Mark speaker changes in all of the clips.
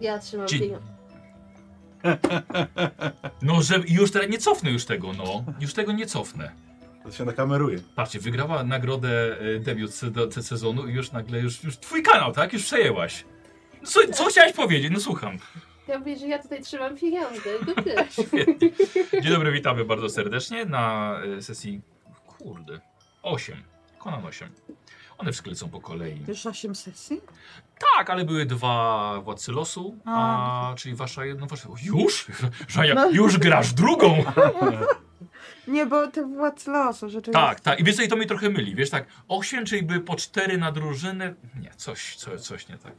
Speaker 1: Ja trzymam
Speaker 2: Czy-
Speaker 1: pieniądze.
Speaker 2: No, że już teraz nie cofnę już tego, no. Już tego nie cofnę.
Speaker 3: To się nakameruje.
Speaker 2: Patrzcie, wygrała nagrodę e, debiut se, do, se sezonu i już nagle, już, już twój kanał, tak? Już przejęłaś. No, Co, co chciałeś powiedzieć? No słucham.
Speaker 1: Ja mówię, że ja tutaj trzymam pieniądze i to też.
Speaker 2: Świetnie. Dzień dobry, witamy bardzo serdecznie na e, sesji, kurde, 8. Konan 8. One wszystkie lecą po kolei.
Speaker 4: Już 8 sesji?
Speaker 2: Tak, ale były dwa Władcy Losu, a, czyli wasza jedna, wasza... O, Już? Żania,
Speaker 4: No.
Speaker 2: już grasz drugą?
Speaker 4: Nie, bo te władz losu rzeczywiście.
Speaker 2: Tak, tak. I wiesz co, i to mnie trochę myli. Wiesz tak, 8, czyli by po 4 na drużynę. Nie, coś, coś, coś nie tak.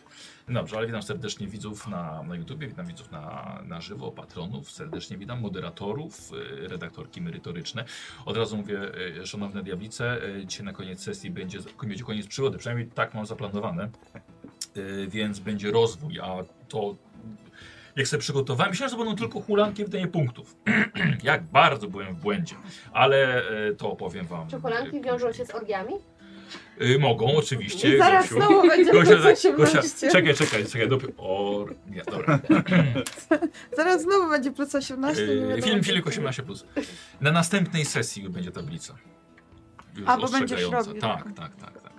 Speaker 2: Dobrze, ale witam serdecznie widzów na, na YouTubie, witam widzów na, na żywo, patronów, serdecznie witam moderatorów, y, redaktorki merytoryczne. Od razu mówię, y, szanowne diablice, y, dzisiaj na koniec sesji będzie, będzie koniec przygody, przynajmniej tak mam zaplanowane, Y, więc będzie rozwój, a to jak sobie przygotowałem, myślałem, że będą tylko hulanki wydanie punktów. jak bardzo byłem w błędzie, ale y, to opowiem wam.
Speaker 1: Czekolanki wiążą się z orgiami?
Speaker 2: Y, mogą, oczywiście.
Speaker 4: I zaraz
Speaker 2: Gosiu.
Speaker 4: znowu będziemy
Speaker 2: Gosia,
Speaker 4: Gosia,
Speaker 2: tak,
Speaker 4: coś
Speaker 2: Gosia,
Speaker 4: Gosia,
Speaker 2: czekaj, czekaj, czekaj, dopiero. O, nie, dobra.
Speaker 4: Zaraz znowu będzie plus 18. nie
Speaker 2: Yy,
Speaker 4: wiadomo,
Speaker 2: film
Speaker 4: jak
Speaker 2: Filip
Speaker 4: to-
Speaker 2: 18. Plus. Na następnej sesji już będzie tablica. Już
Speaker 4: A, bo będziesz
Speaker 2: ostrzegająca.
Speaker 4: robił.
Speaker 2: Tak, tak, tak. tak.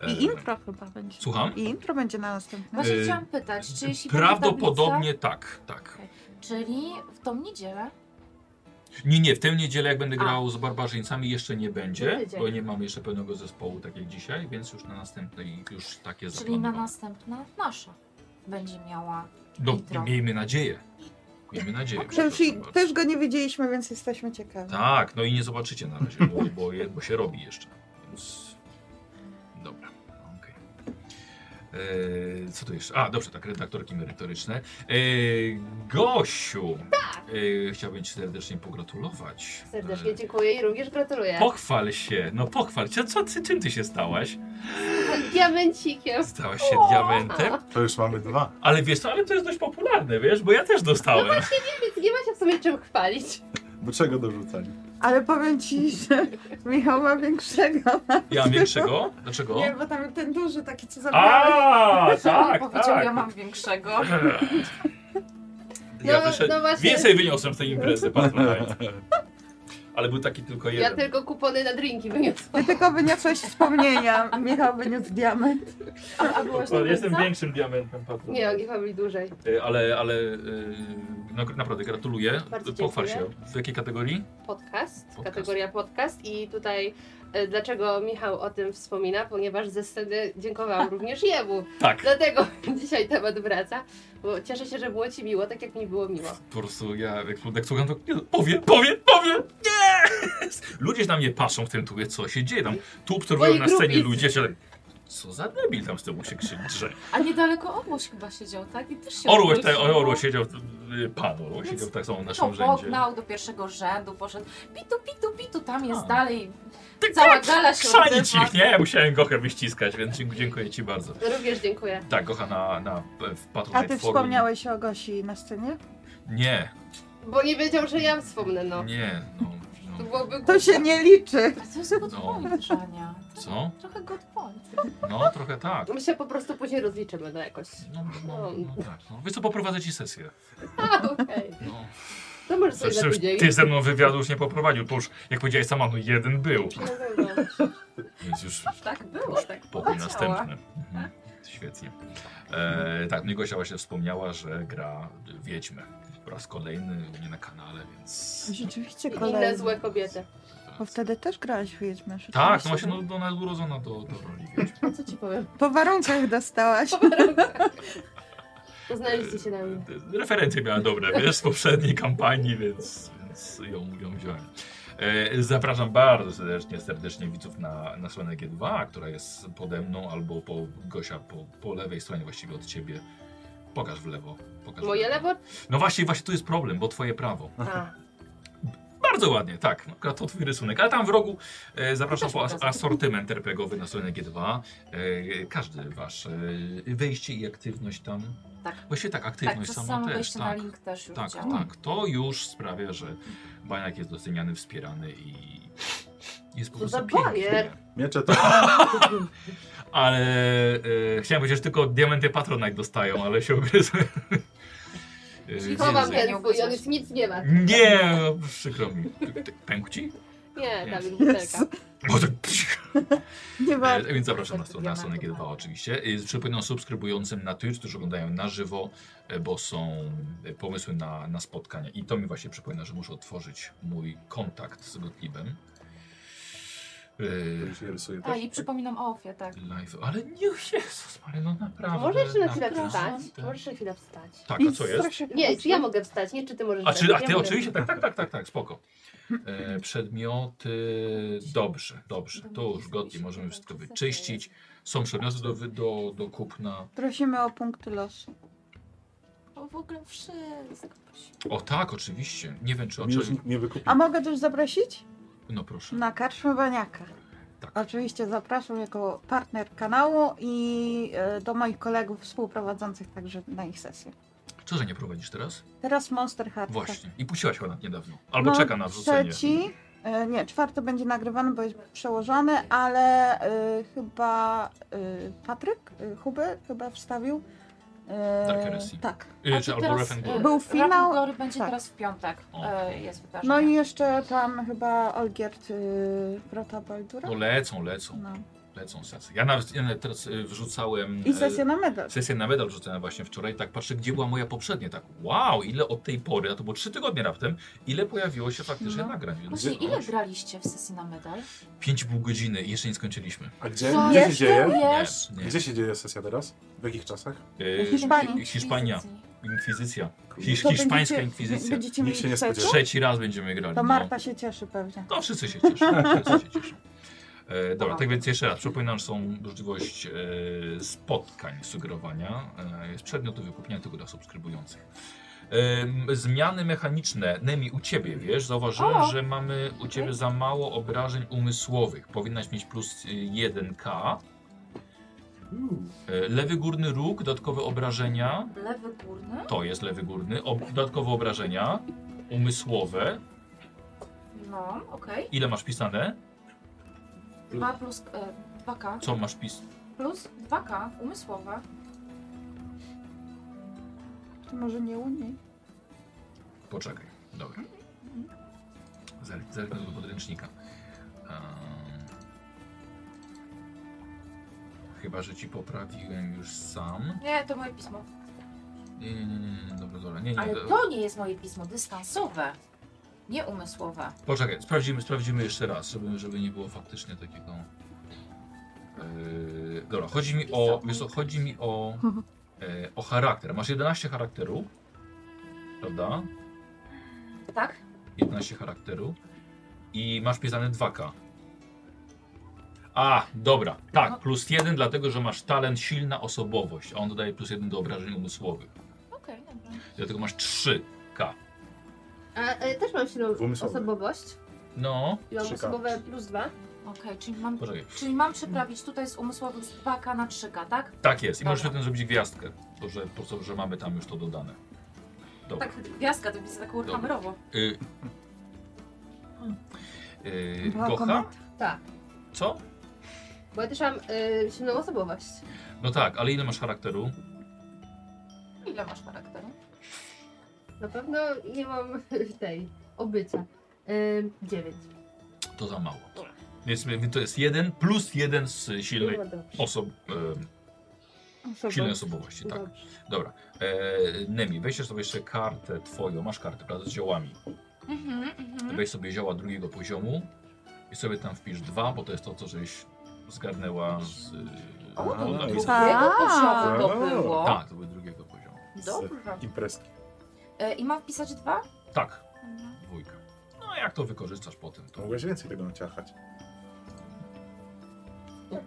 Speaker 2: E,
Speaker 4: I intro chyba będzie.
Speaker 2: Słucham?
Speaker 4: I intro będzie na następnym.
Speaker 5: Właśnie
Speaker 2: Y,
Speaker 5: chciałam pytać, czy jeśli będzie
Speaker 2: Prawdopodobnie tak, tak.
Speaker 5: Tablica, czyli w tą niedzielę?
Speaker 2: Nie, nie, w tę niedzielę jak będę
Speaker 5: A.
Speaker 2: grał z barbarzyńcami jeszcze nie
Speaker 1: Za
Speaker 2: będzie,
Speaker 1: tydzień.
Speaker 2: bo nie mamy jeszcze pełnego zespołu tak jak dzisiaj, więc już na następnej już takie
Speaker 5: Czyli na
Speaker 2: zaplanowane.
Speaker 5: następna nasza będzie miała.
Speaker 2: No,
Speaker 5: intro.
Speaker 2: miejmy nadzieję. Miejmy nadzieję.
Speaker 4: Ten
Speaker 2: przepraszam
Speaker 4: film
Speaker 2: bardzo.
Speaker 4: też go nie widzieliśmy, więc jesteśmy ciekawi.
Speaker 2: Tak, no i nie zobaczycie na razie, bo, bo, je, bo się robi jeszcze. Więc. Dobra, okej. Eee, co tu jeszcze? A, dobrze, tak, redaktorki merytoryczne. Eee, Gosiu!
Speaker 5: Tak.
Speaker 2: Eee, chciałbym Ci serdecznie pogratulować. e,
Speaker 1: Serdecznie dziękuję i również gratuluję.
Speaker 2: Eee, pochwal się, no pochwal się. Co, ty, czym Ty się stałaś?
Speaker 1: Diamencikiem.
Speaker 2: Stałaś się diamentem?
Speaker 3: To już mamy dwa.
Speaker 2: Ale wiesz co, ale to jest dość popularne, wiesz, bo ja też
Speaker 1: No
Speaker 2: dostałem.
Speaker 1: Więc nie ma się w sumie czym chwalić.
Speaker 3: Do czego dorzucali?
Speaker 4: Ale powiem ci, że Michał ma większego.
Speaker 2: Ja mam większego? Dlaczego?
Speaker 4: Nie, bo tam ten duży taki, co zabrałeś.
Speaker 2: A,
Speaker 5: Tak,
Speaker 2: tak,
Speaker 5: powiedział,
Speaker 2: tak.
Speaker 5: ja mam większego.
Speaker 2: Ja
Speaker 1: No,
Speaker 2: wyszedłem,
Speaker 1: no właśnie.
Speaker 2: więcej wyniosłem z tej imprezy, patrząc. Ale był taki tylko
Speaker 1: Ja
Speaker 2: jeden.
Speaker 1: tylko kupony na drinki wyniosłam.
Speaker 4: Ty tylko wyniosłeś wspomnienia. Michał wyniósł diament.
Speaker 5: A, a byłaś
Speaker 2: Dokładnie, Jestem
Speaker 5: na
Speaker 2: większym diamentem, patrząc.
Speaker 1: Nie, oni chyba byli dłużej.
Speaker 2: Y, Ale, ale y, no, naprawdę gratuluję.
Speaker 1: Bardzo
Speaker 2: Pochwal się.
Speaker 1: dziękuję.
Speaker 2: W jakiej kategorii?
Speaker 1: Podcast,
Speaker 2: Podcast.
Speaker 1: kategoria podcast i tutaj e, dlaczego Michał o tym wspomina, ponieważ ze sceny dziękowałam również jemu.
Speaker 2: Tak.
Speaker 1: Dlatego dzisiaj temat wraca, bo cieszę się, że było ci miło, tak jak mi było miło.
Speaker 2: Po prostu ja jak, jak słucham, to nie, powie, powie, powie! Nie! Ludzie na mnie patrzą w tym tubie, co się dzieje tam. Tu obserwują
Speaker 1: Moi
Speaker 2: na scenie
Speaker 1: grubicy.
Speaker 2: ludzie, się tak, co za debil tam z tyłu się krzyczy.
Speaker 5: A niedaleko Orłoś chyba siedział, tak? I też się
Speaker 2: Orłeś,
Speaker 5: rozgościł.
Speaker 2: te, orło siedział, y, pan orło siedział tak samo w naszym
Speaker 5: No,
Speaker 2: rzędzie.
Speaker 5: pognał do pierwszego rzędu, poszedł pitu, pitu, pitu, tam jest
Speaker 2: A.
Speaker 5: dalej.
Speaker 2: Ty
Speaker 5: Cała
Speaker 2: tak,
Speaker 5: gala się
Speaker 2: Krzanić
Speaker 5: odbywa.
Speaker 2: ich, nie? Ja Musiałem Gochę wyściskać, więc dziękuję, dziękuję ci bardzo.
Speaker 1: Również dziękuję.
Speaker 2: Tak, Gocha na, na w
Speaker 4: A
Speaker 2: Patronite
Speaker 4: ty
Speaker 2: Forum.
Speaker 4: wspomniałeś o Gosi na scenie?
Speaker 2: Nie,
Speaker 1: Bo nie wiedział, że ja wspomnę, no.
Speaker 2: nie, no,
Speaker 1: To
Speaker 2: no.
Speaker 1: byłoby
Speaker 4: To się nie liczy.
Speaker 5: A co jest good
Speaker 2: No.
Speaker 5: point, Żania?
Speaker 2: Co?
Speaker 5: Trochę good point.
Speaker 2: No, trochę tak.
Speaker 1: My się po prostu później rozliczymy, no jakoś.
Speaker 2: No, no, no, no tak. No. Wiesz co, poprowadzę ci sesję.
Speaker 1: A, okej.
Speaker 2: No.
Speaker 1: To może sobie na
Speaker 2: Zresztą
Speaker 1: tydzień.
Speaker 2: ty ze mną wywiadu już nie poprowadził, bo już, jak powiedziałeś sama, no jeden był.
Speaker 1: No, no, no.
Speaker 2: Więc już
Speaker 5: Tak było, tak
Speaker 2: pokój
Speaker 5: powiedziała.
Speaker 2: następny. Mhm. Świetnie. E, tak, no i Gosia właśnie wspomniała, że gra Wiedźmę. Po raz kolejny, u mnie na kanale, więc...
Speaker 4: Rzeczywiście
Speaker 1: I Inne
Speaker 4: kolejny.
Speaker 1: złe kobiety.
Speaker 4: Bo wtedy też grałaś w Wiedźmę.
Speaker 2: Tak, no
Speaker 4: rzeczywiście.
Speaker 2: właśnie, no, ona jest urodzona do, do roli Wiedźmy.
Speaker 1: A co ci powiem?
Speaker 4: Po warunkach dostałaś.
Speaker 1: Tak, Poznaliście się na mnie.
Speaker 2: E, Referencje miała dobre, wiesz, z poprzedniej kampanii, więc, więc ją, ją wziąłem. E, Zapraszam bardzo serdecznie, serdecznie widzów na, na stronę G2, która jest pode mną albo po Gosia po, po lewej stronie właściwie od ciebie. Pokaż w lewo. Pokaż w
Speaker 1: Moje lewo?
Speaker 2: No właśnie, właśnie tu jest problem, bo twoje prawo.
Speaker 1: A,
Speaker 2: Bardzo ładnie, tak. No, to twój rysunek. Ale tam w rogu e, zapraszam
Speaker 5: Też
Speaker 2: po as
Speaker 5: pokazuję.
Speaker 2: asortyment RPGowy na stronę G2. E, każdy wasz e, wejście i aktywność tam.
Speaker 5: Tak.
Speaker 2: Właściwie tak,
Speaker 5: Tak,
Speaker 2: aktywność
Speaker 5: przez
Speaker 2: sama
Speaker 5: samo
Speaker 2: też.
Speaker 5: wejście na
Speaker 2: Tak,
Speaker 5: link też już
Speaker 2: tak,
Speaker 5: działa.
Speaker 2: tak. To już sprawia, że baniak jest doceniany, wspierany i Jest po
Speaker 1: Co za
Speaker 2: prostu pięknie.
Speaker 1: bajer.
Speaker 3: Miecze to...
Speaker 2: Ale e, chciałem powiedzieć, że tylko diamenty Patronite dostają, ale się ogryzłem. E,
Speaker 5: Czyli
Speaker 1: Chowam
Speaker 5: Nie, nie, nie
Speaker 1: ten swój, on
Speaker 5: ugryzłeś.
Speaker 1: już nic nie ma.
Speaker 2: Nie, no, przykro mi. Ty- ty- Pękł ci?
Speaker 1: Nie, Dawid,
Speaker 4: Jest.
Speaker 1: butelka.
Speaker 2: O, tak,
Speaker 4: Nie
Speaker 2: E,
Speaker 4: warto.
Speaker 2: Więc zapraszam na stronę, na
Speaker 5: Diamentu,
Speaker 2: stronę G2
Speaker 5: tak.
Speaker 2: oczywiście. E, Przypominam subskrybującym na Twitch, którzy oglądają na żywo, e, bo są e, pomysły na, na spotkania. I to mi właśnie przypomina, że muszę otworzyć mój kontakt z Gotlibem. E,
Speaker 3: Tu się rysuje tak?
Speaker 5: A
Speaker 2: tak.
Speaker 3: też.
Speaker 5: i przypominam o Ofie, tak.
Speaker 2: Live, ale nie, Jezus Maria, no naprawdę.
Speaker 1: Możesz na chwilę
Speaker 2: naprawdę.
Speaker 1: wstać?
Speaker 5: Przepraszam.
Speaker 1: Możesz na chwilę wstać.
Speaker 2: Tak, a co jest?
Speaker 1: Nie, czy ja mogę wstać? Nie, czy ty możesz
Speaker 2: A,
Speaker 1: wstać?
Speaker 2: czy, a
Speaker 1: Ja
Speaker 2: ty
Speaker 1: mogę
Speaker 2: oczywiście, tak, tak, tak, tak, tak, spoko. E, przedmioty, dobrze, dobrze, to już godnie, możemy wszystko wyczyścić. Są przedmioty do, wy- do, do kupna.
Speaker 4: Prosimy o punkty losu.
Speaker 5: O, w ogóle wszystko. prosimy.
Speaker 2: O tak, oczywiście. Nie wiem, czy
Speaker 3: Mi już
Speaker 2: oczy...
Speaker 3: nikt nie wykupił.
Speaker 4: A mogę też zaprosić?
Speaker 2: No proszę.
Speaker 4: Na karczmowaniaka.
Speaker 2: Tak.
Speaker 4: Oczywiście zapraszam jako partner kanału i e, do moich kolegów współprowadzących także na ich sesję.
Speaker 2: Co, że nie prowadzisz teraz?
Speaker 4: Teraz Monster Hardcore.
Speaker 2: Właśnie. I puściłaś chyba niedawno. Albo
Speaker 4: Tak, No,
Speaker 2: czeka na wrzucenie.
Speaker 4: Trzeci, e, nie, czwarty będzie nagrywany, bo jest przełożony, ale e, chyba e, Patryk y, Huby chyba wstawił. e,
Speaker 2: Dark Heresy.
Speaker 4: tak.
Speaker 2: Y,
Speaker 5: A
Speaker 2: czy
Speaker 5: czy
Speaker 2: albo
Speaker 5: teraz,
Speaker 2: Refen
Speaker 5: y,
Speaker 4: Był
Speaker 5: Wrath of
Speaker 4: finał,
Speaker 5: Glory będzie
Speaker 4: tak.
Speaker 5: teraz w piątek.
Speaker 2: O.
Speaker 5: E, jest wydarzenie.
Speaker 4: No i jeszcze tam chyba Olgierd y, Wrota Baldura.
Speaker 2: No lecą, lecą,
Speaker 4: No.
Speaker 2: lecą sesje. Ja nawet, ja nawet teraz y, wrzucałem...
Speaker 4: I
Speaker 2: y,
Speaker 4: sesja na medal.
Speaker 2: Sesję na medal wrzucałem właśnie wczoraj, tak patrzę, gdzie była moja poprzednia, tak wow, ile od tej pory, a to było trzy tygodnie raptem, ile pojawiło się faktycznie
Speaker 4: No.
Speaker 2: nagrań. Więc
Speaker 5: Właśnie, ile
Speaker 2: no,
Speaker 5: graliście w sesji na medal?
Speaker 2: Pięć i pół godziny i jeszcze nie skończyliśmy.
Speaker 3: A gdzie,
Speaker 5: Co?
Speaker 3: gdzie się
Speaker 4: Jeszcze?
Speaker 3: dzieje?
Speaker 5: Wiesz?
Speaker 2: Nie, nie.
Speaker 3: Gdzie się dzieje sesja teraz? W jakich czasach?
Speaker 2: Y,
Speaker 4: Hiszpanii.
Speaker 2: Hiszpania, inkwizycja. Hisz,
Speaker 4: To
Speaker 2: hiszpańska
Speaker 4: będziecie-
Speaker 2: inkwizycja.
Speaker 4: Będziecie
Speaker 3: Nikt się
Speaker 4: mieli
Speaker 3: nie
Speaker 4: sesję?
Speaker 3: spodziewa.
Speaker 2: Trzeci raz będziemy grali.
Speaker 4: To
Speaker 2: no.
Speaker 4: Marta się cieszy pewnie.
Speaker 2: No, wszyscy się cieszą. Wszyscy się cieszą. E, dobra,
Speaker 5: Aha.
Speaker 2: tak więc jeszcze raz przypominam, że są możliwość e, spotkań, sugerowania. E, jest przedmiot do wykupienia tylko dla subskrybujących. E, m, zmiany mechaniczne. Nemi, u Ciebie, wiesz, zauważyłem,
Speaker 5: O!
Speaker 2: że mamy u Ciebie za mało obrażeń umysłowych. Powinnaś mieć plus y, 1K. E, lewy górny róg, dodatkowe obrażenia.
Speaker 5: Lewy górny?
Speaker 2: To jest lewy górny. Ob dodatkowe obrażenia umysłowe.
Speaker 5: No, okej.
Speaker 2: Ile masz pisane?
Speaker 5: Dwa plus... E, 2K.
Speaker 2: Co masz pis?
Speaker 5: Plus 2K umysłowe.
Speaker 4: To może nie u niej.
Speaker 2: Poczekaj, dobra. Zer- Zerknę do podręcznika. Ehm, Chyba, że ci poprawiłem już sam.
Speaker 5: Nie, to moje pismo.
Speaker 2: Nie, nie, nie, nie, nie, dobra, dobra. Nie, nie,
Speaker 5: Ale
Speaker 2: do-
Speaker 5: to nie jest moje pismo, dystansowe. Nie umysłowe.
Speaker 2: Poczekaj, sprawdzimy, sprawdzimy jeszcze raz, żeby, żeby nie było faktycznie takiego. Yy, dobra, chodzi mi o. Wiesz co, chodzi mi o. e, o charakter. Masz 11 charakteru. Prawda?
Speaker 5: Tak?
Speaker 2: 11 charakteru i masz pisane 2K. A, dobra,
Speaker 5: No.
Speaker 2: tak, plus 1, dlatego że masz talent silna osobowość, a on dodaje plus 1 do obrażeń umysłowych.
Speaker 5: Okej, dobra.
Speaker 2: Dlatego masz 3K.
Speaker 1: A e, też mam silną
Speaker 3: Umysłowe.
Speaker 1: osobowość.
Speaker 2: No,
Speaker 1: I mam
Speaker 3: Trzy K.
Speaker 1: osobowe plus dwa.
Speaker 5: Okej, czyli mam...
Speaker 2: poczekaj.
Speaker 5: Czyli mam przeprawić tutaj z umysłowych z 2K na 3K, tak?
Speaker 2: Tak jest, i możesz
Speaker 5: Dobra.
Speaker 2: potem zrobić gwiazdkę, bo że, po co, że mamy tam już to dodane. Dobra.
Speaker 5: Tak, gwiazdka to jest tak urkamerowo.
Speaker 2: Y...
Speaker 5: Hmm.
Speaker 2: Y...
Speaker 4: Była
Speaker 2: Gocha?
Speaker 4: komenda.
Speaker 1: Tak.
Speaker 2: Co?
Speaker 1: Bo ja też mam e, silną osobowość.
Speaker 2: No tak, ale ile masz charakteru?
Speaker 5: Ile masz charakteru?
Speaker 1: Na pewno nie mam tej obycia. E, dziewięć.
Speaker 2: To za mało. Więc to jest 1 plus 1 z silnej
Speaker 1: Chyba dobrze.
Speaker 2: osob... em, Silnej osobowości, tak. Dobra. E, Nemi, weź sobie jeszcze kartę twoją. Masz kartę, prawda, z ziołami.
Speaker 5: Mhm, mhm.
Speaker 2: Weź sobie zioła drugiego poziomu i sobie tam wpisz dwa, bo to jest to, co żeś zgarnęła z...
Speaker 5: O,
Speaker 2: od
Speaker 5: to
Speaker 2: Dawida.
Speaker 3: druga.
Speaker 5: Drugiego poziomu to
Speaker 3: Aaa.
Speaker 5: było.
Speaker 2: Tak, to był drugiego poziomu.
Speaker 5: Dobrze.
Speaker 3: Imprezki.
Speaker 5: E, I mam wpisać dwa?
Speaker 2: Tak, dwójka. No a jak to wykorzystasz potem?
Speaker 3: To
Speaker 2: To...
Speaker 3: mogłeś więcej tego naciachać.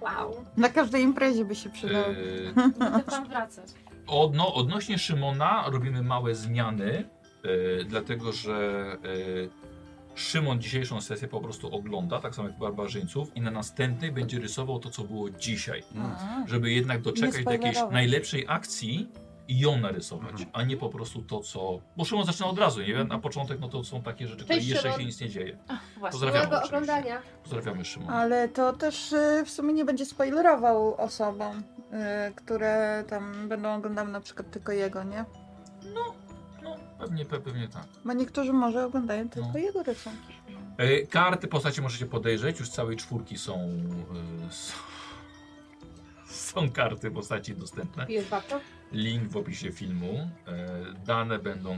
Speaker 5: Wow.
Speaker 4: Na każdej imprezie by się przydało.
Speaker 2: E,
Speaker 5: Będę tam wracać.
Speaker 2: odno, odnośnie Szymona robimy małe zmiany, e, dlatego że e, Szymon dzisiejszą sesję po prostu ogląda, tak samo jak Barbarzyńców i na następnej będzie rysował to, co było dzisiaj.
Speaker 4: A.
Speaker 2: żeby jednak doczekać do jakiejś
Speaker 4: spoilerować.
Speaker 2: najlepszej akcji i ją narysować,
Speaker 3: Mhm.
Speaker 2: a nie po prostu to, co... Bo Szymon zaczyna od razu, nie? Na początek no to są takie rzeczy, które
Speaker 1: Cześć,
Speaker 2: jeszcze
Speaker 1: Szymon.
Speaker 2: się nic nie dzieje.
Speaker 5: Właśnie.
Speaker 2: Pozdrawiamy
Speaker 1: Miłego
Speaker 2: oczywiście.
Speaker 1: oglądania.
Speaker 2: Pozdrawiamy Szymona.
Speaker 4: Ale to też y, w sumie nie będzie spoilerował osobom, y, które tam będą oglądały na przykład tylko jego, nie?
Speaker 2: No, pewnie, pe- pewnie tak.
Speaker 4: Bo niektórzy może oglądają tylko
Speaker 2: No.
Speaker 4: jego rysunki.
Speaker 2: E, Karty postaci możecie podejrzeć, już całej czwórki są... e, s- Są karty postaci dostępne.
Speaker 1: Pijesz babczo?
Speaker 2: Link w opisie filmu. E, Dane będą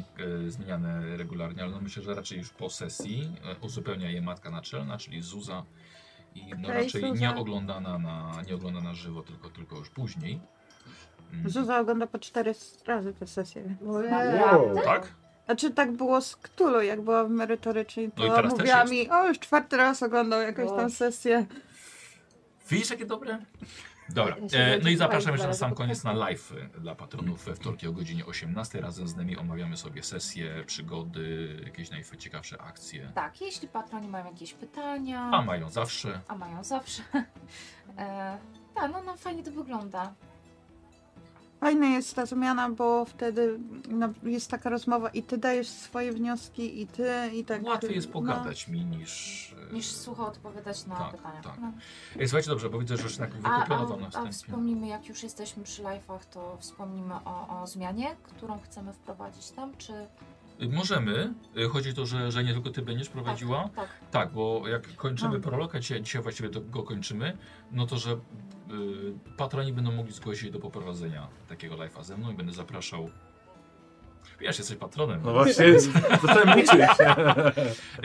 Speaker 2: e, zmieniane regularnie, ale no myślę, że raczej już po sesji E, uzupełnia je matka naczelna, czyli Zuza. I no
Speaker 4: Okej,
Speaker 2: raczej
Speaker 4: Zuza.
Speaker 2: nie oglądana na, nie oglądana żywo, tylko, tylko już później. Mm.
Speaker 4: Zuza ogląda po cztery razy te sesje.
Speaker 3: Wow.
Speaker 2: Tak?
Speaker 4: Znaczy tak było z Ktulu, jak była w merytorycznej,
Speaker 2: No i
Speaker 4: to
Speaker 2: teraz też
Speaker 4: mówiła
Speaker 2: jest.
Speaker 4: mi, o już czwarty raz oglądał jakąś tam
Speaker 1: Boże.
Speaker 4: sesję.
Speaker 2: Widzisz, jakie dobre? Dobra,
Speaker 1: Ja się
Speaker 2: e, no i
Speaker 1: będzie
Speaker 2: zapraszam jeszcze na
Speaker 1: bardzo
Speaker 2: sam
Speaker 1: podoba.
Speaker 2: koniec na live e, dla patronów we wtorki o godzinie 18. Razem z nami omawiamy sobie sesje, przygody, jakieś najciekawsze akcje.
Speaker 5: Tak, jeśli patroni mają jakieś pytania,
Speaker 2: A mają zawsze.
Speaker 5: a mają zawsze. e, tak, no, no fajnie to wygląda.
Speaker 4: Fajna jest ta zmiana, bo wtedy no, jest taka rozmowa i ty dajesz swoje wnioski i ty i tak.
Speaker 2: Łatwiej jest
Speaker 4: no.
Speaker 2: pogadać mi niż. e,
Speaker 5: Niż sucho odpowiadać na
Speaker 2: Tak,
Speaker 5: pytania.
Speaker 2: tak.
Speaker 5: No.
Speaker 2: Ej, słuchajcie, dobrze, bo widzę, że już tak
Speaker 5: A,
Speaker 2: wykupiono wam
Speaker 5: a, a
Speaker 2: następnie.
Speaker 5: wspomnimy, jak już jesteśmy przy live'ach, to wspomnimy o, o zmianie, którą chcemy wprowadzić tam, czy...
Speaker 2: Y, Możemy. Y, Chodzi o to, że, że nie tylko ty będziesz prowadziła.
Speaker 5: Tak,
Speaker 2: Tak, bo jak kończymy
Speaker 4: No.
Speaker 2: prolog, a dzisiaj, dzisiaj właściwie to go kończymy, no to, że y, patroni będą mogli zgłosić się do poprowadzenia takiego live'a ze mną i będę zapraszał. Wiesz, jesteś patronem,
Speaker 3: No właśnie, zacząłem liczyć.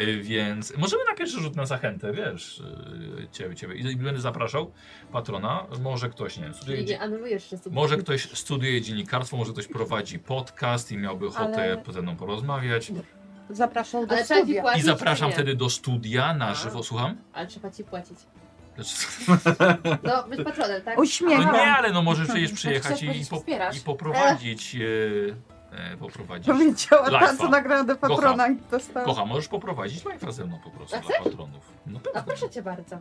Speaker 2: y, więc możemy na pierwszy rzut na zachętę, wiesz, y, ciebie, ciebie. I i będę zapraszał patrona, może ktoś, nie wiem, studiuje
Speaker 1: Czyli nie anulujesz się z tym.
Speaker 2: Może ktoś studiuje dziennikarstwo, może ktoś prowadzi podcast i miałby ochotę
Speaker 4: Ale-
Speaker 2: ze mną porozmawiać.
Speaker 4: Zapraszał do
Speaker 1: Ale trzeba ci
Speaker 4: studia.
Speaker 2: I
Speaker 1: płacić.
Speaker 2: zapraszam
Speaker 1: czy nie?
Speaker 2: wtedy do studia na
Speaker 1: A.
Speaker 2: żywo, słucham?
Speaker 1: Ale trzeba ci płacić.
Speaker 2: Znaczy,
Speaker 1: No, być patronem, tak?
Speaker 2: No
Speaker 4: Uśmiecham.
Speaker 2: nie, ale no może przecież przyjechać i,
Speaker 5: chciałeś
Speaker 2: i, po,
Speaker 5: wspierasz.
Speaker 2: i poprowadzić. E, e, poprowadzić.
Speaker 4: Powiedziała ta,
Speaker 2: Life'a.
Speaker 4: co nagrodę patrona dostała.
Speaker 2: Kocha, możesz poprowadzić live ze mną po prostu
Speaker 1: A
Speaker 2: dla patronów. No
Speaker 1: No
Speaker 2: pewnie,
Speaker 1: proszę cię bardzo.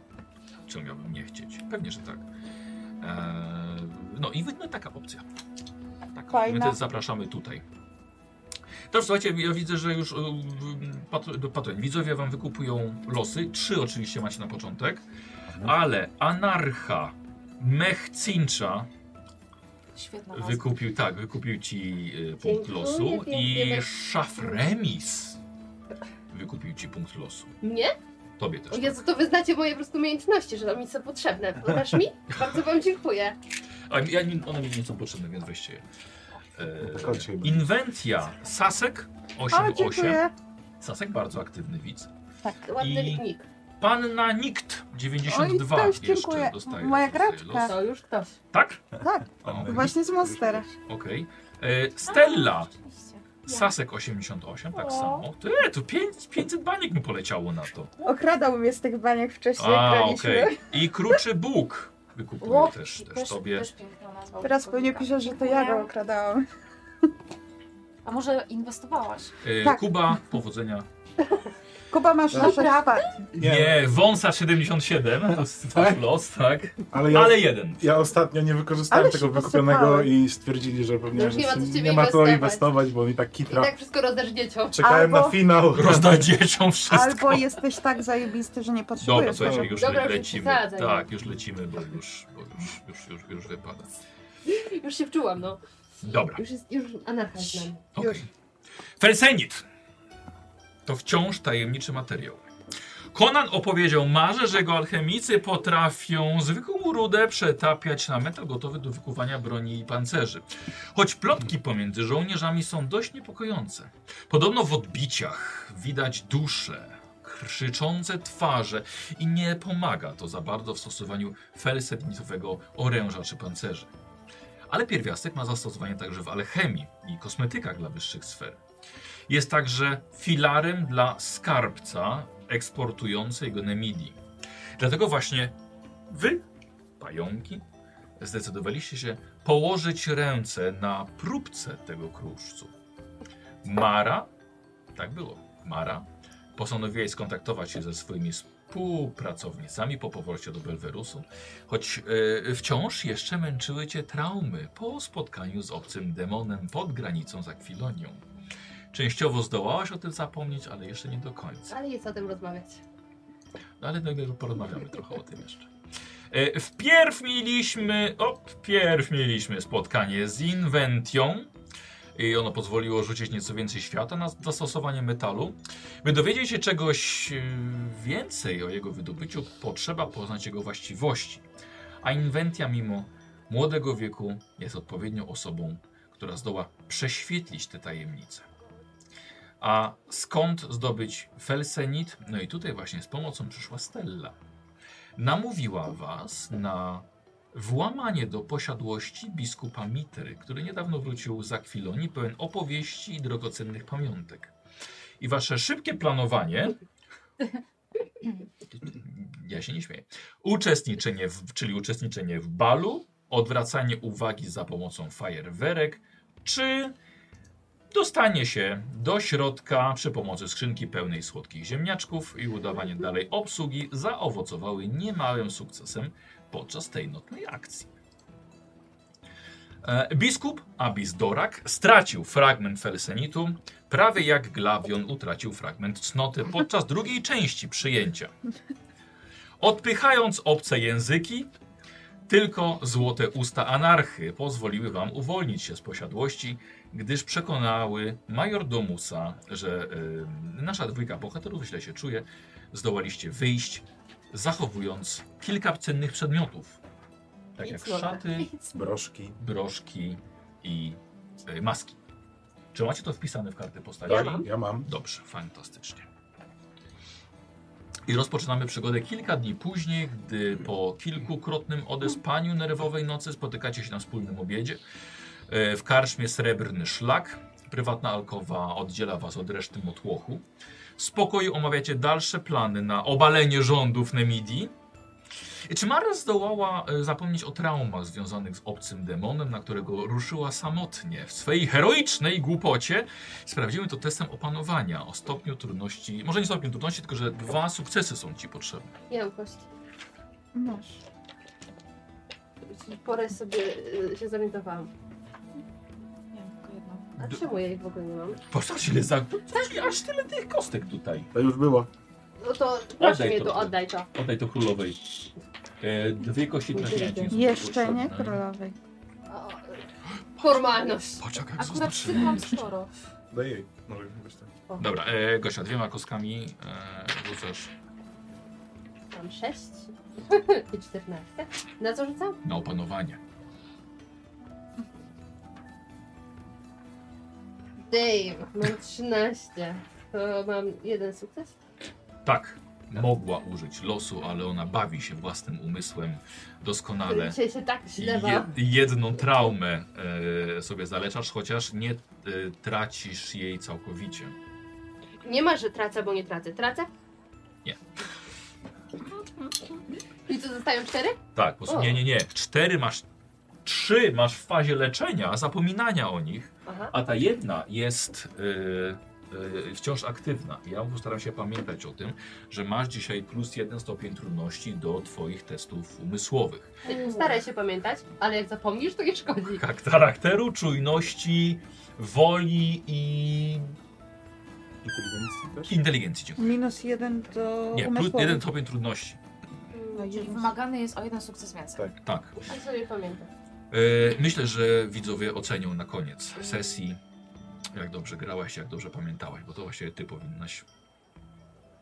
Speaker 2: czemu miałbym nie chcieć? Pewnie, że tak. E, no i no, taka opcja. Tak,
Speaker 4: Fajna.
Speaker 2: my też zapraszamy tutaj. Dobrze, słuchajcie, ja widzę, że już y, y, patr- patron, widzowie wam wykupują losy. Trzy oczywiście macie na początek, ale Anarcha Mechcincza
Speaker 5: świetna nazwa.
Speaker 2: wykupił, tak, wykupił ci y, punkt
Speaker 1: Dziękuję
Speaker 2: losu i
Speaker 1: pięknie.
Speaker 2: Szafremis wykupił ci punkt losu.
Speaker 1: Mnie?
Speaker 2: Tobie też. tak.
Speaker 1: O Jezu, to wy znacie moje po prostu umiejętności, że mi są potrzebne. Podasz mi? Bardzo wam dziękuję.
Speaker 2: A ja, one mi nie są potrzebne, więc weźcie je.
Speaker 3: to kończymy.
Speaker 2: E, Inwentia Sasek
Speaker 4: O,
Speaker 2: 88.
Speaker 4: dziękuję.
Speaker 2: Sasek bardzo aktywny widz.
Speaker 1: Ładny
Speaker 2: I-
Speaker 1: nick.
Speaker 2: Panna Nikt
Speaker 4: Oj,
Speaker 2: 92
Speaker 4: też dziękuję.
Speaker 2: jeszcze dostaje.
Speaker 4: Moja
Speaker 2: dostaje
Speaker 4: graczka.
Speaker 2: los.
Speaker 1: To już ktoś.
Speaker 2: Tak?
Speaker 4: Tak,
Speaker 2: O, Okej.
Speaker 4: właśnie z Monstera.
Speaker 2: E, Stella
Speaker 5: Oczywiście.
Speaker 2: Sasek 88, tak
Speaker 5: O.
Speaker 2: samo. Ty, tu 500, 500 baniek mu poleciało na to.
Speaker 4: Okradał mnie z tych baniek wcześniej, jak
Speaker 2: A,
Speaker 4: graliśmy.
Speaker 2: okej. I Kruczy Bóg wykupuję
Speaker 5: O,
Speaker 2: też, też,
Speaker 5: Też,
Speaker 2: tobie.
Speaker 5: też piękna nazwa.
Speaker 4: Teraz pewnie
Speaker 5: użytkownika.
Speaker 4: pisze, że to ja go okradałam.
Speaker 5: A może inwestowałaś?
Speaker 2: E,
Speaker 4: Tak.
Speaker 2: Kuba, powodzenia.
Speaker 4: Kuba, masz
Speaker 3: Tak.
Speaker 4: nasze czwarte.
Speaker 2: Nie, wąsa 77, to jest
Speaker 3: Tak?
Speaker 2: los, tak?
Speaker 3: Ale ja,
Speaker 2: Ale jeden.
Speaker 3: ja ostatnio nie wykorzystałem
Speaker 4: Ale się
Speaker 3: tego wykupionego
Speaker 4: posypałem.
Speaker 3: i stwierdzili, że
Speaker 1: No
Speaker 3: pewnie
Speaker 1: już nie ma co w ciebie
Speaker 3: nie ma co
Speaker 1: inwestować.
Speaker 3: inwestować, bo mi tak
Speaker 1: I
Speaker 3: kitra.
Speaker 1: tak wszystko rozdarzniecią.
Speaker 3: Czekałem
Speaker 4: Albo-
Speaker 3: na finał.
Speaker 2: Rozda dzieciom wszystko.
Speaker 4: Albo jesteś tak zajebisty, że nie
Speaker 2: Dobra,
Speaker 4: potrzebujesz.
Speaker 2: słuchajcie, już
Speaker 1: Dobra, już nie
Speaker 2: lecimy.
Speaker 1: przesadzaj.
Speaker 2: Tak, już lecimy, bo już, bo już, już, już, już wypada.
Speaker 1: Już się wczułam, no.
Speaker 2: Dobra,
Speaker 1: Już jest, już anarcha z nami.
Speaker 2: okej. Felsenit. To wciąż tajemniczy materiał. Conan opowiedział Marze, że jego alchemicy potrafią zwykłą rudę przetapiać na metal gotowy do wykuwania broni i pancerzy. Choć plotki pomiędzy żołnierzami są dość niepokojące. Podobno w odbiciach widać dusze, krzyczące twarze i nie pomaga to za bardzo w stosowaniu felsetnicowego oręża czy pancerzy. Ale pierwiastek ma zastosowanie także w alchemii i kosmetykach dla wyższych sfer. Jest także filarem dla skarbca eksportującej go Nemidii. Dlatego właśnie wy, pająki, zdecydowaliście się położyć ręce na próbce tego kruszcu. Mara, tak było, Mara, postanowiła skontaktować się ze swoimi współpracownicami po powrocie do Belwerusu, choć e, wciąż jeszcze męczyły cię traumy po spotkaniu z obcym demonem pod granicą z Akwilonią. Częściowo zdołałaś o tym zapomnieć, ale jeszcze nie do końca.
Speaker 1: Ale jest o tym rozmawiać.
Speaker 2: No, ale no, no, porozmawiamy trochę o tym jeszcze. E, Wpierw mieliśmy, op, wpierw mieliśmy spotkanie z Inventią i ono pozwoliło rzucić nieco więcej świata na zastosowanie metalu. By dowiedzieć się czegoś e, więcej o jego wydobyciu, potrzeba poznać jego właściwości. A Inventia mimo młodego wieku jest odpowiednią osobą, która zdoła prześwietlić te tajemnice. A skąd zdobyć felsenit? No i tutaj właśnie z pomocą przyszła Stella. Namówiła was na włamanie do posiadłości biskupa Mitry, który niedawno wrócił z Akwilonii pełen opowieści i drogocennych pamiątek. I wasze szybkie planowanie... Ja się nie śmieję. Uczestniczenie, w, czyli uczestniczenie w balu, odwracanie uwagi za pomocą fajerwerek, czy dostanie się do środka przy pomocy skrzynki pełnej słodkich ziemniaczków i udawanie dalej obsługi zaowocowały niemałym sukcesem podczas tej notnej akcji. E, Biskup Abis Dorak stracił fragment felsenitu, prawie jak Glawion utracił fragment cnoty podczas drugiej części przyjęcia. Odpychając obce języki, tylko złote usta anarchy pozwoliły wam uwolnić się z posiadłości, gdyż przekonały majordomusa, że y, nasza dwójka bohaterów źle się czuje. Zdołaliście wyjść, zachowując kilka cennych przedmiotów, tak
Speaker 5: I
Speaker 2: jak
Speaker 5: córkę.
Speaker 2: szaty,
Speaker 3: Broszki.
Speaker 2: broszki i y, maski. Czy macie to wpisane w karty postaci?
Speaker 3: Tak, ja mam.
Speaker 2: Dobrze, fantastycznie. I rozpoczynamy przygodę kilka dni później, gdy po kilkukrotnym odespaniu nerwowej nocy spotykacie się na wspólnym obiedzie. E, W karczmie srebrny szlak. Prywatna alkowa oddziela was od reszty motłochu. W spokoju omawiacie dalsze plany na obalenie rządów Nemidii. I Czy Mara zdołała e, zapomnieć o traumach związanych z obcym demonem, na którego ruszyła samotnie w swej heroicznej głupocie, Sprawdzimy to testem opanowania o stopniu trudności. Może nie stopniu trudności, tylko że dwa sukcesy są ci potrzebne.
Speaker 1: Nie mam kości.
Speaker 4: Masz.
Speaker 1: Porę sobie y, się zorientowałam.
Speaker 5: Nie, tylko jedną.
Speaker 1: A
Speaker 2: D-
Speaker 1: czemu ja ich w ogóle nie mam?
Speaker 2: Patrz ile za... Patrz, aż tyle tych kostek tutaj.
Speaker 3: To już było.
Speaker 1: No to proszę
Speaker 2: Oddaj
Speaker 1: mnie
Speaker 2: to.
Speaker 1: tu, oddaj to.
Speaker 2: Oddaj to królowej. E, dwie kości trafienia ci nie są
Speaker 4: Jeszcze
Speaker 2: potrzebne.
Speaker 4: nie królowej.
Speaker 1: O, Formalność.
Speaker 2: Patrz jak
Speaker 5: Akurat
Speaker 2: zaznaczyłem.
Speaker 5: tych mam sporo.
Speaker 3: Daj jej. Może być tak.
Speaker 2: Dobra, e, Gosia, dwiema kostkami e, rzucasz
Speaker 1: Mam 6 i 14. Na co rzucam?
Speaker 2: na opanowanie.
Speaker 1: Dave, mam 13. To mam jeden sukces.
Speaker 2: Tak, mogła użyć losu, ale ona bawi się własnym umysłem doskonale.
Speaker 1: Dzisiaj się tak źle
Speaker 2: Je,
Speaker 1: mam.
Speaker 2: jedną traumę e, sobie zaleczasz, chociaż nie e, tracisz jej całkowicie.
Speaker 1: Nie ma, że tracę, bo nie tracę. Tracę?
Speaker 2: Nie.
Speaker 1: I co, zostają cztery?
Speaker 2: Tak, po prostu,
Speaker 1: O.
Speaker 2: nie, nie, nie. Cztery masz, trzy masz w fazie leczenia, zapominania o nich,
Speaker 1: Aha.
Speaker 2: a ta jedna jest e, e, wciąż aktywna. Ja postaram się pamiętać o tym, że masz dzisiaj plus jeden stopień trudności do twoich testów umysłowych.
Speaker 1: Staraj się pamiętać, ale jak zapomnisz, to nie szkodzi.
Speaker 2: Chak- Charakteru, czujności, woli i
Speaker 3: Inteligencji też?
Speaker 2: inteligencji. Dziękuję.
Speaker 4: Minus jeden do
Speaker 2: Nie, plus
Speaker 4: umysłowych.
Speaker 2: jeden stopień trudności.
Speaker 1: No,
Speaker 5: Czyli wymagany jest o jeden sukces więcej.
Speaker 3: Tak.
Speaker 2: Tak.
Speaker 1: Tak sobie pamiętam.
Speaker 2: E, Myślę, że widzowie ocenią na koniec sesji, jak dobrze grałaś, jak dobrze pamiętałaś, bo to właściwie ty powinnaś.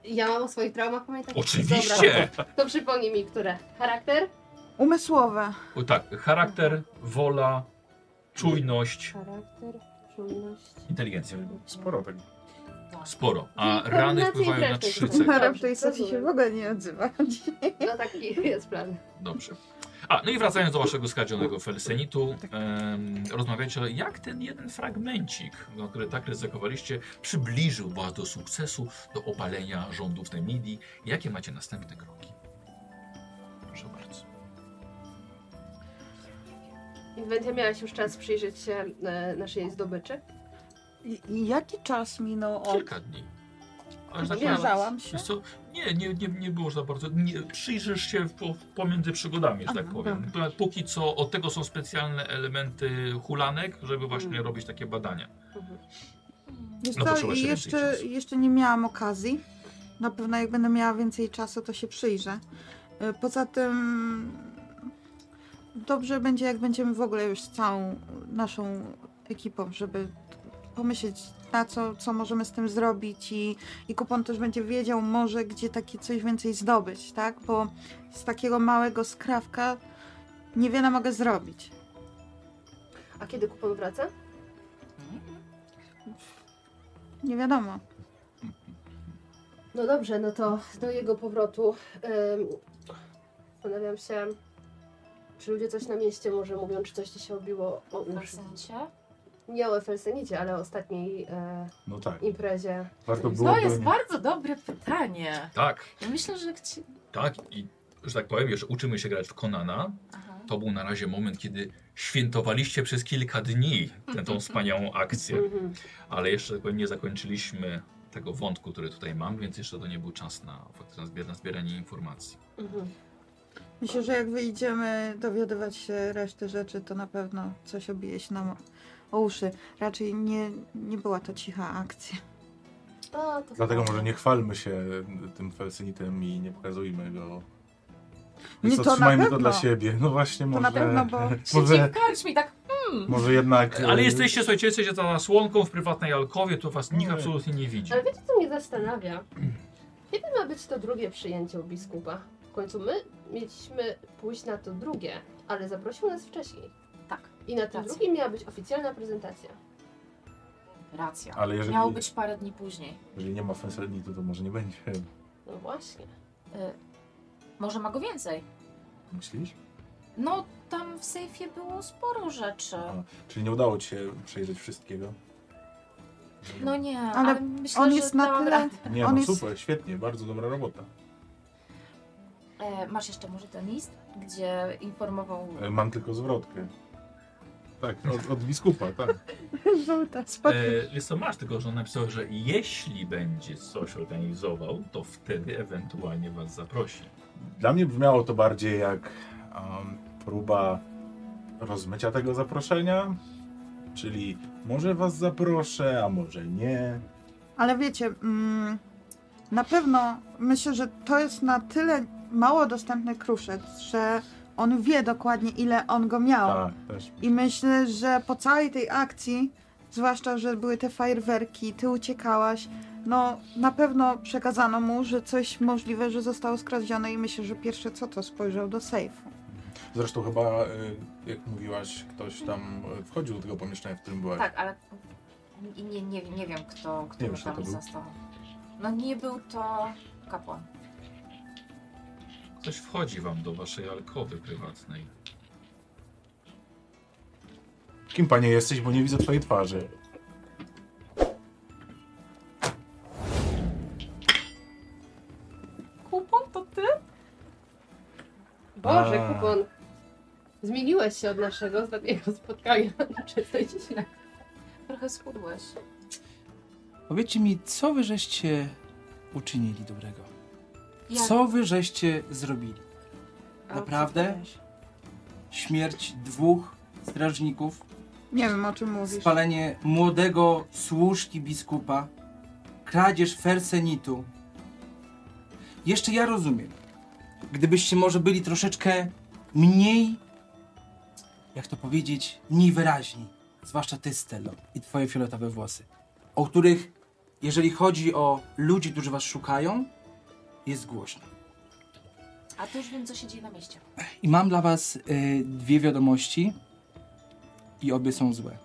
Speaker 1: Ja mam o swoich traumach pamiętać?
Speaker 2: Oczywiście!
Speaker 1: Tak, Dobra, to przypomnij mi, które. Charakter?
Speaker 4: Umysłowe.
Speaker 2: O, tak, charakter, wola, czujność,
Speaker 1: Charakter, czujność.
Speaker 2: inteligencja.
Speaker 3: Sporo tego.
Speaker 2: Sporo. A
Speaker 1: Czyli
Speaker 2: rany
Speaker 1: koordynacja
Speaker 2: wpływają
Speaker 1: i
Speaker 2: na
Speaker 1: refleks.
Speaker 2: trzy cechy.
Speaker 4: Mara w tej
Speaker 1: Dobrze,
Speaker 4: sesji się
Speaker 1: rozumiem.
Speaker 4: w ogóle nie odzywa.
Speaker 1: No taki jest plan.
Speaker 2: Dobrze. A, no i wracając do waszego skradzionego felsenitu,
Speaker 4: Tak.
Speaker 2: em, rozmawiacie, jak ten jeden fragmencik, no, który tak ryzykowaliście, przybliżył was do sukcesu, do obalenia rządów Nemidii. Jakie macie następne kroki? Proszę bardzo.
Speaker 1: Inwentia, miałaś już czas przyjrzeć się e, naszej zdobyczy?
Speaker 4: I- i Jaki czas minął od
Speaker 2: Kilka dni. Ale tak powiem,
Speaker 4: Zbliżałam się.
Speaker 2: wiesz co, nie, nie, nie, nie było za bardzo. Nie, przyjrzysz się po, pomiędzy przygodami, że tak
Speaker 4: Aha,
Speaker 2: powiem. Póki co od tego są specjalne elementy hulanek, żeby właśnie
Speaker 4: Hmm.
Speaker 1: Mm.
Speaker 2: robić takie badania.
Speaker 1: Mhm.
Speaker 4: Wiesz
Speaker 2: No to
Speaker 4: co,
Speaker 2: trzeba się więcej
Speaker 4: jeszcze,
Speaker 2: czasu.
Speaker 4: jeszcze nie miałam okazji. Na pewno jak będę miała więcej czasu, to się przyjrzę. Y, Poza tym dobrze będzie, jak będziemy w ogóle już z całą naszą ekipą, żeby pomyśleć na co, co możemy z tym zrobić i, i kupon też będzie wiedział może, gdzie takie coś więcej zdobyć, tak? Bo z takiego małego skrawka niewiele mogę zrobić.
Speaker 1: A kiedy kupon wraca?
Speaker 4: Nie wiadomo.
Speaker 1: No dobrze, no to do jego powrotu em, zastanawiam się, czy ludzie coś na mieście może mówią, czy coś ci się obiło o
Speaker 5: W
Speaker 1: uszy.
Speaker 5: sensie.
Speaker 1: Nie o Felsenicie, ale o ostatniej e,
Speaker 3: No tak.
Speaker 1: imprezie.
Speaker 3: Warto było.
Speaker 5: To jest
Speaker 3: nie-
Speaker 5: bardzo dobre pytanie.
Speaker 2: Tak,
Speaker 5: Ja myślę, że chci...
Speaker 2: tak. I że tak powiem, jeszcze uczymy się grać w Konana.
Speaker 5: Aha.
Speaker 2: To był na razie moment, kiedy świętowaliście przez kilka dni tę tą wspaniałą akcję.
Speaker 1: Mhm.
Speaker 2: Ale jeszcze tak powiem, nie zakończyliśmy tego wątku, który tutaj mam, więc jeszcze to nie był czas na, faktycznie na zbier- na zbieranie informacji.
Speaker 1: Mhm.
Speaker 4: Myślę, że jak wyjdziemy dowiadywać się reszty rzeczy, to na pewno coś obije się nam o uszy. Raczej nie, nie była to cicha akcja.
Speaker 1: O, to
Speaker 3: Dlatego
Speaker 1: fajnie.
Speaker 3: może nie chwalmy się tym felsynitem i nie pokazujmy go.
Speaker 4: No Nie,
Speaker 3: Więc
Speaker 4: to na
Speaker 3: otrzymajmy to
Speaker 4: pewno.
Speaker 3: dla siebie. No właśnie,
Speaker 4: To
Speaker 3: może.
Speaker 4: na pewno, bo
Speaker 5: Siedzi
Speaker 3: może,
Speaker 5: w karczmie i tak, hmm.
Speaker 3: może jednak. e,
Speaker 2: Ale jesteście, słuchajcie, jesteście za nasłonką w prywatnej alkowie, to was nikt
Speaker 3: Nie.
Speaker 2: absolutnie nie widzi. E,
Speaker 1: Ale wiecie, co mnie zastanawia? Kiedy ma być to drugie przyjęcie u biskupa? W końcu my mieliśmy pójść na to drugie, ale zaprosił nas wcześniej.
Speaker 5: Tak,
Speaker 1: I na tym
Speaker 5: Racja.
Speaker 1: drugim miała być oficjalna prezentacja.
Speaker 5: racja.
Speaker 3: Ale jeżeli,
Speaker 5: Miało być parę dni później.
Speaker 3: jeżeli nie ma felsynitu, to może nie będzie.
Speaker 1: No właśnie.
Speaker 5: Y, może ma go więcej.
Speaker 3: Myślisz?
Speaker 5: No, tam w sejfie było sporo rzeczy.
Speaker 3: A, czyli nie udało ci się przejrzeć wszystkiego?
Speaker 5: No nie, ale,
Speaker 4: Ale
Speaker 5: myślę,
Speaker 4: on
Speaker 5: że
Speaker 4: jest na
Speaker 5: dałam
Speaker 4: tyle.
Speaker 5: radę.
Speaker 3: Nie,
Speaker 4: on
Speaker 3: no
Speaker 4: jest-
Speaker 3: super, świetnie, bardzo dobra robota.
Speaker 5: E, masz jeszcze może ten list, gdzie informował...
Speaker 3: E, Mam tylko zwrotkę. Tak, od, od biskupa, tak.
Speaker 4: Żółta, spokój.
Speaker 2: E, wiesz co, masz tylko, że on napisał, że jeśli będzie coś organizował, to wtedy ewentualnie was zaprosi.
Speaker 3: Dla mnie brzmiało to bardziej jak em, próba rozmycia tego zaproszenia. Czyli może was zaproszę, a może nie.
Speaker 4: Ale wiecie, mm, na pewno myślę, że to jest na tyle mało dostępny kruszec, że on wie dokładnie ile on go miał.
Speaker 3: Tak, też.
Speaker 4: I myślę, że po całej tej akcji, zwłaszcza, że były te fajerwerki, ty uciekałaś, no na pewno przekazano mu, że coś możliwe, że zostało skradzione i myślę, że pierwsze co to spojrzał do sejfu.
Speaker 3: Zresztą chyba, y, jak mówiłaś, ktoś tam y, wchodził do tego pomieszczenia, w którym byłaś.
Speaker 5: Tak, ale i nie, nie, nie wiem, kto, kto
Speaker 3: wiem,
Speaker 5: mnie
Speaker 3: kto
Speaker 5: tam
Speaker 3: to był.
Speaker 5: zastał. No nie był to kapłan.
Speaker 2: Ktoś wchodzi wam do waszej alkowy prywatnej.
Speaker 3: Kim panie jesteś, bo nie widzę twojej twarzy.
Speaker 5: Kupon to ty?
Speaker 1: Boże,
Speaker 3: A.
Speaker 1: kupon! Zmieniłeś się od naszego ostatniego spotkania na czystej ściśle.
Speaker 5: Trochę schudłeś.
Speaker 6: Powiedzcie mi, co wy żeście uczynili dobrego?
Speaker 5: Jak-
Speaker 6: Co wy żeście zrobili?
Speaker 4: A
Speaker 6: Naprawdę?
Speaker 4: co powiedziałeś?
Speaker 6: Śmierć dwóch strażników,
Speaker 4: Nie wiem o czym mówisz.
Speaker 6: spalenie młodego służki biskupa, kradzież fersenitu. Jeszcze ja rozumiem. Gdybyście może byli troszeczkę mniej, jak to powiedzieć, mniej wyraźni. Zwłaszcza ty, Stello, i twoje fioletowe włosy. O których, jeżeli chodzi o ludzi, którzy was szukają, jest głośno.
Speaker 5: A to już wiem, co się dzieje na mieście.
Speaker 6: I mam dla was y, dwie wiadomości i obie są złe.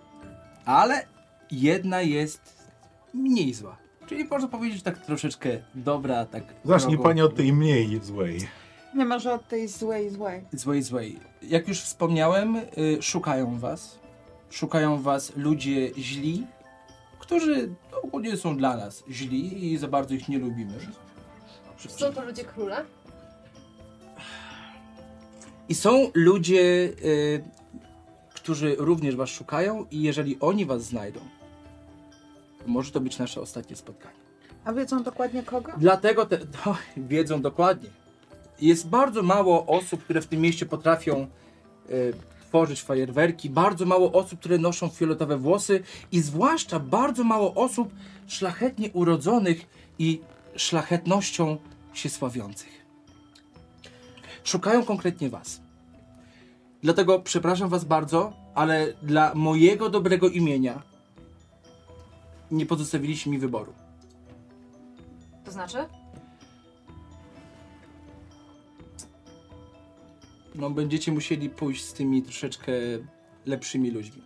Speaker 6: Ale jedna jest mniej zła. Czyli można powiedzieć, że tak troszeczkę dobra, tak.
Speaker 3: Zacznij
Speaker 6: drogą
Speaker 3: pani od tej mniej złej.
Speaker 4: Nie może od tej złej, złej.
Speaker 6: Złej, złej. Jak już wspomniałem, y, szukają was. Szukają was ludzie źli, którzy no, ogólnie są dla nas źli i za bardzo ich nie lubimy.
Speaker 1: Są to ludzie króla?
Speaker 6: I są ludzie, y, którzy również was szukają i jeżeli oni was znajdą, to może to być nasze ostatnie spotkanie.
Speaker 4: A A wiedzą dokładnie kogo?
Speaker 6: Dlatego te, to wiedzą dokładnie. Jest bardzo mało osób, które w tym mieście potrafią e, tworzyć fajerwerki, bardzo mało osób, które noszą fioletowe włosy i zwłaszcza bardzo mało osób szlachetnie urodzonych i szlachetnością się sławiących. Szukają konkretnie was. Dlatego przepraszam was bardzo, ale dla mojego dobrego imienia nie pozostawiliście mi wyboru.
Speaker 5: To znaczy?
Speaker 6: No, będziecie musieli pójść z tymi troszeczkę lepszymi ludźmi.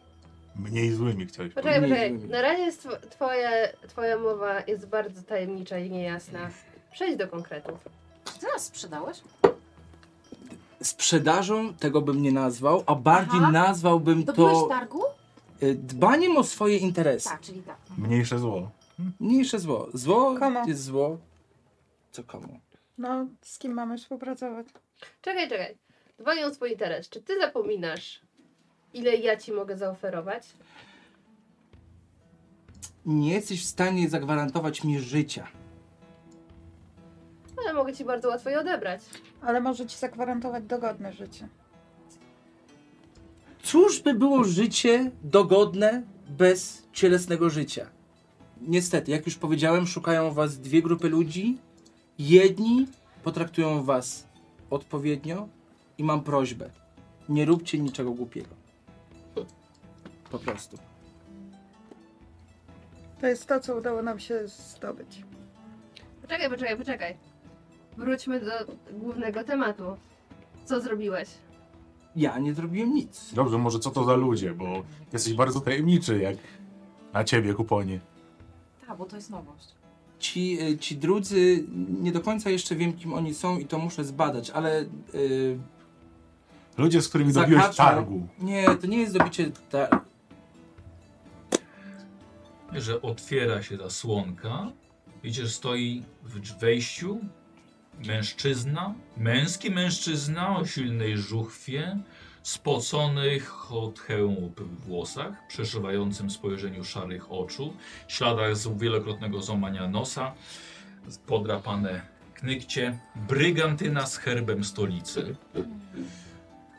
Speaker 3: Mniej złymi chciałeś powiedzieć.
Speaker 1: Poczekaj,
Speaker 6: Nie,
Speaker 1: poczekaj.
Speaker 6: nie.
Speaker 1: Na razie jest tw- twoje, twoja mowa jest bardzo tajemnicza i niejasna. Przejdź do konkretów.
Speaker 5: Czy ty nas sprzedałeś?
Speaker 6: Sprzedażą tego bym nie nazwał, a bardziej
Speaker 5: Aha.
Speaker 6: nazwałbym
Speaker 5: Dobyłeś
Speaker 6: to
Speaker 5: targu?
Speaker 6: y, dbaniem o swoje interesy.
Speaker 5: Tak, czyli tak.
Speaker 3: Mniejsze zło.
Speaker 6: Mniejsze zło. Zło
Speaker 4: Komu?
Speaker 6: jest zło. Co komu?
Speaker 4: No, z kim mamy współpracować?
Speaker 1: Czekaj, czekaj. Dbaj o swój interes. Czy ty zapominasz, ile ja ci mogę zaoferować?
Speaker 6: Nie jesteś w stanie zagwarantować mi życia.
Speaker 1: Ale mogę ci bardzo łatwo je odebrać.
Speaker 4: Ale może ci zagwarantować dogodne życie.
Speaker 6: Cóż by było życie dogodne bez cielesnego życia? Niestety, jak już powiedziałem, szukają was dwie grupy ludzi. Jedni potraktują was odpowiednio i mam prośbę. Nie róbcie niczego głupiego. Po prostu.
Speaker 4: To jest to, co udało nam się zdobyć.
Speaker 1: Poczekaj, poczekaj, poczekaj. Wróćmy do głównego tematu. Co zrobiłeś?
Speaker 6: Ja nie zrobiłem nic.
Speaker 3: Dobrze, może co to za ludzie, bo jesteś bardzo tajemniczy jak na ciebie kuponie.
Speaker 5: Tak, bo to jest nowość.
Speaker 6: Ci, y, ci drudzy, nie do końca jeszcze wiem, kim oni są i to muszę zbadać, ale y,
Speaker 3: Ludzie, z którymi dobiłeś
Speaker 6: Zahaczam.
Speaker 3: targu.
Speaker 6: nie, to nie jest dobicie ta,
Speaker 2: że otwiera się zasłonka. Widzisz, stoi w drzw- wejściu mężczyzna, męski mężczyzna o silnej żuchwie, spoconych od chełmów włosach, przeszywającym spojrzeniu szarych oczu, śladach z wielokrotnego złamania nosa, podrapane knykcie, brygantyna z herbem stolicy.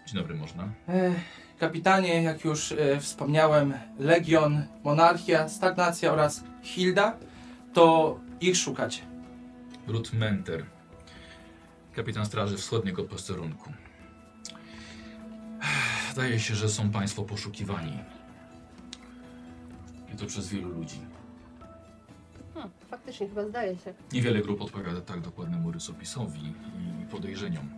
Speaker 2: Dzień dobry, można?
Speaker 6: Ech, Kapitanie, jak już e, wspomniałem, Legion, Monarchia, Stagnacja oraz Hilda, to ich szukacie.
Speaker 2: Brut Menter, kapitan Straży Wschodniego posterunku. Zdaje się, że są Państwo poszukiwani. I to przez wielu ludzi.
Speaker 1: Hmm, Faktycznie chyba zdaje się.
Speaker 2: Niewiele grup odpowiada tak dokładnemu rysopisowi i podejrzeniom.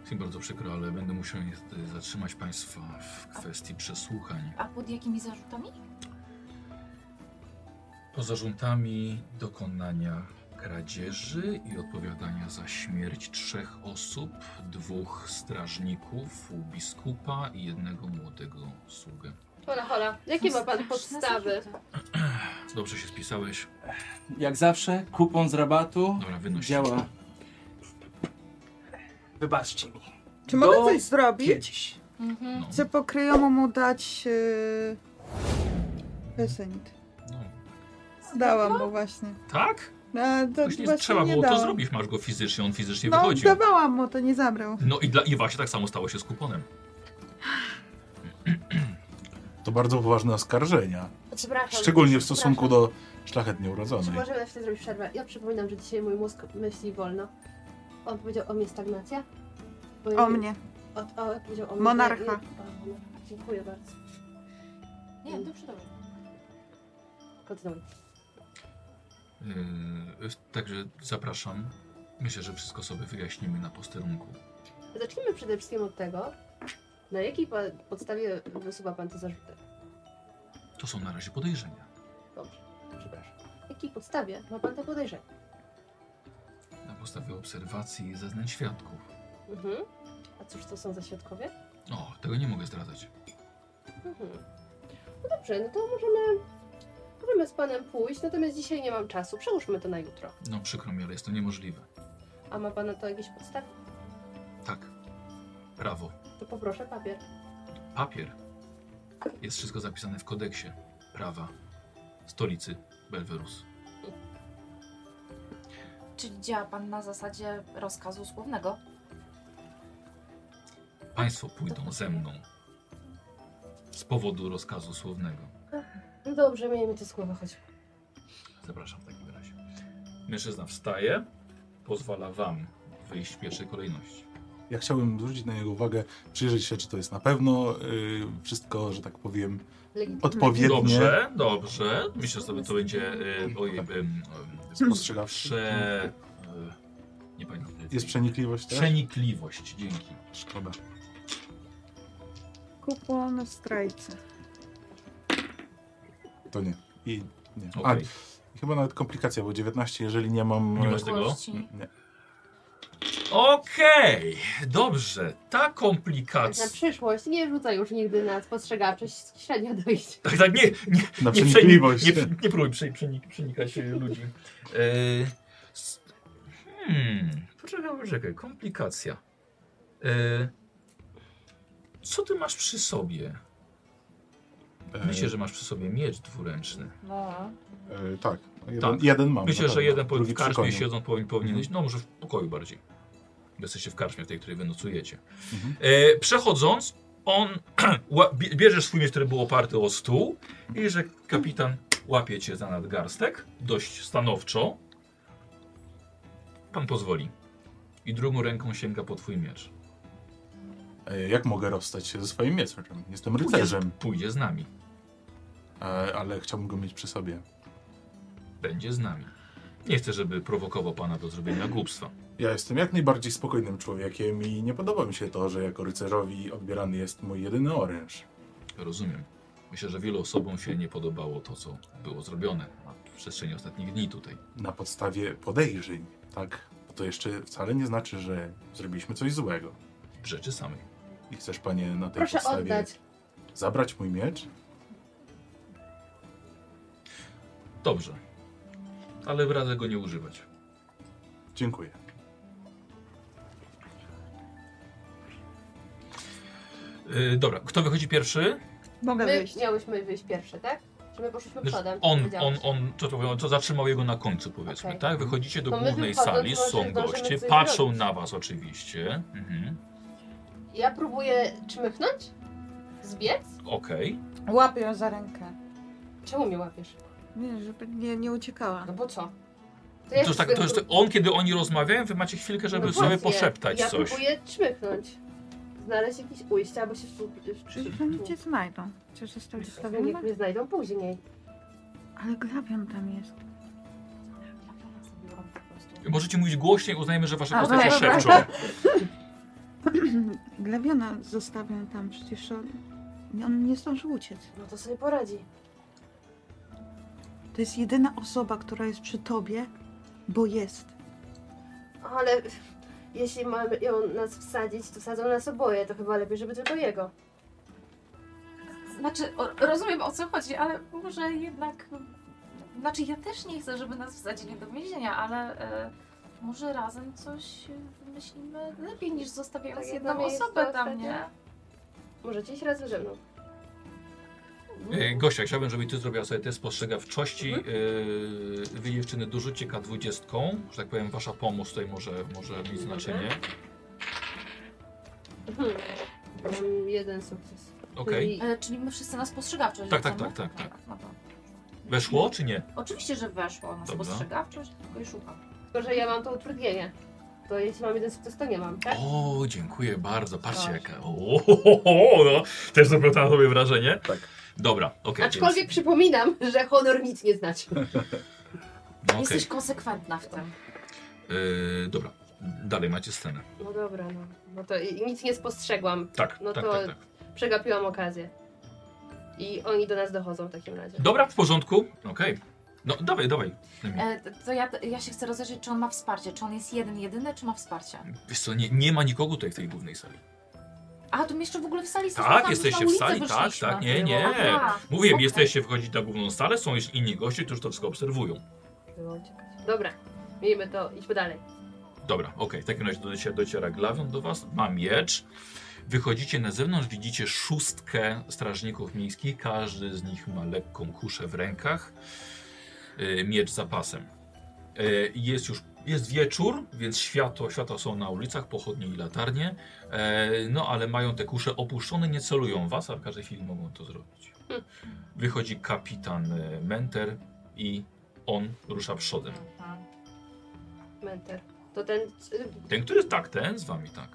Speaker 2: Jest mi bardzo przykro, ale będę musiał niestety zatrzymać Państwa w kwestii przesłuchań.
Speaker 5: A pod jakimi zarzutami?
Speaker 2: Poza rzutami dokonania kradzieży i odpowiadania za śmierć trzech osób, dwóch strażników, biskupa i jednego młodego sługę.
Speaker 1: Hola, hola. Jakie ma pan
Speaker 5: Straszne
Speaker 1: podstawy?
Speaker 5: zarzuty.
Speaker 2: Dobrze się spisałeś.
Speaker 6: Jak zawsze, kupon z rabatu
Speaker 2: Dobra, wynoś.
Speaker 6: działa. Wybaczcie mi.
Speaker 4: Czy mogę
Speaker 6: Do
Speaker 4: coś zrobić?
Speaker 6: Kiedyś.
Speaker 5: Mhm.
Speaker 2: No,
Speaker 4: Chcę po kryjomu mu dać... Yy... Pesenit.
Speaker 2: no.
Speaker 4: Dałam mu właśnie.
Speaker 2: Tak?
Speaker 4: A, to
Speaker 2: Właśnie
Speaker 4: właśnie
Speaker 2: trzeba
Speaker 4: nie
Speaker 2: było to
Speaker 4: dałam.
Speaker 2: zrobić, masz go fizycznie, on fizycznie
Speaker 4: No,
Speaker 2: wychodził.
Speaker 4: dawałam mu, to nie zabrał.
Speaker 2: No i dla i właśnie tak samo stało się z kuponem.
Speaker 3: To bardzo poważne oskarżenia.
Speaker 1: Przepraszam.
Speaker 3: Szczególnie w stosunku do szlachetnie urodzonej.
Speaker 1: Czy możemy na chwilę zrobić przerwę? Ja przypominam, że dzisiaj mój mózg myśli wolno. On powiedział o mnie stagnacja? Bo ja-
Speaker 4: O mnie.
Speaker 1: O, o, powiedział o mnie.
Speaker 4: Monarcha.
Speaker 1: Ja- ja- o, monarcha. Dziękuję bardzo.
Speaker 5: Nie, dobrze, dobrze.
Speaker 1: Kontynuuj.
Speaker 2: Yy, także zapraszam. Myślę, że wszystko sobie wyjaśnimy na posterunku.
Speaker 1: Zacznijmy przede wszystkim od tego, na jakiej pa- podstawie wysuwa pan te zarzuty?
Speaker 2: To są na razie podejrzenia.
Speaker 1: Dobrze, przepraszam. Na jakiej podstawie ma pan te podejrzenia?
Speaker 2: Na podstawie obserwacji i zeznań świadków.
Speaker 1: Mhm. A cóż to są za świadkowie?
Speaker 2: O, tego nie mogę zdradzać.
Speaker 1: Mhm. No dobrze, no to możemy, możemy z panem pójść, natomiast dzisiaj nie mam czasu. Przełóżmy to na jutro.
Speaker 2: No przykro mi, ale jest to niemożliwe.
Speaker 1: A ma pan na to jakieś podstawy?
Speaker 2: Tak. Prawo.
Speaker 1: To poproszę papier.
Speaker 2: Papier. Jest wszystko zapisane w kodeksie prawa stolicy Belwerus.
Speaker 5: Czyli działa pan na zasadzie rozkazu słownego.
Speaker 2: Państwo pójdą ze mną z powodu rozkazu słownego.
Speaker 1: No dobrze, miejmy te słowa, choć.
Speaker 2: Zapraszam w takim razie. Mężczyzna wstaje, pozwala wam wyjść w pierwszej kolejności.
Speaker 3: Ja chciałbym zwrócić na niego uwagę, przyjrzeć się, czy to jest na pewno y, wszystko, że tak powiem,
Speaker 1: Legitymnie.
Speaker 3: odpowiednie.
Speaker 2: Dobrze, dobrze. Myślę, że to- to będzie y, ojej, y, y,
Speaker 3: Spostrzegawczy.
Speaker 2: prze... y, nie pamiętam.
Speaker 3: Jest przenikliwość też?
Speaker 2: Przenikliwość, dzięki.
Speaker 3: Szkoda.
Speaker 4: Kupon strajcy.
Speaker 3: To nie. I nie.
Speaker 2: Okej.
Speaker 3: A, chyba nawet komplikacja, bo 19, jeżeli nie mam...
Speaker 2: Nie
Speaker 3: e,
Speaker 2: masz tego?
Speaker 5: Kości.
Speaker 2: Okej, dobrze. Ta
Speaker 1: Tak na
Speaker 2: komplikacja...
Speaker 1: przyszłość nie rzucaj już nigdy na spostrzegawczość, średnio dojść.
Speaker 2: Tak, tak, nie, nie,
Speaker 3: Na
Speaker 2: nie,
Speaker 3: przenikliwość. Y,
Speaker 2: Nie, nie próbuj prze- przenik- przenikać e, ludzi. E, s- hmm, poczekaj, poczekaj, komplikacja. E, co ty masz przy sobie?
Speaker 3: E,
Speaker 2: Myślę, że masz przy sobie miecz dwuręczny.
Speaker 5: No.
Speaker 3: e, tak. Jeden,
Speaker 2: Tak.
Speaker 3: jeden mam. na
Speaker 2: Myślę, że
Speaker 3: pewno.
Speaker 2: jeden po,
Speaker 3: Drugi Mhm.
Speaker 2: w
Speaker 3: przy
Speaker 2: karczmie
Speaker 3: koniu.
Speaker 2: siedząc powin- powinieneś, no może w pokoju bardziej. Bo Jesteście w karczmie, w tej, której wynocujecie.
Speaker 3: Mhm.
Speaker 2: E, przechodząc, on ła- bie- bierzesz swój miecz, który był oparty o stół i że kapitan łapie cię za nadgarstek, dość stanowczo. Pan pozwoli. I drugą ręką sięga po twój miecz.
Speaker 3: E, Jak mogę rozstać się ze swoim mieczem? Jestem rycerzem,
Speaker 2: Pójdzie z nami.
Speaker 3: e, ale chciałbym go mieć przy sobie.
Speaker 2: Będzie z nami. Nie chcę, żeby prowokował pana do zrobienia głupstwa.
Speaker 3: Ja jestem jak najbardziej spokojnym człowiekiem i nie podoba mi się to, że jako rycerzowi odbierany jest mój jedyny oręż.
Speaker 2: Rozumiem. Myślę, że wielu osobom się nie podobało to, co było zrobione w przestrzeni ostatnich dni tutaj.
Speaker 3: Na podstawie podejrzeń, tak? Bo to jeszcze wcale nie znaczy, że zrobiliśmy coś złego.
Speaker 2: W rzeczy samej.
Speaker 3: I chcesz, panie, na tej
Speaker 1: Proszę
Speaker 3: podstawie
Speaker 1: oddać.
Speaker 3: zabrać mój miecz?
Speaker 2: Dobrze. Ale radzę go nie używać.
Speaker 3: Dziękuję.
Speaker 2: Yy, dobra, kto wychodzi pierwszy?
Speaker 4: Mogę
Speaker 1: My
Speaker 4: wyjść.
Speaker 1: miałyśmy wyjść pierwsze, tak? Czy my poszliśmy
Speaker 2: Znaczy,
Speaker 1: przodem?
Speaker 2: On, on,
Speaker 1: Powiedziałeś.
Speaker 2: on, co to mówią, to zatrzymał jego na końcu, powiedzmy,
Speaker 1: Okej.
Speaker 2: tak? Wychodzicie do
Speaker 1: To my
Speaker 2: głównej
Speaker 1: wychodząc,
Speaker 2: sali,
Speaker 1: może
Speaker 2: są
Speaker 1: zdążymy
Speaker 2: goście,
Speaker 1: coś
Speaker 2: patrzą
Speaker 1: zrobić.
Speaker 2: na was oczywiście. Mhm.
Speaker 1: Ja próbuję czmychnąć? Zbiec?
Speaker 2: Okej.
Speaker 4: Łapię ją za rękę.
Speaker 1: Czemu mnie łapiesz?
Speaker 4: Nie, żeby nie, nie uciekała.
Speaker 1: No bo co?
Speaker 2: To jest tak, to jest on, kiedy oni rozmawiają, wy macie chwilkę, żeby
Speaker 1: No
Speaker 2: sobie
Speaker 1: właśnie,
Speaker 2: poszeptać
Speaker 1: ja
Speaker 2: coś.
Speaker 1: próbuję czmychnąć. Znaleźć jakieś ujście, albo się
Speaker 4: Przecież oni cię
Speaker 1: wstrzymać.
Speaker 4: znajdą. Przecież jestem
Speaker 1: Niech
Speaker 4: wystawiona.
Speaker 1: mnie znajdą później.
Speaker 4: Ale grabiam tam jest.
Speaker 2: Możecie mówić głośniej, uznajmy, że wasze
Speaker 4: A,
Speaker 2: postacie
Speaker 4: dobra.
Speaker 2: szepczą.
Speaker 4: Glawiona zostawiam tam, przecież on, on nie zdążył uciec.
Speaker 1: No to sobie poradzi.
Speaker 4: To jest jedyna osoba, która jest przy tobie, bo jest.
Speaker 1: Ale jeśli mamy ją nas wsadzić, to sadzą nas oboje. To chyba lepiej, żeby tylko jego.
Speaker 5: Znaczy, o, rozumiem o co chodzi, ale może jednak. Znaczy, ja też nie chcę, żeby nas wsadzili do więzienia, ale e, może razem coś wymyślimy lepiej niż zostawiając
Speaker 1: Tak, jedno
Speaker 5: jedną
Speaker 1: miejsce
Speaker 5: osobę tam,
Speaker 1: ostatnie.
Speaker 5: nie?
Speaker 1: Możecie iść razem ze mną.
Speaker 2: Yy, Gosia, chciałbym, żebyś ty zrobiła sobie test spostrzegawczości.
Speaker 1: Mhm.
Speaker 2: Yy, wy dziewczyny dorzućcie K20, że tak powiem, wasza pomoc tutaj może, może mieć znaczenie.
Speaker 1: Mhm. Mam jeden sukces.
Speaker 2: Okej.
Speaker 1: Czyli
Speaker 5: E, czyli my wszyscy na spostrzegawczość
Speaker 2: Tak, tak,
Speaker 5: rzucamy?
Speaker 2: tak, tak, tak.
Speaker 5: No to.
Speaker 2: Weszło czy nie?
Speaker 5: Oczywiście, że weszło na
Speaker 2: Dobra.
Speaker 5: spostrzegawczość, tylko i szukam.
Speaker 1: Tylko, że ja mam to utrudnienie. To jeśli mam jeden sukces, to nie mam, tak?
Speaker 2: O, dziękuję bardzo. Patrzcie jaka. O, ho, ho, ho, no. Też zrobiło to na tobie wrażenie.
Speaker 3: Tak.
Speaker 2: Dobra, okej.
Speaker 1: Aczkolwiek
Speaker 2: więc-
Speaker 1: przypominam, że honor nic nie znaczy.
Speaker 2: no, okej.
Speaker 5: Jesteś konsekwentna w tym.
Speaker 2: Yy, dobra, dalej macie scenę.
Speaker 1: No dobra, no. no to i- nic nie spostrzegłam.
Speaker 2: Tak,
Speaker 1: No
Speaker 2: tak,
Speaker 1: to-
Speaker 2: tak, tak.
Speaker 1: Przegapiłam okazję. I oni do nas dochodzą w takim razie.
Speaker 2: Dobra, w porządku. Okej. No, dawaj, dawaj. Mhm.
Speaker 5: E, t- to ja, ja się chcę rozejrzeć, czy on ma wsparcie. Czy on jest jeden, jedyny, czy ma wsparcie?
Speaker 2: Wiesz co, nie, nie ma nikogo tutaj w tej głównej sali.
Speaker 5: A, tu my jeszcze w ogóle w sali jesteśmy.
Speaker 2: Tak,
Speaker 5: tam już na
Speaker 2: jesteście w
Speaker 5: ulicę
Speaker 2: sali, tak,
Speaker 5: wyszliśmy.
Speaker 2: tak, nie, nie.
Speaker 5: Aha,
Speaker 2: Mówiłem,
Speaker 5: okej.
Speaker 2: jesteście wchodzić na główną salę, są jeszcze inni goście, którzy to wszystko obserwują.
Speaker 1: Było uciekać. Dobra, miejmy to, idźmy dalej.
Speaker 2: Dobra, okej, w takim razie dociera, dociera glawion do was, ma miecz. Wychodzicie na zewnątrz, widzicie szóstkę strażników miejskich, każdy z nich ma lekką kuszę w rękach. e, miecz zapasem. E, Jest już jest wieczór, więc światło, światła są na ulicach, pochodnie i latarnie. E, No ale mają te kusze opuszczone, nie celują was, a w każdej chwili mogą to zrobić. Wychodzi kapitan e, Menter i on rusza przodem.
Speaker 5: Mhm.
Speaker 1: Menter. To ten. y,
Speaker 2: Ten, który tak, ten z wami tak.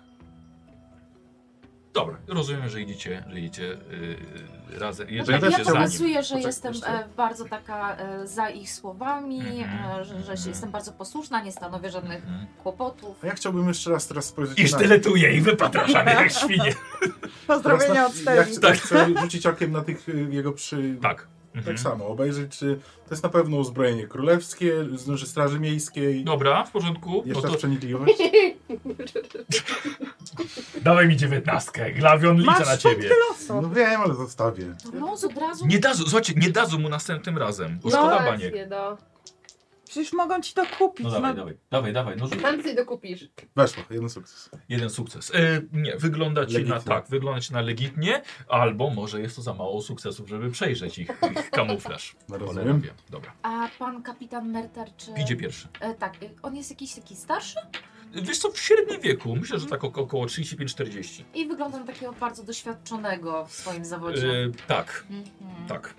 Speaker 2: Dobra, rozumiem, że idziecie, że idziecie yy, razem.
Speaker 5: Znaczy,
Speaker 2: idziecie
Speaker 3: też
Speaker 5: ja
Speaker 3: się
Speaker 2: za nim.
Speaker 5: pokazuję, że
Speaker 3: Poczekaj,
Speaker 5: jestem
Speaker 3: jeszcze.
Speaker 5: e, bardzo taka e, za ich słowami,
Speaker 2: Mhm.
Speaker 5: e, że, że
Speaker 2: Mhm.
Speaker 5: się, jestem bardzo posłuszna, nie stanowię żadnych
Speaker 2: Mhm.
Speaker 5: kłopotów.
Speaker 3: A ja chciałbym jeszcze raz teraz spojrzeć
Speaker 2: I
Speaker 3: na-
Speaker 2: sztyletuje i wypatrasza mnie jak świnie.
Speaker 3: Teraz
Speaker 4: Pozdrowienia
Speaker 3: na-
Speaker 4: od
Speaker 3: Ja
Speaker 4: Steli.
Speaker 3: chcę, tak. chcę rzucić okiem na tych y, jego przy...
Speaker 2: Tak.
Speaker 3: Tak
Speaker 2: Mhm.
Speaker 3: samo, obejrzeć, czy to jest na pewno uzbrojenie królewskie, znaczy straży miejskiej,
Speaker 2: Dobra, w porządku. No
Speaker 3: jeszcze
Speaker 2: to
Speaker 3: raz przenikliwość.
Speaker 2: dawaj mi dziewiętnastkę. Glawion
Speaker 4: Masz punkty
Speaker 3: No
Speaker 4: losu.
Speaker 3: wiem, ale zostawię.
Speaker 5: To los od razu
Speaker 2: Mhm. Nie dazu, słuchajcie, nie dazu mu następnym razem. Bo
Speaker 1: No
Speaker 2: szkoda
Speaker 1: właśnie,
Speaker 2: baniek.
Speaker 1: no.
Speaker 4: Przecież mogą ci to kupić. No,
Speaker 2: dawaj. Dawaj, dawaj, no rzuć.
Speaker 1: Tam sobie dokupisz.
Speaker 3: Weszło, jeden sukces.
Speaker 2: Jeden sukces. E, nie, wygląda ci na
Speaker 3: Legitnie.
Speaker 2: tak, wygląda ci na legitnie, albo może jest to za mało sukcesów, żeby przejrzeć ich, ich kamuflaż.
Speaker 3: No
Speaker 2: Cholera
Speaker 3: rozumiem.
Speaker 2: wie. Dobra,
Speaker 5: A pan kapitan Merter, czy...
Speaker 2: idzie pierwszy.
Speaker 5: E, tak, e, on jest jakiś taki starszy
Speaker 2: Wiesz co, w średnim wieku, myślę, że tak oko- około 35-40.
Speaker 5: i wygląda na takiego bardzo doświadczonego w swoim zawodzie.
Speaker 2: E, tak,
Speaker 5: Mhm.
Speaker 2: tak.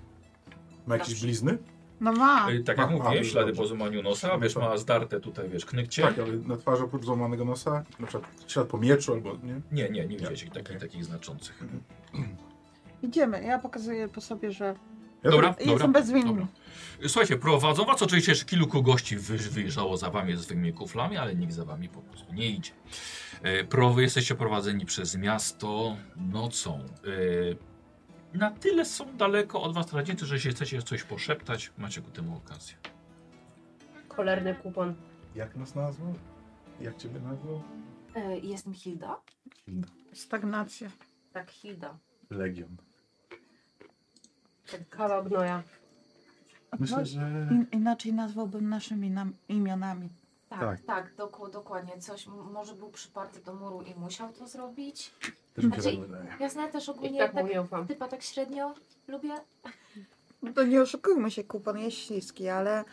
Speaker 3: Ma jakieś blizny?
Speaker 4: no ma.
Speaker 2: E, tak jak
Speaker 3: A, a,
Speaker 2: mówiłem, ślady
Speaker 3: dobrze.
Speaker 2: po złamaniu nosa, wiesz, ma zdarte tutaj, wiesz, knykcie.
Speaker 3: Tak, ale na twarzy oprócz złamanego nosa, na przykład ślad po mieczu albo nie.
Speaker 2: Nie, nie, nie widziałeś takich, takich znaczących.
Speaker 4: Idziemy. Ja pokazuję po sobie, że
Speaker 3: Ja tak-
Speaker 2: Dobra, dobra.
Speaker 4: jestem bezwinny.
Speaker 2: Dobra. Słuchajcie, prowadzą was. Oczywiście jeszcze kilku gości wy, wyjrzało za wami z wymi kuflami, ale nikt za wami po prostu nie idzie. E, Pro, jesteście prowadzeni przez miasto nocą. E, na tyle są daleko od was radzicy, że jeśli chcecie coś poszeptać, macie ku temu okazję.
Speaker 1: Cholerny kupon.
Speaker 3: Jak nas nazwał? Jak ciebie nazwał?
Speaker 5: E, jestem Hilda?
Speaker 4: Stagnacja.
Speaker 5: Tak, Hilda.
Speaker 3: Legion.
Speaker 5: Ten kawał.
Speaker 1: Kawał gnoja.
Speaker 3: Myślę, że...
Speaker 4: In, inaczej nazwałbym naszymi nam, imionami.
Speaker 5: Tak,
Speaker 3: Tak.
Speaker 5: tak, doku, dokładnie. Coś, m- może był przyparty do muru i musiał to zrobić.
Speaker 3: Też mi się
Speaker 5: Znaczy-
Speaker 3: tak wydaje.
Speaker 5: Jasne, też
Speaker 1: I
Speaker 5: ogólnie
Speaker 1: tak
Speaker 5: tak,
Speaker 1: mu nie ufam.
Speaker 5: typa tak średnio lubię.
Speaker 4: No to nie oszukujmy się, kupon jest śliski, ale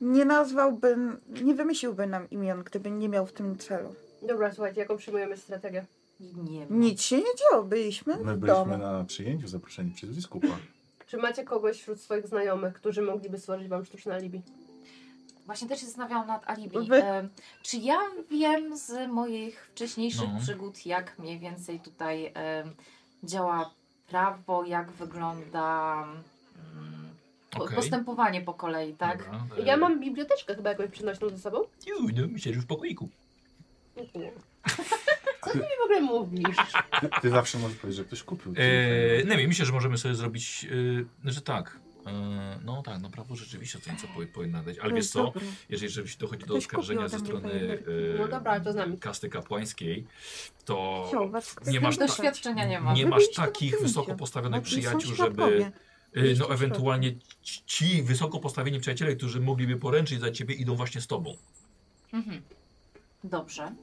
Speaker 4: nie nazwałbym, nie wymyśliłby nam imion, gdyby nie miał w tym celu.
Speaker 1: Dobra, słuchajcie, jaką przyjmujemy strategię?
Speaker 5: I Nie wiem.
Speaker 4: Nic się nie działo, byliśmy
Speaker 3: My
Speaker 4: w domu.
Speaker 3: byliśmy na przyjęciu zaproszeni przez biskupa.
Speaker 1: Czy macie kogoś wśród swoich znajomych, którzy mogliby stworzyć wam sztuczne alibi?
Speaker 5: Właśnie też się zastanawiałam nad alibi.
Speaker 4: No Wy-
Speaker 5: E, czy ja wiem z moich wcześniejszych
Speaker 2: No.
Speaker 5: przygód, jak mniej więcej tutaj e, działa prawo, jak wygląda mm, po-
Speaker 2: Okej.
Speaker 5: postępowanie po kolei, tak?
Speaker 2: Dobra, e,
Speaker 1: Ja mam biblioteczkę chyba jakąś przynośną ze sobą.
Speaker 2: Ju, no, myślę, że w pokoiku.
Speaker 1: Co ty mi w ogóle mówisz?
Speaker 3: Ty, ty zawsze możesz powiedzieć, że ktoś kupił.
Speaker 2: E, nie wiem, myślę, że możemy sobie zrobić, e, że tak. E, no tak, no prawo rzeczywiście to nieco powi- powinna dać. Ale wiesz co?
Speaker 4: Dobra.
Speaker 2: jeżeli rzeczywiście dochodzi do
Speaker 4: No Ktoś
Speaker 2: oskarżenia
Speaker 4: kupił
Speaker 2: ze
Speaker 4: ode mnie
Speaker 2: strony
Speaker 4: fajerwerki.
Speaker 2: e,
Speaker 1: No dobra, ale to z nami.
Speaker 2: kasty kapłańskiej, to
Speaker 4: Chciał was
Speaker 2: Nie masz-
Speaker 5: Doświadczenia nie mam.
Speaker 2: nie
Speaker 4: wy
Speaker 2: masz
Speaker 4: byliście na
Speaker 2: takich
Speaker 4: pięcie.
Speaker 2: wysoko
Speaker 4: No,
Speaker 2: postawionych
Speaker 4: to są
Speaker 2: przyjaciół, żeby.
Speaker 4: świadkowie.
Speaker 2: e,
Speaker 4: Byliście
Speaker 2: No, ewentualnie ci- ci wysoko postawieni przyjaciele, którzy mogliby poręczyć za ciebie, idą właśnie z tobą.
Speaker 5: Mhm. Dobrze.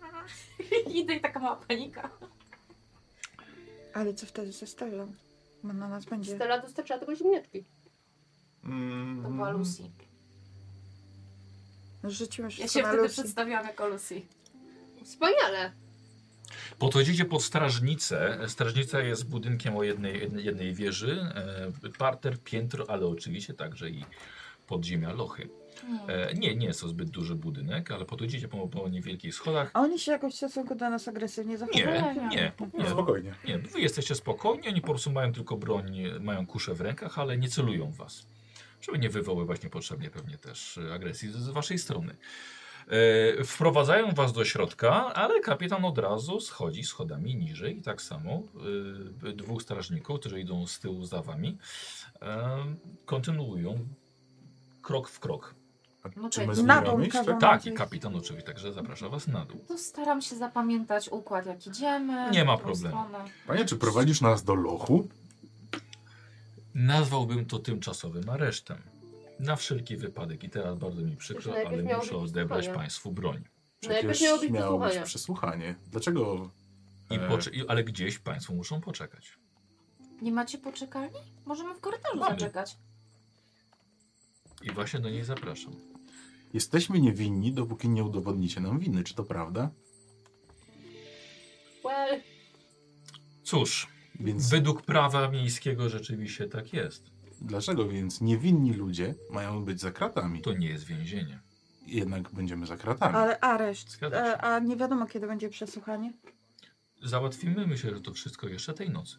Speaker 5: Idę i taka mała panika.
Speaker 4: Ale co wtedy ze Stellą? Bo na nas będzie...
Speaker 1: Stella dostarczyła tego ziemniaczki.
Speaker 5: To była
Speaker 3: Mm,
Speaker 5: Lucy.
Speaker 4: Rzuciłem
Speaker 5: Ja
Speaker 4: wszystko
Speaker 5: się
Speaker 4: No, na
Speaker 5: wtedy
Speaker 4: Lucy.
Speaker 5: przedstawiałam jako Lucy.
Speaker 1: Wspaniale!
Speaker 2: Podchodzicie pod strażnicę. Strażnica jest budynkiem o jednej, jednej, jednej wieży. E, parter, piętro, ale oczywiście także i podziemia, lochy. E, nie, nie jest to zbyt duży budynek, ale podchodzicie po, po niewielkich schodach.
Speaker 4: A oni się jakoś w stosunku do nas agresywnie zachowują?
Speaker 2: Nie, nie,
Speaker 3: no,
Speaker 2: nie.
Speaker 3: Spokojnie.
Speaker 2: Nie, wy jesteście spokojni, oni po prostu mają tylko broń, mają kusze w rękach, ale nie celują w was. Żeby nie wywoływać niepotrzebnie pewnie też e, agresji z z waszej strony. E, wprowadzają was do środka, ale kapitan od razu schodzi schodami niżej i tak samo e, dwóch strażników, którzy idą z tyłu za wami, e, kontynuują krok w krok.
Speaker 3: A
Speaker 5: No
Speaker 3: czy
Speaker 5: tak.
Speaker 3: my
Speaker 5: Na
Speaker 3: z nim
Speaker 4: tą
Speaker 3: mamy iść,
Speaker 4: kawę.
Speaker 3: tak?
Speaker 2: Tak, i kapitan oczywiście także zaprasza was na dół.
Speaker 5: To staram się zapamiętać układ, jak idziemy.
Speaker 2: Nie ma
Speaker 5: w którą
Speaker 2: problemu.
Speaker 5: stronę.
Speaker 3: Panie, czy prowadzisz nas do lochu?
Speaker 2: Nazwałbym to tymczasowym aresztem. Na wszelki wypadek i teraz bardzo mi przykro,
Speaker 1: Najpierw
Speaker 2: ale
Speaker 1: miało
Speaker 2: muszę
Speaker 1: być
Speaker 2: odebrać
Speaker 1: przesłuchanie.
Speaker 2: Państwu broń.
Speaker 1: Najpierw
Speaker 5: No,
Speaker 3: Przecież
Speaker 1: miało być
Speaker 3: miało być
Speaker 1: przesłuchanie.
Speaker 3: przesłuchanie. Dlaczego?
Speaker 2: I
Speaker 3: E,
Speaker 2: pocze- i- ale gdzieś Państwo muszą poczekać.
Speaker 5: Nie macie poczekalni? Możemy w korytarzu
Speaker 2: Mamy.
Speaker 5: zaczekać.
Speaker 2: I właśnie do niej zapraszam.
Speaker 3: Jesteśmy niewinni, dopóki nie udowodnicie nam winy, czy to prawda?
Speaker 1: Well,
Speaker 2: Cóż,
Speaker 3: Więc
Speaker 2: według prawa miejskiego rzeczywiście tak jest.
Speaker 3: dlaczego więc niewinni ludzie mają być za kratami?
Speaker 2: To nie jest więzienie.
Speaker 3: Jednak będziemy za kratami.
Speaker 4: Ale areszt.
Speaker 2: Zgadza
Speaker 4: e,
Speaker 2: się.
Speaker 4: A nie wiadomo, kiedy będzie przesłuchanie.
Speaker 2: Załatwimy, myślę, że to wszystko jeszcze tej nocy.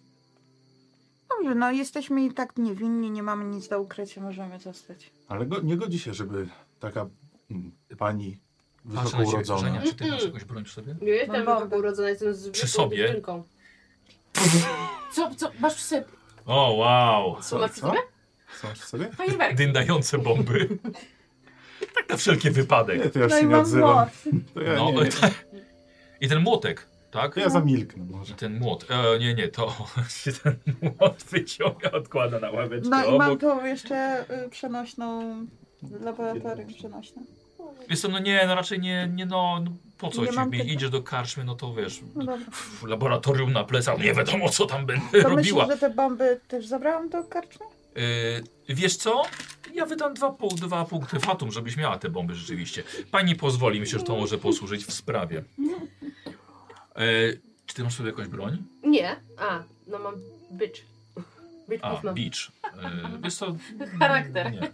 Speaker 4: Dobrze, no jesteśmy i tak niewinni, nie mamy nic do ukrycia, możemy zostać.
Speaker 3: Ale go, nie godzi się, żeby taka mm, pani
Speaker 2: Patrzę na ciebie,
Speaker 3: wysokourodzona...
Speaker 2: Żenia, czy ty masz
Speaker 1: Mm-mm.
Speaker 2: jakąś broń w sobie?
Speaker 1: nie jestem
Speaker 4: Mam
Speaker 1: wysoko urodzona, jestem zwykłą
Speaker 2: sobie?
Speaker 1: dziewczynką.
Speaker 5: Co, co, masz przy sobie
Speaker 2: O, wow!
Speaker 1: Co masz przy
Speaker 3: co?
Speaker 1: sobie?
Speaker 3: Co masz w sobie?
Speaker 5: fajerwerki?
Speaker 2: Dyndające bomby. tak na wszelki
Speaker 3: Nie,
Speaker 2: wypadek.
Speaker 3: to ja
Speaker 4: no
Speaker 3: się
Speaker 4: i
Speaker 3: nie
Speaker 4: mam
Speaker 3: odzywam.
Speaker 4: moc.
Speaker 3: To ja,
Speaker 2: No,
Speaker 3: nie,
Speaker 2: I ten młotek, tak?
Speaker 3: ja zamilknę
Speaker 2: I
Speaker 3: może.
Speaker 2: ten młot. E, nie, nie, to się ten młot wyciąga, odkłada na ławeczkę
Speaker 4: No i mam
Speaker 2: obok.
Speaker 4: tą jeszcze y, przenośną, w laboratorium przenośne.
Speaker 2: Wiesz co, no nie, no raczej nie, nie no, no po co
Speaker 4: Nie
Speaker 2: ci,
Speaker 4: mam
Speaker 2: mi-
Speaker 4: pytań.
Speaker 2: idziesz do karczmy, no to wiesz,
Speaker 4: No dobra.
Speaker 2: w laboratorium na plecach, nie wiadomo co tam będę
Speaker 4: To
Speaker 2: robiła.
Speaker 4: myślisz, że te bomby też zabrałam do karczmy?
Speaker 2: Y, wiesz co? Ja wydam dwa, pół, dwa punkty fatum, żebyś miała te bomby rzeczywiście. Pani pozwoli, myślę, że to może posłużyć w sprawie. Y, czy ty masz sobie jakąś broń?
Speaker 1: Nie. A, no mam bitch. Bitch
Speaker 2: A,
Speaker 1: mam.
Speaker 2: beach. Y, wiesz co?
Speaker 5: Charakter.
Speaker 2: Nie.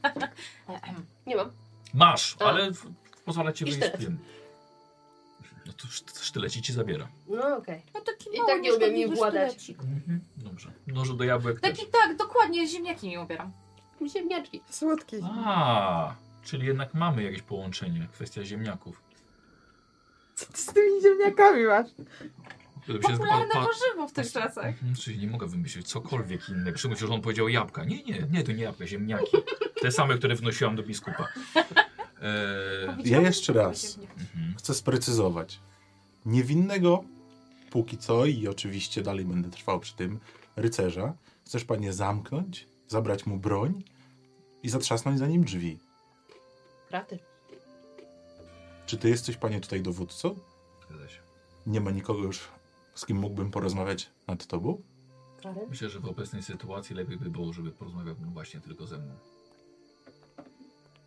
Speaker 1: Nie mam.
Speaker 2: Masz,
Speaker 1: A.
Speaker 2: ale w- pozwala ci
Speaker 1: Tak. I
Speaker 2: wyjść z
Speaker 1: sztylet.
Speaker 2: tym. No to szt- sztyleci ci zabiera.
Speaker 1: No okej.
Speaker 5: No taki
Speaker 1: I
Speaker 5: mały,
Speaker 1: tak nie umiem nim
Speaker 5: nieszkodliwy
Speaker 1: władać.
Speaker 5: sztylecik.
Speaker 2: Dobrze. Noże do jabłek też.
Speaker 5: Taki tak, dokładnie, ziemniaki mi ubieram.
Speaker 1: Okay. Ziemniaczki.
Speaker 4: Słodkie.
Speaker 2: A, czyli jednak mamy jakieś połączenie, kwestia ziemniaków.
Speaker 4: Co ty z tymi ziemniakami masz?
Speaker 2: Żeby się
Speaker 5: Popularne
Speaker 2: zba- pa-
Speaker 5: warzywo w tych czasach.
Speaker 2: Mhm, Czyli nie mogę wymyślić cokolwiek innego. Przyjmuję, że on powiedział jabłka. Nie, nie, nie, to nie jabłka, ziemniaki. Te same, które wnosiłam do biskupa. Eee,
Speaker 5: Powiedziałam,
Speaker 3: jeszcze
Speaker 5: że to
Speaker 3: raz.
Speaker 5: ziemniaki.
Speaker 2: mhm.
Speaker 3: Chcę sprecyzować. Niewinnego póki co i oczywiście dalej będę trwał przy tym rycerza. Chcesz panie zamknąć, zabrać mu broń i zatrzasnąć za nim drzwi.
Speaker 1: Kraty.
Speaker 3: Czy ty jesteś panie tutaj dowódcą?
Speaker 2: Zgadza się.
Speaker 3: Nie ma nikogo już, z kim mógłbym porozmawiać nad tobą?
Speaker 1: Kraty.
Speaker 2: Myślę, że w obecnej sytuacji lepiej by było, żeby porozmawiał on właśnie tylko ze mną.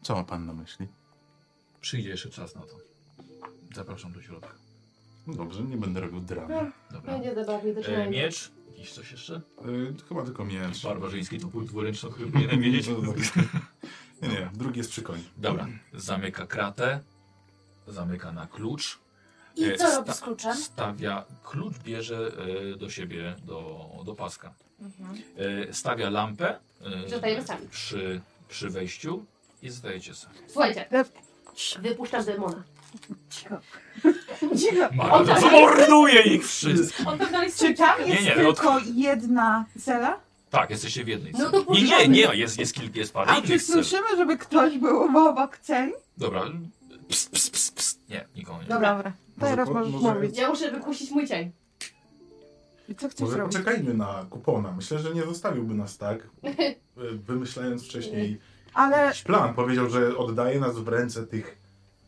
Speaker 3: Co ma pan na myśli?
Speaker 2: Przyjdzie jeszcze czas na to. Zapraszam do środka.
Speaker 3: No dobrze, nie będę robił dramy.
Speaker 2: Dobra.
Speaker 1: Będzie zabawnie też
Speaker 2: E,
Speaker 1: nie.
Speaker 2: miecz? Jakiś coś jeszcze?
Speaker 3: Y, chyba tylko miecz.
Speaker 2: Barbarzyński to był dwuręczny, który powinienem wiedzieć.
Speaker 3: Nie, nie, drugi jest przy koniu.
Speaker 2: Dobra, zamyka kratę, zamyka na klucz.
Speaker 5: I
Speaker 2: E,
Speaker 5: co
Speaker 2: sta-
Speaker 5: robi z kluczem?
Speaker 2: Stawia, klucz bierze e, do siebie, do, do paska. E, Stawia lampę e,
Speaker 1: Zostajemy sami.
Speaker 2: przy, przy wejściu i zostajecie sami.
Speaker 1: Słuchajcie,
Speaker 4: E,
Speaker 1: wypuszczam demona.
Speaker 4: Cicho.
Speaker 2: Marta zamorduje ich wszystkich!
Speaker 5: On tam dalej
Speaker 4: Czy
Speaker 5: stoi.
Speaker 4: tam
Speaker 2: Nie, no
Speaker 4: jest
Speaker 2: nie,
Speaker 4: tylko jedna cela?
Speaker 2: Tak, jesteście w jednej
Speaker 1: No
Speaker 2: celi.
Speaker 1: to
Speaker 2: Nie, nie,
Speaker 1: puszczamy.
Speaker 2: nie, jest, jest kilka, jest parę
Speaker 4: A czy
Speaker 2: innych cel.
Speaker 4: słyszymy, żeby ktoś był obok celi?
Speaker 2: Dobra, pst, pst, pst, pst. Nie, nikogo nie.
Speaker 4: Dobra, dobra. Teraz
Speaker 3: po-
Speaker 4: możesz
Speaker 3: może-
Speaker 4: mówić.
Speaker 1: Ja muszę wykusić mój cień.
Speaker 4: I co chcesz
Speaker 3: Może
Speaker 4: zrobić?
Speaker 3: poczekajmy na kupona. Myślę, że nie zostawiłby nas tak, y, wymyślając wcześniej
Speaker 4: Ale
Speaker 3: jakiś plan. Powiedział, że oddaje nas w ręce tych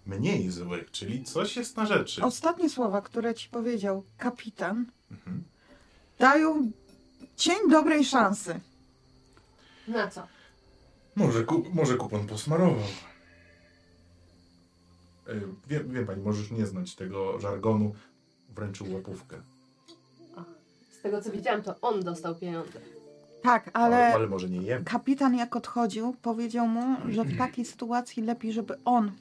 Speaker 3: mniej złych, czyli coś jest na rzeczy.
Speaker 4: ostatnie słowa, które ci powiedział kapitan,
Speaker 3: Mhm.
Speaker 4: dają cień dobrej szansy.
Speaker 1: Na co?
Speaker 3: Może, ku, może kupon posmarował. Y, Wie, wie pani, możesz nie znać tego żargonu. Wręczył łapówkę.
Speaker 1: Z tego co widziałam, to on dostał pieniądze.
Speaker 4: Tak,
Speaker 3: Ale,
Speaker 4: ale
Speaker 3: ale może nie jem.
Speaker 4: kapitan jak odchodził, powiedział mu, że w takiej sytuacji lepiej, żeby on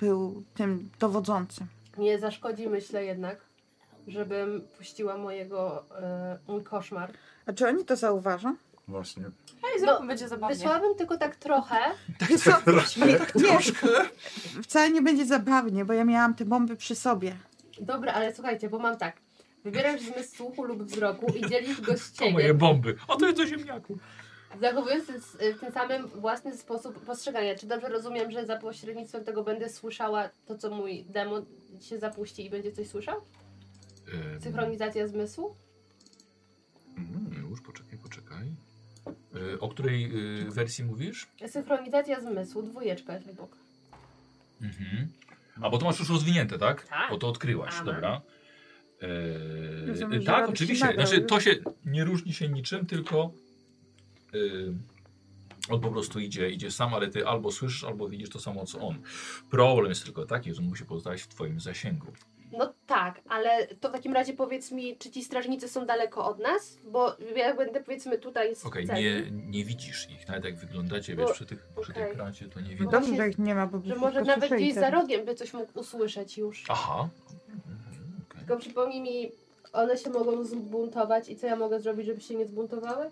Speaker 4: był tym dowodzącym.
Speaker 1: Nie zaszkodzi, myślę jednak, żebym puściła mojego e, mój koszmar.
Speaker 4: A czy oni to zauważą?
Speaker 3: Właśnie.
Speaker 5: Ej, zróbmy, będzie zabawnie.
Speaker 1: Wysłałabym tylko tak trochę.
Speaker 4: Wiesz co?
Speaker 3: tak,
Speaker 4: Nie, nie, wcale nie będzie zabawnie, bo ja miałam te bomby przy sobie.
Speaker 1: Dobra, ale słuchajcie, bo mam tak. Wybierasz zmysł słuchu lub wzroku i dzielisz go z
Speaker 2: To moje
Speaker 1: cieniem,
Speaker 2: bomby. A to jest do ziemniaku.
Speaker 1: zachowując ten- w tym samym własny sposób postrzegania. Czy dobrze rozumiem, że za pośrednictwem tego będę słyszała to, co mój demon się zapuści i będzie coś słyszał?
Speaker 2: Ym,
Speaker 1: Synchronizacja zmysłu?
Speaker 2: mm, Już, poczekaj, poczekaj. Y, O której y, wersji mówisz?
Speaker 1: Synchronizacja zmysłu, dwójeczka jest obok.
Speaker 2: Mhm. A bo to masz już rozwinięte, tak?
Speaker 1: Tak.
Speaker 2: Bo to odkryłaś,
Speaker 1: Aha.
Speaker 2: dobra. Eee,
Speaker 4: Rozumiem, że
Speaker 2: tak,
Speaker 4: robi się
Speaker 2: oczywiście.
Speaker 4: nagrał
Speaker 2: Znaczy,
Speaker 4: już.
Speaker 2: to się nie różni się niczym, tylko eee, On po prostu idzie, idzie sam, ale ty albo słyszysz, albo widzisz to samo co on. Problem jest tylko taki, że on musi pozostać w twoim zasięgu.
Speaker 1: No tak, ale to w takim razie powiedz mi, czy ci strażnicy są daleko od nas? Bo ja będę powiedzmy tutaj z
Speaker 2: Okej,
Speaker 1: celi.
Speaker 2: nie, nie widzisz ich, nawet jak wyglądacie, wiesz,
Speaker 1: Tak. Bo-
Speaker 2: przy tych, przy
Speaker 1: okej.
Speaker 2: tych kracie to nie
Speaker 1: No
Speaker 2: widać.
Speaker 4: Dobrze,
Speaker 1: właśnie,
Speaker 4: że ich nie ma, bo
Speaker 1: Że
Speaker 4: byśmy
Speaker 1: może
Speaker 4: tylko
Speaker 1: nawet
Speaker 4: słyszeli
Speaker 1: gdzieś
Speaker 4: teraz.
Speaker 1: za rogiem by coś mógł usłyszeć już.
Speaker 2: Aha. Mhm, okej.
Speaker 1: Tylko przypomnij mi, one się mogą zbuntować i co ja mogę zrobić, żeby się nie zbuntowały?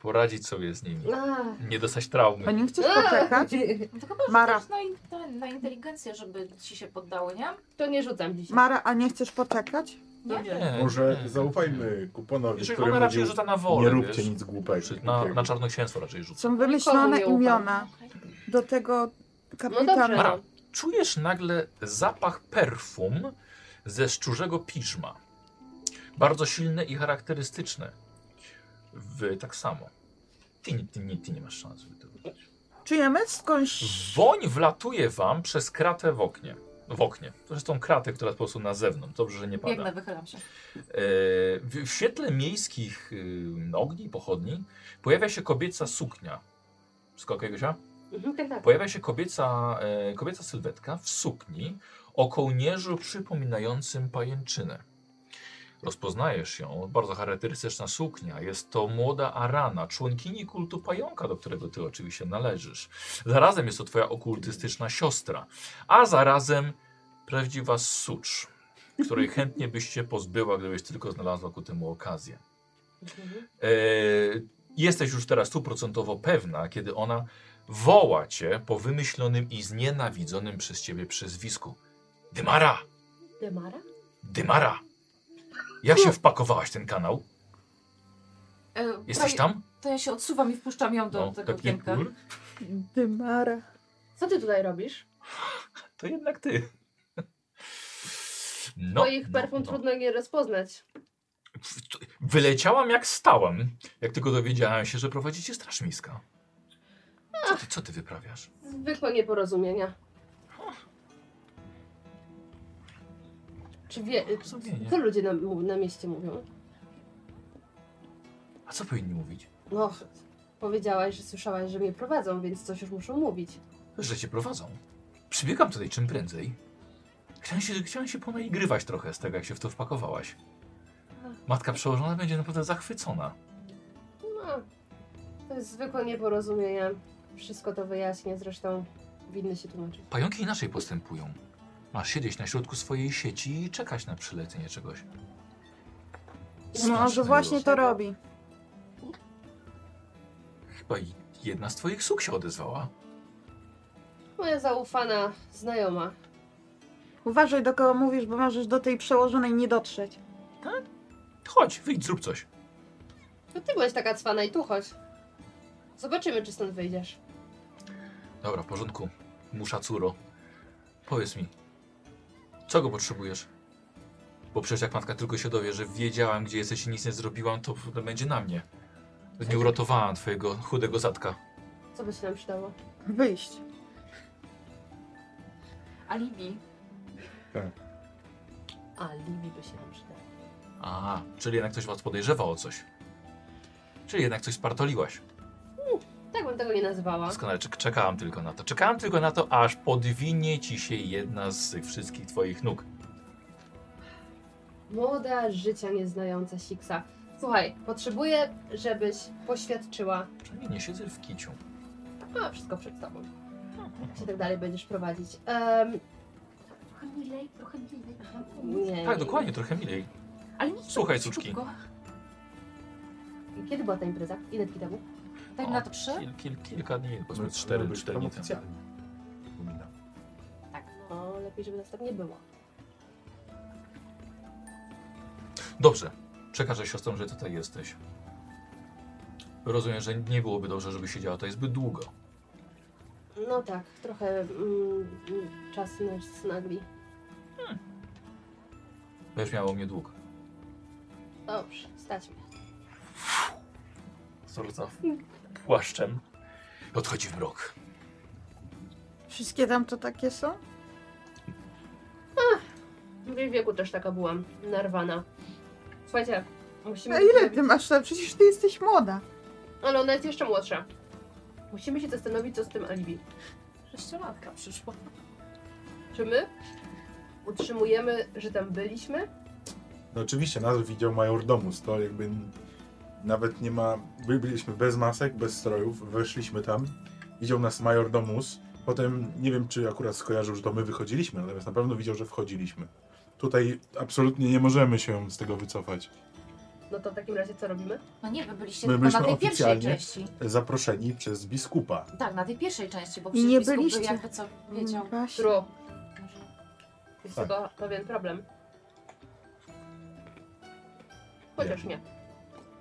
Speaker 2: Poradzić sobie z nimi.
Speaker 1: A,
Speaker 2: Nie dostać traumy.
Speaker 4: Pani chcesz poczekać?
Speaker 1: Eee.
Speaker 5: No to chyba
Speaker 4: Mara.
Speaker 5: rzucasz na, in- na, na inteligencję, żeby ci się poddały, nie?
Speaker 1: to nie rzucam dzisiaj.
Speaker 4: Mara, a nie chcesz poczekać?
Speaker 2: Nie,
Speaker 7: Może
Speaker 2: nie.
Speaker 7: zaufajmy kuponowi,
Speaker 2: Jeżeli
Speaker 7: który
Speaker 2: ona raczej
Speaker 7: mówił,
Speaker 2: rzuca na wolę,
Speaker 7: nie róbcie
Speaker 2: wiesz,
Speaker 7: nic głupego.
Speaker 2: Przy- Na, na czarnoksięstwo raczej rzuca.
Speaker 4: Są
Speaker 1: Nikomu
Speaker 4: wymyślone
Speaker 1: nie ufam.
Speaker 4: imiona
Speaker 5: No, Okej.
Speaker 4: do tego
Speaker 1: No dobrze.
Speaker 4: kapitana.
Speaker 2: Mara, czujesz nagle zapach perfum ze szczurzego piżma. Bardzo silne i charakterystyczne. W, tak samo. Ty, nie- ty, nie- ty nie masz szans wydobyć.
Speaker 4: Czujemy skądś
Speaker 2: Woń wlatuje wam przez kratę w oknie. W oknie. Zresztą kratę, która po prostu na zewnątrz. Dobrze, że nie pada.
Speaker 5: Biegnę, wychylam się.
Speaker 2: E, W, w świetle miejskich y, ogni, pochodni, pojawia się kobieca suknia. Wszystko okej, Gosia?
Speaker 1: Mhm, tak, tak.
Speaker 2: Pojawia się kobieca, e, kobieca sylwetka w sukni o kołnierzu przypominającym pajęczynę. Rozpoznajesz ją, bardzo charakterystyczna suknia. Jest to młoda Arana, członkini kultu pająka, do którego ty oczywiście należysz. Zarazem jest to twoja okultystyczna siostra, a zarazem prawdziwa sucz, której chętnie byś się pozbyła, gdybyś tylko znalazła ku temu okazję.
Speaker 1: Mhm.
Speaker 2: E, jesteś już teraz stuprocentowo pewna, kiedy ona woła cię po wymyślonym i znienawidzonym przez ciebie przyzwisku. Dymara!
Speaker 1: Demara?
Speaker 2: Dymara! Jak
Speaker 5: Hm.
Speaker 2: się wpakowałaś w ten kanał?
Speaker 5: E,
Speaker 2: Jesteś
Speaker 5: to,
Speaker 2: tam? No,
Speaker 5: To ja się odsuwam i wpuszczam ją do tego
Speaker 2: taki
Speaker 5: okienka.
Speaker 2: ból.
Speaker 4: dymara.
Speaker 1: Co ty tutaj robisz?
Speaker 2: To jednak ty. No,
Speaker 1: Twoich perfum trudno nie rozpoznać.
Speaker 2: Wyleciałam jak stałam, jak tylko dowiedziałam się, że prowadzicie straż miejska. Co ty, co ty wyprawiasz?
Speaker 1: Zwykłe nieporozumienia. Czy wie...
Speaker 5: Y,
Speaker 2: Porozumienie.
Speaker 1: Co ludzie na, na mieście mówią?
Speaker 2: A co powinni mówić?
Speaker 1: No, powiedziałaś, że słyszałaś, że mnie prowadzą, więc coś już muszą mówić.
Speaker 2: że cię prowadzą. Przybiegam tutaj czym prędzej. Chciałem się, chciałem się ponaigrywać trochę z tego, jak się w to wpakowałaś. Matka przełożona będzie naprawdę zachwycona.
Speaker 1: No, to jest zwykłe nieporozumienie. Wszystko to wyjaśnię, zresztą winny się tłumaczyć.
Speaker 2: Pająki inaczej postępują. Masz siedzieć na środku swojej sieci i czekać na przylecenie czegoś.
Speaker 4: No, że
Speaker 2: Smacznego.
Speaker 4: właśnie to robi.
Speaker 2: Chyba i jedna z twoich suk się odezwała.
Speaker 1: Moja zaufana znajoma.
Speaker 4: Uważaj, do kogo mówisz, bo możesz do tej przełożonej nie dotrzeć.
Speaker 2: Chodź, wyjdź, zrób coś.
Speaker 1: To ty byłaś taka cwana i tu chodź. Zobaczymy, czy stąd wyjdziesz.
Speaker 2: Dobra, w porządku. Musza córo. Powiedz mi, czego potrzebujesz? Bo przecież jak matka tylko się dowie, że wiedziałam, gdzie jesteś i nic nie zrobiłam, to potem będzie na mnie. Że Nie uratowałam twojego chudego zadka.
Speaker 1: Co by się nam przydało?
Speaker 4: Wyjść.
Speaker 5: Alibi.
Speaker 1: A, Libi by się nam przydało.
Speaker 2: A, czyli jednak ktoś was podejrzewa o coś. Czyli jednak coś spartoliłaś.
Speaker 1: Tak bym tego nie nazywała.
Speaker 2: Doskonale, czek- czekałam tylko na to. Czekałam tylko na to, aż podwinie ci się jedna z tych wszystkich twoich nóg.
Speaker 1: Młoda, życia nieznająca Siksa. Słuchaj, potrzebuję, żebyś poświadczyła.
Speaker 2: Przynajmniej nie siedzę w kiciu.
Speaker 1: A, wszystko przed tobą. Jak się tak dalej będziesz prowadzić. Em,
Speaker 5: Trochę milej, trochę milej. trochę milej.
Speaker 1: nie.
Speaker 2: Tak, dokładnie, trochę milej.
Speaker 5: Ale nie
Speaker 2: Słuchaj,
Speaker 5: szybko.
Speaker 2: córki.
Speaker 1: Kiedy była ta impreza? Ile dni temu?
Speaker 5: Tak
Speaker 2: O,
Speaker 5: na to trzy?
Speaker 2: Kil, kil, kilka dni,
Speaker 7: Ma-
Speaker 2: powiedzmy
Speaker 7: ma
Speaker 2: cztery,
Speaker 7: być
Speaker 2: cztery
Speaker 7: tam
Speaker 2: dni temu.
Speaker 7: oficjalnie. Przypominam.
Speaker 5: Tak.
Speaker 1: No, lepiej, żeby nas tak nie było.
Speaker 2: Dobrze. Przekażę siostrom, że tutaj jesteś. Rozumiem, że nie byłoby dobrze, żeby siedziała tutaj zbyt długo.
Speaker 1: No tak, trochę mm, mm, czas nas nagli.
Speaker 2: Będziesz miała mnie dług.
Speaker 1: Dobrze, stać mnie.
Speaker 2: Sorca płaszczem. Odchodzi w mrok.
Speaker 4: Wszystkie tam to takie są?
Speaker 1: W jej wieku też taka byłam, narwana. Słuchajcie, musimy...
Speaker 4: A ile ty
Speaker 1: zrobić-
Speaker 4: masz lat? Przecież ty jesteś młoda.
Speaker 1: Ale ona jest jeszcze młodsza. Musimy się zastanowić, co z tym alibi.
Speaker 5: Sześciolatka przyszła.
Speaker 1: Czy my utrzymujemy, że tam byliśmy?
Speaker 7: No oczywiście, nas widział majordomus, to jakby nawet nie ma... By byliśmy bez masek, bez strojów, weszliśmy tam, widział nas majordomus, potem nie wiem, czy akurat skojarzył, że to my wychodziliśmy, natomiast na pewno widział, że wchodziliśmy. Tutaj absolutnie nie możemy się z tego wycofać.
Speaker 1: No to w takim razie co robimy?
Speaker 5: No nie, wy byliście
Speaker 7: My
Speaker 5: tylko na tej
Speaker 7: byliśmy
Speaker 5: pierwszej
Speaker 7: oficjalnie.
Speaker 5: części.
Speaker 7: Zaproszeni przez biskupa.
Speaker 5: Tak, na tej pierwszej części, bo
Speaker 4: I
Speaker 5: przecież
Speaker 4: nie
Speaker 5: biskup by
Speaker 4: byliście.
Speaker 5: jakby co wiedział.
Speaker 4: No Właśnie.
Speaker 1: Tro,
Speaker 5: Może-
Speaker 1: jest
Speaker 7: Tak.
Speaker 1: tylko pewien problem. Chociaż nie.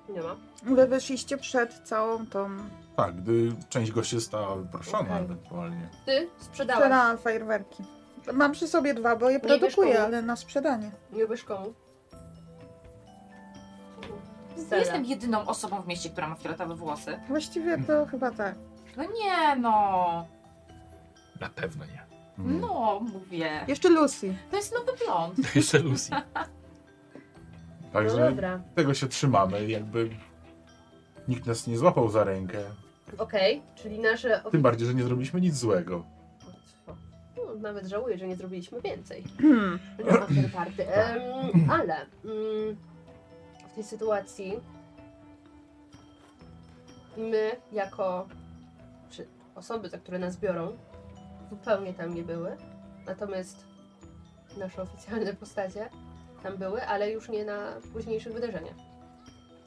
Speaker 1: Nie ma.
Speaker 4: Wy wyszliście przed całą tą...
Speaker 7: Tak, gdy część gości została wyproszona
Speaker 1: Okej.
Speaker 7: ewentualnie.
Speaker 1: Ty sprzedałaś.
Speaker 4: Sprzedałam fajerwerki. Mam przy sobie dwa, bo je
Speaker 1: Nie wiesz
Speaker 4: produkuję,
Speaker 1: komu.
Speaker 4: ale na sprzedanie.
Speaker 1: Nie wiesz komu.
Speaker 5: Nie
Speaker 1: Stella.
Speaker 5: jestem jedyną osobą w mieście, która ma fioletowe włosy.
Speaker 4: Właściwie to chyba tak.
Speaker 5: No nie no,
Speaker 2: Na pewno nie.
Speaker 7: Mm.
Speaker 5: no mówię.
Speaker 4: Jeszcze Lucy.
Speaker 5: To jest nowy blond.
Speaker 2: To jest iluzja.
Speaker 1: No
Speaker 7: Także
Speaker 1: dobra.
Speaker 7: tego się trzymamy, jakby nikt nas nie złapał za rękę.
Speaker 1: Okej, czyli nasze...
Speaker 7: Tym bardziej, że nie zrobiliśmy nic złego.
Speaker 1: No, nawet żałuję, że nie zrobiliśmy więcej.
Speaker 4: Hmm.
Speaker 1: Będzie after party. Em, ale mm, w tej sytuacji my, jako czy osoby, za które nas biorą, zupełnie tam nie były. Natomiast nasze oficjalne postacie tam były, ale już nie na późniejszych wydarzeniach.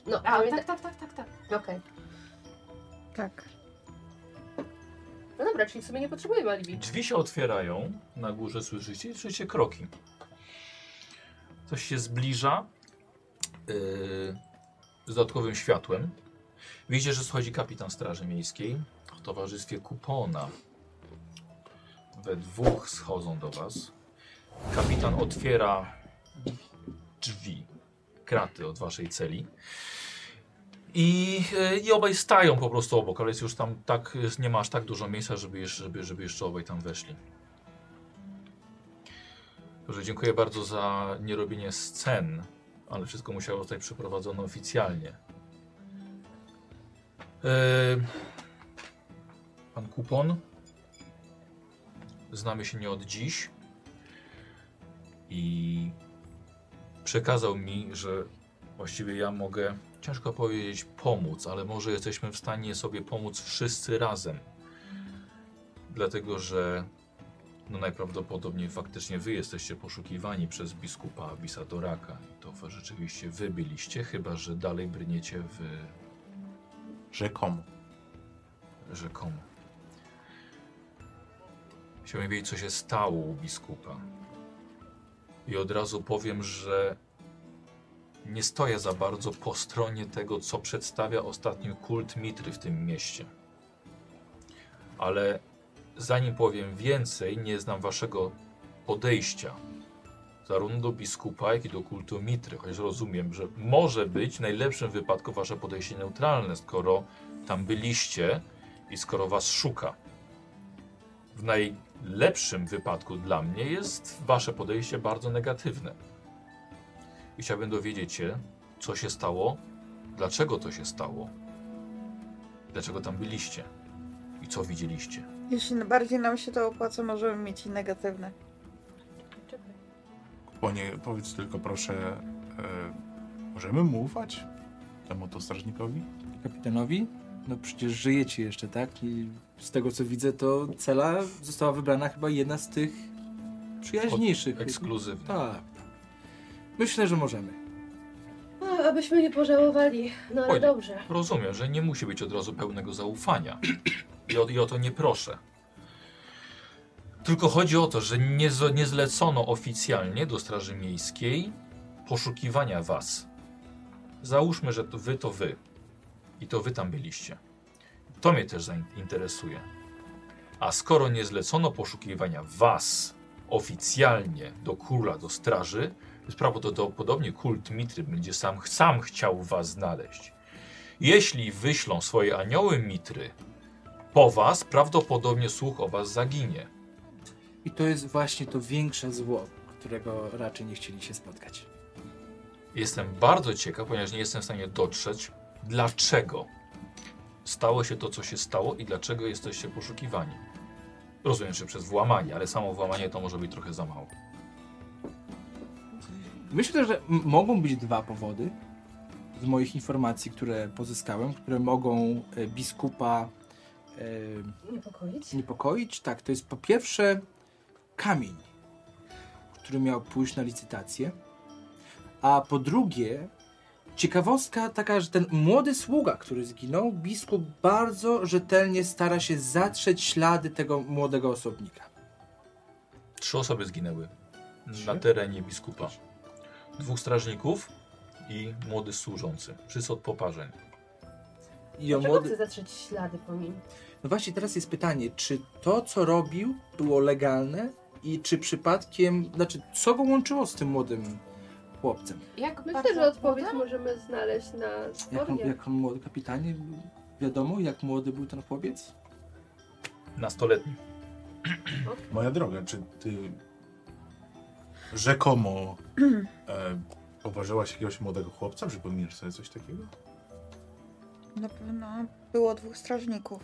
Speaker 1: No,
Speaker 5: A,
Speaker 1: ale
Speaker 5: tak, tak, tak, tak, tak.
Speaker 1: okej.
Speaker 4: Tak.
Speaker 1: No dobra, czyli w sumie nie potrzebujemy alibi.
Speaker 2: Drzwi się otwierają, na górze słyszycie, i słyszycie kroki. Coś się zbliża yy, z dodatkowym światłem. Widzicie, że schodzi kapitan Straży Miejskiej w towarzystwie kupona. We dwóch schodzą do was. Kapitan otwiera drzwi, kraty od waszej celi. I, e, I obaj stają po prostu obok, ale jest już tam tak, jest- nie ma aż tak dużo miejsca, żeby jeszcze, żeby, żeby jeszcze obaj tam weszli. Dobrze, dziękuję bardzo za nierobienie scen, ale wszystko musiało zostać przeprowadzone oficjalnie. E, pan Kupon, znamy się nie od dziś i przekazał mi, że właściwie ja mogę ciężko powiedzieć pomóc, ale może jesteśmy w stanie sobie pomóc wszyscy razem. Dlatego, że no najprawdopodobniej faktycznie wy jesteście poszukiwani przez biskupa Abisadoraka. I to rzeczywiście wy byliście, chyba że dalej brniecie w
Speaker 3: Rzekomo.
Speaker 2: rzekomo. Chciałbym wiedzieć, co się stało u biskupa. I od razu powiem, że nie stoję za bardzo po stronie tego, co przedstawia ostatnio kult Mitry w tym mieście. Ale zanim powiem więcej, nie znam waszego podejścia. Zarówno do biskupa, jak i do kultu Mitry. Chociaż rozumiem, że może być w najlepszym wypadku wasze podejście neutralne, skoro tam byliście i skoro was szuka. W najlepszym wypadku dla mnie jest wasze podejście bardzo negatywne. I chciałbym dowiedzieć się, co się stało, dlaczego to się stało, dlaczego tam byliście i co widzieliście.
Speaker 4: Jeśli bardziej nam się to opłaca, możemy mieć i negatywne.
Speaker 1: Czekaj.
Speaker 3: Kuponie, powiedz tylko proszę, e, możemy mu ufać? Temu to strażnikowi?
Speaker 6: Kapitanowi? No przecież żyjecie jeszcze, tak? I z tego co widzę, to cela została wybrana chyba jedna z tych przyjaźniejszych.
Speaker 2: Ekskluzywne.
Speaker 6: Tak. Myślę, że możemy.
Speaker 1: O, No, abyśmy nie pożałowali. No ale
Speaker 2: Oj.
Speaker 1: dobrze.
Speaker 2: Rozumiem, że nie musi być od razu pełnego zaufania. I o, i o to nie proszę. Tylko chodzi o to, że nie, z- nie zlecono oficjalnie do Straży Miejskiej poszukiwania was. Załóżmy, że to wy to wy. I to wy tam byliście. To mnie też zainteresuje. A skoro nie zlecono poszukiwania was oficjalnie do króla, do straży, to prawdopodobnie kult Mitry będzie sam, sam chciał was znaleźć. Jeśli wyślą swoje anioły mitry, po was prawdopodobnie słuch o was zaginie.
Speaker 6: I to jest właśnie to większe zło, którego raczej nie chcieli się spotkać.
Speaker 2: Jestem bardzo ciekaw, ponieważ nie jestem w stanie dotrzeć, dlaczego stało się to, co się stało i dlaczego jesteście poszukiwani. Rozumiem, że przez włamanie, ale samo włamanie to może być trochę za mało.
Speaker 6: Myślę, że m- mogą być dwa powody z moich informacji, które pozyskałem, które mogą e, biskupa e,
Speaker 1: Niepokoić?
Speaker 6: niepokoić. Tak, to jest po pierwsze kamień, który miał pójść na licytację, a po drugie ciekawostka taka, że ten młody sługa, który zginął, biskup bardzo rzetelnie stara się zatrzeć ślady tego młodego osobnika.
Speaker 2: Trzy osoby zginęły na
Speaker 6: Trzy?
Speaker 2: terenie biskupa. Dwóch strażników i młody służący. Wszyscy od poparzeń.
Speaker 6: I o
Speaker 1: Dlaczego
Speaker 6: młody-
Speaker 1: chce zatrzeć ślady po nim?
Speaker 6: No właśnie, teraz jest pytanie, czy to, co robił, było legalne i czy przypadkiem, znaczy, co go łączyło z tym młodym chłopcem?
Speaker 5: Jak
Speaker 1: Myślę,
Speaker 5: bardzo
Speaker 1: że odpowiedź
Speaker 5: młody?
Speaker 1: możemy znaleźć na
Speaker 6: Jak on,
Speaker 1: stronie.
Speaker 6: jak on młody, kapitanie, wiadomo, jak młody był ten chłopiec?
Speaker 2: Nastoletni.
Speaker 3: Moja droga, czy ty rzekomo e, poważyłaś jakiegoś młodego chłopca? Przypominasz sobie coś takiego?
Speaker 4: Na pewno było dwóch strażników.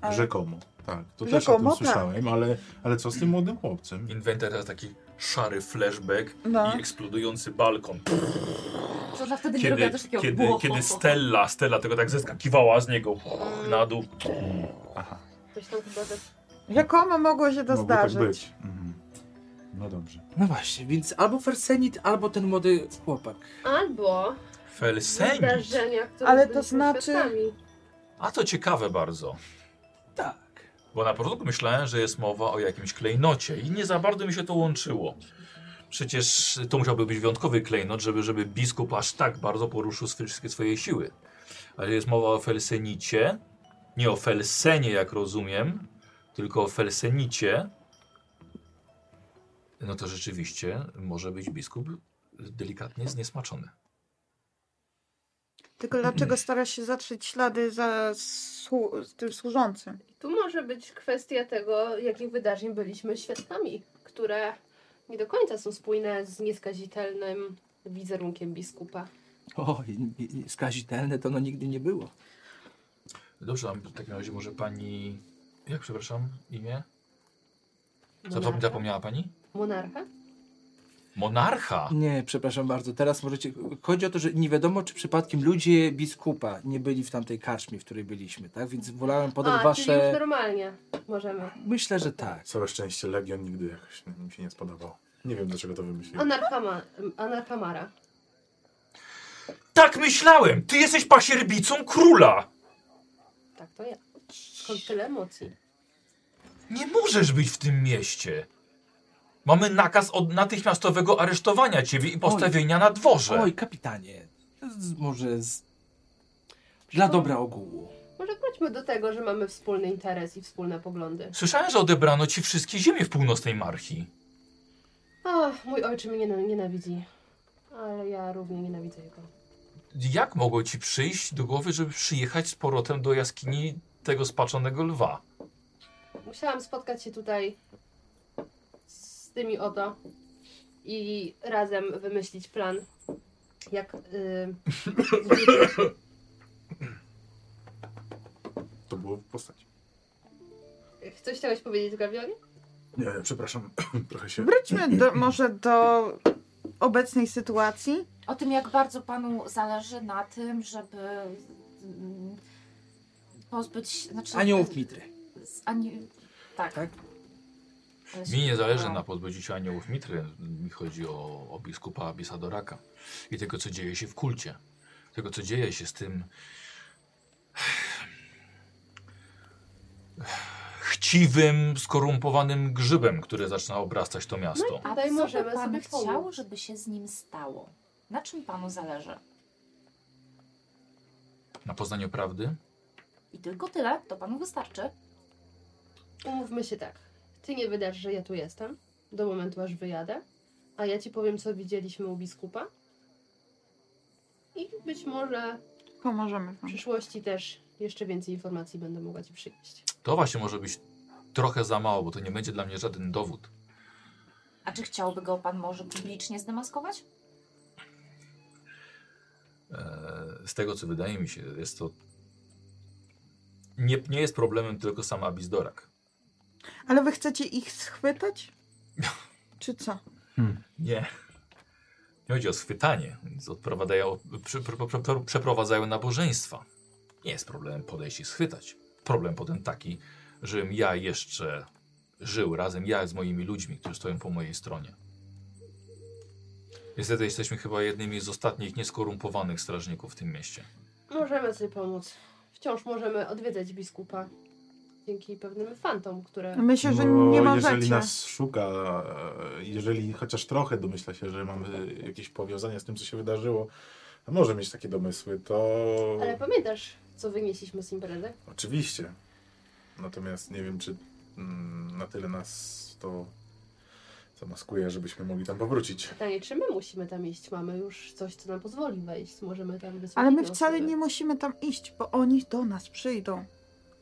Speaker 4: Ale-
Speaker 3: Rzekomo, tak. To też o tym
Speaker 4: Rzekomo, tak.
Speaker 3: słyszałem, ale, ale co z tym młodym chłopcem?
Speaker 2: Inwentarz teraz taki szary flashback
Speaker 4: No.
Speaker 2: i eksplodujący balkon.
Speaker 5: To ona wtedy nie robiła
Speaker 2: Kiedy,
Speaker 5: też takiego
Speaker 2: kiedy,
Speaker 5: błoch,
Speaker 2: kiedy
Speaker 5: błoch, błoch.
Speaker 2: Stella, Stella tego tak zeskakiwała z niego na dół.
Speaker 3: Aha,
Speaker 1: Ktoś tam chyba ze
Speaker 4: Rzekomo mogło się to
Speaker 3: mogło tak
Speaker 4: zdarzyć.
Speaker 3: być. Mhm. No dobrze.
Speaker 6: No właśnie, więc albo Fersenit, albo ten młody chłopak.
Speaker 1: Albo
Speaker 7: No
Speaker 2: Felsenit.
Speaker 1: wydarzenia, które
Speaker 4: Ale to
Speaker 1: byliśmy
Speaker 4: znaczy-
Speaker 1: świadkami.
Speaker 2: A to ciekawe bardzo.
Speaker 6: Tak.
Speaker 2: Bo na początku myślałem, że jest mowa o jakimś klejnocie i nie za bardzo mi się to łączyło. Przecież to musiałby być wyjątkowy klejnot, żeby, żeby biskup aż tak bardzo poruszył swe- wszystkie swoje siły. Ale jest mowa o felsenicie, nie o felsenie jak rozumiem, tylko o felsenicie. No to rzeczywiście może być biskup delikatnie zniesmaczony.
Speaker 4: Tylko dlaczego stara się zatrzeć ślady za słu tym służącym?
Speaker 1: Tu może być kwestia tego, jakich wydarzeń byliśmy świadkami, które nie do końca są spójne z nieskazitelnym wizerunkiem biskupa.
Speaker 6: O, i- i- i skazitelne to no nigdy nie było.
Speaker 2: Dobrze, a w takim razie może pani... Jak przepraszam, imię?
Speaker 1: Monarcha?
Speaker 2: Zap- Zapomniała pani?
Speaker 1: Monarcha?
Speaker 2: Monarcha!
Speaker 6: Nie, przepraszam bardzo, teraz możecie... Chodzi o to, że nie wiadomo, czy przypadkiem ludzie biskupa nie byli w tamtej karczmie, w której byliśmy, tak? Więc wolałem podać
Speaker 1: A, czyli już
Speaker 6: wasze...
Speaker 1: normalnie możemy.
Speaker 6: Myślę, że tak.
Speaker 7: Całe szczęście Legion nigdy jakoś mi się nie spodobał. Nie wiem dlaczego to wymyśliłem.
Speaker 1: Anarchama, anarchamara.
Speaker 2: Tak myślałem! Ty jesteś pasierbicą króla!
Speaker 1: Tak to ja. Skąd tyle emocji?
Speaker 2: Nie możesz być w tym mieście! Mamy nakaz od natychmiastowego aresztowania ciebie i postawienia na dworze.
Speaker 6: Oj, kapitanie, z, może z... dla dobra ogółu.
Speaker 1: Może wróćmy do tego, że mamy wspólny interes i wspólne poglądy.
Speaker 2: Słyszałem, że odebrano ci wszystkie ziemie w północnej marchi.
Speaker 1: Ach, mój ojcze mnie niena- nienawidzi. Ale ja równie nienawidzę jego.
Speaker 2: Jak mogło ci przyjść do głowy, żeby przyjechać z powrotem do jaskini tego spaczonego lwa?
Speaker 1: Musiałam spotkać się tutaj z tymi oto i razem wymyślić plan, jak. Yy,
Speaker 7: To było w postaci.
Speaker 1: coś chciałeś powiedzieć, Gawioli?
Speaker 7: Nie, nie, przepraszam, trochę się...
Speaker 4: Wróćmy do, może do obecnej sytuacji.
Speaker 5: O tym, jak bardzo panu zależy na tym, żeby mm, pozbyć... Znaczy,
Speaker 6: Aniołów Mitry.
Speaker 5: z ani... Tak.
Speaker 6: Tak?
Speaker 5: Ale się-
Speaker 2: Mi nie zależy
Speaker 5: no.
Speaker 2: na pozbyciu się aniołów Mitry. Mi chodzi o, o biskupa Abisadoraka i tego, co dzieje się w kulcie. Tego, co dzieje się z tym chciwym, skorumpowanym grzybem, który zaczyna obrastać to miasto.
Speaker 5: A
Speaker 1: Tutaj
Speaker 5: co
Speaker 1: możemy
Speaker 5: by pan
Speaker 1: sobie pomóc.
Speaker 5: chciał, żeby się z nim stało? Na czym panu zależy?
Speaker 2: Na poznaniu prawdy?
Speaker 5: I tylko tyle, to panu wystarczy.
Speaker 1: Umówmy się tak. Ty nie wydasz, że ja tu jestem, do momentu aż wyjadę, a ja ci powiem, co widzieliśmy u biskupa. I być może
Speaker 4: Pomożemy
Speaker 1: w
Speaker 4: wam.
Speaker 1: przyszłości też jeszcze więcej informacji będę mogła ci przynieść.
Speaker 2: To właśnie może być trochę za mało, bo to nie będzie dla mnie żaden dowód.
Speaker 5: A czy chciałby go pan może publicznie zdemaskować?
Speaker 2: E, Z tego, co wydaje mi się, jest to nie, nie jest problemem tylko sama Abizdorak.
Speaker 4: Ale wy chcecie ich schwytać? Czy co?
Speaker 2: Nie. Nie chodzi o schwytanie. Więc Odprowadzają, przy- pr- pr- pr- przeprowadzają nabożeństwa. Nie jest problemem podejść i schwytać. Problem potem taki, żebym ja jeszcze żył razem, ja z moimi ludźmi, którzy stoją po mojej stronie. Niestety jesteśmy chyba jednymi z ostatnich nieskorumpowanych strażników w tym mieście.
Speaker 1: Możemy sobie pomóc. Wciąż możemy odwiedzać biskupa. Dzięki pewnym fantom, które...
Speaker 4: Myślę, że
Speaker 7: No,
Speaker 4: nie
Speaker 7: jeżeli
Speaker 4: możecie.
Speaker 7: nas szuka, e, jeżeli chociaż trochę domyśla się, że mamy jakieś powiązania z tym, co się wydarzyło, a może mieć takie domysły, to
Speaker 1: Ale pamiętasz, co wynieśliśmy z imprezy?
Speaker 7: oczywiście. Natomiast nie wiem, czy mm, na tyle nas to zamaskuje, żebyśmy mogli tam powrócić.
Speaker 1: Pytanie, czy my musimy tam iść? Mamy już coś, co nam pozwoli wejść. Możemy tam wysłać
Speaker 4: Ale my
Speaker 1: inne
Speaker 4: wcale
Speaker 1: osoby.
Speaker 4: nie musimy tam iść, bo oni do nas przyjdą.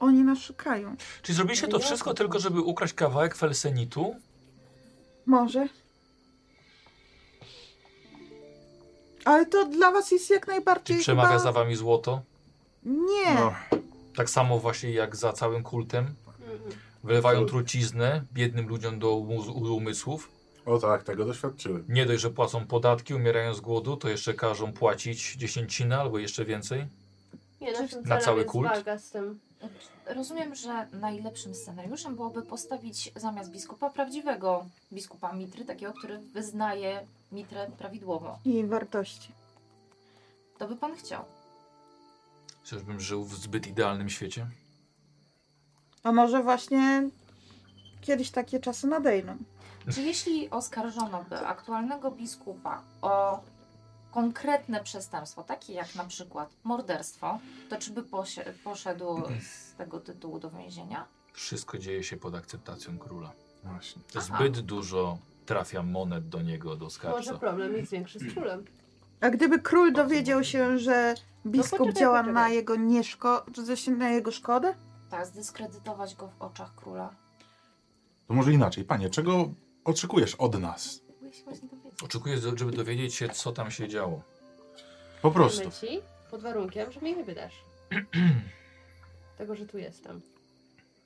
Speaker 4: Oni nas szukają.
Speaker 2: Czyli zrobiliście to wszystko tylko, żeby ukraść kawałek felsenitu?
Speaker 4: Może. Ale to dla was jest jak
Speaker 2: Czy
Speaker 4: najbardziej
Speaker 2: przemawia
Speaker 4: chyba...
Speaker 2: za wami złoto?
Speaker 4: Nie.
Speaker 7: No,
Speaker 2: Tak samo właśnie jak za całym kultem?
Speaker 1: Mhm.
Speaker 2: Wylewają
Speaker 7: Absolutnie.
Speaker 2: truciznę biednym ludziom do umuz- umysłów.
Speaker 7: o tak, tego doświadczyłem.
Speaker 2: Nie dość, że płacą podatki, umierają z głodu, to jeszcze każą płacić dziesięcinę albo jeszcze więcej.
Speaker 1: Nie, naszym na
Speaker 2: Na cały
Speaker 1: cały jest
Speaker 2: kult?
Speaker 1: walka z tym.
Speaker 5: Rozumiem, że najlepszym scenariuszem byłoby postawić zamiast biskupa prawdziwego biskupa Mitry, takiego, który wyznaje Mitrę prawidłowo.
Speaker 4: Jej wartości.
Speaker 5: To by pan chciał.
Speaker 2: Czyżbym żył w zbyt idealnym świecie?
Speaker 4: A może właśnie kiedyś takie czasy nadejdą.
Speaker 5: Czy jeśli oskarżono by aktualnego biskupa o konkretne przestępstwo, takie jak na przykład morderstwo, to czy by posie- poszedł z tego tytułu do więzienia?
Speaker 2: Wszystko dzieje się pod akceptacją króla.
Speaker 7: Właśnie.
Speaker 2: Zbyt dużo trafia monet do niego, do
Speaker 1: Może
Speaker 2: skarbca.
Speaker 1: problem jest większy z królem.
Speaker 4: A gdyby król dowiedział się, że biskup
Speaker 1: No, poczekaj,
Speaker 4: działa
Speaker 1: poczekaj.
Speaker 4: na jego nieszko... że na jego szkodę?
Speaker 5: Tak, zdyskredytować go w oczach króla.
Speaker 3: To może inaczej. Panie, czego oczekujesz od nas?
Speaker 5: Próbuję się właśnie dowiedzieć.
Speaker 2: Oczekuję, żeby dowiedzieć się, co tam się działo.
Speaker 3: Po prostu.
Speaker 1: Damy ci, pod warunkiem, że mnie nie wydasz. Tego, że tu jestem.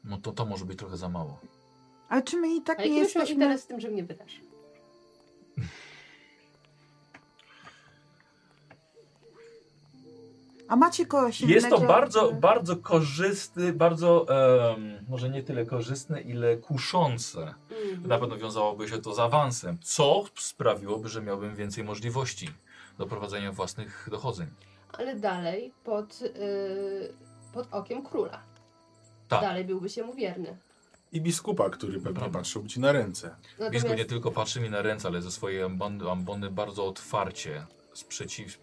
Speaker 2: No to to może być trochę za mało.
Speaker 4: Ale czy my i tak
Speaker 1: A
Speaker 4: nie
Speaker 1: jaki już miał
Speaker 4: jesteśmy...
Speaker 1: interes w tym, że mnie wydasz?
Speaker 4: A macie kogoś
Speaker 2: Jest to
Speaker 4: innego?
Speaker 2: bardzo,
Speaker 4: że-
Speaker 2: bardzo korzystny, bardzo em, może nie tyle korzystne, ile kuszące.
Speaker 1: Mhm.
Speaker 2: Na pewno wiązałoby się to z awansem, co sprawiłoby, że miałbym więcej możliwości do prowadzenia własnych dochodzeń.
Speaker 1: Ale dalej pod, y, pod okiem króla.
Speaker 2: Tak.
Speaker 1: Dalej byłby się mu wierny.
Speaker 7: I biskupa, który pewnie
Speaker 2: Dobra.
Speaker 7: patrzył ci na ręce.
Speaker 2: Biskup nie
Speaker 1: Natomiast
Speaker 2: tylko patrzy mi na ręce, ale ze swojej ambony, ambony bardzo otwarcie sprzeciw...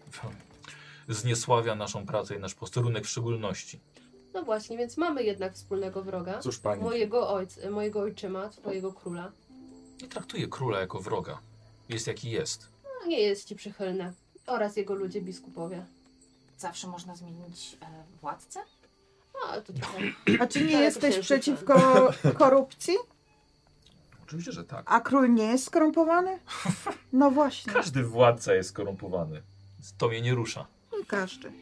Speaker 2: zniesławia naszą pracę i nasz posterunek w szczególności.
Speaker 1: No właśnie, więc mamy jednak wspólnego wroga.
Speaker 7: Cóż, pani,
Speaker 1: Mojego ojca, mojego ojczyma, twojego króla.
Speaker 2: Nie traktuje króla jako wroga. Jest jaki jest.
Speaker 1: No, nie jest ci przychylny. Oraz jego ludzie biskupowie.
Speaker 5: Zawsze można zmienić e, władcę?
Speaker 1: No, to tutaj.
Speaker 4: A czy nie
Speaker 1: Ale Tak, to
Speaker 4: jesteś
Speaker 1: się
Speaker 4: przeciwko korupcji?
Speaker 2: Oczywiście, że tak.
Speaker 4: A król nie jest skorumpowany? No właśnie,
Speaker 2: Każdy władca jest skorumpowany. To mnie nie rusza.
Speaker 4: każdy.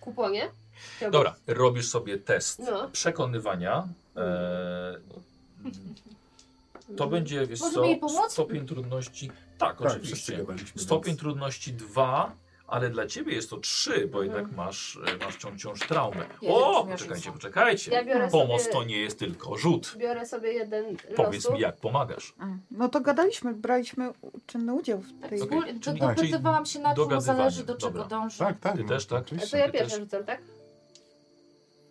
Speaker 1: Kuponie? Chciałbyś-
Speaker 2: Dobra, robisz sobie test
Speaker 1: No.
Speaker 2: przekonywania. E, to
Speaker 1: Mhm.
Speaker 2: będzie, wiesz
Speaker 5: Możemy
Speaker 2: co,
Speaker 5: jej pomóc?
Speaker 2: stopień trudności... Tak,
Speaker 7: tak, wszyscy
Speaker 2: oczywiście.
Speaker 7: gadaliśmy.
Speaker 2: Stopień
Speaker 7: więc-
Speaker 2: trudności 2, ale dla ciebie jest to 3, bo
Speaker 1: Mhm.
Speaker 2: jednak masz, e, masz wciąż, wciąż traumę.
Speaker 5: Ja
Speaker 2: O,
Speaker 5: wiem, że
Speaker 2: poczekajcie,
Speaker 5: są.
Speaker 1: Ja
Speaker 2: poczekajcie.
Speaker 1: biorę
Speaker 2: Pomoc
Speaker 1: sobie,
Speaker 2: to nie jest tylko rzut.
Speaker 1: Biorę sobie jeden
Speaker 2: Powiedz
Speaker 1: losu.
Speaker 2: mi, jak pomagasz.
Speaker 4: A, No to gadaliśmy, braliśmy u- czynny udział w
Speaker 5: Tak,
Speaker 4: tej...
Speaker 2: Okej.
Speaker 5: okay.
Speaker 2: czyli-
Speaker 5: Dogadywałam się na czym
Speaker 2: dogadywanie,
Speaker 5: zależy, do czego
Speaker 2: dobra.
Speaker 5: dążę.
Speaker 3: Tak, tak.
Speaker 2: Ty
Speaker 3: no,
Speaker 2: też, tak?
Speaker 1: A
Speaker 3: oczywiście.
Speaker 1: to ja
Speaker 2: Ty
Speaker 1: pierwsza
Speaker 2: też.
Speaker 1: rzucam, tak?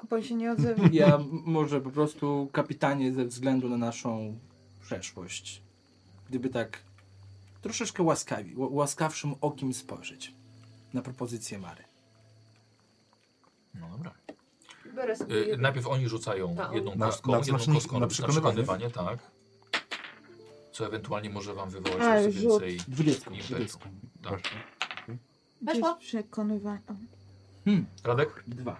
Speaker 4: Bo się nie odzywa.
Speaker 6: Ja m- może po prostu kapitanie ze względu na naszą przeszłość. Gdyby tak troszeczkę łaskawi, ł- łaskawszym okiem spojrzeć na propozycję Mary.
Speaker 2: No dobra.
Speaker 1: Biorę sobie.
Speaker 2: Y,
Speaker 1: jeden.
Speaker 2: najpierw oni rzucają
Speaker 1: Tak,
Speaker 2: jedną
Speaker 7: Na-
Speaker 2: kostką,
Speaker 7: na
Speaker 2: jedną
Speaker 7: znacznik-
Speaker 2: kostką
Speaker 7: na
Speaker 2: robisz na
Speaker 7: przekonywanie.
Speaker 2: przekonywanie, tak. Co ewentualnie może wam wywołać
Speaker 4: Ale
Speaker 2: jeszcze
Speaker 4: rzut.
Speaker 2: więcej
Speaker 6: 20.
Speaker 2: impetu.
Speaker 6: 20.
Speaker 2: Tak.
Speaker 5: Weszło?
Speaker 4: Przekonywa...
Speaker 2: Radek?
Speaker 6: Dwa.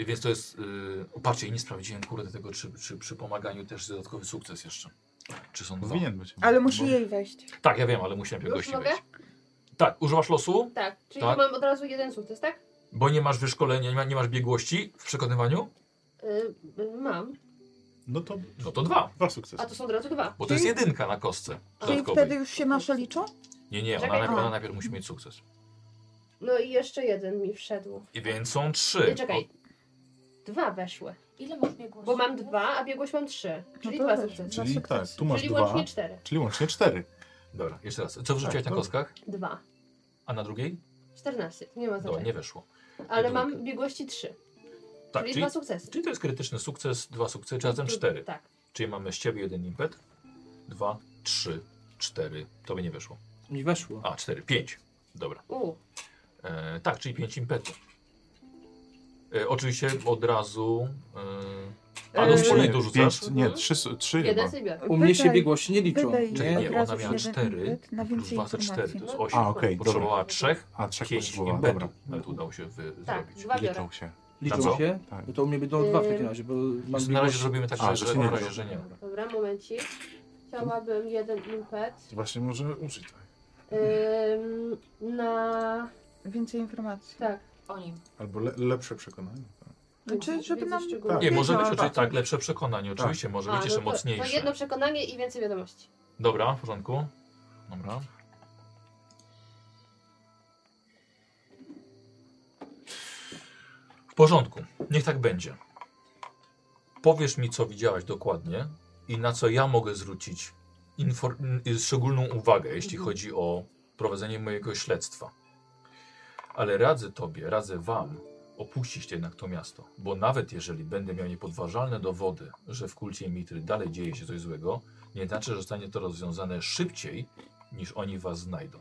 Speaker 2: Y, Więc to jest... Yy, patrzcie, i nie sprawdziłem kurde tego, czy, czy przy pomaganiu też jest dodatkowy sukces jeszcze. Czy są dwa?
Speaker 3: Powinien być.
Speaker 4: Ale musi
Speaker 3: Bo-
Speaker 4: jej wejść.
Speaker 2: Tak, ja wiem, ale musiałem najpierw
Speaker 1: Już
Speaker 2: gości
Speaker 1: mogę?
Speaker 2: wejść. Tak, używasz losu?
Speaker 1: Tak, czyli
Speaker 2: Tak.
Speaker 1: tu mam od razu jeden sukces, tak?
Speaker 2: Bo nie masz wyszkolenia, nie, ma, nie masz biegłości w przekonywaniu?
Speaker 1: Y, y, mam.
Speaker 3: No to
Speaker 2: No to dwa,
Speaker 3: dwa sukcesy.
Speaker 1: A to są od razu dwa.
Speaker 2: bo to jest jedynka na kostce
Speaker 4: Czyli
Speaker 2: dodatkowej.
Speaker 4: wtedy już się nasze liczą?
Speaker 2: Nie, nie, ona,
Speaker 1: Czekaj,
Speaker 2: najpierw,
Speaker 4: a.
Speaker 2: ona najpierw musi mieć sukces.
Speaker 1: No i jeszcze jeden mi wszedł.
Speaker 2: I więc są
Speaker 1: Nie,
Speaker 2: trzy.
Speaker 1: czekaj. Dwa weszły.
Speaker 5: Ile masz biegłości?
Speaker 1: Bo mam dwa, a biegłość mam trzy. Czyli
Speaker 4: No to
Speaker 1: dwa
Speaker 4: też.
Speaker 1: sukcesy.
Speaker 3: Czyli
Speaker 4: sukcesy.
Speaker 3: tak, tu masz
Speaker 1: Czyli
Speaker 3: dwa,
Speaker 1: łącznie cztery.
Speaker 3: czyli łącznie cztery.
Speaker 2: O, dobra, jeszcze raz. Co wrzuciłaś
Speaker 3: Tak,
Speaker 2: na
Speaker 3: dobra.
Speaker 2: kostkach?
Speaker 1: Dwa.
Speaker 2: A na drugiej?
Speaker 1: Czternaście. No To nie ma
Speaker 2: Dobra,
Speaker 1: znaczenia.
Speaker 2: No, nie weszło.
Speaker 1: Ale
Speaker 2: dwójka.
Speaker 1: mam biegłości trzy.
Speaker 2: Tak,
Speaker 1: czyli
Speaker 2: czyli,
Speaker 1: dwa sukcesy.
Speaker 2: czyli to jest krytyczny sukces, dwa sukcesy, czyli razem cztery.
Speaker 1: Tak.
Speaker 2: Czyli mamy z ciebie jeden impet, dwa, trzy, cztery. To by nie weszło.
Speaker 6: Mi weszło.
Speaker 2: A, cztery, pięć. Dobra.
Speaker 1: U.
Speaker 2: E, tak, czyli pięć impetu. E, oczywiście od razu. E, a do
Speaker 1: Eee,
Speaker 2: wspólnej
Speaker 3: Nie,
Speaker 2: dorzucasz?
Speaker 3: pięć- Nie, trzy, su- trzy
Speaker 1: Mhm. Jeden
Speaker 3: chyba.
Speaker 1: sobie biorę.
Speaker 6: U mnie się
Speaker 4: Pytaj-
Speaker 6: biegłości nie liczą.
Speaker 4: Wydaj
Speaker 2: Czekaj,
Speaker 6: Nie?
Speaker 2: nie,
Speaker 4: od
Speaker 2: ona
Speaker 4: razu
Speaker 2: miała
Speaker 4: jeden
Speaker 2: cztery,
Speaker 4: impet na
Speaker 2: Plus
Speaker 4: więcej
Speaker 2: dwa, to cztery,
Speaker 4: informacji.
Speaker 2: to jest osiem.
Speaker 3: A, okej, dobra.
Speaker 2: Potrzebowała trzech,
Speaker 3: A trzech
Speaker 2: pięć
Speaker 3: potrzebowała,
Speaker 2: impetu.
Speaker 3: dobra.
Speaker 2: Nawet udało się wy,
Speaker 1: Tak,
Speaker 2: zrobić.
Speaker 1: dwa biorę.
Speaker 3: Liczą się.
Speaker 2: Na co?
Speaker 6: Liczą się?
Speaker 3: Tak.
Speaker 6: No to u mnie będą dwa w
Speaker 1: Ym,
Speaker 6: takim razie, bo mam
Speaker 2: Na razie
Speaker 6: biegłości.
Speaker 2: zrobimy tak,
Speaker 3: A,
Speaker 2: że, że,
Speaker 3: że się
Speaker 2: że,
Speaker 3: nie
Speaker 2: razie,
Speaker 3: liczą.
Speaker 2: że nie.
Speaker 1: Dobra, momencik. Chciałabym jeden impet
Speaker 3: Właśnie może użyć tak.
Speaker 1: ym, na...
Speaker 4: Więcej informacji.
Speaker 1: Tak.
Speaker 5: O nim.
Speaker 7: Albo le, lepsze przekonanie. tak.
Speaker 4: Znaczy, żeby
Speaker 1: Więcej
Speaker 4: nam...
Speaker 1: szczegółów.
Speaker 7: Tak.
Speaker 2: Nie, może być
Speaker 4: Wiedziała,
Speaker 2: oczywiście
Speaker 4: tak.
Speaker 2: tak, lepsze przekonanie, oczywiście, może
Speaker 1: A,
Speaker 2: być jeszcze
Speaker 1: no to,
Speaker 2: mocniejsze.
Speaker 1: To jedno przekonanie i więcej wiadomości.
Speaker 2: Dobra, w porządku. Dobra. W porządku, niech tak będzie. Powiesz mi, co widziałaś dokładnie i na co ja mogę zwrócić infor- y, szczególną uwagę, jeśli chodzi o prowadzenie mojego śledztwa. Ale radzę tobie, radzę wam opuścić jednak to miasto, bo nawet jeżeli będę miał niepodważalne dowody, że w kulcie Mitry dalej dzieje się coś złego, nie znaczy, że zostanie to rozwiązane szybciej, niż oni was znajdą.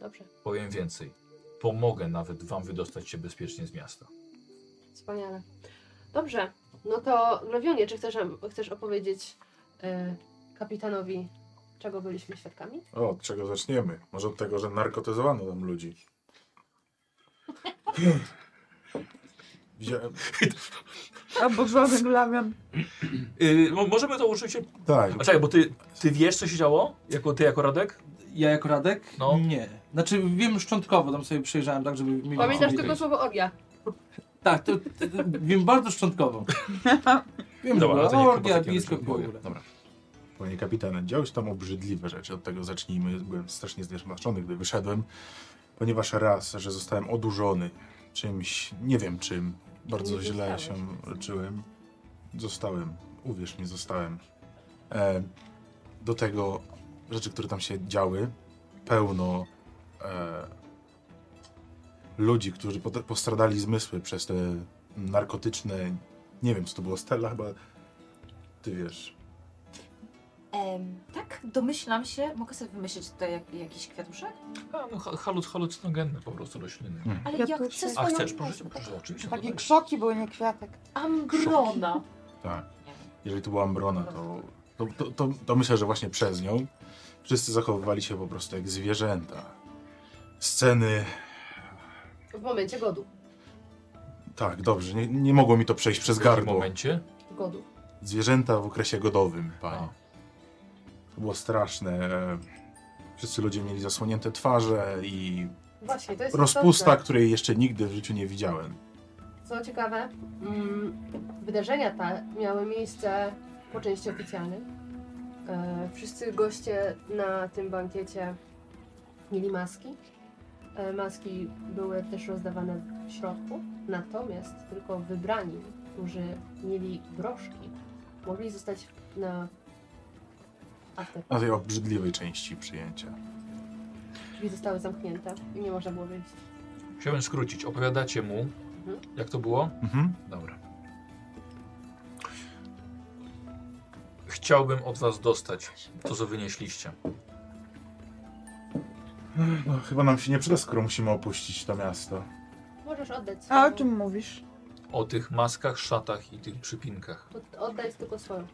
Speaker 1: Dobrze.
Speaker 2: Powiem więcej. Pomogę nawet wam wydostać się bezpiecznie z miasta.
Speaker 1: Wspaniale. Dobrze. No to Glowionie, czy chcesz, chcesz opowiedzieć y, kapitanowi, czego byliśmy świadkami?
Speaker 7: O, od czego zaczniemy? Może od tego, że narkotyzowano tam ludzi. Widziałem...
Speaker 4: Albo żony glamion.
Speaker 2: Y, możemy to oczywiście...
Speaker 3: Tak,
Speaker 2: A czekaj, bo ty, ty wiesz, co się działo? Jako, ty jako Radek?
Speaker 6: Ja jako Radek?
Speaker 2: No.
Speaker 6: Nie. Znaczy wiem szczątkowo, tam sobie przejrzałem tak, żeby mieli...
Speaker 1: Pamiętasz
Speaker 6: sobie-
Speaker 1: tylko słowo orgia.
Speaker 6: Tak, to, to, to wiem bardzo szczątkowo. Wiem, że
Speaker 2: Dobra,
Speaker 6: była
Speaker 2: to niech chyba
Speaker 6: orgia,
Speaker 2: takie
Speaker 6: blisko
Speaker 2: będzie
Speaker 6: w
Speaker 2: głowie.
Speaker 6: ogóle.
Speaker 3: Dobra. Panie kapitanie, działy się tam obrzydliwe rzeczy. Od tego zacznijmy. Byłem strasznie zniesmaczony, gdy wyszedłem, ponieważ raz, że zostałem odurzony czymś, nie wiem czym, bardzo
Speaker 1: Nie
Speaker 3: źle się
Speaker 1: zostałeś.
Speaker 3: leczyłem. Zostałem, uwierz mi, zostałem. E, do tego rzeczy, które tam się działy, pełno e, ludzi, którzy pot- postradali zmysły przez te narkotyczne, nie wiem co to było, Stella chyba, ty wiesz,
Speaker 5: Em, tak, domyślam się. Mogę sobie wymyślić tutaj jak, jakiś kwiatuszek?
Speaker 2: A, no, ha- haluc, halucynogenne po prostu rośliny.
Speaker 5: Ale ja
Speaker 4: Kwiatuszek.
Speaker 5: chcę
Speaker 2: A
Speaker 5: swoją
Speaker 2: chcesz? Proszę,
Speaker 5: nazwę, tak?
Speaker 2: proszę oczywiście.
Speaker 4: Takie
Speaker 2: dodaj.
Speaker 4: krzoki były, nie kwiatek.
Speaker 5: Amgrona.
Speaker 3: Tak. Jeżeli to była Ambrona, to, to, to, to, to myślę, że właśnie przez nią wszyscy zachowywali się po prostu jak zwierzęta. Sceny.
Speaker 1: W momencie godu.
Speaker 3: Tak, dobrze, nie, nie mogło mi to przejść przez
Speaker 2: W tym
Speaker 3: gardło.
Speaker 2: momencie?
Speaker 1: Godu.
Speaker 3: Zwierzęta w okresie godowym,
Speaker 2: A.
Speaker 3: panie. To było straszne. Wszyscy ludzie mieli zasłonięte twarze i
Speaker 1: Właśnie, to jest
Speaker 3: rozpusta,
Speaker 1: istotne.
Speaker 3: której jeszcze nigdy w życiu nie widziałem.
Speaker 1: Co ciekawe, mm, wydarzenia te miały miejsce po części oficjalnej. E, wszyscy goście na tym bankiecie mieli maski. E, maski były też rozdawane w środku. Natomiast tylko wybrani, którzy mieli broszki, mogli zostać na after.
Speaker 3: Na tej obrzydliwej części przyjęcia.
Speaker 1: Drzwi zostały zamknięte i nie można było wyjść.
Speaker 2: Chciałem skrócić. Opowiadacie mu, jak to było?
Speaker 3: Mhm.
Speaker 2: Dobra. Chciałbym od was dostać to, co wynieśliście.
Speaker 7: No, chyba nam się nie przyda, skoro musimy opuścić to miasto.
Speaker 1: Możesz oddać swoją.
Speaker 4: A o czym mówisz?
Speaker 2: O tych maskach, szatach i tych przypinkach.
Speaker 1: Od- Oddać tylko swoją.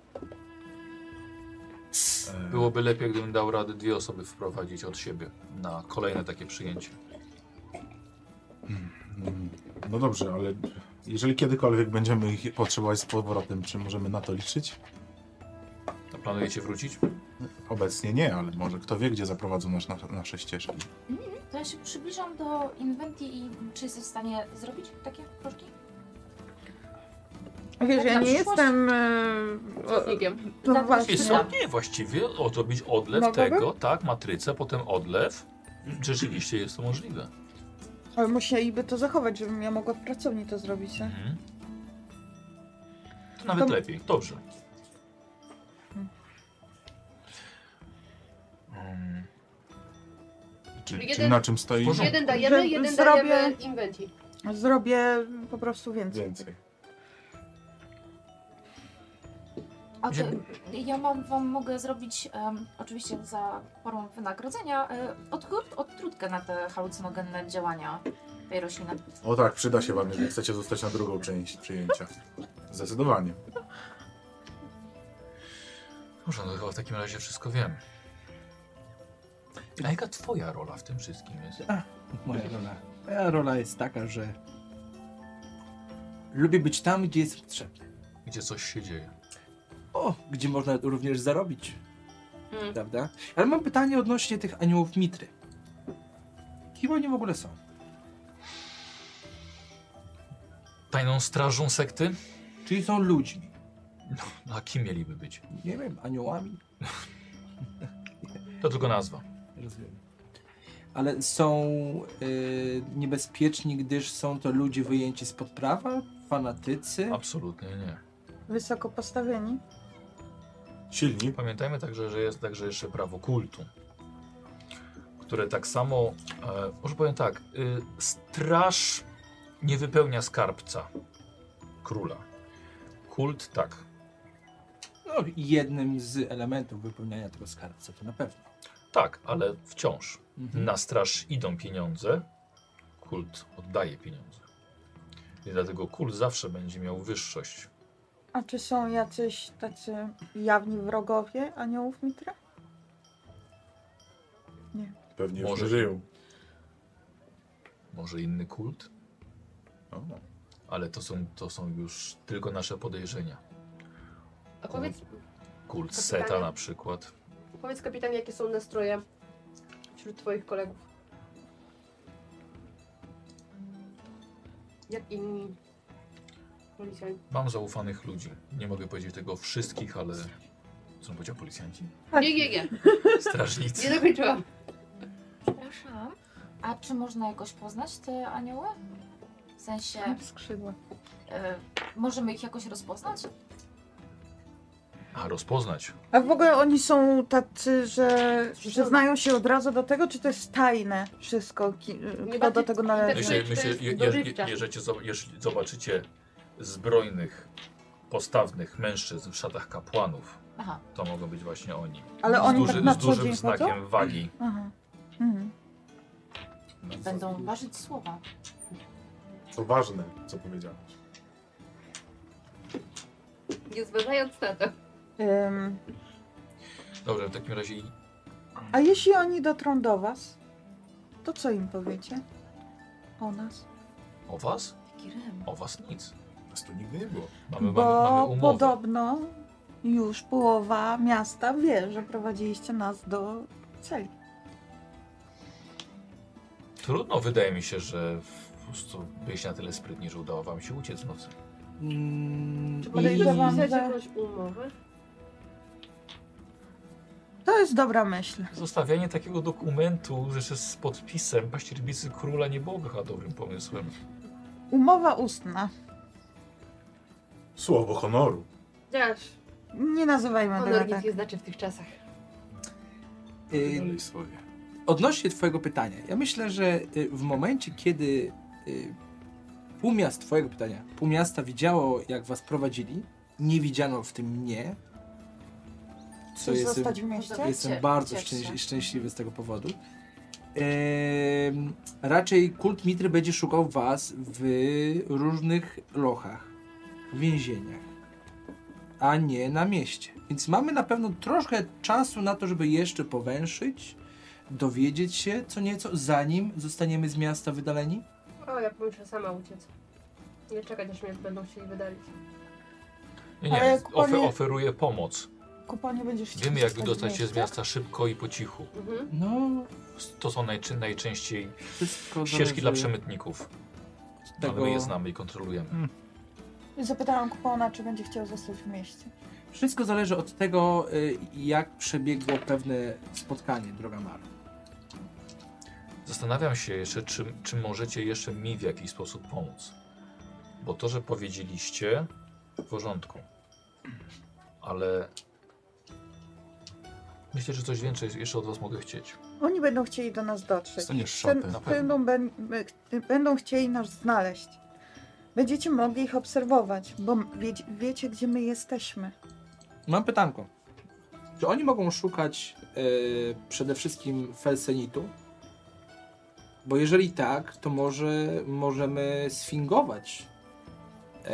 Speaker 7: E,
Speaker 2: Byłoby lepiej, gdybym dał radę dwie osoby wprowadzić od siebie na kolejne takie przyjęcie.
Speaker 3: Mm, No dobrze, ale jeżeli kiedykolwiek będziemy ich potrzebować z powrotem, czy możemy na to liczyć?
Speaker 2: A
Speaker 4: Znaczy
Speaker 2: planujecie wrócić?
Speaker 3: Obecnie nie, ale może kto wie, gdzie zaprowadzą nas na, nasze ścieżki.
Speaker 5: To ja się przybliżam do inwentii i czy jesteś w stanie zrobić takie proszki?
Speaker 4: Wiesz, ja
Speaker 5: na
Speaker 4: nie
Speaker 5: przyszłość.
Speaker 4: jestem... e, o-
Speaker 1: Sotnikiem.
Speaker 4: No
Speaker 5: Tak,
Speaker 4: właśnie.
Speaker 2: Wiesz co, nie, właściwie odrobić odlew
Speaker 4: Mogłabym?
Speaker 2: tego, tak, matrycę, potem odlew. Rzeczywiście jest to możliwe.
Speaker 4: Ale musieliby to zachować, żebym ja mogła w pracowni to zrobić, tak?
Speaker 2: Mhm. To nawet
Speaker 4: To-
Speaker 2: lepiej, dobrze. Mm,
Speaker 3: Czy,
Speaker 1: Czyli
Speaker 3: czy
Speaker 1: jeden-
Speaker 3: na czym stoi?
Speaker 2: W porządku.
Speaker 1: Jeden dajemy,
Speaker 4: Że
Speaker 1: jeden
Speaker 4: zrobię-
Speaker 1: dajemy inwentii.
Speaker 4: Zrobię po prostu więcej.
Speaker 7: Więcej.
Speaker 5: A to,
Speaker 2: Dziękuję.
Speaker 5: ja mam, wam mogę zrobić, em, oczywiście za formą wynagrodzenia, y, odgór- odtrutkę na te halucynogenne działania tej rośliny.
Speaker 7: O tak, przyda się wam, jeżeli chcecie zostać na drugą część przyjęcia. Zdecydowanie.
Speaker 2: Dobrze, no chyba w takim razie wszystko wiem. A jaka twoja rola w tym wszystkim jest?
Speaker 6: Moja rola. Moja rola jest taka, że lubię być tam, gdzie jest potrzebny.
Speaker 2: Gdzie coś się dzieje?
Speaker 6: O, gdzie można również zarobić,
Speaker 1: Mm.
Speaker 6: prawda? Ale mam pytanie odnośnie tych aniołów Mitry. Kim oni w ogóle są?
Speaker 2: Tajną strażą sekty?
Speaker 6: Czyli są ludźmi.
Speaker 2: No, a kim mieliby być?
Speaker 6: Nie wiem, aniołami?
Speaker 2: To tylko nazwa.
Speaker 6: Rozumiem. Ale są y, niebezpieczni, gdyż są to ludzie wyjęci spod prawa, fanatycy.
Speaker 2: Absolutnie nie.
Speaker 4: Wysoko postawieni.
Speaker 7: Silni.
Speaker 2: Pamiętajmy także, że jest także jeszcze prawo kultu, które tak samo, e, może powiem tak, y, straż nie wypełnia skarbca króla. Kult tak.
Speaker 6: No, i jednym z elementów wypełniania tego skarbca, to na pewno.
Speaker 2: Tak, ale wciąż.
Speaker 6: Mhm.
Speaker 2: Na straż idą pieniądze, kult oddaje pieniądze. I dlatego kult zawsze będzie miał wyższość.
Speaker 4: A czy są jacyś tacy jawni wrogowie aniołów Mitra?
Speaker 7: Pewnie już
Speaker 2: Może.
Speaker 7: nie żyją.
Speaker 2: Może inny kult,
Speaker 3: No,
Speaker 7: O.
Speaker 2: ale to są, to są już tylko nasze podejrzenia.
Speaker 1: A powiedz,
Speaker 2: Kult
Speaker 1: To
Speaker 2: Seta
Speaker 1: pytanie-
Speaker 2: na przykład.
Speaker 1: powiedz kapitanie, jakie są nastroje wśród twoich kolegów? Jak inni policjanci?
Speaker 2: Mam zaufanych ludzi. Nie mogę powiedzieć tego o wszystkich, ale. Co on powiedział policjanci?
Speaker 4: Tak.
Speaker 1: Nie, nie, nie. Nie
Speaker 2: Strażnicy.
Speaker 1: dokończyłam.
Speaker 5: Przepraszam. A czy można jakoś poznać te anioły? W sensie,
Speaker 4: Skrzydła.
Speaker 5: e, możemy ich jakoś rozpoznać?
Speaker 2: A rozpoznać.
Speaker 4: A w ogóle oni są tacy, że, że znają się od razu do tego, czy to jest tajne wszystko, ki, kto do
Speaker 1: bardziej
Speaker 4: tego
Speaker 1: Tak,
Speaker 4: należy?
Speaker 1: interesuje-
Speaker 2: Jeśli,
Speaker 1: to
Speaker 2: myślę,
Speaker 1: jest
Speaker 2: je, je,
Speaker 1: dożywcze.
Speaker 2: je, jeżeli, zo- jeżeli zobaczycie zbrojnych, postawnych mężczyzn w szatach kapłanów,
Speaker 5: Aha,
Speaker 2: to mogą być właśnie oni.
Speaker 4: Ale oni
Speaker 2: z, duży,
Speaker 4: tak na
Speaker 2: z
Speaker 4: co
Speaker 2: dużym
Speaker 4: dzień chodzą?
Speaker 2: znakiem wagi.
Speaker 4: Aha. Mhm.
Speaker 3: no.
Speaker 5: i będą ważyć słowa.
Speaker 7: To ważne, co powiedziałeś.
Speaker 1: Nie zważając na to.
Speaker 4: Ym,
Speaker 2: Dobrze, w takim razie.
Speaker 4: a jeśli oni dotrą do was, to co im powiecie? O nas?
Speaker 2: O was?
Speaker 5: Jaki rym.
Speaker 2: O was nic.
Speaker 7: Nas tu nigdy nie było.
Speaker 2: Mamy, mamy, mamy
Speaker 4: Bo
Speaker 2: umowę.
Speaker 4: podobno już połowa miasta wie, że prowadziliście nas do celi.
Speaker 2: Trudno, wydaje mi się, że po prostu byliście na tyle sprytni, że udało wam się uciec w nocy.
Speaker 6: Mm,
Speaker 1: Czy
Speaker 4: podejrzewam,
Speaker 1: podejrzewam,
Speaker 4: że-
Speaker 1: że... jakąś umowę?
Speaker 4: To jest dobra myśl.
Speaker 2: Zostawianie takiego dokumentu jeszcze z podpisem paścierbicy króla nie było chyba dobrym pomysłem.
Speaker 4: Umowa ustna.
Speaker 7: Słowo honoru.
Speaker 1: Dasz.
Speaker 4: Nie nazywajmy
Speaker 1: Honor
Speaker 4: tego
Speaker 1: nic
Speaker 4: tak.
Speaker 1: nie znaczy w tych czasach.
Speaker 6: y,
Speaker 7: Dalej swoje.
Speaker 6: odnośnie twojego pytania, ja myślę, że y, w momencie, kiedy y, pół miasta, twojego pytania, pół miasta widziało, jak was prowadzili, nie widziano w tym mnie, co
Speaker 4: Chcesz
Speaker 6: jestem,
Speaker 4: zostać w mieście?
Speaker 6: jestem
Speaker 5: Cie-
Speaker 6: bardzo
Speaker 5: cieszę się.
Speaker 6: szczęś- szczęśliwy z tego powodu. Em, raczej kult Mitry będzie szukał was w różnych lochach, więzieniach, a nie na mieście. Więc mamy na pewno troszkę czasu na to, żeby jeszcze powęszyć, dowiedzieć się co nieco, zanim zostaniemy z miasta wydaleni.
Speaker 1: O, ja muszę sama uciec. Nie czekać, aż mnie będą chcieli wydalić.
Speaker 2: Nie, nie,
Speaker 4: Ale jak
Speaker 2: ofe-
Speaker 4: panie-
Speaker 2: oferuję pomoc.
Speaker 4: kupa nie będziesz chciał
Speaker 2: Wiemy, jak
Speaker 4: wstać
Speaker 2: wydostać się z
Speaker 4: miejsca.
Speaker 2: miasta szybko i po cichu.
Speaker 1: Mhm.
Speaker 6: No,
Speaker 2: To są najczę- najczęściej
Speaker 6: wszystko
Speaker 2: ścieżki
Speaker 6: zależy
Speaker 2: dla przemytników.
Speaker 6: od
Speaker 2: Ale my je znamy i kontrolujemy.
Speaker 4: Hmm. Zapytałam kupona, czy będzie chciał zostać w mieście.
Speaker 6: Wszystko zależy od tego, y, jak przebiegło pewne spotkanie, droga Mara.
Speaker 2: Zastanawiam się jeszcze, czy, czy możecie jeszcze mi w jakiś sposób pomóc. Bo to, że powiedzieliście, w porządku. Ale myślę, że coś więcej jeszcze od was mogę chcieć.
Speaker 4: Oni będą chcieli do nas dotrzeć.
Speaker 3: Staniesz
Speaker 4: Ten,
Speaker 3: szopy.
Speaker 4: będą, ben- be- y, będą chcieli nas znaleźć. Będziecie mogli ich obserwować, bo wie, wiecie, gdzie my jesteśmy.
Speaker 6: Mam pytanko. Czy oni mogą szukać y, przede wszystkim felsenitu? Bo jeżeli tak, to może możemy sfingować y,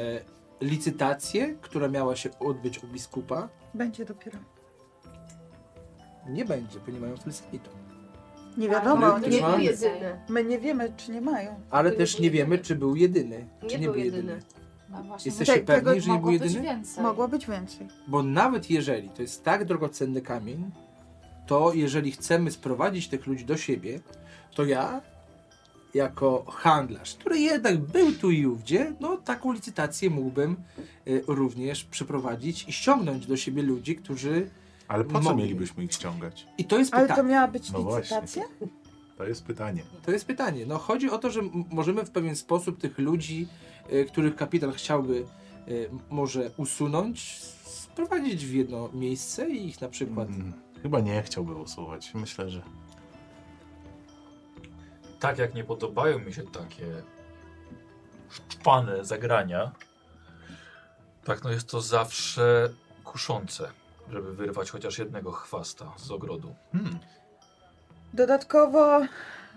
Speaker 6: licytację, która miała się odbyć u biskupa.
Speaker 4: Będzie dopiero.
Speaker 6: Nie będzie, bo nie mają felsenitu.
Speaker 4: Nie
Speaker 5: Ale
Speaker 4: wiadomo,
Speaker 1: To
Speaker 6: Ty
Speaker 1: nie
Speaker 4: nie,
Speaker 6: mam?
Speaker 1: był jedyny.
Speaker 4: my nie wiemy, czy nie mają.
Speaker 6: Ale
Speaker 1: To nie
Speaker 6: też
Speaker 1: był
Speaker 6: nie
Speaker 1: jedyny.
Speaker 6: wiemy, czy był jedyny.
Speaker 1: Nie
Speaker 6: czy
Speaker 1: był jedyny.
Speaker 5: A właśnie,
Speaker 6: Jesteście
Speaker 4: Te-
Speaker 6: pewni,
Speaker 4: tego
Speaker 6: że nie był
Speaker 5: mogło być
Speaker 6: jedyny?
Speaker 5: więcej.
Speaker 4: Mogło być więcej.
Speaker 6: Bo nawet jeżeli to jest tak drogocenny kamień, to jeżeli chcemy sprowadzić tych ludzi do siebie, to ja, jako handlarz, który jednak był tu i ówdzie, no taką licytację mógłbym y, również przeprowadzić i ściągnąć do siebie ludzi, którzy...
Speaker 3: Ale po co
Speaker 6: Mogli.
Speaker 3: mielibyśmy ich ściągać?
Speaker 6: I to jest
Speaker 4: Ale to
Speaker 6: pytanie.
Speaker 4: miała być
Speaker 3: No właśnie.
Speaker 4: licytacja?
Speaker 3: To jest pytanie.
Speaker 6: To jest pytanie. No chodzi o to, że m- możemy w pewien sposób tych ludzi, y, których kapitan chciałby y, może usunąć, sprowadzić w jedno miejsce i ich na przykład...
Speaker 3: Mm, Chyba nie chciałby usuwać. Myślę, że
Speaker 2: Tak jak nie podobają mi się takie szczpane zagrania, tak no jest to zawsze kuszące, żeby wyrwać chociaż jednego chwasta z ogrodu.
Speaker 3: hmm,
Speaker 4: Dodatkowo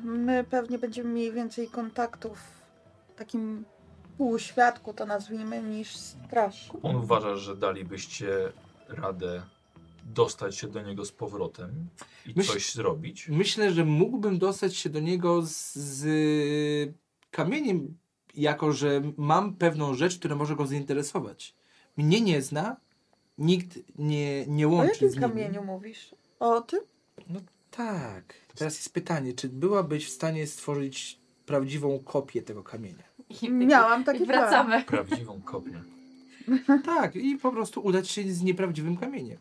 Speaker 4: my pewnie będziemy mieli więcej kontaktów w takim półświadku, to nazwijmy, niż straż.
Speaker 2: On uważa, że dalibyście radę dostać się do niego z powrotem i
Speaker 6: Myśl-
Speaker 2: coś zrobić.
Speaker 6: Myślę, że mógłbym dostać się do niego z, z kamieniem, jako że mam pewną rzecz, która może go zainteresować. Mnie nie zna, nikt nie, nie
Speaker 4: O
Speaker 6: łączy
Speaker 4: jakim
Speaker 6: z nim.
Speaker 4: kamieniu mówisz? O tym?
Speaker 6: Tak. Teraz jest pytanie, czy byłabyś w stanie stworzyć prawdziwą kopię tego kamienia?
Speaker 5: I,
Speaker 4: Miałam
Speaker 5: I
Speaker 4: taki plan.
Speaker 5: wracamy.
Speaker 2: Prawdziwą kopię.
Speaker 6: Tak, i po prostu udać się z nieprawdziwym kamieniem.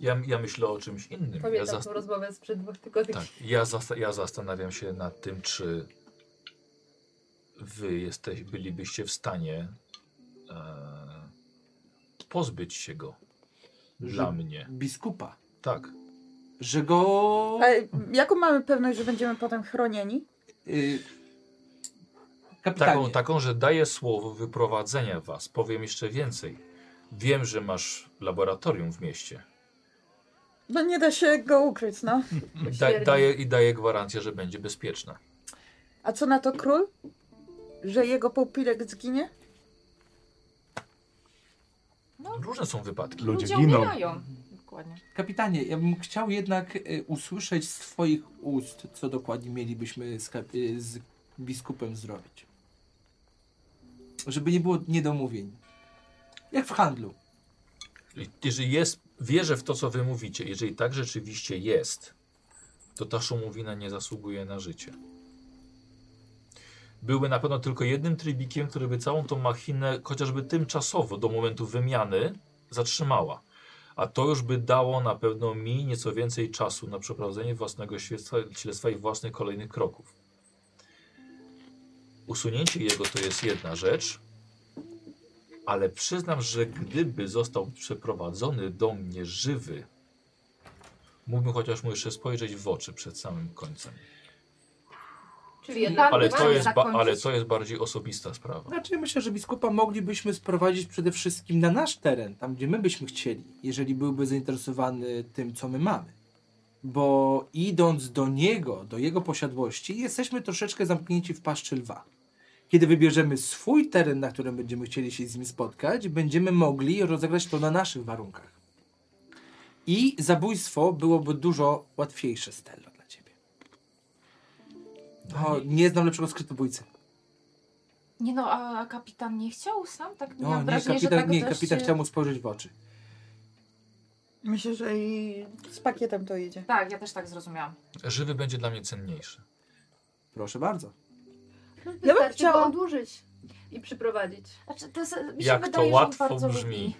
Speaker 2: Ja, ja myślę o czymś innym. Ja,
Speaker 1: Pamiętam
Speaker 2: zas-
Speaker 1: tą rozmowę sprzed dwóch tygodni.
Speaker 2: tak, ja, zas- ja zastanawiam się nad tym, czy wy jesteś, bylibyście w stanie e, pozbyć się go. Dla
Speaker 6: Że-
Speaker 2: mnie.
Speaker 6: Biskupa,
Speaker 2: Tak.
Speaker 6: że go...
Speaker 4: Ale jaką mamy pewność, że będziemy potem chronieni?
Speaker 6: Y, kapitanie,
Speaker 2: Taką, taką, że daję słowo wyprowadzenia was. Powiem jeszcze więcej. Wiem, że masz laboratorium w mieście.
Speaker 4: No nie da się go ukryć, no.
Speaker 2: Da,
Speaker 1: Śmierdzi.
Speaker 2: daję i daję gwarancję, że będzie bezpieczna.
Speaker 4: A co na to król? Że jego połpilek zginie?
Speaker 2: Różne są wypadki.
Speaker 3: ludzie
Speaker 5: Ludzie
Speaker 3: giną.
Speaker 5: umierają. Dokładnie.
Speaker 6: Kapitanie, ja bym chciał jednak y, usłyszeć z Twoich ust, co dokładnie mielibyśmy z, kap- y, z biskupem zrobić. Żeby nie było niedomówień. Jak w handlu.
Speaker 2: I- Jeżeli jest, wierzę w to, co wy mówicie, jeżeli tak rzeczywiście jest, to ta szumowina nie zasługuje na życie. Byłby na pewno tylko jednym trybikiem, który by całą tą machinę, chociażby tymczasowo, do momentu wymiany, zatrzymała. A to już by dało na pewno mi nieco więcej czasu na przeprowadzenie własnego śledztwa, śledztwa i własnych kolejnych kroków. Usunięcie jego to jest jedna rzecz, ale przyznam, że gdyby został przeprowadzony do mnie żywy, mógłbym chociaż mu jeszcze spojrzeć w oczy przed samym końcem.
Speaker 1: Czyli jednak
Speaker 2: Ale
Speaker 5: Pan
Speaker 2: to, jest ba-
Speaker 5: zakończyć.
Speaker 2: ale to jest bardziej osobista sprawa.
Speaker 6: Znaczy, myślę, że biskupa moglibyśmy sprowadzić przede wszystkim na nasz teren, tam gdzie my byśmy chcieli, jeżeli byłby zainteresowany tym, co my mamy. Bo idąc do niego, do jego posiadłości, jesteśmy troszeczkę zamknięci w paszczy lwa. Kiedy wybierzemy swój teren, na którym będziemy chcieli się z nim spotkać, będziemy mogli rozegrać to na naszych warunkach. I zabójstwo byłoby dużo łatwiejsze, Stella, dla ciebie. O, nie znam lepszego skrytobójcy.
Speaker 5: Nie no, a kapitan nie chciał sam? Tak
Speaker 6: O,
Speaker 5: miałam
Speaker 6: nie,
Speaker 5: wrażenie,
Speaker 6: kapitan,
Speaker 5: że tak
Speaker 6: nie,
Speaker 5: też
Speaker 6: kapitan
Speaker 5: się-
Speaker 6: chciał mu spojrzeć w oczy.
Speaker 4: Myślę, że i z pakietem to idzie.
Speaker 5: Tak, ja też tak zrozumiałam.
Speaker 2: Żywy będzie dla mnie cenniejszy.
Speaker 6: Proszę bardzo.
Speaker 1: Ja bym
Speaker 4: chciała-
Speaker 1: chciała odłożyć No, i przyprowadzić.
Speaker 5: Znaczy, to jest, mi się
Speaker 2: Jak to
Speaker 5: wydaje, że on
Speaker 2: łatwo
Speaker 5: bardzo
Speaker 2: brzmi.
Speaker 5: Lubi.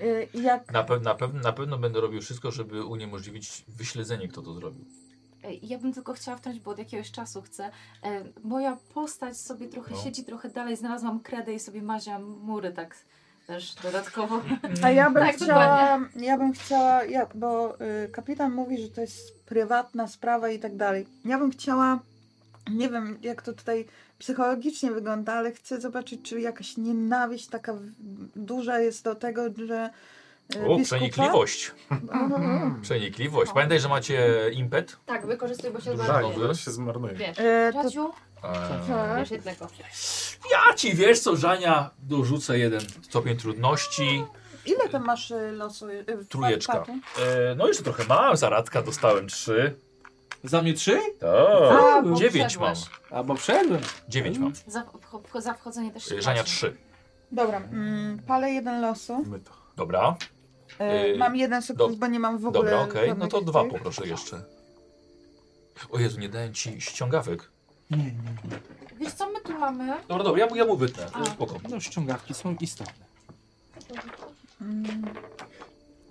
Speaker 4: Y, Jak
Speaker 2: Na, pe- na, pew- na pewno będę robił wszystko, żeby uniemożliwić wyśledzenie, kto to zrobił.
Speaker 5: Ej, Ja bym tylko chciała wtrącić, bo od jakiegoś czasu chcę. E, moja postać sobie trochę
Speaker 2: No.
Speaker 5: siedzi, trochę dalej. Znalazłam kredę i sobie maziam mury tak też dodatkowo.
Speaker 4: A ja bym
Speaker 5: Tak,
Speaker 4: chciała, ja bym chciała, ja, bo y, kapitan mówi, że to jest prywatna sprawa i tak dalej. Ja bym chciała, nie wiem jak to tutaj psychologicznie wygląda, ale chcę zobaczyć, czy jakaś nienawiść taka w- duża jest do tego, że y,
Speaker 2: O,
Speaker 4: biskupa- Mhm. Y,
Speaker 2: przenikliwość.
Speaker 3: Mhm.
Speaker 2: Hmm. Przenikliwość. Pamiętaj, że macie impet.
Speaker 1: Tak, wykorzystuj, bo się
Speaker 2: Dużo
Speaker 1: zmarnuje.
Speaker 7: Tak, zaraz się zmarnuje.
Speaker 1: Wiesz,
Speaker 4: Y, to,
Speaker 5: Radziu,
Speaker 4: Tak.
Speaker 2: Eee,
Speaker 1: wiesz jednego.
Speaker 2: ja ci wiesz co, Żania, dorzucę jeden stopień trudności.
Speaker 4: ile tam masz y, losu? Y, w
Speaker 2: Trójeczka.
Speaker 4: paku?
Speaker 2: Eee, no jeszcze trochę mam, zaradka dostałem trzy.
Speaker 6: Za mnie trzy? Tak.
Speaker 2: To,
Speaker 5: A, bo
Speaker 2: dziewięć mam.
Speaker 5: wszedłeś.
Speaker 6: A bo wszedłem.
Speaker 2: Dziewięć mam.
Speaker 5: za, wcho- za wchodzenie też się
Speaker 2: Eee, Żania
Speaker 5: mazi.
Speaker 2: trzy.
Speaker 4: Dobra, mm, palę jeden losu.
Speaker 7: My to.
Speaker 2: Dobra,
Speaker 4: Y,
Speaker 2: Y,
Speaker 4: mam jeden sukces,
Speaker 2: dob-
Speaker 4: bo nie mam w ogóle.
Speaker 2: dobra, okej. No
Speaker 4: żadnych
Speaker 2: to dwa
Speaker 4: tych.
Speaker 2: poproszę jeszcze. O Jezu, nie dałem ci ściągawek.
Speaker 6: Nie, nie, nie.
Speaker 5: Wiesz co my tu mamy?
Speaker 2: Dobra, dobra, ja, mu- ja mu wytnę.
Speaker 5: A.
Speaker 2: Spoko.
Speaker 6: No ściągawki są istotne.
Speaker 4: Mm,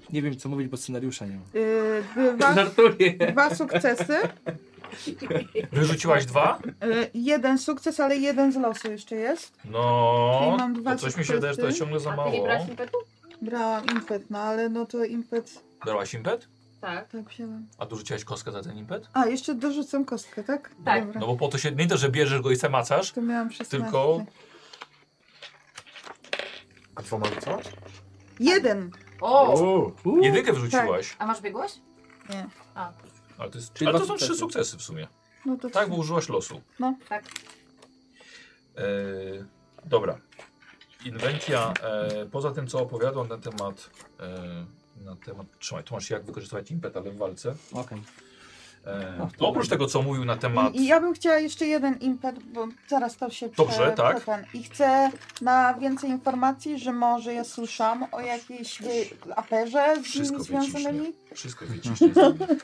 Speaker 6: Nie wiem co mówić, bo scenariusza nie ma.
Speaker 4: y, dwa,
Speaker 6: Żartuję.
Speaker 4: dwa sukcesy.
Speaker 2: Wyrzuciłaś dwa?
Speaker 4: Y, Jeden sukces, ale jeden z losu jeszcze jest.
Speaker 2: No,
Speaker 4: Czyli mam dwa
Speaker 2: to coś mi się wydaje, że to jest
Speaker 4: sukcesy.
Speaker 2: ciągle za
Speaker 1: A ty nie
Speaker 2: mało.
Speaker 1: brałaś impetu?
Speaker 4: Brałam impet, no ale no to impet
Speaker 2: Brałaś impet?
Speaker 1: Tak.
Speaker 4: tak wzięłam.
Speaker 2: A dorzuciłaś kostkę za ten impet?
Speaker 4: A, jeszcze dorzucam kostkę, tak?
Speaker 5: Tak.
Speaker 4: Dobra.
Speaker 2: No bo po to się, nie to, że bierzesz go i se macasz,
Speaker 4: To miałam 16.
Speaker 2: Tylko-
Speaker 7: A dwoma co?
Speaker 4: Jeden!
Speaker 5: O!
Speaker 6: U,
Speaker 2: jedynkę wyrzuciłaś.
Speaker 5: A masz biegłość?
Speaker 4: Nie.
Speaker 5: A,
Speaker 4: Tak.
Speaker 2: Ale to, jest,
Speaker 6: Czyli
Speaker 2: ale
Speaker 6: dwa
Speaker 2: to są trzy
Speaker 6: sukcesy.
Speaker 2: sukcesy w sumie.
Speaker 4: No to
Speaker 2: Tak, bo użyłaś losu.
Speaker 4: No.
Speaker 5: Tak.
Speaker 2: E, dobra. Inwentia, e, poza tym co opowiadam na temat, e, na temat, trzymaj, tu masz jak wykorzystywać impet, ale w walce.
Speaker 6: Okej.
Speaker 2: E,
Speaker 6: Ach, to
Speaker 2: oprócz
Speaker 6: dobra.
Speaker 2: tego co mówił na temat,
Speaker 4: I, I ja bym chciała jeszcze jeden impet, bo zaraz to się prze-
Speaker 2: Dobrze, tak.
Speaker 4: przepan. I chcę na więcej informacji, że może ja słyszałam o jakiejś y, aferze z
Speaker 2: Wszystko
Speaker 4: nimi związanymi.
Speaker 2: wszystko wiecie. że jest-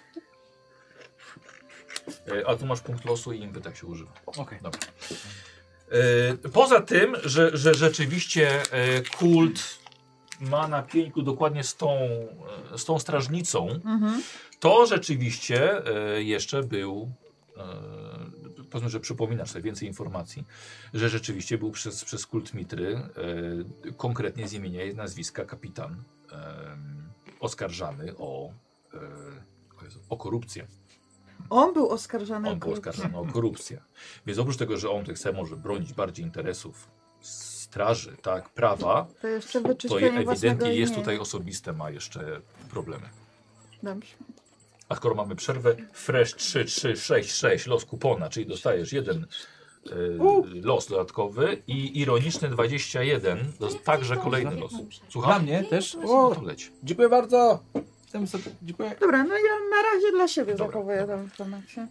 Speaker 2: E, A tu masz punkt losu i impet tak się używa.
Speaker 6: Okej.
Speaker 2: Dobra. E, Poza tym, że, że rzeczywiście e, kult ma na pieńku dokładnie z tą, e, z tą strażnicą,
Speaker 4: Mhm.
Speaker 2: to rzeczywiście e, jeszcze był, e, powiedzmy, że przypominasz sobie więcej informacji, że rzeczywiście był przez, przez kult Mitry, e, konkretnie z imienia i nazwiska kapitan, e, oskarżany o, e, o Jezu, o korupcję.
Speaker 4: On był oskarżany
Speaker 2: On
Speaker 4: o
Speaker 2: był
Speaker 4: korupcję.
Speaker 2: oskarżony o korupcję. Więc oprócz tego, że on chce może bronić bardziej interesów straży, tak, prawa,
Speaker 4: To jeszcze
Speaker 2: to
Speaker 4: wyczyszczenie własnego
Speaker 2: ewidentnie jest
Speaker 4: imienia.
Speaker 2: tutaj osobiste, ma jeszcze problemy.
Speaker 4: Dobrze.
Speaker 2: A skoro mamy przerwę, fresh 3, 3, 6, 6, los kupona, czyli dostajesz jeden y, los dodatkowy i ironiczny 21, to jest także kolejny los.
Speaker 6: Dla
Speaker 2: Słucham?
Speaker 6: mnie też.
Speaker 2: No
Speaker 6: O,
Speaker 2: to leć.
Speaker 6: dziękuję bardzo. Jestem sobie, dziękuję.
Speaker 4: Dobra, no ja na razie dla siebie
Speaker 2: Dobra,
Speaker 4: zachowuję
Speaker 2: dobra.
Speaker 4: tą informację.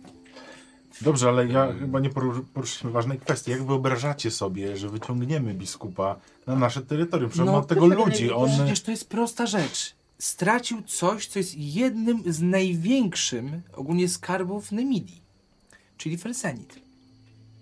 Speaker 7: Dobrze, ale ja chyba nie poru- poruszyliśmy ważnej kwestii. Jak wyobrażacie sobie, że wyciągniemy biskupa na nasze terytorium? Przecież
Speaker 6: No,
Speaker 7: no, od tego
Speaker 4: tego nie
Speaker 7: ludzi.
Speaker 4: widzę.
Speaker 7: On...
Speaker 6: Przecież to jest prosta rzecz. Stracił coś, co jest jednym z największym ogólnie skarbów Nemidii, czyli Felsenit.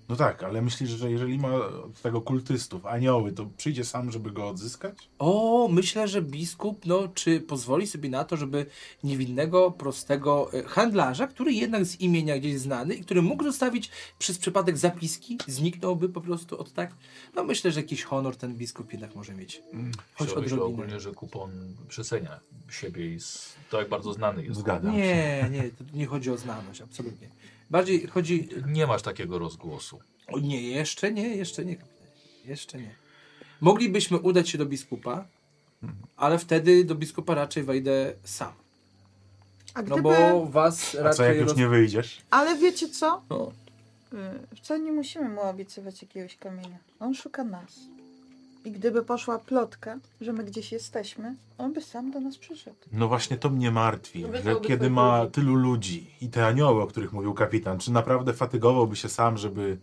Speaker 7: No tak, ale myślisz, że jeżeli ma od tego kultystów anioły, to przyjdzie sam, żeby go odzyskać?
Speaker 6: O, myślę, że biskup, no, czy pozwoli sobie na to, żeby niewinnego, prostego e, handlarza, który jednak z imienia gdzieś znany i który mógł zostawić przez przypadek zapiski, zniknąłby po prostu od tak. No, myślę, że jakiś honor ten biskup jednak może mieć. Choć
Speaker 2: Myślę, myślę
Speaker 6: odrobinę.
Speaker 2: Mm, ogólnie, że kupon przecenia siebie i s- to jak bardzo znany jest.
Speaker 7: Zgadzam się.
Speaker 6: Nie, nie, to nie chodzi o znaność, absolutnie. Bardziej chodzi.
Speaker 2: Nie masz takiego rozgłosu.
Speaker 6: O nie, jeszcze nie, jeszcze nie, kapitanie. Jeszcze nie. Moglibyśmy udać się do biskupa,
Speaker 2: Mhm.
Speaker 6: ale wtedy do biskupa raczej wejdę sam.
Speaker 4: A gdyby...
Speaker 6: No bo was
Speaker 7: A co, jak
Speaker 6: raczej
Speaker 7: już nie wyjdziesz?
Speaker 4: Ale wiecie co?
Speaker 6: No.
Speaker 4: Y, Wcale nie musimy mu obiecywać jakiegoś kamienia. On szuka nas. I gdyby poszła plotka, że my gdzieś jesteśmy, on by sam do nas przyszedł.
Speaker 7: No właśnie to mnie martwi,
Speaker 1: No
Speaker 7: że
Speaker 1: wyciąłby
Speaker 7: kiedy
Speaker 1: twoich
Speaker 7: ma
Speaker 1: ludzi.
Speaker 7: tylu ludzi i te anioły, o których mówił kapitan, czy naprawdę fatygowałby się sam, żeby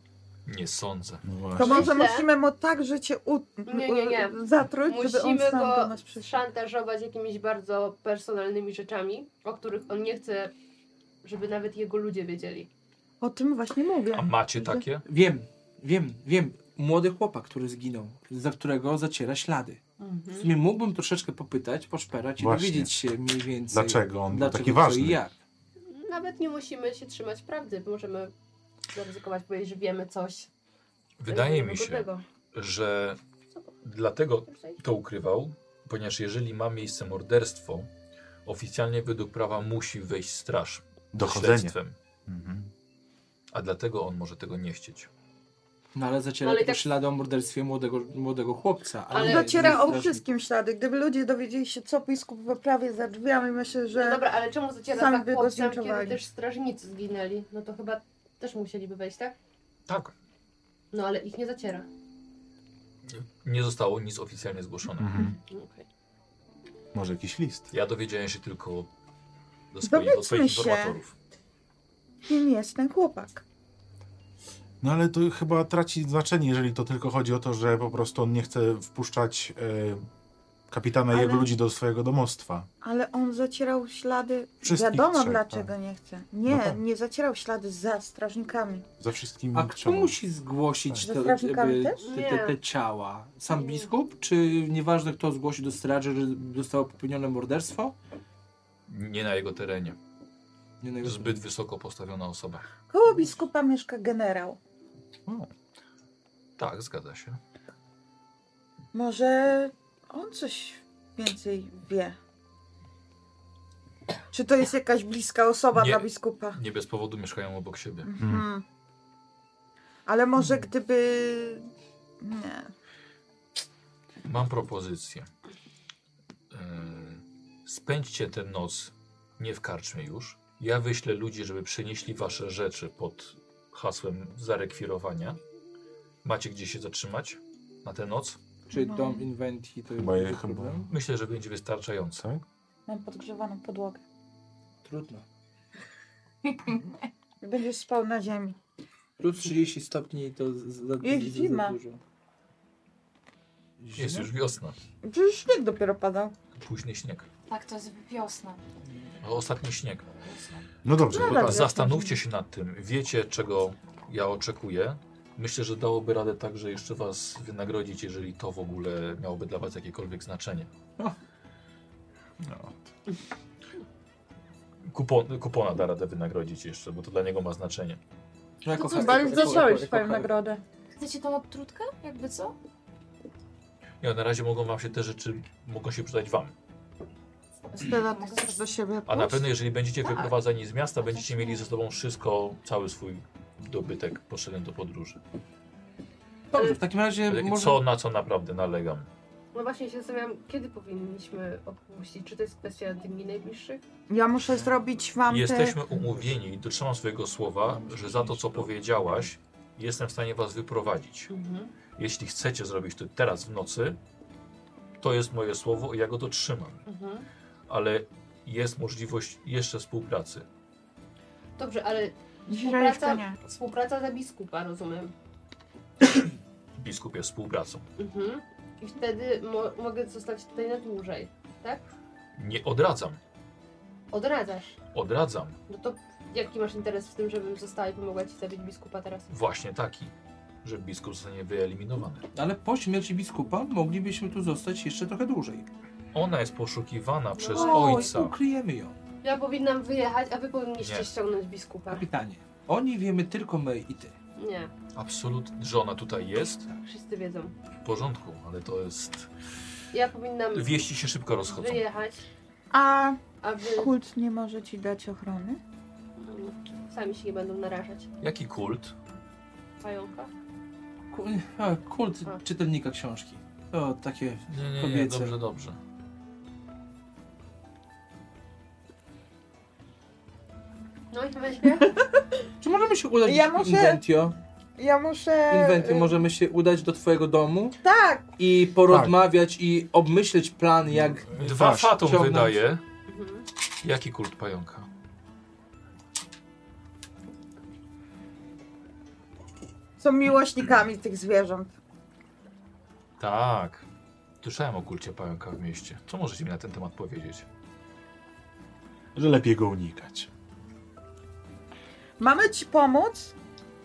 Speaker 2: Nie sądzę.
Speaker 3: No właśnie.
Speaker 4: To może
Speaker 1: Myślę-
Speaker 4: musimy mu tak życie u...
Speaker 1: Nie, nie, nie.
Speaker 4: zatruć, żeby on
Speaker 1: Musimy
Speaker 4: sam do
Speaker 1: go
Speaker 4: nas przyszedł.
Speaker 1: szantażować jakimiś bardzo personalnymi rzeczami, o których on nie chce, żeby nawet jego ludzie wiedzieli.
Speaker 4: O tym właśnie mówię.
Speaker 2: A macie takie?
Speaker 6: Wiem, wiem, wiem. Młody chłopak, który zginął, za którego zaciera ślady.
Speaker 4: Mhm.
Speaker 1: Mhm.
Speaker 6: W sumie mógłbym troszeczkę popytać, poszperać i
Speaker 3: Właśnie.
Speaker 6: dowiedzieć się mniej więcej.
Speaker 3: Dlaczego on był
Speaker 6: dlaczego
Speaker 3: taki
Speaker 6: co
Speaker 3: ważny?
Speaker 6: I jak.
Speaker 1: Nawet nie musimy się trzymać prawdy, bo możemy zaryzykować, powiedzieć, że wiemy coś.
Speaker 2: Wydaje mi się,
Speaker 1: niewygodnego.
Speaker 2: że dlatego
Speaker 1: Chcesz zejść?
Speaker 2: to ukrywał, ponieważ jeżeli ma miejsce morderstwo, oficjalnie według prawa musi wejść straż z
Speaker 3: Dochodzenie.
Speaker 2: śledztwem,
Speaker 3: Mhm.
Speaker 2: a dlatego on może tego nie chcieć.
Speaker 6: No ale zaciera
Speaker 1: No, ale
Speaker 6: tylko
Speaker 1: tak-
Speaker 6: ślady o morderstwie młodego, młodego chłopca. Ale,
Speaker 1: Ale-
Speaker 4: Dociera o
Speaker 6: nie-
Speaker 4: wszystkim ślady. Gdyby ludzie dowiedzieli się, co biskup wyprawia za drzwiami, myślę,
Speaker 1: No
Speaker 4: że
Speaker 1: dobra, ale czemu zaciera
Speaker 4: sami
Speaker 1: za
Speaker 4: by go
Speaker 1: chłopcem, kiedy
Speaker 4: zinczowali.
Speaker 1: też strażnicy zginęli? No to chyba też musieliby wejść, tak?
Speaker 2: Tak.
Speaker 1: No ale ich nie zaciera.
Speaker 2: Nie zostało nic oficjalnie zgłoszone.
Speaker 3: Mhm.
Speaker 1: Okej.
Speaker 3: Może jakiś list.
Speaker 2: Ja dowiedziałem się tylko do swoich, od swoich
Speaker 4: Dowiedzmy się.
Speaker 2: informatorów.
Speaker 4: kim jest ten chłopak.
Speaker 3: No ale to chyba traci znaczenie, jeżeli to tylko chodzi o to, że po prostu on nie chce wpuszczać e, kapitana i
Speaker 4: Ale-
Speaker 3: jego ludzi do swojego domostwa.
Speaker 4: Ale on zacierał ślady.
Speaker 3: Wszystkich
Speaker 4: Wiadomo
Speaker 3: trzech,
Speaker 4: dlaczego
Speaker 3: tak.
Speaker 4: nie chce. Nie,
Speaker 3: No tak.
Speaker 4: nie zacierał ślady za strażnikami.
Speaker 3: Za wszystkim
Speaker 6: A kto
Speaker 3: trzeba.
Speaker 6: musi zgłosić
Speaker 4: Ze
Speaker 6: te, te,
Speaker 4: strażnikami też?
Speaker 6: te, te, te
Speaker 1: Nie.
Speaker 6: ciała? Sam
Speaker 1: Nie.
Speaker 6: biskup? Czy nieważne kto zgłosi do straży, że zostało popełnione morderstwo?
Speaker 2: Nie na jego terenie.
Speaker 6: Nie najgorzej.
Speaker 2: Zbyt wysoko postawiona osoba.
Speaker 4: Koło biskupa mieszka generał.
Speaker 2: Tak, zgadza się.
Speaker 4: Może on coś więcej wie. Czy to jest jakaś bliska osoba
Speaker 2: Nie.
Speaker 4: dla biskupa?
Speaker 2: Nie bez powodu mieszkają obok siebie.
Speaker 4: Mhm. Ale może gdyby. Nie.
Speaker 2: Mam propozycję. Yy, Spędźcie tę noc nie w karczmie już. Ja wyślę ludzi, żeby przenieśli wasze rzeczy pod hasłem zarekwirowania. Macie gdzie się zatrzymać na tę noc?
Speaker 6: Czy dom inwentii to
Speaker 3: Chyba je-
Speaker 6: jest
Speaker 3: chyba-
Speaker 6: problem?
Speaker 2: Myślę, że będzie wystarczające.
Speaker 3: Tak?
Speaker 4: Mam podgrzewaną podłogę.
Speaker 6: Trudno.
Speaker 4: Będziesz spał na ziemi.
Speaker 6: Plus 30 stopni to z- za, za,
Speaker 4: Jest zima.
Speaker 6: za dużo.
Speaker 2: Jest już wiosna,
Speaker 4: Przecież śnieg dopiero padał.
Speaker 2: późny śnieg.
Speaker 5: Tak, to jest wiosna.
Speaker 2: O, Ostatni śnieg.
Speaker 3: No dobrze,
Speaker 4: No
Speaker 3: to
Speaker 4: dobra.
Speaker 3: tak.
Speaker 2: Zastanówcie się nad tym. Wiecie, czego ja oczekuję. Myślę, że dałoby radę także jeszcze was wynagrodzić, jeżeli to w ogóle miałoby dla was jakiekolwiek znaczenie.
Speaker 3: No.
Speaker 2: Kupon, kupona da radę wynagrodzić jeszcze, bo to dla niego ma znaczenie.
Speaker 6: No, jako
Speaker 5: To co,
Speaker 6: hak-
Speaker 5: chyba
Speaker 4: Chyba
Speaker 5: już
Speaker 4: już
Speaker 6: jako-
Speaker 4: zacząłeś
Speaker 6: jako-
Speaker 4: swoją
Speaker 6: jako-
Speaker 4: nagrodę.
Speaker 5: Chcecie tą odtrutkę? Jakby co?
Speaker 2: Nie, na razie mogą wam się te rzeczy, mogą się przydać wam.
Speaker 4: Stella, ty chcesz do siebie
Speaker 2: A na
Speaker 4: pójść?
Speaker 2: pewno jeżeli będziecie
Speaker 5: Tak.
Speaker 2: wyprowadzeni z miasta,
Speaker 5: Chociaż
Speaker 2: będziecie
Speaker 5: nie.
Speaker 2: mieli ze sobą wszystko, cały swój dobytek potrzebny do podróży.
Speaker 6: Dobrze, w takim razie
Speaker 2: Ale
Speaker 6: E, może...
Speaker 2: Co na co naprawdę nalegam.
Speaker 1: No właśnie się zastanawiam, kiedy powinniśmy opuścić? Czy to jest kwestia dni najbliższych?
Speaker 4: Ja muszę zrobić wam
Speaker 2: Jesteśmy umówieni i dotrzymam swojego słowa,
Speaker 6: Mam
Speaker 2: że za to co powiedziałaś, jestem w stanie was wyprowadzić.
Speaker 1: Mhm.
Speaker 2: Jeśli chcecie zrobić to teraz w nocy, to jest moje słowo i ja go dotrzymam.
Speaker 1: Mhm.
Speaker 2: Ale jest możliwość jeszcze współpracy.
Speaker 1: Dobrze, ale
Speaker 4: te...
Speaker 1: współpraca,
Speaker 4: Źreniczka nie.
Speaker 1: współpraca za biskupa, rozumiem.
Speaker 2: Biskup jest współpracą.
Speaker 1: Mhm. I wtedy mo- mogę zostać tutaj na dłużej. tak?
Speaker 2: Nie odradzam.
Speaker 1: Odradzasz.
Speaker 2: Odradzam.
Speaker 1: No to jaki masz interes w tym, żebym została i pomogła ci zabić biskupa teraz?
Speaker 2: Właśnie taki, że biskup zostanie wyeliminowany.
Speaker 6: Ale po śmierci biskupa moglibyśmy tu zostać jeszcze trochę dłużej.
Speaker 2: Ona jest poszukiwana przez
Speaker 1: No,
Speaker 6: Oj,
Speaker 2: ojca.
Speaker 6: ukryjemy ją.
Speaker 1: Ja powinnam wyjechać, a wy powinniście
Speaker 2: Nie.
Speaker 1: ściągnąć biskupa.
Speaker 6: Kapitanie, o niej wiemy tylko my i ty.
Speaker 1: Nie,
Speaker 2: Absolutnie, że ona tutaj jest.
Speaker 1: wszyscy wiedzą.
Speaker 2: W porządku, ale to jest...
Speaker 1: Ja powinnam
Speaker 2: Wieści się szybko rozchodzą.
Speaker 1: wyjechać,
Speaker 4: A
Speaker 1: a wy
Speaker 4: kult nie może ci dać ochrony?
Speaker 1: mm, sami się nie będą narażać.
Speaker 2: Jaki kult?
Speaker 1: Pająka?
Speaker 6: Ku- a, Kult
Speaker 1: A.
Speaker 6: czytelnika książki. O, takie...
Speaker 2: Nie, nie, nie,
Speaker 6: Kobiece.
Speaker 2: dobrze, dobrze.
Speaker 1: No i weźmie.
Speaker 6: Czy możemy się udać
Speaker 4: Ja
Speaker 6: do
Speaker 4: muszę-
Speaker 6: Inventio?
Speaker 4: Ja muszę...
Speaker 6: Inventio, możemy się udać do twojego domu
Speaker 4: Tak!
Speaker 6: i porozmawiać i obmyśleć plan, jak...
Speaker 2: Dwa
Speaker 6: Tak,
Speaker 2: fatum
Speaker 6: ciągnąć.
Speaker 2: wydaje.
Speaker 1: Mhm.
Speaker 2: Jaki kult pająka?
Speaker 4: Co są miłośnikami tych zwierząt.
Speaker 2: Tak. Słyszałem o kulcie pająka w mieście. Co możecie mi na ten temat powiedzieć?
Speaker 3: że lepiej go unikać.
Speaker 4: Mamy ci pomóc?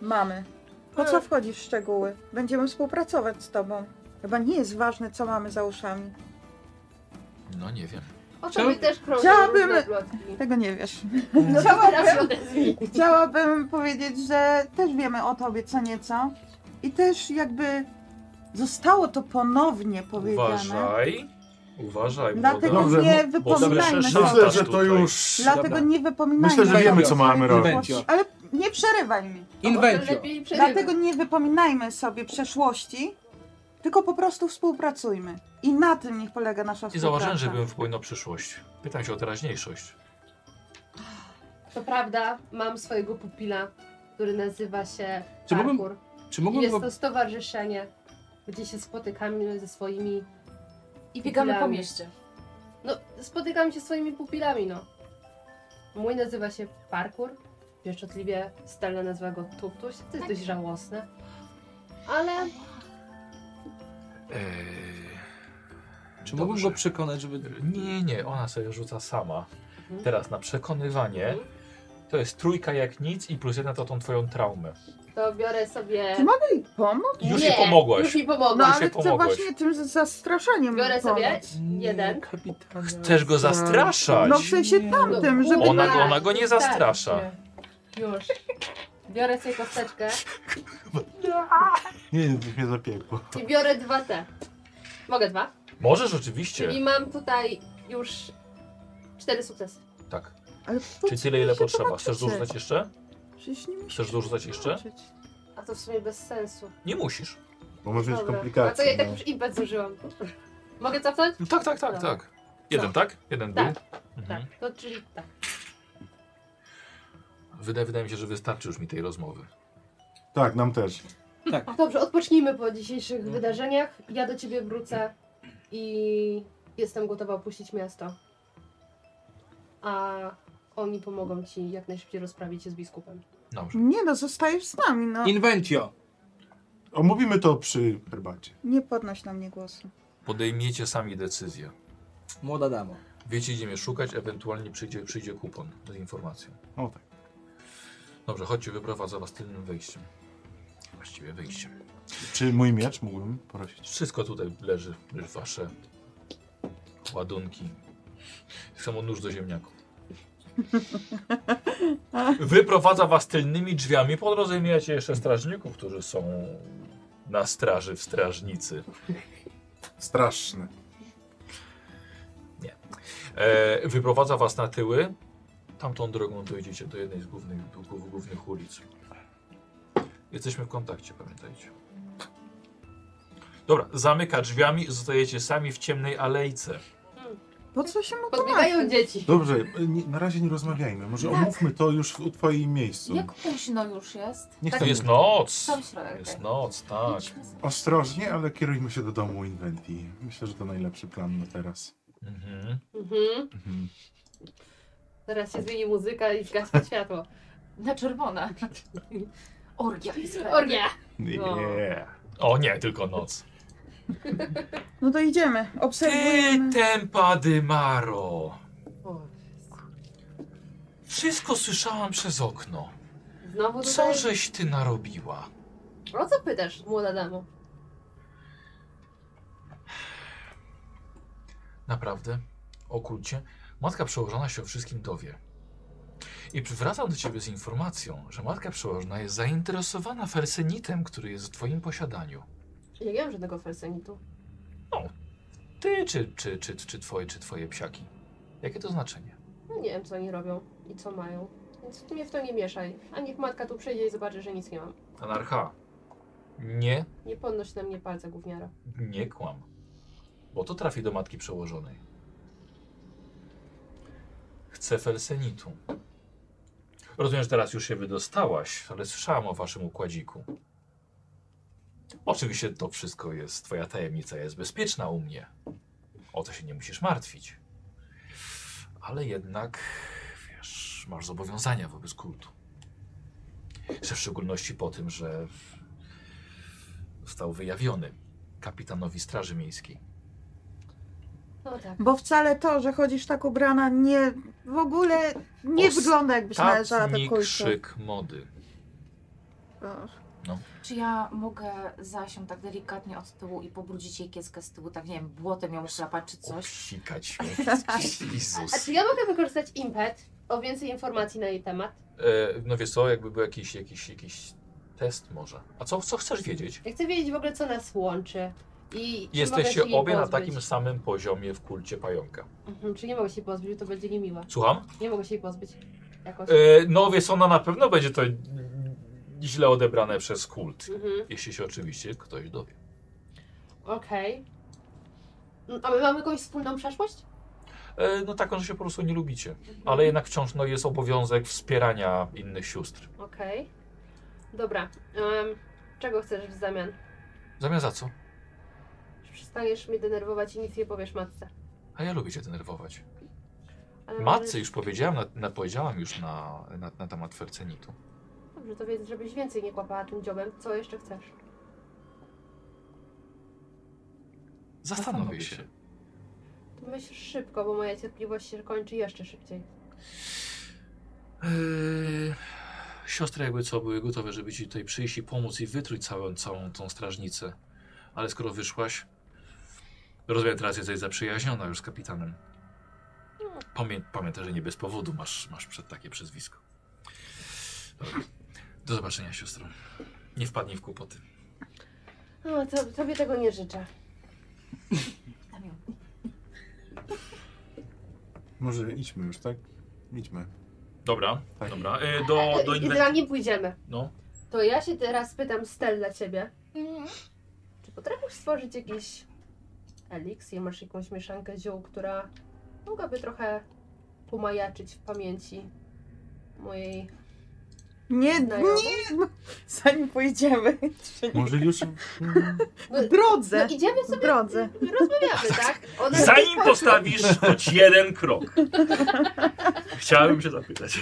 Speaker 4: Mamy. Po co
Speaker 1: Ale-
Speaker 4: wchodzisz w szczegóły? Będziemy współpracować z tobą. Chyba nie jest ważne, co mamy za uszami.
Speaker 2: No nie wiem.
Speaker 1: O tobie też krążą
Speaker 4: Chciałabym-
Speaker 1: różne plotki.
Speaker 4: Tego nie wiesz.
Speaker 1: No to teraz się odezwij.
Speaker 4: Chciałabym powiedzieć, że też wiemy o tobie co nieco. I też jakby zostało to ponownie powiedziane.
Speaker 2: Uważaj. Uważaj.
Speaker 4: Dlatego
Speaker 2: bo-
Speaker 7: Dobrze,
Speaker 4: nie
Speaker 2: bo
Speaker 4: wypominajmy
Speaker 2: słyszę
Speaker 4: się.
Speaker 7: Myślę,
Speaker 2: szantaż
Speaker 7: że to
Speaker 2: tutaj.
Speaker 7: już-
Speaker 4: Dlatego nie wypominajmy
Speaker 3: Myślę, że
Speaker 4: sobie
Speaker 3: wiemy, co
Speaker 4: swoich
Speaker 3: mamy robić.
Speaker 4: przeszłości. Ale nie przerywaj mi.
Speaker 1: Może
Speaker 6: Inwencio.
Speaker 1: lepiej przerywać.
Speaker 4: Dlatego nie wypominajmy sobie przeszłości, tylko po prostu współpracujmy. I na tym niech polega nasza
Speaker 2: Nie
Speaker 4: współpraca.
Speaker 2: założę, żebym wpłynął przyszłość. Pytam się o teraźniejszość.
Speaker 1: To prawda, mam swojego pupila, który nazywa się
Speaker 6: Czy mógłbym-
Speaker 1: Parkour.
Speaker 6: Czy
Speaker 1: I
Speaker 6: mogłem
Speaker 1: tak, Jest
Speaker 6: go...
Speaker 1: to stowarzyszenie, gdzie się spotykamy ze swoimi...
Speaker 5: I biegamy po
Speaker 1: Dla mnie.
Speaker 5: mieście.
Speaker 1: No, spotykamy się ze swoimi pupilami, no. Mój nazywa się Parkour. Pieszczotliwie Stella nazywa go Tuptuś. To jest dość żałosne. Ale
Speaker 2: Eee,
Speaker 6: Czy mogłem
Speaker 2: dobrze.
Speaker 6: go przekonać, żeby...
Speaker 2: Nie, nie, ona sobie rzuca sama.
Speaker 1: Mhm.
Speaker 2: Teraz na przekonywanie to jest trójka jak nic i plus jedna to tą twoją traumę.
Speaker 1: to biorę sobie...
Speaker 4: Ty mogę jej pomóc?
Speaker 2: Już
Speaker 1: nie,
Speaker 2: jej pomogłaś.
Speaker 1: Już mi
Speaker 4: No
Speaker 1: pomogłaś.
Speaker 2: się
Speaker 4: ale chcę
Speaker 2: pomogłeś.
Speaker 4: właśnie tym z- zastraszaniem
Speaker 1: Biorę sobie
Speaker 4: pomóc.
Speaker 1: jeden.
Speaker 6: Kapitanie.
Speaker 2: Chcesz go zastraszać?
Speaker 4: No w sensie tamtym, żeby...
Speaker 2: Ona
Speaker 1: Tak,
Speaker 2: go- ona go nie
Speaker 1: tak,
Speaker 2: zastrasza.
Speaker 1: nie. Już. Biorę sobie kosteczkę
Speaker 3: Nie, nie, mnie zapiekło.
Speaker 1: i biorę dwa te. Mogę dwa?
Speaker 2: Możesz oczywiście.
Speaker 1: Czyli mam tutaj już cztery sukcesy.
Speaker 2: Tak.
Speaker 4: Ale po
Speaker 2: Czy
Speaker 4: co
Speaker 2: tyle
Speaker 4: mi
Speaker 2: ile
Speaker 4: się
Speaker 2: potrzeba?
Speaker 4: tłumaczycie?
Speaker 2: Chcesz dorzucać jeszcze?
Speaker 4: Przecież nie musisz
Speaker 2: Chcesz dorzucać jeszcze?
Speaker 4: tłumaczyć.
Speaker 1: A to w sumie bez sensu.
Speaker 2: Nie musisz.
Speaker 7: Bo może mieć
Speaker 1: Dobra. A to ja
Speaker 7: komplikacje.
Speaker 1: i tak
Speaker 7: no.
Speaker 1: już impet zużyłam. Mogę cofnąć?
Speaker 2: No tak, tak, tak,
Speaker 1: Dobra.
Speaker 2: tak. Jeden, tak? Jeden
Speaker 1: Tak.
Speaker 2: był.
Speaker 1: Tak.
Speaker 2: Mhm.
Speaker 1: To czyli tak.
Speaker 2: Wydaje, wydaje mi się, że wystarczy już mi tej rozmowy.
Speaker 7: Tak, nam też.
Speaker 6: Tak.
Speaker 1: Dobrze, odpocznijmy po dzisiejszych wydarzeniach. Ja do ciebie wrócę i jestem gotowa opuścić miasto. A oni pomogą ci jak najszybciej rozprawić się z biskupem.
Speaker 2: Dobrze.
Speaker 4: Nie no, zostajesz z nami, no.
Speaker 6: Inwencio.
Speaker 7: Omówimy to przy herbacie.
Speaker 4: Nie podnoś na mnie głosu.
Speaker 2: Podejmiecie sami decyzję.
Speaker 6: Młoda damo.
Speaker 2: Wiecie, gdzie mnie szukać, ewentualnie przyjdzie, przyjdzie kupon z informacją.
Speaker 7: O tak.
Speaker 2: Dobrze, chodźcie, wyprowadzę was tylnym wejściem. Właściwie wyjściem.
Speaker 3: Czy mój miecz mógłbym prosić?
Speaker 2: Wszystko tutaj leży, leży wasze ładunki. Tak samo nóż do ziemniaków. Wyprowadza was tylnymi drzwiami. Po drodze mijacie jeszcze strażników, którzy są na straży w strażnicy.
Speaker 7: Straszne.
Speaker 2: E, wyprowadza was na tyły. Tamtą drogą dojdziecie do jednej z głównych, głó- głównych ulic. Jesteśmy w kontakcie, pamiętajcie. Dobra, zamyka drzwiami, zostajecie sami w ciemnej alejce.
Speaker 4: Po co się mu
Speaker 1: Podbiegają dzieci.
Speaker 7: Dobrze, nie, na razie nie rozmawiajmy. Może
Speaker 5: Tak.
Speaker 7: omówmy to już w u twoim miejscu.
Speaker 5: Jak późno już jest?
Speaker 3: Tak.
Speaker 7: Niech
Speaker 2: To
Speaker 7: tam
Speaker 2: jest noc!
Speaker 5: Sam środek.
Speaker 2: Jest noc, tak.
Speaker 5: Idźmy z-
Speaker 7: Ostrożnie, ale kierujmy się do domu Inventi. Myślę, że to najlepszy plan na teraz.
Speaker 2: Mhm.
Speaker 1: Mhm.
Speaker 7: Mhm.
Speaker 1: Teraz się zmieni muzyka i zgasnie światło.
Speaker 5: Na czerwone. Orgia jest
Speaker 1: Orgia! No.
Speaker 7: Yeah.
Speaker 2: O nie, tylko noc.
Speaker 4: No to idziemy,
Speaker 2: Ty
Speaker 4: obserwujemy.
Speaker 2: tempa dymaro!
Speaker 1: O,
Speaker 2: Wszystko słyszałam przez okno.
Speaker 1: Znowu
Speaker 2: Co
Speaker 1: tutaj?
Speaker 2: żeś ty narobiła?
Speaker 1: O co pytasz, młoda damo?
Speaker 2: Naprawdę? Okulcie? Matka przełożona się o wszystkim dowie. I wracam do ciebie z informacją, że matka przełożona jest zainteresowana fersenitem, który jest w twoim posiadaniu.
Speaker 1: Ja nie mam żadnego felsenitu.
Speaker 2: Ty czy, czy, czy, czy, twoje, czy twoje psiaki. Jakie to znaczenie?
Speaker 1: No nie wiem, co oni robią i co mają. Więc ty mnie w to nie mieszaj. A niech matka tu przyjdzie i zobaczy, że nic nie mam.
Speaker 2: Anarcha. Nie,
Speaker 1: Nie podnoś na mnie palca, gówniara.
Speaker 2: nie kłam. Bo to trafi do matki przełożonej. Chcę felsenitu. Rozumiem, że teraz już się wydostałaś, ale słyszałam o waszym układziku. Oczywiście to wszystko jest, twoja tajemnica jest bezpieczna u mnie. O to się nie musisz martwić. Ale jednak, wiesz, masz zobowiązania wobec kultu. Że w szczególności po tym, że został wyjawiony kapitanowi Straży Miejskiej.
Speaker 1: No tak.
Speaker 4: Bo wcale to, że chodzisz tak ubrana, nie w ogóle nie
Speaker 2: Ostatni
Speaker 4: wygląda jakbyś należała do
Speaker 2: Tatni
Speaker 4: kultury.
Speaker 2: krzyk mody.
Speaker 5: Czy ja mogę zasiąść tak delikatnie od tyłu i pobrudzić jej kieckę z tyłu, tak nie wiem, błotem ją chlapać czy coś?
Speaker 2: Obsikać mnie. E,
Speaker 1: A
Speaker 2: Jezus.
Speaker 1: czy ja mogę wykorzystać impet o więcej informacji na jej temat?
Speaker 2: E, no wiesz co, jakby był jakiś, jakiś, jakiś test może. A co, co chcesz wiedzieć?
Speaker 1: Ja chcę wiedzieć w ogóle, co nas łączy. I czy mogę
Speaker 2: Jesteście
Speaker 1: się jej
Speaker 2: obie na
Speaker 1: pozbyć.
Speaker 2: takim samym poziomie w kulcie pająka.
Speaker 1: Mhm, czy nie mogę się jej pozbyć, bo to będzie niemiłe.
Speaker 2: Słucham?
Speaker 1: Nie mogę się jej pozbyć. Jakoś.
Speaker 2: E, no wiesz, ona na pewno będzie to źle odebrane przez kult.
Speaker 1: Mhm,
Speaker 2: Jeśli się oczywiście ktoś dowie.
Speaker 1: okej. Mm, A my mamy jakąś wspólną przeszłość?
Speaker 2: E, no taką, że się po prostu nie lubicie.
Speaker 1: Mhm.
Speaker 2: Ale jednak wciąż no, jest obowiązek wspierania innych sióstr.
Speaker 1: Okej. Dobra. em, czego chcesz w zamian?
Speaker 2: Zamiast za co?
Speaker 1: Czy przestaniesz mnie denerwować i nic nie powiesz matce?
Speaker 2: A ja lubię cię denerwować.
Speaker 1: Ale
Speaker 2: Matce już powiedziałam, na, na, powiedziałam już na, na, na temat Fercenitu.
Speaker 1: może- Dobrze, to więc, żebyś więcej nie kłapała tym dziobem. Co jeszcze chcesz?
Speaker 2: Zastanowię się.
Speaker 1: To myśl szybko, bo moja cierpliwość się kończy jeszcze szybciej.
Speaker 2: Eee, siostry jakby co były gotowe, żeby ci tutaj przyjść i pomóc i wytruć całą, całą tą strażnicę. Ale skoro wyszłaś, rozumiem teraz jesteś zaprzyjaźniona już z kapitanem. Pamię, pamiętaj, że nie bez powodu masz, masz przed takie przezwisko. Dobra. Do zobaczenia siostro. Nie wpadnij w kłopoty.
Speaker 1: No, to, tobie tego nie życzę.
Speaker 5: Tam ją
Speaker 7: Może idźmy już, tak? Idźmy.
Speaker 2: Dobra,
Speaker 7: Tak.
Speaker 2: dobra. E, do, do
Speaker 1: E,
Speaker 2: inwe-
Speaker 1: Zanim pójdziemy,
Speaker 2: No,
Speaker 1: to ja się teraz pytam Stel dla ciebie. Czy potrafisz stworzyć jakiś eliksir? Masz jakąś mieszankę ziół, która mogłaby trochę pomajaczyć w pamięci mojej
Speaker 4: Nie,
Speaker 1: znajomej?
Speaker 4: nie, zanim pojedziemy.
Speaker 3: Może już...
Speaker 7: Hmm.
Speaker 4: W drodze.
Speaker 1: No idziemy
Speaker 4: W
Speaker 1: sobie,
Speaker 4: drodze.
Speaker 1: rozmawiamy, tak? Ona...
Speaker 2: Zanim postawisz choć jeden krok. Chciałem się zapytać.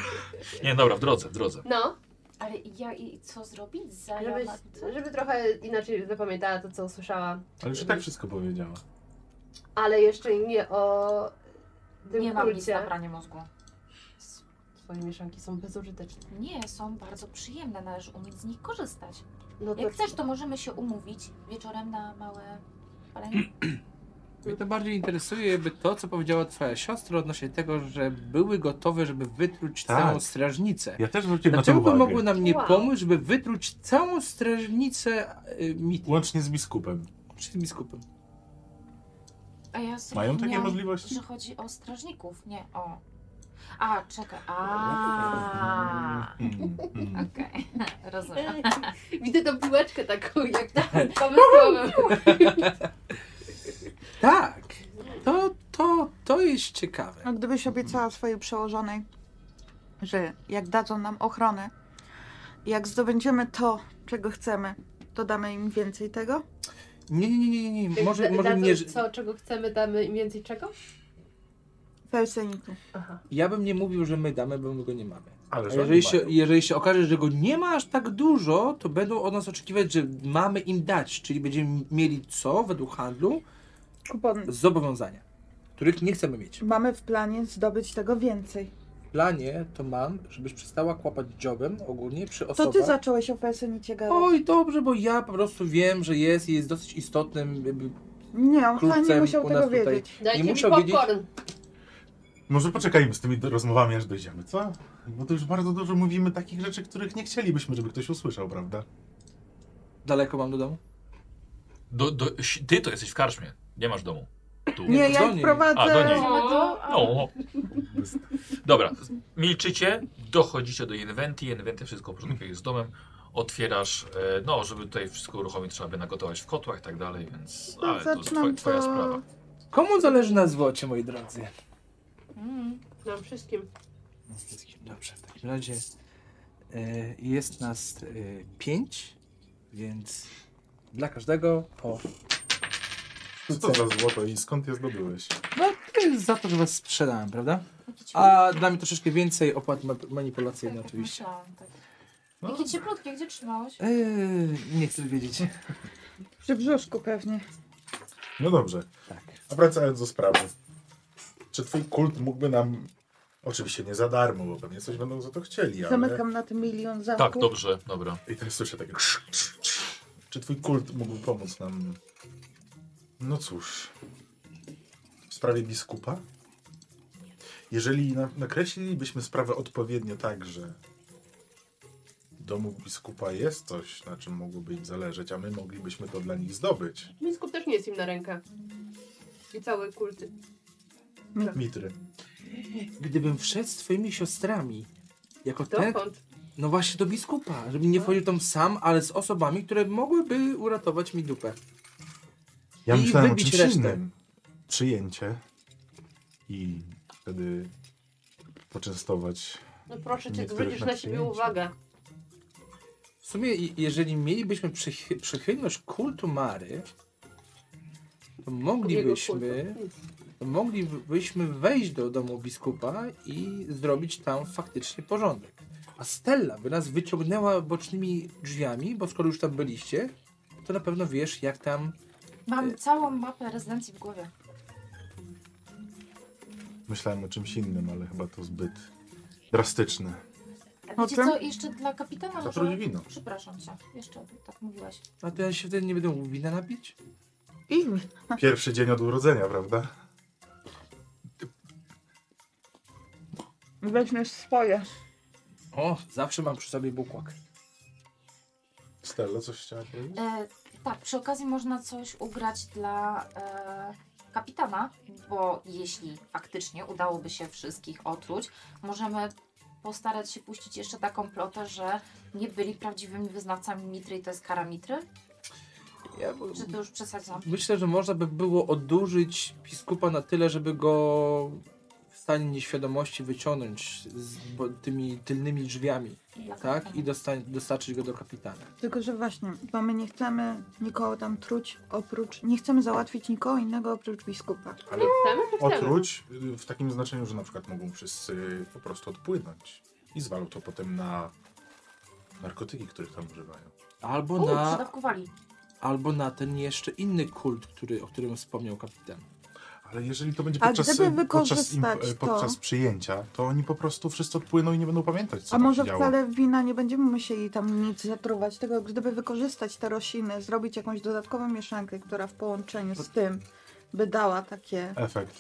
Speaker 2: Nie, dobra, w drodze, w drodze.
Speaker 1: No,
Speaker 5: Ale ja i co zrobić? Za
Speaker 1: żebyś,
Speaker 5: Jama- co?
Speaker 1: żeby trochę inaczej zapamiętała to, co usłyszała.
Speaker 7: Ale już i tak wszystko powiedziała.
Speaker 1: Ale jeszcze nie o tym
Speaker 5: Nie mam nic na
Speaker 1: kulcie.
Speaker 5: pranie mózgu.
Speaker 1: Twoje mieszanki są bezużyteczne.
Speaker 5: Nie, są bardzo przyjemne, należy umieć z nich korzystać.
Speaker 1: No
Speaker 5: Jak chcesz, to możemy się umówić wieczorem na małe palenie.
Speaker 6: Mnie to bardziej interesuje by to, co powiedziała twoja siostra odnośnie tego, że były gotowe, żeby wytruć
Speaker 3: Tak.
Speaker 6: całą strażnicę.
Speaker 3: Ja też zwróciłem na to
Speaker 6: Dlaczego by
Speaker 3: uwagę.
Speaker 6: mogły nam nie
Speaker 1: Wow.
Speaker 6: pomóc, żeby wytruć całą strażnicę y, mitu?
Speaker 7: Łącznie z biskupem.
Speaker 6: Czy biskupem?
Speaker 5: A ja
Speaker 7: Mają takie
Speaker 5: zrozumiałam,
Speaker 7: możliwości?
Speaker 5: Że chodzi o strażników, nie o... A, czekaj, a,
Speaker 7: Mm, mm.
Speaker 5: Okej, rozumiem.
Speaker 1: Widzę tą piłeczkę taką, jak tam pomysłową.
Speaker 6: Tak! To, to, to jest ciekawe.
Speaker 4: No, gdybyś obiecała swojej przełożonej, że jak dadzą nam ochronę, jak zdobędziemy to, czego chcemy, to damy im więcej tego?
Speaker 6: Nie, nie, nie, nie, nie, nie.
Speaker 1: Jak
Speaker 6: Może,
Speaker 1: da-
Speaker 6: może
Speaker 1: dadzą
Speaker 6: nie.
Speaker 1: co, czego chcemy, damy im więcej czego?
Speaker 4: Felseniku.
Speaker 1: Aha.
Speaker 6: Ja bym nie mówił, że my damy, bo my go nie mamy.
Speaker 7: Ale
Speaker 6: A
Speaker 7: że
Speaker 6: jeżeli
Speaker 7: oni
Speaker 6: się,
Speaker 7: mają.
Speaker 6: jeżeli się okaże, że go nie ma aż tak dużo, to będą od nas oczekiwać, że mamy im dać, czyli będziemy mieli co według handlu
Speaker 4: Kupon.
Speaker 6: zobowiązania, których nie chcemy mieć.
Speaker 4: Mamy w planie zdobyć tego więcej.
Speaker 6: W planie to mam, żebyś przestała kłapać dziobem ogólnie przy
Speaker 4: To
Speaker 6: osobach.
Speaker 4: ty zacząłeś o Felsenicie gadać.
Speaker 6: Oj, dobrze, bo ja po prostu wiem, że jest i jest dosyć istotnym. jakby-
Speaker 4: Nie, on wcale nie
Speaker 6: Krótcem
Speaker 4: musiał
Speaker 6: u nas
Speaker 4: tego
Speaker 6: tutaj.
Speaker 4: wiedzieć.
Speaker 1: Dajcie mi
Speaker 6: musiał
Speaker 1: popcorn.
Speaker 7: Może poczekajmy z tymi do- rozmowami, aż dojdziemy, co? Bo to już bardzo dużo mówimy takich rzeczy, których nie chcielibyśmy, żeby ktoś usłyszał, prawda?
Speaker 6: Daleko mam do domu.
Speaker 2: Do, do, ty to jesteś w karczmie. Nie masz domu. Tu.
Speaker 4: Nie,
Speaker 6: do
Speaker 4: ja ich
Speaker 6: niej.
Speaker 2: A, do
Speaker 4: prowadzę.
Speaker 2: niej.
Speaker 5: Idziemy do...
Speaker 2: No. Dobra, milczycie, dochodzicie do Inwenty, Inwenty wszystko porządkuje jest z domem, otwierasz, e, no żeby tutaj wszystko uruchomić trzeba by nagotować w kotłach i tak dalej, więc
Speaker 4: To
Speaker 2: ale to jest twoja,
Speaker 4: No, zaczynam
Speaker 2: twoja sprawa.
Speaker 4: to...
Speaker 6: Komu zależy na złocie, moi drodzy?
Speaker 5: Mm.
Speaker 1: Nam wszystkim.
Speaker 6: Dobrze, No, w takim razie e, jest nas e, pięć, więc dla każdego po
Speaker 7: Co to za złoto i skąd je zdobyłeś?
Speaker 6: No to jest za to, że was sprzedałem, prawda? A dla mnie troszeczkę więcej opłat ma- manipulacyjnych
Speaker 5: Tak, jak
Speaker 6: oczywiście.
Speaker 5: myślałam, tak.
Speaker 7: No.
Speaker 5: Jakie cieplutkie, gdzie trzymałeś?
Speaker 6: Eee, nie chcę wiedzieć.
Speaker 4: Przy brzuszku pewnie.
Speaker 3: No dobrze.
Speaker 8: Tak.
Speaker 3: A wracając do sprawy. Czy twój kult mógłby nam... Oczywiście nie za darmo, bo pewnie coś będą za to chcieli, ale...
Speaker 4: Zamykam na tym milion zamków.
Speaker 2: Tak, dobrze, dobra.
Speaker 3: I teraz słyszę takie... krz, krz, krz. Czy twój kult mógłby pomóc nam? No cóż... W sprawie biskupa? Jeżeli na, nakreślilibyśmy sprawę odpowiednio tak, że w domu biskupa jest coś, na czym mogłoby im zależeć, a my moglibyśmy to dla nich zdobyć.
Speaker 1: Biskup też nie jest im na rękę. I cały kult.
Speaker 3: Mitry.
Speaker 6: Gdybym wszedł z twoimi siostrami, jako te,
Speaker 1: Dokąd?
Speaker 6: no właśnie do biskupa, żebym nie wchodził tam sam, ale z osobami, które mogłyby uratować mi dupę.
Speaker 3: Ja
Speaker 6: I
Speaker 3: myślałem o
Speaker 6: wybić
Speaker 3: czymś
Speaker 6: resztę.
Speaker 3: innym. Przyjęcie i wtedy poczęstować.
Speaker 1: No proszę cię,
Speaker 3: Niektórych
Speaker 1: zwrócisz
Speaker 3: na
Speaker 1: na siebie
Speaker 3: przyjęcie.
Speaker 1: uwagę.
Speaker 6: W sumie, i- jeżeli mielibyśmy przychy- przychylność kultu Mary, to moglibyśmy, to moglibyśmy wejść do domu biskupa i zrobić tam faktycznie porządek. A Stella by nas wyciągnęła bocznymi drzwiami, bo skoro już tam byliście, to na pewno wiesz, jak tam. E,
Speaker 5: Mam całą mapę rezydencji w głowie.
Speaker 3: Myślałem o czymś innym, ale chyba to zbyt drastyczne.
Speaker 5: A wiecie
Speaker 4: czym?
Speaker 5: co, jeszcze dla
Speaker 4: No,
Speaker 5: kapitana
Speaker 3: Zatruć
Speaker 5: może...
Speaker 3: wino.
Speaker 5: Przepraszam cię, jeszcze tak mówiłaś.
Speaker 6: A to ja się wtedy nie będę mógł wina napić?
Speaker 4: I
Speaker 3: Pierwszy dzień od urodzenia, prawda?
Speaker 4: weźmiesz swoje.
Speaker 6: O, zawsze mam przy sobie bukłak.
Speaker 3: Stella, coś chciałaś powiedzieć?
Speaker 5: E, tak, przy okazji można coś ugrać dla e, kapitana, bo jeśli faktycznie udałoby się wszystkich otruć, możemy postarać się puścić jeszcze taką plotę, że nie byli prawdziwymi wyznawcami mitry i to jest kara mitry.
Speaker 6: Ja,
Speaker 5: Czy to już przesadzam?
Speaker 6: Myślę, że można by było odurzyć biskupa na tyle, żeby go w stanie nieświadomości wyciągnąć z bo, tymi tylnymi drzwiami,
Speaker 5: Dla
Speaker 6: tak?
Speaker 5: kapitana.
Speaker 6: I dosta- dostarczyć go do kapitana.
Speaker 4: Tylko, że właśnie, bo my nie chcemy nikogo tam truć oprócz... Nie chcemy załatwić nikogo innego oprócz biskupa.
Speaker 3: Ale
Speaker 1: Chcemy czy chcemy?
Speaker 3: otruć y, w takim znaczeniu, że na przykład mogą wszyscy po prostu odpłynąć i zwalą to potem na narkotyki, których tam używają.
Speaker 6: Albo
Speaker 5: U,
Speaker 6: na,
Speaker 5: przydawkowali.
Speaker 6: albo na ten jeszcze inny kult, który, o którym wspomniał kapitan.
Speaker 3: Ale jeżeli to będzie
Speaker 4: A
Speaker 3: podczas,
Speaker 4: gdyby
Speaker 3: y, podczas,
Speaker 4: wykorzystać
Speaker 3: imp- y,
Speaker 4: to?
Speaker 3: podczas przyjęcia, to oni po prostu wszyscy odpłyną i nie będą pamiętać, co
Speaker 4: A
Speaker 3: tam
Speaker 4: może
Speaker 3: się działo.
Speaker 4: wcale wina nie będziemy musieli tam nic zatruwać, tylko gdyby wykorzystać te rośliny, zrobić jakąś dodatkową mieszankę, która w połączeniu z tym by dała takie...
Speaker 3: Efekt.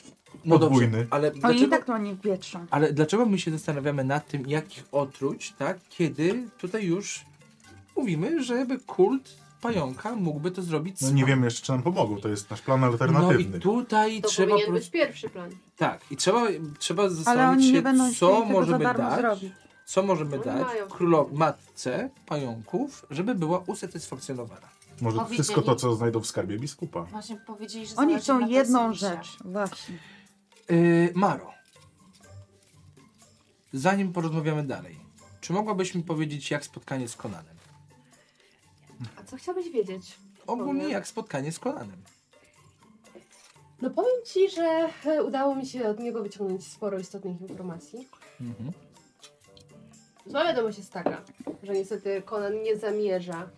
Speaker 6: No
Speaker 3: Podwójny.
Speaker 6: dobrze, ale
Speaker 4: Oni i
Speaker 6: dlaczego,
Speaker 4: tak to nie wietrzą.
Speaker 6: ale dlaczego my się zastanawiamy nad tym, jakich otruć, tak? Kiedy tutaj już mówimy, żeby kult pająka mógłby to zrobić
Speaker 3: No
Speaker 6: sam.
Speaker 3: nie wiemy jeszcze, czy nam pomogą. To jest nasz plan
Speaker 6: No i
Speaker 3: alternatywny.
Speaker 6: tutaj
Speaker 1: To
Speaker 6: trzeba po
Speaker 1: powinien
Speaker 6: prostu
Speaker 1: być pierwszy plan. No,
Speaker 6: Tak, i trzeba, trzeba
Speaker 4: Ale
Speaker 6: zastanowić
Speaker 4: oni
Speaker 6: się,
Speaker 4: nie będą
Speaker 6: co
Speaker 4: chcieli tego za
Speaker 6: możemy
Speaker 4: darmo
Speaker 6: dać,
Speaker 4: zrobić.
Speaker 6: co możemy
Speaker 1: Oni
Speaker 6: dać
Speaker 1: mają.
Speaker 6: królow matce pająków, żeby była usatysfakcjonowana.
Speaker 3: Może
Speaker 5: Powiedzieli-
Speaker 3: wszystko to, co znajdą w skarbie biskupa.
Speaker 5: Właśnie powiedzieli, że
Speaker 4: Oni
Speaker 5: zależy
Speaker 4: chcą
Speaker 5: na
Speaker 4: jedną
Speaker 5: kosmisie.
Speaker 4: rzecz, właśnie.
Speaker 6: Yy, Maro, zanim porozmawiamy dalej, czy mogłabyś mi powiedzieć, jak spotkanie z Konanem?
Speaker 1: A co chciałbyś wiedzieć?
Speaker 6: Ogólnie
Speaker 1: Powiem.
Speaker 6: jak spotkanie z Konanem.
Speaker 1: No powiem ci, że e, udało mi się od niego wyciągnąć sporo istotnych informacji.
Speaker 6: Mhm.
Speaker 1: Zła wiadomość jest taka, że niestety Conan nie zamierza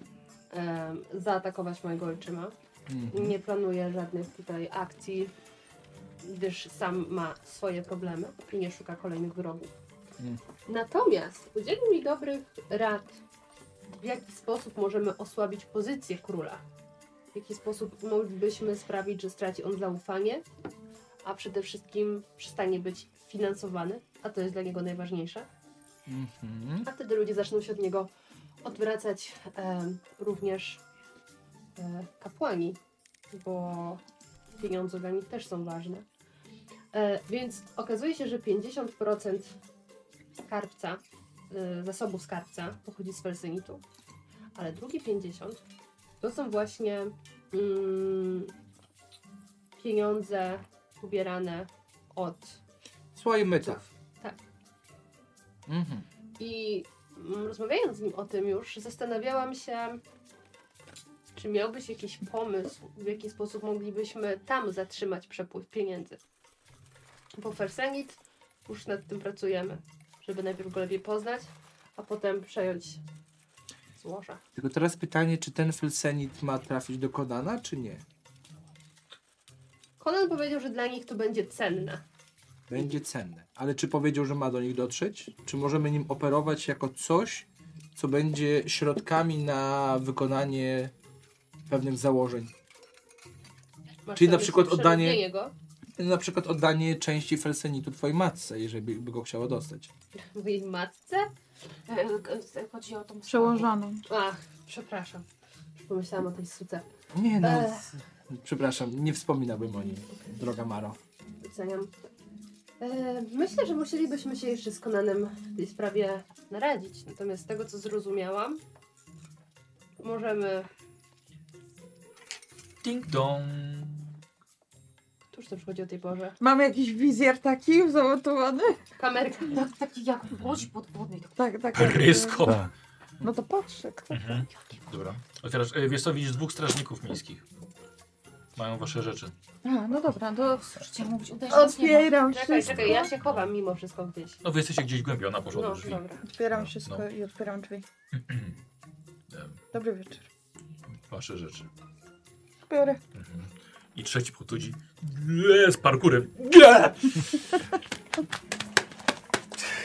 Speaker 1: em, zaatakować mojego ojczyma.
Speaker 6: Mhm.
Speaker 1: Nie planuje żadnych tutaj akcji, gdyż sam ma swoje problemy i nie szuka kolejnych wrogów.
Speaker 6: Mm.
Speaker 1: Natomiast udzielił mi dobrych rad, w jaki sposób możemy osłabić pozycję króla. W jaki sposób moglibyśmy sprawić, że straci on zaufanie, a przede wszystkim przestanie być finansowany, a to jest dla niego najważniejsze
Speaker 6: Mhm.
Speaker 1: a wtedy ludzie zaczną się od niego odwracać em, również e, kapłani, bo pieniądze dla nich też są ważne. E, więc okazuje się, że 50% skarbca, e, zasobu skarbca pochodzi z felsynitu, ale drugie 50% to są właśnie mm, pieniądze ubierane od
Speaker 6: Słuchaj, mytów.
Speaker 1: Tak.
Speaker 6: Mhm.
Speaker 1: I mm, rozmawiając z nim o tym już, zastanawiałam się, czy miałbyś jakiś pomysł, w jaki sposób moglibyśmy tam zatrzymać przepływ pieniędzy. Bo Fersenit już nad tym pracujemy, żeby najpierw go lepiej poznać, a potem przejąć złoża.
Speaker 6: Tylko teraz pytanie, czy ten felsenit ma trafić do Kodana, czy nie?
Speaker 1: Conan powiedział, że dla nich to będzie cenne.
Speaker 6: Będzie cenne. Ale czy powiedział, że ma do nich dotrzeć? Czy możemy nim operować jako coś, co będzie środkami na wykonanie pewnych założeń?
Speaker 1: Masz
Speaker 6: Czyli na
Speaker 1: na myśli
Speaker 6: przykład oddanie-
Speaker 1: przerobienie go?
Speaker 6: Na przykład oddanie części felsenitu twojej matce, jeżeli by go chciała dostać.
Speaker 1: W jej matce?
Speaker 5: E, e, Chodzi o tą
Speaker 4: Przełożoną.
Speaker 1: Ach, przepraszam. Już pomyślałam o tej suce.
Speaker 6: Nie no,
Speaker 1: Ech.
Speaker 6: przepraszam, nie wspominałbym o nim, droga Maro.
Speaker 1: Oceniam. E, Myślę, że musielibyśmy się jeszcze z Konanem w tej sprawie naradzić. Natomiast z tego, co zrozumiałam, możemy...
Speaker 2: Ding dong.
Speaker 1: Tuż to przychodzi o tej porze.
Speaker 4: Mam jakiś wizjer taki zamontowany?
Speaker 1: Kamerka.
Speaker 5: Tak, taki jak w łodzi podwodnej. tak.
Speaker 4: Tak, tak. jakby-
Speaker 2: Pryskop.
Speaker 3: Tak.
Speaker 4: No to patrzę, kto
Speaker 2: Mhm.
Speaker 7: Dobra.
Speaker 2: A teraz, e, wiesz co, widzisz dwóch strażników miejskich. Mają wasze rzeczy.
Speaker 4: A, no dobra, to
Speaker 5: Możecie mówić, uderzyć nie ma.
Speaker 4: otwieram
Speaker 1: Czekaj,
Speaker 4: wszystko.
Speaker 1: czekaj, ja się chowam mimo wszystko gdzieś.
Speaker 2: No wy jesteście gdzieś głębiej, ona poszła do
Speaker 1: No,
Speaker 2: drzwi.
Speaker 1: dobra.
Speaker 4: Otwieram
Speaker 2: No,
Speaker 4: wszystko
Speaker 2: no.
Speaker 4: i otwieram drzwi.
Speaker 2: E,
Speaker 4: Dobry wieczór.
Speaker 2: Wasze rzeczy.
Speaker 4: Biorę.
Speaker 2: Mhm. I trzeci podchodzi nie, z parkurem. Nie!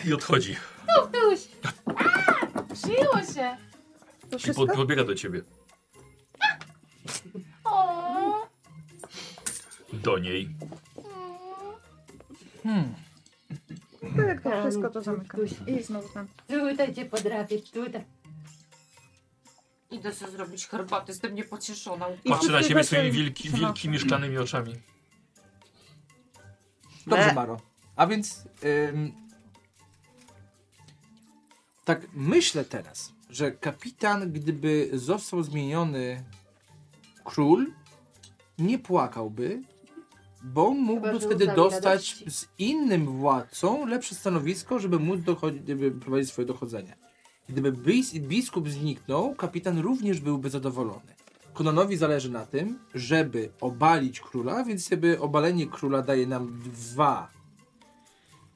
Speaker 2: I odchodzi.
Speaker 5: Byłeś. A, Przyjęło się.
Speaker 4: To
Speaker 2: I pod,
Speaker 4: wszystko?
Speaker 2: podbiega do ciebie.
Speaker 5: O,
Speaker 2: Do niej.
Speaker 6: Hmm.
Speaker 4: Tak, to wszystko to zamykam. I znowu tam.
Speaker 1: Tutaj cię podrapię, tutaj.
Speaker 5: Idę sobie zrobić herbatę, jestem niepocieszona.
Speaker 4: I
Speaker 2: Patrzy na ciebie
Speaker 4: podbiega
Speaker 2: swoimi
Speaker 4: się-
Speaker 2: wielki,
Speaker 4: Przepraszam.
Speaker 2: wielkimi, szklanymi oczami.
Speaker 6: Dobrze,
Speaker 4: Me.
Speaker 6: Maro. A więc. Ym, tak, myślę teraz, że kapitan, gdyby został zmieniony król, nie płakałby, bo mógłby
Speaker 1: Chyba, że
Speaker 6: wtedy
Speaker 1: łzami
Speaker 6: dostać
Speaker 1: radości.
Speaker 6: z innym władcą lepsze stanowisko, żeby móc dochod- żeby prowadzić swoje dochodzenie. Gdyby bis- biskup zniknął, kapitan również byłby zadowolony. Konanowi zależy na tym, żeby obalić króla, więc sobie obalenie króla daje nam dwa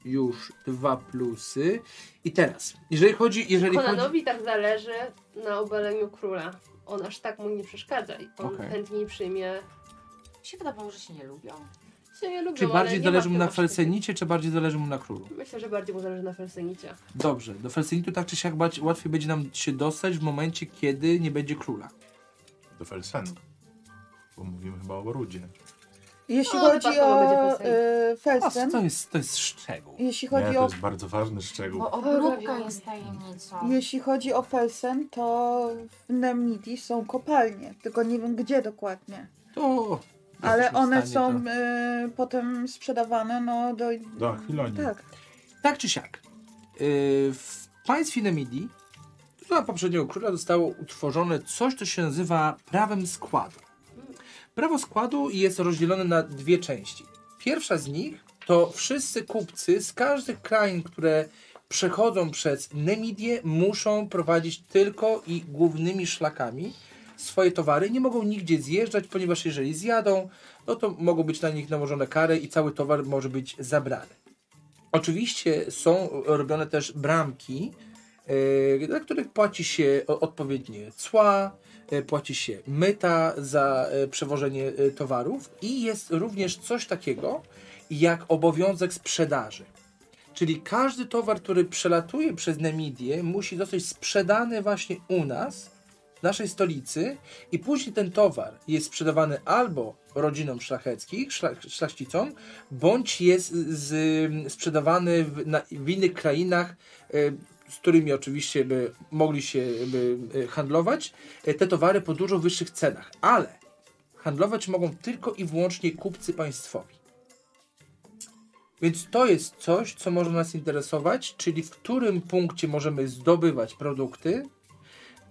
Speaker 6: już dwa plusy. I teraz, jeżeli chodzi, jeżeli chodzi...
Speaker 1: Konanowi tak zależy na obaleniu króla. On aż tak mu nie przeszkadza i on
Speaker 6: Okej.
Speaker 1: chętniej przyjmie.
Speaker 5: Mi się wydawało, że się nie lubią.
Speaker 1: Się nie lubią,
Speaker 6: Czy
Speaker 1: Znaczy, ale
Speaker 6: bardziej
Speaker 1: nie
Speaker 6: zależy
Speaker 1: ma
Speaker 6: mu na
Speaker 1: chyba wszystkich.
Speaker 6: Felsenicie, czy bardziej zależy mu na królu?
Speaker 1: Myślę, że bardziej mu zależy na Felsenicie.
Speaker 6: Dobrze, do Felsenitu tak czy siak bać- łatwiej będzie nam się dostać w momencie, kiedy nie będzie króla.
Speaker 3: Do Felsenu. Bo mówimy chyba o Rudzie.
Speaker 4: Jeśli
Speaker 1: O,
Speaker 4: chodzi
Speaker 1: chyba koło
Speaker 4: o
Speaker 1: będzie
Speaker 4: y,
Speaker 6: O,
Speaker 4: Felsen,
Speaker 6: to jest, to jest szczegół.
Speaker 4: jeśli
Speaker 3: Nie,
Speaker 4: chodzi
Speaker 3: to
Speaker 4: o
Speaker 3: jest bardzo ważny szczegół.
Speaker 5: Bo obróbka jest tajemnicą.
Speaker 4: jeśli chodzi o Felsen, to w Nemnidi są kopalnie, tylko nie wiem gdzie dokładnie.
Speaker 6: To...
Speaker 4: Ale
Speaker 6: jesteśmy w
Speaker 4: one
Speaker 6: stanie tak.
Speaker 4: są
Speaker 6: to-
Speaker 4: y, potem sprzedawane no do...
Speaker 3: Do Akwilonii.
Speaker 4: Tak.
Speaker 6: Tak czy siak, yy, w państwie Nemidii za poprzedniego króla zostało utworzone coś, co się nazywa prawem składu. Prawo składu jest rozdzielone na dwie części. Pierwsza z nich to wszyscy kupcy z każdych krain, które przechodzą przez Nemidię, muszą prowadzić tylko i głównymi szlakami swoje towary. Nie mogą nigdzie zjeżdżać, ponieważ jeżeli zjadą, no to mogą być na nich nałożone kary i cały towar może być zabrany. Oczywiście są robione też bramki, yy, dla których płaci się o- odpowiednie cła, yy, płaci się myta za yy, przewożenie yy, towarów i jest również coś takiego jak obowiązek sprzedaży. Czyli każdy towar, który przelatuje przez Nemidię, musi zostać sprzedany właśnie u nas, w naszej stolicy, i później ten towar jest sprzedawany albo rodzinom szlacheckich, szlach, szlachcicom, bądź jest z, sprzedawany w, na, w innych krainach, e, z którymi oczywiście by mogli się by, e, handlować, e, te towary po dużo wyższych cenach, ale handlować mogą tylko i wyłącznie kupcy państwowi. Więc to jest coś, co może nas interesować, czyli w którym punkcie możemy zdobywać produkty.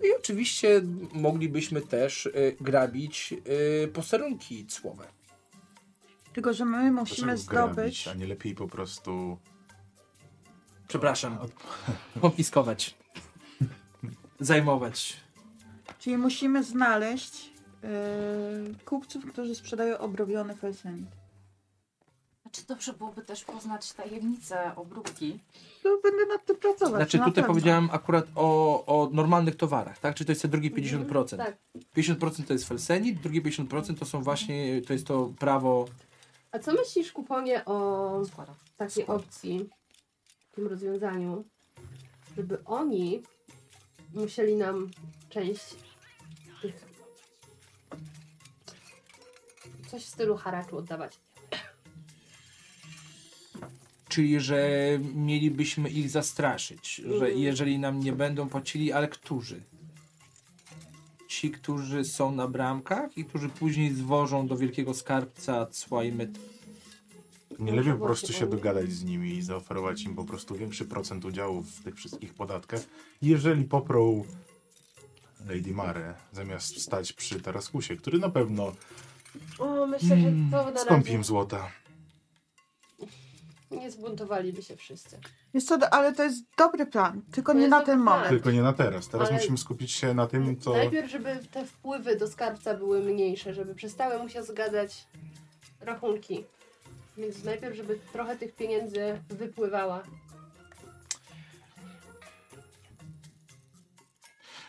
Speaker 6: No I oczywiście moglibyśmy też e, grabić e, posterunki cłowe.
Speaker 4: Tylko, że my musimy
Speaker 3: Dlaczego grabić,
Speaker 4: zdobyć...
Speaker 3: A nie lepiej po prostu...
Speaker 6: Przepraszam. Konfiskować. Zajmować.
Speaker 4: Czyli musimy e, znaleźć y, kupców, którzy sprzedają obrobiony felsenit.
Speaker 5: Znaczy dobrze byłoby też poznać tajemnicę obróbki.
Speaker 4: To będę nad tym pracować.
Speaker 6: Znaczy
Speaker 4: na
Speaker 6: tutaj
Speaker 4: pewno.
Speaker 6: powiedziałem akurat o, o normalnych towarach, tak? Czyli to jest te drugie 50%.
Speaker 1: Tak.
Speaker 6: 50% to jest felsenit, drugie 50% to są właśnie, to jest to prawo
Speaker 1: A co myślisz, kuponie, o
Speaker 5: Składam.
Speaker 1: takiej
Speaker 6: Skąd?
Speaker 1: opcji, tym rozwiązaniu, żeby oni musieli nam część tych coś w stylu haraczu oddawać.
Speaker 6: Czyli, że mielibyśmy ich zastraszyć, że
Speaker 1: Mhm.
Speaker 6: jeżeli nam nie będą płacili, ale którzy? Ci, którzy są na bramkach i którzy później zwożą do wielkiego skarbca cła i met.
Speaker 3: Nie lepiej po prostu
Speaker 1: Właśnie,
Speaker 3: się
Speaker 1: oni-
Speaker 3: dogadać z nimi i zaoferować im po prostu większy procent udziału w tych wszystkich podatkach. Jeżeli poprą Lady Mare zamiast stać przy Taraskusie, który na pewno Hmm,
Speaker 1: O, myślę, że to na
Speaker 3: skąpi
Speaker 1: razie
Speaker 3: im złota.
Speaker 1: nie zbuntowaliby się wszyscy.
Speaker 4: Wiesz co, ale to jest dobry plan, tylko
Speaker 1: To
Speaker 4: nie
Speaker 1: jest
Speaker 4: na
Speaker 1: dobry
Speaker 4: ten
Speaker 1: plan.
Speaker 4: moment.
Speaker 3: Tylko nie na teraz. Teraz
Speaker 1: Ale-
Speaker 3: musimy skupić się na tym, co...
Speaker 1: Najpierw, żeby te wpływy do skarbca były mniejsze, żeby przestały mu się zgadzać rachunki. Więc najpierw, żeby trochę tych pieniędzy wypływała.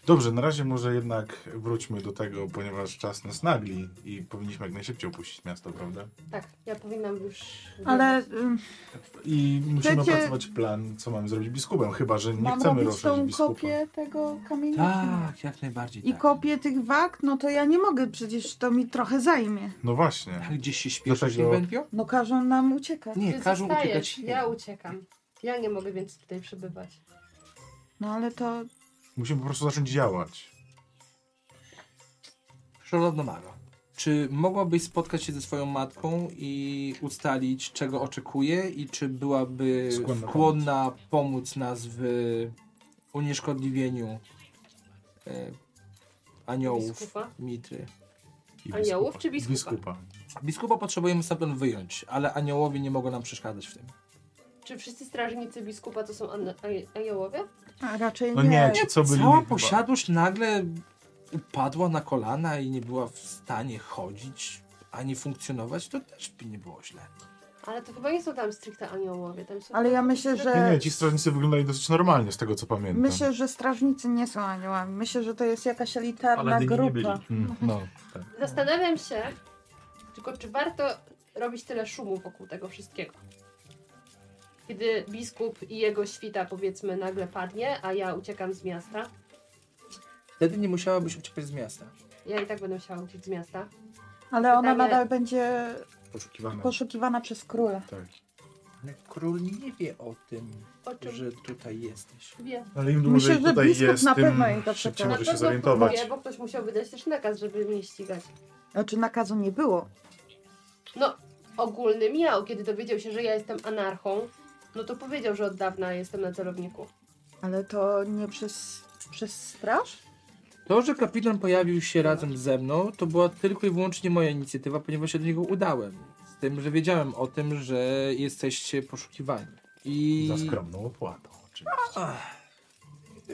Speaker 3: Dobrze, na razie może jednak wróćmy do tego, ponieważ czas nas nagli i powinniśmy jak najszybciej opuścić miasto, prawda?
Speaker 1: Tak, ja powinnam już...
Speaker 4: Ale ym,
Speaker 3: I musimy
Speaker 4: Chcecie-
Speaker 3: opracować plan, co mamy zrobić z biskupem, chyba że nie
Speaker 4: mam
Speaker 3: chcemy
Speaker 4: robić
Speaker 3: ruszyć
Speaker 4: tą
Speaker 3: biskupa.
Speaker 4: kopię tego kamienia?
Speaker 1: Mhm.
Speaker 4: czy nie?
Speaker 6: Tak, jak najbardziej.
Speaker 4: I
Speaker 6: tak.
Speaker 4: kopię tych wag, no to ja nie mogę, przecież to mi trochę zajmie.
Speaker 3: No właśnie.
Speaker 6: Tak, gdzieś się śpieszysz,
Speaker 3: Dlatego-
Speaker 6: Inwentio?
Speaker 4: No każą nam uciekać.
Speaker 6: Nie,
Speaker 1: Ty
Speaker 6: każą
Speaker 1: Znaczy, zostajesz,
Speaker 6: uciekać.
Speaker 1: Ja uciekam. Ja nie mogę więcej tutaj przebywać.
Speaker 4: No ale to
Speaker 3: Musimy po prostu zacząć działać.
Speaker 6: Szanowna Maro, czy mogłabyś spotkać się ze swoją matką i ustalić, czego oczekuje i czy byłaby
Speaker 3: Skłonna
Speaker 6: skłonna pomóc. nas w unieszkodliwieniu e, aniołów,
Speaker 1: Biskupa?
Speaker 6: mitry?
Speaker 3: I
Speaker 1: Aniołów czy
Speaker 3: I
Speaker 1: biskupa?
Speaker 6: Biskupa potrzebujemy stamtąd wyjąć, ale aniołowie nie mogą nam przeszkadzać w tym.
Speaker 1: Czy wszyscy strażnicy biskupa to są an- a- aniołowie?
Speaker 4: a raczej
Speaker 3: No
Speaker 4: nie.
Speaker 3: nie, ci co byli...
Speaker 6: Cała
Speaker 3: chyba-
Speaker 6: posiadłość nagle upadła na kolana i nie była w stanie chodzić ani funkcjonować, to też by nie było źle.
Speaker 1: Ale to chyba nie są tam stricte aniołowie. Tam są
Speaker 4: Ale ja myślę,
Speaker 3: Nie,
Speaker 4: że
Speaker 3: nie, ci strażnicy wyglądali dosyć normalnie, z tego co pamiętam.
Speaker 4: myślę, że strażnicy nie są aniołami. Myślę, że to jest jakaś elitarna
Speaker 7: Paladyni nie
Speaker 4: grupa.
Speaker 7: byli.
Speaker 3: Mm, No,
Speaker 1: Zastanawiam się, tylko czy warto robić tyle szumu wokół tego wszystkiego. Kiedy biskup i jego świta, powiedzmy, nagle padnie, a ja uciekam z miasta,
Speaker 6: Wtedy nie musiałabyś uciekać z miasta.
Speaker 1: ja i tak będę musiała uciec z miasta.
Speaker 4: Ale ona
Speaker 1: Pytanie-
Speaker 4: nadal będzie
Speaker 3: poszukiwane.
Speaker 4: poszukiwana przez króla.
Speaker 3: Tak.
Speaker 6: Ale król nie wie o tym,
Speaker 1: O czym
Speaker 6: że tutaj jesteś.
Speaker 1: wie?
Speaker 3: Ale im
Speaker 4: Myślę,
Speaker 3: dłużej
Speaker 4: że
Speaker 3: tutaj
Speaker 4: biskup
Speaker 3: jest,
Speaker 4: na
Speaker 3: tym
Speaker 4: pewno jej to
Speaker 3: szybciej
Speaker 4: przekaże.
Speaker 3: może
Speaker 1: Na
Speaker 3: się
Speaker 1: pewno
Speaker 3: zorientować.
Speaker 1: próbuję, bo ktoś musiał wydać też nakaz, żeby mnie ścigać.
Speaker 4: Znaczy nakazu nie było.
Speaker 1: No, ogólny miał, kiedy dowiedział się, że ja jestem anarchą, no to powiedział, że od dawna jestem na celowniku.
Speaker 4: Ale to nie przez, przez straż?
Speaker 6: To, że kapitan pojawił się razem ze mną, to była tylko i wyłącznie moja inicjatywa, ponieważ się do niego udałem. Z tym, że wiedziałem o tym, że jesteście poszukiwani. I...
Speaker 3: Za skromną opłatą, oczywiście.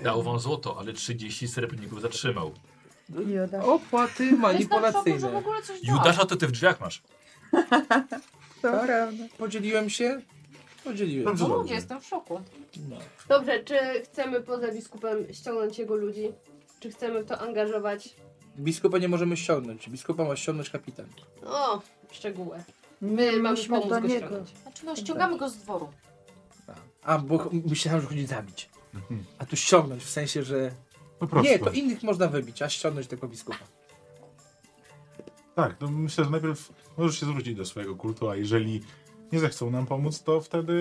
Speaker 2: Dał wam złoto, ale 30 srebrników zatrzymał.
Speaker 4: Joda.
Speaker 6: Opłaty
Speaker 5: Jestem w szoku, że
Speaker 6: manipulacyjne.
Speaker 5: w ogóle coś dała.
Speaker 2: Judasza to ty w drzwiach masz.
Speaker 4: To
Speaker 1: tak.
Speaker 4: prawda.
Speaker 6: Podzieliłem się? Podzieliłem.
Speaker 3: Dobrze,
Speaker 5: No ludzie,
Speaker 3: dobrze.
Speaker 5: jestem w szoku.
Speaker 6: No.
Speaker 1: Dobrze, czy chcemy poza biskupem ściągnąć jego ludzi? Czy chcemy w to angażować?
Speaker 6: Biskupa nie możemy ściągnąć. Biskupa ma ściągnąć kapitan.
Speaker 1: O, szczegóły.
Speaker 4: My
Speaker 1: mamy
Speaker 4: musimy
Speaker 1: pomóc
Speaker 4: do
Speaker 1: go
Speaker 4: niego.
Speaker 1: ściągnąć.
Speaker 5: Znaczy no ściągamy go z dworu.
Speaker 6: A, bo ch- myślałem, że chodzi zabić. A tu ściągnąć, w sensie, że...
Speaker 3: Po prostu.
Speaker 6: Nie, to innych można wybić, a ściągnąć tego biskupa.
Speaker 3: Tak, no myślę, że najpierw możesz się zwrócić do swojego kultu, a jeżeli nie zechcą nam pomóc, to wtedy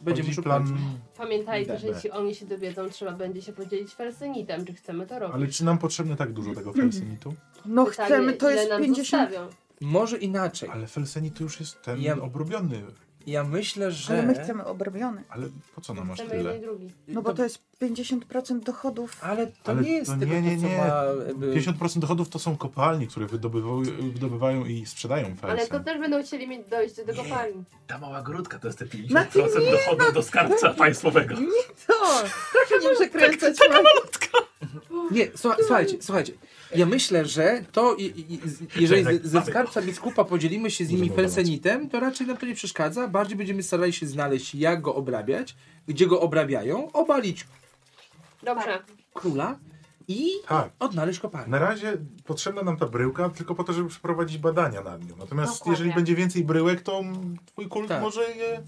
Speaker 6: Będziemy
Speaker 3: wchodzi
Speaker 6: szukać.
Speaker 3: plan.
Speaker 1: Pamiętajcie, że
Speaker 3: Dobra.
Speaker 1: jeśli oni się dowiedzą, trzeba będzie się podzielić felsynitem, czy chcemy to robić.
Speaker 3: Ale czy nam potrzebne tak dużo tego felsenitu?
Speaker 4: No
Speaker 1: Pytanie,
Speaker 4: chcemy, to
Speaker 1: ile
Speaker 4: jest
Speaker 1: nam
Speaker 4: 50.
Speaker 1: zostawią?
Speaker 6: Może inaczej.
Speaker 3: Ale felsenit to już jest ten
Speaker 6: Tak. Ja-
Speaker 3: obrobiony.
Speaker 6: Ja myślę, że.
Speaker 4: Ale my chcemy obrobiony.
Speaker 3: Ale po co nam aż
Speaker 1: Chcemy jeden
Speaker 3: tyle?
Speaker 1: i drugi.
Speaker 4: No bo to jest 50% dochodów.
Speaker 6: Ale to
Speaker 3: Ale
Speaker 6: nie jest
Speaker 3: to
Speaker 6: tylko
Speaker 3: nie, nie,
Speaker 6: to, co
Speaker 3: nie.
Speaker 6: ma. jakby-
Speaker 3: 50% dochodów to są kopalnie, które wydobywają, wydobywają i sprzedają
Speaker 1: Ale to tak.
Speaker 3: felsen.
Speaker 1: też będą chcieli mieć dojść do tego
Speaker 2: Nie.
Speaker 1: pani.
Speaker 2: Ta mała grudka to jest te 50%
Speaker 4: Marcin, nie,
Speaker 2: dochodu do skarbca państwowego.
Speaker 4: To! Proszę nie przekręcać. Taka malutka!
Speaker 6: Nie, słucha- słuchajcie, słuchajcie. Ja myślę, że to, i- i- i- z- jeżeli
Speaker 7: Czekaj,
Speaker 6: ze- ze
Speaker 7: Patryk.
Speaker 6: skarbca biskupa podzielimy się z nimi
Speaker 3: Możemy obalać.
Speaker 6: fersenitem, to raczej nam to nie przeszkadza. Bardziej będziemy starali się znaleźć, jak go obrabiać, gdzie go obrabiają, obalić
Speaker 1: Dobrze.
Speaker 2: Tak.
Speaker 6: króla i
Speaker 7: Tak.
Speaker 6: odnaleźć kopalnię.
Speaker 7: Na razie potrzebna nam ta bryłka tylko po to, żeby przeprowadzić badania nad nią. Natomiast
Speaker 5: Dokładnie.
Speaker 7: jeżeli będzie więcej bryłek, to m, twój kult
Speaker 6: Tak.
Speaker 7: może je,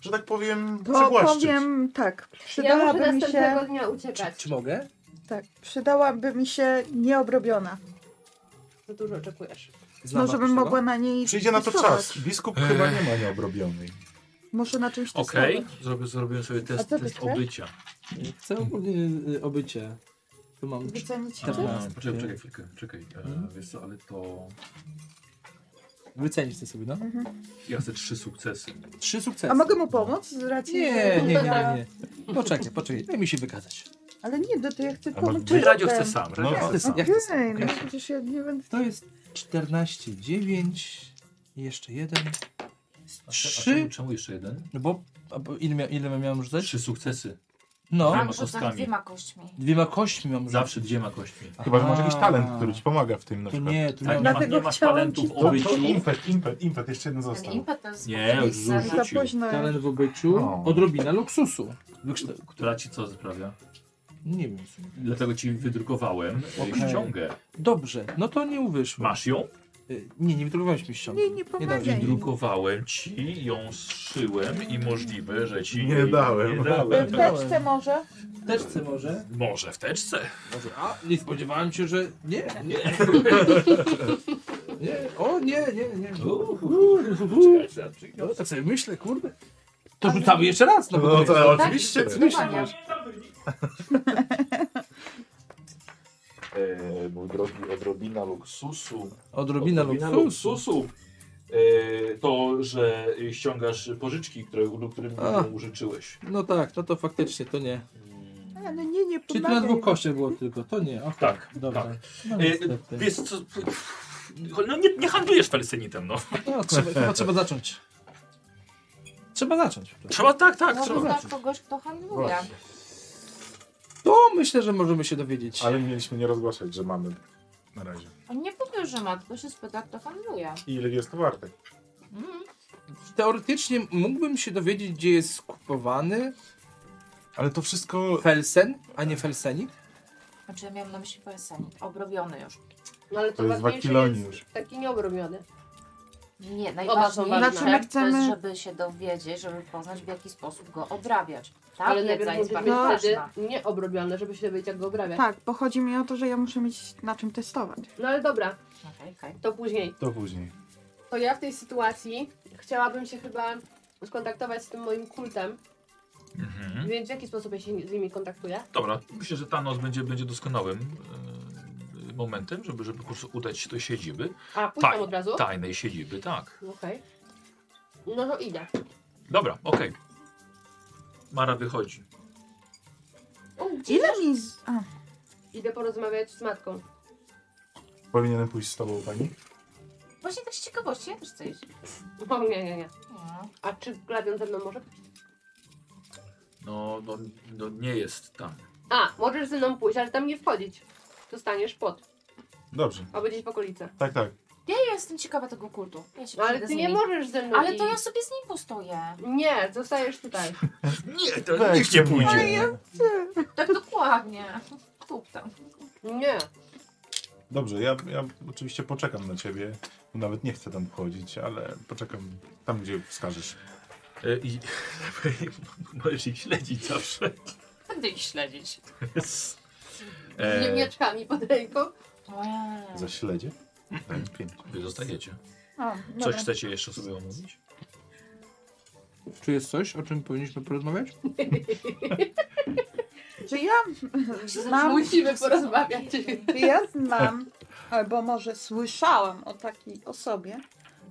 Speaker 7: że tak powiem,
Speaker 4: To
Speaker 7: przywłaszczyć.
Speaker 4: powiem tak,
Speaker 1: Ja muszę
Speaker 4: przydałaby mi
Speaker 1: następnego
Speaker 4: się,
Speaker 1: dnia
Speaker 6: Czy,
Speaker 1: uciekać.
Speaker 6: czy mogę?
Speaker 4: tak, przydałaby mi się nieobrobiona.
Speaker 1: Za dużo oczekujesz.
Speaker 6: Znam
Speaker 4: No, żebym
Speaker 6: jakoś tego?
Speaker 4: mogła na niej
Speaker 7: Przyjdzie na to
Speaker 4: rysować.
Speaker 7: czas. Biskup chyba nie ma nieobrobionej.
Speaker 4: Może na czymś
Speaker 2: Okej,
Speaker 4: testować.
Speaker 2: Zrobię, zrobiłem sobie
Speaker 4: A
Speaker 2: test,
Speaker 4: co ty
Speaker 2: test
Speaker 4: chcesz?
Speaker 2: obycia.
Speaker 6: Chcę ogólnie y, obycie. Tu mam
Speaker 4: Wycenić
Speaker 2: A,
Speaker 6: Tak.
Speaker 4: cię?
Speaker 6: Czternastki.
Speaker 2: Poczekaj, poczekaj chwilkę, czekaj. E,
Speaker 4: Mhm.
Speaker 2: wiesz co, ale to...
Speaker 6: Wycenić to sobie, no.
Speaker 2: Ja chcę trzy sukcesy.
Speaker 6: Trzy sukcesy.
Speaker 4: A mogę mu pomóc z racji,
Speaker 6: Nie,
Speaker 4: że-
Speaker 6: nie, nie, nie. Poczekaj, poczekaj. Daj mi się wykazać.
Speaker 4: Ale nie, do to ja chcę
Speaker 7: A może
Speaker 4: pomóc.
Speaker 2: Czyli radio
Speaker 4: potem.
Speaker 2: chce sam,
Speaker 7: No,
Speaker 2: radio chce sam.
Speaker 6: Ja
Speaker 4: Okej,
Speaker 6: chcę sam,
Speaker 4: no
Speaker 6: okej.
Speaker 4: przecież ja nie będę...
Speaker 6: To jest 14, 9, jeszcze jeden,
Speaker 2: A
Speaker 6: trzy.
Speaker 2: czemu, czemu jeszcze jeden?
Speaker 6: no bo, a bo ile, mia, ile miałem rzucać?
Speaker 2: Trzy sukcesy.
Speaker 6: No,
Speaker 2: Dwiema
Speaker 5: Mam rzucać
Speaker 2: kostkami.
Speaker 5: Tak, dwiema kośćmi.
Speaker 6: dwiema kośćmi mam rzucać.
Speaker 2: Zawsze dwiema kośćmi.
Speaker 7: Chyba, że masz jakiś
Speaker 6: A.
Speaker 7: talent, który ci pomaga w tym na
Speaker 6: To
Speaker 7: przykład.
Speaker 6: nie, to
Speaker 2: Tak,
Speaker 6: nie
Speaker 2: nie,
Speaker 6: mam.
Speaker 2: ma, nie
Speaker 4: No Dlatego
Speaker 2: masz
Speaker 4: chciałam
Speaker 2: talentu
Speaker 4: ci-
Speaker 2: w
Speaker 7: To, to
Speaker 2: obyciu.
Speaker 7: impet, impet, impet, jeszcze jeden
Speaker 5: Ten
Speaker 7: został.
Speaker 5: impet to jest
Speaker 2: Nie, już
Speaker 5: scena.
Speaker 2: rzuć.
Speaker 4: Za
Speaker 2: Rzucił.
Speaker 4: późno.
Speaker 6: Talent w obyciu,
Speaker 7: O.
Speaker 6: odrobina luksusu. Wykształ-
Speaker 2: Która ci co sprawia?
Speaker 6: Nie wiem. w sumie.
Speaker 2: Dlatego ci wydrukowałem e,
Speaker 6: Okej.
Speaker 2: ściągę.
Speaker 6: Dobrym. Dobrze, no to nie uwyszło.
Speaker 2: Masz ją?
Speaker 6: Y, Nie, nie wydrukowałeś mi ściągi.
Speaker 4: Nie, nie pomagaj.
Speaker 6: dobrze.
Speaker 4: Jej.
Speaker 2: Drukowałem ci, ją zszyłem i możliwe, że ci
Speaker 7: Nie dałem.
Speaker 2: Nie dałem.
Speaker 4: W teczce może?
Speaker 6: W teczce może?
Speaker 2: Może w teczce?
Speaker 6: Może. A, nie spodziewałem się, że... Nie, nie. nie. O, nie, nie, nie. No, tak sobie myślę, kurde. To rzucamy jeszcze raz, no bo
Speaker 7: No
Speaker 6: to jest-
Speaker 7: to
Speaker 5: Tak,
Speaker 7: oczywiście.
Speaker 5: zdecydowanie.
Speaker 2: E, mój drogi, odrobina luksusu.
Speaker 6: Odrobina luksusu.
Speaker 2: luksusu. E, to, że ściągasz pożyczki, które, lub którym
Speaker 6: A.
Speaker 2: użyczyłeś.
Speaker 6: No tak, no to faktycznie to nie.
Speaker 2: Mm.
Speaker 4: Ale no- nie, nie
Speaker 6: Czyli
Speaker 4: pomagaj.
Speaker 6: to na dwóch kościach było tylko, to nie. Okej,
Speaker 2: Tak,
Speaker 6: dobra.
Speaker 2: tak.
Speaker 6: No,
Speaker 2: E,
Speaker 6: niestety.
Speaker 2: wiesz co... No nie, nie handlujesz felsenitem, no.
Speaker 6: no trzeba, chyba trzeba zacząć. Trzeba zacząć.
Speaker 2: Trzeba, tak, tak,
Speaker 5: Może
Speaker 2: trzeba.
Speaker 5: znasz No, kogoś, kto handluje.
Speaker 7: Właśnie.
Speaker 6: To myślę, że możemy się dowiedzieć.
Speaker 7: Ale mieliśmy nie rozgłaszać, że mamy na razie.
Speaker 5: On nie powie, że ma, tylko się spyta, kto handluje.
Speaker 7: I ile jest to warte?
Speaker 1: Mhm.
Speaker 5: Mm.
Speaker 6: Teoretycznie mógłbym się dowiedzieć, gdzie jest skupowany
Speaker 7: Ale to wszystko...
Speaker 6: Felsen, a nie Felsenit.
Speaker 5: Znaczy ja miałam na myśli persenit, obrobiony już.
Speaker 1: No ale to,
Speaker 7: To jest
Speaker 1: ważniejsze
Speaker 7: wakiloni
Speaker 1: jest
Speaker 7: już.
Speaker 1: taki nieobrobiony. ważne.
Speaker 5: Nie, najważniejsze
Speaker 1: Znaczy,
Speaker 4: my
Speaker 5: to jest,
Speaker 4: chcemy-
Speaker 5: żeby się dowiedzieć, żeby poznać, w jaki sposób go odrabiać. Ta
Speaker 1: Ale
Speaker 5: ale
Speaker 1: najpierw
Speaker 5: wiedza jest
Speaker 1: musi być
Speaker 5: bardzo
Speaker 4: no.
Speaker 1: wtedy
Speaker 5: ważna.
Speaker 1: nieobrobiony, żeby się dowiedzieć jak go obrabiać.
Speaker 4: Tak, bo chodzi mi o to, że ja muszę mieć na czym testować.
Speaker 1: No ale dobra,
Speaker 5: Okej, okej.
Speaker 1: to później.
Speaker 7: To później.
Speaker 1: To ja w tej sytuacji chciałabym się chyba skontaktować z tym moim kultem,
Speaker 2: Mhm.
Speaker 1: więc w jaki sposób ja się z nimi kontaktuję?
Speaker 2: Dobra, myślę, że ta noc będzie, będzie doskonałym e, momentem, żeby, żeby po prostu udać się do siedziby.
Speaker 1: A, pójdę
Speaker 2: Tak,
Speaker 1: od razu?
Speaker 2: Tajnej siedziby, tak.
Speaker 1: Okej. No to idę.
Speaker 2: Dobra, okej. Mara wychodzi.
Speaker 4: Ile mi... Z... A,
Speaker 1: Idę porozmawiać z matką.
Speaker 7: Powinienem pójść z tobą, pani?
Speaker 5: Właśnie tak z ciekawości, ja też chcę iść.
Speaker 1: O nie, nie, nie.
Speaker 5: No.
Speaker 1: A czy Gladion ze mną może?
Speaker 2: No, no, no nie jest tam.
Speaker 1: A, możesz ze mną pójść, ale tam nie wchodzić. Dostaniesz pot,
Speaker 7: Dobrze.
Speaker 1: albo gdzieś w okolicy.
Speaker 7: Tak, tak.
Speaker 5: Ja jestem ciekawa tego kultu. Ja się
Speaker 1: No, ale
Speaker 5: przyjdę
Speaker 1: ty
Speaker 5: z
Speaker 1: nie
Speaker 5: nim.
Speaker 1: możesz ze mną
Speaker 5: Ale to ja
Speaker 1: iść.
Speaker 5: sobie z nim postoję.
Speaker 1: Nie, zostajesz tutaj.
Speaker 2: Nie, to
Speaker 7: Weź
Speaker 2: nikt nie
Speaker 7: mnie.
Speaker 2: pójdzie.
Speaker 7: no.
Speaker 5: Tak dokładnie. Tup tam.
Speaker 1: Nie.
Speaker 7: Dobrze, ja, ja oczywiście poczekam na ciebie. Nawet nie chcę tam wchodzić, ale poczekam tam, gdzie wskażesz.
Speaker 2: E, I, możesz ich śledzić zawsze.
Speaker 5: Będę ich śledzić.
Speaker 1: Z
Speaker 2: E,
Speaker 1: ziemniaczkami pod ręką.
Speaker 5: Ojej.
Speaker 7: Za śledzie? Daj mi pięć.
Speaker 2: wy zostajecie.
Speaker 4: a,
Speaker 2: Coś
Speaker 4: dobra.
Speaker 2: chcecie jeszcze sobie omówić?
Speaker 6: Czy jest coś, o czym powinniśmy porozmawiać?
Speaker 4: Czy ja znam...
Speaker 1: Musimy porozmawiać.
Speaker 4: Czy ja znam, albo może słyszałam o takiej osobie,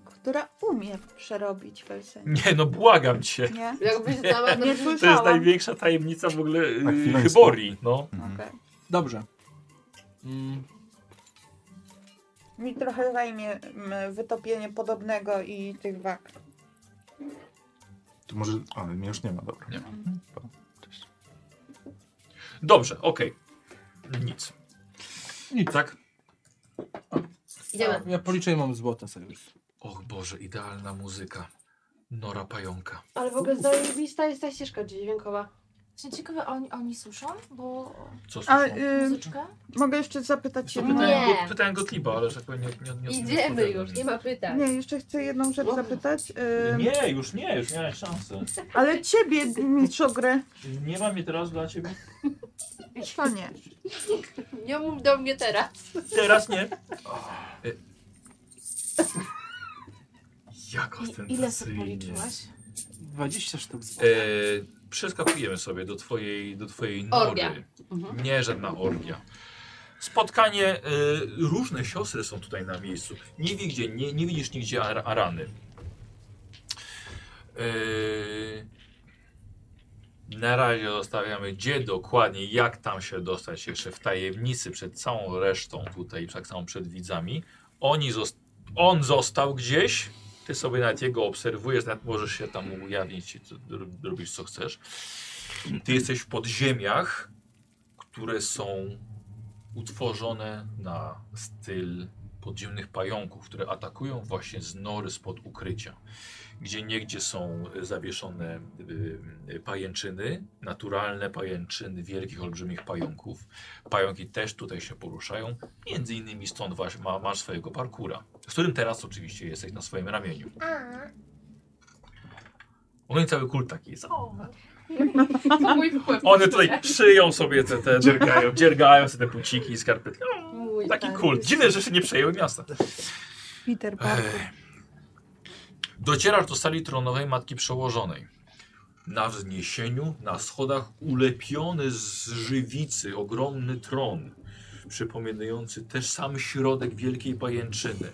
Speaker 4: która umie przerobić Felsenit,
Speaker 2: Nie, no błagam cię.
Speaker 4: nie?
Speaker 1: Jakbyś znała, to
Speaker 4: Nie
Speaker 1: byś
Speaker 2: To jest
Speaker 4: słyszałam.
Speaker 2: największa tajemnica w ogóle
Speaker 7: Tak,
Speaker 2: yy,
Speaker 7: chwileńsko.
Speaker 2: Chybori, no.
Speaker 4: Okej.
Speaker 6: Dobrze. Mm,
Speaker 4: Mi trochę zajmie mm, wytopienie podobnego i tych wag.
Speaker 7: To może... A, mnie już nie ma, dobra.
Speaker 2: Nie ma. Dobrze, okej. No Nic.
Speaker 6: Nic.
Speaker 2: Tak?
Speaker 1: Idziemy.
Speaker 6: Ja policzę i mam złote sobie już.
Speaker 2: Och Boże, idealna muzyka. Nora Pająka.
Speaker 1: Ale w ogóle zajebista jest ta ścieżka dźwiękowa.
Speaker 5: Właśnie ciekawe, oni, oni suszą, bo
Speaker 2: Co
Speaker 4: A,
Speaker 2: słyszą?
Speaker 4: y,
Speaker 5: muzyczkę?
Speaker 4: mogę jeszcze zapytać
Speaker 2: Co
Speaker 4: jedną...
Speaker 1: pytaj.
Speaker 2: pytałem,
Speaker 1: nie.
Speaker 2: go, pytałem Gottlieba, ale że tak powiem, nie, nie, nie
Speaker 1: Idziemy już, nie ma pytań.
Speaker 4: Nie, jeszcze chcę jedną rzecz zapytać. y,
Speaker 9: Nie, już nie, już miałem szansę.
Speaker 4: Ale ciebie, mistrzu gry,
Speaker 9: Nie mam jej teraz dla ciebie.
Speaker 4: to nie.
Speaker 1: Nie mów do mnie teraz.
Speaker 9: Teraz nie.
Speaker 2: Y- Jak
Speaker 5: I, ile sobie
Speaker 2: ostentacyjnie.
Speaker 5: policzyłaś?
Speaker 6: 20 sztuk
Speaker 2: E,
Speaker 6: złota.
Speaker 2: przeskakujemy sobie do twojej, do twojej nory.
Speaker 1: Orgia. Mhm.
Speaker 2: Nie, żadna orgia. Spotkanie, e, różne siostry są tutaj na miejscu. Nie, wi- gdzie, nie, nie widzisz nigdzie ar- Arany. E, na razie zostawiamy gdzie dokładnie, jak tam się dostać jeszcze w tajemnicy przed całą resztą tutaj, tak samo przed widzami. Oni zos- on został gdzieś, ty sobie nawet jego obserwujesz, nawet możesz się tam ujawnić, i co- ro- robisz co chcesz. Ty jesteś w podziemiach, które są utworzone na styl podziemnych pająków, które atakują właśnie z nory spod ukrycia, gdzie niegdzie są y, zawieszone y, y, pajęczyny, naturalne pajęczyny wielkich, olbrzymich pająków. Pająki też tutaj się poruszają, między innymi stąd właśnie ma, masz swojego parkura, z którym teraz oczywiście jesteś na swoim ramieniu. Ogólnie cały kult taki jest. O,
Speaker 1: To mój wpływ.
Speaker 2: one tutaj szyją sobie te, te dziergają, dziergają sobie te buciki i skarpetki. No,
Speaker 1: Mój
Speaker 2: Taki
Speaker 1: tak.
Speaker 2: kult. Dziwne, że się nie przejęły miasta.
Speaker 4: Peter Parker.
Speaker 2: Docierasz do sali tronowej Matki Przełożonej. Na wzniesieniu, na schodach ulepiony z żywicy ogromny tron, przypominający też sam środek wielkiej pajęczyny.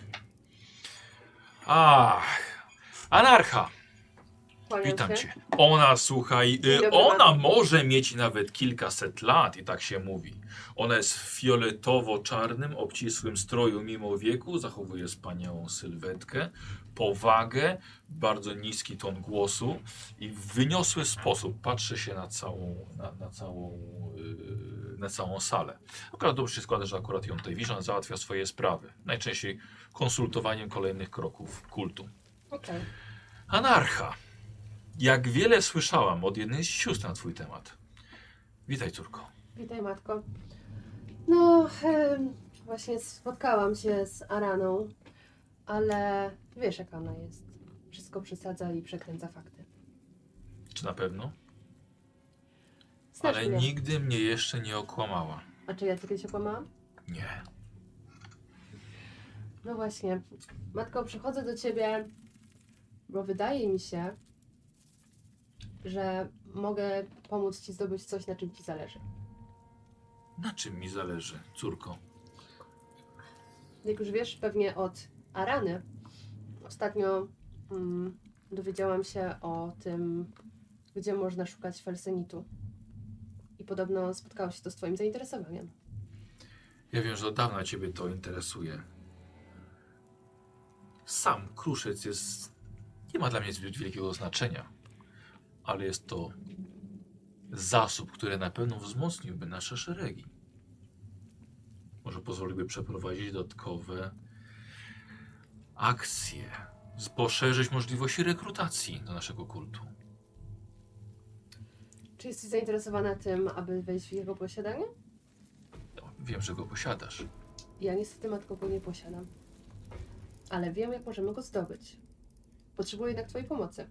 Speaker 2: Ach, anarcha,
Speaker 1: Kłaniam
Speaker 2: witam
Speaker 1: się.
Speaker 2: cię. Ona, słuchaj,
Speaker 1: Dzień
Speaker 2: y,
Speaker 1: dobry,
Speaker 2: ona
Speaker 1: bardzo.
Speaker 2: może mieć nawet kilkaset lat i tak się mówi. Ona jest w fioletowo-czarnym, obcisłym stroju mimo wieku, zachowuje wspaniałą sylwetkę, powagę, bardzo niski ton głosu i w wyniosły sposób patrzy się na całą, na, na całą, yy, na całą salę. Akurat dobrze się składa, że akurat ją tutaj widzisz, ona załatwia swoje sprawy. Najczęściej konsultowaniem kolejnych kroków kultu.
Speaker 1: Okej.
Speaker 2: Anarcha. Jak wiele słyszałam od jednej z sióstr na twój temat. Witaj, córko.
Speaker 1: Witaj matko. No, em, właśnie spotkałam się z Araną, ale wiesz jak ona jest. Wszystko przesadza i przekręca fakty.
Speaker 2: Czy na pewno?
Speaker 1: Znasz
Speaker 2: Ale
Speaker 1: mnie.
Speaker 2: nigdy mnie jeszcze nie okłamała.
Speaker 1: A czy ja kiedyś okłamałam?
Speaker 2: Nie.
Speaker 1: No właśnie. Matko, przychodzę do ciebie, bo wydaje mi się, że mogę pomóc ci zdobyć coś, na czym ci zależy.
Speaker 2: Na czym mi zależy, córko?
Speaker 1: Jak już wiesz, pewnie od Arany ostatnio mm, dowiedziałam się o tym, gdzie można szukać felsenitu. I podobno spotkało się to z Twoim zainteresowaniem.
Speaker 2: Ja wiem, że od dawna ciebie to interesuje. Sam kruszyc jest. nie ma dla mnie zbyt wielkiego znaczenia, ale jest to zasób, który na pewno wzmocniłby nasze szeregi. Może pozwoliłby przeprowadzić dodatkowe akcje, z- poszerzyć możliwości rekrutacji do naszego kultu.
Speaker 1: Czy jesteś zainteresowana tym, aby wejść w jego posiadanie?
Speaker 2: No, Wiem, że go posiadasz.
Speaker 1: Ja niestety matko go nie posiadam. Ale wiem, jak możemy go zdobyć. Potrzebuję jednak Twojej pomocy.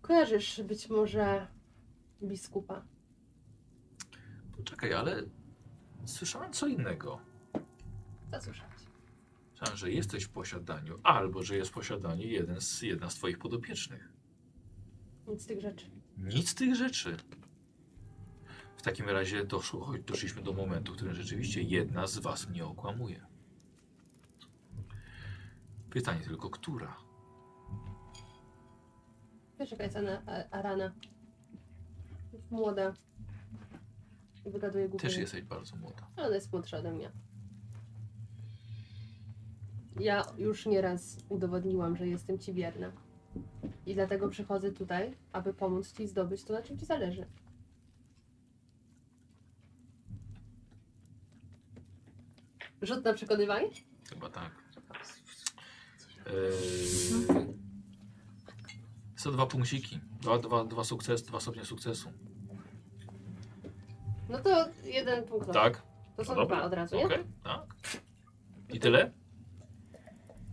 Speaker 1: Kojarzysz być może biskupa.
Speaker 2: Poczekaj, ale słyszałem co innego.
Speaker 1: Zasłyszałeś.
Speaker 2: Słyszałem, że jesteś w posiadaniu, albo że jest w posiadaniu jeden z, jedna z twoich podopiecznych.
Speaker 1: Nic z tych rzeczy.
Speaker 2: Nic z tych rzeczy. W takim razie doszło, choć doszliśmy do momentu, w którym rzeczywiście jedna z was mnie okłamuje. Pytanie tylko, która?
Speaker 1: Wiesz, jaka jest Ana, a- Arana. Jest Młoda. I wygaduje głupie.
Speaker 2: Też jesteś bardzo młoda.
Speaker 1: Ona jest młodsza ode mnie. Ja już nieraz udowodniłam, że jestem ci wierna. I dlatego przychodzę tutaj, aby pomóc ci zdobyć to, na czym ci zależy. Rzut na przekonywanie?
Speaker 2: Chyba tak. Eee, 102 punkciki. Dwa, dwa, dwa sukcesy, dwa stopnie sukcesu.
Speaker 1: No to jeden punkt. losu.
Speaker 2: Tak?
Speaker 1: To są
Speaker 2: No dobra.
Speaker 1: dwa od razu,
Speaker 2: Okej,
Speaker 1: nie?
Speaker 2: tak. I tyle?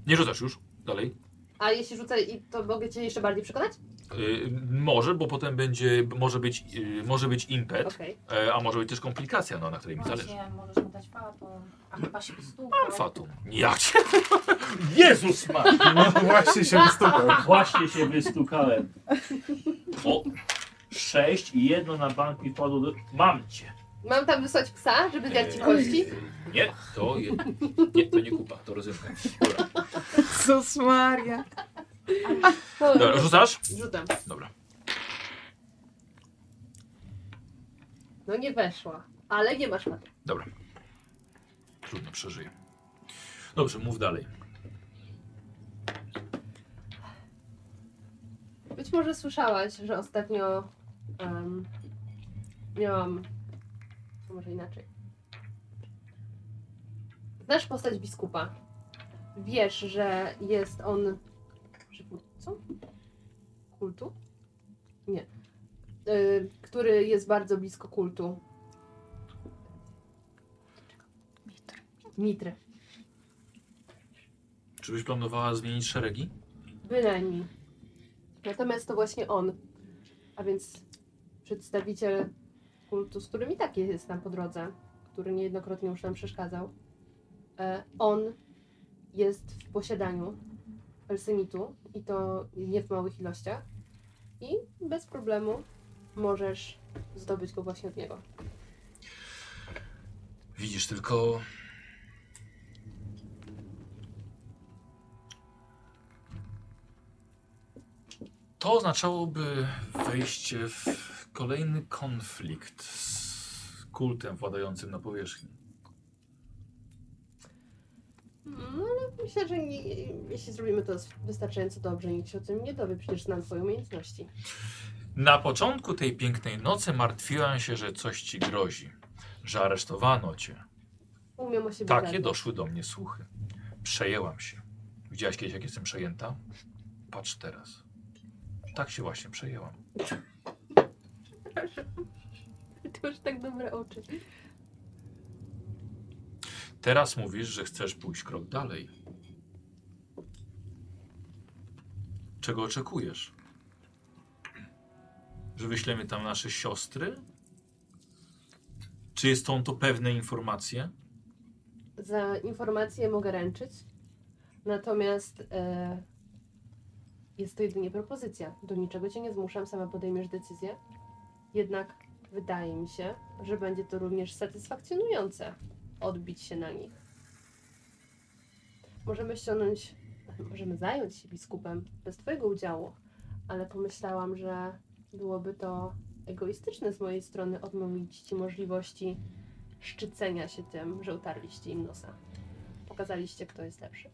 Speaker 2: Nie rzucasz już. Dalej.
Speaker 1: A jeśli rzucę i to mogę cię jeszcze bardziej przekonać?
Speaker 2: Eee, może, bo potem będzie, może być, eee, może być impet,
Speaker 1: Okej.
Speaker 2: eee, a może być też komplikacja, no, na której mi zależy.
Speaker 5: Właśnie, możesz mu dać fatum. A chyba się stół.
Speaker 2: Mam fatum. Ja cię... Jezus ma!
Speaker 7: No właśnie się wystąpił.
Speaker 9: Właśnie się wystukałem.
Speaker 2: O,
Speaker 9: Sześć i jedno na bank mi wpadło do... Mam cię.
Speaker 1: Mam tam wysłać psa, żeby zjadł ci
Speaker 2: Eee,
Speaker 1: kości?
Speaker 2: Nie, to je, nie, to nie kupa, to rozrywka. Dobra.
Speaker 4: Jezus Maria.
Speaker 2: Dobra, rzucasz?
Speaker 1: Rzucam.
Speaker 2: Dobra.
Speaker 1: No nie weszła, ale nie masz fatu.
Speaker 2: Dobra. Trudno, przeżyję. Dobrze, mów dalej.
Speaker 1: Być może słyszałaś, że ostatnio em, miałam. To może inaczej. Znasz postać biskupa. Wiesz, że jest on przywódcą kultu? Nie. Y, który jest bardzo blisko kultu. Mitry.
Speaker 2: Czy byś planowała zmienić szeregi?
Speaker 1: Bynajmniej. Natomiast to właśnie on, a więc przedstawiciel kultu, z którym i tak jest nam po drodze, który niejednokrotnie już nam przeszkadzał, e, on jest w posiadaniu Elsenitu i to nie w małych ilościach i bez problemu możesz zdobyć go właśnie od niego.
Speaker 2: Widzisz tylko... To oznaczałoby wejście w kolejny konflikt z kultem władającym na powierzchni.
Speaker 1: No ale myślę, że nie, jeśli zrobimy to wystarczająco dobrze, nikt się o tym nie dowie, przecież znam twoje umiejętności.
Speaker 2: Na początku tej pięknej nocy martwiłem się, że coś ci grozi, że aresztowano cię.
Speaker 1: Umiem o siebie
Speaker 2: Takie
Speaker 1: zadbać.
Speaker 2: doszły do mnie słuchy. Przejęłam się. Widziałaś kiedyś, jak jestem przejęta? Patrz teraz. Tak się właśnie przejęłam.
Speaker 1: Ty masz tak dobre oczy.
Speaker 2: Teraz mówisz, że chcesz pójść krok dalej. Czego oczekujesz? Że wyślemy tam nasze siostry? Czy jest to to pewne informacje?
Speaker 1: Za informacje mogę ręczyć, natomiast e, jest to jedynie propozycja. Do niczego cię nie zmuszam, sama podejmiesz decyzję. Jednak wydaje mi się, że będzie to również satysfakcjonujące odbić się na nich. Możemy ściągnąć, możemy zająć się biskupem bez Twojego udziału, ale pomyślałam, że byłoby to egoistyczne z mojej strony odmówić Ci możliwości szczycenia się tym, że utarliście im nosa. Pokazaliście, kto jest lepszy.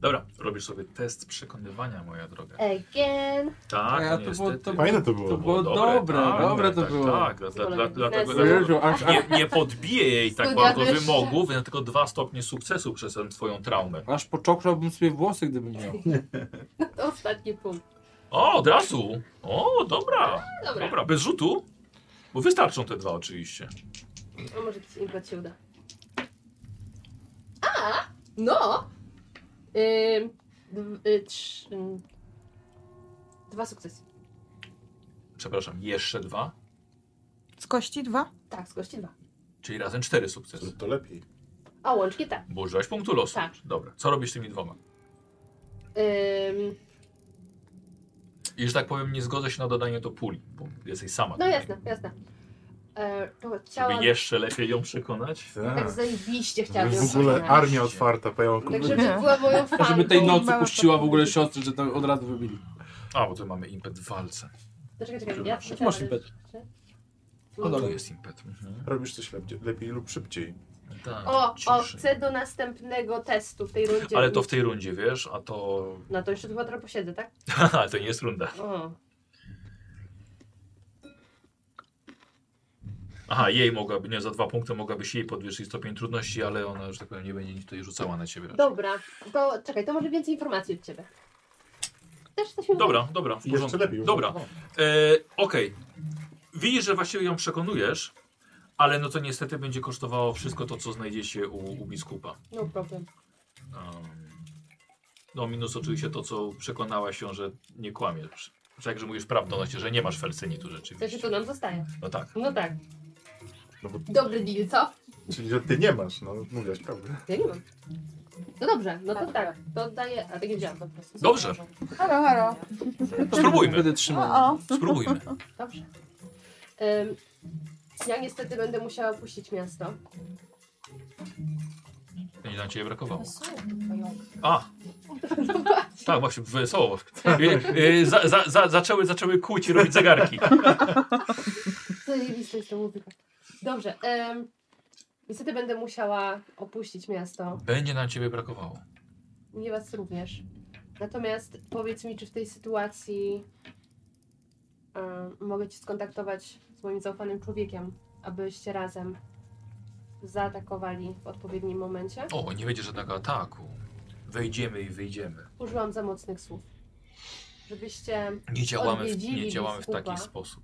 Speaker 2: Dobra, robisz sobie test przekonywania, moja droga.
Speaker 1: Again!
Speaker 2: Tak,
Speaker 6: A ja
Speaker 2: no
Speaker 6: to
Speaker 2: niestety.
Speaker 6: było- to
Speaker 3: Fajne to było.
Speaker 6: To było dobre,
Speaker 2: tak,
Speaker 6: dobre to
Speaker 2: tak,
Speaker 6: było.
Speaker 2: Tak, dla, dla, dla, dlatego
Speaker 1: Jezu,
Speaker 2: dlatego nie, nie podbije jej tak
Speaker 1: Studia
Speaker 2: bardzo
Speaker 1: wyższe.
Speaker 2: wymogów, więc tylko dwa stopnie sukcesu przez tę twoją traumę.
Speaker 6: Aż poczokrałbym sobie włosy, gdybym miał.
Speaker 1: To ostatni punkt.
Speaker 2: O, od razu! O, dobra,
Speaker 1: Dobra,
Speaker 2: dobra, bez rzutu. Bo wystarczą te dwa oczywiście.
Speaker 1: a może jakiś impet się uda. A! No! Ym, dw- y, trz- ym, dwa sukcesy.
Speaker 2: Przepraszam, jeszcze dwa,
Speaker 4: Z kości dwa?
Speaker 1: Tak, z kości dwa.
Speaker 2: czyli razem cztery
Speaker 7: To-
Speaker 2: sukcesy.
Speaker 7: To lepiej.
Speaker 1: A łącznie tak.
Speaker 2: Bo użyłaś punktu losu.
Speaker 1: Tak.
Speaker 2: Dobra, co robisz z tymi dwoma?
Speaker 1: Ym,
Speaker 2: I że tak powiem, nie zgodzę się na dodanie do puli, bo jesteś sama.
Speaker 1: no
Speaker 2: tutaj.
Speaker 1: jasne, jasne. E, to chciałam...
Speaker 2: Żeby jeszcze lepiej ją przekonać.
Speaker 1: Tak
Speaker 7: Tak.
Speaker 1: zajebiście chciałam ją
Speaker 7: W ogóle
Speaker 1: przekonać.
Speaker 7: armia otwarta, pełna
Speaker 1: Tak,
Speaker 7: kultury.
Speaker 1: żeby była moją fanką.
Speaker 6: Żeby tej nocy
Speaker 4: Mała
Speaker 6: puściła w
Speaker 4: fantazja.
Speaker 6: ogóle siostry, że to od razu wybili.
Speaker 2: A, bo tu mamy impet w walce.
Speaker 1: Czekaj, czekaj, ja
Speaker 6: Czy masz impet?
Speaker 2: No,
Speaker 6: Dobra.
Speaker 2: tu jest impet. Mhm.
Speaker 7: Robisz coś lepiej, lepiej lub szybciej.
Speaker 2: Tak,
Speaker 1: O, o,
Speaker 2: ciszej.
Speaker 1: chcę do następnego testu w tej rundzie.
Speaker 2: Ale to w tej rundzie, wiesz, a to...
Speaker 1: No to jeszcze chyba trochę posiedzę, tak?
Speaker 2: Haha, to nie jest runda.
Speaker 1: O.
Speaker 2: Aha, jej mogłaby, nie, za dwa punkty mogłabyś jej podwyższyć stopień trudności, ale ona, że tak powiem, nie będzie nic tutaj rzucała na ciebie. raczej.
Speaker 1: Dobra, to czekaj, to może więcej informacji od ciebie. Też coś mi
Speaker 2: Dobra, dobra, w
Speaker 7: Jeszcze
Speaker 2: porządku.
Speaker 7: lepiej.
Speaker 2: Dobra, e, okej. Widzisz, że właściwie ją przekonujesz, ale no to niestety będzie kosztowało wszystko to, co znajdziecie u, u biskupa.
Speaker 1: No problem.
Speaker 2: Um, no minus oczywiście to, co przekonała się, że nie kłamiesz. Że jak że mówisz prawdę, no, że nie masz felcenitu
Speaker 1: W sensie
Speaker 2: rzeczywiście.
Speaker 1: to nam zostaje.
Speaker 2: No tak.
Speaker 1: No tak.
Speaker 7: No bo-
Speaker 1: Dobry deal, co?
Speaker 7: Czyli, że ty nie masz, no mówiłaś prawdę.
Speaker 1: Ja nie mam. No dobrze, no to
Speaker 5: Dobra.
Speaker 1: tak. To daję. A tak nie działa.
Speaker 2: Dobrze.
Speaker 4: Halo, halo.
Speaker 2: Spróbujmy,
Speaker 6: Będę trzymał.
Speaker 4: O, o.
Speaker 2: spróbujmy.
Speaker 1: Dobrze. Ym, ja niestety będę musiała opuścić miasto.
Speaker 2: Będzie na ciebie brakowało.
Speaker 5: Twoją
Speaker 2: A! Tak, właśnie, wesoło. Y, y, za, za, za, zaczęły, zaczęły kłuć i robić zegarki.
Speaker 1: Zajebista jest ta muzyka. Dobrze. ym, niestety będę musiała opuścić miasto.
Speaker 2: Będzie nam ciebie brakowało.
Speaker 1: Mnie was również. Natomiast powiedz mi, czy w tej sytuacji ym, mogę cię skontaktować z moim zaufanym człowiekiem, abyście razem zaatakowali w odpowiednim momencie?
Speaker 2: O, nie wiedziesz tego ataku. Wejdziemy i wyjdziemy.
Speaker 1: Użyłam za mocnych słów. Żebyście
Speaker 2: Nie działamy, w, nie
Speaker 1: Odwiedzili
Speaker 2: działamy w
Speaker 1: biskupa.
Speaker 2: taki sposób.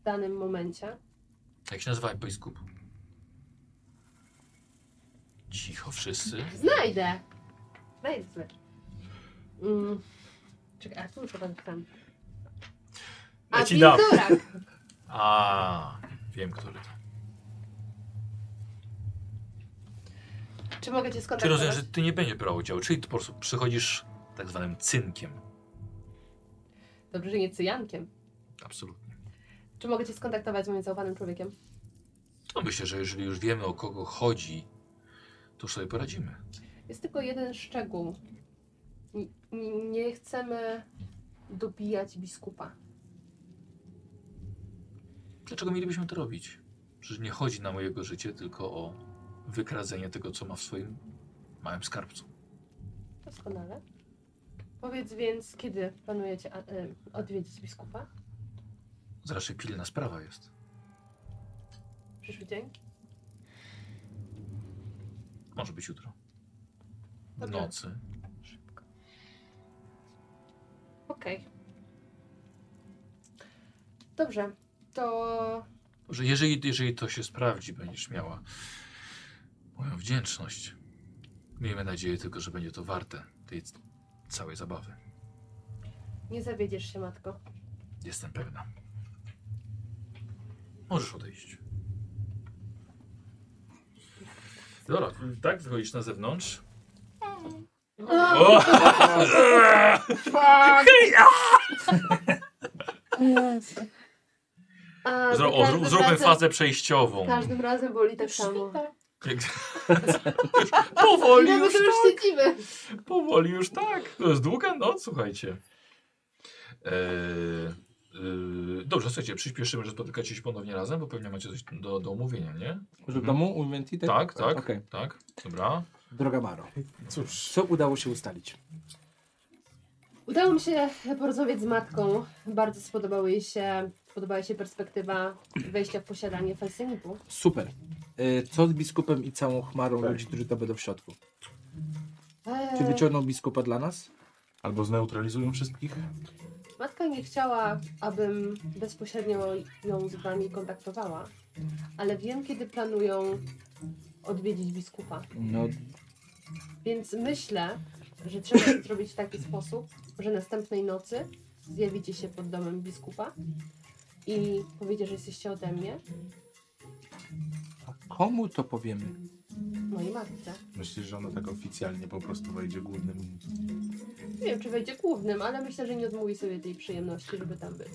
Speaker 1: w danym momencie
Speaker 2: Jak się nazywa biskup? Cicho wszyscy.
Speaker 1: Znajdę! Znajdę. Mm. Czekaj, a tu już chyba tam. A
Speaker 9: Ja ci dam.
Speaker 1: Pindurak!
Speaker 2: A, wiem, który to.
Speaker 1: Czy mogę cię
Speaker 2: Czy
Speaker 1: skontaktować?
Speaker 2: rozumiem, że ty nie będziesz brał udziału, czyli ty po prostu przychodzisz tak zwanym cynkiem.
Speaker 1: Dobrze, że nie cyjankiem.
Speaker 2: Absolutnie.
Speaker 1: Czy mogę cię skontaktować z moim zaufanym człowiekiem?
Speaker 2: To No myślę, że jeżeli już wiemy o kogo chodzi, to już sobie poradzimy.
Speaker 1: Jest tylko jeden szczegół. N- n- nie chcemy dobijać biskupa.
Speaker 2: Dlaczego mielibyśmy to robić? Przecież nie chodzi nam o jego życie, tylko o wykradzenie tego, co ma w swoim małym skarbcu.
Speaker 1: Doskonale. Powiedz więc, kiedy planujecie a, y, odwiedzić biskupa?
Speaker 2: To raczej pilna sprawa jest.
Speaker 1: Przyszły dzień?
Speaker 2: Może być jutro. W
Speaker 1: Dobra.
Speaker 2: nocy.
Speaker 1: Okej. Dobrze, to
Speaker 2: Że jeżeli, jeżeli to się sprawdzi, będziesz miała moją wdzięczność. Miejmy nadzieję tylko, że będzie to warte tej c- całej zabawy.
Speaker 1: nie zawiedziesz się, matko.
Speaker 2: Jestem pewna. Możesz odejść. Dobra, tak wychodzisz na zewnątrz. O!
Speaker 4: Jezu.
Speaker 1: A,
Speaker 2: Zro,
Speaker 1: za
Speaker 2: o,
Speaker 1: każdym
Speaker 2: zró- zróbmy
Speaker 1: razem-
Speaker 2: fazę przejściową.
Speaker 1: Każdym razem boli tak samo.
Speaker 2: powoli
Speaker 1: Ile my
Speaker 2: już
Speaker 1: tu już
Speaker 2: tak,
Speaker 1: siedzimy?
Speaker 2: powoli już tak. To jest długa noc, słuchajcie. Eee, eee, dobrze, słuchajcie, przyspieszymy, że spotykacie się ponownie razem, bo pewnie macie coś do, do omówienia, nie?
Speaker 6: Może w domu u
Speaker 2: Tak, tak, tak,
Speaker 6: Okej.
Speaker 2: tak. Dobra.
Speaker 6: Droga Maro,
Speaker 7: Cóż,
Speaker 6: co udało się ustalić?
Speaker 1: Udało mi się porozmawiać z matką. Bardzo spodobały jej się, podobała jej się perspektywa wejścia w posiadanie Felsenipu.
Speaker 6: Super. E, Co z biskupem i całą chmarą
Speaker 7: Tak.
Speaker 6: ludzi, którzy to będą w środku? Czy
Speaker 1: Eee,
Speaker 6: wyciągną biskupa dla nas?
Speaker 3: Albo zneutralizują wszystkich?
Speaker 1: matka nie chciała, abym bezpośrednio ją z wami kontaktowała, ale wiem, kiedy planują odwiedzić biskupa.
Speaker 6: No,
Speaker 1: Więc myślę, że trzeba to zrobić w taki sposób, że następnej nocy zjawicie się pod domem biskupa i powiecie, że jesteście ode mnie,
Speaker 6: a komu to powiemy?
Speaker 1: mojej matce.
Speaker 7: myślisz, że ona tak oficjalnie po prostu wejdzie głównym
Speaker 1: Nie wiem, czy wejdzie głównym, ale myślę, że nie odmówi sobie tej przyjemności, żeby tam być.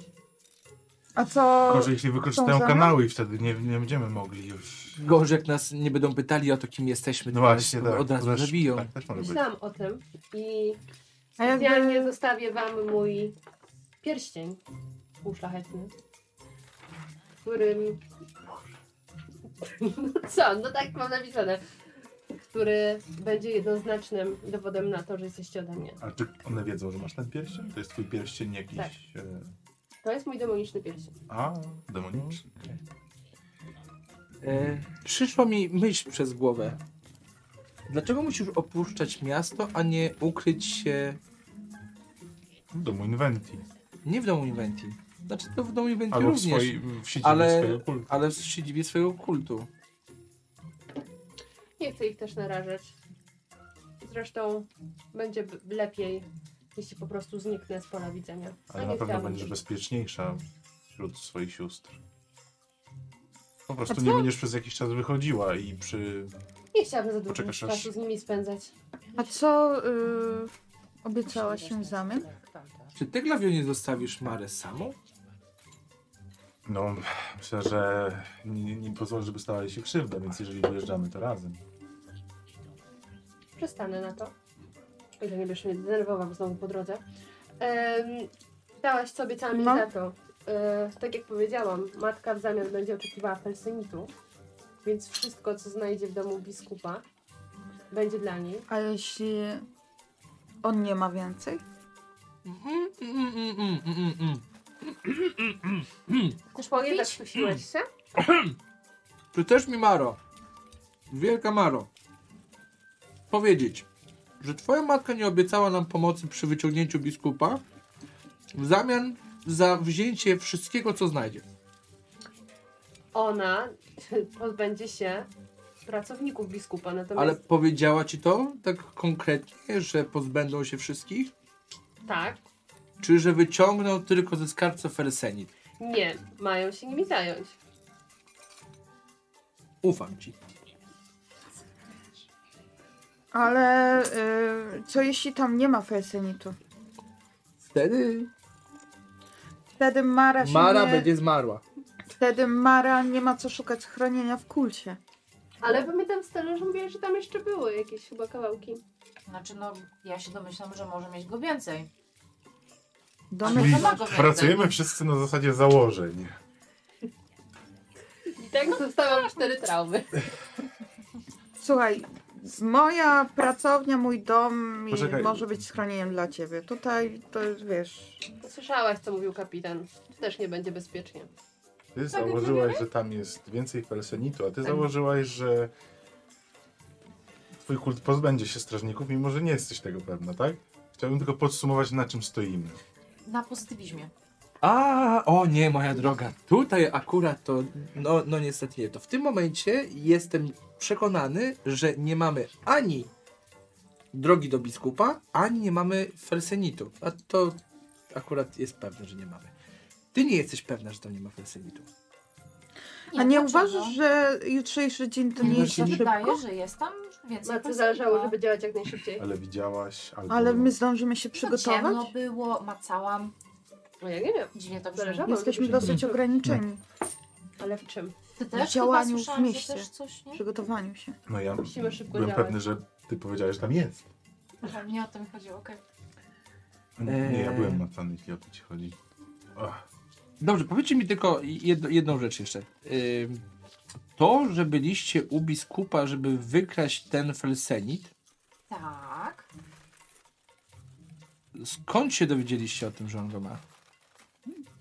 Speaker 4: A co?
Speaker 3: Gorzej, jeśli wykorzystają
Speaker 4: są za-
Speaker 3: kanały i wtedy nie, nie będziemy mogli już.
Speaker 6: Gorzej, jak nas nie będą pytali o to, kim jesteśmy,
Speaker 3: No
Speaker 6: to
Speaker 3: właśnie,
Speaker 6: nas
Speaker 3: tak.
Speaker 6: od razu
Speaker 3: Też-
Speaker 6: zabiją.
Speaker 3: Tak, też może być.
Speaker 1: Myślałam o tym i
Speaker 4: A jakby-
Speaker 1: specjalnie zostawię wam mój pierścień półszlachetny, którym... No co, no tak mam napisane. Który będzie jednoznacznym dowodem na to, że jesteście ode mnie.
Speaker 7: A czy one wiedzą, że masz ten pierścień? To jest twój pierścień jakiś...
Speaker 1: Tak.
Speaker 7: e,
Speaker 1: To jest mój demoniczny pierścień.
Speaker 7: A, demoniczny.
Speaker 6: E, przyszła mi myśl przez głowę. Dlaczego musisz opuszczać miasto, a nie ukryć się
Speaker 3: W domu Inventi.
Speaker 6: nie w domu Inventi? Znaczy to w domu Inventi
Speaker 3: Albo w,
Speaker 6: również,
Speaker 3: swojej, w siedzibie
Speaker 6: ale-
Speaker 3: swojego kultu.
Speaker 6: ale w siedzibie swojego kultu.
Speaker 1: Nie chcę ich też narażać. Zresztą będzie b- lepiej, jeśli po prostu zniknę z pola widzenia. A
Speaker 3: Ale
Speaker 1: nie
Speaker 3: na pewno
Speaker 1: chciałabym.
Speaker 3: będziesz bezpieczniejsza
Speaker 5: Mm.
Speaker 3: wśród swoich sióstr. Po
Speaker 1: A
Speaker 3: prostu
Speaker 1: co?
Speaker 3: nie będziesz przez jakiś czas wychodziła i przy...
Speaker 1: Nie chciałabym za dużo
Speaker 3: Poczekasz, aż-
Speaker 1: czasu z nimi spędzać.
Speaker 4: A co y, obiecała się w zamian?
Speaker 6: Czy ty, Glawio, nie zostawisz Marę samą?
Speaker 3: No, myślę, że nie, nie pozwolę, żeby stała jej się krzywda, więc jeżeli wyjeżdżamy, to razem.
Speaker 1: Przestanę na to. O ile nie będziesz mnie denerwował znowu po drodze. Em, dałaś sobie tam
Speaker 4: No.
Speaker 1: za to. E, tak jak powiedziałam, matka w zamian będzie oczekiwała felsynitu, więc wszystko, co znajdzie w domu biskupa, będzie dla niej.
Speaker 4: A jeśli on nie ma więcej?
Speaker 6: Mm, mm, mm, mm, mm, mm.
Speaker 5: Chcesz
Speaker 1: Powiedz,
Speaker 5: popić?
Speaker 1: skusiłeś się?
Speaker 6: Czy też mi, Maro, wielka Maro, powiedzieć, że twoja matka nie obiecała nam pomocy przy wyciągnięciu biskupa w zamian za wzięcie wszystkiego, co znajdzie.
Speaker 1: Ona pozbędzie się pracowników biskupa, natomiast
Speaker 6: Ale powiedziała ci to tak konkretnie, że pozbędą się wszystkich?
Speaker 1: tak,
Speaker 6: Czy że wyciągną tylko ze skarbca Fersenit?
Speaker 1: nie, mają się nimi zająć.
Speaker 6: Ufam ci.
Speaker 4: Ale y, co jeśli tam nie ma felsenitu?
Speaker 6: Wtedy
Speaker 4: Wtedy Mara się
Speaker 6: Mara
Speaker 4: nie...
Speaker 6: będzie zmarła.
Speaker 4: Wtedy Mara nie ma co szukać schronienia w kulcie.
Speaker 1: Ale pamiętam staro, że mówiłaś, że tam jeszcze były jakieś chyba kawałki.
Speaker 5: Znaczy no, ja się domyślam, że może mieć go więcej.
Speaker 4: Domy...
Speaker 5: Czyli-
Speaker 3: Czyli
Speaker 5: No to ma go więcej.
Speaker 3: pracujemy wszyscy na zasadzie założeń.
Speaker 1: I tak zostałam cztery traumy.
Speaker 4: Słuchaj, moja pracownia, mój dom i
Speaker 3: Poczekaj.
Speaker 4: może być schronieniem dla ciebie. Tutaj to jest, wiesz...
Speaker 1: Słyszałaś, co mówił kapitan. Tu też nie będzie bezpiecznie.
Speaker 3: Ty założyłaś, że tam jest więcej felsenitu,
Speaker 5: Tak.
Speaker 3: a ty założyłaś, że twój kult pozbędzie się strażników, mimo że nie jesteś tego pewna, tak? Chciałbym tylko podsumować, na czym stoimy.
Speaker 5: Na pozytywizmie.
Speaker 6: A, o nie, moja droga. Tutaj akurat to, no, no niestety nie. To w tym momencie jestem przekonany, że nie mamy ani drogi do biskupa, ani nie mamy felsenitu. A to akurat jest pewne, że nie mamy. Ty nie jesteś pewna, że tam nie ma felsenitu.
Speaker 4: A nie
Speaker 5: dlaczego?
Speaker 4: uważasz, że jutrzejszy dzień to nie
Speaker 5: Mi
Speaker 4: jest
Speaker 5: się
Speaker 4: za szybko?
Speaker 5: wydaje, że jest tam więcej
Speaker 1: Matce
Speaker 5: pasyjka.
Speaker 1: zależało, żeby działać jak najszybciej.
Speaker 3: Ale widziałaś albo...
Speaker 4: Ale my zdążymy się
Speaker 5: No, Ciemno
Speaker 4: przygotować?
Speaker 5: było, macałam.
Speaker 1: No ja nie wiem.
Speaker 5: Dziwnie to brzmi.
Speaker 1: Zależało,
Speaker 4: Jesteśmy
Speaker 1: żeby się-
Speaker 4: dosyć ograniczeni
Speaker 1: Ale w czym?
Speaker 5: Ty też chyba
Speaker 4: działaniu w
Speaker 5: słyszałam, że
Speaker 4: mieście.
Speaker 5: też coś,
Speaker 4: w
Speaker 5: nie?
Speaker 4: przygotowaniu się.
Speaker 3: No ja
Speaker 1: Musimy szybko
Speaker 3: byłem
Speaker 1: działać.
Speaker 3: pewny, że ty powiedziałeś, że tam jest.
Speaker 5: Aha, nie o to mi chodziło, okej.
Speaker 3: Nie, ja
Speaker 6: Eee.
Speaker 3: byłem macany, jeśli o to ci chodzi. Ach,
Speaker 6: Dobrze, powiedzcie mi tylko jedno, jedną rzecz jeszcze. Ym, to, że byliście u biskupa, żeby wykraść ten felsenit,
Speaker 5: Tak.
Speaker 6: skąd się dowiedzieliście o tym, że on go ma?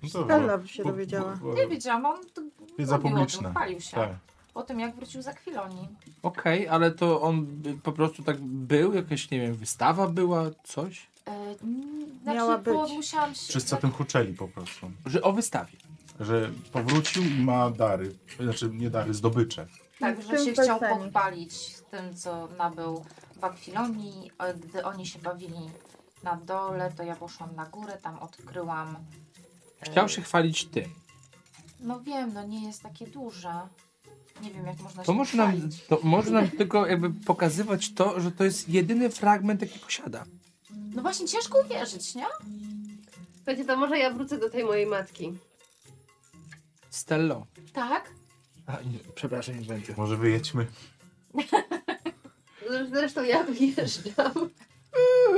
Speaker 3: no to-
Speaker 4: Stella się
Speaker 3: bo-
Speaker 4: dowiedziała.
Speaker 3: bo- bo-
Speaker 5: Nie wiedziałam, on to
Speaker 3: Wiedza
Speaker 5: mówił o tym,
Speaker 3: publiczna.
Speaker 5: Chwalił się.
Speaker 3: Tak.
Speaker 5: Po tym jak wrócił z Akwilonii.
Speaker 6: Okej, ale to on by- po prostu tak był? Jakaś, nie wiem, wystawa była? Coś?
Speaker 5: E, n- znaczy,
Speaker 4: Miała
Speaker 5: bo
Speaker 4: być.
Speaker 5: musiałam się...
Speaker 3: Wszyscy o tym huczeli po prostu.
Speaker 6: Że o wystawie.
Speaker 3: Że powrócił i ma dary. Znaczy, nie dary, zdobycze.
Speaker 5: Tak,
Speaker 4: W
Speaker 5: że
Speaker 4: tym
Speaker 5: się chciał
Speaker 4: Persenie.
Speaker 5: pochwalić tym, co nabył w Akwilonii. E, Gdy oni się bawili na dole, to ja poszłam na górę, tam odkryłam... e,
Speaker 6: Chciał się chwalić tym.
Speaker 5: No wiem, no nie jest takie duże. Nie wiem, jak można
Speaker 6: To
Speaker 5: się
Speaker 6: może nam,
Speaker 5: chwalić.
Speaker 6: to może nam tylko jakby pokazywać to, że to jest jedyny fragment, jaki posiada.
Speaker 5: No właśnie, ciężko uwierzyć, nie?
Speaker 1: Słuchajcie, to może ja wrócę do tej mojej matki.
Speaker 6: Stello.
Speaker 5: Tak?
Speaker 6: A, nie, przepraszam, nie będzie.
Speaker 3: Może wyjedźmy.
Speaker 1: Zresztą ja wyjeżdżam.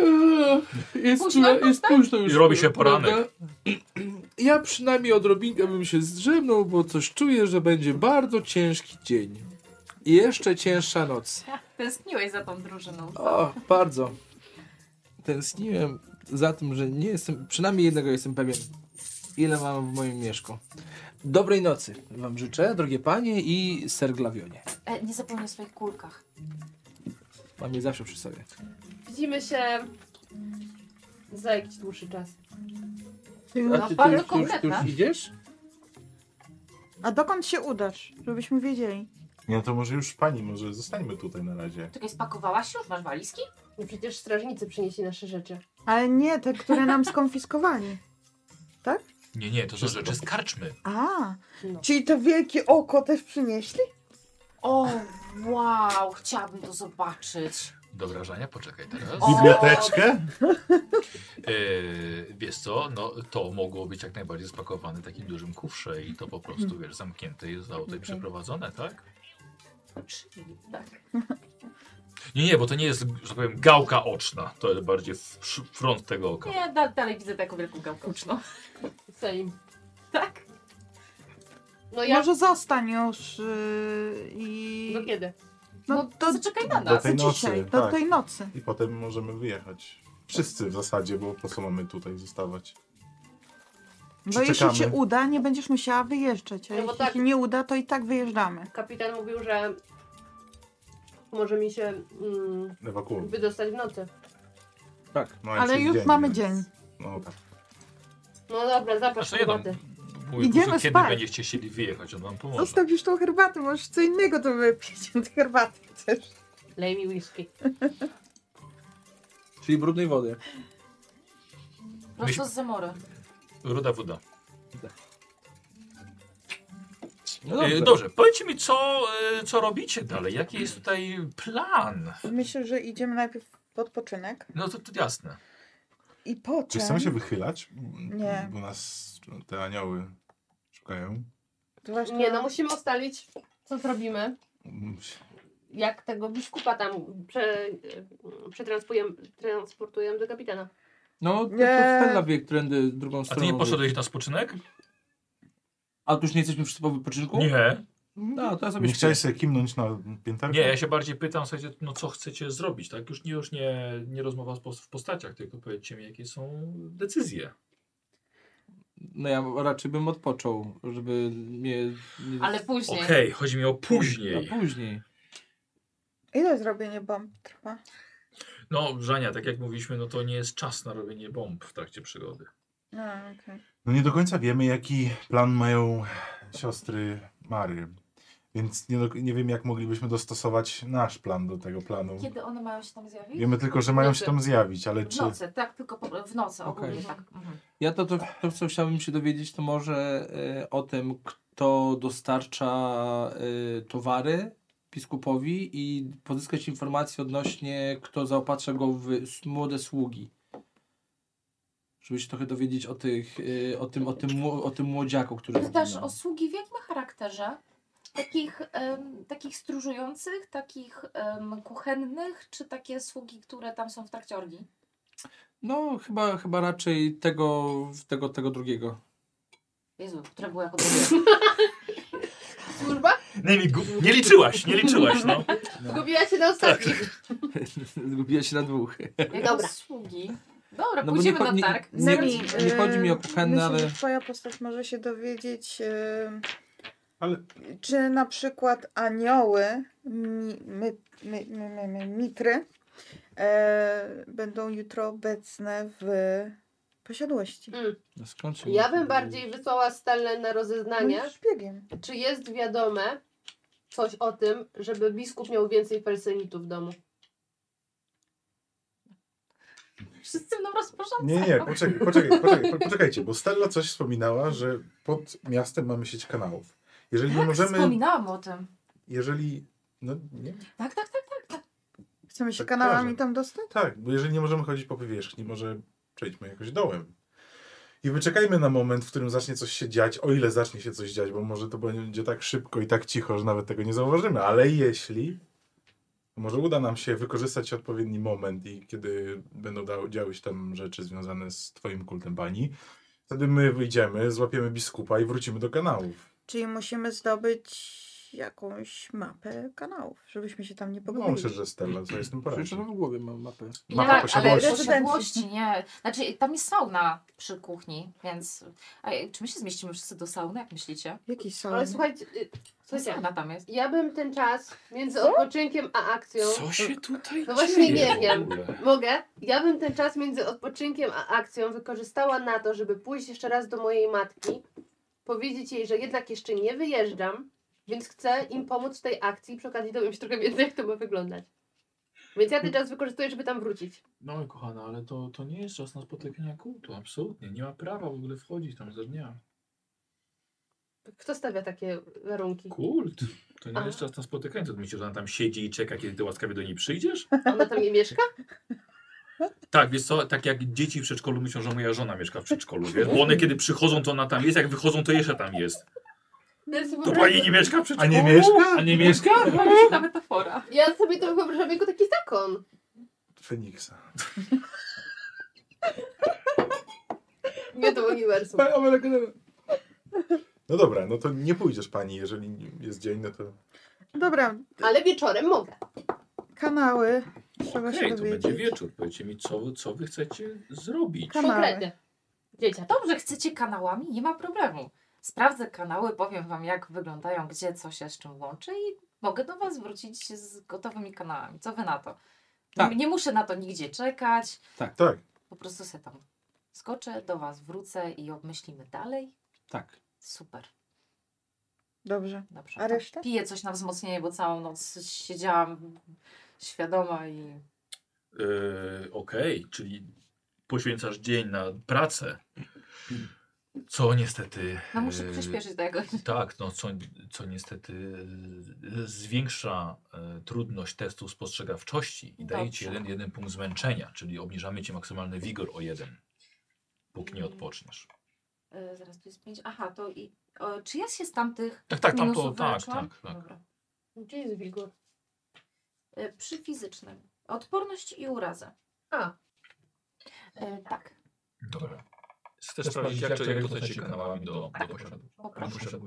Speaker 6: Eee, Jest,
Speaker 5: Późno,
Speaker 6: tu, jest późno już.
Speaker 2: I robi się
Speaker 6: prawda?
Speaker 2: poranek.
Speaker 6: Ja przynajmniej odrobinkę bym się zdrzemnął, bo coś czuję, że będzie bardzo ciężki dzień. I jeszcze cięższa noc.
Speaker 5: Tęskniłeś za tą drużyną.
Speaker 6: O, bardzo. Tęskniłem za tym, że nie jestem, przynajmniej jednego jestem pewien, ile mam w moim mieszku. Dobrej nocy wam życzę, drogie panie i ser glawionie.
Speaker 5: E, nie zapomnij o swoich kulkach.
Speaker 6: Mam je zawsze przy sobie.
Speaker 1: Widzimy się za jakiś dłuższy czas.
Speaker 5: No, bardzo konkretna.
Speaker 6: idziesz?
Speaker 4: A dokąd się udasz, żebyśmy wiedzieli?
Speaker 3: No to może już pani, może zostańmy tutaj na razie.
Speaker 5: Czekaj, spakowałaś się? Już masz walizki?
Speaker 1: No przecież strażnicy przynieśli nasze rzeczy.
Speaker 4: Ale nie te, które nam skonfiskowali.
Speaker 2: Nie, nie, to są rzeczy z karczmy.
Speaker 4: A,
Speaker 1: No.
Speaker 4: czyli to wielkie oko też przynieśli?
Speaker 5: O, wow, chciałabym to zobaczyć.
Speaker 2: Do wrażenia, poczekaj teraz.
Speaker 5: O,
Speaker 3: Biblioteczkę?
Speaker 2: Yy, wiesz co, no to mogło być jak najbardziej spakowane w takim dużym kufrze i to po prostu, wiesz, zamknięte i zostało tutaj przeprowadzone, tak?
Speaker 5: czyli tak.
Speaker 2: Nie, nie, bo to nie jest, że tak powiem, gałka oczna. To jest bardziej w- przy- front tego oka.
Speaker 5: Nie, da, dalej widzę taką wielką gałkę uczną.
Speaker 1: Sejm.
Speaker 5: Tak?
Speaker 1: No ja
Speaker 4: Może zostań już yy, i...
Speaker 1: do kiedy?
Speaker 5: No,
Speaker 4: No
Speaker 5: to
Speaker 4: to
Speaker 5: zaczekaj na
Speaker 3: Do
Speaker 5: nas.
Speaker 3: tej
Speaker 4: dzisiaj,
Speaker 3: nocy.
Speaker 4: do
Speaker 3: tak.
Speaker 4: tej nocy.
Speaker 3: I potem możemy wyjechać. Wszyscy w zasadzie, bo po co mamy tutaj zostawać?
Speaker 4: Bo
Speaker 3: Czy
Speaker 4: jeśli
Speaker 3: czekamy?
Speaker 4: się uda, nie będziesz musiała wyjeżdżać, a
Speaker 1: No bo
Speaker 4: jeśli
Speaker 1: tak-
Speaker 4: się nie uda, to i tak wyjeżdżamy.
Speaker 1: Kapitan mówił, że może mi się mm,
Speaker 3: Ewakuować.
Speaker 1: wydostać w nocy.
Speaker 6: Tak.
Speaker 3: No,
Speaker 4: Ale
Speaker 3: jest
Speaker 4: już mamy
Speaker 3: więc-
Speaker 4: dzień.
Speaker 3: No tak.
Speaker 1: No dobra,
Speaker 2: A
Speaker 1: zapraszam
Speaker 2: co
Speaker 1: do
Speaker 2: Znaczy, ja tam?
Speaker 1: wody.
Speaker 2: Mówię,
Speaker 4: Idziemy
Speaker 2: Idziemy kiedy
Speaker 4: spać.
Speaker 2: będziecie chcieli wyjechać, on wam pomoże.
Speaker 4: Zostaw już tą herbatę, możesz co innego to wypić. Herbatę chcesz.
Speaker 1: Lej mi whisky.
Speaker 6: Czyli brudnej wody.
Speaker 5: Prosto z zamory.
Speaker 2: Ruda woda.
Speaker 6: No
Speaker 2: Dobrze, E, dobrze powiedzcie mi, co, e, co robicie dalej? Jaki jest tutaj plan?
Speaker 4: Myślę, że idziemy najpierw w odpoczynek
Speaker 2: No to, to jasne.
Speaker 4: i
Speaker 3: Czy
Speaker 4: potem...
Speaker 3: chcemy się wychylać?
Speaker 4: Nie.
Speaker 3: Bo nas te anioły szukają.
Speaker 4: Zwłaszcza-
Speaker 1: Nie no, musimy ustalić, co zrobimy.
Speaker 2: No
Speaker 1: Jak tego biskupa tam prze, przetransportujemy transportujemy do kapitana.
Speaker 6: No, to, to
Speaker 4: Nie.
Speaker 6: Stella wie, którędy drugą
Speaker 2: A
Speaker 6: stroną.
Speaker 2: ty nie poszedłeś na spoczynek?
Speaker 6: A tu już nie jesteśmy przy po wypoczynku?
Speaker 2: Nie.
Speaker 6: No, to ja sobie
Speaker 3: Nie chciałeś sobie kimnąć na pięterko?
Speaker 2: Nie, ja się bardziej pytam, słuchajcie, no co chcecie zrobić, tak? Już nie, już nie, nie rozmowa w pos- w postaciach, tylko powiedzcie mi, jakie są decyzje.
Speaker 6: No ja raczej bym odpoczął, żeby mnie... Nie...
Speaker 5: Ale później.
Speaker 2: Okej, chodzi mi o później.
Speaker 6: A później.
Speaker 4: Ile zrobienie bomb trwa?
Speaker 2: No, Żania, tak jak mówiliśmy, no to nie jest czas na robienie bomb w trakcie przygody.
Speaker 4: No, okej.
Speaker 3: No nie do końca wiemy, jaki plan mają siostry Mary. Więc nie, do, nie wiem, jak moglibyśmy dostosować nasz plan do tego planu.
Speaker 5: Kiedy one mają się tam zjawić?
Speaker 3: Wiemy tylko, że mają
Speaker 5: Nocy.
Speaker 3: się tam zjawić, ale
Speaker 5: W
Speaker 3: czy...
Speaker 5: nocy, tak, tylko po, w nocy ogólnie
Speaker 6: Okej.
Speaker 5: tak. Mhm.
Speaker 6: Ja to, to, to, co chciałbym się dowiedzieć, to może e, o tym, kto dostarcza e, towary biskupowi i pozyskać informacje odnośnie, kto zaopatrza go w s- młode sługi. Żeby się trochę dowiedzieć o, tych, e, o, tym, o, tym, mło- o tym młodziaku, który
Speaker 5: Pytasz
Speaker 6: zginął.
Speaker 5: o sługi w jakim charakterze? Takich, em, takich stróżujących, takich em, kuchennych, czy takie sługi, które tam są w trakcie orgii?
Speaker 6: No, chyba, chyba raczej tego, tego, tego drugiego.
Speaker 5: Jezu, które były jako drugie.
Speaker 1: Służba?
Speaker 2: Nie, nie liczyłaś, nie liczyłaś, no.
Speaker 1: Zgubiła się na ostatnich.
Speaker 6: Zgubiła się na dwóch.
Speaker 5: Jako
Speaker 1: Dobra.
Speaker 5: sługi. Dobra,
Speaker 6: No bo nie
Speaker 5: pójdziemy
Speaker 6: cho-
Speaker 5: na
Speaker 6: nie-
Speaker 5: targ.
Speaker 6: nie-
Speaker 5: Zobacz-
Speaker 6: nie- chodzi mi o
Speaker 4: e,
Speaker 6: kuchenne,
Speaker 4: myślę,
Speaker 6: ale-
Speaker 4: że Twoja postać może się dowiedzieć, e,
Speaker 3: Ale
Speaker 4: czy na przykład anioły, mi, my, my, my, my, my, mitry, e, będą jutro obecne w posiadłości.
Speaker 1: Mm.
Speaker 6: No, skąd się
Speaker 1: Ja bym bardziej wysłała Stellę na rozeznanie,
Speaker 5: No
Speaker 4: Będziesz szpiegiem.
Speaker 1: czy jest wiadome coś o tym, żeby biskup miał więcej felsenitów w domu.
Speaker 5: e, Wszyscy będą rozporządzać.
Speaker 3: Nie, nie, poczekaj, poczekaj, poczekaj, po- poczekajcie, bo Stella coś wspominała, że pod miastem mamy sieć kanałów. Jeżeli nie
Speaker 5: Tak,
Speaker 3: możemy,
Speaker 5: wspominałam o tym.
Speaker 3: jeżeli, no nie,
Speaker 5: Tak, tak, tak.
Speaker 4: Chcemy się
Speaker 3: Tak
Speaker 4: kanałami
Speaker 3: kojarzę.
Speaker 4: tam dostać?
Speaker 3: tak, bo jeżeli nie możemy chodzić po powierzchni, może przejdźmy jakoś dołem. I wyczekajmy na moment, w którym zacznie coś się dziać, o ile zacznie się coś dziać, bo może to będzie tak szybko i tak cicho, że nawet tego nie zauważymy, ale jeśli, to może uda nam się wykorzystać odpowiedni moment i kiedy będą da- działy się tam rzeczy związane z twoim kultem bani, wtedy my wyjdziemy, złapiemy biskupa i wrócimy do kanałów.
Speaker 4: Czyli musimy zdobyć jakąś mapę kanałów, żebyśmy się tam nie
Speaker 7: No,
Speaker 4: pogubili.
Speaker 7: myślę, że Stella sobie z tym
Speaker 6: Przecież
Speaker 7: poradzi.
Speaker 6: ona w głowie mam mapę.
Speaker 5: tak,
Speaker 7: Mapa
Speaker 5: ale
Speaker 7: posiadłości.
Speaker 5: posiadłości, nie. Znaczy, tam jest sauna przy kuchni, więc... A, czy my się zmieścimy wszyscy do sauny, jak myślicie?
Speaker 4: Jakiś
Speaker 1: Ale
Speaker 4: salon.
Speaker 1: słuchajcie, y,
Speaker 5: Co
Speaker 1: słuchajcie,
Speaker 5: sauna tam jest?
Speaker 1: ja bym ten czas między odpoczynkiem a akcją.
Speaker 2: Co się tutaj
Speaker 1: No właśnie
Speaker 2: dzieje
Speaker 1: nie
Speaker 2: w
Speaker 1: wiem.
Speaker 2: ogóle?
Speaker 1: Mogę? Ja bym ten czas między odpoczynkiem a akcją wykorzystała na to, żeby pójść jeszcze raz do mojej matki, powiedzieć jej, że jednak jeszcze nie wyjeżdżam, więc chcę im pomóc w tej akcji i przy okazji dowiem się trochę więcej, jak to ma wyglądać. Więc ja ten czas wykorzystuję, żeby tam wrócić.
Speaker 2: No kochana, ale to, to nie jest czas na spotykania kultu, absolutnie. Nie ma prawa w ogóle wchodzić tam za dnia.
Speaker 1: Kto stawia takie warunki?
Speaker 2: Kult? To nie
Speaker 1: A.
Speaker 2: jest czas na spotykanie. To myślisz, że ona tam siedzi i czeka, kiedy ty łaskawie do niej przyjdziesz?
Speaker 1: Ona tam nie mieszka?
Speaker 2: Tak, wiesz co, tak jak dzieci w przedszkolu myślą, że moja żona mieszka w przedszkolu, wiesz? Bo one kiedy przychodzą, to ona tam jest, jak wychodzą, to jeszcze tam jest.
Speaker 1: Ja sobie,
Speaker 2: To
Speaker 1: wyobrażam,
Speaker 2: pani nie mieszka w
Speaker 7: A
Speaker 2: przedszkolu?
Speaker 7: nie mieszka?
Speaker 9: A nie mieszka?
Speaker 5: Ta metafora.
Speaker 1: ja sobie to wyobrażam jako taki zakon.
Speaker 7: Feniksa.
Speaker 1: Nie do uniwersum.
Speaker 7: No dobra, no to nie pójdziesz pani, jeżeli jest dzień, no to...
Speaker 4: Dobra,
Speaker 1: Ale wieczorem mogę.
Speaker 4: kanały. Trzeba
Speaker 2: Okej,
Speaker 4: się
Speaker 2: to będzie
Speaker 4: dowiedzieć.
Speaker 2: wieczór. Powiedzcie mi, co, co wy chcecie zrobić.
Speaker 4: Kanały.
Speaker 1: Konkretnie. Dzieciak.
Speaker 5: Dobrze, chcecie kanałami? Nie ma problemu. Sprawdzę kanały, powiem wam jak wyglądają, gdzie co się z czym łączy i mogę do was wrócić z gotowymi kanałami. Co wy na to?
Speaker 6: Tak.
Speaker 5: Nie, nie muszę na to nigdzie czekać,
Speaker 7: Tak,
Speaker 5: po prostu se tam skoczę, do was wrócę i obmyślimy dalej.
Speaker 6: Tak.
Speaker 5: Super,
Speaker 4: Dobrze.
Speaker 5: dobrze.
Speaker 4: A reszta?
Speaker 5: Piję coś na wzmocnienie, bo całą noc siedziałam świadoma i
Speaker 2: Yy, Okej, czyli poświęcasz dzień na pracę. Co niestety.
Speaker 5: no muszę
Speaker 2: yy,
Speaker 5: przyspieszyć tego.
Speaker 2: Tak, no co, co niestety yy, zwiększa yy, trudność testu spostrzegawczości i daje ci
Speaker 5: Dobrze.
Speaker 2: jeden, jeden punkt zmęczenia, czyli obniżamy ci maksymalny wigor o jeden, póki nie
Speaker 5: Mm.
Speaker 2: odpoczniesz.
Speaker 5: E, Zaraz tu jest pięć. Aha, to i o, czy ja się z tamtych
Speaker 2: Tak, tak, tam to,
Speaker 5: minusów
Speaker 2: tak,
Speaker 5: wyleczyłam?
Speaker 2: tak, tak.
Speaker 5: Dobra.
Speaker 1: Gdzie jest Wilgur?
Speaker 5: E, Przy fizycznym. Odporność i uraza.
Speaker 1: A.
Speaker 5: E, tak,
Speaker 2: Dobra. Chcesz sprawdzić, jak człowiek dostaje się kanałami do, do posiadłości.
Speaker 5: poproszę.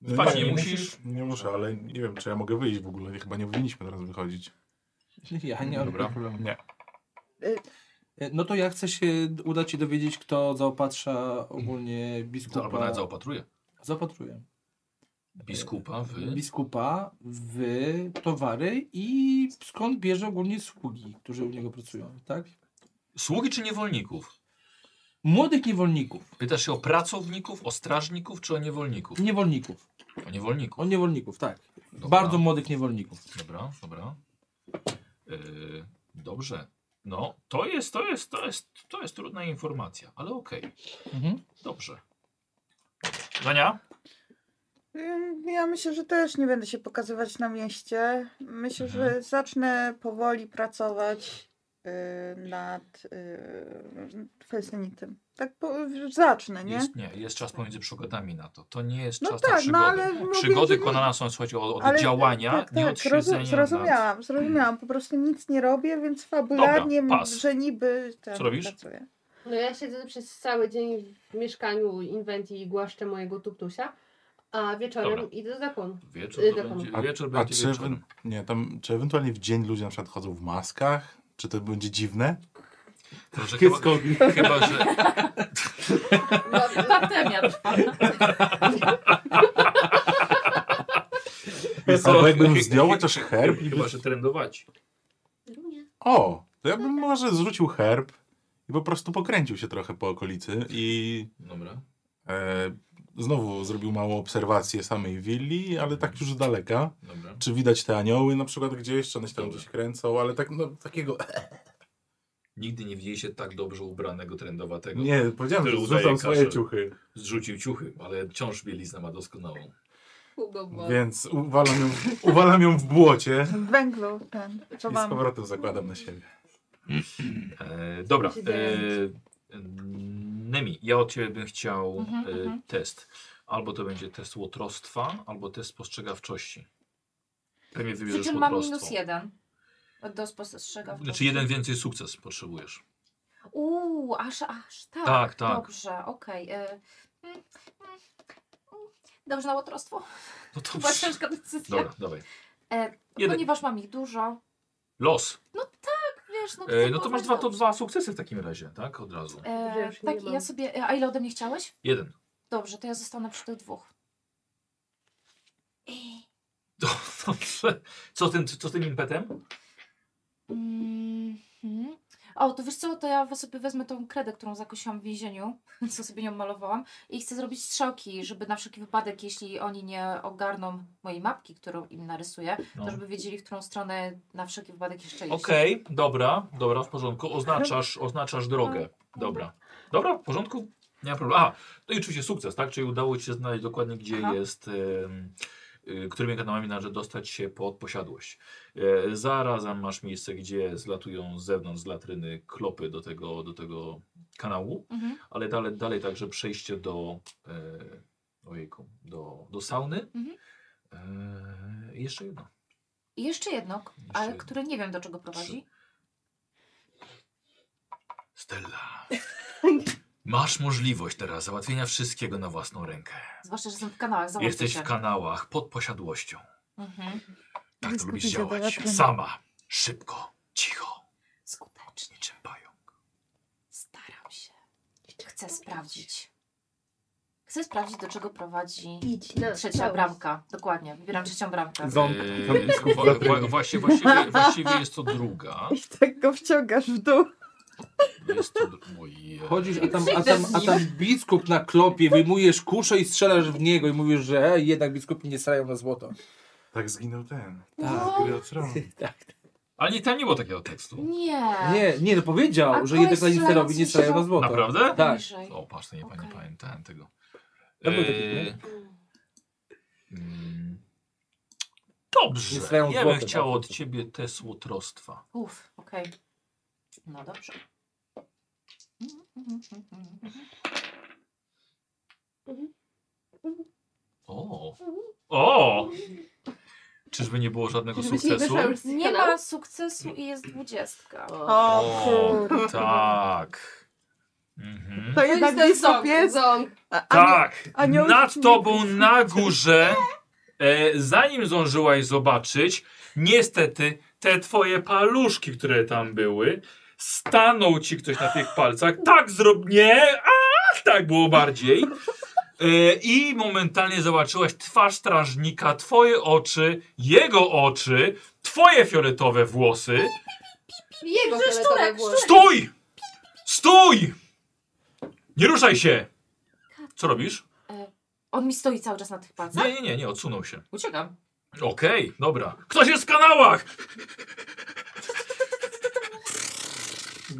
Speaker 7: No
Speaker 2: Spać
Speaker 7: nie,
Speaker 2: nie
Speaker 7: nie
Speaker 2: musisz.
Speaker 7: nie muszę, ale nie wiem, czy ja mogę wyjść w ogóle. Chyba nie powinniśmy teraz wychodzić.
Speaker 6: Ja nie mam
Speaker 2: Dobra.
Speaker 6: problemu.
Speaker 7: Nie.
Speaker 4: Y-
Speaker 6: E, No to ja chcę się d- udać i dowiedzieć, kto zaopatrza ogólnie biskupa.
Speaker 2: Albo nawet zaopatruje
Speaker 6: Zaopatruję.
Speaker 2: biskupa w...
Speaker 6: Biskupa w towary i skąd bierze ogólnie sługi, którzy u niego pracują, tak?
Speaker 2: Sługi czy niewolników?
Speaker 6: Młodych niewolników.
Speaker 2: Pytasz się o pracowników, o strażników czy o niewolników?
Speaker 6: Niewolników.
Speaker 2: O niewolników.
Speaker 6: O niewolników, tak.
Speaker 2: Dobra.
Speaker 6: Bardzo młodych niewolników.
Speaker 2: Dobra, dobra. Yy, dobrze. No, to jest, to jest, to jest, to jest trudna informacja, ale okej,
Speaker 6: Mhm.
Speaker 2: dobrze. Zania?
Speaker 4: Ym, Mm, Ja myślę, że też nie będę się pokazywać na mieście. Myślę,
Speaker 2: Mhm.
Speaker 4: że zacznę powoli pracować y, nad yy, felsynitem. Tak po, zacznę, nie?
Speaker 2: Jest, nie, jest czas pomiędzy przygodami na to. To nie jest
Speaker 4: No
Speaker 2: czas na
Speaker 4: tak, no
Speaker 2: przygodę.
Speaker 4: ale... mówię,
Speaker 2: Przygody
Speaker 4: że- no-
Speaker 2: konana są, słuchajcie, od, od
Speaker 4: ale-
Speaker 2: działania,
Speaker 4: Tak,
Speaker 2: nie
Speaker 4: tak,
Speaker 2: od siedzenia.
Speaker 4: zrozum- zrozumiałam, zrozumiałam. Po prostu nic nie robię, więc fabularnie,
Speaker 2: Dobra, pas.
Speaker 4: że niby... Tam
Speaker 2: Co robisz?
Speaker 4: Pracuję.
Speaker 1: No ja siedzę przez cały dzień w mieszkaniu Inventi i głaszczę mojego tuktusia, a wieczorem
Speaker 2: Dobra.
Speaker 1: idę do zakonu.
Speaker 2: Nad... Wieczór
Speaker 1: Yy,
Speaker 2: to
Speaker 1: dokładnie.
Speaker 2: będzie,
Speaker 7: A-
Speaker 2: wieczór
Speaker 7: A
Speaker 2: będzie
Speaker 7: czy, ewen-
Speaker 2: wieczorem.
Speaker 7: nie, tam, czy ewentualnie w dzień ludzie na przykład chodzą w maskach? Czy to będzie dziwne?
Speaker 2: Może chyba, chyba, że,
Speaker 5: tak. Pandemia trwa.
Speaker 7: Albo jakbym zdjął chociaż herb? i-
Speaker 2: chyba, że trendować.
Speaker 7: O, to ja bym może zrzucił herb i po prostu pokręcił się trochę po okolicy i
Speaker 2: Dobra.
Speaker 7: e, znowu zrobił małą obserwację samej willi, ale tak już z daleka.
Speaker 2: Dobra.
Speaker 7: Czy widać te anioły na przykład gdzieś, czy one się tam
Speaker 2: Dobra.
Speaker 7: gdzieś kręcą, ale tak, no, takiego...
Speaker 2: Nigdy nie widzieliście tak dobrze ubranego, trendowatego.
Speaker 7: Nie, powiedziałem,
Speaker 2: Który
Speaker 7: że
Speaker 2: udaje
Speaker 7: zrzucam swoje
Speaker 2: kaszel.
Speaker 7: ciuchy.
Speaker 2: Zrzucił ciuchy, ale wciąż bieliznę ma doskonałą.
Speaker 7: Więc uwalam ją, uwalam ją w błocie
Speaker 4: W węglu ten, co
Speaker 7: i z
Speaker 4: mam.
Speaker 7: powrotem zakładam na siebie.
Speaker 2: E, dobra. E, Nemi, ja od ciebie bym chciał
Speaker 5: Mhm,
Speaker 2: e,
Speaker 5: mhm.
Speaker 2: test. Albo to będzie test łotrostwa, albo test spostrzegawczości. Pewnie
Speaker 5: Przy
Speaker 2: wybierzesz
Speaker 5: czym mam minus
Speaker 2: łotrostwo.
Speaker 5: jeden. Do spostrzegawczości.
Speaker 2: Znaczy jeden więcej sukces potrzebujesz.
Speaker 5: Uuu, aż, aż, tak.
Speaker 2: Tak, tak.
Speaker 5: Dobrze, okej. e, mm, mm, mm. Dobrze na łotrostwo?
Speaker 2: No to
Speaker 5: To była ciężka decyzja.
Speaker 2: Dobra, dawaj.
Speaker 5: E,
Speaker 2: Jeden.
Speaker 5: Ponieważ mam ich dużo,
Speaker 2: Los.
Speaker 5: wiesz, no to...
Speaker 2: E, no to masz dwa, to dwa sukcesy w takim razie, tak? Od razu.
Speaker 5: E,
Speaker 1: Że już nie
Speaker 5: tak, i
Speaker 1: mam.
Speaker 5: ja sobie... A ile ode mnie chciałeś?
Speaker 2: Jeden.
Speaker 5: Dobrze, to ja zostanę przy tych dwóch. Ej,
Speaker 2: To, dobrze. Co, z tym, co z tym impetem?
Speaker 5: Mhm. O, to wiesz co, to ja sobie wezmę tą kredę, którą zakusiłam w więzieniu, co sobie nią malowałam i chcę zrobić strzałki, żeby na wszelki wypadek, jeśli oni nie ogarną mojej mapki, którą im narysuję,
Speaker 2: No.
Speaker 5: to żeby wiedzieli, w którą stronę na wszelki wypadek jeszcze iść.
Speaker 2: Okej, dobra, dobra, w porządku. Oznaczasz, oznaczasz drogę. Dobra. Dobra, w porządku. Nie ma problemu. A, no i oczywiście sukces, tak? Czyli udało ci się znaleźć dokładnie, gdzie
Speaker 5: Aha.
Speaker 2: jest, em, y, którymi kanałami należy dostać się pod posiadłość. E, zarazem masz miejsce, gdzie zlatują z zewnątrz, z latryny klopy do tego, do tego kanału.
Speaker 5: Mhm.
Speaker 2: ale dalej, dalej także przejście do, e, ojejku, do, do sauny.
Speaker 5: Mhm.
Speaker 2: E, jeszcze jedno.
Speaker 5: I jeszcze jedno, k-
Speaker 2: Jeszcze
Speaker 5: ale
Speaker 2: jedno.
Speaker 5: które nie wiem do czego prowadzi.
Speaker 2: Stella. Masz możliwość teraz załatwienia wszystkiego na własną rękę.
Speaker 5: Zwłaszcza, że jestem w kanałach, załatwię tak.
Speaker 2: Jesteś
Speaker 5: się.
Speaker 2: w kanałach pod posiadłością.
Speaker 5: Mhm.
Speaker 2: Tak to
Speaker 4: Wyskoczycie
Speaker 2: lubisz
Speaker 4: do
Speaker 2: działać.
Speaker 4: latryny.
Speaker 2: Sama, szybko, cicho,
Speaker 5: Skutecznie.
Speaker 2: niczym pająk.
Speaker 5: Staram się. Chcę sprawdzić. Chcę sprawdzić, do czego prowadzi
Speaker 1: Idź na
Speaker 5: trzecia
Speaker 1: całość.
Speaker 5: bramka. Dokładnie, wybieram trzecią bramkę.
Speaker 6: Ząb.
Speaker 2: E, wa- wa- właśnie, właściwie, właściwie jest to druga.
Speaker 4: I tak go wciągasz w dół.
Speaker 2: Jest to dru- Ojej.
Speaker 6: Chodzisz, a tam, a tam, a tam biskup na klopie, wyjmujesz kuszę i strzelasz w niego i mówisz, że e, jednak biskupi nie strzelają na złoto.
Speaker 7: Tak zginął ten.
Speaker 5: No.
Speaker 6: Tak.
Speaker 7: Gry o Tron.
Speaker 6: tak.
Speaker 2: Ale nie, tam nie było takiego tekstu.
Speaker 5: Nie.
Speaker 6: Nie, nie, no powiedział,
Speaker 5: A
Speaker 6: że jednak
Speaker 5: koleś
Speaker 6: Lannisterowi
Speaker 5: strzelający
Speaker 6: nie strzelają na
Speaker 5: się-
Speaker 6: złoto.
Speaker 2: Naprawdę?
Speaker 6: Tak.
Speaker 5: Bliżej.
Speaker 2: O, patrz, to nie, nie
Speaker 5: Okej.
Speaker 2: pamiętałem tego.
Speaker 6: To był taki
Speaker 2: Eee,
Speaker 6: film.
Speaker 2: mm,
Speaker 6: Nie
Speaker 2: Dobrze,
Speaker 6: srają
Speaker 2: ja bym
Speaker 6: złotem,
Speaker 2: chciał
Speaker 6: tak.
Speaker 2: od ciebie te słotrostwa.
Speaker 5: Uff, okej. No dobrze.
Speaker 2: O! O! Czyżby nie było żadnego
Speaker 1: Żebyś nie
Speaker 2: sukcesu?
Speaker 1: wyszła już z
Speaker 5: Nie
Speaker 1: kanału.
Speaker 5: ma sukcesu i jest dwudziestka.
Speaker 1: O.
Speaker 4: O,
Speaker 2: O,
Speaker 4: kur...
Speaker 2: tak. Mhm.
Speaker 4: To
Speaker 1: To jest
Speaker 4: jednak
Speaker 1: ten
Speaker 4: biskup
Speaker 1: ząg,
Speaker 4: jest.
Speaker 1: ząg.
Speaker 4: A- a nie-
Speaker 2: Tak!
Speaker 4: anioł-
Speaker 2: Nad tobą na górze, e, zanim zdążyłaś zobaczyć, niestety te twoje paluszki, które tam były, stanął ci ktoś na tych palcach. Tak zrob... Nie! Ach, tak było bardziej. E, I momentalnie zobaczyłaś twarz strażnika, twoje oczy, jego oczy, twoje fioletowe włosy.
Speaker 1: Jego fioletowe włosy.
Speaker 2: Stój! Stój! Nie ruszaj się! Co robisz?
Speaker 5: On mi stoi cały czas na tych palcach.
Speaker 2: Nie, nie, nie, nie, odsunął się.
Speaker 5: Uciekam.
Speaker 2: Okej, dobra. Ktoś jest w kanałach!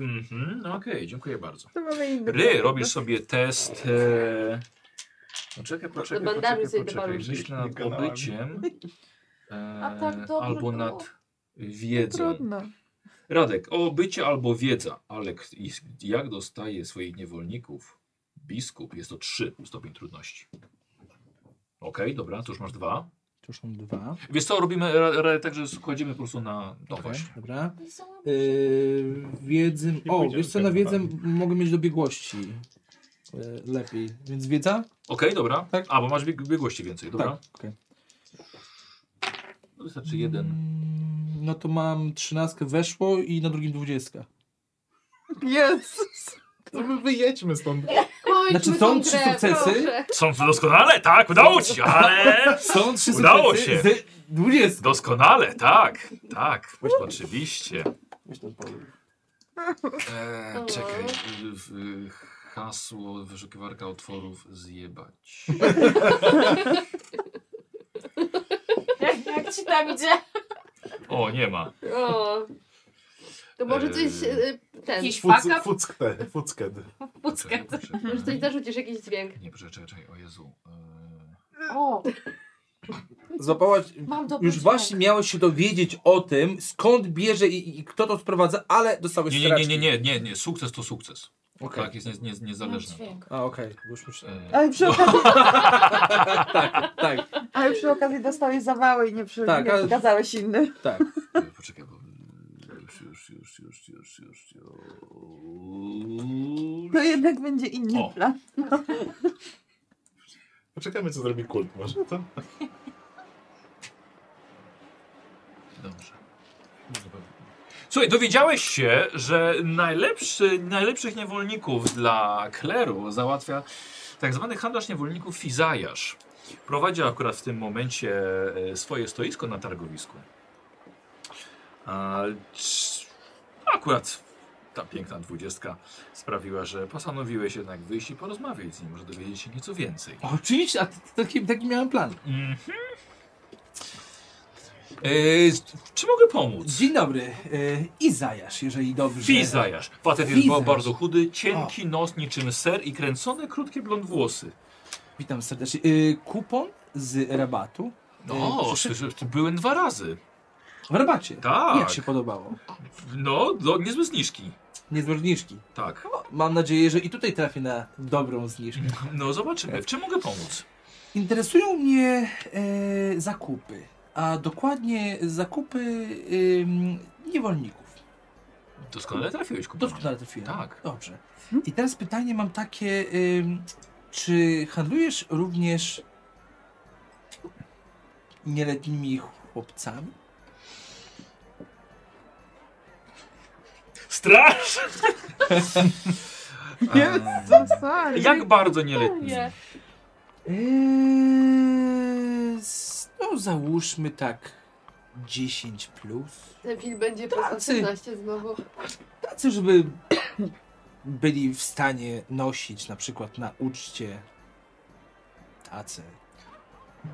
Speaker 2: Mhm, no okej, dziękuję bardzo.
Speaker 4: To mamy inny
Speaker 2: Ry, robisz sobie test. E... No czekaj, poczekaj,
Speaker 1: bandażuj
Speaker 2: poczekaj,
Speaker 1: sobie te
Speaker 2: poczekaj.
Speaker 1: paluszki.
Speaker 2: Myślę nad
Speaker 7: Kanałami.
Speaker 2: obyciem. E...
Speaker 5: tak dobrze
Speaker 2: Albo
Speaker 5: było.
Speaker 2: nad wiedzą.
Speaker 4: Trudno.
Speaker 2: Radek, o bycie albo wiedza, ale k- i- jak dostaje swoich niewolników biskup, jest to 3 stopień trudności. Okej, dobra, to już masz dwa.
Speaker 6: To już są dwa.
Speaker 2: Wiesz co, robimy ra- ra- tak, że kładziemy po prostu na... No
Speaker 6: Okej,
Speaker 2: właśnie.
Speaker 6: Dobra.
Speaker 5: I są-
Speaker 6: Yy, wiedzy.
Speaker 7: Nie
Speaker 6: O,
Speaker 7: pójdziemy
Speaker 6: wiesz co, na
Speaker 7: z
Speaker 6: wiedzę
Speaker 7: kanałami.
Speaker 6: mogę mieć dobiegłości. Yy, lepiej. Więc wiedza?
Speaker 2: Okej, dobra.
Speaker 6: Tak.
Speaker 2: A, bo masz bieg biegłości więcej, dobra?
Speaker 6: Tak. okej.
Speaker 2: No Wystarczy jeden.
Speaker 6: Mm, No to mam trzynastkę weszło i na drugim dwudziestka.
Speaker 4: Jezus.
Speaker 7: To my wyjedźmy stąd.
Speaker 1: Kończmy
Speaker 6: Znaczy, są
Speaker 1: tą
Speaker 6: trzy
Speaker 1: grę,
Speaker 6: sukcesy.
Speaker 1: proszę.
Speaker 2: Są to doskonale, tak, udało ci się, ale...
Speaker 6: Są trzy
Speaker 2: Udało
Speaker 6: sukcesy
Speaker 2: się.
Speaker 6: z Dwudziestka.
Speaker 2: Doskonale, tak, tak, oczywiście. Eee, czekaj, y, y, hasło wyszukiwarka otworów zjebać.
Speaker 5: Jak, jak ci tam idzie?
Speaker 2: O, nie ma.
Speaker 1: O. To może coś
Speaker 2: Eee.
Speaker 1: e, ten.
Speaker 5: Jakiś
Speaker 7: Fuck
Speaker 5: faka
Speaker 7: Fucked. Fucked.
Speaker 5: puckę.
Speaker 2: Poczekaj,
Speaker 1: Może coś
Speaker 2: poczekaj.
Speaker 1: zarzucisz jakiś dźwięk.
Speaker 2: Nie, poczekaj, czekaj, czekaj, o Jezu. Eee,
Speaker 5: O,
Speaker 6: Złapałaś.
Speaker 5: mam dobry
Speaker 6: Już
Speaker 5: dźwięk.
Speaker 6: właśnie miałeś się dowiedzieć o tym, skąd bierze i, i kto to sprowadza, ale dostałeś
Speaker 2: Nie, nie, nie, nie, nie, nie, nie, sukces to sukces.
Speaker 6: Okej.
Speaker 2: Tak, jest nie, nie,
Speaker 5: Mam
Speaker 2: niezależny.
Speaker 5: dźwięk.
Speaker 6: A okej, bo już myślałem.
Speaker 2: Eee,
Speaker 4: Ale przy okazji,
Speaker 6: Tak, tak,
Speaker 4: ale przy okazji dostałeś zawały i nie, przy,
Speaker 6: Tak,
Speaker 4: nie
Speaker 6: ale-
Speaker 4: pokazałeś innym.
Speaker 6: tak.
Speaker 2: E, Poczekaj, bo... Już, już, już, już, już, już, już.
Speaker 4: To jednak będzie inny
Speaker 2: O.
Speaker 4: plan.
Speaker 7: Poczekamy, co zrobi kult może, to?
Speaker 2: Dobrze. Słuchaj, dowiedziałeś się, że najlepszy, najlepszych niewolników dla kleru załatwia tak zwany handlarz niewolników Fizajasz. Prowadzi akurat w tym momencie e, swoje stoisko na targowisku. A, c- akurat ta piękna dwudziestka sprawiła, że postanowiłeś jednak wyjść i porozmawiać z nim, może dowiedzieć się nieco więcej.
Speaker 6: Oczywiście, a t- taki, taki miałem plan.
Speaker 2: Mhm. E, s- czy mogę pomóc?
Speaker 6: Dzień dobry, y, Izajasz, jeżeli dobrze.
Speaker 2: Fizajasz. Facet jest
Speaker 6: Fizajasz.
Speaker 2: bardzo chudy, cienki nos niczym ser i kręcone krótkie blond włosy.
Speaker 6: Witam serdecznie. Y, kupon z rabatu.
Speaker 2: No,
Speaker 6: Y, przy-
Speaker 2: ty- ty- byłem dwa razy.
Speaker 6: W rabacie.
Speaker 2: Tak.
Speaker 6: Jak się podobało?
Speaker 2: No, do, niezłe zniżki.
Speaker 6: Nie z zniżki.
Speaker 2: Tak.
Speaker 6: No, mam nadzieję, że i tutaj trafię na dobrą zniżkę.
Speaker 2: No, zobaczymy. W czym mogę pomóc?
Speaker 6: Interesują mnie e, zakupy, a dokładnie zakupy em, niewolników.
Speaker 2: Doskonale trafiłeś, kupon.
Speaker 6: Doskonale trafiłem.
Speaker 2: Tak.
Speaker 6: Dobrze. I teraz pytanie mam takie, em, czy handlujesz również nieletnimi chłopcami?
Speaker 2: Strasz!
Speaker 4: Jezu, sorry.
Speaker 2: Jak bardzo nieletni.
Speaker 6: Eee, s- no załóżmy tak 10 plus.
Speaker 1: Ten film będzie po
Speaker 6: Tacy.
Speaker 1: 18 znowu.
Speaker 6: Tacy, żeby byli w stanie nosić na przykład na uczcie tacę.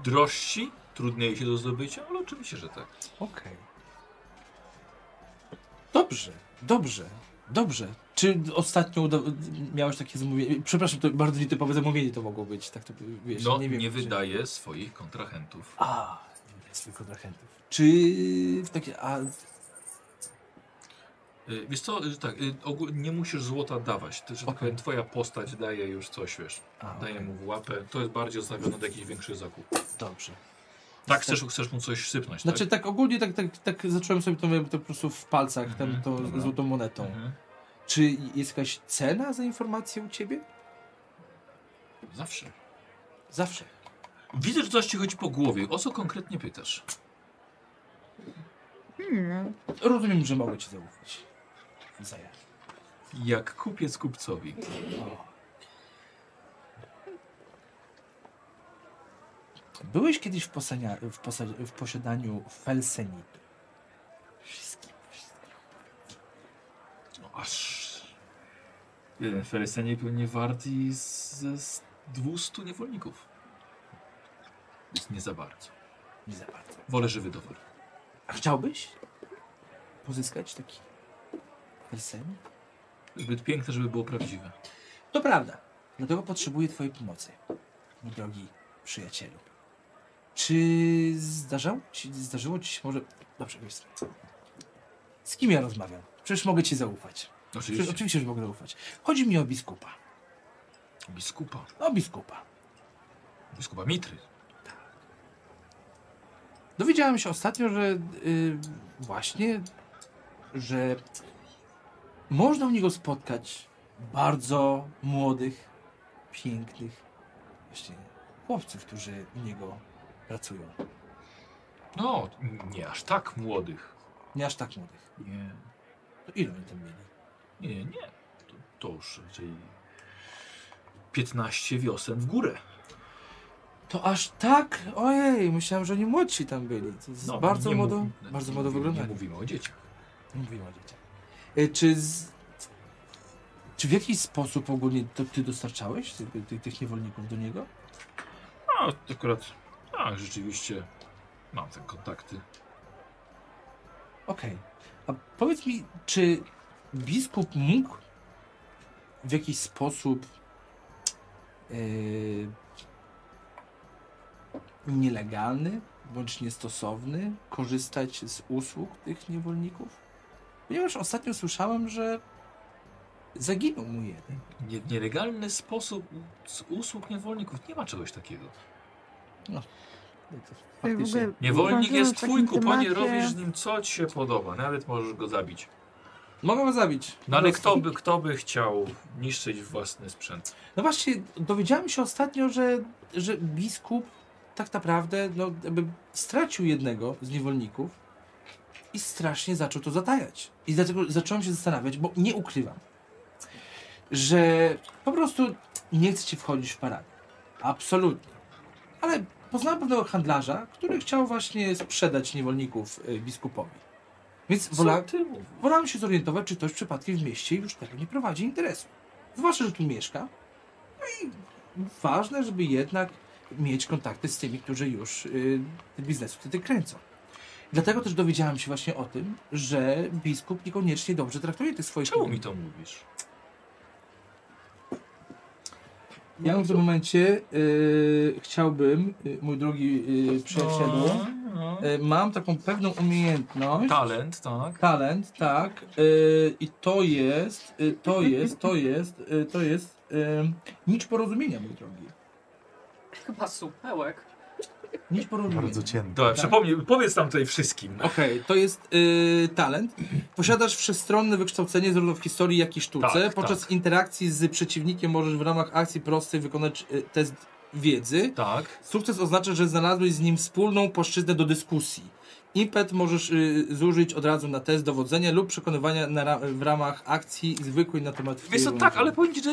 Speaker 2: Drożsi, trudniejsi do zdobycia, ale oczywiście, że tak.
Speaker 6: Okej. Dobrze, dobrze, dobrze. Czy ostatnio uda- miałeś takie zamówienie? Przepraszam, to bardzo nietypowe zamówienie to mogło być, tak to wiesz,
Speaker 2: No,
Speaker 6: nie wiem.
Speaker 2: nie
Speaker 6: czy-
Speaker 2: wydaje swoich kontrahentów.
Speaker 6: A, nie wydaje swoich kontrahentów. Czy w takie, a
Speaker 2: Y, Wiesz co, y, tak, y, ogó- nie musisz złota dawać. Ty, że tak
Speaker 6: Okej.
Speaker 2: powiem, twoja postać daje już coś, wiesz.
Speaker 6: A,
Speaker 2: Daję
Speaker 6: okej.
Speaker 2: mu w łapę. To jest bardziej ustawione do jakichś większych zakupów.
Speaker 6: Dobrze.
Speaker 2: Tak, chcesz, chcesz mu coś sypnąć,
Speaker 6: Znaczy
Speaker 2: tak?
Speaker 6: tak ogólnie tak, tak, tak zacząłem sobie to, to po prostu w palcach, tam,
Speaker 2: Mhm,
Speaker 6: tą
Speaker 2: dobra.
Speaker 6: złotą monetą.
Speaker 2: Mhm.
Speaker 6: Czy jest jakaś cena za informację u ciebie?
Speaker 2: Zawsze.
Speaker 6: Zawsze.
Speaker 2: Widzę, że coś ci chodzi po głowie. O co konkretnie pytasz?
Speaker 4: Hmm.
Speaker 6: Rozumiem, że mogę ci zaufać. Zaję.
Speaker 2: Jak kupiec kupcowi.
Speaker 6: Byłeś kiedyś w, posania, w, posa, w posiadaniu felsenitu.
Speaker 2: No aż... Felestenie był nie wart i z, z 200 niewolników. Więc nie za bardzo.
Speaker 6: Nie za bardzo.
Speaker 2: Wolę żywy dowód.
Speaker 6: A chciałbyś pozyskać taki felsenit?
Speaker 2: Zbyt piękne, żeby było prawdziwe.
Speaker 6: To prawda. Dlatego potrzebuję Twojej pomocy, mój drogi przyjacielu. Czy zdarzało ci, zdarzyło Ci się może... Dobrze, wiesz co. Z kim ja rozmawiam? Przecież mogę Ci zaufać. Przecież,
Speaker 2: Oczywiście.
Speaker 6: oczywiście, że mogę zaufać. Chodzi mi o biskupa.
Speaker 2: Biskupa.
Speaker 6: O biskupa.
Speaker 2: Biskupa Mitry.
Speaker 6: Dowiedziałem się ostatnio, że y, właśnie, że można u niego spotkać bardzo młodych, pięknych właśnie chłopców, którzy u niego pracują.
Speaker 2: No, nie aż tak młodych.
Speaker 6: Nie aż tak młodych.
Speaker 2: Nie.
Speaker 6: To ile oni tam mieli?
Speaker 2: Nie, nie. To, to już raczej 15 wiosen w górę.
Speaker 6: To aż tak? Ojej, myślałem, że oni młodsi tam byli. To jest bardzo
Speaker 2: No, nie
Speaker 6: młodo,
Speaker 2: mów-
Speaker 6: bardzo
Speaker 2: nie
Speaker 6: młodo
Speaker 2: mówimy-
Speaker 6: wyglądali.
Speaker 2: Nie mówimy o dzieciach.
Speaker 6: Nie mówimy o dzieciach. E, Czy, z, czy w jakiś sposób ogólnie to ty dostarczałeś ty, ty, tych niewolników do niego?
Speaker 2: No, to akurat, tak, rzeczywiście mam te kontakty.
Speaker 6: Okej. A powiedz mi, czy biskup mógł w jakiś sposób e, nielegalny bądź niestosowny korzystać z usług tych niewolników? Ponieważ ostatnio słyszałem, że zaginął mu jeden.
Speaker 2: Nie, nielegalny sposób z usług niewolników. Nie ma czegoś takiego.
Speaker 4: Tutaj w ogóle
Speaker 2: Niewolnik
Speaker 4: uważam,
Speaker 2: jest
Speaker 4: w
Speaker 2: twój,
Speaker 4: takim
Speaker 2: kuponie,
Speaker 4: temacie-
Speaker 2: robisz z nim co ci się podoba. Nawet możesz go zabić.
Speaker 6: Mogę go zabić.
Speaker 2: No ale kto by, kto by chciał niszczyć własny sprzęt?
Speaker 6: No właśnie, dowiedziałem się ostatnio, że, że biskup tak naprawdę no, jakby stracił jednego z niewolników i strasznie zaczął to zatajać. I dlatego zacząłem się zastanawiać, bo nie ukrywam, że po prostu nie chcecie wchodzić w paradę. Absolutnie. Ale poznałem pewnego handlarza, który chciał właśnie sprzedać niewolników y, biskupowi. Więc wola,
Speaker 2: ty mówisz?
Speaker 6: wolałem się zorientować, czy ktoś przypadkiem w mieście już tego nie prowadzi interesu. Zwłaszcza, że tu mieszka. No i ważne, żeby jednak mieć kontakty z tymi, którzy już y, te biznesu wtedy kręcą. Dlatego też dowiedziałem się właśnie o tym, że biskup niekoniecznie dobrze traktuje tych swoich
Speaker 2: Czemu mi
Speaker 6: klientów.
Speaker 2: to mówisz?
Speaker 6: Ja w tym momencie y, chciałbym, y, mój drogi y, przyjacielu,
Speaker 2: No,
Speaker 6: y, mam taką pewną umiejętność.
Speaker 2: Talent, tak?
Speaker 6: Talent, tak. Y, I to jest, y, to jest, to jest, y, to jest y, nić porozumienia, mój drogi.
Speaker 5: Chyba supełek.
Speaker 6: Nić porozumienia.
Speaker 3: Bardzo cienko.
Speaker 6: Tak.
Speaker 2: Dobra, przypomnij, powiedz tam tutaj wszystkim. no.
Speaker 6: Okej, to jest y, talent. Posiadasz wszechstronne wykształcenie zarówno w historii, jak i sztuce.
Speaker 2: Tak,
Speaker 6: Podczas
Speaker 2: tak.
Speaker 6: interakcji z przeciwnikiem możesz w ramach akcji prostej wykonać y, test wiedzy.
Speaker 2: Tak.
Speaker 6: Sukces oznacza, że znalazłeś z nim wspólną płaszczyznę do dyskusji. Impet możesz y, zużyć od razu na test dowodzenia lub przekonywania na ra- w ramach akcji zwykłej na temat
Speaker 2: Wiesz co,
Speaker 6: wpływu.
Speaker 2: tak, ale powiem ci, że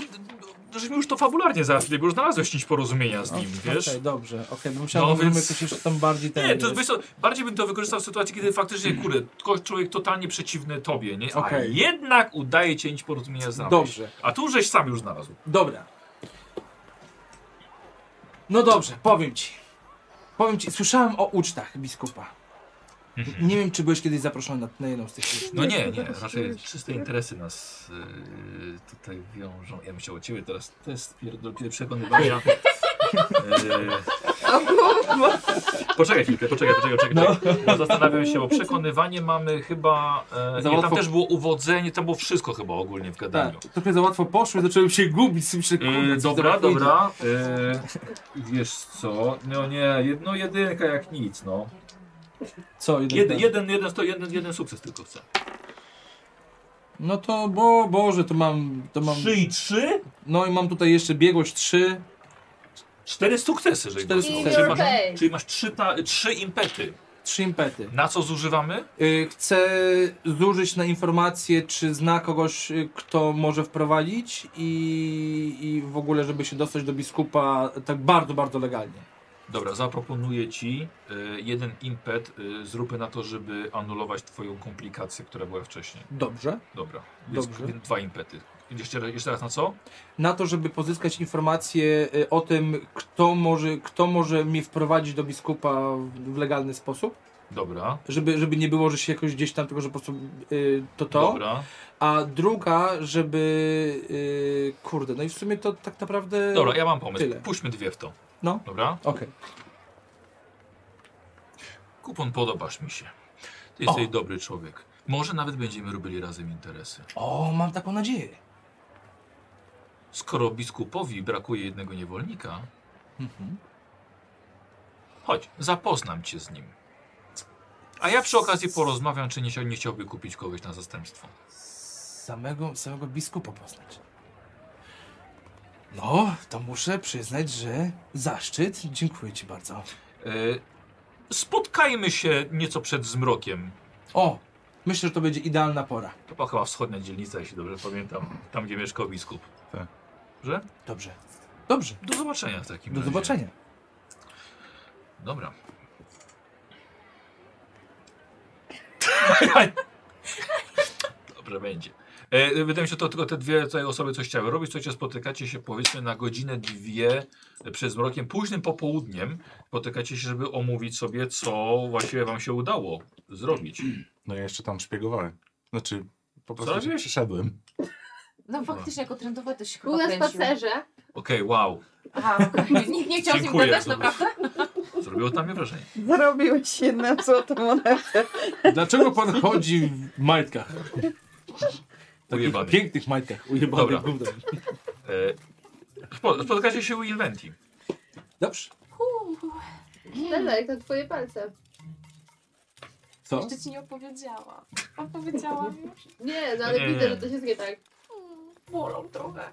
Speaker 2: żeśmy już to fabularnie załatwili, bo już znalazłeś część porozumienia z
Speaker 6: O,
Speaker 2: nim,
Speaker 6: No, Okej,
Speaker 2: wiesz?
Speaker 6: dobrze, okej, bo myślałem,
Speaker 2: No
Speaker 6: że więc...
Speaker 2: więc-
Speaker 6: coś jeszcze tam bardziej...
Speaker 2: Nie,
Speaker 6: ten
Speaker 2: to
Speaker 6: jest.
Speaker 2: wiesz co, bardziej bym to wykorzystał w sytuacji, kiedy faktycznie, kurde, ko- człowiek totalnie przeciwny tobie, nie? A
Speaker 6: Okej.
Speaker 2: jednak udaje ci nić porozumienia znaleźć.
Speaker 6: Dobrze.
Speaker 2: A tu żeś sam już znalazł.
Speaker 6: Dobra. No dobrze, powiem ci. Powiem ci, słyszałem o ucztach biskupa.
Speaker 2: Mhm.
Speaker 6: Nie wiem, czy byłeś kiedyś zaproszony na, na jedną z tych uczt.
Speaker 2: No nie, nie, raczej czyste interesy nas yy, tutaj wiążą. Ja myślę o ciebie teraz test pierdolki przekonywania. Yy, poczekaj chwilkę, poczekaj, poczekaj, poczekaj.
Speaker 6: No.
Speaker 2: Bo zastanawiam się, bo przekonywanie mamy chyba.
Speaker 6: Za
Speaker 2: Yy, nie, tam
Speaker 6: łatwo-
Speaker 2: też było uwodzenie, tam było wszystko chyba ogólnie w
Speaker 6: Tak,
Speaker 2: gadaniu.
Speaker 6: trochę za łatwo poszły, zacząłem się gubić. sobie Myślę, kurde,
Speaker 2: Yy,
Speaker 6: co za
Speaker 2: dobra,
Speaker 6: łatwo idzie.
Speaker 2: dobra. Yy, wiesz co? No nie, jedno jedynka jak nic, no.
Speaker 6: Co, jeden,
Speaker 2: Jeden,
Speaker 6: ten?
Speaker 2: jeden, jeden, sto- jeden, jeden sukces tylko chcę.
Speaker 6: No to, bo Boże, to mam, to mam...
Speaker 2: Trzy i trzy?
Speaker 6: No i mam tutaj jeszcze biegłość 3.
Speaker 2: Cztery sukcesy, że
Speaker 6: Cztery
Speaker 2: czyli,
Speaker 6: sukcesy.
Speaker 2: masz,
Speaker 1: Okej.
Speaker 2: czyli masz trzy, ta, trzy impety.
Speaker 6: Trzy impety.
Speaker 2: Na co zużywamy?
Speaker 6: Yy, chcę zużyć na informację, czy zna kogoś, y, kto może wprowadzić i, i w ogóle, żeby się dostać do biskupa tak bardzo, bardzo legalnie.
Speaker 2: Dobra, zaproponuję ci y, jeden impet. Y, zróbmy na to, żeby anulować twoją komplikację, która była wcześniej.
Speaker 6: Dobrze.
Speaker 2: Dobra, więc
Speaker 6: Dobrze.
Speaker 2: więc dwa impety. Jeszcze, raz- jeszcze raz na co?
Speaker 6: Na to, żeby pozyskać informację y, o tym, kto może, kto może mnie wprowadzić do biskupa w- w legalny sposób,
Speaker 2: Dobra,
Speaker 6: żeby, żeby nie było, że się jakoś gdzieś tam, tylko że po prostu y, to to.
Speaker 2: dobra.
Speaker 6: A druga, żeby... y, kurde, no i w sumie to tak naprawdę...
Speaker 2: Dobra, ja mam pomysł.
Speaker 6: Tyle.
Speaker 2: Puśćmy dwie w to.
Speaker 6: No.
Speaker 2: Dobra?
Speaker 6: Okej.
Speaker 2: Kupon podobasz mi się. Ty jesteś dobry człowiek. Może nawet będziemy robili razem interesy.
Speaker 6: O, mam taką nadzieję.
Speaker 2: Skoro biskupowi brakuje jednego niewolnika,
Speaker 6: Mhm.
Speaker 2: chodź, zapoznam cię z nim. A ja przy okazji porozmawiam, czy nie, chcia- nie chciałby kupić kogoś na zastępstwo.
Speaker 6: samego, samego biskupa poznać. No, to muszę przyznać, że zaszczyt. Dziękuję ci bardzo.
Speaker 2: Y, spotkajmy się nieco przed zmrokiem.
Speaker 6: O, myślę, że to będzie idealna pora.
Speaker 2: To była chyba wschodnia dzielnica, jeśli dobrze pamiętam. Tam, gdzie mieszkał biskup.
Speaker 3: Tak.
Speaker 2: Że?
Speaker 6: Dobrze. Dobrze.
Speaker 2: Do zobaczenia w takim
Speaker 6: Do
Speaker 2: razie.
Speaker 6: zobaczenia.
Speaker 2: Dobra. Dobrze będzie. E, wydaje mi się, to tylko te dwie tutaj osoby coś chciały robić. Słuchajcie, spotykacie się powiedzmy na godzinę, dwie przed zmrokiem, późnym popołudniem. Spotykacie się, żeby omówić sobie, co właściwie wam się udało zrobić.
Speaker 3: No ja jeszcze tam szpiegowałem. Znaczy, po prostu się
Speaker 2: robisz?
Speaker 3: przyszedłem.
Speaker 5: No faktycznie, jako trendowe to się
Speaker 1: Był
Speaker 5: chyba
Speaker 1: na
Speaker 5: kręcił.
Speaker 1: spacerze.
Speaker 2: Okej, wow.
Speaker 5: Aha, okej. Nikt nie chciał z nim
Speaker 2: Dziękuję
Speaker 5: gadać,
Speaker 2: za to.
Speaker 5: naprawdę?
Speaker 2: Zrobiło tam mnie wrażenie.
Speaker 4: Zarobiłeś jedną złotą monetę.
Speaker 6: Dlaczego pan chodzi w majtkach? Takich
Speaker 2: Ujebany.
Speaker 6: pięknych majtkach. Ujebanych
Speaker 2: Dobra.
Speaker 6: gównem.
Speaker 2: E, spo- spotykacie się u Inventi.
Speaker 6: Dobrze.
Speaker 1: Dalej, to twoje palce.
Speaker 6: Co?
Speaker 5: Jeszcze ci nie opowiedziałam. Opowiedziałam już.
Speaker 1: Nie, no ale
Speaker 2: Nie,
Speaker 1: widzę,
Speaker 2: nie.
Speaker 1: że to jest nie tak.
Speaker 5: Mm, Bolą trochę.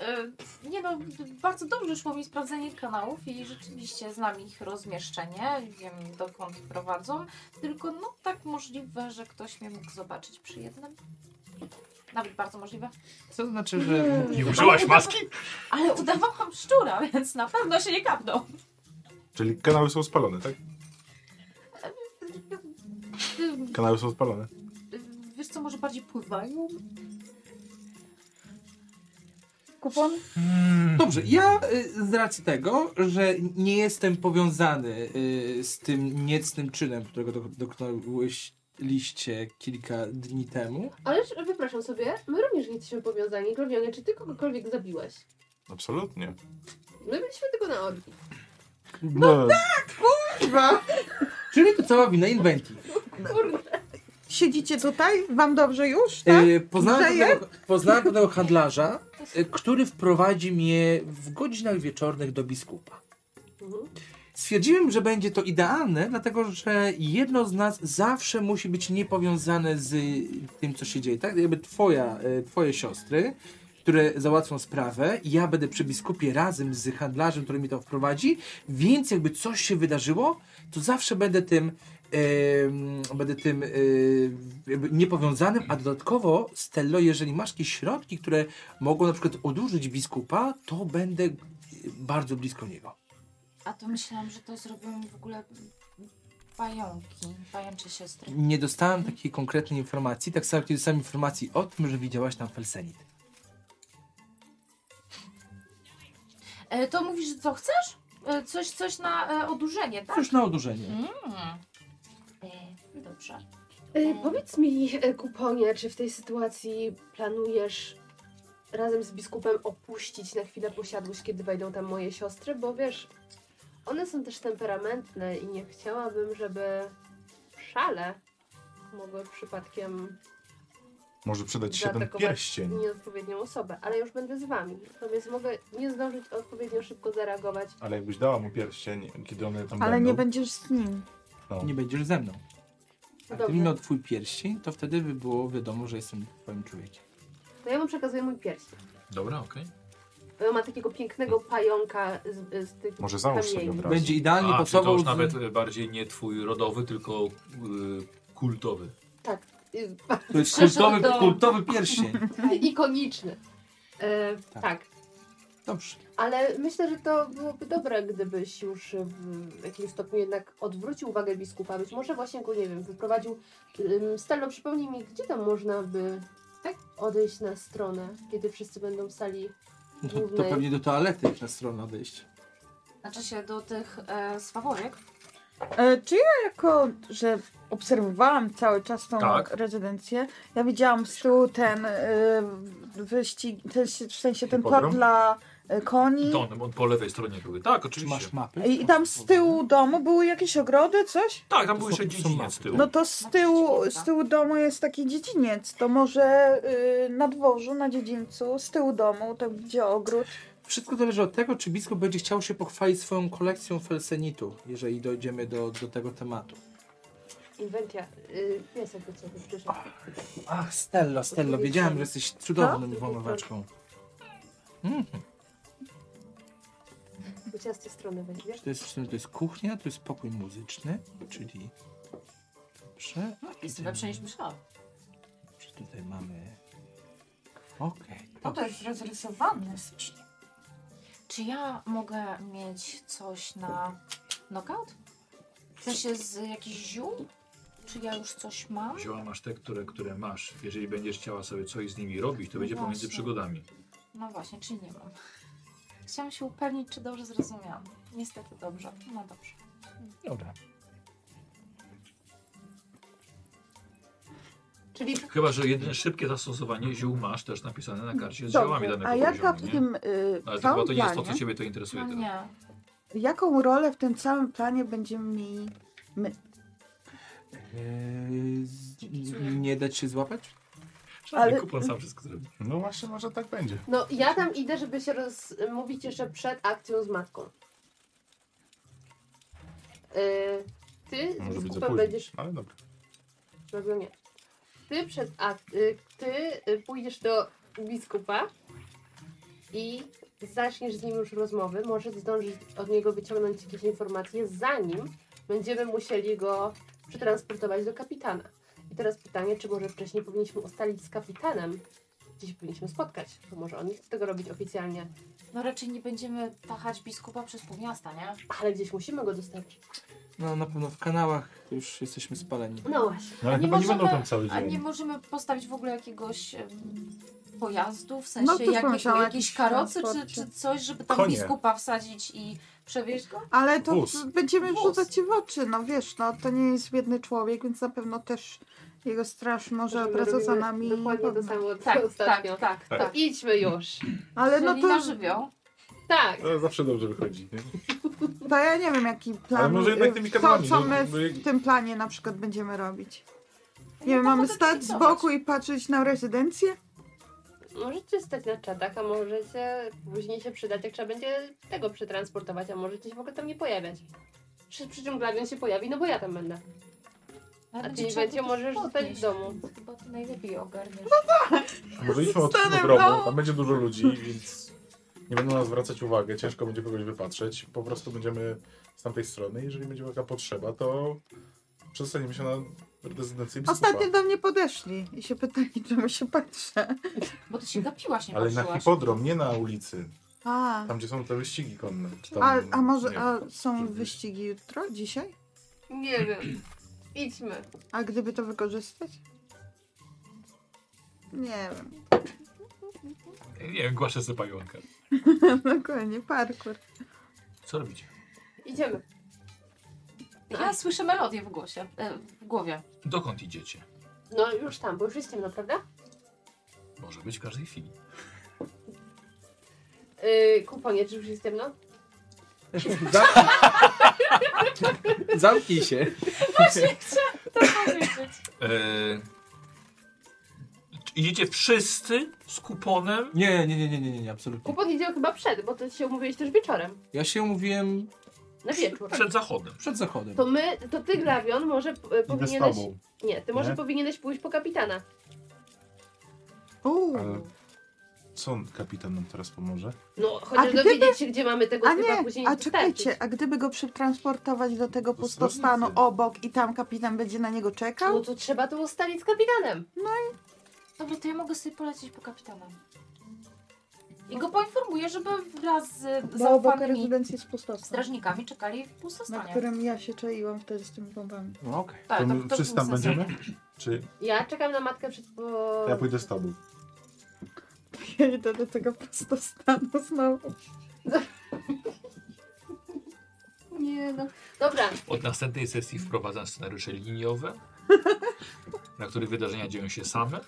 Speaker 5: E, Nie no, bardzo dobrze szło mi sprawdzenie kanałów i rzeczywiście znam ich rozmieszczenie, wiem dokąd prowadzą, tylko no tak możliwe, że ktoś mnie mógł zobaczyć przy jednym. Nawet bardzo możliwe.
Speaker 6: Co to znaczy, że...
Speaker 2: I użyłaś maski?
Speaker 5: Ale udawałam szczura, więc na pewno się nie kapnął.
Speaker 7: Czyli kanały są spalone, tak? Kanały są spalone.
Speaker 5: Wiesz co, może bardziej pływają?
Speaker 4: Kupon?
Speaker 2: Mm.
Speaker 6: Dobrze, ja y, z racji tego, że nie jestem powiązany y, z tym niecnym czynem, którego do- dokonałeś liście kilka dni temu.
Speaker 1: Ależ wypraszam sobie, my również nie jesteśmy powiązani. Glowionie, czy ty kogokolwiek zabiłeś?
Speaker 7: Absolutnie.
Speaker 1: My byliśmy tylko na orgi.
Speaker 7: No,
Speaker 4: Kurwa.
Speaker 6: Czyli to cała wina Inventi.
Speaker 4: Siedzicie tutaj? Wam dobrze już, tak?
Speaker 6: Y, poznałem,
Speaker 4: Grzeje?
Speaker 6: pewnego, poznałem pewnego handlarza, y, który wprowadzi mnie w godzinach wieczornych do biskupa.
Speaker 1: Mhm.
Speaker 6: Stwierdziłem, że będzie to idealne, dlatego że jedno z nas zawsze musi być niepowiązane z e, tym, co się dzieje. Tak jakby twoja, y, twoje siostry, które załatwią sprawę, i ja będę przy biskupie razem z handlarzem, który mi to wprowadzi, więc jakby coś się wydarzyło, to zawsze będę tym, em, będę tym em, jakby niepowiązanym, a dodatkowo, Stello, jeżeli masz jakieś środki, które mogą na przykład odurzyć biskupa, to będę y, bardzo blisko niego.
Speaker 5: A to myślałam, że to zrobią w ogóle pająki, pajęcze siostry.
Speaker 6: Nie dostałem takiej konkretnej informacji, tak samo jak nie dostałem informacji o tym, że widziałaś tam felsenit.
Speaker 5: E, to mówisz, co chcesz? E, coś, coś na e, odurzenie, tak?
Speaker 6: Coś na odurzenie.
Speaker 5: Mm. E, dobrze.
Speaker 1: E, powiedz mi, e, Kuponie, czy w tej sytuacji planujesz razem z biskupem opuścić na chwilę posiadłość, kiedy wejdą tam moje siostry? Bo wiesz, one są też temperamentne i nie chciałabym, żeby szale mogły przypadkiem
Speaker 7: może przydać się ten
Speaker 1: zaatakować
Speaker 7: pierścień.
Speaker 1: nieodpowiednią osobę, ale już będę z wami, natomiast mogę nie zdążyć odpowiednio szybko zareagować.
Speaker 7: Ale jakbyś dała mu pierścień, kiedy one tam
Speaker 4: Ale
Speaker 7: będą,
Speaker 4: nie będziesz z nim.
Speaker 7: no.
Speaker 6: Nie będziesz ze mną.
Speaker 1: No
Speaker 6: Gdybym
Speaker 1: dobrze,
Speaker 6: miał twój pierścień, to wtedy by było wiadomo, że jestem twoim człowiekiem.
Speaker 1: to ja mu przekazuję mój pierścień.
Speaker 2: Dobra, okej.
Speaker 1: Bo on ma takiego pięknego pająka z, z tych
Speaker 7: Może załóż sobie
Speaker 1: kamieni.
Speaker 7: od razu.
Speaker 6: Będzie idealnie
Speaker 2: A, czyli to
Speaker 6: pasował...
Speaker 2: już
Speaker 6: z-
Speaker 2: nawet e, bardziej nie twój rodowy, tylko e, kultowy.
Speaker 1: Tak, i-
Speaker 6: To jest
Speaker 5: Przeszedł
Speaker 6: kultowy,
Speaker 5: do-
Speaker 6: kultowy pierścień.
Speaker 1: ikoniczny. E,
Speaker 6: Tak.
Speaker 1: tak.
Speaker 6: Dobrze.
Speaker 1: ale myślę, że to byłoby dobre, gdybyś już w jakimś stopniu jednak odwrócił uwagę biskupa. Być może właśnie go, nie wiem, wyprowadził. Ym, Stello, przypomnij mi, gdzie tam można by tak odejść na stronę, kiedy wszyscy będą w sali
Speaker 6: No To, to
Speaker 1: Głównej.
Speaker 6: pewnie do toalety na stronę odejść.
Speaker 5: Znaczy się do tych e, swawoliek.
Speaker 4: E, czy ja jako, że obserwowałam cały czas tą
Speaker 2: Tak.
Speaker 4: rezydencję, ja widziałam z tyłu ten y, wyścig, ten, w sensie ten tor
Speaker 7: Hipodrom?
Speaker 4: dla y, koni.
Speaker 2: To on, on po lewej stronie były. Tak,
Speaker 6: Czy
Speaker 2: oczywiście.
Speaker 6: masz mapę?
Speaker 4: I, I tam z tyłu domu były jakieś ogrody, coś?
Speaker 2: Tak, tam był
Speaker 6: To są-
Speaker 2: jeszcze
Speaker 6: są
Speaker 2: dziedziniec
Speaker 6: mapy.
Speaker 2: z tyłu.
Speaker 4: No to z tyłu, z tyłu domu jest taki dziedziniec. To może y, na dworzu, na dziedzińcu, z tyłu domu, tam gdzie ogród.
Speaker 6: Wszystko zależy od tego, czy biskup będzie chciał się pochwalić swoją kolekcją felsenitu, jeżeli dojdziemy do, do tego tematu.
Speaker 1: inwentia. Y, jest jakby co wyprzyszło.
Speaker 6: Ach, Stello, Stello, wiedziałem, że jesteś cudowną
Speaker 5: No.
Speaker 6: Hmm, włamywaczką.
Speaker 1: Chociaż z tej strony weźmiesz.
Speaker 6: To jest, to jest kuchnia, to jest pokój muzyczny, czyli... Dobrze. No,
Speaker 5: Jest lepsze niż myślałam.
Speaker 6: Czy tutaj mamy... Okej.
Speaker 5: No to jest rozrysowane. Czy ja mogę mieć coś na knockout? W sensie z jakichś ziół? Czy ja już coś mam?
Speaker 2: Zioła masz te, które, które masz. Jeżeli będziesz chciała sobie coś z nimi robić, to będzie
Speaker 5: No Właśnie.
Speaker 2: pomiędzy przygodami.
Speaker 5: No właśnie, czy nie mam? Chciałam się upewnić, czy dobrze zrozumiałam. Niestety dobrze. No dobrze.
Speaker 6: Dobra.
Speaker 1: Czyli
Speaker 2: Chyba, że jedyne szybkie zastosowanie ziół masz też napisane na karcie z ziołami
Speaker 4: Dobrze.
Speaker 2: danego
Speaker 4: A jaka
Speaker 2: poziomu,
Speaker 4: w
Speaker 2: nie?
Speaker 4: tym y,
Speaker 2: Ale to chyba
Speaker 4: całym
Speaker 2: to nie jest to, co
Speaker 4: planie-
Speaker 2: ciebie to interesuje
Speaker 5: No
Speaker 2: teraz.
Speaker 5: nie.
Speaker 4: jaką rolę w tym całym planie będziemy mieli?
Speaker 6: Eee, z- nie dać się złapać?
Speaker 2: Przynajmniej
Speaker 4: Ale-
Speaker 2: kupon sam wszystko zrobi.
Speaker 7: No właśnie, może tak będzie.
Speaker 1: no ja tam idę, żeby się rozmówić jeszcze przed akcją z matką. Y, ty z
Speaker 7: Może być za
Speaker 1: biskupem
Speaker 7: późno.
Speaker 1: będziesz
Speaker 7: Ale dobra.
Speaker 1: Rozumiem. nie. Ty, przed, a, y, ty y, pójdziesz do biskupa i zaczniesz z nim już rozmowy. Może zdążysz od niego wyciągnąć jakieś informacje, zanim będziemy musieli go przetransportować do kapitana. I teraz pytanie, czy może wcześniej powinniśmy ustalić z kapitanem, gdzie się powinniśmy spotkać, bo może on nie chce tego robić oficjalnie,
Speaker 5: No raczej nie będziemy tachać biskupa przez pół miasta, nie?
Speaker 1: ale gdzieś musimy go dostarczyć.
Speaker 6: No na pewno w kanałach już jesteśmy spaleni.
Speaker 1: No właśnie.
Speaker 3: No ale
Speaker 5: Nie
Speaker 3: chyba nie będą
Speaker 5: możemy-
Speaker 3: tam cały
Speaker 5: A nie
Speaker 3: dzień.
Speaker 5: możemy postawić w ogóle jakiegoś em, pojazdu, w sensie
Speaker 4: No, też
Speaker 5: jakiej,
Speaker 4: pomyślałam,
Speaker 5: jakiejś
Speaker 4: jakiś
Speaker 5: karocy czy,
Speaker 4: transporcie.
Speaker 5: czy coś, żeby tam
Speaker 3: Konie.
Speaker 5: biskupa wsadzić i przewieźć go?
Speaker 4: Ale to
Speaker 3: Wóz.
Speaker 4: będziemy
Speaker 5: Wóz.
Speaker 4: rzucać ci w oczy, no wiesz, no to nie jest biedny człowiek, więc na pewno też jego straż może
Speaker 1: Robimy-
Speaker 4: pracę za
Speaker 1: robimy
Speaker 4: nami.
Speaker 1: Dokładnie to
Speaker 4: pognać.
Speaker 1: samo, co
Speaker 5: Tak, tak,
Speaker 1: ostatnio.
Speaker 5: tak,
Speaker 1: To
Speaker 5: tak.
Speaker 1: idźmy już.
Speaker 4: Ale no
Speaker 5: Jeżeli na
Speaker 4: to,
Speaker 5: żywioł.
Speaker 1: Tak.
Speaker 7: To zawsze dobrze wychodzi. Nie?
Speaker 4: to ja nie wiem jaki plan,
Speaker 7: Ale może jednak
Speaker 4: y,
Speaker 7: tymi
Speaker 4: co,
Speaker 7: kadłami,
Speaker 4: co
Speaker 7: no,
Speaker 4: my
Speaker 7: jakby-
Speaker 4: w tym planie na przykład będziemy robić. Nie
Speaker 5: Ja
Speaker 4: wiem,
Speaker 5: mogę
Speaker 4: mamy
Speaker 5: No to
Speaker 4: stać z
Speaker 5: dyktować.
Speaker 4: boku i patrzeć na rezydencję?
Speaker 1: Możecie stać na czatach, a możecie później się przydać, jak trzeba będzie tego przetransportować, a możecie się w ogóle tam nie pojawiać. Przy, przy czym Glawion się pojawi, no bo ja tam będę.
Speaker 5: Ale
Speaker 1: A
Speaker 5: będzie
Speaker 1: ty,
Speaker 5: trzeba
Speaker 1: Iwancie,
Speaker 5: to
Speaker 1: możesz
Speaker 5: podnieść,
Speaker 1: zostać w domu.
Speaker 5: więc Chyba ty najlepiej ogarniesz.
Speaker 4: No.
Speaker 7: A Może idźmy od
Speaker 4: Zostanę w
Speaker 7: grobu,
Speaker 4: domu.
Speaker 7: tam będzie dużo ludzi, więc nie będą nas zwracać uwagę, ciężko będzie kogoś wypatrzeć. Po prostu będziemy z tamtej strony, jeżeli będzie taka potrzeba, to przestaniemy się na rezydencję biskupa.
Speaker 4: Ostatnio do mnie podeszli i się pytali, czemu się patrzę.
Speaker 5: Bo ty się gapiłaś, nie
Speaker 7: Ale na
Speaker 5: patrzyłaś.
Speaker 7: hipodrom, nie na ulicy.
Speaker 4: A,
Speaker 7: Tam, gdzie są te wyścigi konne. Tam,
Speaker 4: a, a
Speaker 7: nie
Speaker 4: może
Speaker 7: wiem.
Speaker 4: a są
Speaker 7: żeby-
Speaker 4: wyścigi jutro, dzisiaj?
Speaker 1: Nie wiem. Idźmy.
Speaker 4: A gdyby to wykorzystać? Nie wiem,
Speaker 2: Nie wiem, głaszę sobie pająka.
Speaker 4: dokładnie, parkour.
Speaker 2: Co robicie?
Speaker 1: Idziemy.
Speaker 5: Ja słyszę melodię w głosie, e, w głowie.
Speaker 2: Dokąd idziecie?
Speaker 1: No już tam, bo już jest ciemno, prawda?
Speaker 2: Może być w każdej chwili.
Speaker 1: Yy, kuponie, czy już no. jest ciemno?
Speaker 6: Zamknij się.
Speaker 4: tak
Speaker 5: To powiedzieć.
Speaker 2: Eee, czy idziecie wszyscy z kuponem?
Speaker 6: Nie, nie, nie, nie, nie, nie, nie, absolutnie.
Speaker 1: Kupon idzie chyba przed, bo to się umówiłeś też wieczorem.
Speaker 6: Ja się umówiłem
Speaker 1: Na wieczór.
Speaker 2: Przed zachodem.
Speaker 6: przed zachodem.
Speaker 1: To my, to ty, Glawion, może e,
Speaker 7: Idę z
Speaker 1: powinieneś...
Speaker 7: tobą.
Speaker 1: Nie, ty może
Speaker 7: Nie?
Speaker 1: powinieneś pójść po kapitana.
Speaker 4: Uuu.
Speaker 7: Ale co on, kapitan nam teraz pomoże?
Speaker 1: No, chociaż
Speaker 4: gdyby-
Speaker 1: dowiedzieć się, gdzie mamy tego
Speaker 4: A
Speaker 1: typa,
Speaker 4: nie,
Speaker 1: później
Speaker 4: a
Speaker 1: dostarczyć.
Speaker 4: czekajcie, a gdyby go przetransportować do tego
Speaker 7: Do
Speaker 4: pustostanu
Speaker 7: stolicy.
Speaker 4: obok i tam kapitan będzie na niego
Speaker 1: No
Speaker 4: czekał?
Speaker 1: to trzeba to ustalić z kapitanem.
Speaker 5: Dobra, to ja mogę sobie polecieć po kapitana. I go poinformuję, żeby wraz z
Speaker 4: Bo obok
Speaker 5: zaufanymi
Speaker 4: rezydencji jest pustostan,
Speaker 5: strażnikami czekali w
Speaker 4: na
Speaker 5: pustostanie.
Speaker 4: którym ja się czaiłam wtedy z tymi bombami.
Speaker 6: No okej.
Speaker 5: Tak,
Speaker 7: to
Speaker 5: to-
Speaker 7: my
Speaker 5: to
Speaker 7: wszyscy tam
Speaker 5: był sens.
Speaker 7: będziemy? Czy
Speaker 1: Ja czekam na matkę przed... Bo...
Speaker 7: to ja pójdę z tobą?
Speaker 4: Ja idę do tego pustostanu znowu.
Speaker 1: Nie no. Dobra,
Speaker 2: Od następnej sesji wprowadzam scenariusze liniowe, na których wydarzenia dzieją się same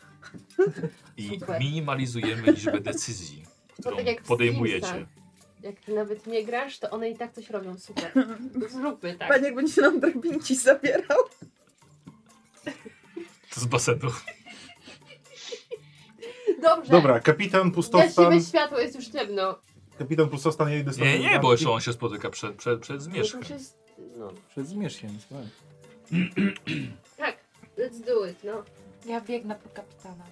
Speaker 2: i
Speaker 1: Super.
Speaker 2: minimalizujemy liczbę decyzji, którą
Speaker 1: tak jak w
Speaker 2: podejmujecie.
Speaker 1: Simsach. jak ty nawet nie grasz, to one i tak coś robią, super. Zróbmy tak.
Speaker 4: Panie, jak będzie nam drabinki zabierał.
Speaker 2: Z basenu.
Speaker 1: Dobrze.
Speaker 7: Dobra, kapitan
Speaker 1: Gasimy
Speaker 7: pustostan.
Speaker 1: światło, jest już ciemno.
Speaker 7: Kapitan pustostan, ja idę z tobą.
Speaker 2: Nie, nie, bo jeszcze on się spotyka przed, przed, przed zmierzchem.
Speaker 1: No to się- No.
Speaker 6: Przed zmierzchem. słuchaj.
Speaker 1: Tak, let's do it, no.
Speaker 5: Ja biegnę po kapitana.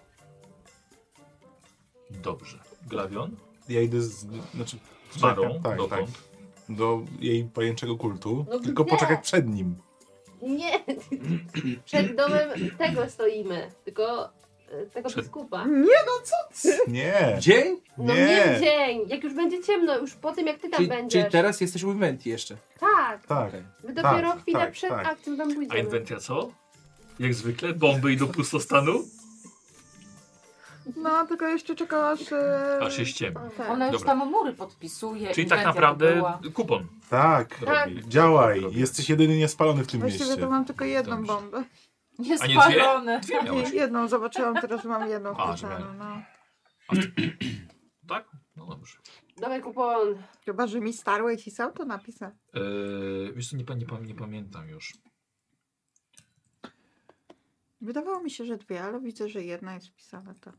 Speaker 2: Dobrze. Glawion?
Speaker 3: Ja idę z... Znaczy,
Speaker 2: Z Barą?
Speaker 3: tak, tak.
Speaker 2: Dokąd?
Speaker 3: do jej pajęczego kultu,
Speaker 1: No
Speaker 3: tylko
Speaker 1: gdzie?
Speaker 3: poczekać przed nim.
Speaker 1: Nie! Przed domem tego stoimy, tylko e, tego
Speaker 2: Przed-
Speaker 1: biskupa.
Speaker 3: Nie,
Speaker 6: Dzień?
Speaker 1: No
Speaker 3: Nie.
Speaker 1: nie. dzień, jak już będzie ciemno, już po tym jak ty tam
Speaker 6: Czyli,
Speaker 1: będziesz.
Speaker 6: czyli teraz jesteś u Inventi jeszcze.
Speaker 1: Tak,
Speaker 7: Tak.
Speaker 6: Okej.
Speaker 1: my dopiero
Speaker 3: tak,
Speaker 1: chwilę
Speaker 3: tak,
Speaker 1: przed
Speaker 3: tak.
Speaker 1: akcją tam
Speaker 2: A
Speaker 1: pójdziemy.
Speaker 2: inwentia co? Jak zwykle, bomby i do pustostanu?
Speaker 4: No, tylko jeszcze czekał aż... e,
Speaker 2: Aż się ściemni.
Speaker 4: tak.
Speaker 5: Ona już
Speaker 2: Dobra.
Speaker 5: tam mury podpisuje.
Speaker 2: Czyli tak
Speaker 5: inwencja
Speaker 2: naprawdę
Speaker 5: była.
Speaker 2: kupon.
Speaker 7: Tak,
Speaker 1: Tak.
Speaker 2: robi.
Speaker 7: działaj.
Speaker 2: Robi.
Speaker 7: Jesteś jedyny niespalony w tym
Speaker 4: Właściwie
Speaker 7: mieście.
Speaker 4: to mam tylko jedną
Speaker 2: Dobrze.
Speaker 4: bombę.
Speaker 5: Nie
Speaker 2: A nie dwie?
Speaker 5: spalone.
Speaker 2: Dwie
Speaker 4: Nie,
Speaker 2: miałeś.
Speaker 4: jedną zobaczyłam, teraz mam jedną w
Speaker 2: A,
Speaker 4: pustostanu, no.
Speaker 2: Tak? No dobrze.
Speaker 1: Dawaj kupon.
Speaker 4: Chyba, że mi starłeś i sam to napisał.
Speaker 2: Eee, wiesz co, nie, pa- nie, pa- nie pamiętam już.
Speaker 4: Wydawało mi się, że dwie, ale widzę, że jedna jest wpisana to.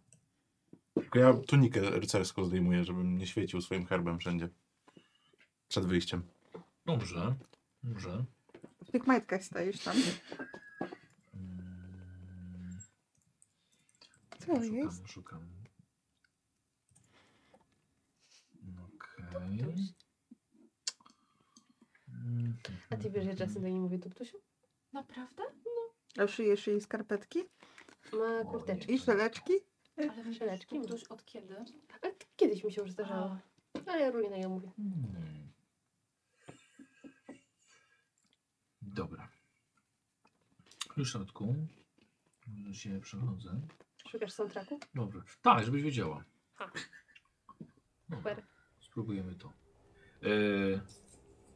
Speaker 3: Tylko ja tunikę rycerską zdejmuję, żebym nie świecił swoim herbem wszędzie. Przed wyjściem.
Speaker 2: Dobrze. Dobrze.
Speaker 4: W tych majtkach stajesz tam.
Speaker 2: Mm.
Speaker 4: Co jest?
Speaker 2: Szukam, szukam. Okej. Mhm.
Speaker 1: A ty wiesz, że czasem do niej mówię tuptusiu?
Speaker 5: Naprawdę?
Speaker 4: A szyjesz jej skarpetki
Speaker 1: Ma kurteczki.
Speaker 4: i szeleczki?
Speaker 5: Ale wiesz,
Speaker 1: Szeleczki.
Speaker 5: Tuś od kiedy?
Speaker 1: A kiedyś mi się już zdarzało. Ale ja różnie na nią mówię.
Speaker 2: Hmm. Dobra. W środku. Może się przechodzę.
Speaker 1: Szukasz soundtracku?
Speaker 2: Dobrze. Tak, żebyś wiedziała.
Speaker 1: Ha.
Speaker 2: Dobra,
Speaker 1: Super.
Speaker 2: spróbujemy to. Eee,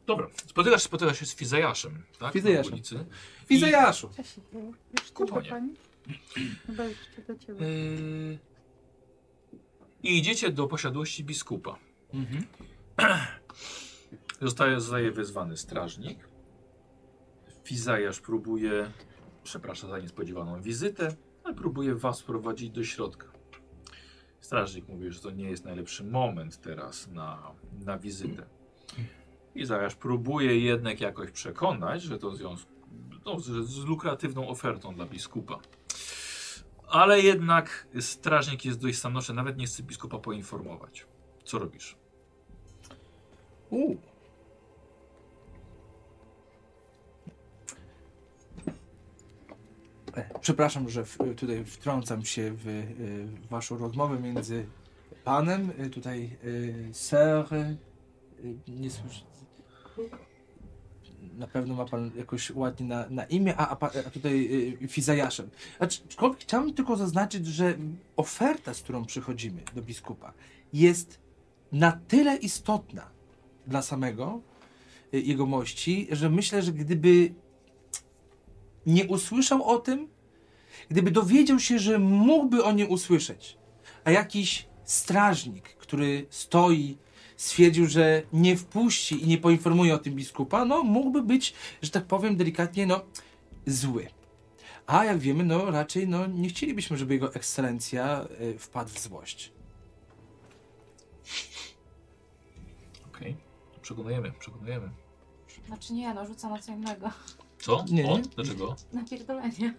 Speaker 2: dobra, spotykasz, spotykasz się z Fizejaszem, tak?
Speaker 6: Fizejaszem.
Speaker 2: Na ulicy.
Speaker 6: Widzę Jaszu.
Speaker 4: Cześć. No, Już
Speaker 2: Kuponie.
Speaker 4: tylko pani? Chyba jeszcze do ciebie.
Speaker 2: Eee, I idziecie do posiadłości biskupa.
Speaker 6: Mhm.
Speaker 2: Zostaje, zostaje wezwany strażnik. Fizajasz próbuje, przepraszam za niespodziewaną wizytę, ale próbuje was prowadzić do środka. Strażnik mówi, że to nie jest najlepszy moment teraz na, na wizytę. Fizajasz próbuje jednak jakoś przekonać, że to w związku no, z, z lukratywną ofertą dla biskupa. Ale jednak strażnik jest dość stanowczy, nawet nie chce biskupa poinformować. Co robisz?
Speaker 6: U. E, Przepraszam, że w, tutaj wtrącam się w, e, w waszą rozmowę między panem, e, tutaj e, ser, e, nie słyszę. Na pewno ma pan jakoś ładnie na, na imię, a, a, pa- a tutaj e, Fizajaszem. Aczkolwiek chciałbym tylko zaznaczyć, że oferta, z którą przychodzimy do biskupa, jest na tyle istotna, dla samego y, jegomości, że myślę, że gdyby nie usłyszał o tym, gdyby dowiedział się, że mógłby o nim usłyszeć, a jakiś strażnik, który stoi, stwierdził, że nie wpuści i nie poinformuje o tym biskupa, no mógłby być, że tak powiem delikatnie, no zły. A jak wiemy, no raczej no, nie chcielibyśmy, żeby jego ekscelencja y, wpadł w złość.
Speaker 2: Okej. Przekonujemy, przekonujemy.
Speaker 5: Znaczy nie, no rzucam na co innego.
Speaker 2: Co?
Speaker 6: Nie,
Speaker 2: o,
Speaker 6: nie.
Speaker 2: dlaczego?
Speaker 5: Napierdolenie.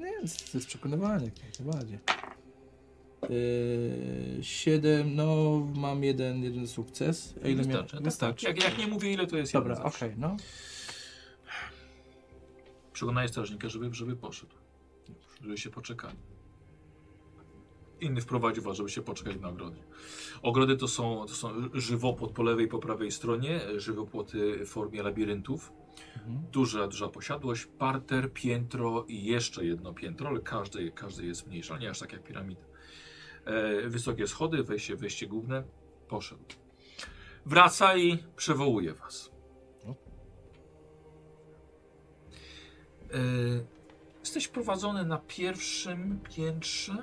Speaker 6: Nie, to jest przekonywanie, jak najbardziej. Yy, 7, no mam jeden, jeden sukces. A ile miałem?
Speaker 2: Wystarczy. Tak,
Speaker 6: Wystarczy.
Speaker 2: Jak, jak nie mówię ile to jest
Speaker 6: Dobra,
Speaker 2: jeden
Speaker 6: okej,
Speaker 2: zawsze.
Speaker 6: no.
Speaker 2: Przekonaję strażnika, żeby, żeby poszedł. Żeby się poczekali. Inny wprowadził was, żeby się poczekali na ogrodzie. Ogrody to są, to są żywopłot po lewej i po prawej stronie, żywopłoty w formie labiryntów.
Speaker 6: Mhm.
Speaker 2: Duża, duża posiadłość, parter, piętro i jeszcze jedno piętro, ale każde, każde jest mniejsze, ale nie aż tak jak piramida. E, wysokie schody, wejście, wejście główne, poszedł. Wraca i przewołuje was.
Speaker 6: No.
Speaker 2: E, jesteś prowadzony na pierwszym piętrze?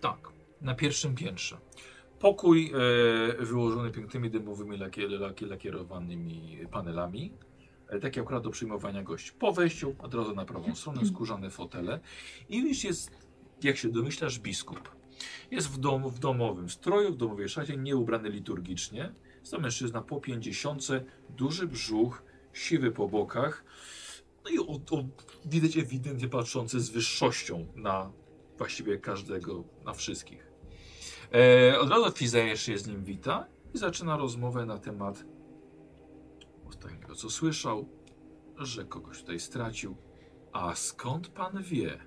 Speaker 2: Tak, na pierwszym piętrze. Pokój e, wyłożony pięknymi dymowymi lakier, lakier, lakierowanymi panelami. E, tak jak do przyjmowania gości. Po wejściu od razu na prawą stronę skórzane fotele. I już jest, jak się domyślasz, biskup. Jest w, dom, w domowym stroju, w domowej szacie, nieubrany liturgicznie. Jest to mężczyzna po pięćdziesiątce, duży brzuch, siwy po bokach. No i o, o, widać ewidentnie patrzący z wyższością na właściwie każdego, na wszystkich. E, od razu Fizejesz się z nim wita i zaczyna rozmowę na temat ostatniego, co słyszał, że kogoś tutaj stracił. A skąd pan wie?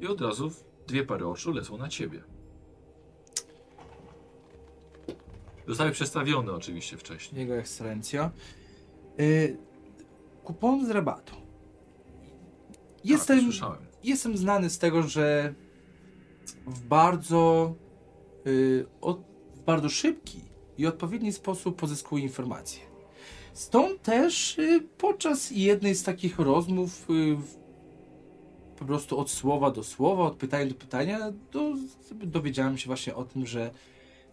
Speaker 2: I od razu w- dwie pary oczu lecą na ciebie. Zostały przestawione oczywiście wcześniej.
Speaker 6: Jego ekscelencja. Yy, kupon z rabatu.
Speaker 2: Tak,
Speaker 6: Jestem,
Speaker 2: słyszałem.
Speaker 6: jestem znany z tego, że w bardzo, y, od, w bardzo szybki i odpowiedni sposób pozyskuję informacje. Stąd też y, podczas jednej z takich rozmów y, w, po prostu od słowa do słowa, od pytania do pytania, do, dowiedziałem się właśnie o tym, że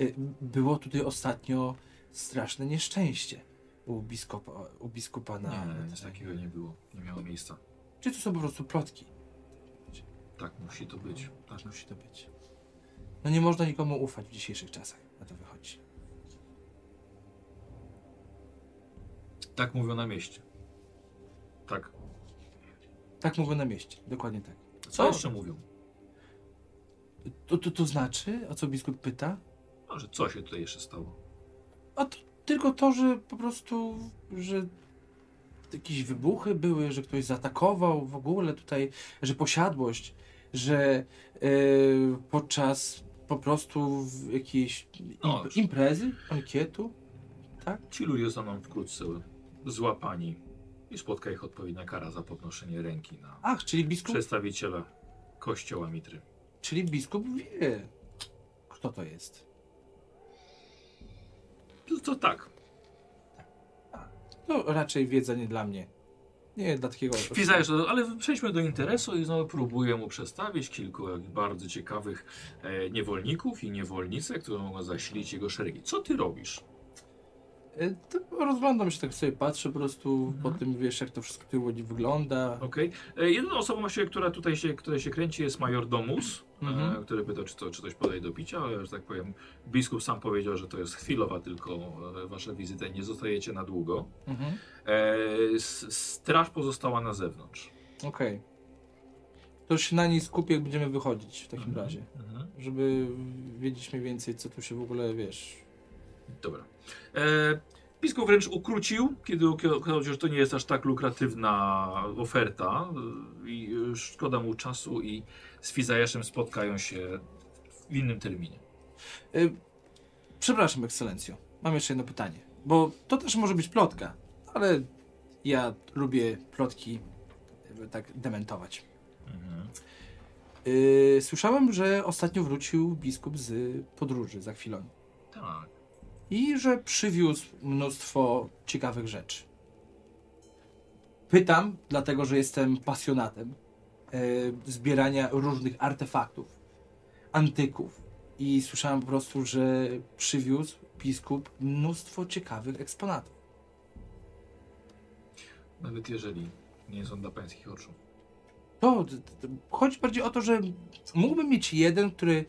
Speaker 6: y, było tutaj ostatnio straszne nieszczęście u biskupa, u biskupa na...
Speaker 2: Nie, nic takiego nie było. Nie miało miejsca.
Speaker 6: Czy to są po prostu plotki?
Speaker 2: Tak musi to być. Tak
Speaker 6: Tak musi to być. No nie można nikomu ufać w dzisiejszych czasach, na to wychodzi.
Speaker 2: Tak mówią na mieście. Tak.
Speaker 6: Tak mówią na mieście, dokładnie tak.
Speaker 2: Co jeszcze mówią?
Speaker 6: To, to, to znaczy, o co biskup pyta?
Speaker 2: No, że co się tutaj jeszcze stało?
Speaker 6: A to tylko to, że po prostu, że jakieś wybuchy były, że ktoś zaatakował w ogóle tutaj, że posiadłość, że yy, podczas po prostu w- jakiejś
Speaker 2: No,
Speaker 6: imp- imprezy, ankietu.
Speaker 2: Ci ludzie zostaną wkrótce złapani i spotka ich odpowiednia kara za podnoszenie ręki na
Speaker 6: Ach, czyli biskup,
Speaker 2: przedstawiciela kościoła Mitry.
Speaker 6: czyli biskup wie, kto to jest.
Speaker 2: To, to tak.
Speaker 6: No raczej wiedza nie dla mnie. Nie dla takiego...
Speaker 2: Pisałeś, ale przejdźmy do interesu i znowu próbuję mu przedstawić kilku bardzo ciekawych e, niewolników i niewolnice, które mogą zasilić jego szeregi. Co ty robisz?
Speaker 6: E, To rozglądam się, tak sobie patrzę po prostu,
Speaker 2: Mhm.
Speaker 6: po tym wiesz, jak to wszystko tutaj ładnie wygląda.
Speaker 2: Okej. E, Jedyną osobą, właściwie, która tutaj się, która się kręci, jest major Domus,
Speaker 6: Mhm.
Speaker 2: e, który pyta, czy, to, czy coś podaje do picia, ale że tak powiem, biskup sam powiedział, że to jest chwilowa tylko e, wasza wizyta i nie zostajecie na długo.
Speaker 6: Mhm.
Speaker 2: E, s- straż pozostała na zewnątrz.
Speaker 6: Okej. To już się na niej skupię, jak będziemy wychodzić w takim
Speaker 2: Mhm.
Speaker 6: razie. Żeby wiedzieć mniej więcej, co tu się w ogóle, wiesz...
Speaker 2: Dobra. E, biskup wręcz ukrócił, kiedy oka- okazało się, że to nie jest aż tak lukratywna oferta e, i e, szkoda mu czasu i z Fizajeszem spotkają się w innym terminie.
Speaker 6: Y, Przepraszam, ekscelencjo. Mam jeszcze jedno pytanie. Bo to też może być plotka, ale ja lubię plotki jakby tak dementować. Y, słyszałem, że ostatnio wrócił biskup z podróży za chwilę.
Speaker 2: Tak.
Speaker 6: i że przywiózł mnóstwo ciekawych rzeczy. Pytam, dlatego że jestem pasjonatem e, zbierania różnych artefaktów, antyków. I słyszałem po prostu, że przywiózł biskup mnóstwo ciekawych eksponatów.
Speaker 2: Nawet jeżeli nie są dla pańskich oczu.
Speaker 6: To d- d- chodzi bardziej o to, że mógłbym mieć jeden, który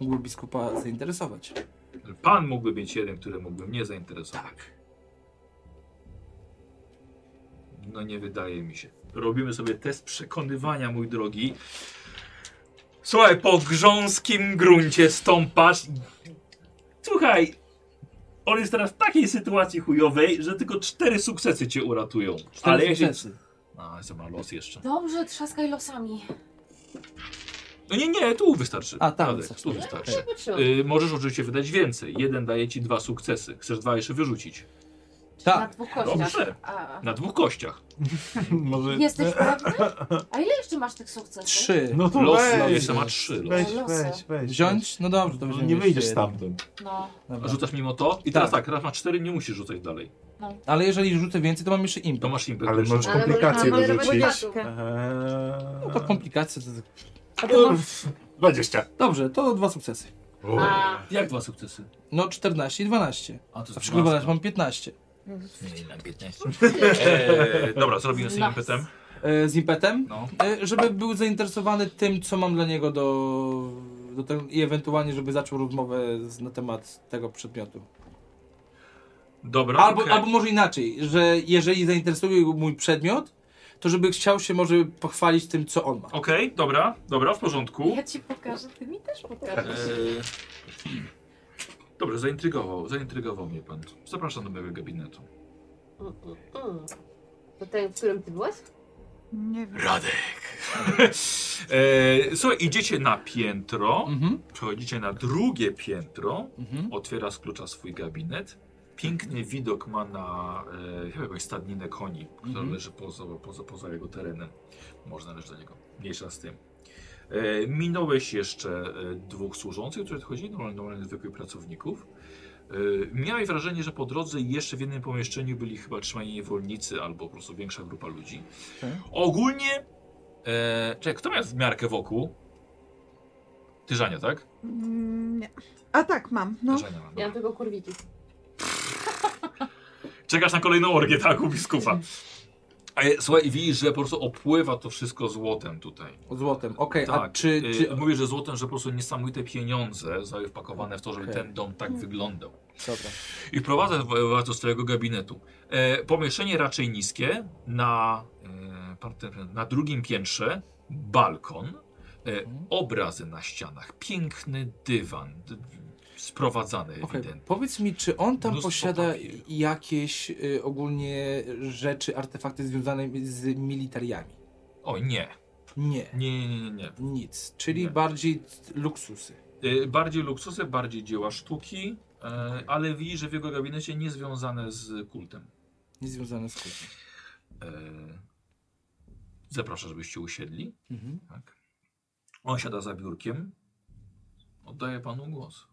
Speaker 6: mógłby biskupa zainteresować.
Speaker 2: Pan mógłby mieć jeden, który mógłby mnie zainteresować. No nie wydaje mi się. Robimy sobie test przekonywania, mój drogi. Słuchaj, po grząskim gruncie stąpasz. Słuchaj, on jest teraz w takiej sytuacji chujowej, że tylko cztery sukcesy cię uratują.
Speaker 6: Cztery
Speaker 2: Ale ja się...
Speaker 6: sukcesy.
Speaker 2: A, co ma los jeszcze.
Speaker 5: Dobrze, trzaskaj losami.
Speaker 2: No nie, nie, tu wystarczy.
Speaker 6: A, tam
Speaker 2: Tadek,
Speaker 6: wystarczy.
Speaker 2: Tu wystarczy.
Speaker 1: Wytrzymam.
Speaker 2: Y, możesz oczywiście wydać więcej. Jeden daje ci dwa sukcesy. Chcesz dwa jeszcze wyrzucić.
Speaker 5: Na
Speaker 6: Tak,
Speaker 5: dwóch kościach.
Speaker 2: Dobrze.
Speaker 5: A,
Speaker 2: Na dwóch kościach.
Speaker 3: Może...
Speaker 5: jesteś pewny? A ile jeszcze masz tych sukcesów?
Speaker 6: trzy.
Speaker 3: No to
Speaker 2: Los
Speaker 3: weź,
Speaker 2: jeszcze ma trzy. Los.
Speaker 3: Weź,
Speaker 5: Losy.
Speaker 3: weź, weź.
Speaker 6: Wziąć? No dobrze, to
Speaker 3: No,
Speaker 6: weźmiemy
Speaker 3: nie
Speaker 6: jeszcze
Speaker 3: wyjdziesz
Speaker 6: jeden.
Speaker 3: stamtąd.
Speaker 5: No,
Speaker 2: A
Speaker 6: Dobra.
Speaker 2: Rzucasz mimo to? I teraz
Speaker 6: Tak.
Speaker 2: tak, raz masz cztery, nie musisz rzucać dalej.
Speaker 6: Ale jeżeli rzucę więcej, to mam jeszcze impet.
Speaker 2: To Eee, masz impet.
Speaker 7: Ale
Speaker 2: jeszcze.
Speaker 3: no
Speaker 7: możesz
Speaker 1: Ale możesz
Speaker 7: komplikacje
Speaker 1: na manewrowanie
Speaker 7: wyrzucić.
Speaker 1: czasu.
Speaker 6: No to komplikacje. to- tak.
Speaker 3: 20.
Speaker 6: Dobrze, to dwa sukcesy.
Speaker 5: A,
Speaker 2: Jak dwa sukcesy?
Speaker 6: No 14 i 12.
Speaker 2: A to
Speaker 6: A przygotowane mam 15.
Speaker 2: Nie, na 15. Eee, dobra, zrobimy z tym
Speaker 5: Nice.
Speaker 2: impetem.
Speaker 6: E, z impetem.
Speaker 2: No.
Speaker 6: E, żeby był zainteresowany tym, co mam dla niego do, do tego, i ewentualnie, żeby zaczął rozmowę z, na temat tego przedmiotu.
Speaker 2: Dobra,
Speaker 6: Albo,
Speaker 2: okej.
Speaker 6: albo może inaczej, że jeżeli zainteresuje go mój przedmiot, to żeby chciał się może pochwalić tym, co on ma.
Speaker 2: Okej, dobra, dobra, w porządku.
Speaker 5: ja ci pokażę, ty mi też
Speaker 2: Eee,
Speaker 5: pokażesz.
Speaker 2: dobrze, zaintrygował, zaintrygował mnie pan. Zapraszam do mojego gabinetu.
Speaker 1: Mm, mm, mm. To ten, w którym ty byłaś?
Speaker 4: Nie wiem.
Speaker 2: Radek. eee, słuchaj, idziecie na piętro,
Speaker 6: Mhm,
Speaker 2: przechodzicie na drugie piętro,
Speaker 6: mhm.
Speaker 2: otwiera z klucza swój gabinet. Piękny widok ma na e, chyba jakąś stadninę koni, która
Speaker 6: Mhm.
Speaker 2: leży poza, poza, poza jego terenem. Może należy do niego. Mniejsza z tym. E, minąłeś jeszcze e, dwóch służących, którzy odchodzili, normalnie, normalnie zwykłych pracowników. E, miałeś wrażenie, że po drodze jeszcze w jednym pomieszczeniu byli chyba trzymani niewolnicy albo po prostu większa grupa ludzi.
Speaker 6: Okej.
Speaker 2: Ogólnie... E, czekaj, kto miał w miarkę wokół? Tyżania, tak?
Speaker 4: Mm, nie. A tak, mam. No.
Speaker 2: Tyżania, ma,
Speaker 1: Ja
Speaker 2: dobra.
Speaker 1: mam tylko kurwiki.
Speaker 2: Czekasz na kolejną orgię, tak, u biskupa. E, Słuchaj, i widzisz, że po prostu opływa to wszystko złotem tutaj.
Speaker 6: Złotem. Okej, a
Speaker 2: Tak.
Speaker 6: czy.
Speaker 2: E,
Speaker 6: czy...
Speaker 2: Mówię, że złotem, że po prostu niesamowite pieniądze zostały wpakowane w to, żeby
Speaker 6: Okej.
Speaker 2: ten dom tak wyglądał.
Speaker 6: Dobra.
Speaker 2: I prowadzę w- was do swojego gabinetu. E, pomieszczenie raczej niskie, na e, parterem. Na drugim piętrze balkon, e,
Speaker 6: Mhm.
Speaker 2: obrazy na ścianach, piękny dywan, d- sprowadzany
Speaker 6: Okej,
Speaker 2: ewidentnie.
Speaker 6: Powiedz mi, czy on tam
Speaker 2: Mnóstwo
Speaker 6: posiada
Speaker 2: papierów.
Speaker 6: jakieś y, ogólnie rzeczy, artefakty związane z militariami?
Speaker 2: O nie,
Speaker 6: Nie,
Speaker 2: nie, nie, nie, nie, nie.
Speaker 6: nic. Czyli
Speaker 2: Nie.
Speaker 6: bardziej t- luksusy.
Speaker 2: Y, Bardziej luksusy, bardziej dzieła sztuki, e, ale widzi, że w jego gabinecie nie związane z kultem.
Speaker 6: Nie związane z kultem.
Speaker 2: E, Zapraszam, żebyście usiedli.
Speaker 6: Mhm.
Speaker 2: Tak. On siada za biurkiem. Oddaję panu głos.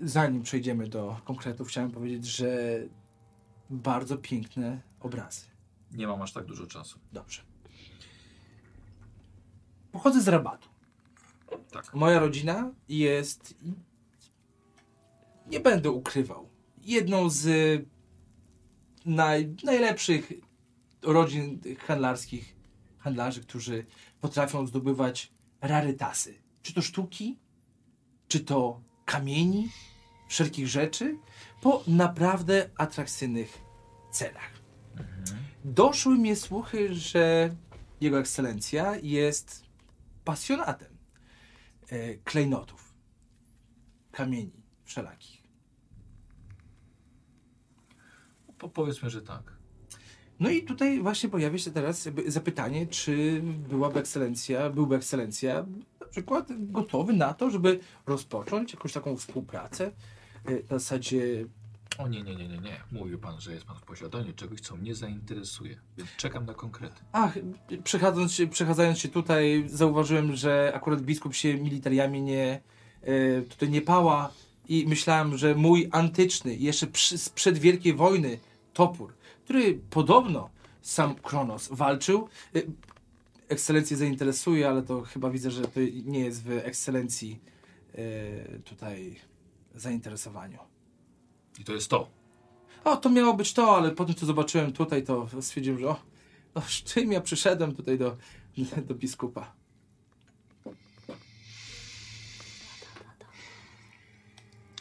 Speaker 6: Zanim przejdziemy do konkretów, chciałem powiedzieć, że bardzo piękne obrazy.
Speaker 2: Nie mam aż tak dużo czasu.
Speaker 6: Dobrze. Pochodzę z rabatu.
Speaker 2: Tak.
Speaker 6: Moja rodzina jest. Nie będę ukrywał. Jedną z y, naj, najlepszych rodzin handlarskich, handlarzy, którzy potrafią zdobywać rarytasy. Czy to sztuki, czy to kamieni, wszelkich rzeczy, po naprawdę atrakcyjnych cenach. Doszły mnie słuchy, że Jego Ekscelencja jest pasjonatem e, klejnotów, kamieni wszelakich.
Speaker 2: Po, powiedzmy, że tak.
Speaker 6: No i tutaj właśnie pojawia się teraz jakby zapytanie, czy byłaby ekscelencja, byłby ekscelencja na przykład gotowy na to, żeby rozpocząć jakąś taką współpracę e, na zasadzie
Speaker 2: O nie, nie, nie, nie, nie. Mówił pan, że jest pan w posiadaniu czegoś, co mnie zainteresuje. Więc czekam na konkrety.
Speaker 6: Ach, przechodząc się, przechadzając się tutaj, zauważyłem, że akurat biskup się militariami nie, e, tutaj nie pała i myślałem, że mój antyczny, jeszcze przy, sprzed Wielkiej Wojny topór, który podobno sam Kronos walczył, e, ekscelencję zainteresuje, ale to chyba widzę, że to nie jest w ekscelencji e, tutaj zainteresowaniu.
Speaker 2: I to jest to.
Speaker 6: O, to miało być to, ale po tym, co zobaczyłem tutaj, to stwierdziłem, że o, no, z czym ja przyszedłem tutaj do, do biskupa.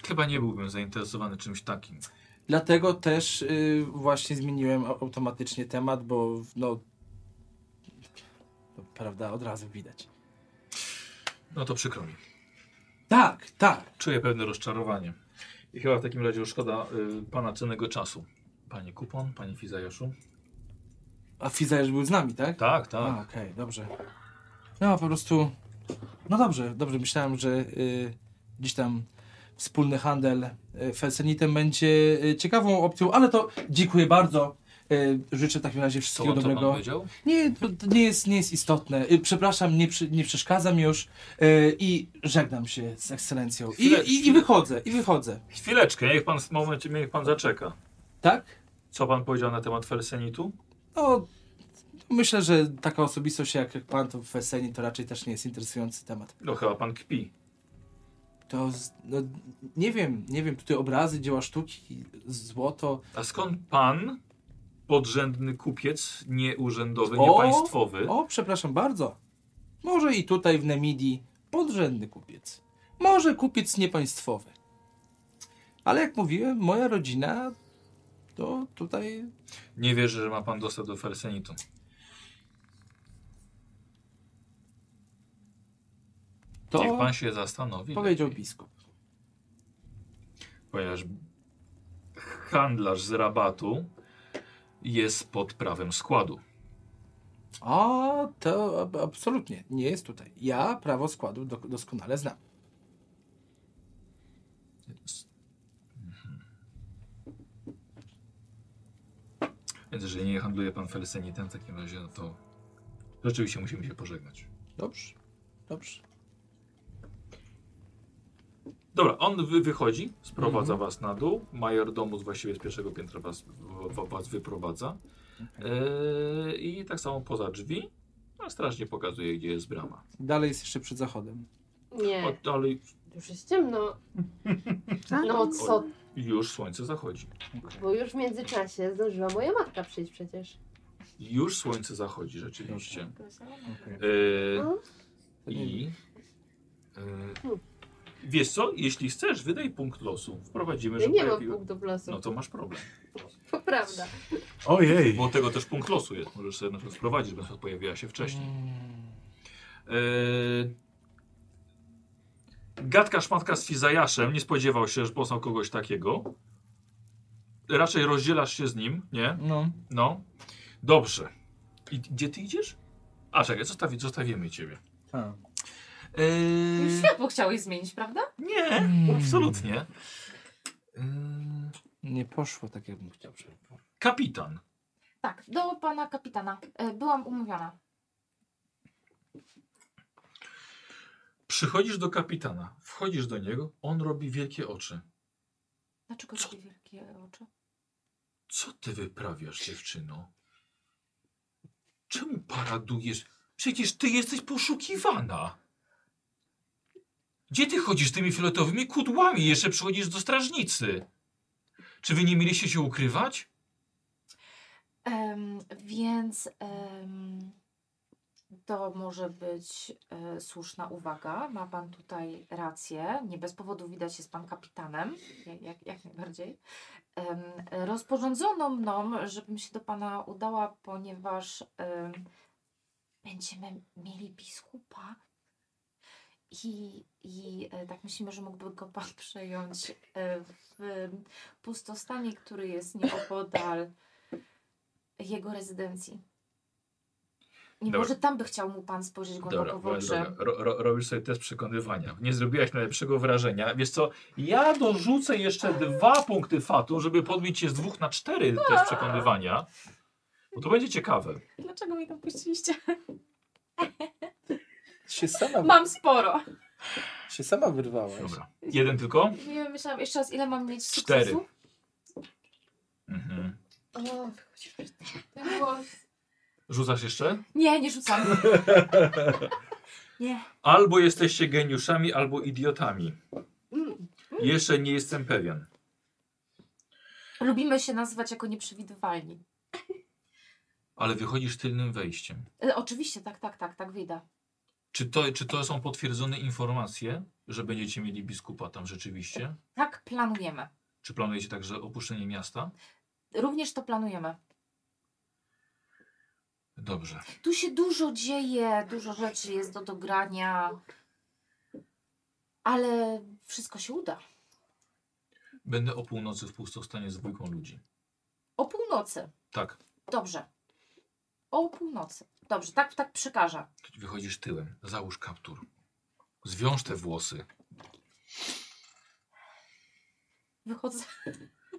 Speaker 2: Chyba nie byłbym zainteresowany czymś takim.
Speaker 6: Dlatego też y, właśnie zmieniłem au- automatycznie temat, bo no, to prawda, od razu widać.
Speaker 2: No to przykro mi.
Speaker 6: Tak, tak.
Speaker 2: Czuję pewne rozczarowanie. I chyba w takim razie już szkoda y, pana cennego czasu. Panie Kupon, panie Fizajoszu.
Speaker 6: A Fizajerz był z nami, tak?
Speaker 2: Tak,
Speaker 6: A,
Speaker 2: tak.
Speaker 6: okej, dobrze. No, po prostu, no dobrze, dobrze, myślałem, że y, gdzieś tam wspólny handel y, felsenitem będzie y, ciekawą opcją, ale to dziękuję bardzo. Y, życzę w takim razie
Speaker 2: Co
Speaker 6: wszystkiego
Speaker 2: wam to pan
Speaker 6: dobrego.
Speaker 2: powiedział?
Speaker 6: Nie, to, to nie, jest, nie jest istotne. Y, Przepraszam, nie, przy, nie przeszkadzam już y, i żegnam się z ekscelencją. I,
Speaker 2: Chwilę-
Speaker 6: i, I wychodzę, i wychodzę.
Speaker 2: Chwileczkę, niech pan w momencie, niech pan zaczeka.
Speaker 6: Tak?
Speaker 2: Co pan powiedział na temat Felsenitu?
Speaker 6: No, myślę, że taka osobistość jak jak pan to w Feseni to raczej też nie jest interesujący temat.
Speaker 2: No chyba pan kpi.
Speaker 6: To, z, no, nie wiem, nie wiem, tutaj obrazy, dzieła sztuki, złoto.
Speaker 2: A skąd pan, podrzędny kupiec, nieurzędowy,
Speaker 6: O!
Speaker 2: niepaństwowy?
Speaker 6: O, przepraszam bardzo. Może i tutaj w Nemidii podrzędny kupiec. Może kupiec niepaństwowy. Ale jak mówiłem, moja rodzina to tutaj
Speaker 2: Nie wierzę, że ma pan dostęp do Felsenitu. Niech
Speaker 6: to
Speaker 2: pan się zastanowi.
Speaker 6: powiedział biskup.
Speaker 2: Ponieważ handlarz z rabatu jest pod prawem składu.
Speaker 6: A to ab- absolutnie nie jest tutaj. Ja prawo składu do, doskonale znam.
Speaker 2: Więc jeżeli nie handluje pan Felsenitem, w takim razie, no to rzeczywiście musimy się pożegnać.
Speaker 6: Dobrze, dobrze.
Speaker 2: Dobra, on wy wychodzi, sprowadza
Speaker 1: Mhm.
Speaker 2: was na dół. Majordomus właściwie z pierwszego piętra was, w- was wyprowadza.
Speaker 1: Mhm.
Speaker 2: Yy, I tak samo poza drzwi, a strażnie pokazuje, gdzie jest brama.
Speaker 6: Dalej jest jeszcze przed zachodem.
Speaker 2: O,
Speaker 1: Nie,
Speaker 2: ale
Speaker 1: już jest ciemno.
Speaker 4: Tak?
Speaker 1: No co,
Speaker 2: już słońce zachodzi.
Speaker 1: bo już w międzyczasie zdążyła moja matka przyjść przecież.
Speaker 2: Już słońce zachodzi rzeczywiście.
Speaker 1: Tak.
Speaker 6: Okej.
Speaker 2: Yy,
Speaker 1: No.
Speaker 2: I. Yy, wiesz co? Jeśli chcesz, wydaj punkt losu. Wprowadzimy,
Speaker 1: Ja
Speaker 2: że no
Speaker 1: nie mam
Speaker 2: pojawiło-
Speaker 1: punktów losu,
Speaker 2: No to masz problem.
Speaker 1: to prawda.
Speaker 3: Ojej.
Speaker 2: Bo tego też punkt losu jest. Możesz sobie na przykład sprowadzić, żeby na przykład pojawiła się wcześniej. Eee, Gadka szmatka z Fizajaszem. Nie spodziewał się, że poznał kogoś takiego. Raczej rozdzielasz się z nim, nie?
Speaker 6: No.
Speaker 2: No. Dobrze. I gdzie ty idziesz? A czekaj, zostawi, zostawimy ciebie.
Speaker 6: Tak.
Speaker 2: Eee,
Speaker 5: Już światło chciałeś zmienić, prawda?
Speaker 2: nie, absolutnie. Eee,
Speaker 6: Nie poszło tak, jakbym chciał, żeby poszło.
Speaker 2: kapitan.
Speaker 5: Tak, do pana kapitana. E, Byłam umówiona.
Speaker 2: Przychodzisz do kapitana, wchodzisz do niego, on robi wielkie oczy.
Speaker 5: Dlaczego
Speaker 2: Co?
Speaker 5: takie wielkie oczy?
Speaker 2: Co ty wyprawiasz, dziewczyno? Czemu paradujesz? Przecież ty jesteś poszukiwana. Gdzie ty chodzisz tymi fioletowymi kudłami? Jeszcze przychodzisz do strażnicy. Czy wy nie mieliście się ukrywać?
Speaker 5: Em, więc em, to może być e, słuszna uwaga. Ma pan tutaj rację. Nie bez powodu widać jest pan kapitanem, jak, jak, jak najbardziej. Em, e, rozporządzono mną, żebym się do pana udała, ponieważ em, będziemy mieli biskupa. I, i e, tak myślimy, że mógłby go pan przejąć e, w pustostanie, który jest nieopodal jego rezydencji. Nie
Speaker 2: Dobra.
Speaker 5: może tam by chciał mu pan spojrzeć głęboko w oczy.
Speaker 2: ro, ro, robisz sobie test przekonywania. Nie zrobiłaś najlepszego wrażenia. Wiesz co, ja dorzucę jeszcze dwa punkty fatu, żeby podbić się z dwóch na cztery test przekonywania. Bo to będzie ciekawe.
Speaker 5: Dlaczego mi to puściliście?
Speaker 6: Się sama,
Speaker 5: Mam sporo.
Speaker 6: się sama wyrwałaś.
Speaker 2: Dobra. Jeden tylko?
Speaker 5: Nie wiem, myślałam jeszcze raz, ile mam mieć
Speaker 2: Cztery.
Speaker 5: sukcesu?
Speaker 2: Mhm.
Speaker 1: O, ten głos.
Speaker 2: Rzucasz jeszcze?
Speaker 5: Nie, nie rzucam. nie.
Speaker 2: Albo jesteście geniuszami, albo idiotami.
Speaker 5: Mm.
Speaker 2: Jeszcze nie jestem pewien.
Speaker 5: Lubimy się nazywać jako nieprzewidywalni.
Speaker 2: Ale wychodzisz tylnym wejściem.
Speaker 5: E, oczywiście, tak, tak, tak, tak wyjdę.
Speaker 2: Czy to, czy to są potwierdzone informacje, że będziecie mieli biskupa tam rzeczywiście?
Speaker 5: Tak planujemy.
Speaker 2: Czy planujecie także opuszczenie miasta?
Speaker 5: Również to planujemy.
Speaker 2: Dobrze.
Speaker 5: Tu się dużo dzieje, dużo rzeczy jest do dogrania. Ale wszystko się uda.
Speaker 2: Będę o północy w pustostanie z dwójką ludzi.
Speaker 5: O północy.
Speaker 2: Tak,
Speaker 5: Dobrze. O północy. Dobrze, tak, tak przekażę.
Speaker 2: wychodzisz tyłem. Załóż kaptur. Zwiąż te włosy.
Speaker 5: Wychodzę.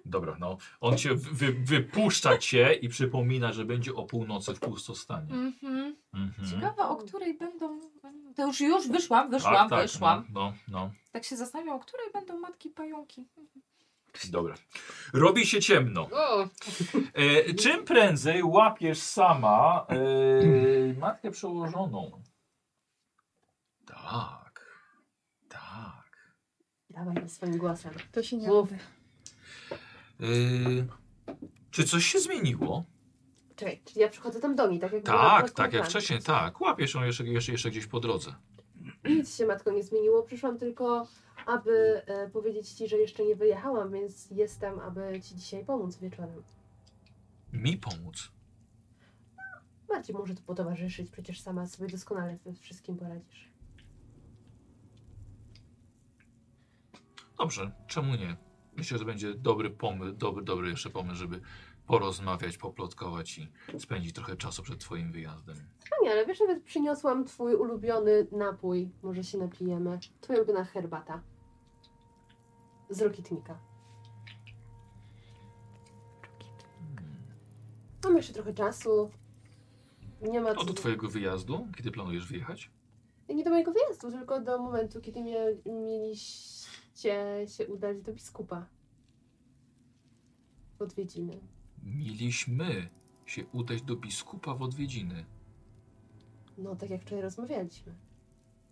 Speaker 2: Dobra, no. On cię wy, wypuszcza cię i przypomina, że będzie o północy w pustostanie.
Speaker 5: Mhm.
Speaker 2: Mhm. Tak,
Speaker 5: Ciekawe, o której będą. To już już wyszłam, wyszłam, wyszłam.
Speaker 2: No, no, no.
Speaker 5: Tak się zastanawiam, o której będą matki pająki.
Speaker 2: Dobra. Robi się ciemno.
Speaker 1: O,
Speaker 2: E, czym prędzej łapiesz sama e, matkę przełożoną? Tak. Tak.
Speaker 1: dawaj swoim głosem.
Speaker 4: To się nie
Speaker 1: Mów.
Speaker 4: uda.
Speaker 2: E, czy coś się zmieniło?
Speaker 1: Czekaj, czyli ja przychodzę tam do niej, tak jak było na
Speaker 2: Tak,
Speaker 1: początku
Speaker 2: tak, jak
Speaker 1: planu.
Speaker 2: wcześniej, tak. Łapiesz ją jeszcze, jeszcze, jeszcze gdzieś po drodze.
Speaker 1: Nic się matko nie zmieniło, przyszłam tylko, aby e, powiedzieć ci, że jeszcze nie wyjechałam, więc jestem, aby ci dzisiaj pomóc wieczorem.
Speaker 2: Mi pomóc.
Speaker 1: Bardziej może tu potowarzyszyć, przecież sama sobie doskonale we wszystkim poradzisz.
Speaker 2: Dobrze, czemu nie? Myślę, że będzie dobry pomysł, dobry, dobry jeszcze pomysł, żeby porozmawiać, poplotkować i spędzić trochę czasu przed twoim wyjazdem.
Speaker 1: Ania, ale wiesz, nawet przyniosłam twój ulubiony napój, może się napijemy. Twoja ulubiona herbata. Z Rokitnika. Mamy jeszcze trochę czasu. Nie ma
Speaker 2: No
Speaker 1: co
Speaker 2: do twojego wyjazdu, kiedy planujesz wyjechać?
Speaker 1: Nie do mojego wyjazdu, tylko do momentu, kiedy mia- mieliście się udać do biskupa. W Odwiedziny.
Speaker 2: Mieliśmy się udać do biskupa w odwiedziny.
Speaker 1: No, tak jak wczoraj rozmawialiśmy.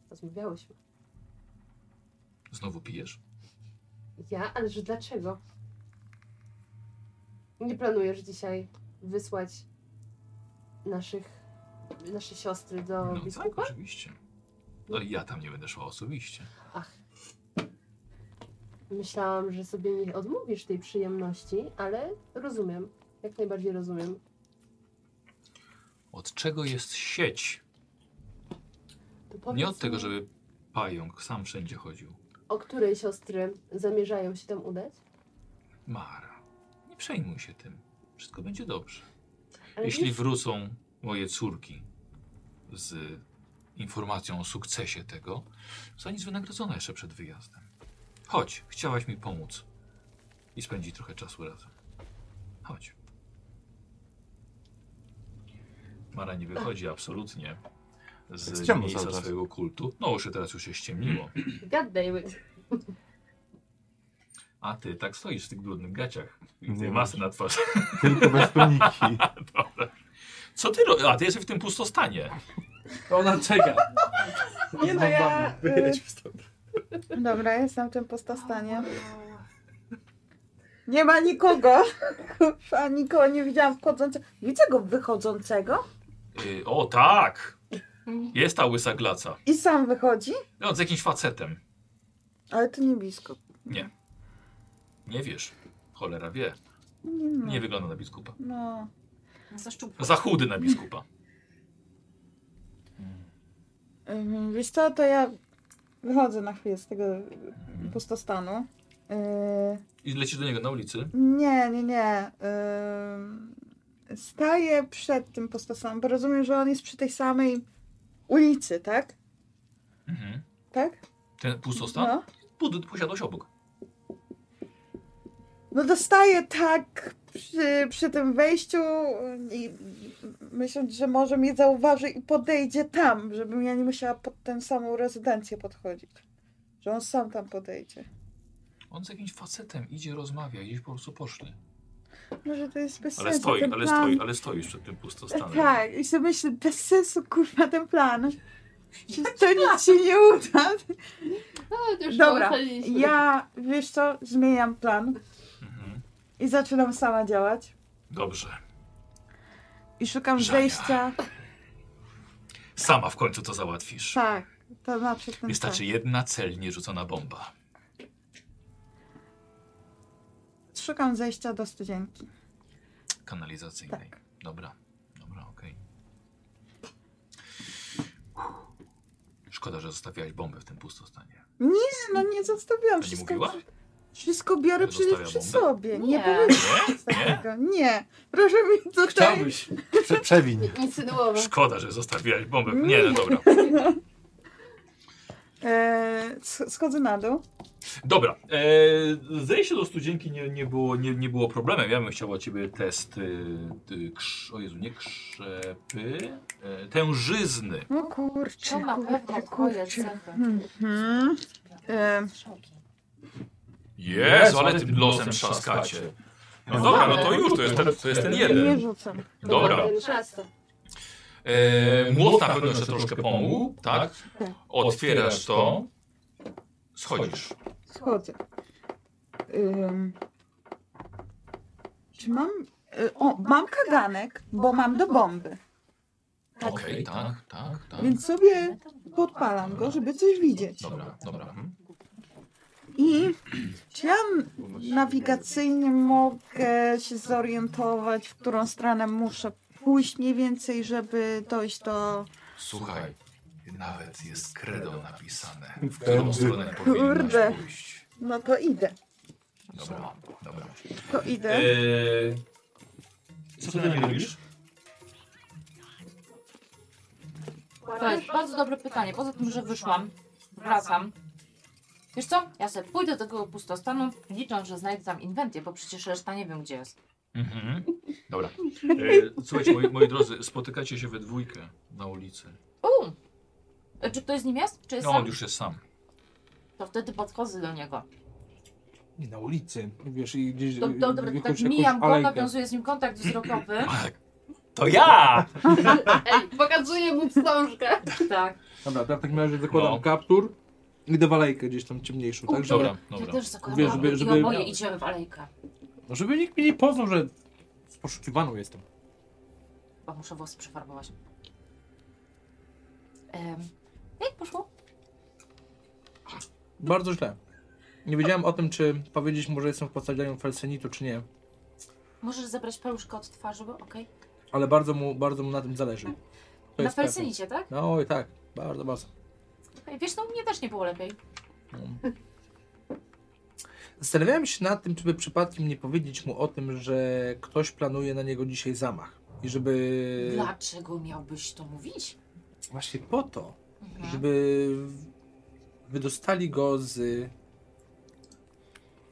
Speaker 1: Rozmawiałyśmy.
Speaker 2: Znowu pijesz?
Speaker 1: Ja? Ale że dlaczego? Nie planujesz dzisiaj wysłać naszych, nasze siostry do
Speaker 2: No tak,
Speaker 1: biskupa?
Speaker 2: oczywiście. No i ja tam nie będę szła osobiście.
Speaker 1: Ach. Myślałam, że sobie nie odmówisz tej przyjemności, ale rozumiem. Jak najbardziej rozumiem.
Speaker 2: Od czego jest sieć?
Speaker 1: To powiedz
Speaker 2: Nie od tego,
Speaker 1: mi,
Speaker 2: żeby pająk sam wszędzie chodził.
Speaker 1: O której siostry zamierzają się tam udać?
Speaker 2: Mara, nie przejmuj się tym. Wszystko będzie dobrze.
Speaker 1: Ale
Speaker 2: Jeśli
Speaker 1: wiesz-
Speaker 2: wrócą moje córki z informacją o sukcesie tego, zostaniesz wynagrodzona jeszcze przed wyjazdem. Chodź, chciałaś mi pomóc i spędzić trochę czasu razem. Chodź. Mara nie wychodzi absolutnie
Speaker 3: Jest
Speaker 2: z
Speaker 3: ciemno
Speaker 2: miejsca
Speaker 3: cały czas.
Speaker 2: swojego kultu. No już teraz już się ściemniło.
Speaker 1: God damn it.
Speaker 2: A ty tak stoisz w tych brudnych gaciach i
Speaker 3: Nie
Speaker 2: tej masy na twarzy.
Speaker 3: Tylko bez tuniki.
Speaker 2: Co ty robisz? A ty jesteś w tym pustostanie.
Speaker 6: Ona czeka.
Speaker 1: Nie no, ja...
Speaker 7: Wyjedź stąd.
Speaker 4: y, Dobra, jestem w tym postostanie. Nie ma nikogo. Kurwa, nikogo nie widziałam wchodzącego. Widzę go wychodzącego
Speaker 2: Y, o tak! Jest ta łysa glaca.
Speaker 4: i sam wychodzi,
Speaker 2: No, z jakimś facetem.
Speaker 4: ale to nie blisko.
Speaker 2: Nie. Nie wiesz. Cholera wie.
Speaker 4: Nie, no.
Speaker 2: Nie wygląda na biskupa.
Speaker 4: no.
Speaker 5: Zaszczupka.
Speaker 2: Za chudy na biskupa.
Speaker 4: Ym, Mhm. Wiesz co, to ja wychodzę na chwilę z tego pustostanu. Yy,
Speaker 2: I lecisz do niego na ulicy.
Speaker 4: Nie, nie, nie. Ym, Staję przed tym postastanem, bo rozumiem, że on jest przy tej samej ulicy, tak?
Speaker 2: Mhm.
Speaker 4: Tak?
Speaker 2: Ten pustostan
Speaker 4: No.
Speaker 2: Bud- posiadłeś obok.
Speaker 4: No dostaję tak przy, przy tym wejściu i myśląc, że może mnie zauważy i podejdzie tam, żebym ja nie musiała pod tę samą rezydencję podchodzić. Że on sam tam podejdzie.
Speaker 2: On z jakimś facetem idzie, rozmawia, gdzieś po prostu poszli.
Speaker 4: No, że to jest bez
Speaker 2: Ale
Speaker 4: sensu.
Speaker 2: stoi,
Speaker 4: ten
Speaker 2: ale
Speaker 4: plan.
Speaker 2: stoi, ale stoisz przed tym pustostanem.
Speaker 4: Tak, i sobie myślę, bez sensu kurwa ten plan. To nic się nie uda.
Speaker 1: No, już
Speaker 4: Dobra,
Speaker 1: ustaliliśmy.
Speaker 4: ja wiesz co, zmieniam plan
Speaker 2: Mhm.
Speaker 4: i zaczynam sama działać.
Speaker 2: Dobrze.
Speaker 4: I szukam
Speaker 2: Żania.
Speaker 4: wejścia.
Speaker 2: Sama w końcu to załatwisz.
Speaker 4: Tak, to na przykład. ten
Speaker 2: Wystarczy jedna celnie rzucona bomba.
Speaker 4: plan. Szukam zejścia do studzienki.
Speaker 2: kanalizacyjnej.
Speaker 4: Tak.
Speaker 2: Dobra, dobra, okej. Szkoda, że zostawiałaś bombę w tym pustostanie.
Speaker 4: No nie zostawiłam
Speaker 2: A nie
Speaker 4: wszystko.
Speaker 2: mówiła?
Speaker 4: Wszystko biorę
Speaker 2: Że
Speaker 4: przecież
Speaker 2: zostawia
Speaker 4: przy
Speaker 2: bombę?
Speaker 4: sobie. Nie,
Speaker 5: Nie.
Speaker 4: powiedziałam
Speaker 2: Nie? Nie?
Speaker 4: tego. Nie. Proszę mi tutaj.
Speaker 6: Chciałbyś.
Speaker 3: Prze przewin.
Speaker 1: Insynuowo.
Speaker 2: Szkoda, że zostawiłaś bombę. Nie, no dobra.
Speaker 4: E, sch- schodzę na dół.
Speaker 2: Dobra, e, zejście do studzienki nie, nie, było, nie, nie było problemem. Ja bym chciał od ciebie test, y, y, krz, o Jezu, nie krzepy, e, tężyzny.
Speaker 4: No kurczę.
Speaker 5: To na
Speaker 4: kurczę,
Speaker 5: pewno twoje
Speaker 4: kurczę.
Speaker 5: cechy.
Speaker 4: Mhm. E,
Speaker 5: Strzałki.
Speaker 2: Jezu, ale tym losem trzaskacie. No dobra, no to już, to jest ten, to jest ten
Speaker 4: nie
Speaker 2: jeden.
Speaker 4: rzucam.
Speaker 2: Dobra.
Speaker 1: Ten szast.
Speaker 2: E, młot na pewno jeszcze troszkę pomógł, tak?
Speaker 4: Tak.
Speaker 2: Otwierasz to, schodzisz.
Speaker 4: Schodzę. Ym. Czy mam. y, O, mam kaganek, bo mam do bomby.
Speaker 2: Okej, tak, tak, tak.
Speaker 4: Więc sobie podpalam go, żeby coś widzieć.
Speaker 2: Dobra, dobra. mhm.
Speaker 4: I czy ja nawigacyjnie mogę się zorientować, w którą stronę muszę pójść mniej więcej, żeby dojść do.
Speaker 2: Słuchaj, nawet jest kredo napisane, w którą stronę
Speaker 4: Kurde.
Speaker 2: powinnaś pójść.
Speaker 4: No to idę.
Speaker 2: Dobra, dobra.
Speaker 4: To idę.
Speaker 2: Eee, co ty nie robisz?
Speaker 5: To jest bardzo dobre pytanie. Poza tym, że wyszłam, wracam. Wiesz co? Ja sobie pójdę do tego pustostanu, licząc, że znajdę tam inwentie, bo przecież reszta nie wiem, gdzie jest.
Speaker 2: Mhm. Dobra. Eee, słuchajcie, moi, moi drodzy, spotykacie się we dwójkę na ulicy.
Speaker 5: U! E, Czy ktoś z nim jest? Czy jest
Speaker 2: No,
Speaker 5: sam?
Speaker 2: on już jest sam.
Speaker 5: To wtedy podchodzę do niego.
Speaker 6: Nie, na ulicy. Wiesz, i gdzieś...
Speaker 5: Do, do, dobra, tak
Speaker 6: wyklucz jakąś
Speaker 5: mijam go,
Speaker 6: alejkę.
Speaker 5: nawiązuję z nim kontakt wzrokowy.
Speaker 2: Tak. To ja!
Speaker 1: Ej, pokazuję mu wstążkę.
Speaker 5: Tak.
Speaker 6: Dobra, to ja w takim razie zakładam
Speaker 2: No.
Speaker 6: kaptur i idę w alejkę gdzieś tam ciemniejszą, tak? Żeby,
Speaker 2: Dobra,
Speaker 5: Ja
Speaker 2: dobra.
Speaker 5: też zakładam
Speaker 6: Wiesz,
Speaker 5: Wiesz,
Speaker 6: żeby- żeby-
Speaker 5: i oboje idziemy w alejkę.
Speaker 6: no, żeby nikt mi nie poznał, że poszukiwaną jestem.
Speaker 5: Bo muszę włosy przefarbować. Em, jak poszło?
Speaker 6: Bardzo źle. Nie wiedziałem o tym, czy powiedzieć mu, że jestem w postaci Felsenitu, czy nie.
Speaker 5: Możesz zabrać paluszkę od twarzy, bo okej.
Speaker 6: Ale bardzo mu, bardzo mu na tym zależy. To
Speaker 5: Na
Speaker 6: jest pewne.
Speaker 5: felsenicie, tak?
Speaker 6: No oj, tak, bardzo, bardzo.
Speaker 5: Ej, Wiesz, no u mnie też nie było lepiej.
Speaker 6: No. Zastanawiałem się nad tym, czy by przypadkiem nie powiedzieć mu o tym, że ktoś planuje na niego dzisiaj zamach. I żeby.
Speaker 5: Dlaczego miałbyś to mówić?
Speaker 6: Właśnie po to,
Speaker 5: Mhm.
Speaker 6: żeby wydostali go z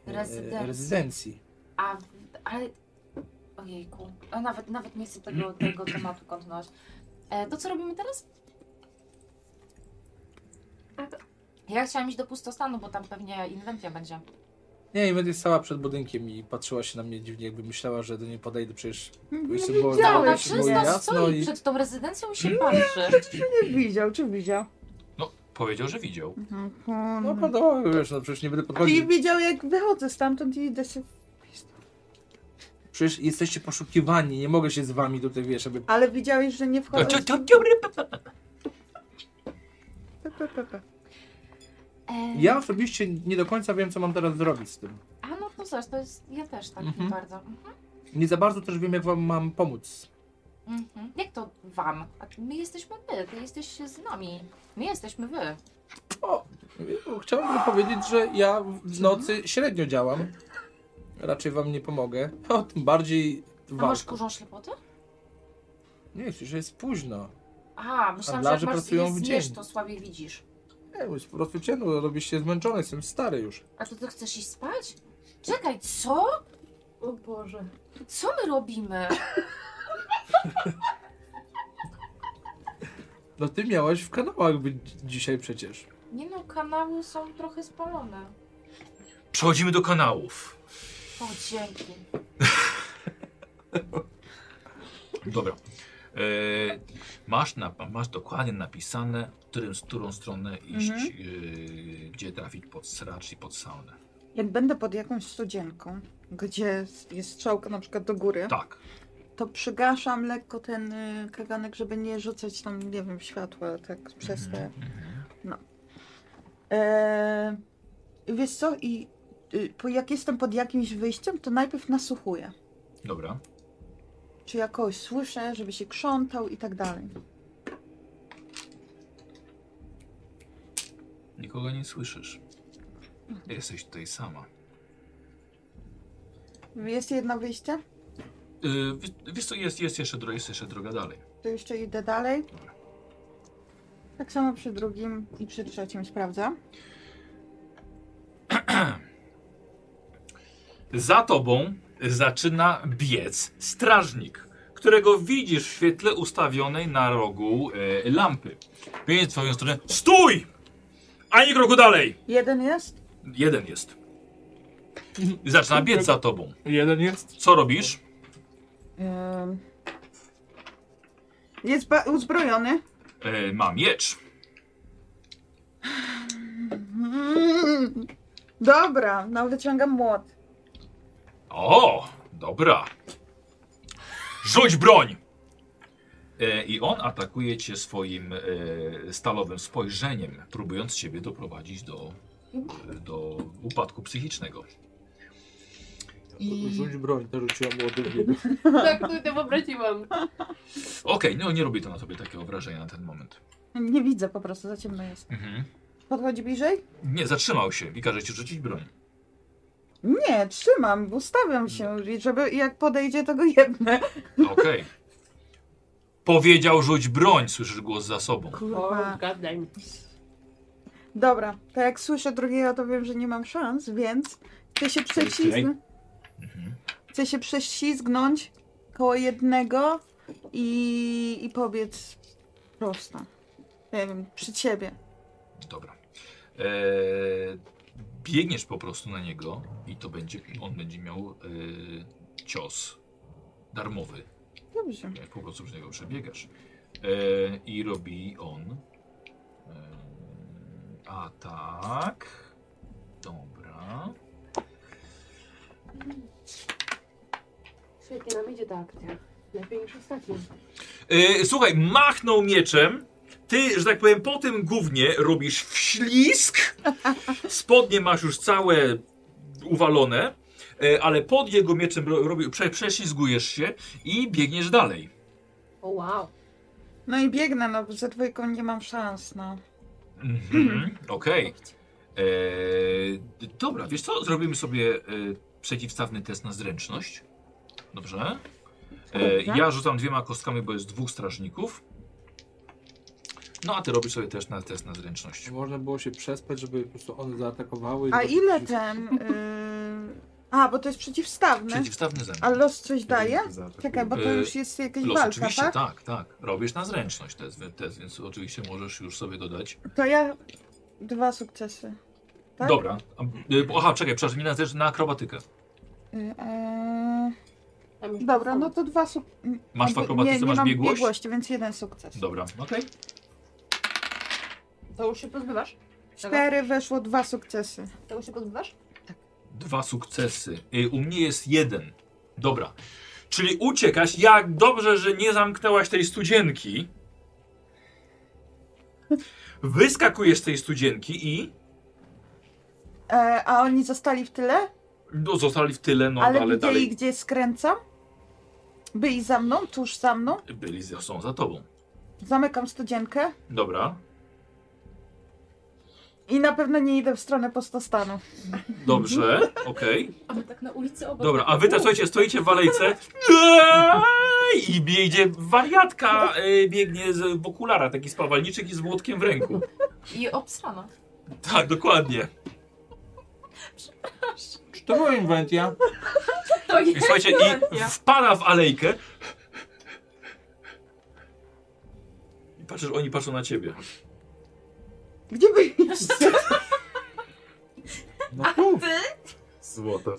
Speaker 6: e,
Speaker 5: Rezydencji.
Speaker 6: rezydencji.
Speaker 5: A, ale... Ojejku, a nawet, nawet nie chcę tego, tego tematu kontynuować. E, to co robimy teraz? A to- Ja chciałam iść do pustostanu, bo tam pewnie inwentia będzie.
Speaker 6: Nie, i będzie stała przed budynkiem i patrzyła się na mnie dziwnie, jakby myślała, że do niej podejdę. Przecież jeszcze było,
Speaker 5: No, ona
Speaker 6: jeszcze było
Speaker 5: przez nas
Speaker 6: jasno
Speaker 5: stoi
Speaker 6: i
Speaker 5: przed tą rezydencją i się patrzy.
Speaker 4: Nie widział, czy widział?
Speaker 2: No, powiedział, że widział.
Speaker 4: No,
Speaker 6: No
Speaker 4: no,
Speaker 6: prawda, wiesz, no przecież nie będę
Speaker 4: I
Speaker 6: podchodził.
Speaker 4: widział, jak wychodzę stamtąd i idę się...
Speaker 6: Przecież jesteście poszukiwani, nie mogę się z wami tutaj, wiesz, żeby...
Speaker 4: Ale widziałeś, że nie wchodzę...
Speaker 2: Cio- cio- cio-
Speaker 4: Pe, pe, pe, pe.
Speaker 5: E,
Speaker 6: Ja osobiście nie do końca wiem, co mam teraz zrobić z tym.
Speaker 5: A no to zaś, to jest, ja też tak
Speaker 6: Mhm.
Speaker 5: bardzo.
Speaker 6: Nie za bardzo też wiem, jak wam mam pomóc.
Speaker 5: Mhm. Jak to wam? A my jesteśmy my, ty jesteś z nami. My jesteśmy wy.
Speaker 6: O, chciałbym powiedzieć, że ja w nocy średnio działam. Raczej wam nie pomogę. O, tym bardziej
Speaker 5: A masz
Speaker 6: walką.
Speaker 5: kurzą ślepotę?
Speaker 6: Nie, przecież jest późno.
Speaker 5: A, myślałam, że jak
Speaker 6: Handlarze
Speaker 5: masz
Speaker 6: pracują
Speaker 5: je
Speaker 6: w
Speaker 5: zjesz,
Speaker 6: dzień.
Speaker 5: to słabiej widzisz.
Speaker 6: Nie, bo jest po prostu ciemno, robię się zmęczony, jestem stary już.
Speaker 5: A to ty chcesz iść spać? Czekaj, co?
Speaker 1: O Boże.
Speaker 5: Co my robimy?
Speaker 6: No ty miałaś w kanałach być dzisiaj przecież.
Speaker 5: Nie no, kanały są trochę spalone.
Speaker 2: Przechodzimy do kanałów.
Speaker 5: O, dzięki.
Speaker 2: Dobra. E, masz, na, masz dokładnie napisane, którym, z którą stronę iść,
Speaker 4: Mhm.
Speaker 2: e, gdzie trafić pod sracz i pod saunę.
Speaker 4: Jak będę pod jakąś studzienką, gdzie jest strzałka na przykład do góry,
Speaker 2: Tak.
Speaker 4: to przygaszam lekko ten y, kaganek, żeby nie rzucać tam, nie wiem, światła tak przez te...
Speaker 2: Mhm.
Speaker 4: Eee, wiesz co, i y, po, jak jestem pod jakimś wyjściem, to najpierw nasłuchuję.
Speaker 2: Dobra.
Speaker 4: Czy ja kogoś słyszę, żeby się krzątał i tak dalej.
Speaker 2: Nikogo nie słyszysz. Jesteś tutaj sama.
Speaker 4: Jest jedno wyjście,
Speaker 2: Yy, wiesz- wiesz co, jest, jest, jeszcze, dro- jest jeszcze droga dalej.
Speaker 4: to jeszcze idę dalej. Tak samo przy drugim i przy trzecim sprawdzam.
Speaker 2: Za tobą zaczyna biec strażnik, którego widzisz w świetle ustawionej na rogu e, lampy. Więc w twoją stronę. Stój! Ani kroku dalej!
Speaker 4: Jeden jest?
Speaker 2: Jeden jest. Zaczyna biec za tobą.
Speaker 6: Jeden jest?
Speaker 2: Co robisz?
Speaker 4: Ym, Jest ba- uzbrojony.
Speaker 2: E, ma miecz.
Speaker 4: Mm. Dobra, no wyciągam młot.
Speaker 2: O! Dobra. Rzuć broń! E, I on atakuje cię swoim e, stalowym spojrzeniem, próbując ciebie doprowadzić do, e, do upadku psychicznego.
Speaker 6: Rzuć broń, to rzuciłam młody
Speaker 1: Tak, to to popraciłam.
Speaker 2: Okej, no nie robi to na tobie takiego wrażenia na ten moment.
Speaker 4: Nie widzę po prostu, za ciemno jest.
Speaker 2: Mhm.
Speaker 4: Podchodzi bliżej?
Speaker 2: Nie, zatrzymał się i każe ci rzucić broń.
Speaker 4: Nie, trzymam, ustawiam się, żeby jak podejdzie, to go jedne.
Speaker 2: Okej. Powiedział rzuć broń, słyszysz głos za sobą.
Speaker 1: O,
Speaker 4: Kurwa.
Speaker 1: gadaj mi.
Speaker 4: Dobra, to jak słyszę drugiego, to wiem, że nie mam szans, więc chcę się prześlizgnąć.
Speaker 2: Mhm.
Speaker 4: Chcę się prześlizgnąć koło jednego i, i pobiec prosto. Nie wiem, przy ciebie.
Speaker 2: Dobra. Eee, biegniesz po prostu na niego i to będzie, on będzie miał eee, cios darmowy.
Speaker 4: Dobrze.
Speaker 2: Jak po prostu przez niego przebiegasz. Eee, I robi on e, eee, atak. tak, Dobra.
Speaker 1: Świetnie nam idzie ta akcja. Lepiej niż ostatnio.
Speaker 2: E, słuchaj, machnął mieczem. Ty, że tak powiem, po tym głównie robisz wślizg. Spodnie masz już całe uwalone. E, ale pod jego mieczem ro- robi, prze, prześlizgujesz się i biegniesz dalej.
Speaker 1: O wow.
Speaker 4: No i biegnę, no bo ze dwójką nie mam szans, no.
Speaker 2: Mhm. Okej. E, d- Dobra, wiesz co? Zrobimy sobie e, przeciwstawny test na zręczność. Dobrze. E,
Speaker 1: Dobra.
Speaker 2: ja rzucam dwiema kostkami, bo jest dwóch strażników. No a ty robisz sobie też na test na zręczność.
Speaker 6: Czy można było się przespać, żeby po prostu one zaatakowały?
Speaker 4: A
Speaker 6: i-
Speaker 4: ile ten... y, A, bo to jest przeciwstawny.
Speaker 2: Przeciwstawny zręczność.
Speaker 4: A los coś daje?
Speaker 7: Zaatakuje.
Speaker 4: Czekaj, bo to
Speaker 2: Y,
Speaker 4: już jest jakaś
Speaker 2: Los,
Speaker 4: walka,
Speaker 2: oczywiście,
Speaker 4: tak?
Speaker 2: tak, tak. Robisz na zręczność test, wy- test, więc oczywiście możesz już sobie dodać.
Speaker 4: To ja... Dwa sukcesy. Tak?
Speaker 2: Dobra. A, y, Aha, czekaj, przepraszam, nie na, też na akrobatykę.
Speaker 4: Y, e,
Speaker 1: Tam już-
Speaker 4: Dobra, no to dwa sukcesy.
Speaker 2: Masz w akrobatyce,
Speaker 4: No nie, nie
Speaker 2: masz
Speaker 4: mam
Speaker 2: biegłość?
Speaker 4: biegłości, więc jeden sukces.
Speaker 2: Dobra, okej.
Speaker 1: To już się pozbywasz?
Speaker 4: Cztery weszło, dwa sukcesy.
Speaker 1: To już się pozbywasz?
Speaker 2: Dwa sukcesy. Y, U mnie jest jeden. Dobra. Czyli uciekasz. Jak dobrze, że nie zamknęłaś tej studzienki. Wyskakujesz z tej studzienki i
Speaker 4: E, a oni zostali w tyle?
Speaker 2: no, zostali w tyle, no ale,
Speaker 4: ale widzieli,
Speaker 2: dalej
Speaker 4: gdzie skręcam? Byli za mną, tuż za mną.
Speaker 2: byli za- są za tobą.
Speaker 4: Zamykam studzienkę
Speaker 2: Dobra,
Speaker 4: i na pewno nie idę w stronę postostanu.
Speaker 2: dobrze,
Speaker 4: Mhm.
Speaker 2: okej.
Speaker 5: A my tak na ulicy obok.
Speaker 2: Dobra, a wy tak słuchajcie, stoicie w walejce Eee, i biegnie wariatka, e, biegnie z, w okularach, taki spawalniczek i z młotkiem w ręku.
Speaker 5: I obsrano.
Speaker 2: Tak, dokładnie.
Speaker 6: Czy to była inwentia?
Speaker 5: To
Speaker 2: I słuchajcie, i wpada w alejkę. I patrzysz, oni patrzą na ciebie.
Speaker 4: Gdzie byli?
Speaker 6: No puf,
Speaker 7: Złoto.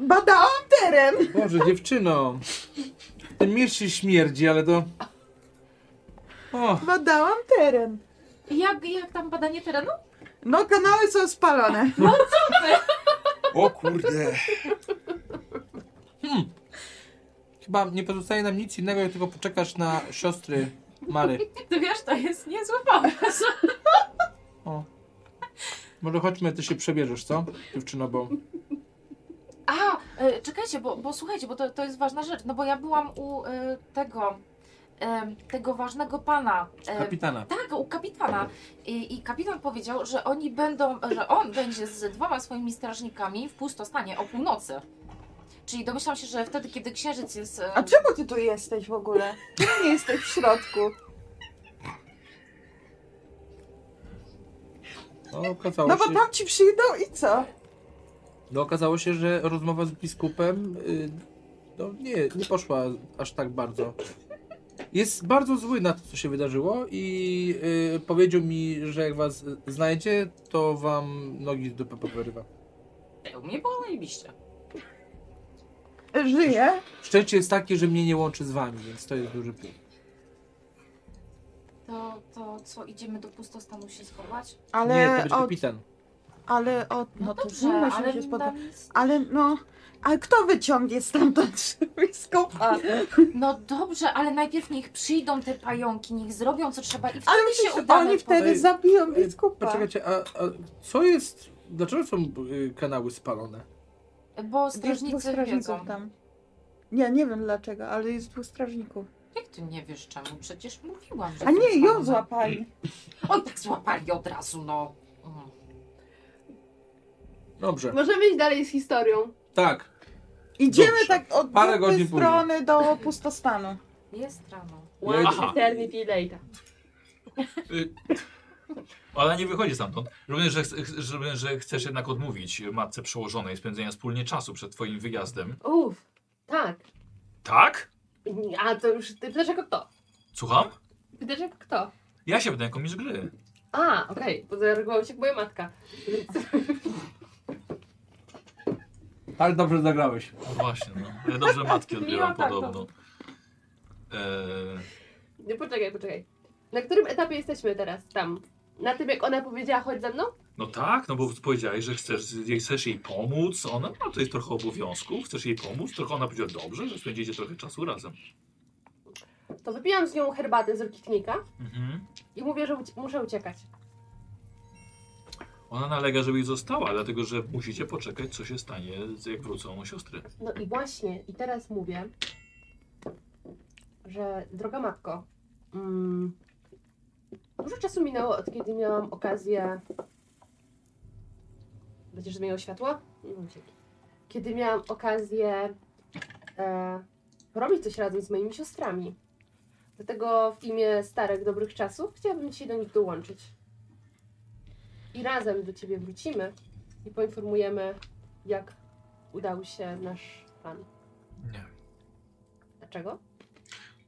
Speaker 4: Badałam teren!
Speaker 6: Boże, dziewczyno. Ten miecz się śmierdzi, ale to... O,
Speaker 4: Badałam teren.
Speaker 5: Jak, jak tam badanie terenu?
Speaker 4: No, kanały są spalone.
Speaker 6: o kurde. Hmm. Chyba nie pozostaje nam nic innego, jak tylko poczekasz na siostry Mary.
Speaker 5: Ty wiesz, to jest niezły pomysł.
Speaker 6: O. Może chodźmy, ty się przebierzesz, co? Dziewczyno, bo...
Speaker 5: A, e, czekajcie, bo, bo słuchajcie, bo to, to jest ważna rzecz. No bo ja byłam u e, tego, e, tego ważnego pana. e,
Speaker 6: Kapitana.
Speaker 5: Tak, u kapitana. I, I kapitan powiedział, że oni będą, że on będzie z dwoma swoimi strażnikami w pustostanie o północy. Czyli domyślam się, że wtedy, kiedy księżyc jest. e,
Speaker 4: A czemu ty tu jesteś w ogóle? Czemu nie jesteś w środku?
Speaker 6: No, okazało
Speaker 4: No
Speaker 6: się...
Speaker 4: bo tam ci przyjdą i co?
Speaker 6: No okazało się, że rozmowa z biskupem y, no, nie, nie poszła aż tak bardzo. Jest bardzo zły na to, co się wydarzyło i y, powiedział mi, że jak was y, znajdzie, to wam nogi z dupy powyrywa.
Speaker 5: U mnie było najbliższe.
Speaker 4: Żyję.
Speaker 6: Szczęście jest takie, że mnie nie łączy z wami, więc to jest duży plus.
Speaker 5: To, to co, idziemy do pustostanu się schować?
Speaker 4: Ale
Speaker 6: nie, to będzie
Speaker 4: od...
Speaker 6: kapitan.
Speaker 4: Ale od... No, to
Speaker 5: dobrze,
Speaker 4: zimno się
Speaker 5: ale
Speaker 4: będzie spotkać.
Speaker 5: nam nic-
Speaker 4: Ale no... A kto wyciągnie stamtąd skopa?
Speaker 5: No dobrze, ale najpierw niech przyjdą te pająki, niech zrobią co trzeba i wtedy
Speaker 4: Ale
Speaker 5: się
Speaker 4: myślisz,
Speaker 5: udamy.
Speaker 4: oni wtedy
Speaker 6: Ej,
Speaker 4: zabiją
Speaker 6: ej,
Speaker 4: biskupa.
Speaker 6: Poczekajcie, a, a co jest... Dlaczego są y, kanały spalone?
Speaker 5: po- Bo
Speaker 4: Gdzie jest dwóch
Speaker 5: strażnicy wiedzą.
Speaker 4: strażników tam. Ja nie wiem dlaczego, ale jest dwóch strażników.
Speaker 5: Jak ty nie wiesz czemu? Przecież mówiłam, że
Speaker 4: A nie,
Speaker 5: są
Speaker 4: ją
Speaker 5: spalone.
Speaker 4: złapali.
Speaker 5: Oj, tak złapali od razu, no. Mm.
Speaker 4: No-
Speaker 6: Dobrze,
Speaker 1: Możemy iść dalej z historią.
Speaker 6: tak.
Speaker 4: Idziemy
Speaker 2: Dobrze.
Speaker 4: tak od
Speaker 6: Parę
Speaker 4: drugiej
Speaker 6: godzin później.
Speaker 4: strony do pustostanu.
Speaker 5: Jest rano.
Speaker 1: One
Speaker 2: Aha.
Speaker 1: eternity later.
Speaker 2: Y, Ona nie wychodzi stamtąd. Również, że, chce- ch- że, że chcesz jednak odmówić matce przełożonej spędzenia wspólnie czasu przed twoim wyjazdem.
Speaker 1: Uff, tak.
Speaker 2: Tak?
Speaker 1: A to już ty pytasz jako kto?
Speaker 2: Słucham?
Speaker 1: Pytasz jako kto?
Speaker 2: Ja się będę jako mistrz gry.
Speaker 1: A, okej, bo zareagowała się jak moja matka.
Speaker 6: Ale dobrze zagrałeś.
Speaker 2: No właśnie, no. Ja dobrze matki odbieram
Speaker 5: Miło tak,
Speaker 2: podobno. Eee,
Speaker 1: Nie, poczekaj, poczekaj. Na którym etapie jesteśmy teraz? Tam. Na tym, jak ona powiedziała, chodź ze mną?
Speaker 2: no tak, no bo powiedziałeś, że chcesz, jej- chcesz jej pomóc. Ona ma tutaj trochę obowiązków, chcesz jej pomóc, tylko ona powiedziała dobrze, że spędzicie trochę czasu razem.
Speaker 1: To wypijam z nią herbatę z rokitnika
Speaker 2: Mhm.
Speaker 1: i mówię, że ucie- muszę uciekać.
Speaker 2: Ona nalega, żeby jej została, dlatego że musicie poczekać, co się stanie, jak wrócą siostry.
Speaker 1: No i właśnie, i teraz mówię, że droga matko, mm, dużo czasu minęło od kiedy miałam okazję. Będziesz zmieniał światło? Mm, dzięki. Kiedy miałam okazję e, robić coś razem z moimi siostrami. Dlatego w imię starych dobrych czasów chciałabym się do nich dołączyć. I razem do ciebie wrócimy i poinformujemy, jak udał się nasz plan.
Speaker 2: Nie.
Speaker 1: Dlaczego?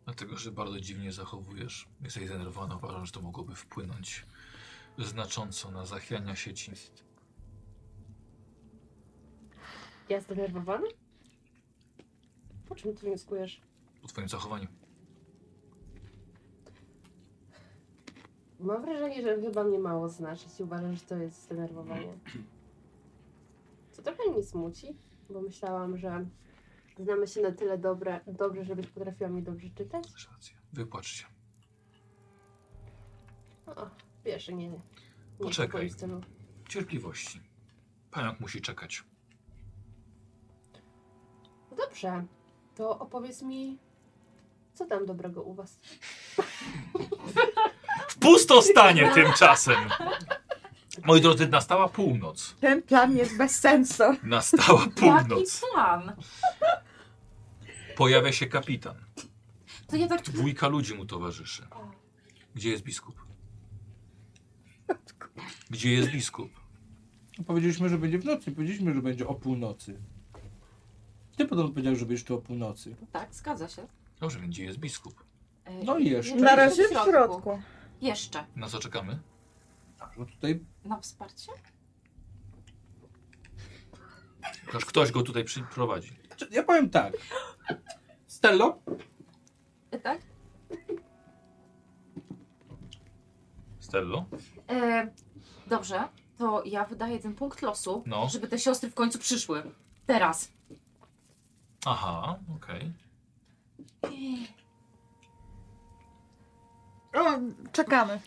Speaker 2: Dlatego, że bardzo dziwnie zachowujesz. Jesteś zdenerwowana, uważam, że to mogłoby wpłynąć znacząco na zachwiania sieci.
Speaker 1: Ja zdenerwowana? Po czym ty wnioskujesz?
Speaker 2: Po twoim zachowaniu.
Speaker 1: Mam wrażenie, że chyba mnie mało znasz, jeśli uważasz, że to jest zdenerwowanie. Co trochę mnie smuci, bo myślałam, że znamy się na tyle dobre, dobrze, żebyś potrafiła mnie dobrze czytać.
Speaker 2: Masz rację. Wypłacz się.
Speaker 1: O, wiesz, nie. nie
Speaker 2: Poczekaj.
Speaker 1: w moim stylu.
Speaker 2: Cierpliwości. Pająk musi czekać.
Speaker 1: No Dobrze, to opowiedz mi, co tam dobrego u was?
Speaker 2: W pusto stanie tymczasem! Moi drodzy, nastała północ.
Speaker 4: Ten plan jest bez sensu.
Speaker 2: Nastała
Speaker 5: Jaki
Speaker 2: północ.
Speaker 5: plan?
Speaker 2: Pojawia się kapitan.
Speaker 5: To ja tak
Speaker 2: Dwójka ludzi mu towarzyszy. Gdzie jest biskup? Gdzie jest biskup?
Speaker 6: Powiedzieliśmy, że będzie w nocy. Powiedzieliśmy, że będzie o północy. Ty potem powiedział, że będziesz tu o północy.
Speaker 5: Tak, zgadza się.
Speaker 2: Dobrze, więc gdzie jest biskup?
Speaker 5: E,
Speaker 6: No i jeszcze.
Speaker 4: Na razie w środku.
Speaker 5: Jeszcze.
Speaker 2: Na co czekamy?
Speaker 6: No tutaj
Speaker 5: Na wsparcie?
Speaker 2: Aż ktoś go tutaj przyprowadzi.
Speaker 6: Czy- Ja powiem tak. Stello,
Speaker 5: E, Tak?
Speaker 2: Stello?
Speaker 5: E, dobrze, to ja wydaję ten punkt losu,
Speaker 2: No.
Speaker 5: żeby te siostry w końcu przyszły. Teraz.
Speaker 2: Aha, okej.
Speaker 4: O, czekamy.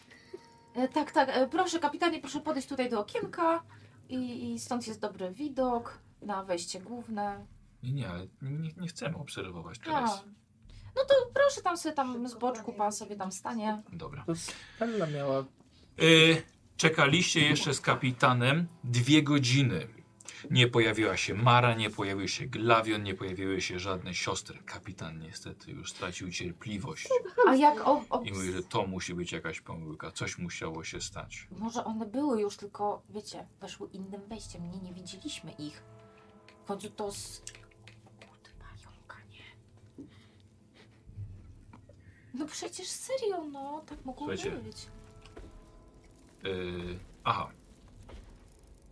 Speaker 5: E, tak, tak, e, proszę kapitanie, proszę podejść tutaj do okienka i, i stąd jest dobry widok na wejście główne.
Speaker 2: Nie, nie, ale nie, nie chcemy obserwować
Speaker 5: A.
Speaker 2: teraz.
Speaker 5: No to proszę tam sobie tam z boczku, pan sobie tam stanie.
Speaker 2: Dobra.
Speaker 6: to Stella miała
Speaker 2: Y, czekaliście jeszcze z kapitanem dwie godziny. Nie pojawiła się Mara, nie pojawił się Glawion, nie pojawiły się żadne siostry. Kapitan niestety już stracił cierpliwość
Speaker 5: A jak o, o,
Speaker 2: i mówi, że to musi być jakaś pomyłka. Coś musiało się stać.
Speaker 5: Może one były już, tylko wiecie, weszły innym wejściem. Nie, nie widzieliśmy ich. W końcu to z... Kurde, pająka, nie? No przecież serio, no. Tak mogło
Speaker 2: Słuchajcie.
Speaker 5: być.
Speaker 2: Y, aha.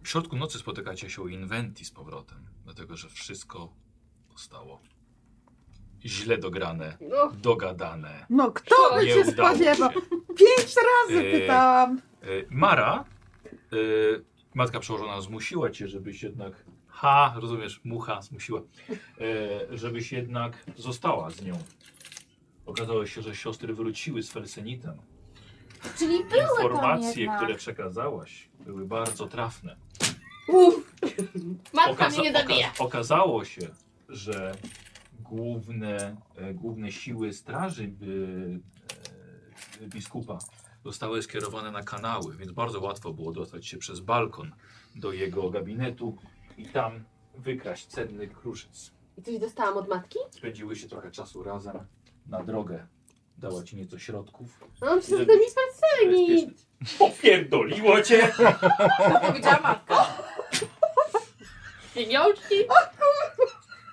Speaker 2: W środku nocy spotykacie się u Inventi z powrotem, dlatego że wszystko zostało źle dograne,
Speaker 1: No,
Speaker 2: dogadane.
Speaker 4: No kto by
Speaker 2: Nie
Speaker 4: się
Speaker 2: udało się.
Speaker 4: spodziewał? Pięć razy
Speaker 2: Yy.
Speaker 4: pytałam.
Speaker 2: E, Mara, e, matka przełożona zmusiła cię, żebyś jednak. Ha, rozumiesz, mucha zmusiła, e, żebyś jednak została z nią. Okazało się, że siostry wróciły z Felsenitem.
Speaker 5: Czyli były tam
Speaker 2: Informacje,
Speaker 5: jednak.
Speaker 2: które przekazałaś, były bardzo trafne.
Speaker 1: uff! Matka mnie
Speaker 2: Okaza-
Speaker 1: nie zabija!
Speaker 2: oka- okazało się, że główne, e, główne siły straży by, e, biskupa zostały skierowane na kanały, więc bardzo łatwo było dostać się przez balkon do jego gabinetu i tam wykraść cenny kruszyc.
Speaker 1: I coś dostałam od matki?
Speaker 2: Spędziły się trochę czasu razem na drogę. Dała ci nieco środków.
Speaker 1: No, przecież to mi specjalnie!
Speaker 2: Bezpieczne. Popierdoliło cię!
Speaker 5: To powiedziała matka.
Speaker 1: Pieniążki!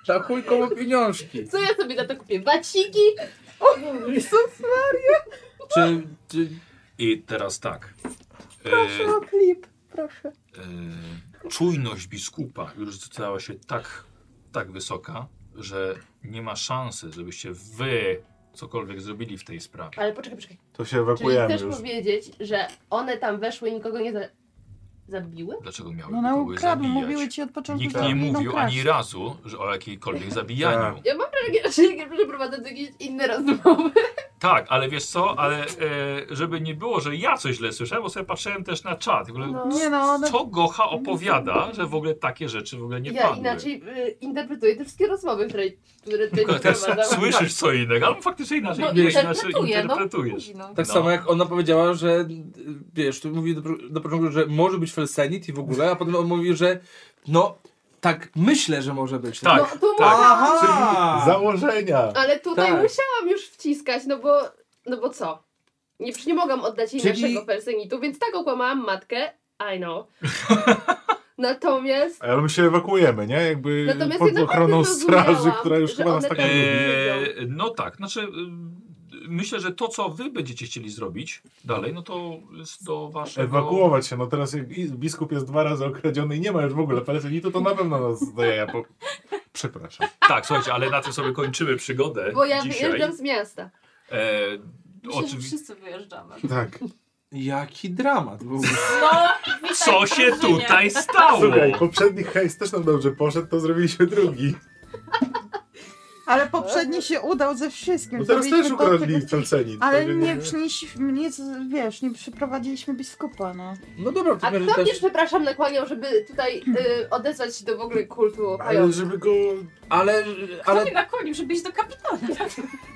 Speaker 6: za chuj koło pieniążki.
Speaker 1: Co ja sobie za to kupię? Waciki?
Speaker 6: Czy, czy
Speaker 2: I teraz tak. E,
Speaker 4: Proszę o No, klip. Proszę.
Speaker 2: e, czujność biskupa już stała się tak, tak wysoka, że nie ma szansy, żebyście wy cokolwiek zrobili w tej sprawie.
Speaker 1: Ale poczekaj, poczekaj.
Speaker 7: To się
Speaker 1: Czyli
Speaker 7: ewakuujemy
Speaker 1: chcesz
Speaker 7: już.
Speaker 1: powiedzieć, że one tam weszły i nikogo nie za... zabiły?
Speaker 2: Dlaczego miały
Speaker 4: No na
Speaker 2: kogoś
Speaker 4: ukradł,
Speaker 2: zabijać?
Speaker 4: mówiły ci od początku,
Speaker 2: Nikt
Speaker 4: że
Speaker 2: nie
Speaker 4: idą
Speaker 2: mówił
Speaker 4: kraść. Tak.
Speaker 2: ani razu że o jakiejkolwiek zabijaniu.
Speaker 1: Ja mam wrażenie, że przeprowadzę jakieś inne rozmowy.
Speaker 2: Tak, ale wiesz co, ale e, żeby nie było, że ja coś źle słyszałem, bo sobie patrzyłem też na czat. W ogóle,
Speaker 4: Nie no, one...
Speaker 2: Co Gocha opowiada, że w ogóle takie rzeczy w ogóle nie
Speaker 7: ja
Speaker 2: padły?
Speaker 7: inaczej y, interpretuję te wszystkie rozmowy, które, które tutaj
Speaker 2: Tylko też
Speaker 1: Tak.
Speaker 7: przeprowadzam.
Speaker 2: słyszysz co innego, albo faktycznie inaczej,
Speaker 5: No,
Speaker 2: wiesz,
Speaker 5: interpretuję,
Speaker 2: inaczej
Speaker 5: no,
Speaker 2: interpretujesz.
Speaker 5: mówi, no.
Speaker 6: Tak
Speaker 2: No.
Speaker 6: samo jak ona powiedziała, że y, wiesz, tu mówi do, do początku, że może być felsenit i w ogóle, a potem on mówi, że no tak myślę, że może być.
Speaker 2: Tak,
Speaker 7: no, tu
Speaker 2: tak.
Speaker 1: Aha!
Speaker 3: Założenia!
Speaker 7: Ale tutaj
Speaker 6: Tak.
Speaker 7: musiałam już wciskać, no bo, no bo co? Nie, przecież nie mogłam oddać jej
Speaker 1: Czyli-
Speaker 7: naszego persenitu, więc tak okłamałam matkę. I know. Natomiast,
Speaker 3: Ale my się ewakuujemy, nie? Jakby
Speaker 7: Natomiast
Speaker 3: pod
Speaker 7: jednak
Speaker 3: ochroną
Speaker 7: najpierw zrozumiałam,
Speaker 3: straży, która już
Speaker 7: że
Speaker 3: chyba nas
Speaker 7: one
Speaker 3: tak
Speaker 7: tak-
Speaker 3: nie lubi.
Speaker 2: E, no tak, znaczy y, myślę, że to co wy będziecie chcieli zrobić dalej, no to jest do waszego...
Speaker 3: Ewakuować się, no teraz jak i- biskup jest dwa razy okradziony i nie ma już w ogóle palesenitu, to na pewno nas daje ja po... Przepraszam.
Speaker 2: Tak, słuchajcie, ale na tym sobie kończymy przygodę
Speaker 7: bo ja
Speaker 2: dzisiaj.
Speaker 7: wyjeżdżam z miasta.
Speaker 2: E,
Speaker 5: Myślę, że
Speaker 2: oczywiście.
Speaker 5: wszyscy wyjeżdżamy.
Speaker 3: Tak.
Speaker 6: Jaki dramat w ogóle.
Speaker 5: No, witaj,
Speaker 2: Co się
Speaker 5: drużynie.
Speaker 2: tutaj stało?
Speaker 3: Słuchaj, poprzedni hejs też nam dobrze poszedł, to zrobiliśmy drugi. No
Speaker 4: Ale poprzedni się udał ze wszystkim.
Speaker 3: No teraz też
Speaker 4: Zrobiliśmy to,
Speaker 3: ukradli tak,
Speaker 4: tylko-
Speaker 3: felsenit.
Speaker 4: Ale
Speaker 3: także
Speaker 4: nie przynieśliśmy, nie, z- wiesz, nie przyprowadziliśmy biskupa, no.
Speaker 6: No dobra, w
Speaker 7: A
Speaker 6: takim
Speaker 7: kto
Speaker 6: razie
Speaker 7: mnie,
Speaker 6: też...
Speaker 7: przepraszam, nakłaniał, żeby tutaj y, odezwać się do w ogóle kultu
Speaker 3: Ale
Speaker 7: pająków?
Speaker 3: żeby go...
Speaker 6: Ale,
Speaker 5: Ale... Kto
Speaker 6: ale...
Speaker 5: mnie nakłonił, żeby iść do kapitana?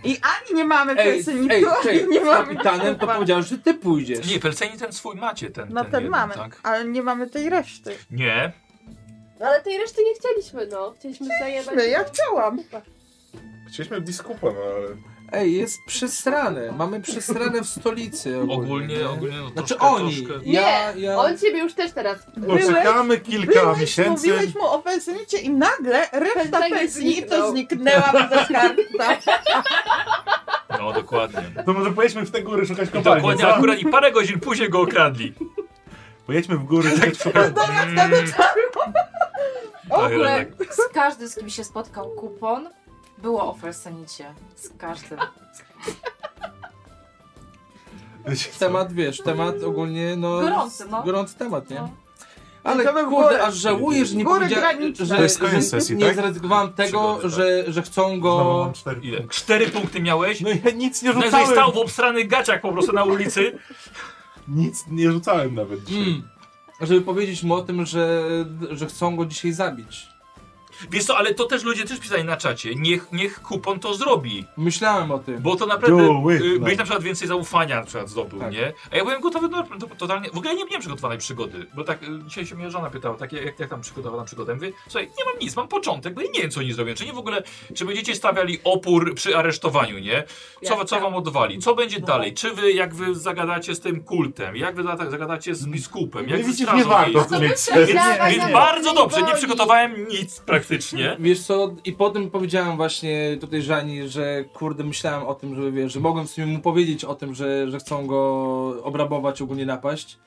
Speaker 4: I ani nie mamy
Speaker 6: Ej,
Speaker 4: persenitu,
Speaker 6: ej,
Speaker 4: ani nie
Speaker 6: czekaj, z
Speaker 4: mamy
Speaker 6: kapitanem to
Speaker 4: biskupa.
Speaker 6: powiedziałeś, że ty pójdziesz.
Speaker 2: Nie, Felceni ten swój macie, ten,
Speaker 4: No
Speaker 2: ten,
Speaker 4: ten
Speaker 2: jeden,
Speaker 4: mamy,
Speaker 2: Tak?
Speaker 4: ale nie mamy tej reszty.
Speaker 2: Nie,
Speaker 7: No, Ale tej reszty nie chcieliśmy, no. Chcieliśmy zajebać.
Speaker 4: Ja chciałam.
Speaker 3: Chcieliśmy biskupa, no ale...
Speaker 6: Ej, jest przesrane. Mamy przesrane w stolicy
Speaker 2: ogólnie, ogólnie no,
Speaker 6: Znaczy
Speaker 2: troszkę,
Speaker 6: oni.
Speaker 2: troszkę...
Speaker 6: Ja, ja...
Speaker 7: On ciebie już też
Speaker 4: No
Speaker 7: teraz.
Speaker 3: Poczekamy kilka miesięcy.
Speaker 4: Mówiłeś mu o pensjonicie i nagle reszta
Speaker 7: Pensjonit
Speaker 4: pensjonitu
Speaker 7: zniknął.
Speaker 4: zniknęła bez skarbu.
Speaker 2: No dokładnie.
Speaker 3: To może pojedźmy w te góry szukać
Speaker 2: I
Speaker 3: kopalni,
Speaker 2: dokładnie,
Speaker 3: co?
Speaker 2: akurat i parę godzin później go okradli.
Speaker 3: Pojedźmy w góry szukać kopalni.
Speaker 2: Mm,
Speaker 4: O,
Speaker 2: tak, tak.
Speaker 5: Z każdym, z kim się spotkał kupon, było o Felsenicie. Z każdym.
Speaker 6: Temat, wiesz, temat ogólnie, no...
Speaker 5: Gorący, no.
Speaker 6: Gorący temat, nie?
Speaker 5: No.
Speaker 6: Ale
Speaker 4: To by było-
Speaker 6: kurde, aż żałuję, że nie
Speaker 4: Góry
Speaker 6: powiedziałem,
Speaker 4: graniczne.
Speaker 6: że,
Speaker 3: To jest
Speaker 6: że
Speaker 3: koniec sesji,
Speaker 6: nie
Speaker 3: tak?
Speaker 6: zrezygnowałem tego,
Speaker 2: Przygody, tak.
Speaker 6: że, że chcą
Speaker 3: Znowu
Speaker 6: go...
Speaker 3: mam cztery
Speaker 2: Ile? Cztery punkty miałeś?
Speaker 3: No ja nic
Speaker 2: Najwyżej
Speaker 3: nie rzucałem.
Speaker 2: stał w obstranych gaciach po prostu na ulicy.
Speaker 3: Nic nie rzucałem nawet dzisiaj.
Speaker 6: Mm, żeby powiedzieć mu o tym, że, że chcą go dzisiaj zabić.
Speaker 2: Wiesz co, ale to też ludzie też pisali na czacie. Niech, niech kupon to zrobi.
Speaker 6: Myślałem o tym.
Speaker 2: Bo to naprawdę
Speaker 3: Do it,
Speaker 2: y,
Speaker 3: no.
Speaker 2: byś na przykład więcej zaufania na przykład zdobył,
Speaker 6: Tak.
Speaker 2: nie? A ja byłem gotowy do, do totalnie. W ogóle nie miałem przygotowanej przygody. Bo tak y, dzisiaj się mnie żona pytała, tak jak, jak tam przygotowała przygodę. Ja Mówię, słuchaj, nie mam nic, mam początek, bo ja nie wiem, co oni zrobią. Czy nie w ogóle, czy będziecie stawiali opór przy aresztowaniu, nie? Co, co wam odwali? Co będzie dalej? Czy wy, jak wy zagadacie z tym kultem? Jak wy za- zagadacie z biskupem? Jak
Speaker 3: Nie
Speaker 2: wy
Speaker 3: No widzisz,
Speaker 2: strażą
Speaker 3: nie warto
Speaker 2: miejską?
Speaker 3: tu mieć
Speaker 7: myślałeś?
Speaker 3: sesji.
Speaker 7: Dawaj,
Speaker 2: Więc
Speaker 7: nie.
Speaker 2: bardzo dobrze, nie
Speaker 7: Boli.
Speaker 2: przygotowałem nic praktycznie.
Speaker 6: Wiesz co, i potem powiedziałem właśnie tutaj Żani, że kurde myślałem o tym, że wiesz, że mogłem w sumie mu powiedzieć o tym, że, że chcą go obrabować, ogólnie napaść.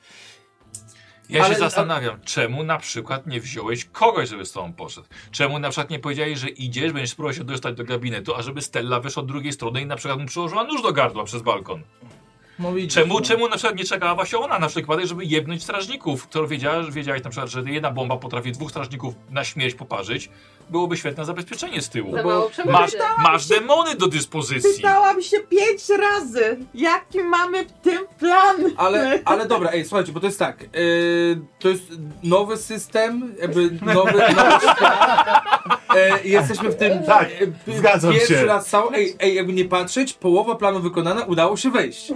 Speaker 2: Ja
Speaker 6: Ale-
Speaker 2: się zastanawiam, czemu na przykład nie wziąłeś kogoś, żeby z tobą poszedł? Czemu na przykład nie powiedziałeś, że idziesz, będziesz próbował się dostać do gabinetu, a żeby Stella wyszła od drugiej strony i na przykład mu przyłożyła nóż do gardła przez balkon?
Speaker 6: No widzisz,
Speaker 2: Czemu,
Speaker 6: no.
Speaker 2: czemu na przykład nie czekała właśnie ona na przykład, żeby jebnąć strażników, którą wiedziałaś, wiedziałeś na przykład, że jedna bomba potrafi dwóch strażników na śmierć poparzyć? Byłoby świetne zabezpieczenie z tyłu.
Speaker 7: Za
Speaker 6: bo
Speaker 7: mało
Speaker 2: Masz,
Speaker 7: przemocy.
Speaker 2: masz demony do dyspozycji.
Speaker 4: Pytałam się pięć razy, jaki mamy w tym plan.
Speaker 6: Ale, ale dobra, ej, słuchajcie, bo to jest tak, yy, to jest nowy system, jakby nowy, nowy świat. E, jesteśmy w tym
Speaker 3: Tak,
Speaker 6: e, p-
Speaker 3: zgadzam
Speaker 6: pierwszy
Speaker 3: się.
Speaker 6: raz cały, ej, ej, jakby nie patrzeć, połowa planu wykonana, udało się wejść.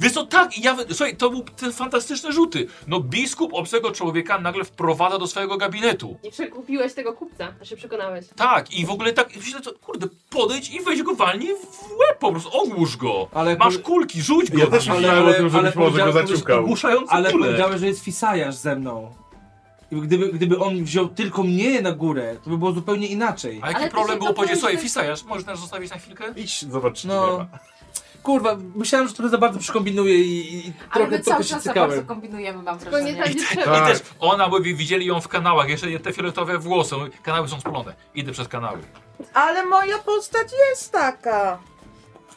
Speaker 2: Wiesz co, tak, ja, słuchaj, to były te fantastyczne rzuty. No biskup obcego człowieka nagle wprowadza do swojego gabinetu.
Speaker 7: I przekupiłeś tego kupca, że się przekonałeś.
Speaker 2: Tak, i w ogóle tak, myślę, to, kurde, podejdź i weź go walnij w łeb po prostu, ogłusz go.
Speaker 6: Ale
Speaker 2: Masz
Speaker 6: po-
Speaker 2: kulki, rzuć go.
Speaker 3: Ja też
Speaker 2: Ale-
Speaker 3: myślałem o
Speaker 6: ale-
Speaker 3: tym,
Speaker 6: ale
Speaker 3: żebyś może go
Speaker 6: powiedziałem, że-
Speaker 3: zaciukał.
Speaker 2: Ogłuszający
Speaker 6: Ale
Speaker 2: kule.
Speaker 6: powiedziałeś, że jest Fisajarz ze mną. I Gdyby, gdyby on wziął tylko mnie na górę, to by było zupełnie inaczej.
Speaker 2: A jaki
Speaker 7: Ale ty
Speaker 2: problem
Speaker 7: się
Speaker 2: było powiedzieć, słuchaj,
Speaker 7: cofnąłeś-
Speaker 2: Fisajasz, możesz nas zostawić na chwilkę?
Speaker 3: Idź, zobacz, czy nie
Speaker 6: No.
Speaker 3: ma.
Speaker 6: Kurwa, myślałem, że trochę za bardzo przykombinuję i, i- i
Speaker 5: Ale
Speaker 6: trochę,
Speaker 5: my cały
Speaker 6: trochę się
Speaker 5: czas za bardzo
Speaker 6: cykałem.
Speaker 5: kombinujemy, mam
Speaker 7: Tylko nie
Speaker 5: wrażenie.
Speaker 7: tak nie trzeba.
Speaker 2: I
Speaker 3: Tak.
Speaker 2: też ona, bo wi- widzieli ją w kanałach, jeszcze te fioletowe włosy, no, mówi, kanały są spolone, idę przez kanały.
Speaker 4: Ale moja postać jest taka.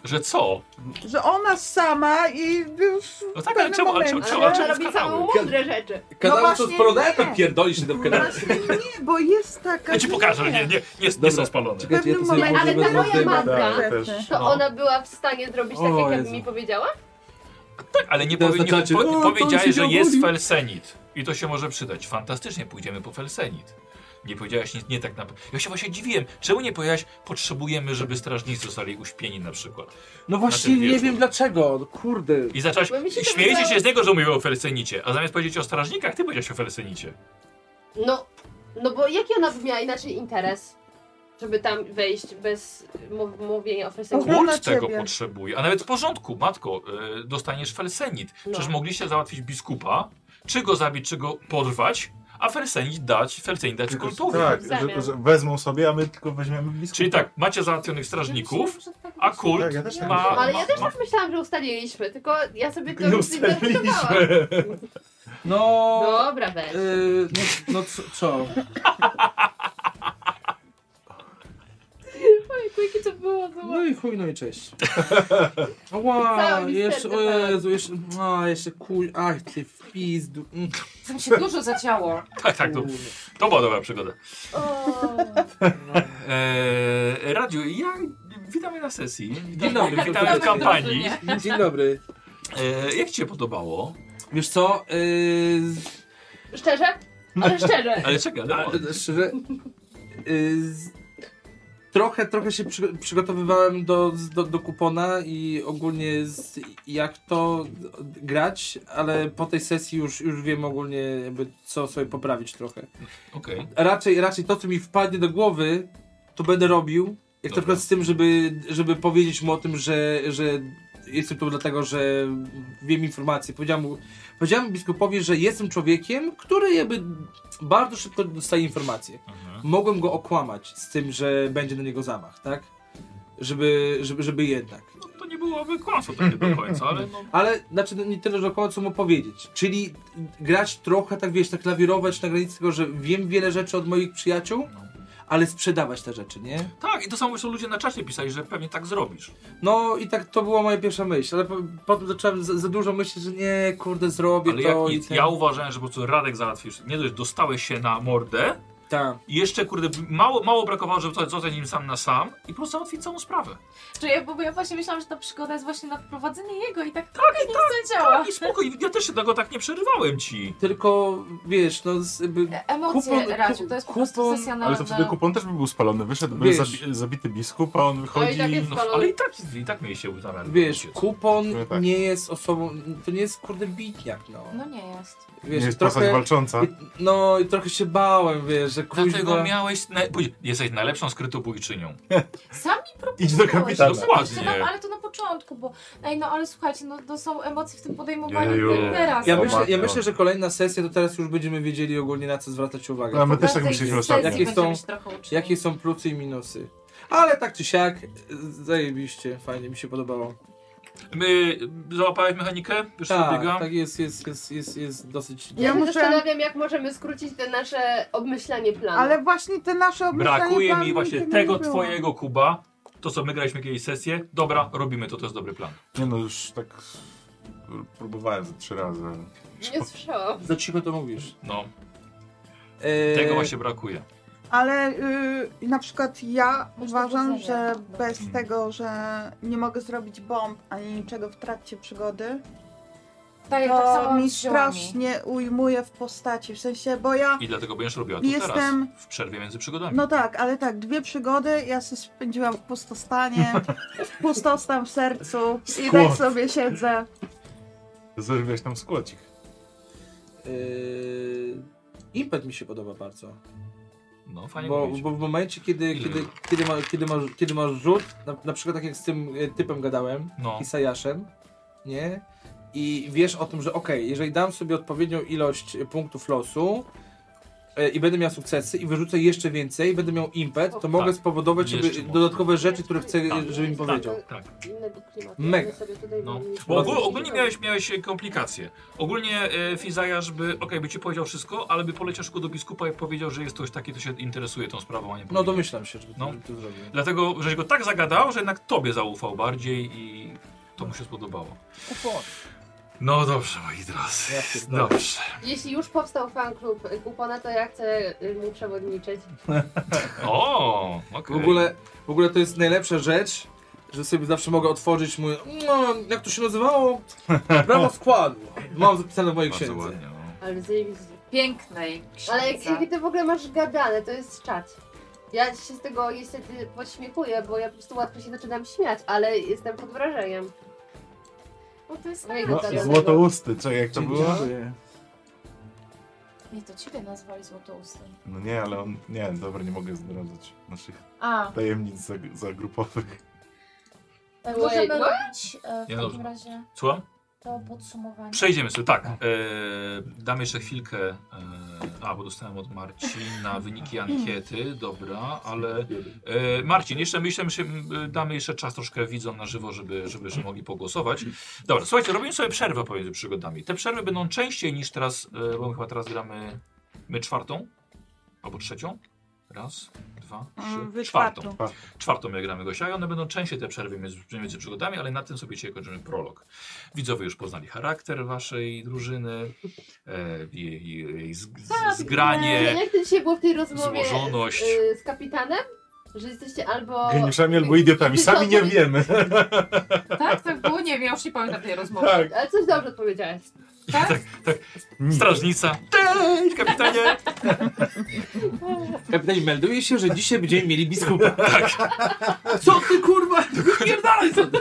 Speaker 2: Że co?
Speaker 4: Że ona sama i już
Speaker 2: No
Speaker 4: w
Speaker 2: tak, ale
Speaker 4: pewnym
Speaker 2: czemu, ale
Speaker 4: momencie...
Speaker 2: czemu, czemu,
Speaker 7: Ale
Speaker 2: ale
Speaker 7: ona
Speaker 2: czemu w
Speaker 7: robi całą
Speaker 2: kanały?
Speaker 7: mądre rzeczy.
Speaker 6: Kanały
Speaker 4: właśnie,
Speaker 6: co sprowadają,
Speaker 4: nie. No
Speaker 6: to pierdolisz się do kanały.
Speaker 4: Właśnie nie, bo jest taka...
Speaker 2: Ja ci pokażę, nie, nie, nie, nie są
Speaker 6: Dobra.
Speaker 2: spalone.
Speaker 4: W pewnym momencie...
Speaker 7: Ale ta moja matka,
Speaker 3: Tak, też.
Speaker 7: to
Speaker 2: No.
Speaker 7: ona była w stanie zrobić tak,
Speaker 6: O
Speaker 7: jak ja
Speaker 6: Jezu.
Speaker 7: mi powiedziała?
Speaker 2: Tak, ale nie,
Speaker 6: Teraz
Speaker 2: powie, nie
Speaker 6: na czacie,
Speaker 2: po,
Speaker 6: "O, to on się
Speaker 2: powiedziałeś, że jest
Speaker 6: obudził".
Speaker 2: felsenit. I to się może przydać. Fantastycznie pójdziemy po felsenit. Nie powiedziałaś nic nie tak na. Ja się właśnie dziwiłem. Czemu nie powiedziałaś, potrzebujemy, żeby strażnicy zostali uśpieni na przykład? Na
Speaker 6: No właśnie
Speaker 2: tym
Speaker 6: nie
Speaker 2: wieczór.
Speaker 6: wiem dlaczego, no kurde.
Speaker 2: I zaczęłaś.
Speaker 7: Bo mi się to
Speaker 2: Śmiejecie
Speaker 7: wydało-
Speaker 2: się z niego, że mówił o felsenicie. A zamiast powiedzieć o strażnikach, ty powiedziałeś o felsenicie.
Speaker 7: No, no bo jaki ona by miała inaczej interes, żeby tam wejść bez mów- mówienia o fesencie?
Speaker 4: Oho.
Speaker 2: Kult
Speaker 4: Ochrona
Speaker 2: tego
Speaker 4: ciebie.
Speaker 2: potrzebuje. A nawet w porządku, matko, y, dostaniesz felsenit.
Speaker 7: No.
Speaker 2: Przecież mogliście załatwić biskupa, czy go zabić, czy go porwać, a felsenit dać, felsenit dać
Speaker 3: Tylko-
Speaker 2: kultowi.
Speaker 3: Tak,
Speaker 7: W zamian.
Speaker 3: że, że wezmą sobie, a my tylko weźmiemy blisko.
Speaker 2: Czyli tak, macie załatwionych strażników, a kult
Speaker 3: Tak, ja też tak
Speaker 2: ma,
Speaker 3: myślałem.
Speaker 7: Ale
Speaker 2: ma,
Speaker 7: ja też
Speaker 2: ma...
Speaker 7: tak myślałam, że ustaliliśmy, tylko ja sobie to
Speaker 3: Nie
Speaker 7: już zinterpretowałam.
Speaker 3: ustaliliśmy.
Speaker 6: No...
Speaker 7: Dobra, weź.
Speaker 6: Yy, no, no co, co?
Speaker 7: Ojku, jakie to było złe.
Speaker 6: No i chuj, no i cześć. Ła,
Speaker 7: Cały
Speaker 6: jeszcze, o
Speaker 7: misterny
Speaker 6: Jezu, jeszcze, a, jeszcze kuj, aj ty w pizdu. Mm,
Speaker 5: Tam się dużo zadziało.
Speaker 2: Tak, tak, to,
Speaker 6: kurde.
Speaker 2: to była dobra przygoda.
Speaker 7: O.
Speaker 2: Eee, Radziu, ja witamy na sesji.
Speaker 6: Dzień dobry,
Speaker 2: Witamy w
Speaker 6: witamy.
Speaker 2: kampanii.
Speaker 6: Dzień dobry.
Speaker 2: Eee, jak ci się podobało?
Speaker 6: Wiesz co, yy,
Speaker 7: Szczerze? Ale szczerze.
Speaker 2: Ale czekaj, ale...
Speaker 6: szczerze, yy, z- trochę, trochę się przy, przygotowywałem do, z- do, do kupona i ogólnie z, jak to grać, ale po tej sesji już, już wiem ogólnie jakby co sobie poprawić trochę.
Speaker 2: Okej.
Speaker 6: raczej, raczej to, co mi wpadnie do głowy, to będę robił. Jak
Speaker 2: Dobra.
Speaker 6: na przykład z tym, żeby, żeby powiedzieć mu o tym, że, że jestem tu dlatego, że wiem informacje. Powiedziałem, mu, powiedziałem biskupowi, że jestem człowiekiem, który jakby bardzo szybko dostaje informacje.
Speaker 2: Mhm.
Speaker 6: Mogłem go okłamać z tym, że będzie na niego zamach, tak? Żeby, żeby, żeby jednak.
Speaker 2: No, to nie byłoby kłamstwo takie do końca, ale no...
Speaker 6: Ale znaczy nie tyle, że około co mu powiedzieć. Czyli grać trochę, tak wiesz, tak lawirować na granicy tego, że wiem wiele rzeczy od moich przyjaciół,
Speaker 2: No.
Speaker 6: ale sprzedawać te rzeczy, nie?
Speaker 2: Tak, i to samo jeszcze ludzie na czacie pisali, że pewnie tak zrobisz.
Speaker 6: No i tak to była moja pierwsza myśl, ale po, potem zacząłem za, za dużo myśleć, że nie, kurde, zrobię
Speaker 2: Ale jak
Speaker 6: to i
Speaker 2: nic,
Speaker 6: ten.
Speaker 2: ja uważałem, że po prostu Radek załatwisz. Nie dość, dostałeś się na mordę
Speaker 6: Tak.
Speaker 2: i jeszcze, kurde, mało, mało brakowało, żeby to- zostać nim sam na sam i po prostu załatwić całą sprawę.
Speaker 5: Czy ja, bo ja właśnie myślałam, że ta przygoda jest właśnie na wprowadzenie jego i tak tak, nic nie działa.
Speaker 2: I spokojnie, ja też się tego tak nie przerywałem ci.
Speaker 6: Tylko, wiesz, no... Z, jakby,
Speaker 5: Emocje,
Speaker 6: Kupon-
Speaker 5: Radziu, to jest po prostu
Speaker 6: kupon-
Speaker 5: sesja na...
Speaker 3: Ale to wtedy
Speaker 5: na-
Speaker 3: kupon też by był spalony. Wyszedłby
Speaker 6: Wiesz.
Speaker 3: zabi zabity biskup, a on
Speaker 7: No
Speaker 3: wychodzi...
Speaker 7: i tak jest
Speaker 2: No,
Speaker 7: kolor.
Speaker 2: ale i tak, i tak mieli się uznać.
Speaker 6: wiesz, kupon
Speaker 3: No tak.
Speaker 6: nie jest osobą, to nie jest, kurde, bitniak, no.
Speaker 5: No nie jest.
Speaker 6: Wiesz,
Speaker 3: nie jest postać
Speaker 6: trochę...
Speaker 3: walcząca.
Speaker 6: I, no i trochę się bałem, wiesz, że
Speaker 2: Dlatego
Speaker 6: kuźwa...
Speaker 2: miałeś. Na... pójdź- Jesteś najlepszą skrytobójczynią.
Speaker 5: Sam mi
Speaker 3: Idź do
Speaker 5: proponowałeś,
Speaker 3: kapitana.
Speaker 5: to
Speaker 2: Dokładnie.
Speaker 5: na- no, ale to na początku, bo... Ej, no ale słuchajcie, no to są emocje w tym podejmowaniu
Speaker 3: Jeju.
Speaker 5: teraz.
Speaker 6: Ja
Speaker 3: O
Speaker 6: myślę, ja
Speaker 3: matko.
Speaker 6: myślę, że kolejna sesja to teraz już bęemy wiedzieli ogólnie na co zwracać uwagę.
Speaker 3: A my też
Speaker 5: Bardzo
Speaker 3: tak myśleliśmy
Speaker 5: ich
Speaker 3: ostatnio.
Speaker 5: sesji
Speaker 6: Jakie są-
Speaker 5: będziemy się trochę uczyli.
Speaker 6: Jakie są plusy i minusy. Ale tak czy siak, zajebiście, fajnie, mi się podobało.
Speaker 2: My y, załapałeś mechanikę? Już tak,
Speaker 6: Tak,
Speaker 2: biega?
Speaker 6: tak jest, jest, jest, jest, jest dosyć...
Speaker 7: Ja
Speaker 4: Ja
Speaker 7: się
Speaker 4: muszę-
Speaker 7: zastanawiam, jak możemy skrócić te nasze obmyślanie planu.
Speaker 4: Ale właśnie te nasze obmyślanie
Speaker 2: Brakuje mi
Speaker 4: planu
Speaker 2: właśnie
Speaker 4: nigdy
Speaker 2: tego
Speaker 4: nie było.
Speaker 2: twojego Kuba. To co my graliśmy jakieś sesje. Dobra, robimy to, to jest dobry plan.
Speaker 3: Nie no, już tak próbowałem ze trzy razy. ale-
Speaker 7: Nie słyszałam.
Speaker 6: Za cicho to mówisz.
Speaker 2: No,
Speaker 6: E,
Speaker 2: tego właśnie brakuje.
Speaker 4: Ale y, na przykład ja
Speaker 5: Masz
Speaker 4: uważam,
Speaker 5: dowodzenia.
Speaker 4: że bez
Speaker 2: Mhm.
Speaker 4: tego, że nie mogę zrobić bomb ani niczego w trakcie przygody,
Speaker 5: Daję tak
Speaker 4: to
Speaker 5: samo
Speaker 4: mi
Speaker 5: mi strasznie.
Speaker 4: strasznie ujmuje w postaci. W sensie, bo ja.
Speaker 2: I dlatego będziesz robiła to
Speaker 4: Jestem-
Speaker 2: teraz. W przerwie między przygodami.
Speaker 4: No tak, ale tak, dwie przygody, ja się spędziłam w pustostanie, pustostan w sercu i
Speaker 3: Skład.
Speaker 4: tak sobie siedzę.
Speaker 3: Zrobiłeś tam skłocik.
Speaker 6: E, impet mi się podoba bardzo.
Speaker 2: No, fajnie
Speaker 6: Bo,
Speaker 2: mówić.
Speaker 6: bo w momencie, kiedy,
Speaker 2: Ile?
Speaker 6: kiedy, kiedy, ma, kiedy, masz, kiedy masz rzut, na, na przykład tak jak z tym e, typem gadałem,
Speaker 2: No,
Speaker 6: Isajaszem, nie? I wiesz o tym, że okej, jeżeli dam sobie odpowiednią ilość punktów e, losu, e, i będę miał sukcesy i wyrzucę jeszcze więcej, będę miał impet, to mogę spowodować żeby
Speaker 2: tak.
Speaker 6: e,
Speaker 2: Jeszcze mocno.
Speaker 6: dodatkowe rzeczy, które chcę, e,
Speaker 2: Tak.
Speaker 6: żeby mi powiedział.
Speaker 2: Tak.
Speaker 1: Innego klimatu.
Speaker 6: Mega.
Speaker 1: My sobie tutaj
Speaker 2: No.
Speaker 1: mamy-
Speaker 2: Bo ogól, ogólnie miałeś, miałeś e, komplikacje. Ogólnie e, Fizajasz by, okej, by ci powiedział wszystko, ale by poleciał szybko do biskupa i powiedział, że jest ktoś taki, kto się interesuje tą sprawą, a nie
Speaker 6: No
Speaker 2: powinien.
Speaker 6: domyślam się, żeby
Speaker 2: No.
Speaker 6: to, to zrobił.
Speaker 2: Dlatego, żeś go tak zagadał, że jednak tobie zaufał bardziej i to mu się spodobało. No dobrze, moi drodzy.
Speaker 6: Ja się
Speaker 2: Dobrze.
Speaker 1: Jeśli już powstał fan klub y, Kupona, to ja chcę y, mu przewodniczyć.
Speaker 2: O, okej.
Speaker 6: W ogóle, w ogóle to jest najlepsza rzecz, że sobie zawsze mogę otworzyć mój, no, jak to się nazywało? Prawo składu. Mam zapisane w mojej
Speaker 2: Bardzo
Speaker 6: księdze.
Speaker 2: ładnie. No.
Speaker 1: Ale zajebiście.
Speaker 5: Pięknej księdze.
Speaker 1: Ale jak, jak ty w ogóle masz gadane, to jest czad. Ja się z tego niestety podśmiechuję, bo ja po prostu łatwo się zaczynam śmiać, ale jestem pod wrażeniem.
Speaker 5: Bo to jest
Speaker 1: Mojego
Speaker 5: no,
Speaker 3: No,
Speaker 1: gadane.
Speaker 3: złotousty, co jak to było?
Speaker 5: Nie, to ciebie nazwali złotoustem.
Speaker 3: No nie, ale on... Nie, dobra, nie mogę zdradzać naszych
Speaker 5: A,
Speaker 3: tajemnic zag- zagrupowych.
Speaker 5: tak
Speaker 1: Wait,
Speaker 5: możemy
Speaker 1: what?
Speaker 5: robić e, w
Speaker 2: Nie,
Speaker 5: takim
Speaker 2: dobrze.
Speaker 5: razie
Speaker 2: Słucham?
Speaker 5: to podsumowanie.
Speaker 2: Przejdziemy sobie, tak. E, dam jeszcze chwilkę. E, a, bo dostałem od Marcina wyniki ankiety, dobra, ale. E, Marcin, jeszcze myślę, że m, damy jeszcze czas troszkę widzom na żywo, żeby, żeby, żeby mogli pogłosować. Dobra, słuchajcie, robimy sobie przerwę pomiędzy przygodami. Te przerwy będą częściej niż teraz, e, bo my chyba teraz gramy my czwartą albo trzecią. Raz, dwa,
Speaker 4: Mm,
Speaker 2: trzy,
Speaker 4: Wy
Speaker 2: czwartą.
Speaker 4: czwartą.
Speaker 2: Czwartą jak gramy gościa i one będą częściej te przerwy między, między przygodami, ale na tym sobie dzisiaj kończymy prolog. Widzowie już poznali charakter waszej drużyny, e, jej, jej z, z,
Speaker 1: Eee,
Speaker 2: zgranie,
Speaker 1: Jak to dzisiaj było w tej rozmowie
Speaker 2: złożoność.
Speaker 1: y, z kapitanem? Że jesteście albo...
Speaker 3: Geniuszami albo idiotami, sami nie wiemy.
Speaker 5: Tak, tak było, nie wiem, ja już nie pamiętam tej rozmowy.
Speaker 3: tak.
Speaker 1: Ale coś dobrze odpowiedziałeś.
Speaker 5: Tak?
Speaker 3: Y,
Speaker 2: Strażnica. Cześć, kapitanie!
Speaker 6: Kapitanie, melduje się, że dzisiaj będziemy mieli biskupa. Co ty kurwa? Pierdalaj co ty?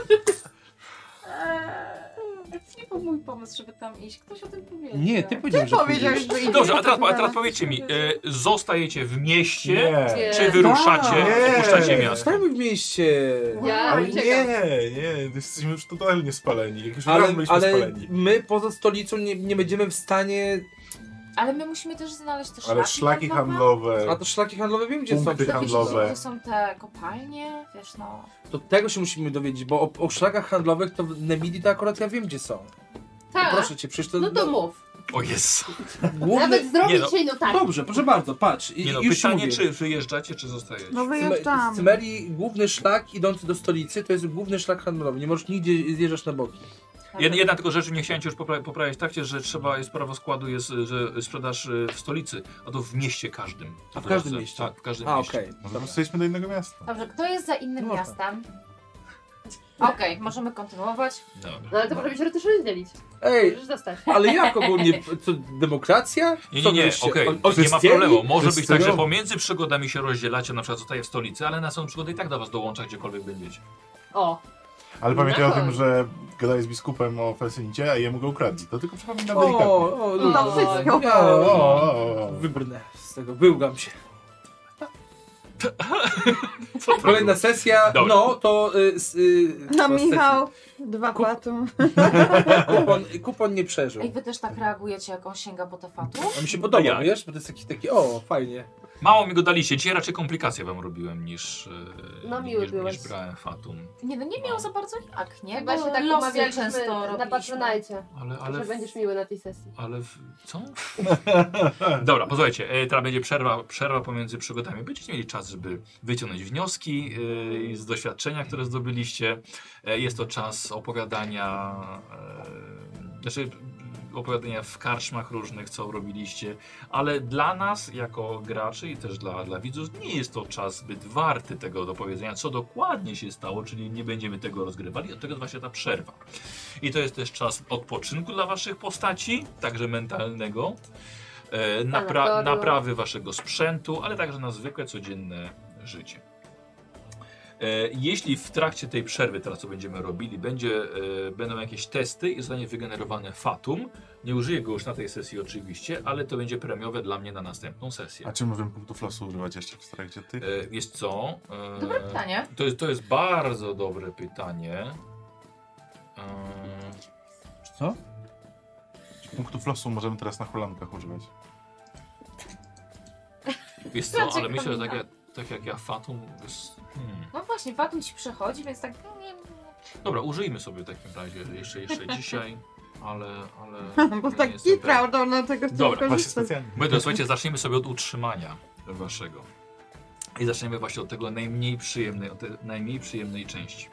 Speaker 5: Eee, to nie był mój pomysł, żeby tam iść. Ktoś o tym powiedział.
Speaker 6: Nie, ty powiedziałeś, że
Speaker 4: Powiedziałeś,
Speaker 6: pójdziesz.
Speaker 4: że idziemy
Speaker 2: Dobrze, a
Speaker 4: do
Speaker 2: teraz, a teraz
Speaker 4: Kapitana.
Speaker 2: powiedzcie mi, e, zostajecie w mieście,
Speaker 3: Nie,
Speaker 1: Nie.
Speaker 2: czy wyruszacie,
Speaker 3: Nie.
Speaker 2: opuszczacie miasto?
Speaker 6: Stajemy w mieście.
Speaker 1: Ja
Speaker 3: ale
Speaker 1: czekam.
Speaker 3: nie, nie, jesteśmy już totalnie spaleni. Jak już
Speaker 6: Ale,
Speaker 3: raz byliśmy
Speaker 6: ale
Speaker 3: spaleni.
Speaker 6: my poza stolicą nie, nie będziemy w stanie...
Speaker 5: Ale my musimy też znaleźć te szlaki
Speaker 3: Ale szlaki
Speaker 5: handlowe.
Speaker 6: A
Speaker 3: handlowe,
Speaker 6: to szlaki handlowe wiem gdzie są.
Speaker 3: punkty
Speaker 5: Wiesz,
Speaker 3: handlowe.
Speaker 5: Gdzie są te kopalnie, wiesz no.
Speaker 6: To tego się musimy dowiedzieć, bo o, o szlakach handlowych to w Nemidi to akurat ja wiem gdzie są.
Speaker 1: Tak,
Speaker 6: Proszę cię, przecież to...
Speaker 1: no to mów.
Speaker 2: O jest.
Speaker 6: główny-
Speaker 1: Nawet zrobić
Speaker 2: Nie no.
Speaker 1: dzisiaj tak. notatki.
Speaker 6: Dobrze, proszę bardzo, patrz. I,
Speaker 2: Nie no,
Speaker 6: już
Speaker 2: pytanie,
Speaker 6: mówię.
Speaker 2: czy wyjeżdżacie, czy zostajecie?
Speaker 4: No
Speaker 6: Z
Speaker 4: wyjeżdżamy.
Speaker 6: Cymerii główny szlak idący do stolicy to jest główny szlak handlowy. Nie możesz nigdzie zjeżdżać na boki.
Speaker 2: Jed, jedna tylko rzecz, nie chciałem cię już popra- poprawiać w trakcie, że trzeba, jest prawo składu, jest, e, że sprzedaż e, w stolicy, a to w mieście każdym.
Speaker 6: A w
Speaker 2: Po
Speaker 6: każdym
Speaker 2: drodze.
Speaker 6: mieście?
Speaker 2: Tak, w każdym
Speaker 6: A,
Speaker 2: mieście.
Speaker 6: okej.
Speaker 3: Może po
Speaker 6: dobra.
Speaker 3: prostu jedźmy do innego miasta.
Speaker 5: Dobrze, kto jest za innym
Speaker 6: No tak.
Speaker 5: miastem? Okej, możemy kontynuować.
Speaker 2: Dobra.
Speaker 1: No ale to może być rotycznie dzielić.
Speaker 6: Ej,
Speaker 1: Możesz zostać.
Speaker 6: ale jak ogólnie? Co, demokracja?
Speaker 2: Nie, nie,
Speaker 6: Co
Speaker 2: nie,
Speaker 6: wyście-
Speaker 2: okej,
Speaker 6: on- on
Speaker 2: nie ma
Speaker 6: chrystiani?
Speaker 2: problemu. Może być tak, że
Speaker 3: Chrystiani?
Speaker 2: pomiędzy przygodami się rozdzielacie, na przykład zostaje w stolicy, ale na samą przygodę i tak do was dołącza, gdziekolwiek będziecie.
Speaker 1: O,
Speaker 3: Ale pamiętaj o
Speaker 1: Dawaj.
Speaker 3: tym, że gadałeś z biskupem o Felsenicie, a jemu go ukradli. To tylko przypominam
Speaker 6: O,
Speaker 3: delikatnie. O,
Speaker 6: o,
Speaker 1: No
Speaker 6: no,
Speaker 1: wszystko.
Speaker 6: ja-
Speaker 3: o, o, o.
Speaker 6: Wybrnę z tego, wyłgam się. No
Speaker 2: Co to
Speaker 6: Kolejna sesja,
Speaker 2: Dobra.
Speaker 6: no to... Y, s- y,
Speaker 4: No
Speaker 6: to
Speaker 4: Michał, dwa płatu.
Speaker 6: sesja. Kupon, kupon nie przeżył.
Speaker 5: Ej, wy też tak reagujecie, jak on sięga po te fatu?
Speaker 6: A mi się podoba,
Speaker 2: Ja.
Speaker 6: wiesz, bo to jest taki, taki o, fajnie.
Speaker 2: Mało mi go daliście, dzisiaj raczej komplikacje wam robiłem niż, e,
Speaker 1: No, miły
Speaker 2: niż,
Speaker 1: byłeś.
Speaker 2: niż brałem Fatum.
Speaker 5: Nie no, nie miał za bardzo jak, nie?
Speaker 1: chyba
Speaker 5: Bo
Speaker 1: się tak
Speaker 5: No, losy
Speaker 1: umawialiśmy
Speaker 5: często
Speaker 1: na
Speaker 5: robiliśmy.
Speaker 1: patronajcie,
Speaker 2: Ale, ale,
Speaker 1: że będziesz miły na tej sesji.
Speaker 2: ale w, co? Dobra, posłuchajcie, e, teraz będzie przerwa, przerwa pomiędzy przygodami. Będziecie mieli czas, żeby wyciągnąć wnioski e, z doświadczenia, które zdobyliście. E, Jest to czas opowiadania, e, znaczy opowiadania w karczmach różnych, co robiliście, ale dla nas, jako graczy i też dla, dla widzów, nie jest to czas zbyt warty tego do powiedzenia, co dokładnie się stało, czyli nie będziemy tego rozgrywali, od tego jest właśnie ta przerwa. I to jest też czas odpoczynku dla waszych postaci, także mentalnego, e, napra
Speaker 1: Sanatorium.
Speaker 2: naprawy waszego sprzętu, ale także na zwykłe, codzienne życie. E, Jeśli w trakcie tej przerwy, teraz co będziemy robili, będzie, e, będą jakieś testy i zostanie wygenerowane fatum, nie użyję go już na tej sesji oczywiście, ale to będzie premiowe dla mnie na następną sesję.
Speaker 3: A czy możemy punktów losu używać jeszcze w trakcie tych?
Speaker 2: E, Jest co? e,
Speaker 5: Dobre pytanie.
Speaker 2: To jest, to jest bardzo dobre pytanie. E,
Speaker 6: Co?
Speaker 3: Czy punktów losu możemy teraz na hulankach używać?
Speaker 2: Wiesz co,
Speaker 5: Straci
Speaker 2: ale myślę, że tak
Speaker 5: kombinat.
Speaker 2: jak, tak jak ja Fatum... Jest... Hmm.
Speaker 5: No właśnie, Fatum ci przechodzi, więc tak... no Nie,
Speaker 2: Dobra, użyjmy sobie w takim razie jeszcze, jeszcze dzisiaj, ale... ale
Speaker 4: Bo
Speaker 2: nie
Speaker 4: tak
Speaker 2: jestem pewien.
Speaker 4: kitra, no tego chcę
Speaker 2: Dobra,
Speaker 3: Właśnie
Speaker 4: korzystać.
Speaker 3: specjalnie.
Speaker 2: My to, słuchajcie, zaczniemy sobie od utrzymania waszego. I zaczniemy właśnie od tego najmniej przyjemnej, od tej najmniej przyjemnej części.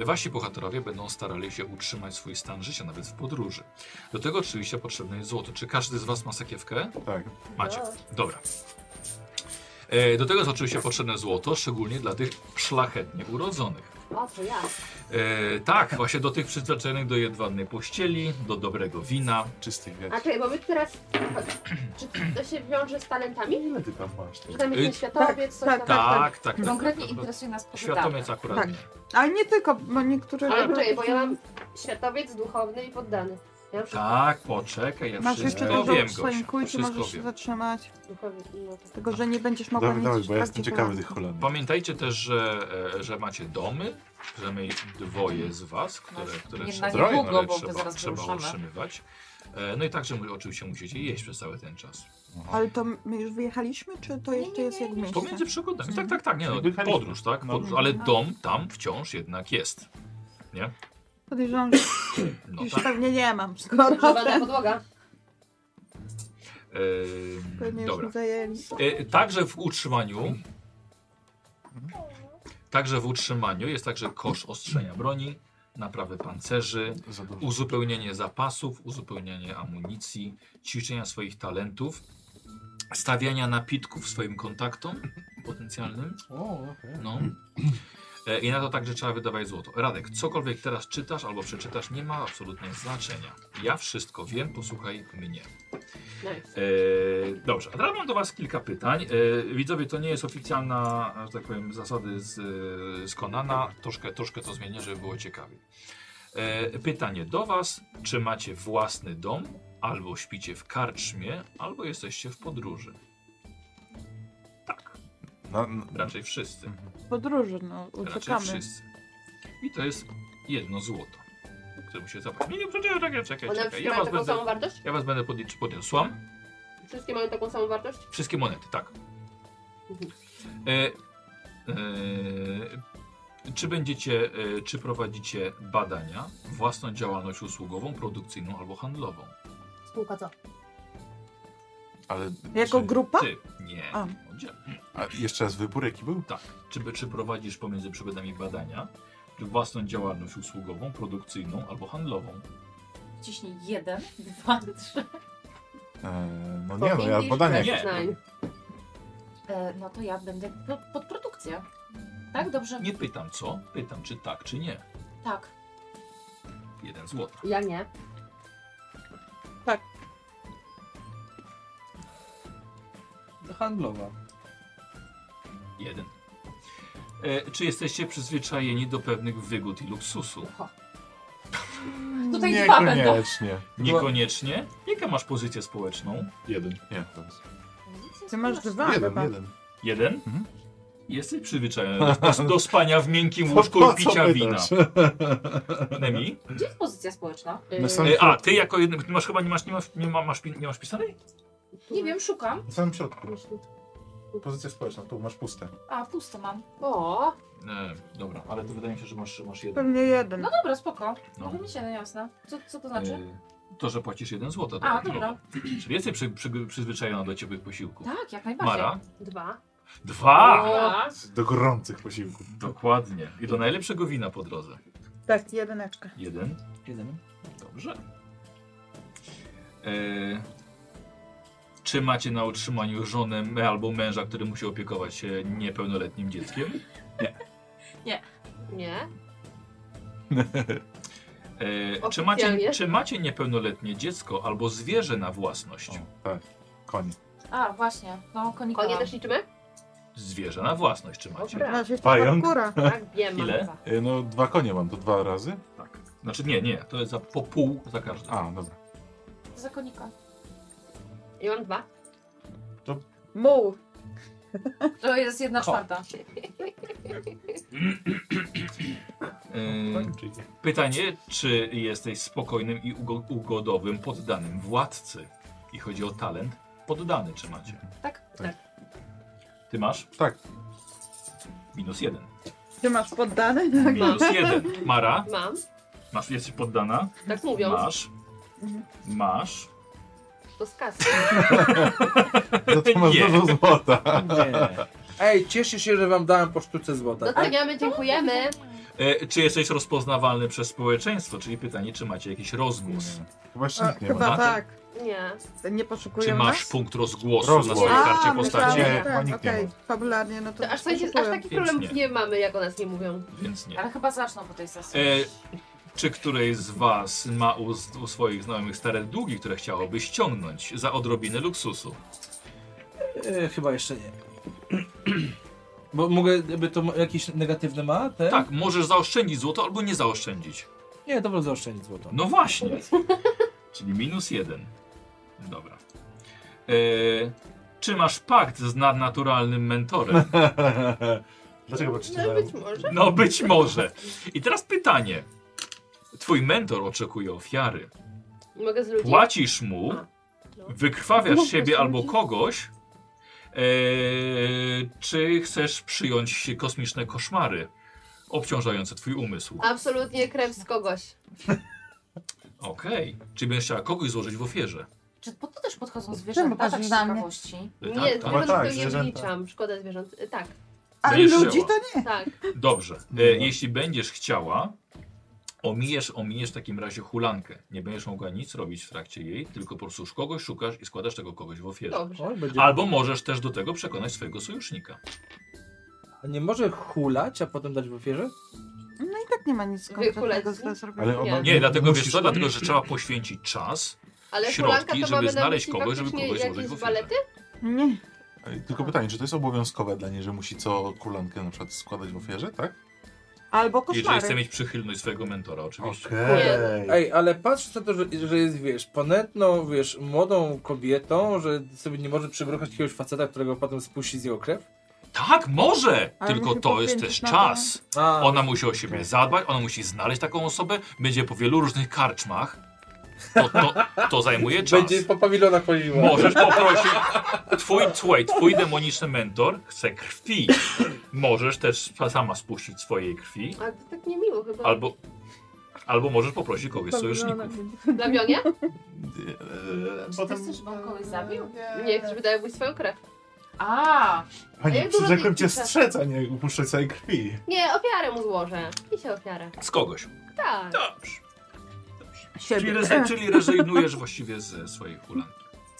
Speaker 2: E, wasi bohaterowie będą starali się utrzymać swój stan życia, nawet w podróży. Do tego oczywiście potrzebne jest złoto. Czy każdy z was ma sakiewkę?
Speaker 3: Tak.
Speaker 2: Macie. Dobra. E, do tego jest oczywiście potrzebne złoto, szczególnie dla tych szlachetnie urodzonych.
Speaker 1: O, to ja.
Speaker 2: E, tak, właśnie do tych przyzwyczajonych do jedwabnej pościeli, do dobrego wina.
Speaker 3: Czystych
Speaker 1: A
Speaker 3: wiatr.
Speaker 1: czekaj, bo my teraz... Czy to się wiąże z talentami?
Speaker 7: Ile ty tam masz?
Speaker 1: Że tam jest
Speaker 2: Y,
Speaker 1: ten światowiec, coś
Speaker 4: tak,
Speaker 1: tam...
Speaker 2: Tak, tak, tak.
Speaker 5: konkretnie
Speaker 2: tak, tak.
Speaker 5: interesuje nas poddatek.
Speaker 2: Światowiec akurat
Speaker 4: Tak.
Speaker 2: nie.
Speaker 4: Ale nie tylko, bo niektóre...
Speaker 1: Ale
Speaker 4: robią-
Speaker 1: poczekaj, bo ja mam światowiec, duchowny i poddany. Ja mam wszystko
Speaker 2: Tak, poczekaj, ja
Speaker 4: Masz jeszcze
Speaker 2: wszystko
Speaker 4: dużo
Speaker 2: wiem,
Speaker 4: w swoim
Speaker 2: Gosia,
Speaker 4: kulcie, możesz
Speaker 2: wszystko
Speaker 4: się
Speaker 2: wiem.
Speaker 4: zatrzymać.
Speaker 1: duchowny. No, tak.
Speaker 4: Tylko, że nie będziesz mogła
Speaker 3: Dawaj,
Speaker 4: mieć
Speaker 3: dawaj,
Speaker 4: już
Speaker 3: bo ja jestem
Speaker 4: praktyku
Speaker 3: ciekawy
Speaker 4: na-
Speaker 3: tych Holandii.
Speaker 2: Pamiętajcie też, że, e, że macie domy, że my dwoje z was, które, które
Speaker 5: No, nie
Speaker 2: trzeba,
Speaker 5: na niedługo,
Speaker 2: które
Speaker 5: bo
Speaker 2: trzeba,
Speaker 5: zaraz
Speaker 2: trzeba
Speaker 5: wyruszamy.
Speaker 2: utrzymywać. E, No i także mu- oczywiście musicie jeść przez cały ten czas.
Speaker 4: Ale to my już wyjechaliśmy, czy to jeszcze jest jak w mieście?
Speaker 2: Pomiędzy przygodami. Tak, tak, tak. Nie, no,
Speaker 7: Wyjechaliśmy.
Speaker 2: podróż, tak? Podróż, ale dom tam wciąż jednak jest.
Speaker 4: Podejrzewam, że
Speaker 2: No
Speaker 4: już
Speaker 2: tak.
Speaker 4: pewnie nie mam, skoro
Speaker 1: Grzebana podłoga.
Speaker 2: E,
Speaker 4: pewnie już
Speaker 2: dobra.
Speaker 4: mi zajęli.
Speaker 2: E, Także w utrzymaniu.
Speaker 4: Mhm.
Speaker 2: Także w utrzymaniu jest także kosz ostrzenia broni, naprawy pancerzy,
Speaker 3: Za dużo.
Speaker 2: uzupełnienie zapasów, uzupełnienie amunicji, ćwiczenia swoich talentów, stawiania napitków swoim kontaktom potencjalnym. No. E, I na to także trzeba wydawać złoto. Radek, cokolwiek teraz czytasz albo przeczytasz, nie ma absolutnie znaczenia. Ja wszystko wiem, posłuchaj mnie.
Speaker 1: Nice.
Speaker 2: E, dobrze, a teraz mam do Was kilka pytań. E, widzowie, to nie jest oficjalna, że tak powiem, zasady z, e, z Konana. Troszkę, troszkę to zmienię, żeby było ciekawiej. E, pytanie do Was, czy macie własny dom, albo śpicie w karczmie, albo jesteście w podróży? Tak,
Speaker 3: Na, na,
Speaker 2: raczej wszyscy.
Speaker 4: W podróży, no,
Speaker 2: Raczej
Speaker 4: uciekamy.
Speaker 2: wszyscy. I to jest jedno złoto, któremu się zapłaci. Nie, nie, czekaj, czekaj, czekaj.
Speaker 1: One
Speaker 2: czekaj.
Speaker 1: wszystkie
Speaker 2: Ja
Speaker 1: mają
Speaker 2: was,
Speaker 1: taką
Speaker 2: będę,
Speaker 1: samą wartość?
Speaker 2: ja was będę podliczył. Podniosłam.
Speaker 1: Wszystkie mają taką samą wartość?
Speaker 2: Wszystkie monety, tak.
Speaker 1: Mhm.
Speaker 2: E, e, czy będziecie, e, czy prowadzicie badania, własną działalność usługową, produkcyjną albo handlową?
Speaker 1: Spółka co?
Speaker 3: ale
Speaker 4: Jako
Speaker 3: czy-
Speaker 4: grupa?
Speaker 2: Ty, nie.
Speaker 4: A.
Speaker 2: Oddzielnie.
Speaker 3: A jeszcze raz wybór jaki był?
Speaker 2: Czy, czy prowadzisz pomiędzy przygodami badania, czy własną działalność usługową, produkcyjną albo handlową?
Speaker 5: Ciśnij jeden, dwa, trzy.
Speaker 3: E, no nie, no ja
Speaker 1: English
Speaker 3: badania.
Speaker 2: Nie.
Speaker 1: Press Nine.
Speaker 5: E, no to ja będę po- pod produkcję. Tak? Dobrze?
Speaker 2: Nie pytam co, pytam czy tak, czy nie.
Speaker 5: Tak.
Speaker 2: Jeden złota.
Speaker 1: Ja nie.
Speaker 10: Handlowa.
Speaker 2: Jeden. E, czy jesteście przyzwyczajeni do pewnych wygód i luksusu?
Speaker 5: Tutaj dwa będą.
Speaker 3: Niekoniecznie.
Speaker 2: Niekoniecznie. Jaka masz pozycję społeczną?
Speaker 3: Jeden. Nie, teraz.
Speaker 4: Ty masz dwa
Speaker 3: jeden,
Speaker 4: chyba.
Speaker 3: jeden.
Speaker 2: Jeden?
Speaker 3: Mhm.
Speaker 2: Jesteś przyzwyczajony do, do spania w miękkim łóżku
Speaker 3: Po
Speaker 2: i
Speaker 3: No, co
Speaker 2: picia wina.
Speaker 3: pytasz?
Speaker 2: Nemi?
Speaker 5: Gdzie jest pozycja społeczna?
Speaker 3: Na
Speaker 1: Y,
Speaker 3: samym
Speaker 2: E, A, ty jako jeden, ty masz chyba, nie masz, nie masz, nie ma- masz, pi- nie masz pisanej?
Speaker 5: Nie wiem, szukam.
Speaker 7: Na samym środku. Pozycja społeczna, tu masz puste.
Speaker 5: A, pusto mam.
Speaker 1: O,
Speaker 2: E, dobra, ale to wydaje mi się, że masz, masz jeden.
Speaker 4: Pewnie jeden.
Speaker 5: No dobra, spoko.
Speaker 2: No.
Speaker 5: Może mieć jeden, jasne. Co, co to znaczy?
Speaker 2: E, To, że płacisz jeden złota.
Speaker 5: A,
Speaker 2: tak,
Speaker 5: dobra.
Speaker 2: Czyli jesteś przy, przy, przyzwyczajona do ciepłych posiłków.
Speaker 5: Tak, jak najbardziej.
Speaker 2: no. Mara?
Speaker 1: dwa.
Speaker 2: Dwa!
Speaker 1: Dwa.
Speaker 7: Do gorących posiłków.
Speaker 2: Dokładnie. I do najlepszego wina po drodze.
Speaker 4: Tak, jedyneczka.
Speaker 2: Jeden.
Speaker 10: Jeden.
Speaker 2: Dobrze. E, czy macie na utrzymaniu żonę m- albo męża, który musi opiekować się niepełnoletnim dzieckiem?
Speaker 1: Nie.
Speaker 2: E, czy,
Speaker 1: Oficjalnie.
Speaker 2: macie, czy macie niepełnoletnie dziecko albo zwierzę na własność?
Speaker 3: O, tak, koniec.
Speaker 5: A, właśnie. No, konika
Speaker 1: Konie
Speaker 5: mam.
Speaker 1: też liczymy?
Speaker 2: Zwierzę na własność czy macie?
Speaker 1: Dobra.
Speaker 4: Znaczy, jeszcze
Speaker 7: Pająk.
Speaker 4: parkura.
Speaker 1: Tak, wiem. mam
Speaker 2: Ile?
Speaker 1: dwa.
Speaker 3: E, no dwa konie mam, to dwa razy?
Speaker 2: Tak. Znaczy nie, nie, to jest za po pół za każdy.
Speaker 3: A, dobra.
Speaker 5: Za konika.
Speaker 1: Ja mam dwa.
Speaker 4: Muł.
Speaker 5: To jest jedna
Speaker 2: Ko.
Speaker 5: czwarta.
Speaker 2: E,
Speaker 3: Kończycie.
Speaker 2: pytanie, czy jesteś spokojnym i ugo- ugodowym poddanym władcy? I chodzi o talent poddany, czy macie?
Speaker 5: Tak?
Speaker 3: Tak.
Speaker 2: Ty masz?
Speaker 3: Tak.
Speaker 2: Minus jeden.
Speaker 4: Ty masz poddane?
Speaker 2: Minus jeden. Mara,
Speaker 1: Mam,
Speaker 2: masz, jesteś poddana.
Speaker 1: tak mówią,
Speaker 2: Tak. Masz.
Speaker 4: Mhm.
Speaker 2: Masz.
Speaker 1: to z kasy.
Speaker 3: No to masz
Speaker 2: Nie.
Speaker 3: dużo złota.
Speaker 10: Ej, cieszę się, że wam dałem po sztuce
Speaker 7: No
Speaker 10: złota.
Speaker 6: tak?
Speaker 1: Doceniamy, dziękujemy.
Speaker 2: E, czy jesteś rozpoznawalny przez społeczeństwo? Czyli pytanie, czy macie jakiś rozgłos?
Speaker 3: Właśnie
Speaker 4: A,
Speaker 3: nikt nie
Speaker 4: chyba
Speaker 3: ma.
Speaker 2: na
Speaker 4: tak.
Speaker 1: Nie.
Speaker 4: Nie
Speaker 2: Czy
Speaker 4: poszukują
Speaker 2: masz
Speaker 4: nas?
Speaker 2: punkt rozgłosu na
Speaker 3: Rozgłos.
Speaker 2: swojej
Speaker 3: A,
Speaker 2: karcie
Speaker 4: myślałam,
Speaker 2: postaci?
Speaker 4: że
Speaker 3: Nie,
Speaker 4: tak,
Speaker 3: nikt nie
Speaker 4: okej,
Speaker 3: ma.
Speaker 4: fabularnie, no to,
Speaker 1: To aż, takie, aż
Speaker 4: poszukują.
Speaker 3: tak
Speaker 1: takich
Speaker 2: Więc
Speaker 1: problemów
Speaker 2: nie.
Speaker 1: nie mamy, jak o nas nie mówią.
Speaker 2: Więc nie.
Speaker 5: Ale chyba zaczną po tej sesji.
Speaker 2: E, czy któreś z was ma u, u swoich znajomych stare długi, które chciałoby ściągnąć za odrobinę luksusu?
Speaker 10: E, chyba jeszcze nie. Bo mogę, by to ma- jakieś negatywne ma? Te?
Speaker 2: Tak, możesz zaoszczędzić złoto albo nie zaoszczędzić.
Speaker 10: Nie, to wolę zaoszczędzić złoto.
Speaker 2: No właśnie. Czyli minus jeden. Dobra. E, czy masz pakt z nadnaturalnym mentorem?
Speaker 7: Dlaczego patrzycie
Speaker 1: No
Speaker 7: na
Speaker 1: być może.
Speaker 2: No być może. I teraz pytanie. Twój mentor oczekuje ofiary.
Speaker 1: Mogę z ludzi.
Speaker 2: Płacisz mu, wykrwawiasz siebie albo kogoś. e, czy chcesz przyjąć kosmiczne koszmary obciążające twój umysł?
Speaker 1: Absolutnie krew z kogoś.
Speaker 2: Okej. Czy będziesz chciała kogoś złożyć w ofierze?
Speaker 5: Czy po to też podchodzą zwierzęta
Speaker 4: patrzysz
Speaker 5: tak z
Speaker 4: na mnie?
Speaker 5: ciekawości?
Speaker 2: E,
Speaker 1: Nie,
Speaker 2: tak,
Speaker 1: tego
Speaker 2: tak.
Speaker 1: na
Speaker 7: tak,
Speaker 1: pewno nie
Speaker 7: zwierzęta.
Speaker 1: wliczam. Szkoda zwierząt. Y, Tak,
Speaker 4: Ale
Speaker 2: Będziesz
Speaker 4: ludzi
Speaker 2: żyła.
Speaker 4: to nie.
Speaker 1: tak.
Speaker 2: Dobrze. E, jeśli będziesz chciała, omijesz, omijesz w takim razie hulankę. Nie będziesz mogła nic robić w trakcie jej, tylko po prostu kogoś szukasz i składasz tego kogoś w ofierze.
Speaker 1: Dobrze.
Speaker 10: Oj, będzie...
Speaker 2: Albo możesz też do tego przekonać swojego sojusznika.
Speaker 10: A Nie może hulać, a potem dać w ofierze?
Speaker 4: No i tak nie ma nic
Speaker 1: Wykulec.
Speaker 4: konkretnego z zrobienia.
Speaker 3: Ale ona
Speaker 2: Nie, dlatego wiesz
Speaker 3: musisz-
Speaker 2: co, dlatego że trzeba poświęcić czas.
Speaker 1: Ale
Speaker 2: Środki,
Speaker 1: hulanka to
Speaker 2: żeby
Speaker 1: mamy na
Speaker 2: znaleźć
Speaker 1: myśli
Speaker 2: kogoś, żeby
Speaker 1: faktycznie
Speaker 2: kogoś złożyć w
Speaker 1: jakieś
Speaker 2: ofierze.
Speaker 1: balety?
Speaker 4: Nie.
Speaker 3: Tylko pytanie, czy to jest obowiązkowe dla niej, że musi co kulankę na przykład składać w ofierze, tak?
Speaker 4: Albo
Speaker 2: Jeżeli
Speaker 4: koszmary.
Speaker 2: chce mieć przychylność swojego mentora, oczywiście.
Speaker 10: Ej, ale patrz na to, że, że jest, wiesz, ponętną, wiesz, młodą kobietą, że sobie nie może przybruchać jakiegoś faceta, którego potem spuści z jego krew?
Speaker 2: Tak, może!
Speaker 4: Ale
Speaker 2: tylko
Speaker 4: musi
Speaker 2: to jest
Speaker 4: poświęcić
Speaker 2: też
Speaker 4: na to-
Speaker 2: czas.
Speaker 10: A,
Speaker 6: Tak.
Speaker 2: Ona musi o siebie zadbać, ona musi znaleźć taką osobę, będzie po wielu różnych karczmach. To, to, to zajmuje czas.
Speaker 10: będzie po pawilonach chodziła.
Speaker 2: Możesz poprosić. Twój, słuchaj, twój demoniczny mentor chce krwi. Możesz też sama spuścić swojej krwi,
Speaker 1: A to tak niemiło chyba.
Speaker 2: albo, albo możesz poprosić kogoś z sojuszników.
Speaker 1: Dla Mionia?
Speaker 7: Eee,
Speaker 5: Czy ty chcesz, żeby on kogoś zabił?
Speaker 1: Nie, chcesz wydać jakbyś swoją krew.
Speaker 5: A,
Speaker 7: Panie,
Speaker 1: jak dużo
Speaker 7: przyrzekłem cię
Speaker 1: pić picia?
Speaker 7: strzec, a nie upuszczać całej krwi.
Speaker 1: Nie, ofiarę mu złożę. I się ofiarę.
Speaker 2: Z kogoś.
Speaker 1: Tak.
Speaker 2: Dobrze. Czyli,
Speaker 4: Siebie.
Speaker 2: rezy- czyli rezygnujesz właściwie ze swojej hulanki.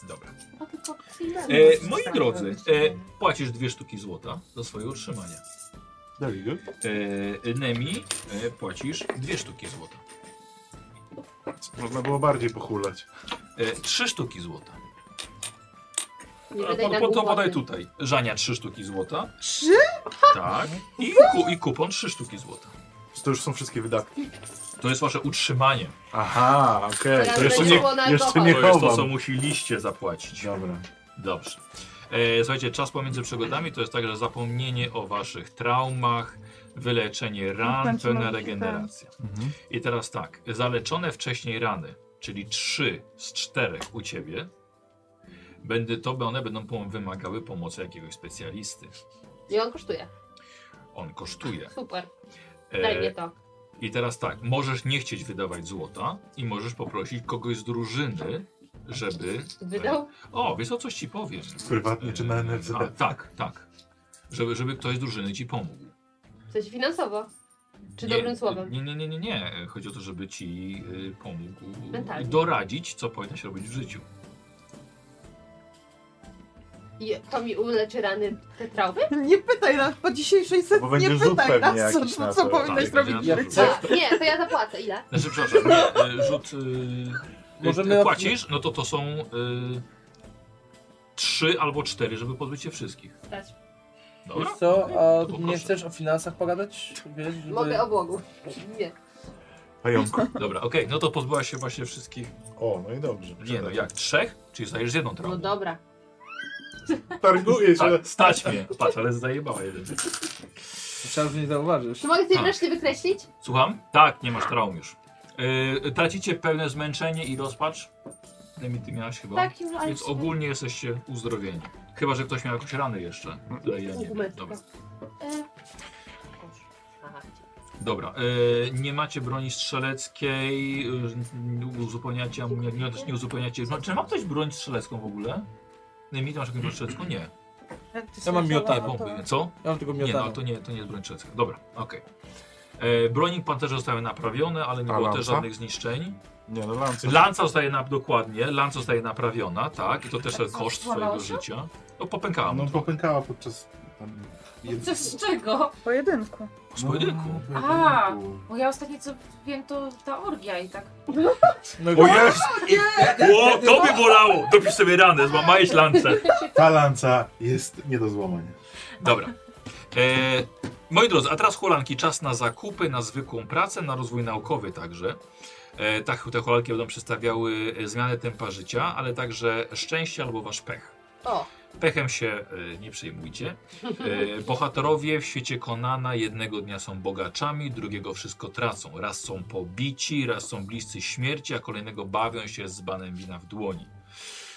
Speaker 2: Dobra.
Speaker 5: no tylko chwilę.
Speaker 2: E, moi drodzy, e, płacisz dwie sztuki złota za swoje utrzymanie.
Speaker 3: There you go.
Speaker 2: E, Nemi, e, płacisz dwie sztuki złota.
Speaker 7: Można było bardziej pochulać.
Speaker 2: E, trzy sztuki złota.
Speaker 1: Nie
Speaker 2: A,
Speaker 1: wydaj na
Speaker 2: po, po, to
Speaker 1: głupoty.
Speaker 2: podaj tutaj. Żania trzy sztuki złota.
Speaker 4: Trzy?
Speaker 2: Tak. I, ku, I kupon trzy sztuki złota.
Speaker 7: Czy to już są wszystkie wydatki?
Speaker 2: To jest wasze utrzymanie.
Speaker 7: Aha, okej.
Speaker 1: Teraz
Speaker 7: To jeszcze
Speaker 1: będzie
Speaker 7: nie,
Speaker 1: szło na
Speaker 7: jeszcze
Speaker 1: alkohol.
Speaker 7: nie
Speaker 2: To jest to, co
Speaker 7: chowam.
Speaker 2: musieliście zapłacić.
Speaker 7: Dobra.
Speaker 2: Dobrze. E, słuchajcie, czas pomiędzy przygodami to jest także zapomnienie o waszych traumach, wyleczenie ran,
Speaker 4: końcu
Speaker 2: pełna
Speaker 4: mamy
Speaker 2: regeneracja. I teraz tak, zaleczone wcześniej rany, czyli trzy z czterech u ciebie, będę, to one będą pom- wymagały pomocy jakiegoś specjalisty.
Speaker 1: I on kosztuje.
Speaker 2: On kosztuje.
Speaker 1: Super. Daj mnie
Speaker 2: E,
Speaker 1: to.
Speaker 2: I teraz tak, możesz nie chcieć wydawać złota i możesz poprosić kogoś z drużyny, żeby...
Speaker 1: Wydał?
Speaker 2: O, wiesz o coś ci powiem.
Speaker 7: Prywatnie czy na NFZ?
Speaker 2: A, tak, tak. Żeby, żeby ktoś z drużyny ci pomógł.
Speaker 1: Coś finansowo. Czy dobrym słowem?
Speaker 2: Nie, nie, nie, nie, nie. Chodzi o to, żeby ci y, pomógł
Speaker 1: Mentalnie.
Speaker 2: doradzić, co powinnaś robić w życiu.
Speaker 1: I to mi uleczy rany te traumy?
Speaker 4: Nie pytaj nas po dzisiejszej
Speaker 2: No
Speaker 7: Bo
Speaker 4: setce,
Speaker 7: będzie
Speaker 4: nie
Speaker 7: rzut
Speaker 4: pytaj
Speaker 7: pewnie
Speaker 4: nas, co,
Speaker 7: jakiś na
Speaker 4: co,
Speaker 7: to.
Speaker 4: powinnaś
Speaker 2: Tak,
Speaker 4: robić.
Speaker 2: będzie
Speaker 10: Ja
Speaker 2: na to
Speaker 10: chcę.
Speaker 2: rzut.
Speaker 1: A, nie, to ja zapłacę. Ile?
Speaker 2: Znaczy, przepraszam, nie, y, rzut... y,
Speaker 10: Możemy
Speaker 2: y,
Speaker 10: od-
Speaker 2: płacisz? No to to są y, trzy albo cztery, żeby pozbyć się wszystkich.
Speaker 1: Dać.
Speaker 2: Dobra?
Speaker 10: Wiesz co,
Speaker 2: To
Speaker 10: a nie
Speaker 2: poproszę.
Speaker 10: chcesz o finansach pogadać? Wiesz, żeby...
Speaker 1: Mogę obłogu. Nie.
Speaker 7: Pająku.
Speaker 2: Dobra, okej. No to pozbyłaś się właśnie wszystkich...
Speaker 7: O, no i dobrze.
Speaker 2: Nie no, jak? Trzech? Czyli zdajesz jedną
Speaker 1: No
Speaker 2: traumę.
Speaker 1: dobra.
Speaker 7: Targuję się.
Speaker 2: Tak, stać mnie. Patrz, ale zajebała jeden.
Speaker 10: Myślałem, że nie zauważysz.
Speaker 1: Czy mogę
Speaker 3: Tak.
Speaker 1: sobie
Speaker 2: A.
Speaker 1: wreszcie wykreślić?
Speaker 2: Słucham? Tak, nie masz traum już. Yy, tracicie pełne zmęczenie i rozpacz. Nemi, ty miałaś chyba.
Speaker 5: Tak, już- ale
Speaker 2: Więc
Speaker 5: już-
Speaker 2: ogólnie jesteście uzdrowieni. Chyba, że ktoś miał jakąś ranę jeszcze. Ale Ja nie wiem.
Speaker 1: Gumetka.
Speaker 2: Dobra.
Speaker 5: Y,
Speaker 2: Dobra. E, nie macie broni strzeleckiej, e, uzupełniacie, amu- nie, nie, nie uzupełniacie. No, czy ma ktoś broń strzelecką w ogóle? Nemi, ty masz jakąś broń strzelecką? Nie.
Speaker 10: Ja mam miota.
Speaker 2: Nie, bomby. Co?
Speaker 10: Ja mam tylko
Speaker 2: Nie,
Speaker 10: miotane.
Speaker 2: no to nie, to nie jest broń strzelecka. Dobra, okej. E, Bronik pancerza zostały naprawione, ale nie
Speaker 3: A
Speaker 2: było też
Speaker 3: lanca?
Speaker 2: żadnych zniszczeń.
Speaker 7: Nie, no lance.
Speaker 2: Lanca zostaje na, dokładnie, lanca zostaje naprawiona, tak, i to też
Speaker 5: Tak,
Speaker 2: koszt
Speaker 5: złamało
Speaker 2: swojego
Speaker 5: się?
Speaker 2: życia. No popękała mu
Speaker 7: No
Speaker 2: to.
Speaker 7: popękała podczas tam jed...
Speaker 5: Co z czego?
Speaker 4: Pojedynku.
Speaker 2: Z pojedynku.
Speaker 7: No,
Speaker 5: A.
Speaker 7: pojedynku.
Speaker 5: Bo ja ostatnio co wiem, to ta orgia i tak.
Speaker 10: No
Speaker 2: O jest!
Speaker 5: No.
Speaker 2: O, to by bolało! Dopisz sobie ranę, złamałeś lancę.
Speaker 7: Ta lanca jest nie do złamania.
Speaker 2: Dobra. E, moi drodzy, a teraz hulanki. Czas na zakupy, na zwykłą pracę, na rozwój naukowy także. E, tak, te hulanki będą przedstawiały e, zmianę tempa życia, ale także szczęście albo wasz pech.
Speaker 1: O,
Speaker 2: Pechem się e, nie przejmujcie. E, bohaterowie w świecie Konana jednego dnia są bogaczami, drugiego wszystko tracą. Raz są pobici, raz są bliscy śmierci, a kolejnego bawią się z banem wina w dłoni.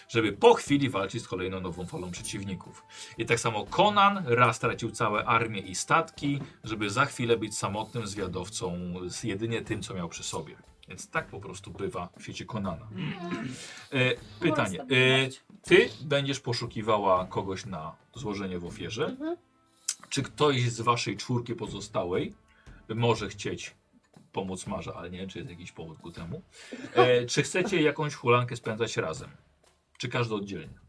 Speaker 2: Żeby po chwili walczyć z kolejną nową falą przeciwników. I tak samo Conan raz stracił całe armię i statki, żeby za chwilę być samotnym zwiadowcą z jedynie tym, co miał przy sobie. Więc tak po prostu bywa w świecie Konana. E, pytanie. E, ty będziesz poszukiwała kogoś na złożenie w ofierze.
Speaker 1: Mhm.
Speaker 2: Czy ktoś z waszej czwórki pozostałej może chcieć pomóc Marze, ale nie wiem, czy jest jakiś powód ku temu. E, czy chcecie jakąś hulankę spędzać razem? Czy każdy oddzielnie?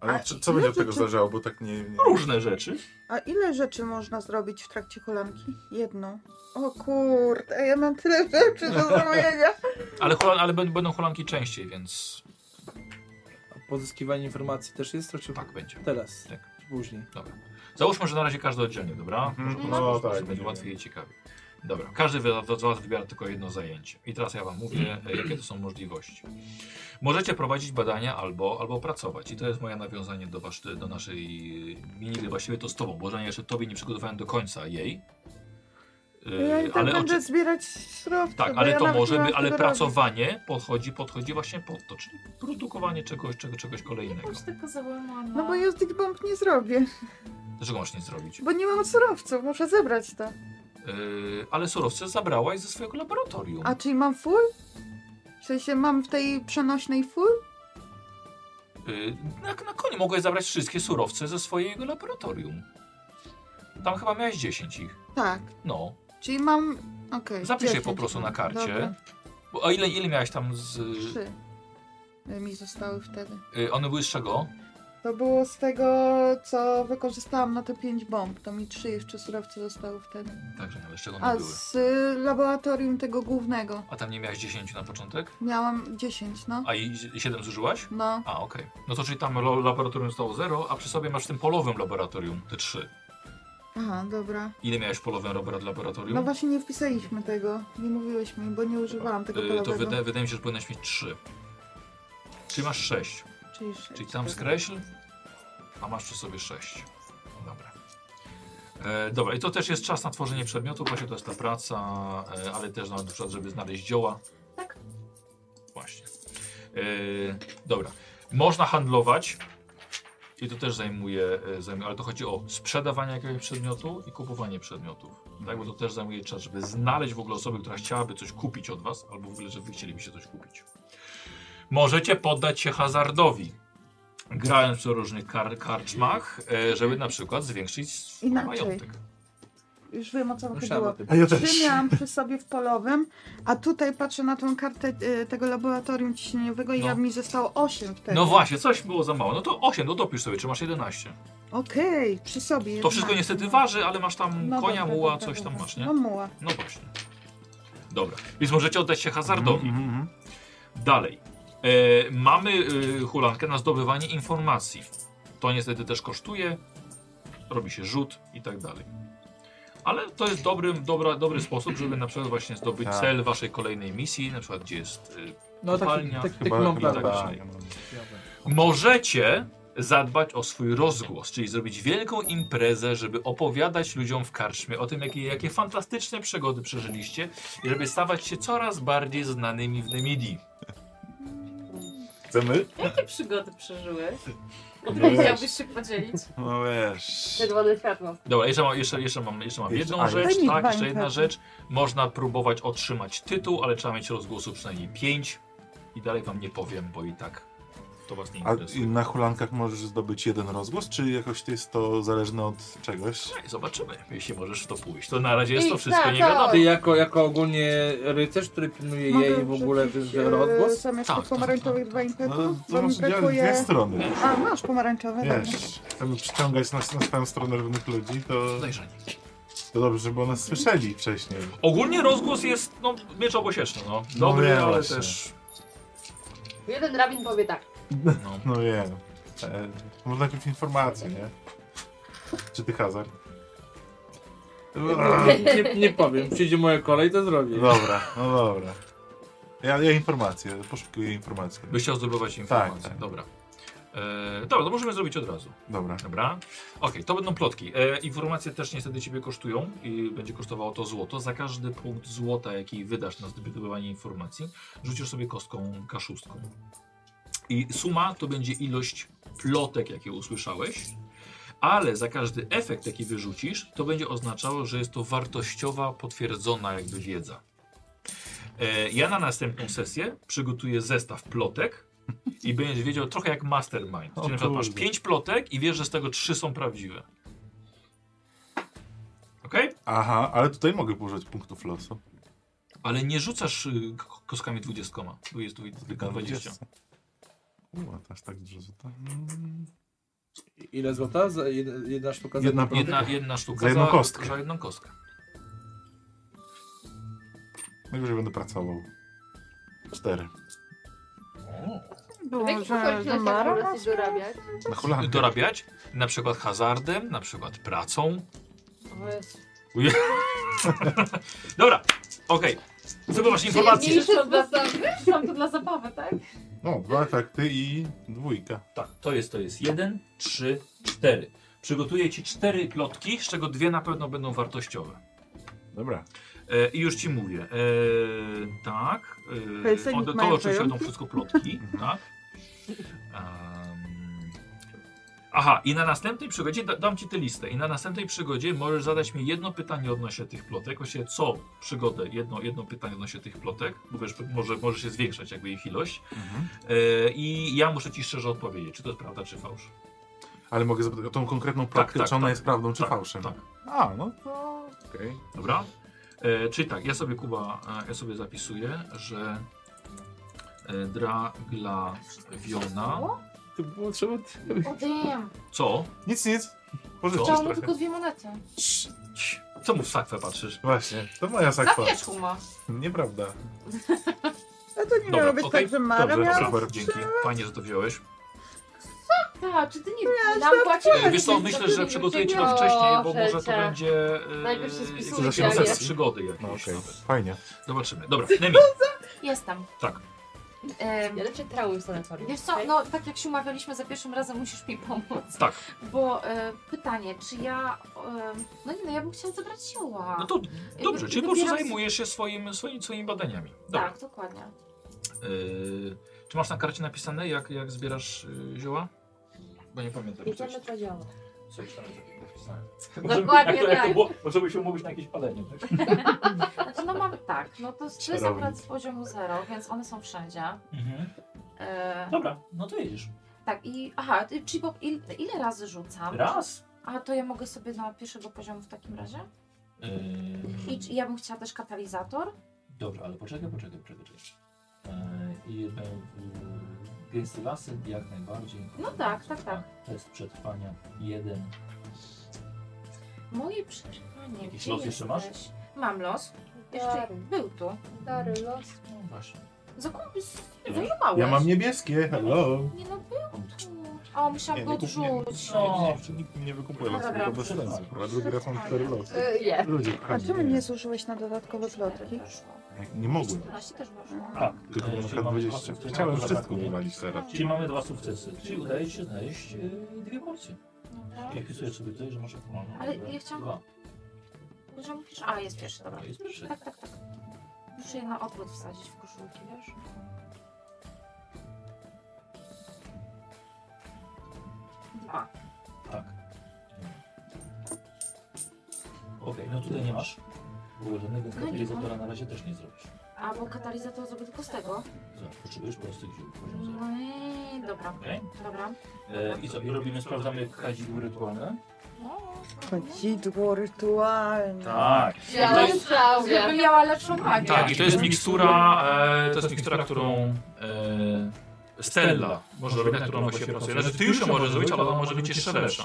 Speaker 7: Ale
Speaker 4: A
Speaker 7: co, co będzie
Speaker 4: ile
Speaker 7: od tego
Speaker 4: rzeczy-
Speaker 7: zależało, bo tak nie... nie...
Speaker 2: Różne rzeczy.
Speaker 4: A ile rzeczy można zrobić w trakcie kolanki? Jedną. O kurde, ja mam tyle rzeczy do zrobienia.
Speaker 2: Ale, hulan- ale bę- będą hulanki częściej, więc
Speaker 10: A Pozyskiwanie informacji też jest, to czy
Speaker 2: tak będzie.
Speaker 10: teraz?
Speaker 2: Tak.
Speaker 10: Czy później?
Speaker 4: No,
Speaker 2: Załóżmy, że na razie każdy oddzielnie, dobra?
Speaker 7: Mhm.
Speaker 2: Może po
Speaker 7: No,
Speaker 2: prostu
Speaker 7: tak,
Speaker 2: będzie
Speaker 7: będziemy.
Speaker 2: łatwiej i ciekawiej. Dobra, każdy wy- z Was wybiera tylko jedno zajęcie. I teraz ja Wam mówię, e, jakie to są możliwości. Możecie prowadzić badania albo, albo pracować. I to jest moje nawiązanie do, wasz, do naszej minigry. Właściwie to z Tobą, bo że ja jeszcze Tobie nie przygotowałem do końca jej. E,
Speaker 4: Ja i tak będę
Speaker 2: oczy-
Speaker 4: zbierać surowce.
Speaker 2: tak,
Speaker 4: bo
Speaker 2: ale
Speaker 4: ja
Speaker 2: to
Speaker 4: nawet nie
Speaker 2: może
Speaker 4: mam
Speaker 2: by, ale
Speaker 4: tego robić.
Speaker 2: pracowanie podchodzi, podchodzi właśnie pod to, czyli produkowanie czegoś, czego, czegoś kolejnego.
Speaker 5: Bądź taka załamana.
Speaker 4: No bo ja z tych bomb nie zrobię,
Speaker 2: Dlaczego masz nie zrobić?
Speaker 4: bo nie mam surowców, muszę zebrać to.
Speaker 2: Yy, ale surowce zabrałaś ze swojego laboratorium.
Speaker 4: A czyli mam full? W sensie mam w tej przenośnej full?
Speaker 2: Yy, na, na koniu mogłeś zabrać wszystkie surowce ze swojego laboratorium. Tam chyba miałeś 10 ich.
Speaker 4: Tak,
Speaker 2: No.
Speaker 4: czyli mam... Okej.
Speaker 2: Zapisz je
Speaker 4: 10
Speaker 2: po prostu
Speaker 4: mam.
Speaker 2: na karcie.
Speaker 4: Dobra,
Speaker 2: Bo, a ile, ile miałeś tam z.
Speaker 4: trzy mi zostały wtedy.
Speaker 2: Yy, one były z czego?
Speaker 4: Mhm. To było z tego, co wykorzystałam na te pięć bomb. To mi trzy jeszcze surowce zostały wtedy.
Speaker 2: Także nie, ale z czego one
Speaker 4: A
Speaker 2: były?
Speaker 4: z y, laboratorium tego głównego
Speaker 2: A tam nie miałeś 10 na początek?
Speaker 4: miałam 10, no.
Speaker 2: A i 7 zużyłaś?
Speaker 4: No,
Speaker 2: A, okej. No to czyli tam lo- laboratorium zostało 0, a przy sobie masz w tym polowym laboratorium te 3.
Speaker 4: aha, dobra.
Speaker 2: Ile miałeś w polowym labora- laboratorium?
Speaker 4: No właśnie nie wpisaliśmy tego, nie mówiłeś mi, bo nie używałam tego
Speaker 2: Yy,
Speaker 4: polowego.
Speaker 2: to wyda wydaje mi się, że powinnaś mieć 3. Czyli masz 6.
Speaker 4: Czyli, sześć.
Speaker 2: Czyli tam skreśl, a masz przy sobie 6. Dobra. E, dobra, i to też jest czas na tworzenie przedmiotów, właśnie to jest ta praca, e, ale też na przykład, żeby znaleźć dzioła.
Speaker 5: Tak.
Speaker 2: Właśnie. E, dobra. Można handlować. I to też zajmuje, e, zajmuje, ale to chodzi o sprzedawanie jakiegoś przedmiotu i kupowanie przedmiotów. Tak, bo to też zajmuje czas, żeby znaleźć w ogóle osobę, która chciałaby coś kupić od was, albo w ogóle, że wy chcielibyście coś kupić. Możecie poddać się hazardowi grając przy różnych kar karczmach, e, żeby na przykład zwiększyć swój
Speaker 4: Inaczej.
Speaker 2: majątek. No
Speaker 4: Już wiem o co mi
Speaker 10: Myślałem o tym.
Speaker 4: chodziło.
Speaker 7: A ja
Speaker 4: Trzy
Speaker 7: też.
Speaker 4: miałam przy sobie w polowym, a tutaj patrzę na tą kartę y, tego laboratorium ciśnieniowego i
Speaker 2: No.
Speaker 4: ja mi zostało 8 wtedy.
Speaker 2: No właśnie, coś było za mało. No to 8, no dopisz sobie, czy masz 11.
Speaker 4: Okej, przy sobie.
Speaker 2: To
Speaker 4: jednak.
Speaker 2: wszystko niestety waży, ale masz tam
Speaker 4: No
Speaker 2: konia,
Speaker 4: dobra,
Speaker 2: muła,
Speaker 4: dobra,
Speaker 2: coś tam
Speaker 4: dobra.
Speaker 2: masz, nie?
Speaker 4: No muła.
Speaker 2: No właśnie. Dobra, więc możecie oddać się hazardowi. Dalej. E, mamy e, hulankę na zdobywanie informacji. To niestety też kosztuje, robi się rzut i tak dalej. Ale to jest dobry, dobra, dobry sposób, żeby na przykład właśnie zdobyć
Speaker 7: Tak.
Speaker 2: cel waszej kolejnej misji, na przykład gdzie jest e,
Speaker 10: No tak,
Speaker 2: Kopalnia.
Speaker 10: tak, tak, tak
Speaker 7: Chyba,
Speaker 10: mam
Speaker 7: chyba
Speaker 2: tak.
Speaker 10: plan.
Speaker 7: tak.
Speaker 2: Możecie zadbać o swój rozgłos, czyli zrobić wielką imprezę, żeby opowiadać ludziom w karczmie o tym, jakie, jakie fantastyczne przygody przeżyliście i żeby stawać się coraz bardziej znanymi w Nemidii.
Speaker 3: Chcemy?
Speaker 5: Jakie przygody przeżyłeś?
Speaker 3: No
Speaker 5: Chciałbyś się podzielić?
Speaker 3: No wiesz.
Speaker 1: Czerwone światło.
Speaker 2: Dobra, jeszcze mam, jeszcze, jeszcze mam, jeszcze mam
Speaker 3: Jeszcze-
Speaker 2: jedną
Speaker 3: a,
Speaker 2: rzecz,
Speaker 4: jeszcze-
Speaker 2: tak, jeszcze jedna
Speaker 4: Bańka.
Speaker 2: rzecz. Można próbować otrzymać tytuł, ale trzeba mieć rozgłosu przynajmniej pięć i dalej wam nie powiem, bo i tak to was nie
Speaker 3: A
Speaker 2: interesuje.
Speaker 3: na hulankach możesz zdobyć jeden rozgłos, czy jakoś jest to zależne od czegoś?
Speaker 2: Ej, Zobaczymy, jeśli możesz w to pójść. To na razie jest
Speaker 1: I
Speaker 2: to wszystko,
Speaker 1: tak,
Speaker 2: nie
Speaker 1: tak.
Speaker 2: wiadomo.
Speaker 10: Ty jako, jako ogólnie rycerz, który pilnuje jej w ogóle
Speaker 4: wrzucić,
Speaker 10: ten rozgłos?
Speaker 4: e, Zamiast
Speaker 2: Tak,
Speaker 4: tych pomarańczowych dwa
Speaker 3: No,
Speaker 4: impetów,
Speaker 3: to
Speaker 4: bo mi
Speaker 3: masz dwie, dwie
Speaker 4: brakuje...
Speaker 3: strony.
Speaker 4: A, masz No, pomarańczowe, dobra.
Speaker 3: Wiesz, chcemy przyciągać na, na swoją stronę różnych ludzi, to,
Speaker 2: Podejrzanie.
Speaker 3: to dobrze, żeby o nas słyszeli wcześniej.
Speaker 2: Ogólnie rozgłos jest, no, miecz obosieczny, no. Dobry,
Speaker 3: nie,
Speaker 2: ale
Speaker 3: właśnie.
Speaker 2: też,
Speaker 1: Jeden rabin powie tak.
Speaker 2: no.
Speaker 3: No wiem. E, może najpierw informacje, nie? Czy ty hazard?
Speaker 10: Nie, nie powiem, przyjdzie moja kolej, to zrobię.
Speaker 3: Dobra, no dobra. Ja, ja informacje, poszukuję informacji.
Speaker 2: Byś chciał zdobywać informacje,
Speaker 3: tak.
Speaker 2: dobra. E, dobra, to możemy zrobić od razu.
Speaker 3: Dobra.
Speaker 2: Dobra. Okej, to będą plotki. E, informacje też niestety ciebie kosztują i będzie kosztowało to złoto. Za każdy punkt złota, jaki wydasz na zdobywanie informacji, rzucisz sobie kostką kaszustką. I suma to będzie ilość plotek, jakie usłyszałeś, ale za każdy efekt, jaki wyrzucisz, to będzie oznaczało, że jest to wartościowa, potwierdzona jakby wiedza. E, ja na następną sesję przygotuję zestaw plotek i będziesz wiedział trochę jak mastermind.
Speaker 3: O
Speaker 2: Czyli na przykład masz
Speaker 3: kurde.
Speaker 2: pięć plotek i wiesz, że z tego trzy są prawdziwe. Okej?
Speaker 3: Aha, ale tutaj mogę użyć punktów losu.
Speaker 2: Ale nie rzucasz y, k- kostkami dwudziestkoma. Tu jest dwu- tylko dwadzieścia.
Speaker 3: Uła, to aż tak dużo złota. Mm.
Speaker 10: Ile złota? Za jed- jedna sztuka za
Speaker 3: Jedna
Speaker 10: jedną
Speaker 2: Jedna, jedna sztuka
Speaker 3: Za jedną kostkę.
Speaker 2: Za jedną kostkę.
Speaker 3: Najwyżej będę pracował. Cztery.
Speaker 1: W jakich
Speaker 4: Boże,
Speaker 1: okolicznościach
Speaker 4: Zamara?
Speaker 1: możesz dorabiać?
Speaker 3: Na hulance.
Speaker 2: Dorabiać na przykład hazardem, na przykład pracą.
Speaker 1: O Jezu.
Speaker 2: Dobra, okej. Zdobywasz informacje.
Speaker 1: Przyjemniejsze od was tam.
Speaker 5: Wyszłam to dla zabawy, tak?
Speaker 3: No, dwa efekty i dwójka.
Speaker 2: Tak, to jest, to jest jeden, trzy, cztery. Przygotuję ci cztery plotki, z czego dwie na pewno będą wartościowe.
Speaker 3: Dobra.
Speaker 2: E, I już ci mówię. E, tak. E,
Speaker 4: Felsenik
Speaker 2: od
Speaker 4: mają
Speaker 2: to oczywiście będą
Speaker 4: pająki?
Speaker 2: wszystko plotki. tak. Em, aha, i na następnej przygodzie da, dam ci tę listę. I na następnej przygodzie możesz zadać mi jedno pytanie odnośnie tych plotek. Właściwie co przygodę, jedno, jedno pytanie odnośnie tych plotek, bo wiesz, może, może się zwiększać jakby ich ilość. E, I ja muszę ci szczerze odpowiedzieć, czy to jest prawda, czy fałsz.
Speaker 3: Ale mogę zapytać o tą konkretną plotkę,
Speaker 2: tak,
Speaker 3: czy ona
Speaker 2: tak.
Speaker 3: jest prawdą, czy
Speaker 2: Tak,
Speaker 3: fałszem?
Speaker 2: tak.
Speaker 3: A, no to... Okej.
Speaker 2: Dobra? E, czyli tak, ja sobie Kuba, e, ja sobie zapisuję, że e, Draglawiona.
Speaker 10: To było trzeba...
Speaker 5: O damn.
Speaker 2: Co?
Speaker 3: Nic, nic.
Speaker 2: Co?
Speaker 3: Pożyczę
Speaker 5: Chciałam mu
Speaker 3: trochę.
Speaker 5: tylko dwie monety.
Speaker 2: Cii, Co mu w sakwę patrzysz?
Speaker 3: Właśnie, to moja
Speaker 2: Tak,
Speaker 5: Na
Speaker 3: sakwa.
Speaker 5: wierzchu ma.
Speaker 3: Nieprawda.
Speaker 4: No to nie miało być
Speaker 2: okej.
Speaker 4: tak, że Mara
Speaker 3: Dobrze,
Speaker 4: miała...
Speaker 3: dobra.
Speaker 2: Super, dzięki. Fajnie, że to wziąłeś.
Speaker 5: Tak, czy ty nie nam
Speaker 2: E,
Speaker 5: płaciłeś?
Speaker 2: wiesz co, myślę, że przygotuję ci to
Speaker 1: O,
Speaker 2: wcześniej, bo może to
Speaker 1: żecie.
Speaker 2: będzie e,
Speaker 1: Najpierw się
Speaker 2: jakieś
Speaker 1: spisujcie,
Speaker 3: a nie-
Speaker 2: przygody jakieś.
Speaker 3: No okej,
Speaker 2: nawet.
Speaker 3: fajnie.
Speaker 2: Zobaczymy. Dobra, Nemi,
Speaker 5: Jestem.
Speaker 2: Tak.
Speaker 5: Em,
Speaker 1: Ja leczę traumy w sanatorium.
Speaker 5: Wiesz co, no tak jak się umawialiśmy za pierwszym razem, musisz mi pomóc.
Speaker 2: tak.
Speaker 5: Bo e, pytanie, czy ja... E, no nie, no ja bym chciała zabrać siła.
Speaker 2: No to dobrze,
Speaker 5: I
Speaker 2: czyli po prostu
Speaker 5: wybieram-
Speaker 2: zajmujesz się swoim, swoim, swoimi badaniami. Dobra.
Speaker 5: Tak, dokładnie.
Speaker 2: E, czy masz na karcie napisane, jak, jak zbierasz y, zioła? Bo nie pamiętam.
Speaker 1: Nie
Speaker 2: coś.
Speaker 1: mamy to działa.
Speaker 2: Coś tam takiego wpisałem.
Speaker 5: Dokładnie
Speaker 2: jak to, jak
Speaker 5: tak.
Speaker 2: to było, może byś się umówić na jakieś palenie. Tak?
Speaker 5: Znaczy, no mam tak, no to to jest
Speaker 3: Czarownik.
Speaker 5: akurat z poziomu zero, więc one są wszędzie. E,
Speaker 9: Mhm. Dobra, no to jedziesz.
Speaker 5: tak i... Aha, ty- czyli bo il, ile razy rzucam?
Speaker 9: Raz.
Speaker 5: A to ja mogę sobie na pierwszego poziomu w takim razie?
Speaker 2: Yy,
Speaker 5: I czy, ja bym chciała też katalizator?
Speaker 9: Dobra, ale poczekaj, poczekaj, poczekaj. Eee,
Speaker 2: Yy,
Speaker 9: I e, gęsty lasy jak najbardziej.
Speaker 5: No tak, tak, tak.
Speaker 9: Test przetrwania jeden.
Speaker 5: Moje przetrwanie.
Speaker 9: Jakiś
Speaker 5: no gdzie
Speaker 9: los jeszcze masz?
Speaker 5: jesteś? Mam los. Jeszcze
Speaker 1: Jeszcze
Speaker 5: był tu.
Speaker 1: stary los.
Speaker 9: No właśnie.
Speaker 5: Zakup... Zajmowałeś.
Speaker 3: Ja mam niebieskie, hello.
Speaker 5: Nie no, był tu. O, musiałam
Speaker 3: Nie,
Speaker 5: go
Speaker 3: nie kup- nie-
Speaker 5: odrzucić.
Speaker 9: No.
Speaker 3: Nie, nikt mi nie wykupuje
Speaker 5: Dobra, E,
Speaker 3: losów, to bez
Speaker 5: dobra.
Speaker 3: sensu. Akurat wygra są cztery losy.
Speaker 1: Y, Je.
Speaker 3: Ludzie,
Speaker 4: A
Speaker 3: kochani,
Speaker 4: czemu nie zużyłeś na dodatkowe
Speaker 5: Cztery
Speaker 4: zlotki?
Speaker 5: weszło.
Speaker 3: Nie mogłem.
Speaker 5: 14 też weszło.
Speaker 9: Tak.
Speaker 3: Tylko
Speaker 9: Eee,
Speaker 3: na
Speaker 9: czyli
Speaker 3: przykład
Speaker 9: mamy
Speaker 3: 20.
Speaker 9: dwa sukcesy.
Speaker 3: Chciałem
Speaker 9: Dwa
Speaker 3: wszystko
Speaker 9: brakuje.
Speaker 3: wywalić teraz.
Speaker 9: Czyli mamy dwa sukcesy. Czyli udaje ci się znaleźć e, dwie porcje.
Speaker 5: Dobra.
Speaker 9: Jak pisujesz sobie tutaj, że masz opłonę.
Speaker 5: Ale ja chciałam-
Speaker 9: Dwa.
Speaker 5: Że mówisz, a jest pierwszy, dobra.
Speaker 9: To jest pierwszy.
Speaker 5: Tak, tak, tak. Muszę je na odwrót wsadzić w koszulki, wiesz? Dwa.
Speaker 9: Tak. Okej, no tutaj nie masz. W ogóle żadnego
Speaker 5: No nie
Speaker 9: katalizatora na razie też nie zrobisz.
Speaker 5: A bo katalizator zrobię tylko z tego.
Speaker 9: Zobacz, potrzebujesz prostych ziół. poziom zero.
Speaker 5: No i dobra,
Speaker 9: Okej.
Speaker 5: dobra.
Speaker 9: E, I co, i robimy, sprawdzamy kadzidło rytualne?
Speaker 5: No,
Speaker 4: Kadzidło rytualne.
Speaker 2: Tak.
Speaker 1: Ja
Speaker 2: To
Speaker 1: to
Speaker 2: jest-
Speaker 5: Żeby miała lepszą magię.
Speaker 2: Tak, i to jest mikstura, e, to jest mikstura, którą e, Stella może robić, na którą właśnie pracuje. Znaczy ty już ją możesz zrobić, ale ona może być jeszcze lepsza.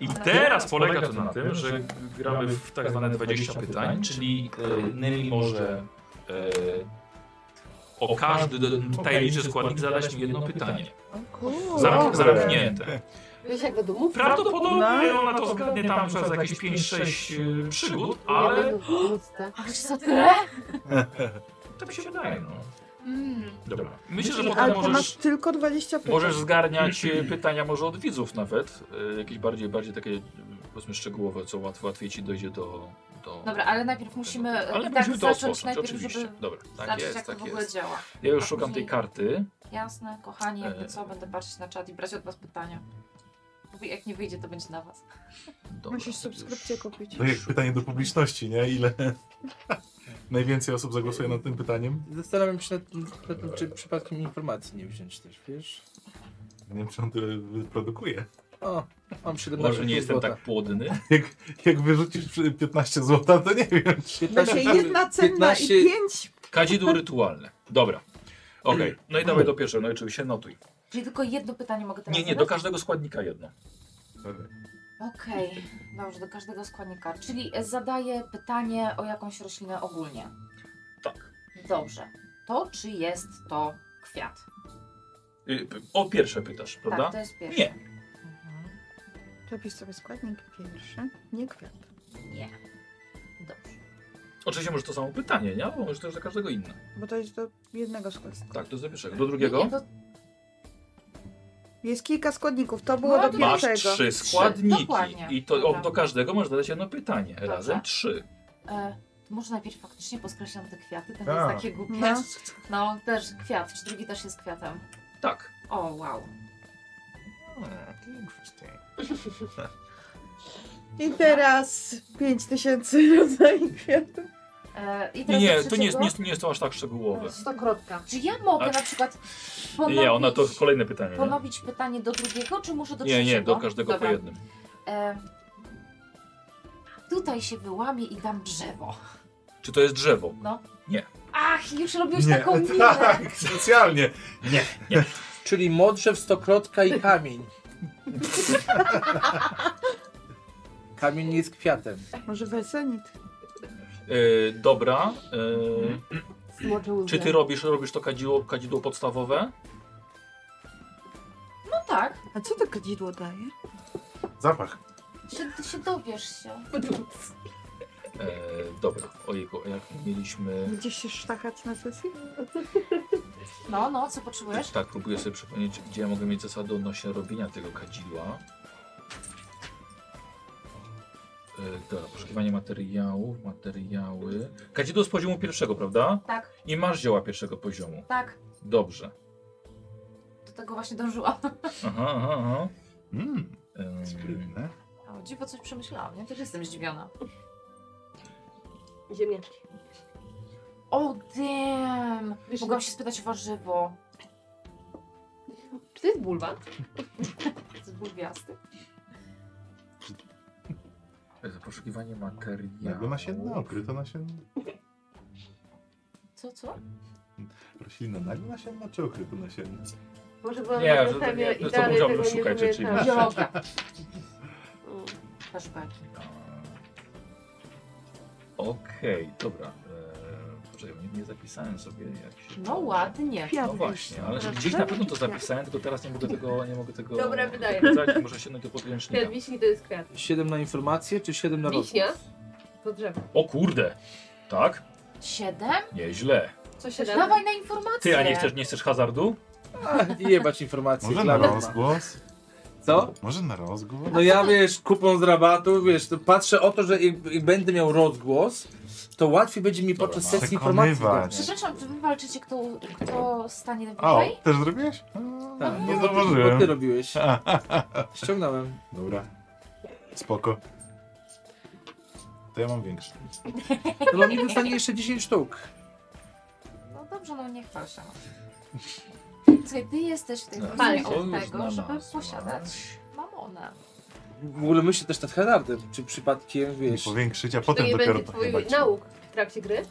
Speaker 2: I teraz polega to na tym, że gramy w tak zwane 20 pytań, czyli e, Nemi może e, o każdy d- tajemniczy składnik zadać mi jedno pytanie. Zamk- Zamknięte.
Speaker 1: Wiesz jak do domu?
Speaker 2: Prawdopodobnie ona to zgadnie tam przez jakieś 5-6 przygód, ale
Speaker 5: Aż za tyle?
Speaker 2: tak mi się wydaje. No.
Speaker 5: Mm.
Speaker 2: Dobra. Myślę, że
Speaker 4: Ale
Speaker 2: potem
Speaker 4: to masz
Speaker 2: możesz...
Speaker 4: tylko 20 pytań.
Speaker 2: Możesz zgarniać e, pytania może od widzów nawet, e, jakieś bardziej, bardziej takie e, powiedzmy szczegółowe, co łatwo, łatwiej ci dojdzie do... do
Speaker 5: Dobra, ale najpierw musimy
Speaker 2: ale
Speaker 5: ale tak
Speaker 2: musimy to
Speaker 5: zacząć
Speaker 2: rozpocząć,
Speaker 5: najpierw,
Speaker 2: oczywiście.
Speaker 5: żeby
Speaker 2: Dobra, tak
Speaker 5: zobaczyć
Speaker 2: jest,
Speaker 5: jak
Speaker 2: tak
Speaker 5: to w ogóle
Speaker 2: jest.
Speaker 5: działa.
Speaker 2: Ja już
Speaker 5: A
Speaker 2: szukam tej
Speaker 5: później-
Speaker 2: karty.
Speaker 5: Jasne, kochani, jakby
Speaker 2: E.
Speaker 5: co, będę patrzeć na czat i brać od was pytania. Bo jak nie wyjdzie, to będzie na was.
Speaker 2: Dobra,
Speaker 4: Musisz subskrypcję kupić.
Speaker 3: To jak pytanie do publiczności, nie? Ile najwięcej osób zagłosuje nad tym pytaniem?
Speaker 10: Zastanawiam się nad, tym- nad tym, czy przypadkiem informacji nie wziąć też, wiesz?
Speaker 3: Nie wiem, czy on tyle produkuje.
Speaker 10: O, mam 17
Speaker 2: Może nie jestem
Speaker 10: złota.
Speaker 2: tak płodny.
Speaker 3: Jak, jak wyrzucisz przy- 15 zł, to nie wiem.
Speaker 4: Będzie Znaczy, jedna cenna
Speaker 10: 15
Speaker 4: i pięć.
Speaker 2: Kadzidło rytualne. Dobra. Okej, no i dawaj do pierwszego, no i oczywiście notuj.
Speaker 5: Czyli tylko jedno pytanie mogę teraz
Speaker 2: Nie, nie, do
Speaker 5: zadać?
Speaker 2: każdego składnika jedno.
Speaker 5: Okej, dobrze, do każdego składnika. Czyli e, zadaję pytanie o jakąś roślinę ogólnie.
Speaker 2: Tak.
Speaker 5: Dobrze. To czy jest to kwiat?
Speaker 2: Y, p- O pierwsze pytasz, prawda?
Speaker 5: Tak, to jest pierwsze.
Speaker 2: Nie.
Speaker 5: Mhm.
Speaker 4: Robisz sobie składnik pierwszy, nie kwiat.
Speaker 5: Nie. Dobrze.
Speaker 2: Oczywiście może to samo pytanie, nie? Bo może też dla każdego inne.
Speaker 4: Bo to jest do jednego składnika.
Speaker 2: Tak, to jest do pierwszego. Do drugiego?
Speaker 5: Nie, to
Speaker 4: Jest kilka składników, to było
Speaker 5: No,
Speaker 4: do
Speaker 5: dobra.
Speaker 2: Masz
Speaker 4: pierwszego.
Speaker 2: trzy składniki
Speaker 5: dokładnie.
Speaker 2: i to
Speaker 5: Dobra.
Speaker 2: o, do każdego możesz zadać jedno pytanie. Razem trzy.
Speaker 5: E, to może najpierw faktycznie poskreślam te kwiaty, to nie
Speaker 7: Tak.
Speaker 5: jest takie głupie.
Speaker 4: No.
Speaker 5: No. też kwiat, czy drugi też jest kwiatem?
Speaker 2: Tak.
Speaker 5: O, wow.
Speaker 3: No,
Speaker 4: I teraz 5000 rodzajów kwiatów.
Speaker 5: E, i
Speaker 2: Nie, nie, to
Speaker 5: teraz do
Speaker 2: nie jest,
Speaker 5: trzeciego.
Speaker 2: nie, jest, nie jest to aż tak szczegółowe.
Speaker 1: Stokrotka.
Speaker 5: Czy ja mogę
Speaker 2: A-
Speaker 5: na przykład ponowić,
Speaker 2: Nie, ona to jest kolejne pytanie. nie?
Speaker 5: ponowić pytanie do drugiego, czy muszę do
Speaker 2: Mhm. Nie,
Speaker 5: trzeciego?
Speaker 2: nie, do każdego po
Speaker 5: Dobra.
Speaker 2: jednym.
Speaker 5: E, tutaj się wyłamie i dam drzewo.
Speaker 2: Czy to jest drzewo?
Speaker 5: No.
Speaker 2: Nie.
Speaker 5: Ach, już robisz
Speaker 3: Nie,
Speaker 5: taką minę.
Speaker 3: tak, specjalnie.
Speaker 10: Czyli modrzew, stokrotka i kamień. kamień nie jest kwiatem.
Speaker 4: Może wesenit.
Speaker 2: Yy, dobra. Yy,
Speaker 1: Smoczy łzy.
Speaker 2: czy ty robisz, robisz to kadzidło, kadzidło podstawowe?
Speaker 5: No tak,
Speaker 4: A co to kadzidło daje?
Speaker 7: Zapach.
Speaker 5: się, ty się dowiesz się.
Speaker 2: Yy, dobra. Ojejku, jak mieliśmy...
Speaker 4: Gdzieś się sztachać na sesji?
Speaker 5: No, no, co potrzebujesz?
Speaker 2: Tak, próbuję sobie przypomnieć, gdzie ja mogę mieć zasady odnośnie robienia tego kadzidła. Yy, Dobra, poszukiwanie materiałów, materiały. Kadzidło z poziomu pierwszego, prawda?
Speaker 5: Tak,
Speaker 2: I masz zioła pierwszego poziomu.
Speaker 5: tak,
Speaker 2: Dobrze.
Speaker 5: do tego właśnie dążyłam.
Speaker 2: Aha, aha, aha.
Speaker 3: Mm,
Speaker 2: Ym,
Speaker 3: skrywne.
Speaker 5: O, dziwo coś przemyślałam, nie? Też jestem zdziwiona.
Speaker 1: Ziemniaczki.
Speaker 5: O, damn!
Speaker 1: Wiesz,
Speaker 5: Mogłam się spytać o warzywo.
Speaker 1: Czy to jest bulwan?
Speaker 5: Z bulwiasty?
Speaker 2: tak, Poszukiwanie
Speaker 3: Nago
Speaker 2: materiału.
Speaker 3: nasienne, okryto nasienne.
Speaker 5: Co, co?
Speaker 3: Roślina nago nasienna no czy okryto nasienne?
Speaker 1: Może byłam
Speaker 2: Nie,
Speaker 1: na
Speaker 2: że to
Speaker 1: wystawie
Speaker 2: nie,
Speaker 1: i
Speaker 2: to
Speaker 1: dalej
Speaker 2: musiałbym
Speaker 1: tego nie
Speaker 2: szukać rzeczy
Speaker 1: pamiętam.
Speaker 2: inaczej.
Speaker 5: Biologia.
Speaker 1: Mm.
Speaker 5: Flashbacki.
Speaker 2: No. Okej, dobra. Eee, Poczekaj, nie, nie zapisałem sobie jak się...
Speaker 5: No ładnie.
Speaker 4: Kwiat.
Speaker 2: No właśnie, ale że gdzieś na pewno to zapisałem, tylko teraz nie mogę tego... Nie mogę tego
Speaker 1: Dobra, wydaje.
Speaker 2: wydaje. Muszę sięgnąć do
Speaker 1: Kwiat
Speaker 2: podręcznika.
Speaker 1: wiśni to jest kwiat.
Speaker 10: 7 na informację, czy 7 na rozwój?
Speaker 1: Wiśnia to drzewo.
Speaker 2: O kurde! Tak?
Speaker 5: Siedem?
Speaker 2: Nieźle.
Speaker 1: Co się da?
Speaker 5: Dawaj na informację.
Speaker 2: Ty, a nie chcesz, nie chcesz hazardu?
Speaker 10: A, i jebać informację.
Speaker 3: Może
Speaker 10: dla
Speaker 3: na
Speaker 10: mnie.
Speaker 3: rozgłos?
Speaker 10: Co?
Speaker 3: Może na rozgłos?
Speaker 10: No ja wiesz, kupon z rabatu, wiesz, to patrzę o to, że jak, jak będę miał rozgłos, to łatwiej będzie mi
Speaker 2: Dobra,
Speaker 10: podczas
Speaker 2: no.
Speaker 10: sesji informacji.
Speaker 3: Przekonywać.
Speaker 10: dobrać.
Speaker 5: Przepraszam, czy wy walczycie, kto, kto stanie
Speaker 3: O,
Speaker 5: wyżej?
Speaker 3: też zrobiłeś? A, no
Speaker 10: Tak,
Speaker 6: no,
Speaker 3: nie
Speaker 10: Bo ty
Speaker 3: zauważyłem.
Speaker 10: robiłeś. Ściągnąłem.
Speaker 3: Dobra. Spoko. To ja mam większy.
Speaker 10: No bo mi dostanie jeszcze 10 sztuk.
Speaker 5: No dobrze, no nie chwal się. Słuchaj, ty jesteś w tej
Speaker 2: No,
Speaker 5: chwili
Speaker 1: to
Speaker 5: od
Speaker 2: już na
Speaker 5: tego, żeby
Speaker 2: nas,
Speaker 5: posiadać mamonę.
Speaker 10: W ogóle myślę też nad hazardem, czy przypadkiem,
Speaker 3: Nie
Speaker 10: wiesz,
Speaker 3: powiększyć, a
Speaker 1: To
Speaker 3: potem
Speaker 1: nie
Speaker 3: dopiero
Speaker 1: będzie
Speaker 3: to
Speaker 1: twój
Speaker 3: chyba ci-
Speaker 1: nauk w trakcie gry?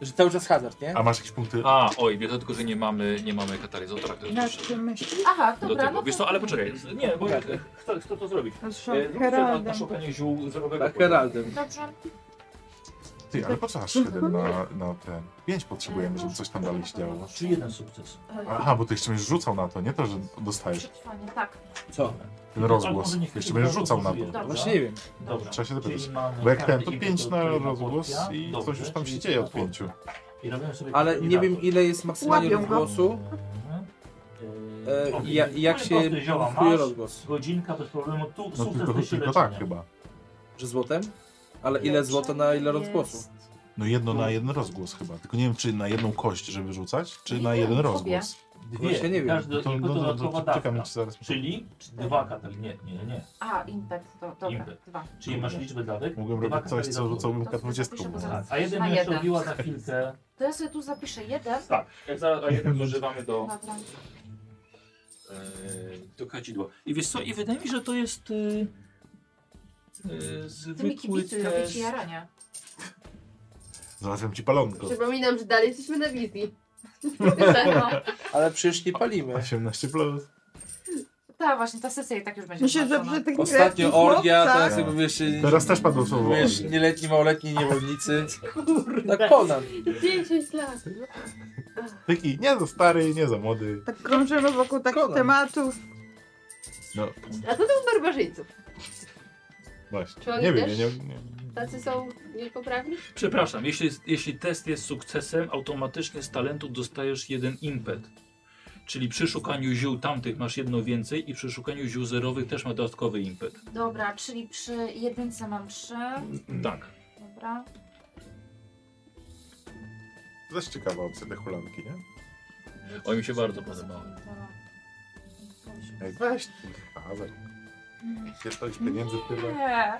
Speaker 10: że cały czas hazard, nie? Tak,
Speaker 3: A masz jakieś punkty?
Speaker 2: A, oj, wiedzę tylko, że nie mamy, nie mamy katalizatora, który
Speaker 4: Nad
Speaker 2: do
Speaker 4: tym myśli.
Speaker 5: Aha, No, dobra,
Speaker 2: tego.
Speaker 5: no
Speaker 2: Wiesz
Speaker 5: to...
Speaker 2: co, ale poczekaj, nie, bo chcę, chcę Tak. to zrobić.
Speaker 4: Zresztą
Speaker 2: E, Zrób na,
Speaker 4: Heraldem.
Speaker 2: na szukanie ziół zdrowego.
Speaker 10: Tak, Heraldem.
Speaker 5: Dobrze,
Speaker 3: Ty, ale po co aż siedem na, na ten? Pięć potrzebujemy, żeby coś tam dalej się
Speaker 5: E,
Speaker 3: działo.
Speaker 2: Czy jeden sukces?
Speaker 3: Aha, bo ty jeszcze będziesz rzucał na to, nie to, że dostajesz
Speaker 5: tak. przetrwanie, tak.
Speaker 10: Co?
Speaker 3: ten rozgłos. Jeszcze będziesz rzucał na to.
Speaker 5: Dobra.
Speaker 10: Właśnie nie wiem.
Speaker 2: Dobra.
Speaker 3: Trzeba się
Speaker 9: Czyli
Speaker 3: zapytać.
Speaker 9: mamy
Speaker 3: Bo
Speaker 2: Tak,
Speaker 3: jak ten,
Speaker 9: karty
Speaker 3: to
Speaker 9: i
Speaker 3: pięć na
Speaker 9: wiedzę,
Speaker 3: rozgłos
Speaker 9: porcja.
Speaker 3: i
Speaker 9: Dobrze,
Speaker 3: coś już tam się
Speaker 9: czyli
Speaker 3: dzieje od
Speaker 9: porcja.
Speaker 3: pięciu.
Speaker 9: I robiłem
Speaker 3: tak,
Speaker 9: sobie
Speaker 10: Ale
Speaker 9: taki
Speaker 10: nie wiem
Speaker 9: raport.
Speaker 10: ile jest maksymalnie
Speaker 4: Łapią go.
Speaker 10: rozgłosu
Speaker 9: Mhm.
Speaker 10: e,
Speaker 9: Ok.
Speaker 10: i ja, i jak
Speaker 9: Ale
Speaker 10: się
Speaker 9: proste zioła
Speaker 10: kupuje
Speaker 9: masz,
Speaker 10: rozgłos.
Speaker 9: Godzinka bez problemu, tu
Speaker 3: No
Speaker 9: sukces
Speaker 3: tylko,
Speaker 9: to się
Speaker 3: tylko
Speaker 9: leczy,
Speaker 3: tak
Speaker 9: nie?
Speaker 3: chyba.
Speaker 10: Że złotem? Ale ile złota na ile rozgłosu?
Speaker 5: Znaczy, Jest-
Speaker 3: No jedno na jeden rozgłos chyba. Tylko nie wiem, czy na jedną kość, żeby rzucać, czy na jeden rozgłos.
Speaker 9: Dwie,
Speaker 10: Właśnie nie wiem.
Speaker 9: każdy,
Speaker 3: To,
Speaker 9: tylko
Speaker 3: no, no,
Speaker 9: dodatkowa
Speaker 3: to czekam,
Speaker 9: dawka.
Speaker 3: czy zaraz...
Speaker 9: Czyli dwa katali, nie, nie, nie.
Speaker 5: A, impet, do, dobra,
Speaker 9: Impet.
Speaker 5: dwa.
Speaker 9: Czyli masz liczbę dawek,
Speaker 3: Mogłem
Speaker 9: dwa
Speaker 3: robić coś, co
Speaker 9: katalizatory.
Speaker 3: rzucałbym
Speaker 5: To
Speaker 3: K20.
Speaker 5: zapiszę, bo
Speaker 3: bo-
Speaker 5: zaraz-
Speaker 9: Tak, A jeden
Speaker 5: Na
Speaker 9: mnie
Speaker 5: jeden.
Speaker 9: robiła za chwilkę.
Speaker 5: To ja sobie tu zapiszę jeden.
Speaker 2: Tak, jak zaraz, a jeden używamy do,
Speaker 5: Dobra.
Speaker 2: e, do kadzidła. I wiesz co, i wydaje mi się, że to jest e, e,
Speaker 5: Ty mi
Speaker 2: zwykły
Speaker 5: kibicuj, robię
Speaker 2: test.
Speaker 5: ci jarania.
Speaker 3: Znalazłem ci palonko.
Speaker 1: Przypominam, że dalej jesteśmy na wizji.
Speaker 10: Ale przecież nie palimy.
Speaker 3: 18 plus.
Speaker 5: Ta właśnie, ta sesja i tak już będzie
Speaker 4: Myślę, że
Speaker 5: zmęczona.
Speaker 4: przy tych
Speaker 10: Ostatnio
Speaker 4: greckich
Speaker 10: orgia,
Speaker 4: chłopcach-
Speaker 10: teraz jakby wiesz,
Speaker 3: Teraz też padło słowo.
Speaker 10: wiesz
Speaker 3: orgie.
Speaker 10: nieletni, małoletni niewolnicy. Tak ponad.
Speaker 1: 10 lat.
Speaker 3: Taki nie za stary, nie za młody.
Speaker 4: Tak krążymy wokół takich
Speaker 10: Konan.
Speaker 4: tematów.
Speaker 3: No
Speaker 1: A co to u barbarzyńców? Czy
Speaker 3: właśnie.
Speaker 1: oni
Speaker 3: Nie wiem, ja
Speaker 1: też?
Speaker 3: nie, nie.
Speaker 1: Tacy są niepoprawni?
Speaker 2: Przepraszam, jeśli, jeśli test jest sukcesem, automatycznie z talentu dostajesz jeden impet. Czyli przy szukaniu ziół tamtych masz jedno więcej i przy szukaniu ziół zerowych też ma dodatkowy impet.
Speaker 5: Dobra, czyli przy jedynce mam trzy.
Speaker 3: Mm.
Speaker 2: Tak.
Speaker 5: Dobra.
Speaker 3: To Też ciekawa opcja te hulanki, nie?
Speaker 2: Oj, mi się bardzo podobało.
Speaker 3: Ej, weź ten kawałek. Jest to już pieniędzy tyle.
Speaker 5: Nie.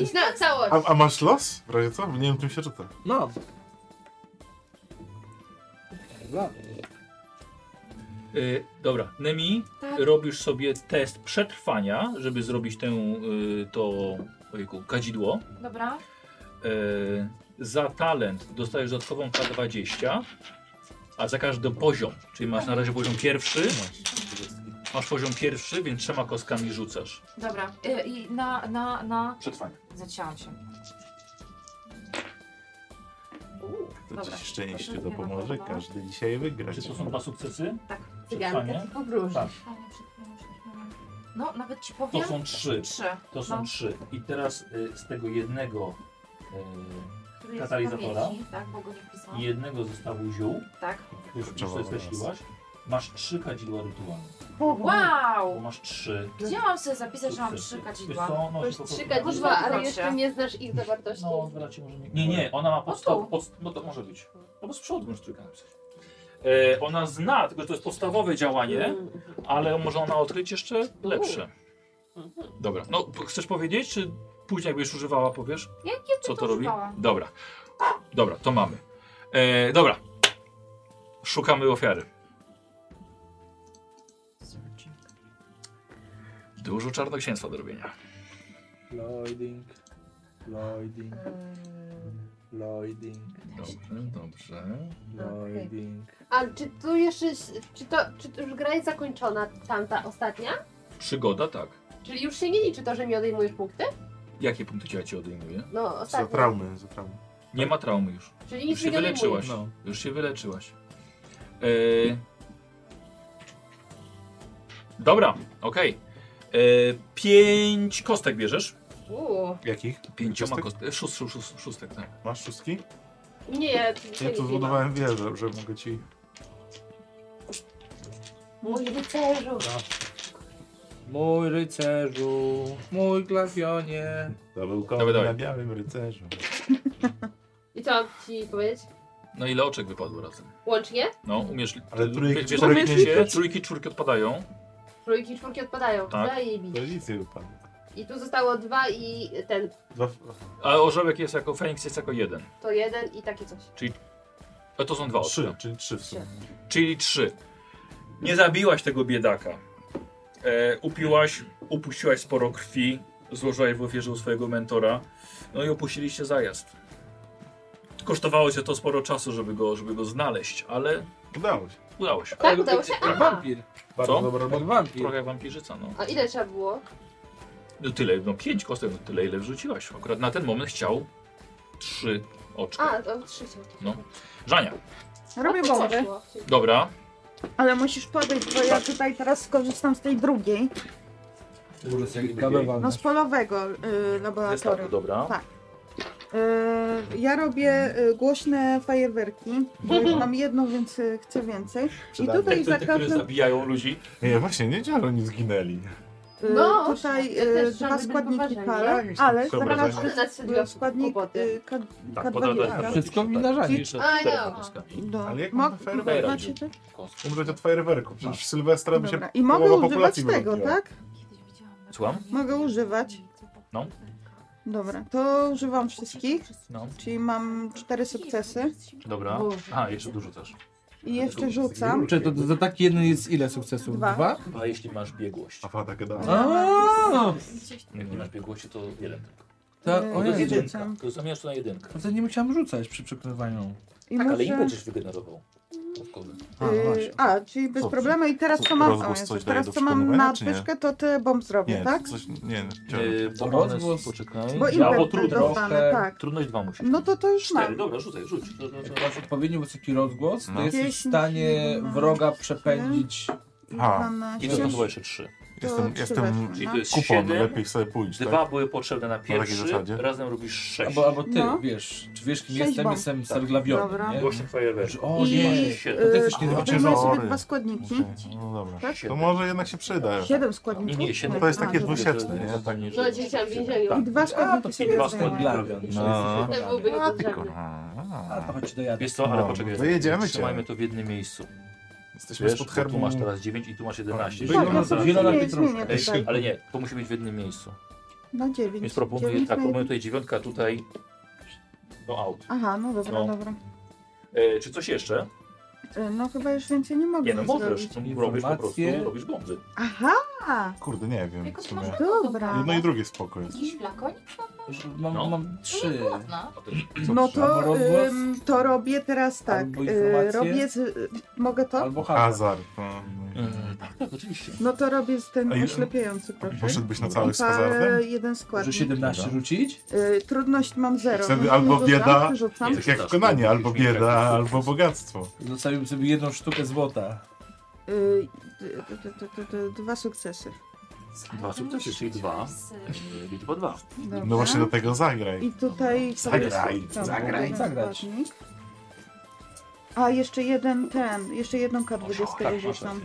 Speaker 1: Idź na całość.
Speaker 3: A, a masz los? W razie co? Nie wiem, czym się rzuca.
Speaker 10: No. Dobra.
Speaker 2: Y, dobra, Nemi,
Speaker 5: Tak.
Speaker 2: robisz sobie test przetrwania, żeby zrobić tę, y, to ojku, kadzidło.
Speaker 5: Dobra.
Speaker 2: Y, za talent dostajesz dodatkową K20, a za każdy poziom, czyli masz na razie poziom pierwszy. Masz poziom pierwszy, więc trzema kostkami rzucasz.
Speaker 5: Dobra. Y, I na, na, na...
Speaker 2: Przetrwanie.
Speaker 5: Zacięłam się. Uuu,
Speaker 3: To
Speaker 5: Dobra.
Speaker 3: ci szczęście to pomoże. Każdy dzisiaj wygra.
Speaker 2: Czy to są dwa sukcesy?
Speaker 5: Tak.
Speaker 1: Cyganka
Speaker 2: Przetrwanie?
Speaker 1: i podróży.
Speaker 2: Tak.
Speaker 5: Fajnie, przetrwałam, przetrwałam. No, nawet ci
Speaker 2: To
Speaker 5: powiem.
Speaker 2: są trzy.
Speaker 5: Trzy.
Speaker 2: To są
Speaker 5: No.
Speaker 2: trzy. I teraz y, z tego jednego, y,
Speaker 5: który jest
Speaker 2: Katalizatora.
Speaker 5: w pamięci, Tak, bo go nie
Speaker 2: y,
Speaker 5: wpisałam.
Speaker 2: jednego zestawu ziół,
Speaker 5: Tak.
Speaker 2: już
Speaker 3: Kurczę,
Speaker 2: sobie skreśliłaś, masz trzy kadzidła rytualne. Bo
Speaker 5: Wow!
Speaker 2: masz trzy
Speaker 5: Gdzie mam sobie zapisać, że mam
Speaker 2: sukcesy.
Speaker 5: trzy
Speaker 2: Wiesz
Speaker 5: kadzidła?
Speaker 2: co, no,
Speaker 1: To
Speaker 2: się
Speaker 1: już
Speaker 2: po
Speaker 1: trzy
Speaker 2: prostu-
Speaker 1: kadzidła, ale
Speaker 5: Proszę.
Speaker 1: jeszcze nie znasz ich zawartości.
Speaker 2: No, raczej może nie. Nie, nie, ona ma
Speaker 5: O, tu.
Speaker 2: podstawę. Pod, no to może być. No bo z przodu możesz trójkę napisać. E, ona zna, tylko że to jest podstawowe działanie,
Speaker 1: Mm.
Speaker 2: ale może ona odkryć jeszcze lepsze. Dobra, no p- chcesz powiedzieć, czy później jakbyś używała, powiesz?
Speaker 5: Ja
Speaker 2: Co to
Speaker 5: No to
Speaker 2: robi?
Speaker 5: używałam.
Speaker 2: Dobra, dobra, to mamy. E, dobra, szukamy ofiary. Dużo czarnoksięstwa do robienia.
Speaker 10: Loading. Loading. Loading.
Speaker 2: Dobrze, dobrze.
Speaker 10: Loading.
Speaker 1: A czy tu jeszcze, czy to, czy to już gra jest zakończona, tamta ostatnia?
Speaker 2: Przygoda, tak.
Speaker 1: Czyli już się nie liczy to, że mi odejmujesz punkty?
Speaker 2: Jakie punkty ja ci odejmuję?
Speaker 1: No,
Speaker 3: Za
Speaker 4: Tak.
Speaker 1: ostatnia.
Speaker 3: traumy, za traumy.
Speaker 2: Nie ma traumy już.
Speaker 1: Czyli nic
Speaker 2: Już
Speaker 1: mi
Speaker 2: się
Speaker 1: nie odejmujesz.
Speaker 2: wyleczyłaś.
Speaker 10: No.
Speaker 2: Już się wyleczyłaś.
Speaker 9: E,
Speaker 2: Yy... Dobra, okej.
Speaker 9: E,
Speaker 2: Yy, pięć kostek bierzesz.
Speaker 1: Uuu.
Speaker 3: Jakich?
Speaker 2: Pięcioma
Speaker 3: Kostek?
Speaker 2: kostek. Szóst, szóst, szóst, szóstek, tak.
Speaker 3: Masz szóstki?
Speaker 1: Nie, ja
Speaker 3: Ja tu zbudowałem wieżę, że mogę ci...
Speaker 1: Mój rycerzu.
Speaker 6: Mój rycerzu, mój glawionie.
Speaker 3: To był
Speaker 9: Dawaj,
Speaker 3: koło
Speaker 9: dawaj.
Speaker 3: na białym rycerzu.
Speaker 1: I co mam ci powiedzieć?
Speaker 9: No ile oczek wypadło razem?
Speaker 1: Łącznie?
Speaker 9: No, umiesz...
Speaker 3: Ale trójki,
Speaker 9: wiesz,
Speaker 3: czwórki
Speaker 9: jak
Speaker 3: nie
Speaker 9: się,
Speaker 3: widać.
Speaker 9: trójki, czwórki odpadają.
Speaker 1: Trójki i czwórki odpadają.
Speaker 9: Tak.
Speaker 1: Zajebiście.
Speaker 3: To nic nie wypadło.
Speaker 1: I tu zostało dwa i ten.
Speaker 2: Dwa,
Speaker 9: A orzełek jest jako, Feniks jest jako jeden.
Speaker 1: To jeden i takie coś.
Speaker 9: A to są dwa oczka.
Speaker 2: trzy, czyli trzy w sumie.
Speaker 9: Czyli trzy. Nie zabiłaś tego biedaka. E, upiłaś, upuściłaś sporo krwi, złożyłaś w ofierze u swojego mentora, no i opuściliście zajazd. Kosztowało cię to sporo czasu, żeby go, żeby go znaleźć, ale
Speaker 3: Udało się.
Speaker 9: udało się.
Speaker 1: Tak, udało się.
Speaker 6: Jak
Speaker 1: Aha.
Speaker 6: wampir,
Speaker 2: Bardzo
Speaker 9: Co?
Speaker 3: No,
Speaker 2: dobra
Speaker 6: jak
Speaker 2: robota.
Speaker 6: wampir.
Speaker 9: Trochę jak wampirzyca, no.
Speaker 1: A ile trzeba było?
Speaker 9: No tyle, no pięć kostek, no tyle ile wrzuciłaś. Akurat na ten moment chciał trzy oczka.
Speaker 1: A, to trzy chciałki.
Speaker 9: No. Żania,
Speaker 4: Robię
Speaker 1: A
Speaker 7: No
Speaker 1: to co
Speaker 4: bomby.
Speaker 1: szło?
Speaker 9: dobra.
Speaker 4: Ale musisz podejść, bo ja tutaj teraz skorzystam z tej drugiej. No z polowego y,
Speaker 9: Zestawu,
Speaker 4: laboratorium.
Speaker 9: dobra.
Speaker 4: Tak. Y, ja robię y, głośne fajerwerki, bo już mam jedno, więc y, chcę więcej. I
Speaker 3: Przydatne.
Speaker 4: tutaj za każdym...
Speaker 9: zabijają ludzi.
Speaker 3: Nie, właśnie, nie wiedziałem, że oni zginęli.
Speaker 4: Y,
Speaker 1: No,
Speaker 4: tutaj
Speaker 1: ja
Speaker 4: y,
Speaker 1: też
Speaker 4: dwa
Speaker 1: chciałabym
Speaker 4: składniki
Speaker 1: poważnie,
Speaker 4: para,
Speaker 3: nie?
Speaker 4: ale za
Speaker 3: Dobra,
Speaker 1: Prawo
Speaker 4: każdym
Speaker 1: przyznać się dla
Speaker 4: składnik
Speaker 1: kłopoty.
Speaker 4: y, K-
Speaker 9: Tak,
Speaker 4: K2
Speaker 9: podada-
Speaker 6: Wszystko
Speaker 9: tak.
Speaker 6: wina żani.
Speaker 9: Jeszcze
Speaker 1: I
Speaker 9: cztery
Speaker 1: know.
Speaker 9: kostka.
Speaker 4: do...
Speaker 3: Ale jak
Speaker 4: Ma...
Speaker 3: on fajerwerki
Speaker 4: Macie te?
Speaker 3: Umrzeć od fajerwerku. Przecież w Sylwestra by się
Speaker 4: Dobra. I mogę
Speaker 3: połowa
Speaker 4: używać
Speaker 3: populacji
Speaker 4: tego,
Speaker 3: wywróciła.
Speaker 4: tak?
Speaker 9: Słucham?
Speaker 4: Mogę używać.
Speaker 9: No.
Speaker 4: Dobra, to używam wszystkich,
Speaker 9: No,
Speaker 4: czyli mam cztery sukcesy
Speaker 9: dobra. Aha, jeszcze dużo też.
Speaker 4: i jeszcze rzucam.
Speaker 6: Czy to za taki jeden jest ile sukcesów?
Speaker 4: Dwa.
Speaker 9: Chyba jeśli masz biegłość.
Speaker 3: A fata gada.
Speaker 4: No,
Speaker 2: No.
Speaker 6: A,
Speaker 9: Jak nie masz biegłości, to jeden tylko.
Speaker 6: to,
Speaker 4: Yy,
Speaker 6: o
Speaker 9: To jest
Speaker 4: Jezu.
Speaker 6: Jezu.
Speaker 9: jedynka. To zamiast to na jedynkę.
Speaker 6: To nie musiałam rzucać przy przekonywaniu.
Speaker 4: I
Speaker 9: Tak, Ale i
Speaker 4: muszę...
Speaker 9: będziesz wygenerował. dodatkowy.
Speaker 3: no
Speaker 4: y, A, czyli bez
Speaker 3: Co?
Speaker 4: problemu i teraz
Speaker 3: Co,
Speaker 4: co mam. O,
Speaker 3: rozgłos
Speaker 4: Jezu,
Speaker 3: coś daje
Speaker 4: teraz
Speaker 3: do
Speaker 4: co mam
Speaker 3: przekonywania,
Speaker 4: na
Speaker 3: czy nie?
Speaker 4: pyszkę, to te bomb zrobię,
Speaker 3: Nie,
Speaker 4: tak?
Speaker 3: coś, nie, nie, chciałem-
Speaker 9: Yy, bo
Speaker 6: Rozgłos.
Speaker 9: one są- Poczekaj.
Speaker 4: Bo
Speaker 9: Ja, bo
Speaker 4: impet
Speaker 9: trudno.
Speaker 4: dostanę, tak.
Speaker 9: Trudność dwa musisz.
Speaker 4: No to to już
Speaker 9: Cztery,
Speaker 4: mam.
Speaker 9: dobra, rzucaj, rzuć. To- to- to-
Speaker 6: Jak masz odpowiednio wysoki rozgłos, to
Speaker 3: No.
Speaker 6: jesteś w
Speaker 4: Dziesięć,
Speaker 6: stanie
Speaker 4: dwanaście.
Speaker 6: wroga przepędzić.
Speaker 3: Aha.
Speaker 4: 12,
Speaker 9: I to znowu jeszcze trzy.
Speaker 3: Jestem,
Speaker 4: trzy
Speaker 3: jestem
Speaker 4: weszły,
Speaker 9: Czyli
Speaker 4: no.
Speaker 9: to jest
Speaker 3: kupon,
Speaker 9: siedem,
Speaker 3: lepiej sobie pójść,
Speaker 9: dwa
Speaker 3: tak?
Speaker 9: były potrzebne na
Speaker 3: takiej
Speaker 9: pierwszy,
Speaker 3: zasadzie?
Speaker 9: razem robisz sześć.
Speaker 6: Albo, albo ty,
Speaker 4: No.
Speaker 6: wiesz, czy wiesz kim
Speaker 4: Sześć
Speaker 6: jestem,
Speaker 4: bomb.
Speaker 6: jestem serglawionym,
Speaker 4: Dobra.
Speaker 6: nie?
Speaker 9: Głośny fajerwerk.
Speaker 6: O,
Speaker 4: I-
Speaker 6: nie.
Speaker 9: Siedem.
Speaker 6: To ty
Speaker 4: Y,
Speaker 6: też nie
Speaker 3: A,
Speaker 6: robisz.
Speaker 3: czy
Speaker 4: Wezmę sobie
Speaker 3: Sorry.
Speaker 4: dwa składniki.
Speaker 3: Muszę- No dobra.
Speaker 4: Tak?
Speaker 3: To może jednak się przyda.
Speaker 4: Siedem składników?
Speaker 9: Nie, siedem.
Speaker 3: No to jest takie
Speaker 4: A, dobra.
Speaker 3: dwusieczne, nie? Tak nie
Speaker 1: No, dzieciom w więzieniu.
Speaker 4: I dwa
Speaker 6: A, to
Speaker 4: składniki
Speaker 6: ty
Speaker 4: sobie Tak,
Speaker 9: dwa
Speaker 4: wezmę.
Speaker 9: składniki.
Speaker 6: serglawion.
Speaker 3: Tak. No.
Speaker 1: To byłby
Speaker 3: A, ty
Speaker 1: niepotrzebny.
Speaker 3: kurwa.
Speaker 6: A, to chodź do jadu.
Speaker 9: Wiesz co, ale
Speaker 3: No,
Speaker 9: poczekaj.
Speaker 3: to jedziemy cię.
Speaker 9: Trzymajmy to w jednym miejscu.
Speaker 3: Jesteśmy
Speaker 9: Wiesz,
Speaker 3: spod
Speaker 9: bo tu
Speaker 3: herbą.
Speaker 9: masz teraz 9 i tu masz 11.
Speaker 3: Tak,
Speaker 9: Żeby-
Speaker 4: Tak, ja
Speaker 6: Wielona-
Speaker 4: sobie
Speaker 6: wielona
Speaker 4: zmienię,
Speaker 6: pietruszka.
Speaker 4: zmienię
Speaker 9: Ej,
Speaker 4: tutaj.
Speaker 9: Ale nie, to musi być w jednym miejscu.
Speaker 4: Na dziewięć.
Speaker 9: Tak. Więc proponuję,
Speaker 4: Dziewięć
Speaker 9: tak,
Speaker 4: na
Speaker 9: proponuję
Speaker 4: jeden.
Speaker 9: tutaj dziewiątka, a tutaj no out.
Speaker 4: Aha, no dobra,
Speaker 9: No.
Speaker 4: dobra.
Speaker 9: E, czy coś jeszcze?
Speaker 4: Y, No chyba już więcej nie mogę
Speaker 9: Nie, no możesz,
Speaker 4: zrobić.
Speaker 9: to robisz po prostu,
Speaker 6: Informacje.
Speaker 9: robisz bomby.
Speaker 4: Aha!
Speaker 3: Kurde, nie wiem.
Speaker 5: Tylko
Speaker 3: W
Speaker 5: to
Speaker 3: sumie.
Speaker 5: może
Speaker 4: Dobra.
Speaker 3: Jedno i drugie spoko jest.
Speaker 5: Jakiś flakonik?
Speaker 6: Mam,
Speaker 9: No.
Speaker 6: mam trzy.
Speaker 5: No.
Speaker 4: No
Speaker 6: Albo
Speaker 4: to,
Speaker 6: rozgłos,
Speaker 4: ym, to robię teraz tak.
Speaker 6: Albo
Speaker 4: y,
Speaker 6: informacje.
Speaker 4: robię z, y, mogę to?
Speaker 6: albo hazard.
Speaker 3: Hazard. no.
Speaker 9: tak, tak, oczywiście.
Speaker 4: No to robię z ten
Speaker 3: A i-
Speaker 4: oślepiający, proszę.
Speaker 3: Poszedłbyś na cały z
Speaker 4: Pa-
Speaker 3: hazardem?
Speaker 4: jeden
Speaker 6: Może
Speaker 4: składnik.
Speaker 6: 17
Speaker 3: Dobra.
Speaker 6: rzucić?
Speaker 4: Y, trudność mam zero.
Speaker 3: Wtedy
Speaker 4: No,
Speaker 3: albo
Speaker 4: rzucam,
Speaker 3: bieda-
Speaker 4: Rzucam.
Speaker 9: Nie.
Speaker 3: Tak jak w Konanie, albo bieda, albo bogactwo.
Speaker 6: Zostawiłbym sobie jedną sztukę złota.
Speaker 4: Y, d- d- d- d- d- dwa sukcesy.
Speaker 9: Dwa sukcesy, czyli dwa. E, Liczba dwa.
Speaker 4: Dobra.
Speaker 3: No właśnie do tego zagraj.
Speaker 4: I tutaj...
Speaker 3: Zagraj,
Speaker 4: Dobra,
Speaker 3: zagraj.
Speaker 4: jeden
Speaker 6: Zagrać.
Speaker 4: składnik. A, jeszcze jeden ten, jeszcze jedną
Speaker 6: tak,
Speaker 4: K20 rzucam.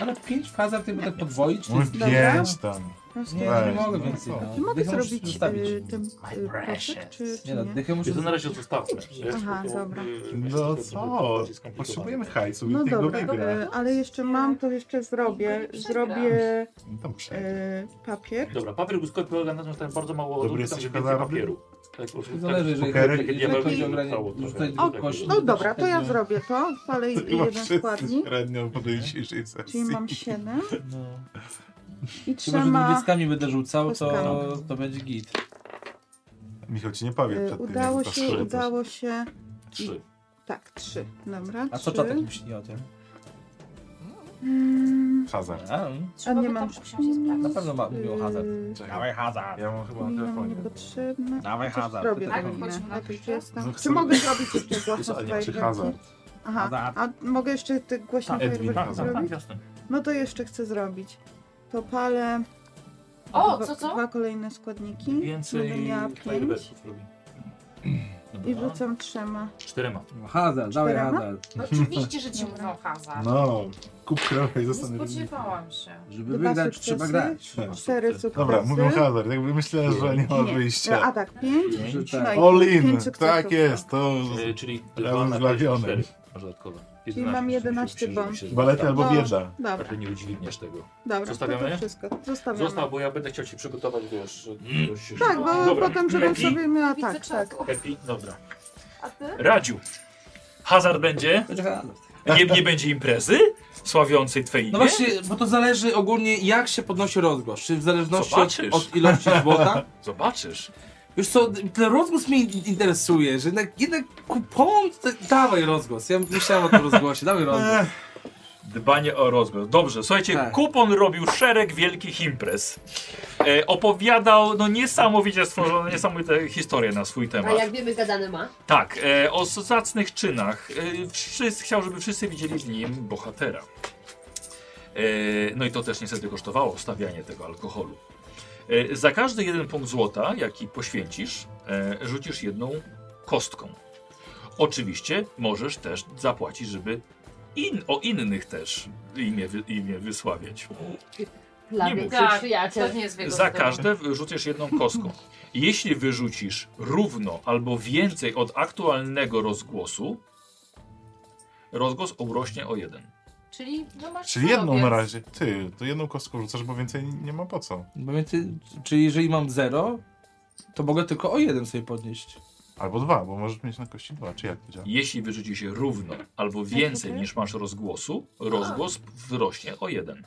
Speaker 6: Ale 5 w hazard jakby tak podwoić, to
Speaker 3: Mój
Speaker 6: jest...
Speaker 4: Dobra.
Speaker 3: pięć tam.
Speaker 4: Prosto-
Speaker 6: Nie, nie
Speaker 3: Weź,
Speaker 6: mogę
Speaker 3: no
Speaker 6: więcej.
Speaker 3: co?
Speaker 6: No.
Speaker 4: Czy mogę
Speaker 6: Dychę muszę
Speaker 4: zrobić
Speaker 6: zostawić.
Speaker 4: y, ten y, proszek, czy, czy
Speaker 6: Nie no,
Speaker 4: nie?
Speaker 6: dychę muszę
Speaker 9: Więc to na razie zostawmy.
Speaker 4: Aha, dobra.
Speaker 2: y,
Speaker 3: No co? Potrzebujemy hajsu,
Speaker 4: No
Speaker 3: nikt tego
Speaker 4: dobra,
Speaker 3: wygra.
Speaker 4: e, ale jeszcze mam, to jeszcze zrobię. Zrobię
Speaker 3: Tam przejdę.
Speaker 4: e, papier.
Speaker 9: Dobra, papier błyskowy organizm tam bardzo mało
Speaker 3: Dobry
Speaker 9: ładunku, tam
Speaker 3: jesteś
Speaker 9: jest więcej
Speaker 3: hazardy?
Speaker 9: papieru. Tak, po prostu
Speaker 6: Zależy, jeżeli
Speaker 3: Pokery?
Speaker 6: chodzi- jeżeli
Speaker 9: Diabeł
Speaker 6: chodzi o
Speaker 9: nie
Speaker 6: granie.
Speaker 9: rzucało trochę.
Speaker 6: rzucać
Speaker 4: O,
Speaker 6: do koszy.
Speaker 4: No dobra, to ja zrobię to. Palę
Speaker 3: Ty masz
Speaker 4: jeden
Speaker 3: wszyscy
Speaker 4: składnik,
Speaker 3: średnią po tej dzisiejszej sesji.
Speaker 4: czyli mam 7
Speaker 6: No.
Speaker 4: i
Speaker 6: Chyba, że
Speaker 4: trzema.
Speaker 6: dwudziestkami będę rzucał, to,
Speaker 4: Kostkami.
Speaker 6: to będzie git.
Speaker 3: Michał ci nie powie
Speaker 4: E,
Speaker 3: przed tym,
Speaker 4: Udało
Speaker 3: jak
Speaker 4: się,
Speaker 3: zastrzelę.
Speaker 4: udało się.
Speaker 9: Trzy.
Speaker 4: Tak, trzy. Dobra,
Speaker 6: A co
Speaker 4: trzy.
Speaker 6: czatek myśli o tym?
Speaker 4: Mm,
Speaker 3: Hazard.
Speaker 6: A,
Speaker 5: Trzeba
Speaker 4: nie
Speaker 5: by
Speaker 4: mam Mm.
Speaker 5: tam usiąść i
Speaker 6: na
Speaker 5: sprawdzić.
Speaker 6: pewno ma, mówił hazard.
Speaker 4: y,
Speaker 3: Czekaj,
Speaker 6: hazard.
Speaker 3: ja mam chyba na
Speaker 4: No,
Speaker 3: telefonie.
Speaker 4: niepotrzebne.
Speaker 6: Dawaj
Speaker 4: Coś
Speaker 6: hazard,
Speaker 4: Zrobię
Speaker 6: ty
Speaker 4: tak,
Speaker 5: tego
Speaker 4: inne.
Speaker 5: nie
Speaker 4: Jak już
Speaker 5: robisz.
Speaker 4: jestem.
Speaker 3: Zrób
Speaker 4: Czy
Speaker 3: sobie-
Speaker 4: mogę zrobić jeszcze głośno
Speaker 3: Hazard, czy
Speaker 4: fajerwerki?
Speaker 3: hazard?
Speaker 4: Aha, a mogę jeszcze te
Speaker 6: Tak,
Speaker 4: głośne
Speaker 3: Edwin,
Speaker 2: Tak,
Speaker 4: fajerwerki
Speaker 3: hazard.
Speaker 4: zrobić?
Speaker 9: Jasne.
Speaker 4: No to jeszcze chcę zrobić. To palę
Speaker 5: O,
Speaker 4: dwa,
Speaker 5: co, co?
Speaker 4: dwa kolejne składniki. Będę
Speaker 9: Więcej
Speaker 4: miała pięć.
Speaker 9: fajerwerków robi.
Speaker 4: I rzucam trzema.
Speaker 9: Czterema.
Speaker 6: No, Hazard, dawaj
Speaker 4: Czterema?
Speaker 6: hazard.
Speaker 5: No, Oczywiście, że ci mówią hazard.
Speaker 3: No, kup krowę i
Speaker 5: Nie
Speaker 3: zostanę rybnikiem.
Speaker 5: spodziewałam się.
Speaker 6: Żeby
Speaker 4: Dwa
Speaker 6: wygrać,
Speaker 4: sukcesy.
Speaker 6: trzeba grać.
Speaker 4: Cztery sukcesy.
Speaker 3: Dobra, mówią hazard, jakby myślę, że nie ma
Speaker 4: Nie.
Speaker 3: wyjścia.
Speaker 4: A tak, pięć.
Speaker 6: Że
Speaker 4: No
Speaker 6: tak.
Speaker 4: i
Speaker 3: All
Speaker 4: pięć
Speaker 3: in,
Speaker 4: sukcesów.
Speaker 3: tak jest, to
Speaker 2: E, czyli
Speaker 3: Razem
Speaker 2: 2 na
Speaker 3: z
Speaker 2: 5,
Speaker 3: Lawionem.
Speaker 2: 4. Może dodatkowo.
Speaker 4: Czyli mam 11
Speaker 2: żeby się
Speaker 4: bomb.
Speaker 2: zgadzało.
Speaker 3: balety albo
Speaker 4: No.
Speaker 3: bieda.
Speaker 4: Dobra,
Speaker 2: Raczej nie udźwigniesz tego.
Speaker 4: dobra. To,
Speaker 2: Zostawiamy?
Speaker 4: to wszystko. Zostawiamy.
Speaker 2: Zostaw, bo ja będę chciał ci przygotować, wiesz... coś-
Speaker 4: Tak, bo
Speaker 2: Dobra,
Speaker 4: potem, żebym
Speaker 2: Happy?
Speaker 4: sobie miała
Speaker 5: Widzę
Speaker 4: tak, tak.
Speaker 5: czas.
Speaker 2: Happy? Dobra.
Speaker 5: A ty?
Speaker 2: Radziu, hazard będzie?
Speaker 6: Będzie hazard.
Speaker 2: Nie, nie będzie imprezy sławiącej twoje imię?
Speaker 6: No właśnie, bo to zależy ogólnie jak się podnosi rozgłos. Czy w zależności od,
Speaker 2: Zobaczysz.
Speaker 6: od ilości złota.
Speaker 2: Zobaczysz.
Speaker 6: Już co, ten rozgłos mnie in- interesuje, że jednak, jednak kupon... to- Dawaj rozgłos, ja myślałem o tym rozgłosie, dawaj rozgłos.
Speaker 2: Dbanie o rozgłos. Dobrze, słuchajcie,
Speaker 6: Tak.
Speaker 2: kupon robił szereg wielkich imprez. E, opowiadał no niesamowicie stworzone, niesamowite historie na swój
Speaker 1: A
Speaker 2: temat.
Speaker 1: jak wiemy, gadany ma.
Speaker 2: Tak, e, o zacnych czynach. E, wszyscy, chciał, żeby wszyscy widzieli w nim bohatera. E, no i to też niestety kosztowało stawianie tego alkoholu. E, za każdy jeden punkt złota, jaki poświęcisz, e, rzucisz jedną kostką. Oczywiście możesz też zapłacić, żeby in, o innych też imię, wy- imię wysławiać. Nie
Speaker 1: Plamy
Speaker 2: mów.
Speaker 1: tak,
Speaker 5: Tak,
Speaker 1: przyjaciel.
Speaker 5: To nie jest w jego
Speaker 2: Za
Speaker 5: stylu.
Speaker 2: każde rzucisz jedną kostką. Jeśli wyrzucisz równo albo więcej od aktualnego rozgłosu, rozgłos urośnie o jeden.
Speaker 5: Czyli, no masz
Speaker 3: Czyli jedną
Speaker 5: chorobiec.
Speaker 3: na razie. Ty, to jedną kostką rzucasz, bo więcej nie ma po co.
Speaker 6: Pamiętaj, czyli jeżeli mam zero, to mogę tylko o jeden sobie podnieść.
Speaker 3: Albo dwa, bo możesz mieć na kości dwa, czy jak to działa?
Speaker 2: Jeśli wyrzucisz je równo albo więcej niż masz rozgłosu, rozgłos wzrośnie o jeden.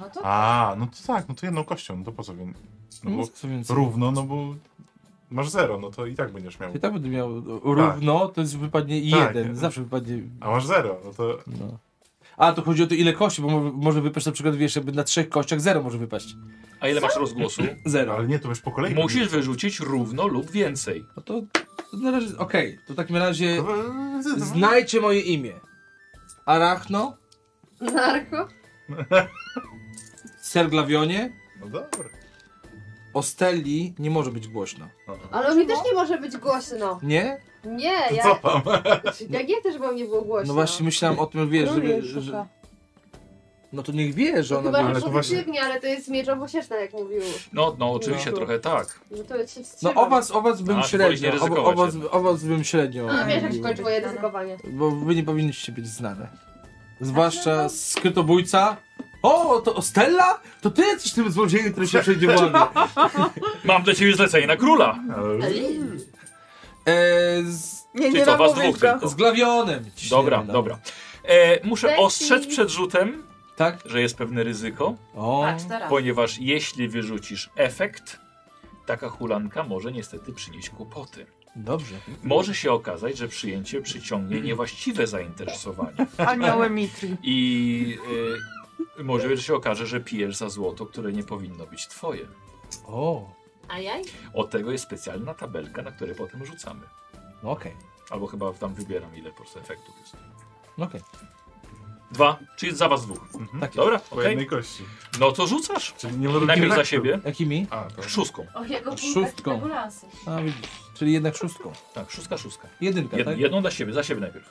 Speaker 5: No to
Speaker 3: A, no to tak, no to jedną kością, no to po co? więc- No bo
Speaker 6: Co więcej?
Speaker 3: równo, no bo masz zero, no to i tak będziesz miał.
Speaker 6: I tak będę miał równo, to jest wypadnie
Speaker 3: Tak.
Speaker 6: jeden, zawsze wypadnie...
Speaker 3: A masz zero, no to
Speaker 6: No. A, to chodzi o to ile kości, bo mo- może wypaść na przykład, wiesz, jakby na trzech kościach zero może wypaść.
Speaker 2: A ile masz rozgłosu?
Speaker 6: Zero.
Speaker 3: No, Ale nie, to już po kolei.
Speaker 2: Musisz wyrzucić równo lub więcej.
Speaker 6: No to, to na razie, okej, to w takim
Speaker 3: No,
Speaker 6: razie
Speaker 3: Zna...
Speaker 6: znajdźcie moje imię. Arachno,
Speaker 1: Narko.
Speaker 6: Serglawionie,
Speaker 3: No dobra.
Speaker 6: Ostelli nie może być głośno.
Speaker 1: Ale mi też tak nie może być
Speaker 7: no.
Speaker 1: głośno.
Speaker 6: Nie?
Speaker 1: Nie,
Speaker 3: To
Speaker 1: ja,
Speaker 3: cofam.
Speaker 1: jak ja też bo mnie było głośno.
Speaker 6: No właśnie myślałem o tym, wiesz,
Speaker 4: Królu
Speaker 6: żeby,
Speaker 4: szuka.
Speaker 6: że, no to niech wie, że
Speaker 1: To
Speaker 6: ona
Speaker 1: chyba
Speaker 6: była.
Speaker 3: Ale
Speaker 1: ale
Speaker 3: to
Speaker 1: pozytywnie, ale to jest miecz obosieczny, jak mówił.
Speaker 2: No, no oczywiście
Speaker 6: No.
Speaker 2: trochę tak.
Speaker 1: No to się wstrzymam.
Speaker 6: No o was, o was bym
Speaker 2: A, wolisz nie
Speaker 6: średnio, o, o,
Speaker 2: ryzykować
Speaker 6: was,
Speaker 2: jednak.
Speaker 6: o was bym średnio
Speaker 1: No wiesz, jak się
Speaker 6: mówił,
Speaker 1: kończy moje ryzykowanie.
Speaker 6: bo wy nie powinniście być znane. Zwłaszcza skrytobójca. O, to Ostella? To ty jesteś tym złodziejem, który się przejdzie wami.
Speaker 2: Mam dla ciebie zlecenie na króla.
Speaker 6: Eee, z,
Speaker 4: Nie,
Speaker 2: Czyli
Speaker 4: nie
Speaker 2: co, was
Speaker 4: namówisz
Speaker 2: dwóch
Speaker 4: go.
Speaker 2: tylko.
Speaker 6: z glawionem.
Speaker 2: Dobra,
Speaker 6: Ciśniemy,
Speaker 2: dobra. E, muszę
Speaker 5: Leci.
Speaker 2: ostrzec przed rzutem,
Speaker 6: Tak?
Speaker 2: że jest pewne ryzyko.
Speaker 5: Tak.
Speaker 6: O,
Speaker 5: patrz teraz.
Speaker 2: Ponieważ jeśli wyrzucisz efekt, taka hulanka może niestety przynieść kłopoty.
Speaker 6: dobrze.
Speaker 2: Może się okazać, że przyjęcie przyciągnie niewłaściwe zainteresowanie.
Speaker 4: Anioły Mitri.
Speaker 2: I y, może się okaże, że pijesz za złoto, które nie powinno być twoje.
Speaker 6: O,
Speaker 1: A jaj?
Speaker 2: Od tego jest specjalna tabelka, na której potem rzucamy.
Speaker 6: no okej,
Speaker 2: Albo chyba tam wybieram ile po prostu efektów jest.
Speaker 6: no okej.
Speaker 2: Dwa, czyli za was dwóch.
Speaker 6: Tak jest.
Speaker 2: Dobra,
Speaker 3: Po
Speaker 2: okej.
Speaker 3: jednej kości.
Speaker 2: No to rzucasz.
Speaker 3: Czyli nie może
Speaker 2: Najpierw za siebie.
Speaker 6: Jakimi?
Speaker 3: A, to.
Speaker 2: Szóstką.
Speaker 5: O jego
Speaker 6: Szóstką.
Speaker 5: punktach regulacji.
Speaker 6: A widzisz, czyli jednak szóstką.
Speaker 2: Tak, szóstka, szóstka.
Speaker 6: Jedynka,
Speaker 2: Jed,
Speaker 6: tak?
Speaker 2: jedną dla siebie, za siebie najpierw.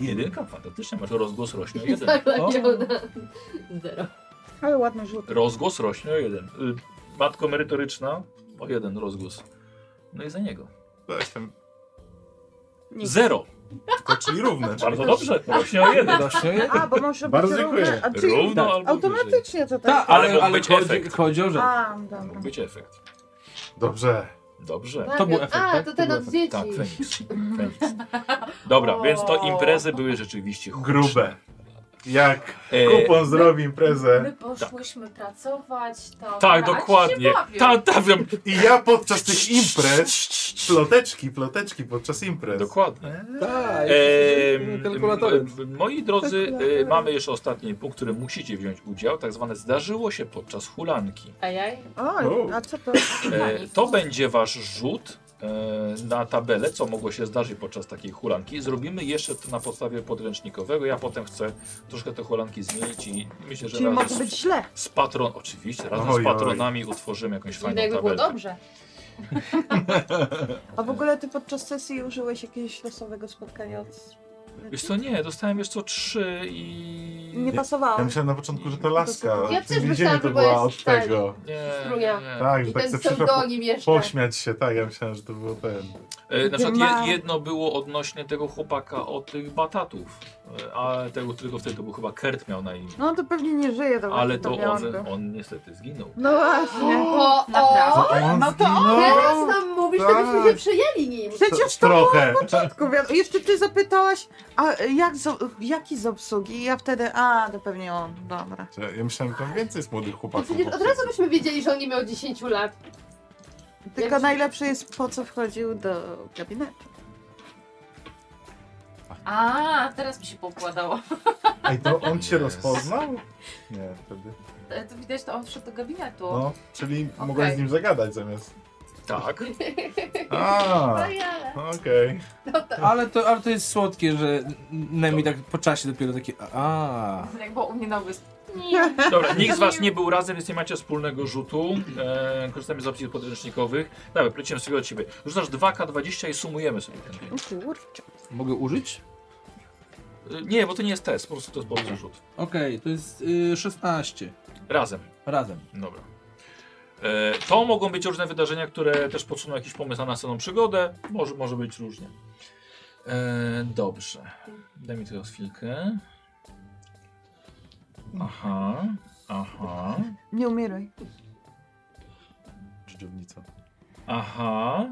Speaker 2: Jedynka, fantastycznie, masz rozgłos rośnie o jeden.
Speaker 1: Tak,
Speaker 6: O.
Speaker 1: Legiona. Zero.
Speaker 4: Ale ładny rzut.
Speaker 2: Rozgłos rośnie o jeden. Y, Matko merytoryczna o jeden rozgłos. No i za niego.
Speaker 3: To jestem.
Speaker 4: Nie.
Speaker 2: Zero.
Speaker 3: Tylko, czyli równe. czyli
Speaker 2: Bardzo
Speaker 3: też-
Speaker 2: dobrze. Rośnie o
Speaker 1: tak.
Speaker 2: jeden.
Speaker 6: Właśnie jeden.
Speaker 4: A, bo może być
Speaker 3: Bardzo
Speaker 4: równe.
Speaker 3: dziękuję.
Speaker 4: A, czyli
Speaker 2: Równo
Speaker 6: tak,
Speaker 2: albo wyżej.
Speaker 4: Automatycznie to
Speaker 6: Ta,
Speaker 4: tak.
Speaker 2: ale
Speaker 6: ale,
Speaker 2: mógł
Speaker 6: ale
Speaker 2: być
Speaker 6: chodzi,
Speaker 2: efekt.
Speaker 6: chodzi o rzecz.
Speaker 4: A,
Speaker 2: Mógł
Speaker 4: dobra.
Speaker 2: być efekt.
Speaker 3: Dobrze.
Speaker 2: Dobrze.
Speaker 1: Tak,
Speaker 6: To był
Speaker 1: a,
Speaker 6: efekt, tak?
Speaker 1: to
Speaker 6: To
Speaker 1: ten
Speaker 6: był
Speaker 1: od
Speaker 6: efekt,
Speaker 1: dzieci.
Speaker 2: Tak, Feniks. Feniks. Dobra, więc to imprezy były rzeczywiście huczne.
Speaker 3: Grube. Jak
Speaker 2: E,
Speaker 3: kupon zrobi imprezę
Speaker 5: My poszłyśmy
Speaker 9: Tak.
Speaker 5: pracować, to...
Speaker 2: tak,
Speaker 5: a ci się
Speaker 2: dokładnie.
Speaker 5: bawią.
Speaker 2: Ta, ta, wiem.
Speaker 3: i ja podczas tych imprez, ploteczki, ploteczki podczas imprez.
Speaker 2: Dokładnie.
Speaker 6: Tak,
Speaker 2: Em,
Speaker 6: kalkulatorem.
Speaker 2: m- m- Moi drodzy, e, mamy jeszcze ostatni punkt, w którym musicie wziąć udział, tak zwane zdarzyło się podczas hulanki.
Speaker 1: A jaj?
Speaker 4: O, a co to?
Speaker 2: E, To będzie wasz rzut e, na tabelę, co mogło się zdarzyć podczas takiej hulanki. Zrobimy jeszcze to na podstawie podręcznikowego. Ja potem chcę troszkę te hulanki zmienić i myślę, że
Speaker 4: Czyli może
Speaker 2: razem
Speaker 4: być
Speaker 2: z,
Speaker 4: źle.
Speaker 2: z patron, oczywiście, razem
Speaker 3: Oj,
Speaker 2: z patronami utworzymy jakąś
Speaker 1: Czyli
Speaker 2: fajną
Speaker 1: jakby było
Speaker 2: tabelę.
Speaker 1: dobrze.
Speaker 4: A w ogóle ty podczas sesji użyłeś jakiegoś losowego spotkania od...
Speaker 9: Wiesz co, nie, dostałem jeszcze co trzy i...
Speaker 4: Nie pasowało.
Speaker 3: Ja myślałem na początku, że to laska.
Speaker 4: Ja
Speaker 3: ale
Speaker 7: też
Speaker 3: nie
Speaker 7: myślałam,
Speaker 3: to
Speaker 7: że
Speaker 3: była
Speaker 7: jest
Speaker 3: od
Speaker 7: stary.
Speaker 3: tego.
Speaker 9: nie,
Speaker 7: Strunia.
Speaker 9: nie.
Speaker 3: Tak, że
Speaker 7: I
Speaker 3: tak
Speaker 7: ten
Speaker 3: sobie przyszła
Speaker 7: pseudonim jeszcze.
Speaker 3: pośmiać się. Tak, ja myślałem, że to było ten.
Speaker 9: E, Na
Speaker 4: Gdzie
Speaker 9: przykład
Speaker 4: ma-
Speaker 9: je- jedno było odnośnie tego chłopaka od tych batatów, e, a tego, którego wtedy to był chyba Kert miał na imię.
Speaker 4: No to pewnie nie żyje do
Speaker 9: Ale to
Speaker 4: Białego.
Speaker 9: on, on niestety zginął.
Speaker 4: No właśnie.
Speaker 7: O,
Speaker 5: Naprawdę.
Speaker 7: o,
Speaker 3: On
Speaker 4: no to on
Speaker 3: zginął?
Speaker 7: teraz nam mówisz, to byśmy się
Speaker 3: tak.
Speaker 7: przejęli nim.
Speaker 4: Przecież to
Speaker 3: Trochę.
Speaker 4: Tylko wiad- Jeszcze ty zapytałaś, a jak z, jaki z obsługi? I ja wtedy, a to pewnie on, dobra.
Speaker 3: Ja myślałem, że tam więcej jest młodych
Speaker 7: To
Speaker 3: chłopaków.
Speaker 7: przecież od razu byśmy wiedzieli, że on nie miał 10 lat.
Speaker 4: Tylko
Speaker 7: Jak-
Speaker 4: najlepsze jest po co wchodził do gabinetu.
Speaker 5: A, teraz mi się pokładało.
Speaker 3: Ej, to on cię
Speaker 9: Jest.
Speaker 3: rozpoznał? Nie, wtedy.
Speaker 5: E, To widać, to on wszedł do gabinetu.
Speaker 3: No, czyli
Speaker 5: Okej.
Speaker 3: mogłaś z nim zagadać zamiast.
Speaker 9: Tak.
Speaker 3: A,
Speaker 7: No ja.
Speaker 3: okej.
Speaker 7: No to,
Speaker 6: Tak. Ale to, ale to jest słodkie, że Nemi tak po czasie dopiero takie a
Speaker 5: Jak było u mnie na wyspie.
Speaker 9: Dobra, nikt z was nie był razem, więc nie macie wspólnego rzutu. E, korzystamy z opcji podręcznikowych. Dobra, lecimy sobie od siebie. Rzucasz 2K20 i sumujemy sobie ten
Speaker 4: O kurczę.
Speaker 6: Mogę użyć?
Speaker 9: E, Nie, bo to nie jest test, po prostu to jest podręczny rzut.
Speaker 6: Okej, to jest y, 16.
Speaker 9: Razem.
Speaker 6: Razem.
Speaker 9: Dobra. E, to mogą być różne wydarzenia, które też podsuną jakiś pomysł na następną przygodę. Może, może być różnie. E, dobrze. Daj mi teraz chwilkę. Aha, aha,
Speaker 4: Nie umieraj.
Speaker 3: Dżdżownica.
Speaker 9: aha.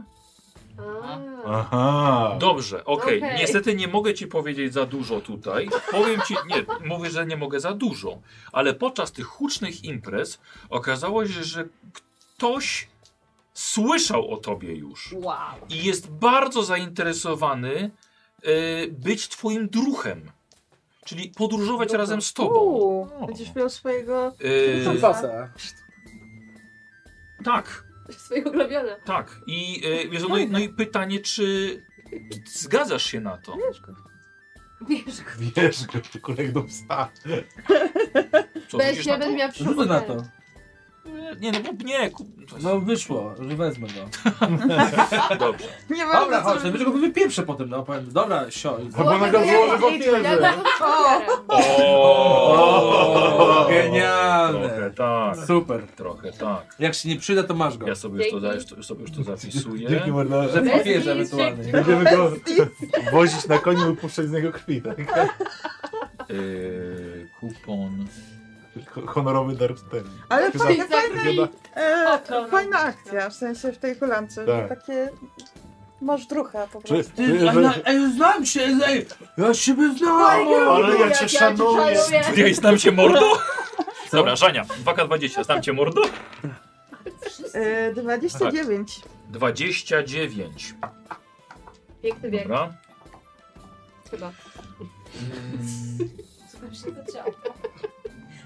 Speaker 7: a,
Speaker 3: Aha.
Speaker 9: Dobrze, okej.
Speaker 7: Okej.
Speaker 9: Niestety nie mogę ci powiedzieć za dużo tutaj. Powiem ci, nie, mówię, że nie mogę za dużo, ale podczas tych hucznych imprez okazało się, że ktoś słyszał o tobie już.
Speaker 7: wow.
Speaker 9: i jest bardzo zainteresowany y, być twoim druhem. Czyli podróżować
Speaker 4: Druhem.
Speaker 9: razem z tobą.
Speaker 4: Uuu,
Speaker 9: O.
Speaker 4: będziesz miał swojego...
Speaker 9: Y,
Speaker 6: Fasa.
Speaker 9: tak,
Speaker 7: Swojego ulubiona.
Speaker 9: tak. I, y, wiesz, no, i- no i pytanie, czy zgadzasz się na to?
Speaker 4: Wiesz go.
Speaker 5: Wiesz,
Speaker 3: Wiesz go, tylko jak do psa.
Speaker 9: Co,
Speaker 7: Będziesz,
Speaker 9: rzucisz
Speaker 7: ja
Speaker 9: na to?
Speaker 7: będę miała przy
Speaker 6: Rzucę na to.
Speaker 9: Nie, no bo nie. ku-
Speaker 6: No wyszło, że wezmę go.
Speaker 9: Dobrze.
Speaker 4: Nie ma
Speaker 6: Dobra, chodź, będzie go wypieprzę potem, no powiem. Dobra, sio.
Speaker 3: Albo na go złożę papierze.
Speaker 9: O, Trochę
Speaker 6: Genialne.
Speaker 9: tak,
Speaker 6: Super.
Speaker 9: trochę tak.
Speaker 6: Jak się nie przyda, to masz go.
Speaker 9: Ja sobie już to, za- już to, sobie już to zapisuję.
Speaker 3: Dzięki morda.
Speaker 6: Że w
Speaker 7: Bez
Speaker 6: papierze
Speaker 7: nic,
Speaker 6: ewentualnie.
Speaker 7: dzięki.
Speaker 3: Będziemy go wozić na koniu i puszczać z niego krwi, tak?
Speaker 9: Y, kupon.
Speaker 3: Ho- Honorowy dar ten.
Speaker 4: Ale
Speaker 3: Za-
Speaker 4: fajna,
Speaker 7: No
Speaker 4: fajna,
Speaker 3: Chyba-
Speaker 4: e,
Speaker 7: Oto, no.
Speaker 4: fajna akcja, w sensie w tej hulance,
Speaker 3: Tak.
Speaker 4: że takie... Masz drucha po
Speaker 3: Czy,
Speaker 4: prostu.
Speaker 3: ty,
Speaker 6: Ty,
Speaker 3: że,
Speaker 6: ale, ej, znam cię, ej, ja siebie znam!
Speaker 3: ale ja cię szanuję.
Speaker 9: Zdjęć nam się mordo? Dobra, Żania, 2K20, znam cię mordo?
Speaker 4: E, 29.
Speaker 9: 29.
Speaker 7: Piękny wiek,
Speaker 9: Dobra.
Speaker 7: chyba.
Speaker 5: co tam się zadziało.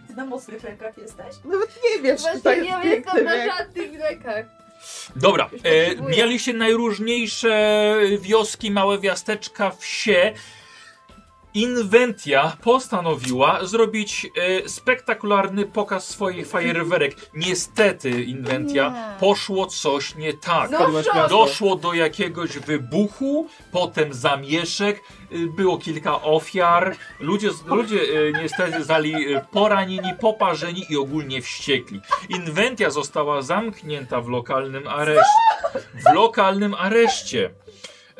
Speaker 5: Ty na mocnych rękach jesteś?
Speaker 4: Nawet nie wiesz,
Speaker 3: Tak,
Speaker 4: czy to
Speaker 7: Właśnie nie
Speaker 4: jest
Speaker 7: wiem,
Speaker 4: piękny
Speaker 7: jestem na
Speaker 4: wiek.
Speaker 7: żadnych lekach.
Speaker 9: Dobra, e, mieliście najróżniejsze wioski, małe miasteczka, wsie. Inwentia postanowiła zrobić e, spektakularny pokaz swoich fajerwerek. Niestety, Inwentia,
Speaker 4: Nie.
Speaker 9: poszło coś nie tak.
Speaker 7: No szok!
Speaker 9: Doszło do jakiegoś wybuchu, potem zamieszek, y, było kilka ofiar, ludzie, ludzie y, niestety zostali y, poranieni, poparzeni i ogólnie wściekli. Inwentia została zamknięta w lokalnym areszcie. W lokalnym areszcie.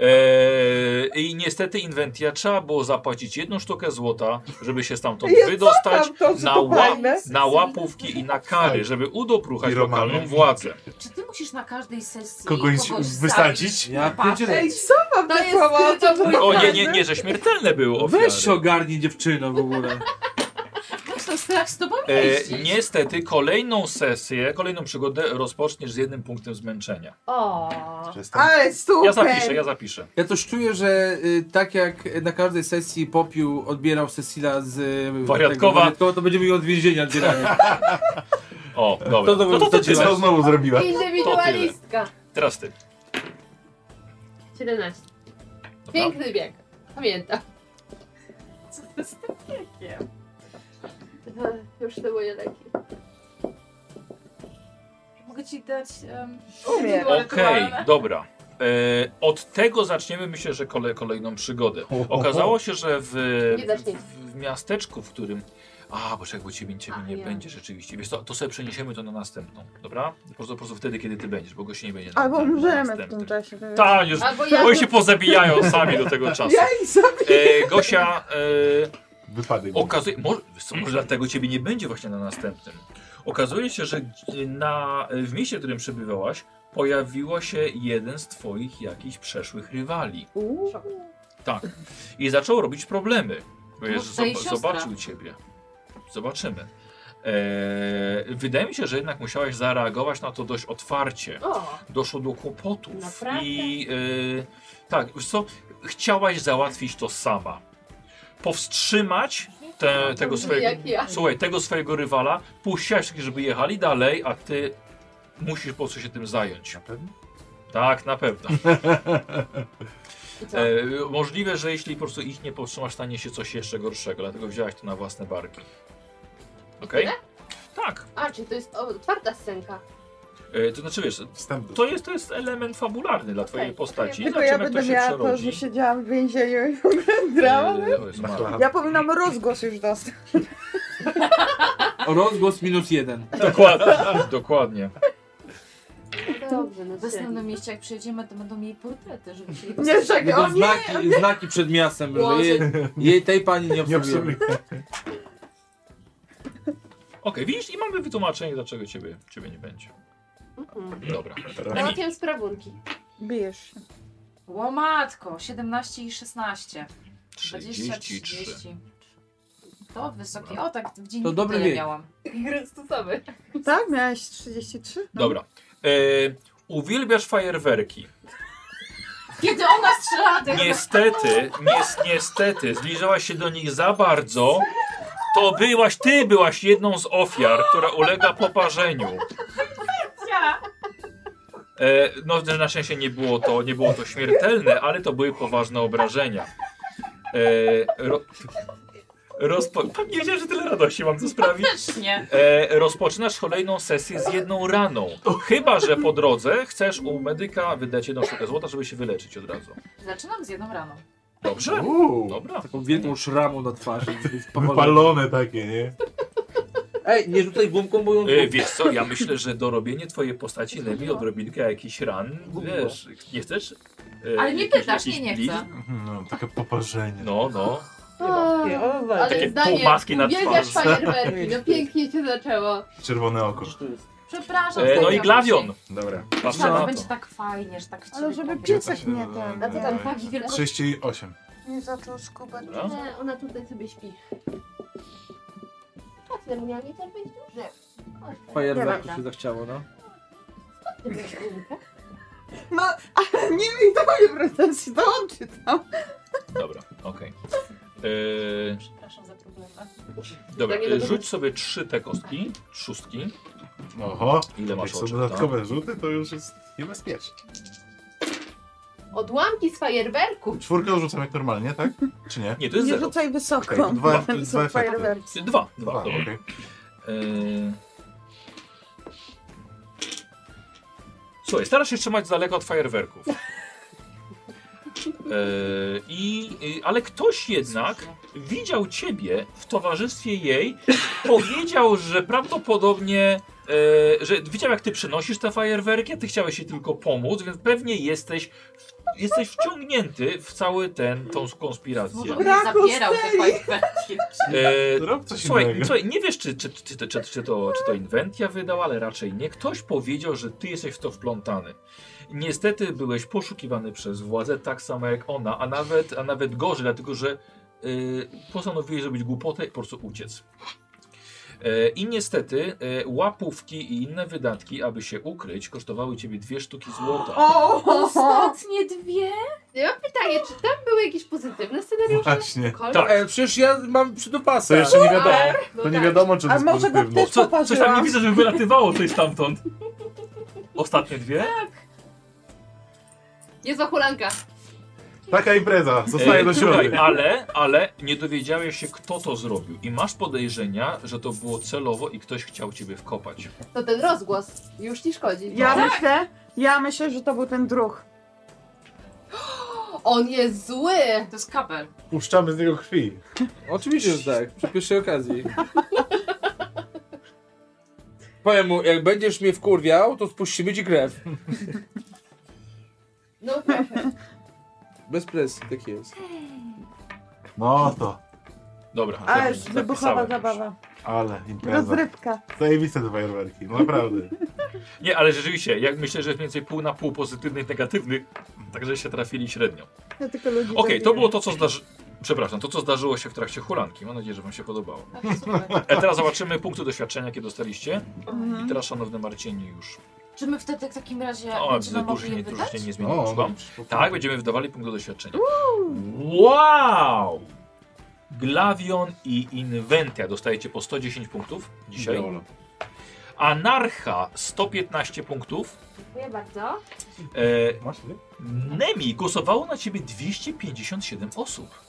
Speaker 9: Eee, I niestety Inwentia trzeba było zapłacić jedną sztukę złota, żeby się stamtąd
Speaker 4: Ja
Speaker 9: wydostać
Speaker 4: cofam to, że
Speaker 9: na,
Speaker 4: to
Speaker 9: ła
Speaker 4: fajne.
Speaker 9: na łapówki i na kary, żeby udopruchać
Speaker 3: I Romany.
Speaker 9: lokalną władzę.
Speaker 5: Czy ty musisz na każdej sesji
Speaker 3: Kogoś
Speaker 5: kogoś
Speaker 3: wysadzić?
Speaker 5: sadzić?
Speaker 6: Ja
Speaker 5: Patrz,
Speaker 6: pierdzielę.
Speaker 5: ej,
Speaker 4: Co mam
Speaker 7: To
Speaker 4: na
Speaker 7: jest
Speaker 4: słowo?
Speaker 7: tylko mój
Speaker 9: O nie, nie, nie, że śmiertelne były ofiary.
Speaker 6: Weź się ogarnij dziewczyno w ogóle.
Speaker 5: Jak to strach z tobą jeździć?
Speaker 9: E, niestety kolejną sesję, kolejną przygodę rozpoczniesz z jednym punktem zmęczenia.
Speaker 7: O.
Speaker 3: Jestem
Speaker 4: Ale super!
Speaker 9: Ja zapiszę, ja zapiszę.
Speaker 6: Ja też czuję, że y, tak jak na każdej sesji popiół odbierał Cecila z... y,
Speaker 9: Wariatkowa.
Speaker 6: tego wariatkowa to będziemy ją od więzienia odbierali.
Speaker 9: O, dobra.
Speaker 6: To
Speaker 9: To,
Speaker 6: dobrze,
Speaker 9: to, to
Speaker 6: to
Speaker 9: tyle.
Speaker 3: Co znowu zrobiła?
Speaker 7: Indywidualistka.
Speaker 9: Teraz ty.
Speaker 7: 17.
Speaker 9: Dobra.
Speaker 7: Piękny bieg. Pamiętam.
Speaker 5: Co to z tym wiekiem?
Speaker 7: Już te moje leki.
Speaker 5: Mogę mogę ci dać. Um,
Speaker 4: Umiem.
Speaker 2: Okej, dobra. E, od tego zaczniemy, myślę, że kole, kolejną przygodę. Okazało się, że w,
Speaker 1: Nie dać nic.
Speaker 2: w miasteczku, w którym... A, bo jakby ciebie, ciebie
Speaker 1: A,
Speaker 2: nie
Speaker 1: ja.
Speaker 2: będzie rzeczywiście. Wiesz co, to sobie przeniesiemy to na następną, dobra? Po prostu, po prostu wtedy, kiedy ty będziesz, bo gości nie będzie. na-
Speaker 4: Albo
Speaker 2: na- na
Speaker 4: umrzemy w
Speaker 2: następnym.
Speaker 4: tym czasie. to wiesz.
Speaker 2: Ta, już,
Speaker 1: Albo ja.
Speaker 2: bo się pozabijają sami do tego czasu.
Speaker 4: Ja i sobie.
Speaker 2: E, Gosia, e,
Speaker 3: Wypadek.
Speaker 2: Okazuje, może, wiesz co, może dlatego ciebie nie będzie właśnie na następnym. Okazuje się, że g- na, w mieście, w którym przebywałaś, pojawiło się jeden z twoich jakichś przeszłych rywali.
Speaker 4: Uuu.
Speaker 2: Tak. I zaczął robić problemy. Wiesz,
Speaker 5: Może jej
Speaker 2: zob-
Speaker 5: siostra.
Speaker 2: zobaczył ciebie. Zobaczymy. Eee, wydaje mi się, że jednak musiałeś zareagować na to dość otwarcie.
Speaker 1: O,
Speaker 2: Doszło do kłopotów.
Speaker 1: Naprawdę?
Speaker 2: I eee, tak, wiesz co, chciałaś załatwić to sama. Powstrzymać te, tego
Speaker 1: Brzmi
Speaker 2: swojego
Speaker 1: jak ja.
Speaker 2: Słuchaj, tego swojego rywala puściłaś, żeby jechali dalej, a ty musisz po prostu się tym zająć. Na pewno? Tak, na pewno.
Speaker 1: I co?
Speaker 2: E, możliwe, że jeśli po prostu ich nie powstrzymasz, stanie się coś jeszcze gorszego, dlatego wziąłeś to na własne barki. Okej? Tak.
Speaker 1: A, czy to jest otwarta scenka?
Speaker 2: E, to znaczy wiesz,
Speaker 7: Wstęp do
Speaker 2: to jest, to jest element fabularny dla twojej
Speaker 1: Okej.
Speaker 2: postaci.
Speaker 4: Tylko
Speaker 2: Zobaczymy,
Speaker 4: ja
Speaker 2: jak
Speaker 4: będę
Speaker 2: to się
Speaker 4: miała to,
Speaker 2: przerodzi.
Speaker 4: że siedziałam w więzieniu i oglądałam.
Speaker 2: E, o Jezu, Maria.
Speaker 3: Tak.
Speaker 4: Ja powinnam rozgłos już dostać.
Speaker 10: O rozgłos minus jeden.
Speaker 2: Dokładnie. Dokładnie.
Speaker 1: Dobrze, no
Speaker 5: w następnym mieście, jak przyjedziemy, to będą mieli portrety, żeby się
Speaker 4: Nie, czekaj,
Speaker 10: Będą
Speaker 4: Tak, o nie!
Speaker 10: znaki, znaki przed miastem, że
Speaker 5: Boże.
Speaker 10: jej, jej tej pani nie
Speaker 7: Nie
Speaker 10: obsługuje.
Speaker 7: obsługuję.
Speaker 2: Okej, widzisz? I mamy wytłumaczenie, dlaczego ciebie, ciebie nie będzie.
Speaker 1: Mhm.
Speaker 2: Dobra.
Speaker 1: Załatwiam sprawunki.
Speaker 4: Bijesz się.
Speaker 5: Łomatko, 17 i 16. 20,
Speaker 2: 33.
Speaker 5: 30. To wysokie. O, tak w dzień
Speaker 10: To dobry wiek.
Speaker 5: miałam.
Speaker 1: Chrystusowy.
Speaker 4: Tak? Miałeś 33? No.
Speaker 2: Dobra. E, uwielbiasz fajerwerki.
Speaker 5: Kiedy ona strzela, to ja
Speaker 2: Niestety, nies- niestety, zbliżałaś się do nich za bardzo. To byłaś, ty byłaś jedną z ofiar, która ulega poparzeniu. E, no, na szczęście nie było, to, nie było to śmiertelne, ale to były poważne obrażenia. E, ro, rozpo, Pan nie wiedział, że tyle radości mam co sprawić.
Speaker 5: No też nie.
Speaker 2: E, rozpoczynasz kolejną sesję z jedną raną. Chyba, że po drodze chcesz u medyka wydać jedną sztukę złota, żeby się wyleczyć od razu.
Speaker 5: Zaczynam z jedną raną.
Speaker 2: Dobrze?
Speaker 3: No,
Speaker 7: Uuu,
Speaker 2: Dobra.
Speaker 10: Taką wielką szramą na twarzy. z- z powodzeniem.
Speaker 7: wypalone takie, nie?
Speaker 10: Ej, nie rzucaj gumką, bo ją...
Speaker 2: E, wiesz co, ja myślę, że dorobienie twojej postaci lewi odrobinkę jakichś ran, wiesz, nie chcesz? E,
Speaker 5: Ale nie
Speaker 2: jakiś-
Speaker 5: pytasz,
Speaker 2: jakiś
Speaker 5: nie, nie
Speaker 2: blizn?
Speaker 5: chcę.
Speaker 3: No, takie poparzenie.
Speaker 2: No, no. Takie
Speaker 1: Ale Daniel,
Speaker 2: półmaski na
Speaker 1: uwielbiasz
Speaker 2: twarzy.
Speaker 1: fajerwerki, no pięknie cię zaczęło.
Speaker 3: Czerwone oko.
Speaker 5: Przepraszam.
Speaker 2: E, no i No.
Speaker 5: stawiam
Speaker 2: glawion.
Speaker 5: się.
Speaker 3: Dobra.
Speaker 2: Patrz
Speaker 5: Tak,
Speaker 2: na
Speaker 5: będzie
Speaker 2: to.
Speaker 5: tak fajnie, że tak w
Speaker 4: Ale
Speaker 5: ciebie
Speaker 4: żeby
Speaker 5: powiem.
Speaker 4: piesek nie ten.
Speaker 5: A co tam wagi wielkości?
Speaker 3: 38.
Speaker 4: Nie zaczął skubać.
Speaker 2: Dobra.
Speaker 1: Nie, ona tutaj sobie śpi. A tyle miała nie też być duże.
Speaker 10: Fajerwerku się zachciało, no.
Speaker 4: No, ale nie miej do mnie pretensji, to on czytał.
Speaker 2: Dobra, okej. E,
Speaker 5: Przepraszam za problemy.
Speaker 2: Dobra,
Speaker 1: Ja nie
Speaker 2: e,
Speaker 1: będę-
Speaker 2: rzuć sobie trzy te kostki, szóstki.
Speaker 3: Oho.
Speaker 2: Ile
Speaker 3: Jak
Speaker 2: masz
Speaker 3: są
Speaker 2: oczy?
Speaker 3: dodatkowe rzuty, to już jest niebezpieczne.
Speaker 1: Odłamki z fajerwerków.
Speaker 3: Czwórkę rzucam jak normalnie, tak? Czy nie?
Speaker 2: Nie, to jest
Speaker 4: Nie
Speaker 2: zero.
Speaker 4: rzucaj wysoko.
Speaker 3: Okej, dwa-
Speaker 4: bo tam
Speaker 3: dwa
Speaker 4: są
Speaker 3: efekty.
Speaker 4: fajerwerki.
Speaker 2: Dwa, dwa,
Speaker 3: Dwa,
Speaker 2: dobra.
Speaker 3: okej.
Speaker 2: Eee. Słuchaj, starasz się trzymać z daleka od fajerwerków. Yy, Eee, i, i- ale ktoś jednak widział ciebie w towarzystwie jej, powiedział, że prawdopodobnie, e, że widział jak ty przynosisz te fajerwerki, a ty chciałeś jej tylko pomóc, więc pewnie jesteś, w, jesteś wciągnięty w cały ten, tą konspirację.
Speaker 5: Może on
Speaker 4: Brak
Speaker 5: nie zabierał te fajerwerki.
Speaker 2: E,
Speaker 3: Rób coś
Speaker 2: Słuchaj,
Speaker 3: innego.
Speaker 2: słuchaj, nie wiesz, czy, czy, czy, czy, czy, to, czy to Inventia wydał, ale raczej nie. Ktoś powiedział, że ty jesteś w to wplątany. Niestety byłeś poszukiwany przez władzę tak samo jak ona, a nawet, a nawet gorzej, dlatego że y, postanowiłeś zrobić głupotę i po prostu uciec. E, I niestety e, łapówki i inne wydatki, aby się ukryć, kosztowały ciebie dwie sztuki złota.
Speaker 4: O,
Speaker 5: Ostatnie dwie?
Speaker 1: Ja mam pytanie, czy tam były jakieś pozytywne scenariusze?
Speaker 3: Właśnie.
Speaker 1: Kolor?
Speaker 2: Tak.
Speaker 10: Ej, przecież ja mam
Speaker 3: To
Speaker 10: przydupasę.
Speaker 3: jeszcze nie wiadomo.
Speaker 1: No
Speaker 3: To nie
Speaker 1: tak.
Speaker 3: wiadomo, czy to
Speaker 4: A
Speaker 3: jest
Speaker 4: może go
Speaker 3: pozytywne.
Speaker 4: też-
Speaker 2: Co, coś tam nie
Speaker 4: Popatrzyłam.
Speaker 2: widzę, żeby wylatywało coś stamtąd. Ostatnie dwie?
Speaker 1: Jest ochulanka.
Speaker 3: Taka impreza, zostaje
Speaker 2: E,
Speaker 3: do
Speaker 2: słuchaj,
Speaker 3: środy.
Speaker 2: ale, ale nie dowiedziałeś się, kto to zrobił. I masz podejrzenia, że to było celowo i ktoś chciał ciebie wkopać.
Speaker 1: To ten rozgłos już ci szkodzi.
Speaker 4: Ja myślę, ja myślę, że to był ten druh.
Speaker 1: On jest zły!
Speaker 5: To jest kabel.
Speaker 3: Puszczamy z niego krwi.
Speaker 6: Oczywiście, że tak, przy pierwszej okazji. Powiem mu, jak będziesz mnie wkurwiał, to spuścimy ci krew.
Speaker 1: No trochę.
Speaker 6: Bez presji, tak jest.
Speaker 3: No to,
Speaker 2: Dobra, tak,
Speaker 4: Ale
Speaker 2: dobrze,
Speaker 4: wybuchowa
Speaker 2: zapisałem.
Speaker 4: zabawa.
Speaker 3: ale impreza.
Speaker 4: Rozrywka.
Speaker 3: Zajebiste te fajerwerki,
Speaker 9: no
Speaker 3: naprawdę.
Speaker 2: Nie, ale rzeczywiście, jak myślę, że jest mniej więcej pół na pół pozytywnych, negatywnych, także się trafili średnio.
Speaker 4: Ja tylko ludzi
Speaker 2: Okej, to
Speaker 4: zabijam.
Speaker 2: było to, co zdarzy... Przepraszam, to co zdarzyło się w trakcie hulanki. Mam nadzieję, że wam się podobało.
Speaker 5: Tak jest kabel.
Speaker 2: E, teraz zobaczymy punkty doświadczenia, jakie dostaliście.
Speaker 4: Mhm.
Speaker 2: I teraz, szanowny Marcinie, już...
Speaker 5: Czy my wtedy w takim razie
Speaker 2: O,
Speaker 5: Tak, będziemy
Speaker 2: widzę,
Speaker 5: mogli
Speaker 2: dużo nie,
Speaker 5: je wydać?
Speaker 2: dużo się nie zmieniło.
Speaker 9: No,
Speaker 2: słucham.
Speaker 9: dobrze.
Speaker 2: Tak, będziemy wydawali punkty doświadczenia. Wow! Glavion i Inventia dostajecie po 110 punktów dzisiaj.
Speaker 9: Ideolo.
Speaker 2: Anarcha 115 punktów.
Speaker 5: Dziękuję bardzo.
Speaker 2: E,
Speaker 3: Masz ty?
Speaker 2: Nemi głosowało na ciebie 257 osób.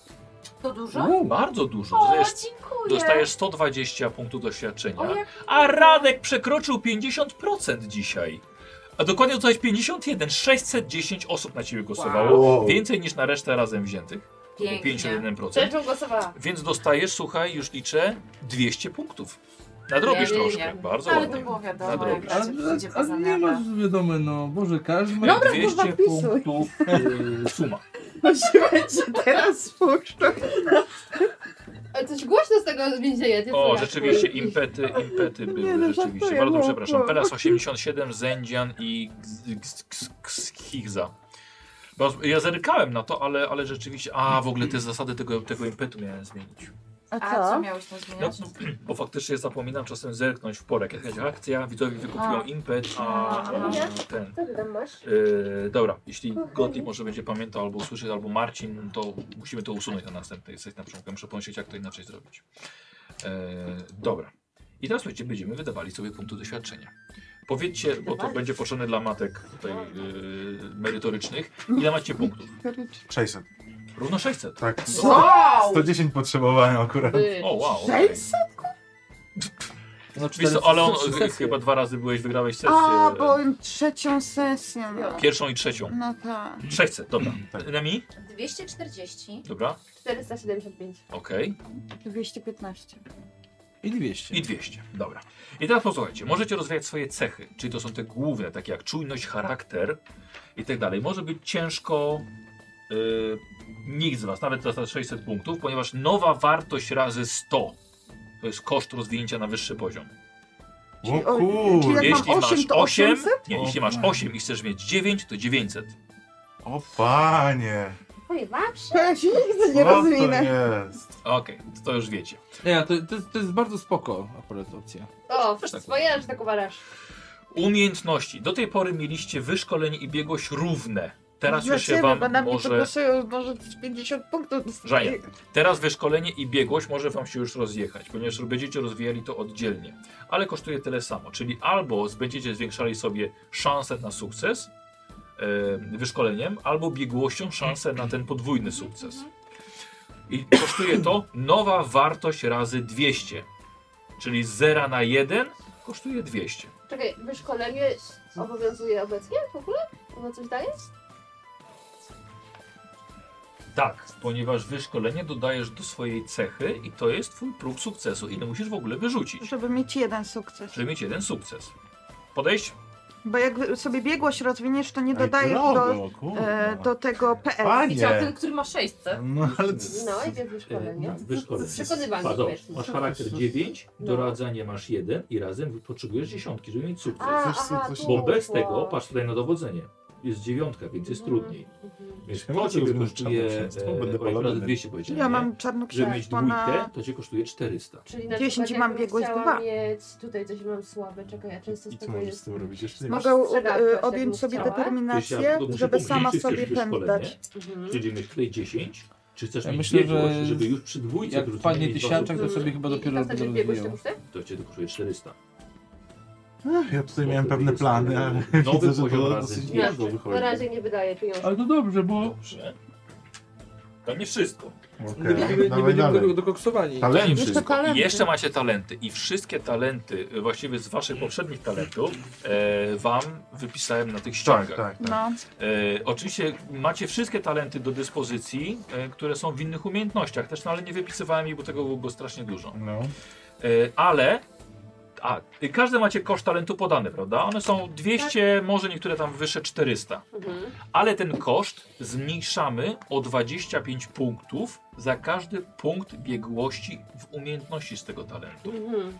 Speaker 5: To dużo?
Speaker 2: U, Bardzo dużo.
Speaker 5: O,
Speaker 2: Dostajesz,
Speaker 5: dziękuję.
Speaker 2: dostajesz 120 punktów doświadczenia.
Speaker 5: O, jak
Speaker 2: A Radek przekroczył 50% dzisiaj. A dokładnie dostałeś 51, 610 osób na ciebie głosowało.
Speaker 3: Wow.
Speaker 2: Więcej niż na resztę razem wziętych. To było
Speaker 5: pięknie.
Speaker 2: 51%.
Speaker 1: Rzeczą głosowała.
Speaker 2: Więc dostajesz, słuchaj, już liczę 200 punktów. Nadrobisz
Speaker 1: Nie, nie,
Speaker 2: troszkę.
Speaker 1: nie.
Speaker 2: Bardzo
Speaker 5: Ale to
Speaker 2: ładnie.
Speaker 5: było wiadomo,
Speaker 2: Nadrobisz.
Speaker 5: jak się przyjdzie poza
Speaker 6: nie
Speaker 5: niebo.
Speaker 6: masz wiadomo, no, Boże, każdy ma...
Speaker 4: Dobra, kurwa,
Speaker 2: 200
Speaker 4: wpisuj.
Speaker 2: punktów y, suma.
Speaker 4: To się będzie teraz spuszczą.
Speaker 1: Ale E, coś głośno z tego więzienia. nie
Speaker 2: O,
Speaker 1: słychać.
Speaker 2: rzeczywiście, impety, impety były,
Speaker 4: no,
Speaker 2: rzeczywiście.
Speaker 4: żartuję,
Speaker 2: Bardzo
Speaker 4: no,
Speaker 2: przepraszam.
Speaker 4: no.
Speaker 2: Pelas 87, Zędzian i Gz- Gz- Gz- Gz- Schiza. Bo Ja zerkałem na to, ale, ale rzeczywiście. A w ogóle te zasady tego, tego impetu miałem zmienić.
Speaker 4: A
Speaker 5: A co
Speaker 4: co?
Speaker 5: miałeś tam
Speaker 2: No,
Speaker 5: zmieniać?
Speaker 2: no, bo faktycznie zapominam czasem zerknąć w porę. Jak jakaś akcja, widzowie wykupują
Speaker 5: A.
Speaker 2: impet, a, a ten.
Speaker 1: Co ty tam masz?
Speaker 2: Yy, dobra, jeśli Gottlieb może będzie pamiętał albo usłyszeć, albo Marcin, to musimy to usunąć na następnej sesji na początku. Muszę pomyśleć, jak to inaczej zrobić. Yy, dobra. I teraz słuchajcie, będziemy wydawali sobie punkty doświadczenia. Powiedzcie, bo to będzie potrzebne dla matek tutaj yy, merytorycznych, ile macie punktów?
Speaker 9: 600.
Speaker 2: Równo 600.
Speaker 3: Tak.
Speaker 5: Wow!
Speaker 3: 110 potrzebowałem akurat.
Speaker 1: By.
Speaker 2: O, wow. okej.
Speaker 4: 600?
Speaker 6: No,
Speaker 2: Wiesz co, ale on,
Speaker 6: sesje.
Speaker 2: chyba dwa razy byłeś, wygrałeś sesję.
Speaker 4: A, bo trzecią sesję. No,
Speaker 2: Pierwszą i trzecią.
Speaker 4: no tak.
Speaker 2: 600, dobra.
Speaker 9: Tak.
Speaker 2: Nemi?
Speaker 5: 240.
Speaker 2: Dobra,
Speaker 1: 475.
Speaker 2: okej.
Speaker 4: 215.
Speaker 6: I 200.
Speaker 2: I 200, dobra. I teraz posłuchajcie, możecie rozwijać swoje cechy, czyli to są te główne, takie jak czujność, charakter i tak dalej. Może być ciężko yy, nikt z Was, nawet za te 600 punktów, ponieważ nowa wartość No razy 100 to jest koszt rozwinięcia na wyższy poziom.
Speaker 4: Czyli
Speaker 9: O
Speaker 4: o-
Speaker 9: kur...
Speaker 4: czyli- Jak mam
Speaker 2: jeśli masz
Speaker 4: osiem, to
Speaker 2: 8,
Speaker 4: 800?
Speaker 2: nie, jeśli masz 8 i chcesz mieć 9, to 900.
Speaker 9: O panie.
Speaker 4: To ja się nigdy nie
Speaker 9: Co to
Speaker 4: rozwinę.
Speaker 9: jest?
Speaker 2: Okej, to- to już wiecie.
Speaker 6: Nie, to, to, jest- to jest bardzo spoko akurat opcja.
Speaker 1: O,
Speaker 2: Też tak
Speaker 1: wspaniale, że tak uważasz.
Speaker 2: Umiejętności. Do tej pory mieliście wyszkolenie i biegłość równe. Teraz
Speaker 4: Dla
Speaker 2: już się
Speaker 4: ciebie,
Speaker 2: Wam
Speaker 4: bo na mnie to
Speaker 2: może...
Speaker 4: głosują może z 50 punktów. dostaję.
Speaker 2: Żania, Teraz wyszkolenie i biegłość może Wam się już rozjechać, ponieważ będziecie rozwijali to oddzielnie, ale kosztuje tyle samo, czyli albo będziecie zwiększali sobie szansę na sukces e, wyszkoleniem, albo biegłością szansę na ten podwójny sukces. I kosztuje to nowa wartość razy 200, czyli z 0 na 1 kosztuje 200.
Speaker 1: Czekaj, wyszkolenie obowiązuje obecnie w ogóle? Ono coś daje?
Speaker 2: Tak, ponieważ wyszkolenie dodajesz do swojej cechy i to jest Twój próg sukcesu, ile musisz w ogóle wyrzucić,
Speaker 4: Żeby mieć jeden sukces.
Speaker 2: żeby mieć jeden sukces. Podejść?
Speaker 4: Bo jak sobie biegłość rozwiniesz, to nie
Speaker 9: Ej,
Speaker 4: dodajesz do,
Speaker 9: drogo, kurwa.
Speaker 4: e, do tego PS.
Speaker 5: Widział ten,
Speaker 9: Panie.
Speaker 5: który ma 600.
Speaker 9: No ale... c-
Speaker 1: No, idzie wyszkolenie. Przekonywanie
Speaker 2: Pardon,
Speaker 1: śmieszne.
Speaker 2: masz charakter 9,
Speaker 1: No.
Speaker 2: do radzenia masz 1 i razem potrzebujesz dziesiątki, żeby mieć sukces.
Speaker 1: A,
Speaker 9: Coś-
Speaker 1: aha,
Speaker 9: coś-
Speaker 1: tu
Speaker 2: Bo bez
Speaker 1: było.
Speaker 2: tego, patrz tutaj na dowodzenie, jest dziewiątka, więc jest
Speaker 1: Mhm.
Speaker 2: trudniej.
Speaker 1: Mhm.
Speaker 2: Więc
Speaker 9: Ja
Speaker 2: to
Speaker 9: mogę
Speaker 2: ciebie
Speaker 9: zrobić
Speaker 2: kosztuje
Speaker 9: czarnoksięstwo,
Speaker 2: e,
Speaker 9: będę
Speaker 2: o, jak
Speaker 9: paladinem.
Speaker 2: razy 200 powiedziałem,
Speaker 4: Ja
Speaker 2: nie?
Speaker 4: mam czarną
Speaker 2: Żeby mieć
Speaker 4: księstwo
Speaker 2: dwójkę,
Speaker 4: na...
Speaker 2: to cię kosztuje 400.
Speaker 1: Czyli na
Speaker 4: 10
Speaker 1: przykład
Speaker 4: i mam
Speaker 1: jakbym
Speaker 4: biegłość
Speaker 1: chciała
Speaker 4: dwa.
Speaker 1: mieć, tutaj coś mam słabe, czekaj, ja często z
Speaker 9: I co
Speaker 1: tego
Speaker 9: możesz z
Speaker 1: jest.
Speaker 9: tym robić? Jeszcze nie
Speaker 4: Mogę
Speaker 1: Masz przegawkę,
Speaker 4: e,
Speaker 1: jakbym
Speaker 4: odjąć sobie
Speaker 1: chciała.
Speaker 4: determinację,
Speaker 2: Wiesz, ja
Speaker 4: żeby
Speaker 2: muszę
Speaker 4: sama
Speaker 2: pomyśleć,
Speaker 4: sobie
Speaker 2: czy chcesz
Speaker 4: pędzać.
Speaker 1: Mhm.
Speaker 2: Czyli mieć klej 10, czy chcesz
Speaker 6: Ja
Speaker 2: mieć
Speaker 6: myślę,
Speaker 2: biegłość,
Speaker 6: że
Speaker 2: żeby już przy dwójce
Speaker 6: jak
Speaker 2: wrócić
Speaker 6: wpadnie
Speaker 2: mieć dwa
Speaker 6: tysiączek,
Speaker 2: sukcesy,
Speaker 6: to sobie chyba
Speaker 1: I
Speaker 6: dopiero
Speaker 1: teraz
Speaker 6: będę
Speaker 1: też biegłość
Speaker 6: rozwijał.
Speaker 1: to kosztuje?
Speaker 2: to cię to kosztuje 400.
Speaker 9: Ach, Ja tutaj miałem
Speaker 2: Bo to
Speaker 9: pewne
Speaker 2: jest,
Speaker 9: plany,
Speaker 2: e,
Speaker 9: ale
Speaker 2: nowy
Speaker 9: widzę, że
Speaker 2: poziom
Speaker 9: to
Speaker 2: razy
Speaker 9: dosyć
Speaker 2: dwieście.
Speaker 9: niedługo
Speaker 1: Na
Speaker 9: wychodzi.
Speaker 1: razie nie wydaje pieniążków.
Speaker 6: Ale to dobrze, bo
Speaker 2: Dobrze. To nie wszystko.
Speaker 10: Nie
Speaker 7: Okej,
Speaker 10: będziemy, nie
Speaker 7: dawaj
Speaker 10: będziemy do,
Speaker 7: dalej.
Speaker 10: dokoksowani.
Speaker 7: Ale nie
Speaker 1: Jeszcze
Speaker 7: wszystko.
Speaker 1: talenty.
Speaker 2: I jeszcze macie talenty i wszystkie talenty, y, właściwie z waszych poprzednich talentów, e, wam wypisałem na tych
Speaker 7: Tak,
Speaker 2: ściągach.
Speaker 7: tak, tak.
Speaker 4: No,
Speaker 2: E, oczywiście macie wszystkie talenty do dyspozycji, e, które są w innych umiejętnościach też, no ale nie wypisywałem ich, bo tego było strasznie dużo.
Speaker 7: No.
Speaker 2: E, ale. A, y, każdy macie koszt talentu podany, prawda? One są 200, może niektóre tam wyższe 400.
Speaker 1: Mhm.
Speaker 2: Ale ten koszt zmniejszamy o 25 punktów za każdy punkt biegłości w umiejętności z tego talentu.
Speaker 1: Mhm.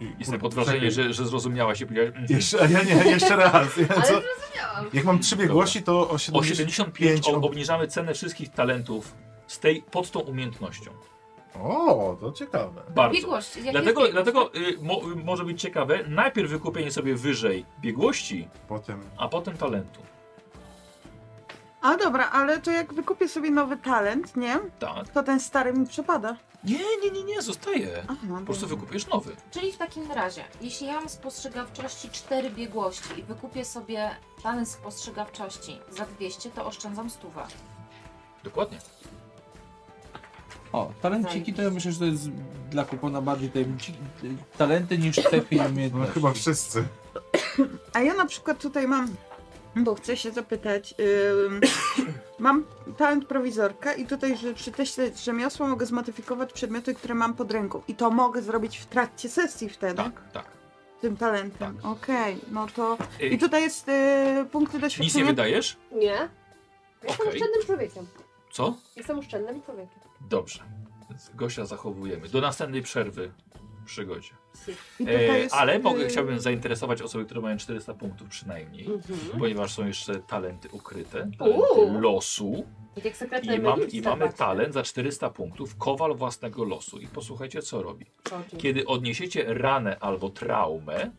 Speaker 2: Jestem
Speaker 7: Kurde,
Speaker 2: pod wrażeniem, że,
Speaker 7: czekaj.
Speaker 2: że zrozumiałaś i powiedziałeś. mhm.
Speaker 7: Jeszcze, a ja nie, jeszcze raz. Ja,
Speaker 1: Ale
Speaker 7: co?
Speaker 1: zrozumiałam.
Speaker 7: Jak mam trzy biegłości, to o 70...
Speaker 2: O 75
Speaker 7: ob-
Speaker 2: obniżamy cenę wszystkich talentów z tej, pod tą umiejętnością.
Speaker 7: O, to ciekawe.
Speaker 2: Bardzo.
Speaker 5: Biegłość. jak
Speaker 2: Dlatego,
Speaker 5: jest
Speaker 2: dlatego y, mo, y, może być ciekawe, najpierw wykupienie sobie wyżej biegłości,
Speaker 7: Potem...
Speaker 2: a potem talentu.
Speaker 4: a dobra, ale to jak wykupię sobie nowy talent, nie?
Speaker 2: Tak.
Speaker 4: To ten stary mi przepada.
Speaker 2: Nie, nie, nie, nie, zostaje.
Speaker 4: Aha,
Speaker 2: Po prostu wykupujesz nowy.
Speaker 5: Czyli w takim razie, jeśli ja mam spostrzegawczości 4 biegłości i wykupię sobie talent spostrzegawczości za 200, to oszczędzam stówę.
Speaker 2: Dokładnie.
Speaker 10: O, talenciki to ja myślę, że to jest dla kupona bardziej tajemnici- talenty niż cechy i
Speaker 7: No
Speaker 10: umiejętności.
Speaker 7: chyba wszyscy.
Speaker 4: A ja na przykład tutaj mam, bo chcę się zapytać, ym, mam talent prowizorka i tutaj że przy teście rzemiosła mogę zmodyfikować przedmioty, które mam pod ręką. I to mogę zrobić w trakcie sesji wtedy,
Speaker 2: Tak, tak.
Speaker 4: tym talentem. Okej, no to...
Speaker 2: Y,
Speaker 4: I tutaj jest y, punkty
Speaker 2: Nic nie
Speaker 4: doświadczenia.
Speaker 2: wydajesz?
Speaker 1: Nie. Jestem
Speaker 2: Okej.
Speaker 1: oszczędnym człowiekiem.
Speaker 2: Co?
Speaker 1: Jestem oszczędnym człowiekiem.
Speaker 2: Dobrze. Więc Gosia zachowujemy. Do następnej przerwy w przygodzie.
Speaker 4: I tutaj
Speaker 2: E,
Speaker 4: jest,
Speaker 2: ale mogę,
Speaker 4: y,
Speaker 2: chciałbym zainteresować osoby, które mają 400 punktów przynajmniej,
Speaker 1: Mhm.
Speaker 2: ponieważ są jeszcze talenty ukryte,
Speaker 1: Uuu.
Speaker 2: talenty losu
Speaker 1: Tak jak sekretne
Speaker 2: i, mam, i
Speaker 1: lista,
Speaker 2: mamy
Speaker 1: patrzę.
Speaker 2: talent za 400 punktów, kowal własnego losu. I posłuchajcie, co robi.
Speaker 1: O, dziękuję.
Speaker 2: Kiedy odniesiecie ranę albo traumę,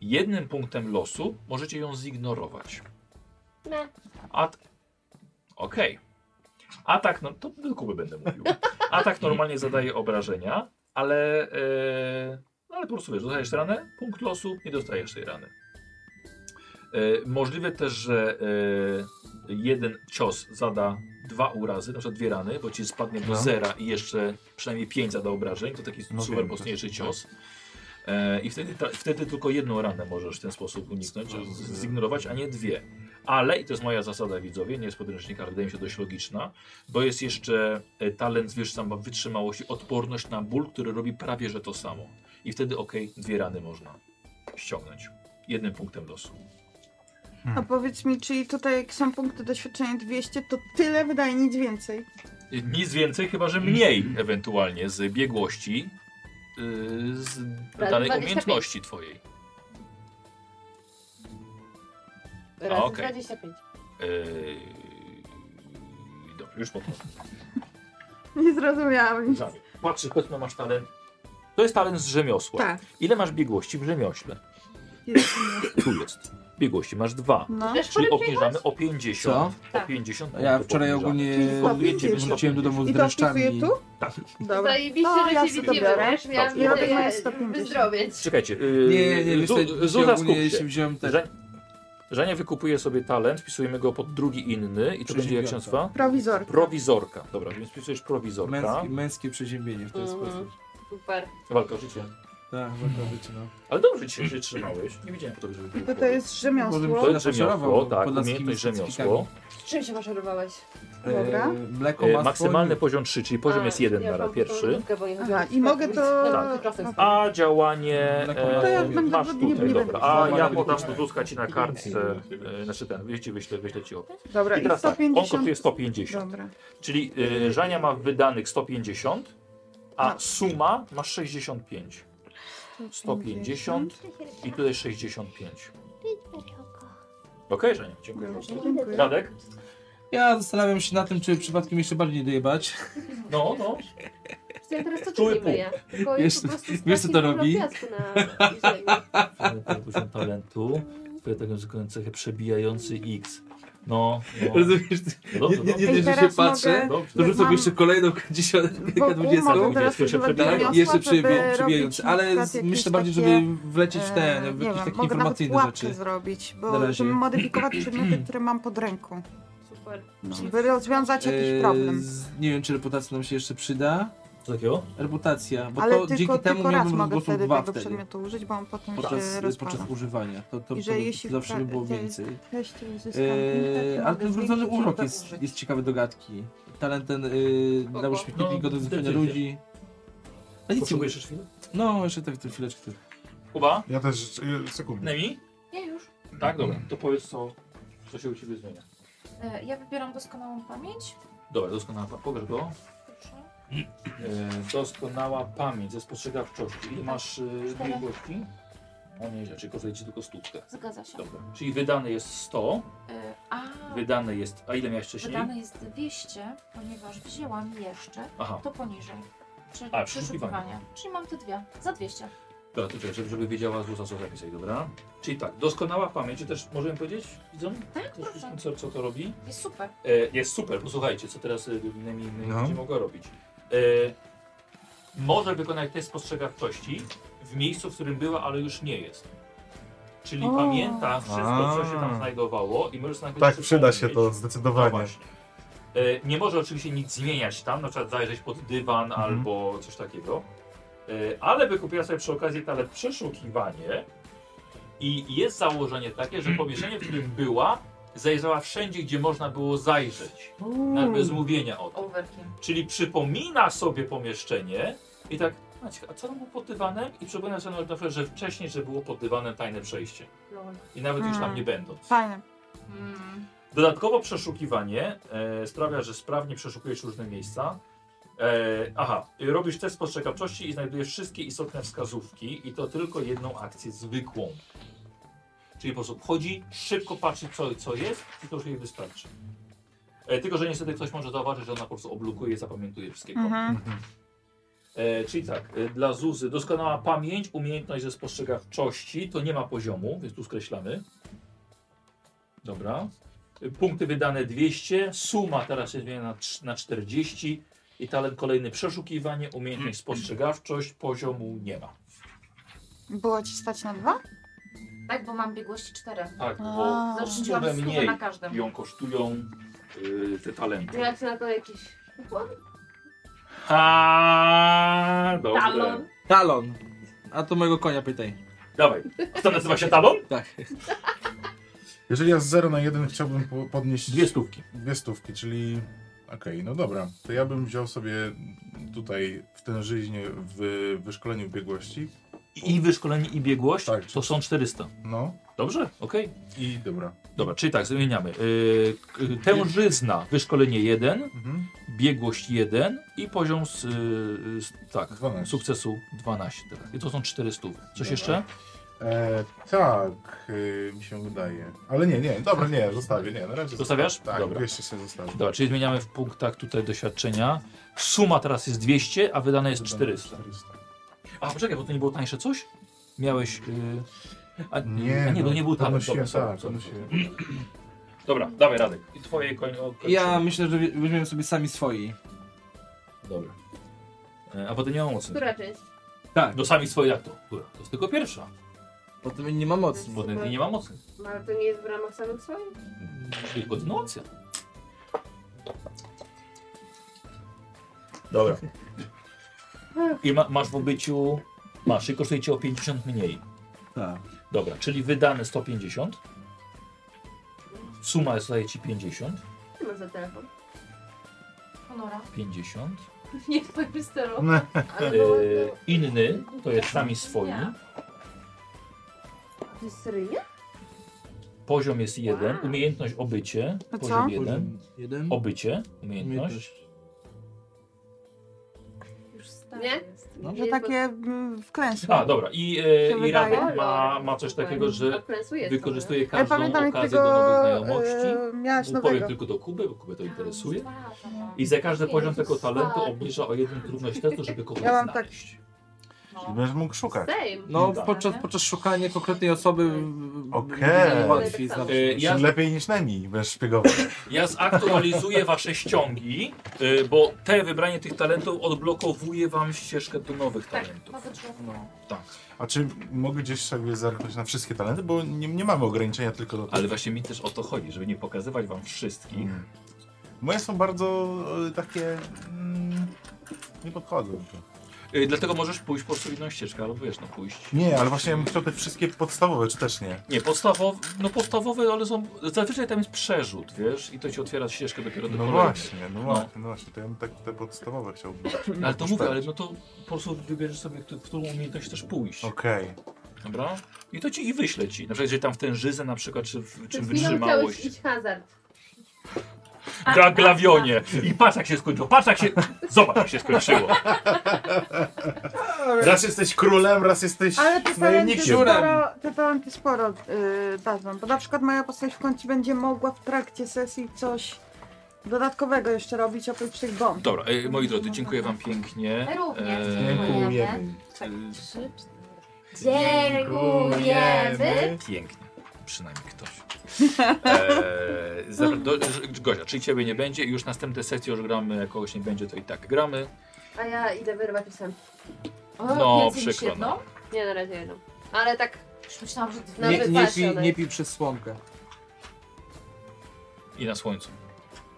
Speaker 2: jednym punktem losu możecie ją zignorować.
Speaker 1: Ne.
Speaker 2: At... Okej. Atak, no to do Kuby będę mówił. Atak tak normalnie zadaje obrażenia, ale, e, no ale po prostu wiesz, dostajesz ranę, punkt losu, nie dostajesz tej rany. E, możliwe też, że e, jeden cios zada dwa urazy, na przykład dwie rany, bo ci spadnie do
Speaker 7: No.
Speaker 2: zera i jeszcze przynajmniej pięć zada obrażeń, to taki
Speaker 7: No
Speaker 2: super
Speaker 7: wiem,
Speaker 2: mocniejszy
Speaker 7: to jest-
Speaker 2: cios. E, I wtedy, ta, wtedy tylko jedną ranę możesz w ten sposób uniknąć, z- zignorować, a nie dwie. Ale, i to jest moja zasada, widzowie, nie jest podręcznika, ale wydaje mi się dość logiczna, bo jest jeszcze e, talent zwierzęca ma wytrzymałości, odporność na ból, który robi prawie że to samo. I wtedy, ok, dwie rany można ściągnąć. Jednym punktem losu.
Speaker 4: A no powiedz mi, czyli tutaj jak są punkty doświadczenia 200, to tyle wydaje, nic więcej.
Speaker 2: E, Nic więcej, chyba że mniej ewentualnie z biegłości, yy, z danej
Speaker 1: 25.
Speaker 2: umiejętności twojej.
Speaker 1: Razy
Speaker 2: A, okej.
Speaker 1: 25.
Speaker 2: Yy, dobrze, już podchodzę.
Speaker 4: Nie zrozumiałam. nic.
Speaker 2: Zamiast. Patrzysz, powiedzmy, masz talent. To jest talent z rzemiosła.
Speaker 4: Tak.
Speaker 2: Ile masz biegłości w rzemiośle?
Speaker 4: Jest.
Speaker 2: Tu jest. Biegłości masz dwa.
Speaker 4: No.
Speaker 1: Wiesz,
Speaker 2: Czyli
Speaker 1: chory
Speaker 2: obniżamy o 50. O 50
Speaker 10: Ja
Speaker 2: punktów
Speaker 10: wczoraj
Speaker 2: obniżamy.
Speaker 10: ogólnie wróciłem do domu z
Speaker 4: I to wpisuję
Speaker 10: dreszczami.
Speaker 4: tu?
Speaker 2: Tak.
Speaker 4: Dobra.
Speaker 1: Zajebiście,
Speaker 4: O,
Speaker 1: że
Speaker 4: ja
Speaker 1: się
Speaker 4: sobie
Speaker 1: widzimy,
Speaker 4: biorę.
Speaker 1: wiesz? Miałam
Speaker 2: Dobrze.
Speaker 1: nadzieję,
Speaker 4: Ja mam 150.
Speaker 1: wyzdrowieć.
Speaker 2: Czekajcie.
Speaker 10: Nie, nie,
Speaker 2: Yy,
Speaker 10: wiesz,
Speaker 2: Zu-
Speaker 10: tutaj
Speaker 2: Zuza, skup
Speaker 10: ogólnie
Speaker 2: się.
Speaker 10: się wziąłem tak też.
Speaker 2: Żen- Żenia wykupuje sobie talent, wpisujemy go pod drugi inny i to będzie jak się
Speaker 10: Przedsiębiorca.
Speaker 2: nazywa?
Speaker 4: Prowizor.
Speaker 2: Prowizorka. Dobra, więc wpisujesz prowizorka.
Speaker 10: Męskie, męskie przeziębienie w ten
Speaker 1: Mhm.
Speaker 10: sposób.
Speaker 1: Super.
Speaker 2: Walka o życie.
Speaker 10: Tak, wartowicie, no.
Speaker 2: Ale dobrze dzisiaj się trzymałeś. Nie widziałem po tobie, żeby było
Speaker 4: Bo No to jest rzemiosło.
Speaker 2: To
Speaker 10: Może-
Speaker 2: jest rzemiosło,
Speaker 10: Podlaskimi
Speaker 2: tak, umiejętność rzemiosło.
Speaker 1: Z czym się maszerowałeś?
Speaker 4: Dobra.
Speaker 10: E, mleko,
Speaker 2: E,
Speaker 10: masło.
Speaker 2: maksymalny poziom 3, czyli poziom
Speaker 1: A,
Speaker 2: jest 1
Speaker 1: Tak, ja
Speaker 2: na
Speaker 1: mam
Speaker 2: ra pierwszy.
Speaker 1: podręczówkę, bo nie
Speaker 4: Aha,
Speaker 1: chodziłam
Speaker 4: i mogę
Speaker 1: szkoły.
Speaker 4: to-
Speaker 1: Tak, czasem
Speaker 4: To
Speaker 2: A działanie
Speaker 10: To ja
Speaker 2: e,
Speaker 10: będę-
Speaker 2: masz
Speaker 4: nie-
Speaker 2: tutaj,
Speaker 4: nie
Speaker 2: dobra.
Speaker 4: będę-
Speaker 2: A ja
Speaker 10: Dobra,
Speaker 2: podam
Speaker 10: dobra.
Speaker 2: Zuzka ci na kartce, e, znaczy ten, wiecie, wyślę, wyślę ci opis.
Speaker 4: Dobra,
Speaker 2: I teraz tak, on
Speaker 4: 150.
Speaker 2: kosztuje 150,
Speaker 4: Dobra.
Speaker 2: czyli e, Żania ma wydanych 150, a
Speaker 4: No.
Speaker 2: suma masz 65. 150 i tutaj 65. Okej, Żania, dziękuję bardzo.
Speaker 4: Dobrze, dziękuję.
Speaker 2: Radek?
Speaker 10: Ja zastanawiam się na tym, czy przypadkiem jeszcze bardziej nie dojebać.
Speaker 2: No, no.
Speaker 1: Ja teraz to
Speaker 2: Czuły
Speaker 1: czynimy,
Speaker 2: pół.
Speaker 1: ja. Tylko
Speaker 10: Wiesz,
Speaker 1: ja po prostu
Speaker 10: wiesz, co to
Speaker 1: straciłam
Speaker 10: robi?
Speaker 1: piasku na ziemi.
Speaker 2: poziom talentu, tak taką cechę przebijający X. No,
Speaker 10: Rozumiesz?
Speaker 2: no
Speaker 10: Nie, nie, nie,
Speaker 4: Ej,
Speaker 10: nie że się
Speaker 4: teraz
Speaker 10: patrzę,
Speaker 4: mogę-
Speaker 2: Dobrze.
Speaker 10: to rzucam
Speaker 4: Mam-
Speaker 10: jeszcze kolejną dziesiątkę,
Speaker 4: Wokół mogę
Speaker 10: dwudziestą.
Speaker 4: teraz
Speaker 2: Jeszcze
Speaker 4: używać
Speaker 2: przebijający.
Speaker 4: rzemiosła,
Speaker 10: Jeszcze
Speaker 4: żeby
Speaker 10: przybij-
Speaker 4: robić
Speaker 10: przybijający,
Speaker 4: na
Speaker 10: ale
Speaker 4: przykład
Speaker 10: z-
Speaker 4: jakieś
Speaker 10: myślę bardziej,
Speaker 4: takie,
Speaker 10: żeby wlecieć w
Speaker 4: e,
Speaker 10: ten, w
Speaker 4: nie
Speaker 10: jakieś
Speaker 4: wiem,
Speaker 10: takie
Speaker 4: mogę nawet
Speaker 10: informacyjne
Speaker 4: pułapkę
Speaker 10: rzeczy.
Speaker 4: zrobić,
Speaker 10: Na
Speaker 4: bo
Speaker 10: razie.
Speaker 4: żeby modyfikować przedmioty, które mam pod ręką. Żeby rozwiązać jakiś
Speaker 6: Eee,
Speaker 4: problem.
Speaker 6: z- nie wiem, czy reputacja nam się jeszcze przyda.
Speaker 9: Co takiego?
Speaker 6: Reputacja, bo
Speaker 4: Ale
Speaker 6: to
Speaker 4: tylko,
Speaker 6: dzięki temu
Speaker 4: tylko raz
Speaker 6: miałbym
Speaker 4: mogę
Speaker 6: rozgłosów
Speaker 4: wtedy
Speaker 6: dwa
Speaker 4: tego
Speaker 6: wtedy.
Speaker 4: przedmiotu użyć, bo on potem się
Speaker 6: Podczas,
Speaker 4: rozpada.
Speaker 6: podczas używania. To, to,
Speaker 4: I
Speaker 6: to
Speaker 4: że jeśli
Speaker 6: zawsze by
Speaker 4: wpra-
Speaker 6: było
Speaker 4: te-
Speaker 6: więcej.
Speaker 4: Treści uzyskane.
Speaker 6: Eee,
Speaker 4: tak
Speaker 6: ale ten wrodzony urok jest, jest ciekawy do gadki. Talent ten yy,
Speaker 7: Spoko.
Speaker 6: nauczył mnie
Speaker 9: No,
Speaker 6: kilku do
Speaker 9: gdzie,
Speaker 6: zwyciężenia
Speaker 9: gdzie,
Speaker 6: ludzi. A nic nie
Speaker 9: Potrzebujesz jeszcze chwilę?
Speaker 6: No, jeszcze tak, to chwileczkę.
Speaker 2: Kuba?
Speaker 3: Ja też, y, sekundę.
Speaker 2: Nemi?
Speaker 5: Nie, już.
Speaker 2: Tak, dobra. To powiedz, co, co się u ciebie zmienia.
Speaker 5: E, Ja wybieram doskonałą pamięć.
Speaker 2: Dobra, doskonała pamięć. Pokaż go.
Speaker 5: Proszę.
Speaker 2: E, doskonała pamięć ze spostrzegawczości. Ile masz e,
Speaker 5: Cztery.
Speaker 2: biegłości? O nieźle, czyli kosztuje ci tylko stówkę.
Speaker 5: Zgadza się.
Speaker 2: Dobra. Czyli wydane jest 100,
Speaker 5: E, A,
Speaker 2: wydane jest... A ile miałeś wcześniej?
Speaker 5: wydane jest 200, ponieważ wzięłam jeszcze,
Speaker 2: Aha,
Speaker 5: to poniżej. Czyli
Speaker 2: A,
Speaker 5: przeszukiwania. Czyli mam te dwie. Za 200.
Speaker 2: dobra, to czekaj, żeby, żeby wiedziała z USA co zapisać, dobra? Czyli tak, doskonała pamięć, czy też możemy powiedzieć widzom,
Speaker 5: Tak,
Speaker 2: też,
Speaker 5: proszę.
Speaker 2: co, co to robi?
Speaker 5: Jest super.
Speaker 2: E, jest super, posłuchajcie, co teraz e, Nemi
Speaker 3: No.
Speaker 2: będzie mogła robić. E, może wykonać test spostrzegawczości w miejscu, w którym była, ale już nie jest. Czyli
Speaker 4: O.
Speaker 2: pamięta wszystko, co się tam
Speaker 3: A.
Speaker 2: znajdowało i może sobie
Speaker 3: Tak, przyda się
Speaker 2: przypomnieć.
Speaker 3: to
Speaker 2: No
Speaker 3: zdecydowanie.
Speaker 2: właśnie. E, Nie może oczywiście nic zmieniać tam, na przykład zajrzeć pod dywan albo coś takiego, E, ale wykupiła sobie przy okazji talent przeszukiwanie i jest założenie takie, że pomieszczenie, w którym była, zajrzała wszędzie, gdzie można było zajrzeć, nawet bez mówienia o tym.
Speaker 5: Overkill.
Speaker 2: Czyli przypomina sobie pomieszczenie i tak, Maciek, a co tam było pod dywanem? I przypomina sobie na przykład, że wcześniej, że było pod dywanem tajne przejście i nawet już tam
Speaker 4: Hmm.
Speaker 2: nie będąc.
Speaker 4: Fajne.
Speaker 5: Mm.
Speaker 2: Dodatkowo przeszukiwanie e, sprawia, że sprawnie przeszukujesz różne miejsca. E, aha, y, robisz test spostrzegawczości i znajdujesz wszystkie istotne wskazówki i to tylko jedną akcję zwykłą. Czyli po prostu wchodzi, szybko patrzy co, co jest i to już jej wystarczy. E, tylko, że niestety ktoś może zauważyć, że ona po prostu oblukuje, zapamiętuje wszystkie kąty.
Speaker 4: Mhm.
Speaker 2: E, czyli tak, e, dla Zuzy doskonała pamięć, umiejętność ze spostrzegawczości, to nie ma poziomu, więc tu skreślamy. Dobra. E, Punkty wydane 200, suma teraz się zmienia na, trz- na 40 i talent kolejny przeszukiwanie, umiejętność spostrzegawczość, poziomu nie ma.
Speaker 4: Było ci stać na dwa?
Speaker 5: Tak, bo mam biegłości 4.
Speaker 2: Tak, bo
Speaker 6: No.
Speaker 4: A.
Speaker 5: Zarzuciłam
Speaker 2: Sumę
Speaker 5: stówę
Speaker 2: mniej.
Speaker 5: na każdym.
Speaker 2: ją kosztują y, te talenty.
Speaker 7: Jak na to jakiś układ?
Speaker 2: Ha, dobrze.
Speaker 7: Talon.
Speaker 6: Talon! A to mojego konia pytaj.
Speaker 2: Dawaj. A to nazywa się talon?
Speaker 6: Tak.
Speaker 3: Jeżeli ja z 0 na 1 chciałbym po- podnieść
Speaker 2: Dwie stówki.
Speaker 3: dwie stówki, czyli... Okej, no dobra. To ja bym wziął sobie tutaj w ten żyźnie w wyszkoleniu biegłości.
Speaker 2: I wyszkolenie i biegłość
Speaker 3: Tak.
Speaker 2: to są 400.
Speaker 3: No
Speaker 2: Dobrze? Okej.
Speaker 3: i dobra.
Speaker 2: Dobra, czyli tak, zmieniamy. Yy, k- tężyzna, wyszkolenie 1,
Speaker 3: Mhm.
Speaker 2: biegłość 1 i poziom z, yy, z, tak,
Speaker 3: 12.
Speaker 2: sukcesu 12. Tak. I to są 400. Coś
Speaker 3: Dobra.
Speaker 2: jeszcze?
Speaker 3: E, tak, y, mi się wydaje. Ale nie, nie, dobra, nie, zostawię, nie, na razie.
Speaker 2: Zostawiasz?
Speaker 3: Tak,
Speaker 2: Dobra.
Speaker 3: 200 się zostawię.
Speaker 2: Dobra, czyli zmieniamy w punktach tutaj doświadczenia. Suma teraz jest 200, a wydane jest 400. A poczekaj, bo to nie było tańsze coś? Miałeś... Yy, a,
Speaker 3: Nie,
Speaker 2: a nie,
Speaker 3: no,
Speaker 2: bo nie był talent.
Speaker 3: podnosiłem,
Speaker 2: Dobra, sorry,
Speaker 3: tak,
Speaker 2: sorry.
Speaker 3: podnosiłem.
Speaker 2: Dobra, dawaj Radek. I twoje koń... o, kończy.
Speaker 6: Ja myślę, że wi- weźmiemy sobie sami swoi.
Speaker 2: Dobra. E, A potem nie mam mocnych.
Speaker 7: Która część?
Speaker 6: Tak.
Speaker 2: No sami swoje jak to? Która? To jest tylko pierwsza.
Speaker 6: Potem nie ma mocni.
Speaker 2: Bo ten nie ma mocnych.
Speaker 7: No, ale to nie jest w ramach samych swoich?
Speaker 2: Czyli kontynuacja.
Speaker 9: Dobra.
Speaker 2: I ma, masz w obyciu. Masz i kosztuje cię o 50 mniej.
Speaker 6: Tak.
Speaker 2: Dobra, czyli wydane 150. Suma zostaje ci 50.
Speaker 7: Ty masz za telefon.
Speaker 5: Honora.
Speaker 2: 50.
Speaker 7: Nie w twoim stylu.
Speaker 3: No.
Speaker 7: Ale
Speaker 2: E,
Speaker 7: było...
Speaker 2: inny to jest sami swoi.
Speaker 7: To jest seryjnie?
Speaker 2: Poziom jest jeden. Umiejętność obycie.
Speaker 4: A co?
Speaker 2: Poziom jeden.
Speaker 6: Jeden.
Speaker 2: Obycie. Umiejętność.
Speaker 5: Już stary
Speaker 7: Nie?
Speaker 5: jest.
Speaker 6: No,
Speaker 4: Że takie mm, wklęsło.
Speaker 2: A, dobra. I,
Speaker 4: Się
Speaker 2: e, i
Speaker 4: wydaje?
Speaker 2: Radek ma, ma coś takiego, że
Speaker 7: Odklęsujesz
Speaker 2: wykorzystuje
Speaker 4: Ale
Speaker 2: każdą
Speaker 4: pamiętam
Speaker 2: okazję
Speaker 4: jak
Speaker 2: do nowych
Speaker 4: tego
Speaker 2: znajomości.
Speaker 4: e, miałaś
Speaker 2: Powiem
Speaker 4: nowego.
Speaker 2: tylko do Kuby, bo Kubę to interesuje.
Speaker 5: Dwa, dwa.
Speaker 2: I za każdy poziom tego talentu obniża o jeden trudność testu, żeby kogoś
Speaker 4: Ja mam tak-
Speaker 2: znaleźć.
Speaker 3: I będziesz mógł szukać.
Speaker 1: Same.
Speaker 6: No,
Speaker 5: Tak.
Speaker 6: podczas, podczas szukania konkretnej osoby w- w-
Speaker 3: Okej.
Speaker 6: łatwiej znaleźć.
Speaker 2: Y,
Speaker 3: Ja...
Speaker 2: ja,
Speaker 3: Lepiej niż Nemi, będziesz szpiegował.
Speaker 2: ja zaktualizuję wasze ściągi, y, bo te wybranie tych talentów odblokowuje wam ścieżkę do nowych
Speaker 5: Tak,
Speaker 2: talentów.
Speaker 5: nowy drzwi.
Speaker 2: No, tak.
Speaker 3: A czy mogę gdzieś sobie zerknąć na wszystkie talenty? Bo nie, nie mamy ograniczenia tylko do tych.
Speaker 2: Ale właśnie mi też o to chodzi, żeby nie pokazywać wam wszystkich.
Speaker 3: Mm. Moje są bardzo e, takie... Mm, nie podchodzą. do tego.
Speaker 2: Y, dlatego możesz pójść po prostu w inną ścieżkę, albo wiesz, no pójść.
Speaker 3: Nie, ale właśnie ja bym chciał te wszystkie podstawowe, czy też nie?
Speaker 2: Nie, podstawowe, no podstawowe, ale są, zazwyczaj tam jest przerzut, wiesz, i to ci otwiera ścieżkę dopiero do
Speaker 3: No
Speaker 2: kolejnych.
Speaker 3: właśnie, no właśnie, no właśnie. To ja bym tak, te podstawowe chciałbym.
Speaker 2: Ale to
Speaker 3: tak.
Speaker 2: mówię, ale no to po prostu wybierzesz sobie, któ- w którą umiejętność też pójść,
Speaker 3: Okej.
Speaker 2: dobra? I to ci i wyśle ci, na przykład, jeżeli tam w tężyzę na przykład, czy, w-
Speaker 1: Przed
Speaker 2: czy
Speaker 1: chwilą chciałeś
Speaker 2: wytrzymałość.
Speaker 1: iść hazard.
Speaker 2: Gra glawionie i patrz jak się skończyło, patrz jak się, zobacz jak się skończyło.
Speaker 11: Raz jesteś królem, raz jesteś
Speaker 4: Ale te talenty
Speaker 11: najemnikiem.
Speaker 4: sporo, te talenty sporo yy, dadzą, bo na przykład moja postać w końcu będzie mogła w trakcie sesji coś dodatkowego jeszcze robić oprócz tych bomb.
Speaker 2: Dobra, e, moi drodzy, dziękuję wam pięknie.
Speaker 5: Również
Speaker 2: E,
Speaker 3: Dziękujemy.
Speaker 5: Trzy, cztery. Dziękujemy.
Speaker 2: Pięknie. Przynajmniej ktoś. Eee, zabra- do, Gosia, czyli ciebie nie będzie i już następne sesje już gramy, jak kogoś nie będzie, to i tak gramy.
Speaker 1: A ja idę wyrwać pisem.
Speaker 5: O,
Speaker 2: No,
Speaker 5: więcej niż
Speaker 2: przykro,
Speaker 5: jedno?
Speaker 2: no.
Speaker 1: Nie, na razie jedną. Ale tak
Speaker 5: Już myślałam, że dwie.
Speaker 1: na
Speaker 6: Nie, nie,
Speaker 1: wypasie
Speaker 6: pij,
Speaker 1: ona
Speaker 6: nie
Speaker 1: jest.
Speaker 6: pij przez słomkę.
Speaker 2: I na słońcu.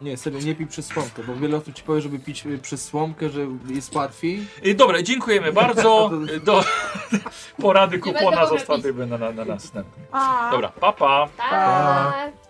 Speaker 6: Nie, serio, nie pij przez słomkę, bo wiele osób ci powie, żeby pić y, przez słomkę, że jest łatwiej.
Speaker 2: E, dobra, dziękujemy bardzo. E, Do, porady
Speaker 1: będę
Speaker 2: kupona
Speaker 1: mogła
Speaker 2: zostawimy na, na, na następnym.
Speaker 4: A,
Speaker 2: Dobra, papa. Pa.
Speaker 1: Tak.